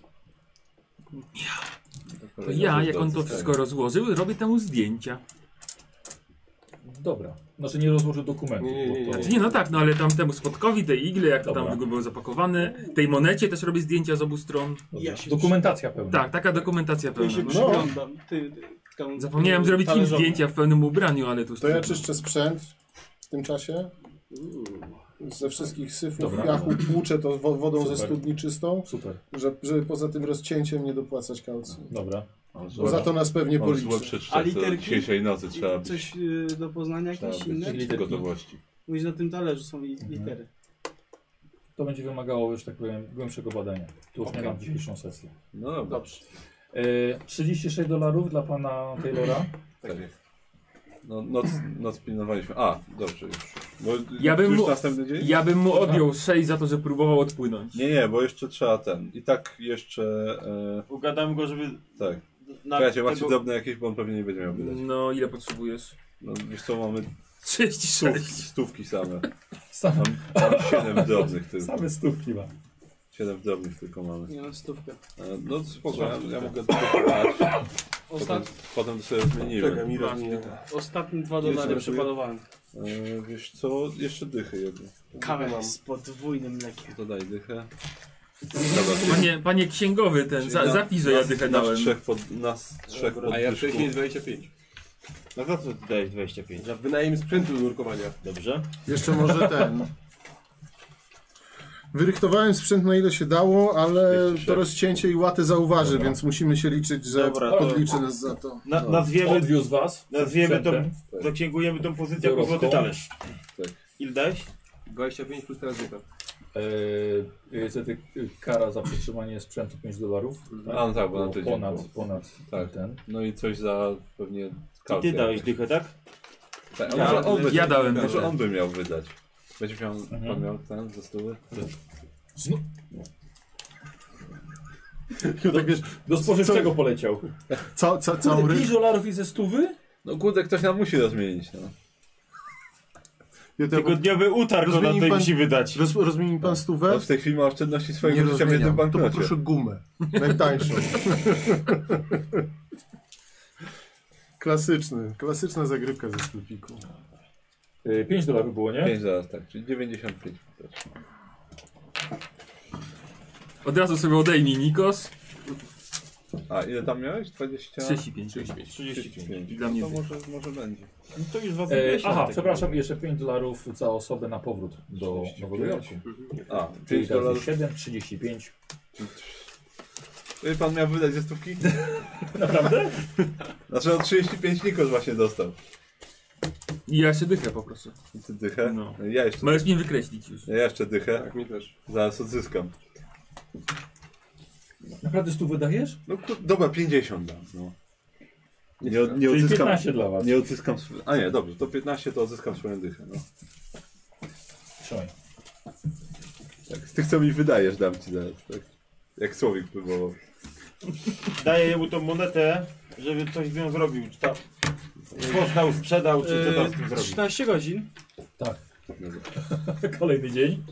[SPEAKER 3] To ja, jak on to wszystko rozłożył, robię temu zdjęcia.
[SPEAKER 2] Dobra, znaczy nie rozłożył dokumentów.
[SPEAKER 23] Nie, nie, nie,
[SPEAKER 2] bo to-
[SPEAKER 23] nie.
[SPEAKER 3] Znaczy nie, no tak, no ale tam temu spotkowi, tej igle, jak to tam
[SPEAKER 2] Dobra.
[SPEAKER 3] w ogóle było zapakowane, tej monecie też robię zdjęcia z obu stron.
[SPEAKER 2] Dobra.
[SPEAKER 9] Ja się
[SPEAKER 2] Dokumentacja pełna.
[SPEAKER 3] Tak, taka dokumentacja
[SPEAKER 9] Ja się
[SPEAKER 3] pełna. No.
[SPEAKER 9] przyglądam. Ty, ty, tą-
[SPEAKER 3] Zapomniałem zrobić im
[SPEAKER 9] talerzową.
[SPEAKER 3] zdjęcia w pełnym ubraniu, ale tu
[SPEAKER 6] To ja czyszczę sprzęt w tym czasie. Ze wszystkich syfów
[SPEAKER 2] Dobra.
[SPEAKER 6] piachu tłuczę to wo- wodą ze
[SPEAKER 2] Super.
[SPEAKER 6] studni czystą,
[SPEAKER 2] Super,
[SPEAKER 6] że- żeby poza tym rozcięciem nie dopłacać kaucji.
[SPEAKER 2] dobra.
[SPEAKER 6] Bo za to nas pewnie
[SPEAKER 8] Mam złe
[SPEAKER 6] policzy.
[SPEAKER 9] A
[SPEAKER 8] przeczytać, co
[SPEAKER 9] literki?
[SPEAKER 8] dzisiejszej nocy trzeba być.
[SPEAKER 9] Coś y, do poznania
[SPEAKER 8] Trzeba
[SPEAKER 9] jakieś
[SPEAKER 8] być
[SPEAKER 9] inne?
[SPEAKER 8] w gotowości.
[SPEAKER 9] Mówisz, na tym talerzu są li- litery.
[SPEAKER 2] To będzie wymagało już tak powiem głębszego badania. Tu już nie mam dzisiejszą sesję.
[SPEAKER 8] No dobra.
[SPEAKER 9] Dobrze.
[SPEAKER 2] E, 36 dolarów dla pana Taylora.
[SPEAKER 8] Tak jest. No, noc, noc pilnowaliśmy. A, dobrze już. Bo
[SPEAKER 3] Ja bym
[SPEAKER 8] już
[SPEAKER 3] mu-
[SPEAKER 8] następny dzień?
[SPEAKER 3] Ja bym mu odjął 6 za to, że próbował odpłynąć.
[SPEAKER 8] Nie, nie, bo jeszcze trzeba ten. I tak jeszcze. E,
[SPEAKER 10] Ugadam go, żeby...
[SPEAKER 8] tak.
[SPEAKER 10] Na
[SPEAKER 8] Słuchajcie, macie drobne jakieś, bo on pewnie nie będzie miał wydać.
[SPEAKER 3] No, ile potrzebujesz?
[SPEAKER 8] No wiesz co, mamy
[SPEAKER 3] 36.
[SPEAKER 8] stówki, stówki same.
[SPEAKER 2] Same,
[SPEAKER 8] Mam, mam 7 drobnych tylko.
[SPEAKER 2] same stówki ma.
[SPEAKER 8] 7 drobnych tylko mamy.
[SPEAKER 9] Nie mam stówkę.
[SPEAKER 8] E, No spoko, ja, ja mogę spróbować. Potem,
[SPEAKER 9] Ostat...
[SPEAKER 8] potem to sobie zmieniłem.
[SPEAKER 23] mi rozmienia.
[SPEAKER 9] tak. Ostatnie dwa
[SPEAKER 8] Jeszcze
[SPEAKER 9] dolary
[SPEAKER 8] brakuje?
[SPEAKER 9] przepalowałem.
[SPEAKER 8] E, wiesz co, jeszcze dychy jedno.
[SPEAKER 9] Kawę z podwójnym mlekiem.
[SPEAKER 8] Dodaj dychę. Dobra,
[SPEAKER 3] Panie, panie księgowy, ten za,
[SPEAKER 8] Na-
[SPEAKER 3] zapis, że ja dychę
[SPEAKER 8] nas
[SPEAKER 3] dałem.
[SPEAKER 8] trzech pod, nas trzech pod
[SPEAKER 4] A ja wcześniej
[SPEAKER 8] dyszku.
[SPEAKER 4] 25.
[SPEAKER 10] Na co ty dajesz 25?
[SPEAKER 4] Za wynajem sprzętu do nurkowania.
[SPEAKER 10] Dobrze.
[SPEAKER 6] Jeszcze może ten. Wyrychtowałem sprzęt na ile się dało, ale to rozcięcie i łatę zauważy, więc musimy się liczyć, że
[SPEAKER 10] Dobra, to-
[SPEAKER 6] podliczy nas za to.
[SPEAKER 10] Na, nazwiemy,
[SPEAKER 2] Odwiózł was.
[SPEAKER 10] nazwiemy to...
[SPEAKER 2] No, Sprzętem. Tak.
[SPEAKER 10] Zaksięgujemy tą pozycję jako
[SPEAKER 2] Biorącą.
[SPEAKER 10] złoty talerz.
[SPEAKER 8] Tak.
[SPEAKER 10] Ile dałeś?
[SPEAKER 4] 25 plus teraz dycha.
[SPEAKER 2] Eee, niestety kara za przetrzymanie sprzętu 5 dolarów.
[SPEAKER 8] A, no tak, bo na
[SPEAKER 2] Było
[SPEAKER 8] tydzień
[SPEAKER 2] ponad,
[SPEAKER 8] było.
[SPEAKER 2] ponad
[SPEAKER 8] Tak.
[SPEAKER 2] ten.
[SPEAKER 8] No i coś za pewnie
[SPEAKER 10] I ty dałeś dychę, tak?
[SPEAKER 8] Tak,
[SPEAKER 3] Ja-
[SPEAKER 8] może on by,
[SPEAKER 3] ja dałem
[SPEAKER 8] Może
[SPEAKER 3] dychę.
[SPEAKER 8] on by miał wydać. Będzie miał,
[SPEAKER 2] Mhm.
[SPEAKER 8] pan miał ten ze stóły?
[SPEAKER 2] Do spożywczego poleciał.
[SPEAKER 6] Ca, ca, całą
[SPEAKER 2] Kurde,
[SPEAKER 6] ry...
[SPEAKER 2] 5 dolarów i ze stówy?
[SPEAKER 8] No kurde, ktoś nam musi rozmienić, no.
[SPEAKER 6] Ja to-
[SPEAKER 10] Tygodniowy utarg go na
[SPEAKER 6] Rozmienił
[SPEAKER 10] tej
[SPEAKER 6] pan-
[SPEAKER 10] musi wydać.
[SPEAKER 6] Roz, rozmienił pan stówę?
[SPEAKER 8] On No w tej chwili ma oszczędności
[SPEAKER 6] Nie
[SPEAKER 8] swojego życia w jednym
[SPEAKER 6] rozmieniam. To
[SPEAKER 8] banknocie.
[SPEAKER 6] poproszę gumę. Najtańszą. Klasyczny, klasyczna zagrywka ze sklepiku.
[SPEAKER 2] Eee, 5 dolarów było, nie?
[SPEAKER 8] 5 zaraz, tak, czyli 95.
[SPEAKER 3] Od razu sobie odejmij Nikos.
[SPEAKER 8] A ile tam miałeś? 20?
[SPEAKER 3] 35.
[SPEAKER 8] 35.
[SPEAKER 3] Dla mnie
[SPEAKER 8] No to może, może będzie.
[SPEAKER 10] No to już was
[SPEAKER 2] Eee,
[SPEAKER 10] wyjaśnia
[SPEAKER 2] aha,
[SPEAKER 10] tak.
[SPEAKER 2] przepraszam, jeszcze 5 dolarów za osobę na powrót do Nowego Jorku.
[SPEAKER 8] A,
[SPEAKER 2] Czyli
[SPEAKER 8] 5
[SPEAKER 2] teraz jest
[SPEAKER 8] dolarów.
[SPEAKER 2] 7, 35.
[SPEAKER 8] Ile pan miał wydać ze stówki?
[SPEAKER 2] Naprawdę?
[SPEAKER 8] Znaczy on 35 nikos właśnie dostał.
[SPEAKER 3] I ja się dychę po prostu.
[SPEAKER 8] I ty dychę?
[SPEAKER 3] No.
[SPEAKER 8] Ja jeszcze,
[SPEAKER 3] Możesz mnie wykreślić już.
[SPEAKER 8] ja jeszcze dychę.
[SPEAKER 4] Tak, mi też.
[SPEAKER 8] Zaraz odzyskam.
[SPEAKER 2] Naprawdę stu wydajesz?
[SPEAKER 8] No kur... dobra, 50 dam, no. Nie, od-
[SPEAKER 2] Czyli
[SPEAKER 8] nie odzyskam.
[SPEAKER 2] 15 dla was.
[SPEAKER 8] Nie odzyskam. sw- A nie, dobrze, to 15 to odzyskam swoją dychę. No.
[SPEAKER 2] Trzymaj.
[SPEAKER 8] Tak, z tych co mi wydajesz, dam ci zaraz. Tak. Jak słowik próbował.
[SPEAKER 10] Daję mu tą monetę, żeby coś z nią zrobił. Czy tam poznał, sprzedał, czy co tam z tym
[SPEAKER 9] Yy,
[SPEAKER 10] zrobił.
[SPEAKER 9] 13 godzin.
[SPEAKER 8] Dobra,
[SPEAKER 2] Kolejny dzień.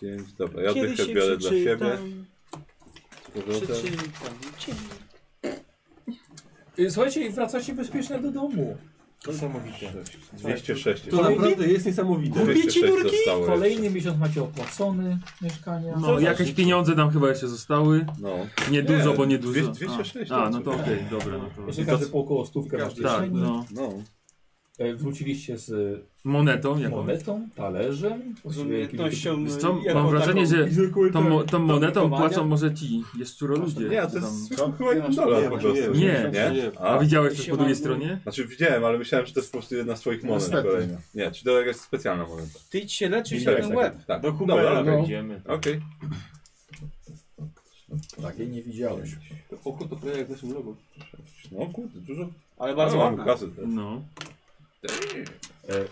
[SPEAKER 8] 5, dobra, ja
[SPEAKER 9] Kiedy
[SPEAKER 8] dychę
[SPEAKER 9] się
[SPEAKER 8] biorę dla siebie.
[SPEAKER 9] przeczytam,
[SPEAKER 8] Z powrotem.
[SPEAKER 9] przeczytam. Dzień.
[SPEAKER 2] Y, Słuchajcie, i wracacie bezpiecznie do domu.
[SPEAKER 4] Niesamowite.
[SPEAKER 8] 206.
[SPEAKER 4] To naprawdę jest niesamowite.
[SPEAKER 8] ci nurki?
[SPEAKER 2] Kolejny miesiąc macie opłacony mieszkania.
[SPEAKER 3] No, jakieś pieniądze nam chyba jeszcze zostały.
[SPEAKER 8] No.
[SPEAKER 3] Niedużo,
[SPEAKER 8] Nie,
[SPEAKER 3] bo niedużo.
[SPEAKER 8] dwieście- 206
[SPEAKER 3] A,
[SPEAKER 8] tam
[SPEAKER 3] no to
[SPEAKER 8] coś.
[SPEAKER 3] okej, dobra. No to...
[SPEAKER 2] Jeszcze każdy po około stówkę masz
[SPEAKER 3] Tak, no.
[SPEAKER 8] No.
[SPEAKER 2] E, Wróciliście z e,
[SPEAKER 3] Monetą, jaką?
[SPEAKER 2] monetą, talerzem.
[SPEAKER 9] Z
[SPEAKER 2] właściwie jakimś-
[SPEAKER 9] umiejętnością.
[SPEAKER 3] Wiesz co,
[SPEAKER 9] jaką
[SPEAKER 8] no,
[SPEAKER 3] mam
[SPEAKER 9] taką-
[SPEAKER 3] wrażenie, że tą, mo- tą monetą
[SPEAKER 9] drukowania?
[SPEAKER 3] płacą może ci jeszczuro
[SPEAKER 10] E,
[SPEAKER 3] ludzie.
[SPEAKER 8] No, Nie, to jest chyba jeden dolar po prostu.
[SPEAKER 3] Nie.
[SPEAKER 8] Nie?
[SPEAKER 3] A
[SPEAKER 8] A,
[SPEAKER 3] widziałeś coś po
[SPEAKER 9] Siema,
[SPEAKER 3] drugiej
[SPEAKER 9] no.
[SPEAKER 3] stronie?
[SPEAKER 8] znaczy widziałem, ale myślałem, że to jest po prostu jedna z twoich monet
[SPEAKER 6] Niestety.
[SPEAKER 8] kolejna. Nie, czy to jakaś specjalna moneta?
[SPEAKER 9] Ty idź się leczysz na
[SPEAKER 8] Tak,
[SPEAKER 9] ten
[SPEAKER 8] tak,
[SPEAKER 9] łeb.
[SPEAKER 8] Tak.
[SPEAKER 10] Do
[SPEAKER 8] Dobra,
[SPEAKER 10] Humbera
[SPEAKER 8] okej.
[SPEAKER 10] będziemy.
[SPEAKER 8] Okej.
[SPEAKER 2] Takiej nie widziałeś.
[SPEAKER 4] O kurde, to prawie jak w naszym logo.
[SPEAKER 8] No kurde, dużo.
[SPEAKER 9] Ale bardzo
[SPEAKER 8] Bardzo mam
[SPEAKER 9] ładna.
[SPEAKER 8] kasy teraz.
[SPEAKER 3] No.
[SPEAKER 2] E,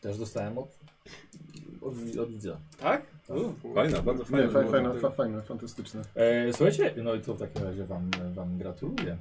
[SPEAKER 2] Też dostałem od, od, od widza.
[SPEAKER 9] Tak?
[SPEAKER 8] Fajna, bardzo
[SPEAKER 6] Nie,
[SPEAKER 8] fajna.
[SPEAKER 6] fajne, fajne, fa- fajne, fantastyczne.
[SPEAKER 2] E, słuchajcie, no i to w takim razie wam, wam gratuluję.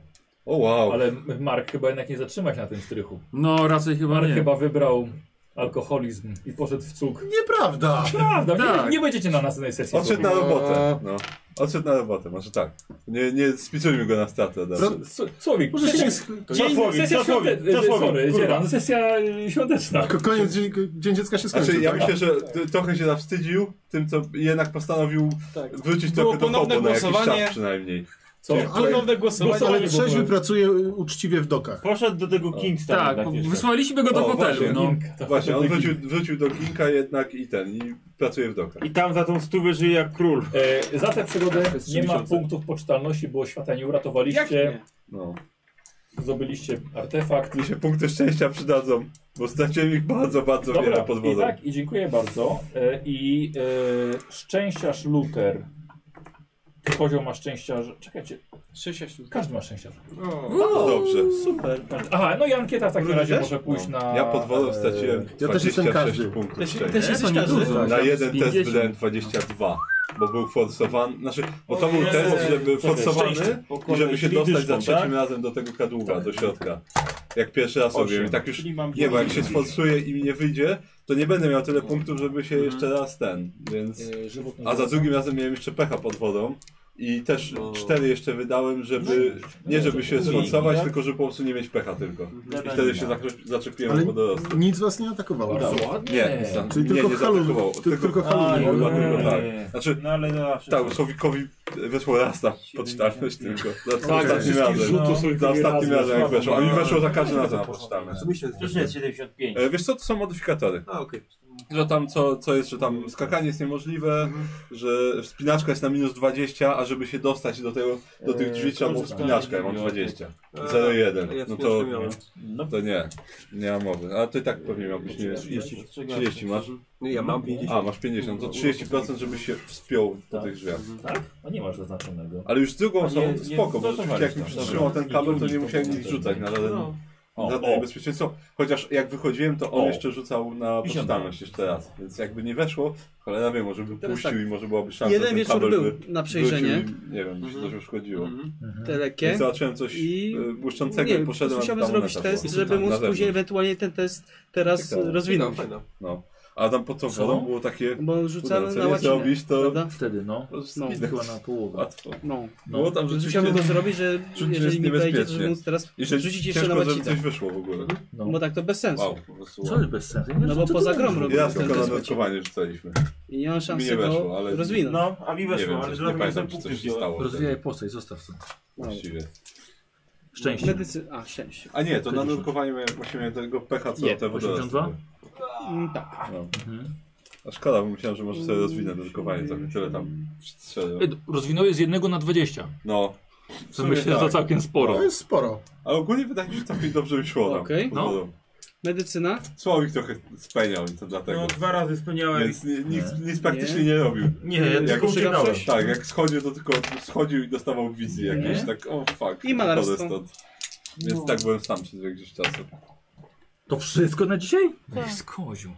[SPEAKER 8] O wow.
[SPEAKER 2] Ale Mark chyba jednak nie zatrzyma się na tym strychu.
[SPEAKER 3] No, raczej chyba
[SPEAKER 2] Mark
[SPEAKER 3] nie.
[SPEAKER 2] chyba wybrał alkoholizm i poszedł w cuk.
[SPEAKER 6] Nieprawda!
[SPEAKER 2] Prawda,
[SPEAKER 3] Tak.
[SPEAKER 2] nie, nie będziecie na następnej sesji.
[SPEAKER 8] Odszedł na robotę. No. Odszedł na robotę, może tak. Nie, nie spisujmy go na stratę. od razu.
[SPEAKER 2] Sł- Słowik,
[SPEAKER 6] Może się
[SPEAKER 2] sesja-
[SPEAKER 6] nie... sk-
[SPEAKER 2] dzień,
[SPEAKER 10] Zasłowik,
[SPEAKER 2] sesja
[SPEAKER 10] zasłowik,
[SPEAKER 2] świąteczna.
[SPEAKER 10] zasłowik,
[SPEAKER 2] Sorry,
[SPEAKER 10] kurwa.
[SPEAKER 2] dzieran, sesja y, świąteczna.
[SPEAKER 6] Ko- Koniec, dzień, dzień dziecka się skończył.
[SPEAKER 8] Znaczy, ja
[SPEAKER 6] tak?
[SPEAKER 8] myślę, że t- trochę się zawstydził tym, co jednak postanowił
[SPEAKER 9] Tak.
[SPEAKER 8] wrócić
[SPEAKER 9] Było
[SPEAKER 8] trochę do
[SPEAKER 9] ponowne
[SPEAKER 8] hobu na jakiś
[SPEAKER 9] głosowanie.
[SPEAKER 8] czas przynajmniej.
[SPEAKER 2] Co?
[SPEAKER 9] Ponowne głosowanie.
[SPEAKER 6] Ale
[SPEAKER 2] nie
[SPEAKER 6] trzeźwy
[SPEAKER 2] było.
[SPEAKER 6] pracuje uczciwie w dokach.
[SPEAKER 10] Poszedł do tego
[SPEAKER 2] No.
[SPEAKER 10] Kingstona.
[SPEAKER 3] Tak,
[SPEAKER 10] na pierwsze.
[SPEAKER 3] wysłaliśmy go do
[SPEAKER 8] O,
[SPEAKER 3] hotelu,
[SPEAKER 8] właśnie.
[SPEAKER 3] no.
[SPEAKER 8] Właśnie, on wrócił, wrócił do Ginka jednak i ten, i pracuje w dokach.
[SPEAKER 10] I tam za tą stówę żyje jak król.
[SPEAKER 2] E, za tę przygodę nie ma
[SPEAKER 4] 3000.
[SPEAKER 2] punktów poczytalności, bo świata nie
[SPEAKER 9] Jak
[SPEAKER 2] uratowaliście,
[SPEAKER 9] nie?
[SPEAKER 8] No.
[SPEAKER 2] zdobyliście artefakt.
[SPEAKER 8] Mi się punkty szczęścia przydadzą, bo straciłem ich bardzo, bardzo wiele pod
[SPEAKER 2] i
[SPEAKER 8] wodą.
[SPEAKER 2] tak, i dziękuję bardzo. E, I e, szczęściarz Luter. Poziom ma szczęściarz. Czekajcie,
[SPEAKER 9] 6
[SPEAKER 2] każdy ma szczęściarz.
[SPEAKER 8] No Dobrze.
[SPEAKER 10] Super.
[SPEAKER 2] Aha, no i ankieta w takim
[SPEAKER 8] Wrócisz
[SPEAKER 2] razie
[SPEAKER 8] też? No.
[SPEAKER 2] może pójść na. e,
[SPEAKER 8] Ja pod wodą straciłem
[SPEAKER 6] Ja też jestem
[SPEAKER 8] 26
[SPEAKER 6] każdy.
[SPEAKER 8] punktów
[SPEAKER 9] Też,
[SPEAKER 8] szczęścia.
[SPEAKER 9] też jesteś
[SPEAKER 3] Nie, to
[SPEAKER 9] każdy.
[SPEAKER 3] niedużo.
[SPEAKER 8] Na
[SPEAKER 3] Tam
[SPEAKER 8] jeden
[SPEAKER 3] z
[SPEAKER 8] test
[SPEAKER 3] 50.
[SPEAKER 8] wydałem 22, bo był forsowany. Znaczy, bo to był
[SPEAKER 10] Ojej.
[SPEAKER 8] test, żeby
[SPEAKER 10] Czekaj,
[SPEAKER 8] forsowany
[SPEAKER 10] szczęście. Po
[SPEAKER 8] i
[SPEAKER 10] kolei
[SPEAKER 8] żeby się
[SPEAKER 10] z
[SPEAKER 8] dostać za
[SPEAKER 10] lidyszką,
[SPEAKER 8] trzecim
[SPEAKER 10] tak?
[SPEAKER 8] razem do tego kadłuba, do środka. Jak pierwszy raz robiłem. I tak już
[SPEAKER 10] Czyli mam
[SPEAKER 8] Nie, bo jak się sforsuje i mi nie wyjdzie, to nie będę miał tyle punktów, żeby się jeszcze
[SPEAKER 2] Mhm.
[SPEAKER 8] raz ten, więc...
[SPEAKER 2] E,
[SPEAKER 8] A za drugim razem miałem jeszcze pecha pod wodą i też
[SPEAKER 2] No.
[SPEAKER 8] cztery jeszcze wydałem, żeby... Nie żeby się
[SPEAKER 2] tak?
[SPEAKER 8] sforsować, tylko żeby po prostu nie mieć pecha tylko.
[SPEAKER 2] Mhm.
[SPEAKER 8] I wtedy się zakro-
[SPEAKER 6] Ale-
[SPEAKER 8] zaczepiłem pod roz.
[SPEAKER 6] Nic was nie atakowało.
[SPEAKER 8] Nie, za-
[SPEAKER 6] Czyli
[SPEAKER 8] nie,
[SPEAKER 6] tylko
[SPEAKER 8] nie
[SPEAKER 6] halu-
[SPEAKER 8] zaatakował.
[SPEAKER 6] ty- tylko halu-
[SPEAKER 10] A,
[SPEAKER 8] Tylko,
[SPEAKER 10] nie,
[SPEAKER 8] tylko tak.
[SPEAKER 10] nie.
[SPEAKER 8] Znaczy,
[SPEAKER 10] No ale zawsze.
[SPEAKER 8] tak, Słowikowi weszło raz na poczytalność tylko. Za za ostatnim
[SPEAKER 2] Tak, wszystkich
[SPEAKER 8] razem.
[SPEAKER 2] rzutów Słowikowi
[SPEAKER 8] Za
[SPEAKER 2] razem
[SPEAKER 8] ostatnim razem jak
[SPEAKER 2] weszło.
[SPEAKER 8] weszło. A mi weszło za każdym razem na poczytalność.
[SPEAKER 4] Co myślisz?
[SPEAKER 10] Też jest 75.
[SPEAKER 8] E, Wiesz co, to są modyfikatory.
[SPEAKER 4] A, okej.
[SPEAKER 8] Że tam co, co jest, że tam skakanie jest niemożliwe, że wspinaczka jest na minus 20, a żeby się dostać do tego, do tych drzwi trzeba było wspinaczkę, ja mam 20.
[SPEAKER 7] Eee,
[SPEAKER 4] A
[SPEAKER 8] 0,1.
[SPEAKER 4] ja
[SPEAKER 8] No to,
[SPEAKER 4] wspinaczkę miałem.
[SPEAKER 10] No
[SPEAKER 8] to nie, nie ma mowy. A ty tak pewnie miałbyś, nie wiem, 30, 30 masz?
[SPEAKER 4] Nie, ja mam 50.
[SPEAKER 8] A, masz 50, to 30% żebyś się wspiął do tych drzwi.
[SPEAKER 2] Tak? No nie masz zaznaczonego.
[SPEAKER 8] Ale już z drugą
[SPEAKER 10] nie-
[SPEAKER 8] osobą
[SPEAKER 10] nie-
[SPEAKER 8] spoko, bo
[SPEAKER 10] no to
[SPEAKER 8] rzeczywiście
[SPEAKER 10] masz,
[SPEAKER 8] jak mi
[SPEAKER 10] tak,
[SPEAKER 8] przytrzymał
[SPEAKER 10] dobra.
[SPEAKER 8] ten kabel, to nie
[SPEAKER 2] I-
[SPEAKER 8] musiałem nic rzucać na żaden...
[SPEAKER 4] No.
[SPEAKER 2] O,
[SPEAKER 8] na
[SPEAKER 2] o.
[SPEAKER 8] niebezpieczeństwo. Chociaż jak wychodziłem, to on
[SPEAKER 2] O.
[SPEAKER 8] jeszcze rzucał na
[SPEAKER 2] 50.
[SPEAKER 8] poczytalność jeszcze raz. Więc jakby nie weszło, cholera wie, może by
[SPEAKER 9] Teraz
[SPEAKER 8] puścił
[SPEAKER 9] tak.
[SPEAKER 8] i może byłaby szansa, że
[SPEAKER 9] Jeden
[SPEAKER 8] ten
[SPEAKER 9] wieczór
[SPEAKER 8] kabel
[SPEAKER 9] był
[SPEAKER 8] by
[SPEAKER 9] na przejrzenie, Mhm.
[SPEAKER 8] wrócił i, nie wiem, mi się coś uszkodziło.
[SPEAKER 9] te lekkie.
[SPEAKER 8] Więc zobaczyłem coś
[SPEAKER 9] I-
[SPEAKER 8] y,
[SPEAKER 9] Nie,
[SPEAKER 8] błyszczącego i
[SPEAKER 9] wiem,
[SPEAKER 8] poszedłem
[SPEAKER 9] musiałem
[SPEAKER 8] tam
[SPEAKER 9] zrobić
[SPEAKER 8] moneta
[SPEAKER 9] test,
[SPEAKER 8] była.
[SPEAKER 9] żeby
[SPEAKER 8] Na
[SPEAKER 9] móc
[SPEAKER 8] zewnątrz.
[SPEAKER 9] później ewentualnie ten test teraz
[SPEAKER 8] Ciekawe.
[SPEAKER 9] rozwinąć.
[SPEAKER 4] Fajna.
[SPEAKER 8] No. A tam po co wodą było takie...
[SPEAKER 9] Bo
[SPEAKER 8] Kurde,
[SPEAKER 9] rzucamy
[SPEAKER 8] co
[SPEAKER 9] na
[SPEAKER 8] nie
[SPEAKER 9] łacinę,
[SPEAKER 8] zrobisz, to
[SPEAKER 9] prawda?
[SPEAKER 2] Wtedy no.
[SPEAKER 8] to jest
[SPEAKER 9] No.
[SPEAKER 8] widać.
[SPEAKER 2] Chyba na połowę.
[SPEAKER 8] łatwo.
[SPEAKER 9] No.
[SPEAKER 8] Było tam
[SPEAKER 9] Więc
[SPEAKER 8] rzeczywiście...
[SPEAKER 9] musiałem to zrobić, że
[SPEAKER 8] Czuć, że
[SPEAKER 9] jeżeli
[SPEAKER 8] jest
[SPEAKER 9] mi wejdzie, to żeby
[SPEAKER 8] niebezpiecznie.
[SPEAKER 9] móc teraz
[SPEAKER 8] I że
[SPEAKER 9] rzucić jeszcze na
[SPEAKER 8] ciężko, żeby
[SPEAKER 9] łacinę.
[SPEAKER 8] coś wyszło w ogóle.
[SPEAKER 2] No.
[SPEAKER 9] Bo tak to bez sensu.
[SPEAKER 8] Wow, po prostu
[SPEAKER 25] Co
[SPEAKER 8] wow.
[SPEAKER 25] jest bez sensu?
[SPEAKER 9] No bo poza grą
[SPEAKER 8] I
[SPEAKER 9] robię
[SPEAKER 8] raz
[SPEAKER 9] ten
[SPEAKER 8] tylko na
[SPEAKER 9] test łacinę.
[SPEAKER 8] nurkowanie rzucaliśmy.
[SPEAKER 9] I nie mam
[SPEAKER 8] Mi
[SPEAKER 9] szansy
[SPEAKER 8] nie
[SPEAKER 9] go
[SPEAKER 8] weszło, ale...
[SPEAKER 9] rozwinąć.
[SPEAKER 10] No, a mi
[SPEAKER 8] Nie wiem,
[SPEAKER 10] weszło, ale
[SPEAKER 8] nie
[SPEAKER 10] dlatego
[SPEAKER 8] pamiętam,
[SPEAKER 10] sobie
[SPEAKER 8] czy
[SPEAKER 10] punkty
[SPEAKER 8] coś się
[SPEAKER 10] wziąłem.
[SPEAKER 8] stało.
[SPEAKER 25] Rozwijaj postać, zostaw to.
[SPEAKER 8] Właściwie.
[SPEAKER 25] Szczęście.
[SPEAKER 9] Medycy... A, szczęście.
[SPEAKER 8] A nie, to na nurkowaniu miałem, właśnie miałem tego pecha, co
[SPEAKER 25] Nie,
[SPEAKER 8] te wody
[SPEAKER 25] 82?
[SPEAKER 8] rozbiły.
[SPEAKER 9] Mm, tak.
[SPEAKER 8] No. A szkoda, bo myślałem, że może sobie rozwinę nurkowanie, tak tyle tam strzelę.
[SPEAKER 25] Rozwinąłeś z 1 na 20.
[SPEAKER 8] No. W
[SPEAKER 25] Co
[SPEAKER 8] sumie
[SPEAKER 25] myślę, że to
[SPEAKER 8] tak.
[SPEAKER 25] całkiem sporo.
[SPEAKER 6] To jest sporo.
[SPEAKER 8] Ale ogólnie wydaje mi się, że całkiem dobrze mi szło tam.
[SPEAKER 9] Okej.
[SPEAKER 25] No.
[SPEAKER 8] No.
[SPEAKER 9] Medycyna?
[SPEAKER 8] Słowik trochę speniał i to dlatego.
[SPEAKER 10] No, dwa razy spełniałem.
[SPEAKER 8] Więc ni- nic, nic praktycznie nie robił.
[SPEAKER 10] Nie, ja
[SPEAKER 8] Jak,
[SPEAKER 10] tylko uciekałem.
[SPEAKER 8] tak, jak schodził, to tylko schodził i dostawał wizji jakieś, tak o fuck,
[SPEAKER 9] I malarstwo.
[SPEAKER 8] odchodzę stąd. Więc tak byłem sam przez jakiś czas.
[SPEAKER 25] To wszystko na dzisiaj? Tak. Skoziu.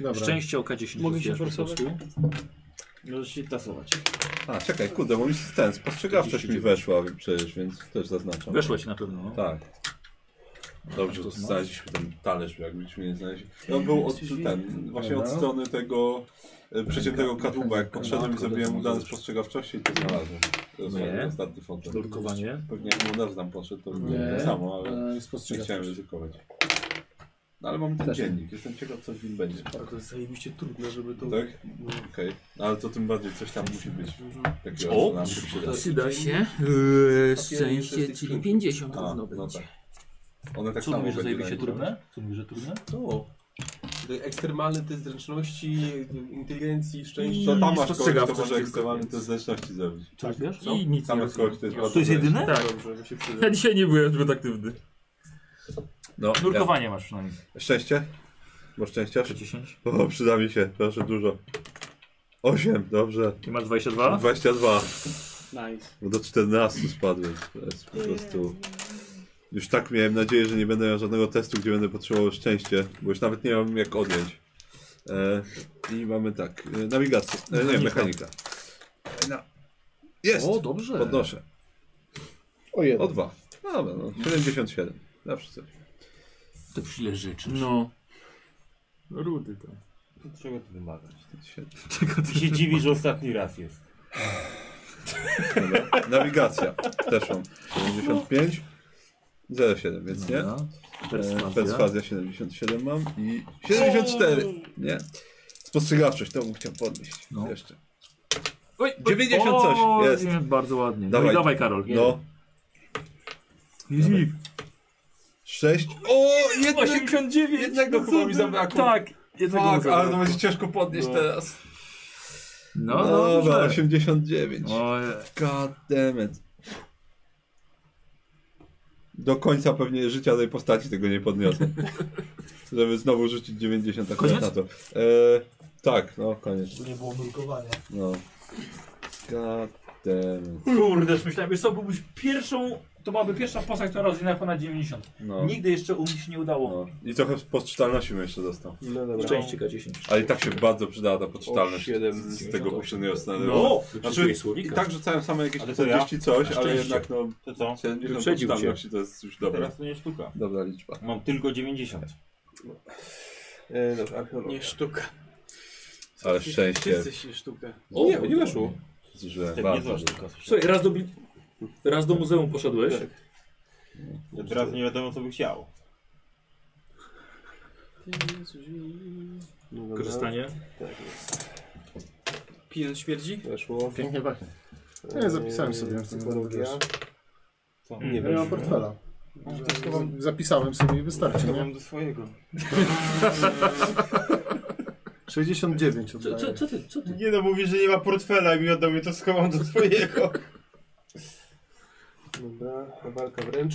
[SPEAKER 6] Dobra.
[SPEAKER 25] Szczęście oka 10
[SPEAKER 9] Mogę się
[SPEAKER 25] rozwijasz po
[SPEAKER 9] forsować?
[SPEAKER 25] prostu.
[SPEAKER 10] Możesz się tasować.
[SPEAKER 8] A, czekaj, kurde, bo mi ten spostrzegawczość mi weszła przecież, więc też zaznaczam.
[SPEAKER 25] Weszła ci na pewno. no.
[SPEAKER 8] Tak. Dobrze, to znaleźliśmy ten talerz, jakbyśmy nie znaleźli. No był od, ten, właśnie od strony tego e, przeciętego kadłuba. Jak podszedłem i zrobiłem udane spostrzegawczości, to znalazłem. To jest
[SPEAKER 25] Nie.
[SPEAKER 8] fajny, ostatni fotel.
[SPEAKER 25] Nurkowanie.
[SPEAKER 8] Pewnie jak mu też tam poszedł, to
[SPEAKER 6] Nie.
[SPEAKER 8] nie to samo, ale
[SPEAKER 6] E,
[SPEAKER 8] nie
[SPEAKER 6] spostrzegawczość.
[SPEAKER 8] chciałem ryzykować. No, ale mam ten
[SPEAKER 6] Też.
[SPEAKER 8] dziennik, jestem ciekaw co w nim będzie.
[SPEAKER 7] A to jest zajebiście trudne, żeby to...
[SPEAKER 8] Tak? Okej, ale to tym bardziej coś tam musi być. Takiego,
[SPEAKER 2] O!
[SPEAKER 8] co nam się przyda.
[SPEAKER 3] Przyda się.
[SPEAKER 8] Tak.
[SPEAKER 3] Eee, szczęście, czyli 50 równo
[SPEAKER 8] no
[SPEAKER 3] będzie.
[SPEAKER 8] tak. One tak
[SPEAKER 2] Co
[SPEAKER 8] samo
[SPEAKER 2] mówisz, że
[SPEAKER 8] będą
[SPEAKER 2] zajebiście
[SPEAKER 8] jak-
[SPEAKER 2] trudne? Co mówisz, że trudne?
[SPEAKER 7] To. Tutaj ekstremalny test zręczności, inteligencji, szczęścia.
[SPEAKER 8] To tam masz kogoś, kto
[SPEAKER 23] spostrzegawczość
[SPEAKER 8] może
[SPEAKER 23] tylko.
[SPEAKER 8] ekstremalnie te zręczności zrobić.
[SPEAKER 2] Coś wiesz?
[SPEAKER 3] I nic
[SPEAKER 8] Tam
[SPEAKER 3] nie
[SPEAKER 8] jest kogoś, kto jest
[SPEAKER 2] To
[SPEAKER 8] bardzo
[SPEAKER 2] jest jedyne?
[SPEAKER 7] Tak. Dobrze, mi się przyda.
[SPEAKER 3] Ja dzisiaj nie byłem zbyt aktywny.
[SPEAKER 8] No,
[SPEAKER 2] Nurkowanie masz przynajmniej.
[SPEAKER 8] ja. Szczęście? Bo szczęścia?
[SPEAKER 2] 10.
[SPEAKER 8] O, przyda mi się, proszę dużo. 8, dobrze.
[SPEAKER 25] I masz 22?
[SPEAKER 8] 22,
[SPEAKER 9] Nice.
[SPEAKER 8] bo do 14 spadłem. To jest po prostu... Już tak miałem nadzieję, że nie będę miał żadnego testu, gdzie będę potrzebował szczęście, bo już nawet nie mam jak odjąć. E, I mamy tak, e, nawigację, e, nie, mechanika. E, No. Jest,
[SPEAKER 6] O, dobrze.
[SPEAKER 8] podnoszę.
[SPEAKER 6] O
[SPEAKER 8] O
[SPEAKER 6] jeden.
[SPEAKER 8] dwa. No Dobra, no, 77. Zawsze coś.
[SPEAKER 3] To chwilę życzy. No. Rudy to.
[SPEAKER 10] Czego tu wymagać?
[SPEAKER 8] Świetnie.
[SPEAKER 10] I się dziwi, że ostatni raz jest.
[SPEAKER 8] Dobra. Nawigacja. Też mam. 75. 07, więc nie. E, Perswazja 77 mam i 74. Nie. Spostrzegawczość, to bym chciał podnieść.
[SPEAKER 25] No.
[SPEAKER 8] Jeszcze.
[SPEAKER 25] Oj,
[SPEAKER 8] 90
[SPEAKER 25] o,
[SPEAKER 8] coś, jest.
[SPEAKER 25] Nie, bardzo ładnie. Dawaj,
[SPEAKER 8] Dawaj.
[SPEAKER 25] dawaj Karol.
[SPEAKER 8] No.
[SPEAKER 25] Jezik.
[SPEAKER 8] 6. O, jedno,
[SPEAKER 25] 89!
[SPEAKER 8] jednego chyba mi zabrakło.
[SPEAKER 25] Tak, jednego mu
[SPEAKER 8] Fuck, ale to
[SPEAKER 25] zabrakło.
[SPEAKER 8] będzie ciężko podnieść teraz.
[SPEAKER 25] No,
[SPEAKER 8] No, dobra,
[SPEAKER 25] dobrze.
[SPEAKER 8] 89.
[SPEAKER 25] Ojej.
[SPEAKER 8] God damn it. Do końca pewnie życia tej postaci tego nie podniosę. Żeby znowu rzucić 90 akurat na to. E, tak, no koniec.
[SPEAKER 25] Nie było nurkowania.
[SPEAKER 8] No. God damn it.
[SPEAKER 25] Kurde, już myślałem, wiesz co, byłbyś pierwszą, to byłaby pierwsza postać, która rozwinęła ponad 90.
[SPEAKER 8] No.
[SPEAKER 25] Nigdy jeszcze u mnie się nie udało.
[SPEAKER 8] no. I trochę poczytalności bym jeszcze dostał.
[SPEAKER 7] No dobra.
[SPEAKER 25] Szczęście K10.
[SPEAKER 8] Ale i tak się bardzo przydała ta poczytalność
[SPEAKER 7] siedem.
[SPEAKER 8] z tego poprzedniego scenariusza.
[SPEAKER 25] No,
[SPEAKER 8] Znaczy, i tak rzucałem same jakieś
[SPEAKER 10] Ale to
[SPEAKER 8] 40 coś, ale
[SPEAKER 10] szczęście.
[SPEAKER 8] jednak no
[SPEAKER 10] To co?
[SPEAKER 8] 70
[SPEAKER 25] Wyprzedził cię.
[SPEAKER 8] poczytalności to jest już dobra.
[SPEAKER 10] Teraz to nie sztuka.
[SPEAKER 8] Dobra liczba.
[SPEAKER 10] Mam tylko 90.
[SPEAKER 7] E, dobra, archeolog.
[SPEAKER 9] Nie sztuka.
[SPEAKER 8] Ale szczęście.
[SPEAKER 9] Wszyscy się sztukę.
[SPEAKER 8] O,
[SPEAKER 23] nie, nie weszło.
[SPEAKER 8] Zużyłem
[SPEAKER 10] Ten
[SPEAKER 8] bardzo.
[SPEAKER 10] niezła sztuka.
[SPEAKER 25] Słuchaj, raz do, bi- raz do muzeum poszedłeś.
[SPEAKER 10] Ja Teraz nie wiadomo co by chciał.
[SPEAKER 7] No dobra.
[SPEAKER 25] Korzystanie.
[SPEAKER 7] Tak jest.
[SPEAKER 9] Pijąc śmierdzi?
[SPEAKER 7] Weszło.
[SPEAKER 6] Pięknie pachnie. Eee, Nie, zapisałem sobie,
[SPEAKER 7] E, Psychologia.
[SPEAKER 6] wiesz.
[SPEAKER 10] Co?
[SPEAKER 7] Nie
[SPEAKER 6] Nie mam
[SPEAKER 7] wiem.
[SPEAKER 6] portfela. Z- Zapisałem sobie i wystarczy, nie?
[SPEAKER 10] do swojego.
[SPEAKER 6] 69
[SPEAKER 25] Co, co,
[SPEAKER 6] oddaję.
[SPEAKER 25] co ty, co ty?
[SPEAKER 10] Nie no, mówi, że nie ma portfela i mi oddał mnie, to schowam do swojego.
[SPEAKER 7] Dobra, ta walka wręcz.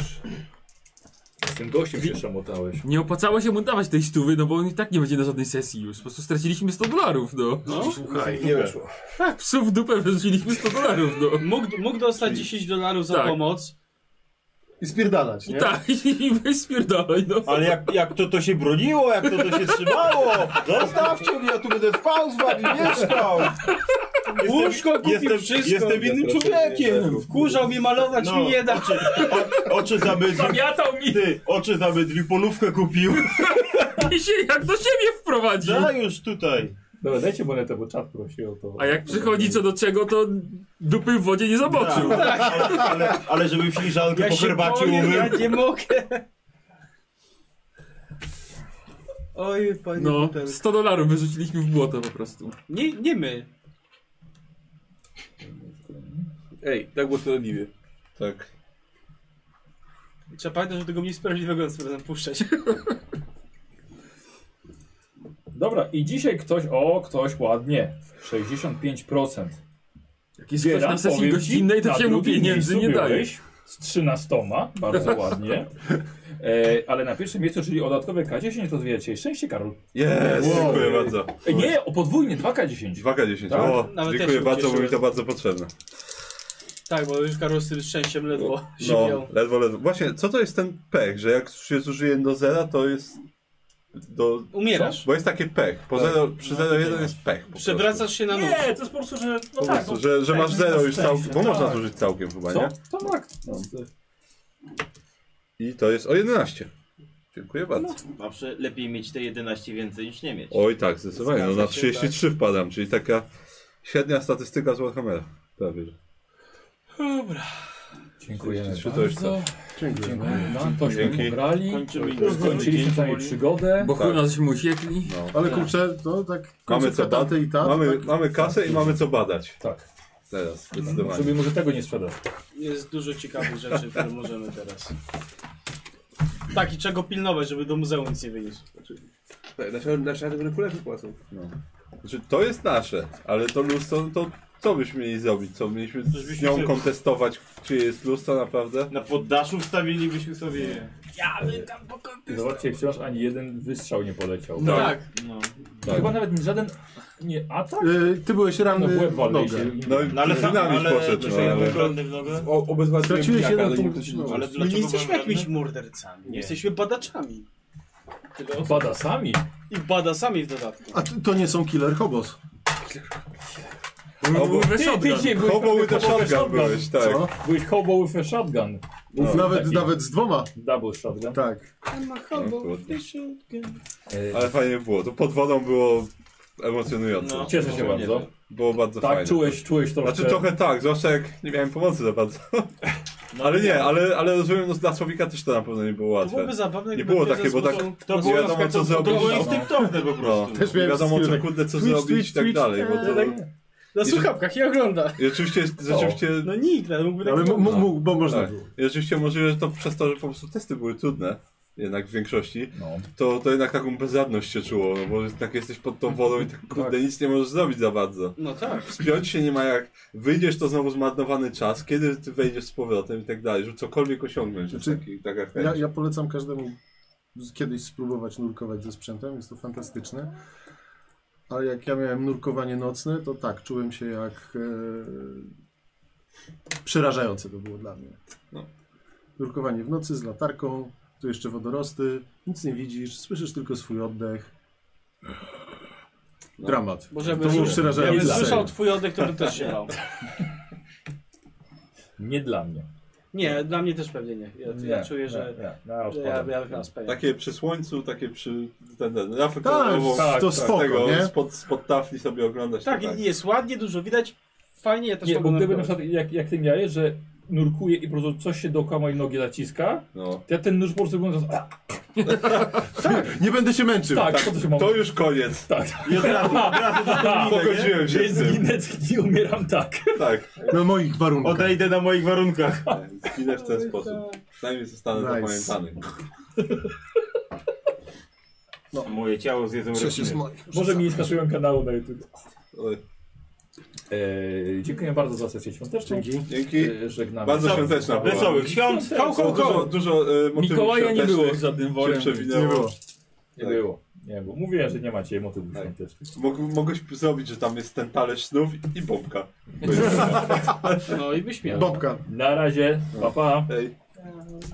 [SPEAKER 2] Z tym gościem się szamotałeś.
[SPEAKER 3] Nie opłacało się mu dawać tej stówy, no bo on i tak nie będzie na żadnej sesji już. Po prostu straciliśmy 100 dolarów, no.
[SPEAKER 7] Słuchaj, nie weszło.
[SPEAKER 3] Tak, psów w dupę wyrzuciliśmy 100 dolarów, no.
[SPEAKER 9] Mógł, mógł dostać 10 dolarów za
[SPEAKER 3] Tak.
[SPEAKER 9] pomoc.
[SPEAKER 6] I spierdalać,
[SPEAKER 3] I
[SPEAKER 6] nie?
[SPEAKER 3] tak, i weź spierdalaj, no.
[SPEAKER 10] Ale jak, jak to to się broniło, jak to to się trzymało! No, Zostawcie mnie, ja tu będę spał z wami, mieszkał!
[SPEAKER 9] Łóżko kupił
[SPEAKER 10] jestem,
[SPEAKER 9] wszystko.
[SPEAKER 10] Jestem innym człowiekiem!
[SPEAKER 9] Wkurzał mnie malować,
[SPEAKER 10] No.
[SPEAKER 9] mi nie da.
[SPEAKER 10] Oczy, o, oczy zamydlił,
[SPEAKER 3] Zamiatał mi
[SPEAKER 10] ty, oczy zamydlił, polówkę kupił.
[SPEAKER 3] i się jak do siebie wprowadził.
[SPEAKER 8] Tak.
[SPEAKER 10] Da No, już tutaj.
[SPEAKER 2] Dobra, dajcie monetę, bo czat prosi o to.
[SPEAKER 3] A jak przychodzi co do czego, to dupy w wodzie nie
[SPEAKER 8] Tak.
[SPEAKER 3] zobaczył.
[SPEAKER 10] Ale, ale, ale żeby filiżankę
[SPEAKER 9] Ja
[SPEAKER 10] po
[SPEAKER 9] się
[SPEAKER 10] herbacie
[SPEAKER 9] boję, ja
[SPEAKER 10] umył.
[SPEAKER 9] nie mogę. Oj, panie
[SPEAKER 3] No,
[SPEAKER 9] Butel.
[SPEAKER 3] 100 dolarów wyrzuciliśmy w błoto po prostu.
[SPEAKER 9] Nie, nie my.
[SPEAKER 23] Ej, tak było sprawiedliwie.
[SPEAKER 8] Tak.
[SPEAKER 9] Trzeba pamiętać, że tego mniej sprawiedliwego z powrotem puszczać.
[SPEAKER 2] Dobra, i dzisiaj ktoś, o, ktoś ładnie. 65%.
[SPEAKER 3] Jak jest ktoś na sesji
[SPEAKER 2] powiem
[SPEAKER 3] gościnnej,
[SPEAKER 2] na
[SPEAKER 3] to się mu
[SPEAKER 2] drugim
[SPEAKER 3] pieniędzy
[SPEAKER 2] miejscu
[SPEAKER 3] nie daje.
[SPEAKER 2] byłeś Z 13, bardzo ładnie. E, ale na pierwszym miejscu, czyli o dodatkowe K10, rozwija cię szczęście, Karol.
[SPEAKER 8] Jest,
[SPEAKER 6] Wow.
[SPEAKER 8] dziękuję bardzo.
[SPEAKER 2] E, nie, o podwójnie, 2K10.
[SPEAKER 8] 2K10.
[SPEAKER 2] Tak?
[SPEAKER 8] O,
[SPEAKER 9] Nawet też
[SPEAKER 8] dziękuję
[SPEAKER 9] się
[SPEAKER 8] bardzo, bo mi to
[SPEAKER 9] ucieszyłem.
[SPEAKER 8] bardzo potrzebne.
[SPEAKER 9] Tak, bo już Karol z tym szczęściem ledwo
[SPEAKER 8] No,
[SPEAKER 9] żywią.
[SPEAKER 8] ledwo, ledwo. Właśnie, co to jest ten pech, że jak się zużyje do zera, to jest... Do...
[SPEAKER 9] Umierasz.
[SPEAKER 8] Bo jest taki pech. Po zero, przy 0,1 jest pech. po prostu.
[SPEAKER 9] Przewracasz się na nóż.
[SPEAKER 25] Nie, to jest po prostu, że. No
[SPEAKER 8] Po
[SPEAKER 25] tak.
[SPEAKER 8] prostu, że, że masz zero już całkiem, bo można
[SPEAKER 25] to.
[SPEAKER 2] tak.
[SPEAKER 8] zużyć całkiem chyba,
[SPEAKER 2] Co?
[SPEAKER 8] nie?
[SPEAKER 2] Tak, tak.
[SPEAKER 8] I to jest o 11. Dziękuję bardzo.
[SPEAKER 10] Zawsze lepiej mieć te 11 więcej niż nie mieć.
[SPEAKER 8] Oj tak, zdecydowanie. No,
[SPEAKER 7] Zgadza
[SPEAKER 8] na
[SPEAKER 7] się,
[SPEAKER 8] 33 wpadam, czyli taka średnia statystyka z Warhammera. Prawie. że.
[SPEAKER 2] Dziękujemy
[SPEAKER 8] Czy to
[SPEAKER 2] bardzo.
[SPEAKER 8] jest
[SPEAKER 2] Dziękuję No, wam, tośmy
[SPEAKER 8] Dzięki.
[SPEAKER 2] grali.
[SPEAKER 10] Kończymy
[SPEAKER 2] Skończyliśmy tutaj przygodę.
[SPEAKER 27] Bo chuj
[SPEAKER 8] Tak.
[SPEAKER 27] nas musiekli.
[SPEAKER 6] Ale kurczę, to tak
[SPEAKER 8] Mamy co,
[SPEAKER 6] końcówka daty i ta,
[SPEAKER 8] mamy,
[SPEAKER 6] tak,
[SPEAKER 8] mamy kasę i mamy co badać.
[SPEAKER 2] Tak.
[SPEAKER 8] Teraz, zdecydowanie.
[SPEAKER 2] Sobie może tego nie sprzedać.
[SPEAKER 9] Jest dużo ciekawych rzeczy, które możemy teraz. Tak, i czego pilnować, żeby do muzeum nic nie wynieść.
[SPEAKER 7] Nasze, nasze rady w kulerzy płacą.
[SPEAKER 8] Znaczy, to jest nasze, ale to lustro, to co byśmy mieli zrobić? Co mieliśmy z
[SPEAKER 10] Żebyśmy
[SPEAKER 8] nią
[SPEAKER 10] się-
[SPEAKER 8] kontestować, czy jest lustro naprawdę?
[SPEAKER 10] Na poddaszu wstawilibyśmy sobie.
[SPEAKER 2] Zobaczcie, jak wciąż ani jeden wystrzał nie poleciał.
[SPEAKER 6] No.
[SPEAKER 9] Tak.
[SPEAKER 10] No,
[SPEAKER 8] Tak.
[SPEAKER 2] Chyba nawet żaden. Nie, atak?
[SPEAKER 6] Y, Ty byłeś ranny
[SPEAKER 2] No w łeb
[SPEAKER 6] w
[SPEAKER 2] walnej się.
[SPEAKER 6] nogę.
[SPEAKER 8] No i
[SPEAKER 10] no ale sam,
[SPEAKER 8] dynamit
[SPEAKER 10] ale,
[SPEAKER 8] poszedł, no,
[SPEAKER 10] dlaczego ja
[SPEAKER 8] ale...
[SPEAKER 10] byłem ranny w nogę?
[SPEAKER 7] O, obezwładniłem
[SPEAKER 6] Straciłeś
[SPEAKER 7] pijaka,
[SPEAKER 6] jeden
[SPEAKER 7] ale nie
[SPEAKER 6] punkt No.
[SPEAKER 7] ktoś inny.
[SPEAKER 6] siły.
[SPEAKER 10] Ale
[SPEAKER 9] My
[SPEAKER 10] dlaczego
[SPEAKER 9] nie jesteśmy
[SPEAKER 10] byłem
[SPEAKER 9] jakimiś
[SPEAKER 10] ranny?
[SPEAKER 9] mordercami.
[SPEAKER 10] Nie.
[SPEAKER 9] Jesteśmy badaczami.
[SPEAKER 2] Pada No, sami.
[SPEAKER 9] I badasami w dodatku.
[SPEAKER 6] A t- to nie są killer hobos.
[SPEAKER 8] Hobo-
[SPEAKER 27] Mówię
[SPEAKER 2] Ty, ty
[SPEAKER 27] shotgun.
[SPEAKER 2] dzisiaj byłeś
[SPEAKER 8] Hobo
[SPEAKER 2] hobo
[SPEAKER 8] with a shotgun byłeś, tak.
[SPEAKER 6] Co?
[SPEAKER 2] Byłeś hobo with a shotgun.
[SPEAKER 6] Mów nawet,
[SPEAKER 2] taki.
[SPEAKER 6] nawet z dwoma.
[SPEAKER 2] Double shotgun.
[SPEAKER 6] Tak.
[SPEAKER 8] No, kurde. ale fajnie było, to pod wodą było emocjonujące.
[SPEAKER 10] No.
[SPEAKER 2] Cieszę się
[SPEAKER 10] Nie
[SPEAKER 2] bardzo.
[SPEAKER 10] wiem.
[SPEAKER 8] Było bardzo
[SPEAKER 2] Tak,
[SPEAKER 8] fajne.
[SPEAKER 2] czułeś, czułeś troszkę.
[SPEAKER 8] Znaczy trochę tak, zwłaszcza jak nie miałem pomocy za bardzo. ale nie, ale, ale rozumiem, no, dla Słowika też to na pewno nie było
[SPEAKER 9] To
[SPEAKER 8] łatwe.
[SPEAKER 9] byłoby zabawne,
[SPEAKER 8] Nie
[SPEAKER 9] gdyby
[SPEAKER 8] było
[SPEAKER 9] ktoś
[SPEAKER 8] takie,
[SPEAKER 9] ze
[SPEAKER 8] bo tak
[SPEAKER 9] zmusą-
[SPEAKER 10] To
[SPEAKER 8] Nie
[SPEAKER 10] było,
[SPEAKER 8] wiadomo,
[SPEAKER 10] to,
[SPEAKER 8] co
[SPEAKER 10] to
[SPEAKER 8] zrobić,
[SPEAKER 10] było
[SPEAKER 8] no.
[SPEAKER 10] instynktowne po
[SPEAKER 8] No,
[SPEAKER 10] prostu.
[SPEAKER 6] Też
[SPEAKER 8] nie
[SPEAKER 6] miałem
[SPEAKER 8] wiadomo
[SPEAKER 6] wszystkie
[SPEAKER 8] co
[SPEAKER 6] tak
[SPEAKER 8] kurde, co
[SPEAKER 6] Twitch,
[SPEAKER 8] zrobić i
[SPEAKER 6] Twitch,
[SPEAKER 8] tak dalej, bo to...
[SPEAKER 6] Twitch.
[SPEAKER 9] Na słuchawkach nie ogląda.
[SPEAKER 8] I oczywiście, rzeczywiście,
[SPEAKER 9] No nikt, ale mógłby tak
[SPEAKER 6] Ale
[SPEAKER 9] zrobić.
[SPEAKER 6] m- m- mógł, bo można
[SPEAKER 8] tak.
[SPEAKER 6] było.
[SPEAKER 8] I oczywiście możliwe, że to przez to, że po prostu testy były trudne, jednak w większości,
[SPEAKER 2] No.
[SPEAKER 8] to, to jednak taką bezradność się czuło, no bo tak jesteś pod tą wodą i tak kurde, nic nie możesz zrobić za bardzo.
[SPEAKER 9] No tak.
[SPEAKER 8] Wspiąć się nie ma jak, wyjdziesz to znowu zmarnowany czas, kiedy ty wejdziesz z powrotem i tak dalej, żeby cokolwiek osiągnąć, to
[SPEAKER 6] Znaczy,
[SPEAKER 8] jest taki, tak taka chęć.
[SPEAKER 6] Ja, ja polecam każdemu z- kiedyś spróbować nurkować ze sprzętem, jest to fantastyczne. Ale jak ja miałem nurkowanie nocne, to tak, czułem się jak... E, przerażające to było dla mnie.
[SPEAKER 8] No.
[SPEAKER 6] Nurkowanie w nocy z latarką, tu jeszcze wodorosty, nic nie widzisz, słyszysz tylko swój oddech. Dramat.
[SPEAKER 9] Możemy
[SPEAKER 6] To było
[SPEAKER 9] już.
[SPEAKER 6] przerażające.
[SPEAKER 9] Jakbym
[SPEAKER 6] Serio.
[SPEAKER 9] słyszał twój oddech, to bym też się bał.
[SPEAKER 2] Nie dla mnie.
[SPEAKER 9] Nie, dla mnie też pewnie nie. Ja,
[SPEAKER 2] Nie,
[SPEAKER 9] ja czuję,
[SPEAKER 2] nie, Tak,
[SPEAKER 9] że
[SPEAKER 2] nie. Ja
[SPEAKER 9] że ja,
[SPEAKER 2] odpadam.
[SPEAKER 9] ja chyba spełnię.
[SPEAKER 8] Takie przy słońcu, takie przy... ten, ten, Rafek
[SPEAKER 6] Tak,
[SPEAKER 8] obok
[SPEAKER 6] tak, to
[SPEAKER 2] tak,
[SPEAKER 6] spoko,
[SPEAKER 8] tego,
[SPEAKER 6] nie?
[SPEAKER 8] spod, spod tafli sobie oglądać.
[SPEAKER 9] Tak, i jest ładnie, dużo widać. Fajnie, ja też
[SPEAKER 2] Nie,
[SPEAKER 9] mogę
[SPEAKER 2] bo gdyby na
[SPEAKER 9] nurkować.
[SPEAKER 2] przykład jak, jak ty miałeś, że nurkuję i po prostu coś się dookoła mojej nogi zaciska,
[SPEAKER 8] No.
[SPEAKER 2] to ja ten nóż po prostu wyglądam. Tak,
[SPEAKER 6] Nie będę się męczył.
[SPEAKER 2] tak, po to się mam.
[SPEAKER 8] To już koniec.
[SPEAKER 2] Tak.
[SPEAKER 10] I od razu, od razu do
[SPEAKER 2] Tak.
[SPEAKER 8] Pogodziłem się z tym.
[SPEAKER 2] Zginę, zginę, umieram tak.
[SPEAKER 8] Tak,
[SPEAKER 6] Na No, moich warunkach.
[SPEAKER 10] Odejdę na moich warunkach.
[SPEAKER 8] zginę w ten sposób. Przynajmniej zostanę
[SPEAKER 6] Nice.
[SPEAKER 8] zapamiętany.
[SPEAKER 10] Moje ciało zjedzą rekiny.
[SPEAKER 2] Może mi nie skasują kanału na YouTube.
[SPEAKER 8] Oj,
[SPEAKER 2] Eee, dziękuję bardzo za sesję świąteczną.
[SPEAKER 8] Dzięki.
[SPEAKER 2] Eee, żegnamy.
[SPEAKER 8] Bardzo
[SPEAKER 10] Wesoły-
[SPEAKER 8] świąteczna była.
[SPEAKER 10] Wesołych świąt.
[SPEAKER 8] Było Dużo, dużo e, motywów
[SPEAKER 3] Mikołaja nie
[SPEAKER 8] świątecznych
[SPEAKER 3] było z żadnym
[SPEAKER 8] się
[SPEAKER 3] worem.
[SPEAKER 8] przewinęło.
[SPEAKER 6] Nie było.
[SPEAKER 2] Nie było. Nie było. Mówiłem, że nie macie motywów
[SPEAKER 8] Tak.
[SPEAKER 2] świątecznych.
[SPEAKER 8] Mog, mogłeś zrobić, że tam jest ten talerz snów i bombka.
[SPEAKER 9] No i byś miał.
[SPEAKER 6] Bobka.
[SPEAKER 2] Na razie, pa pa.
[SPEAKER 8] Ej.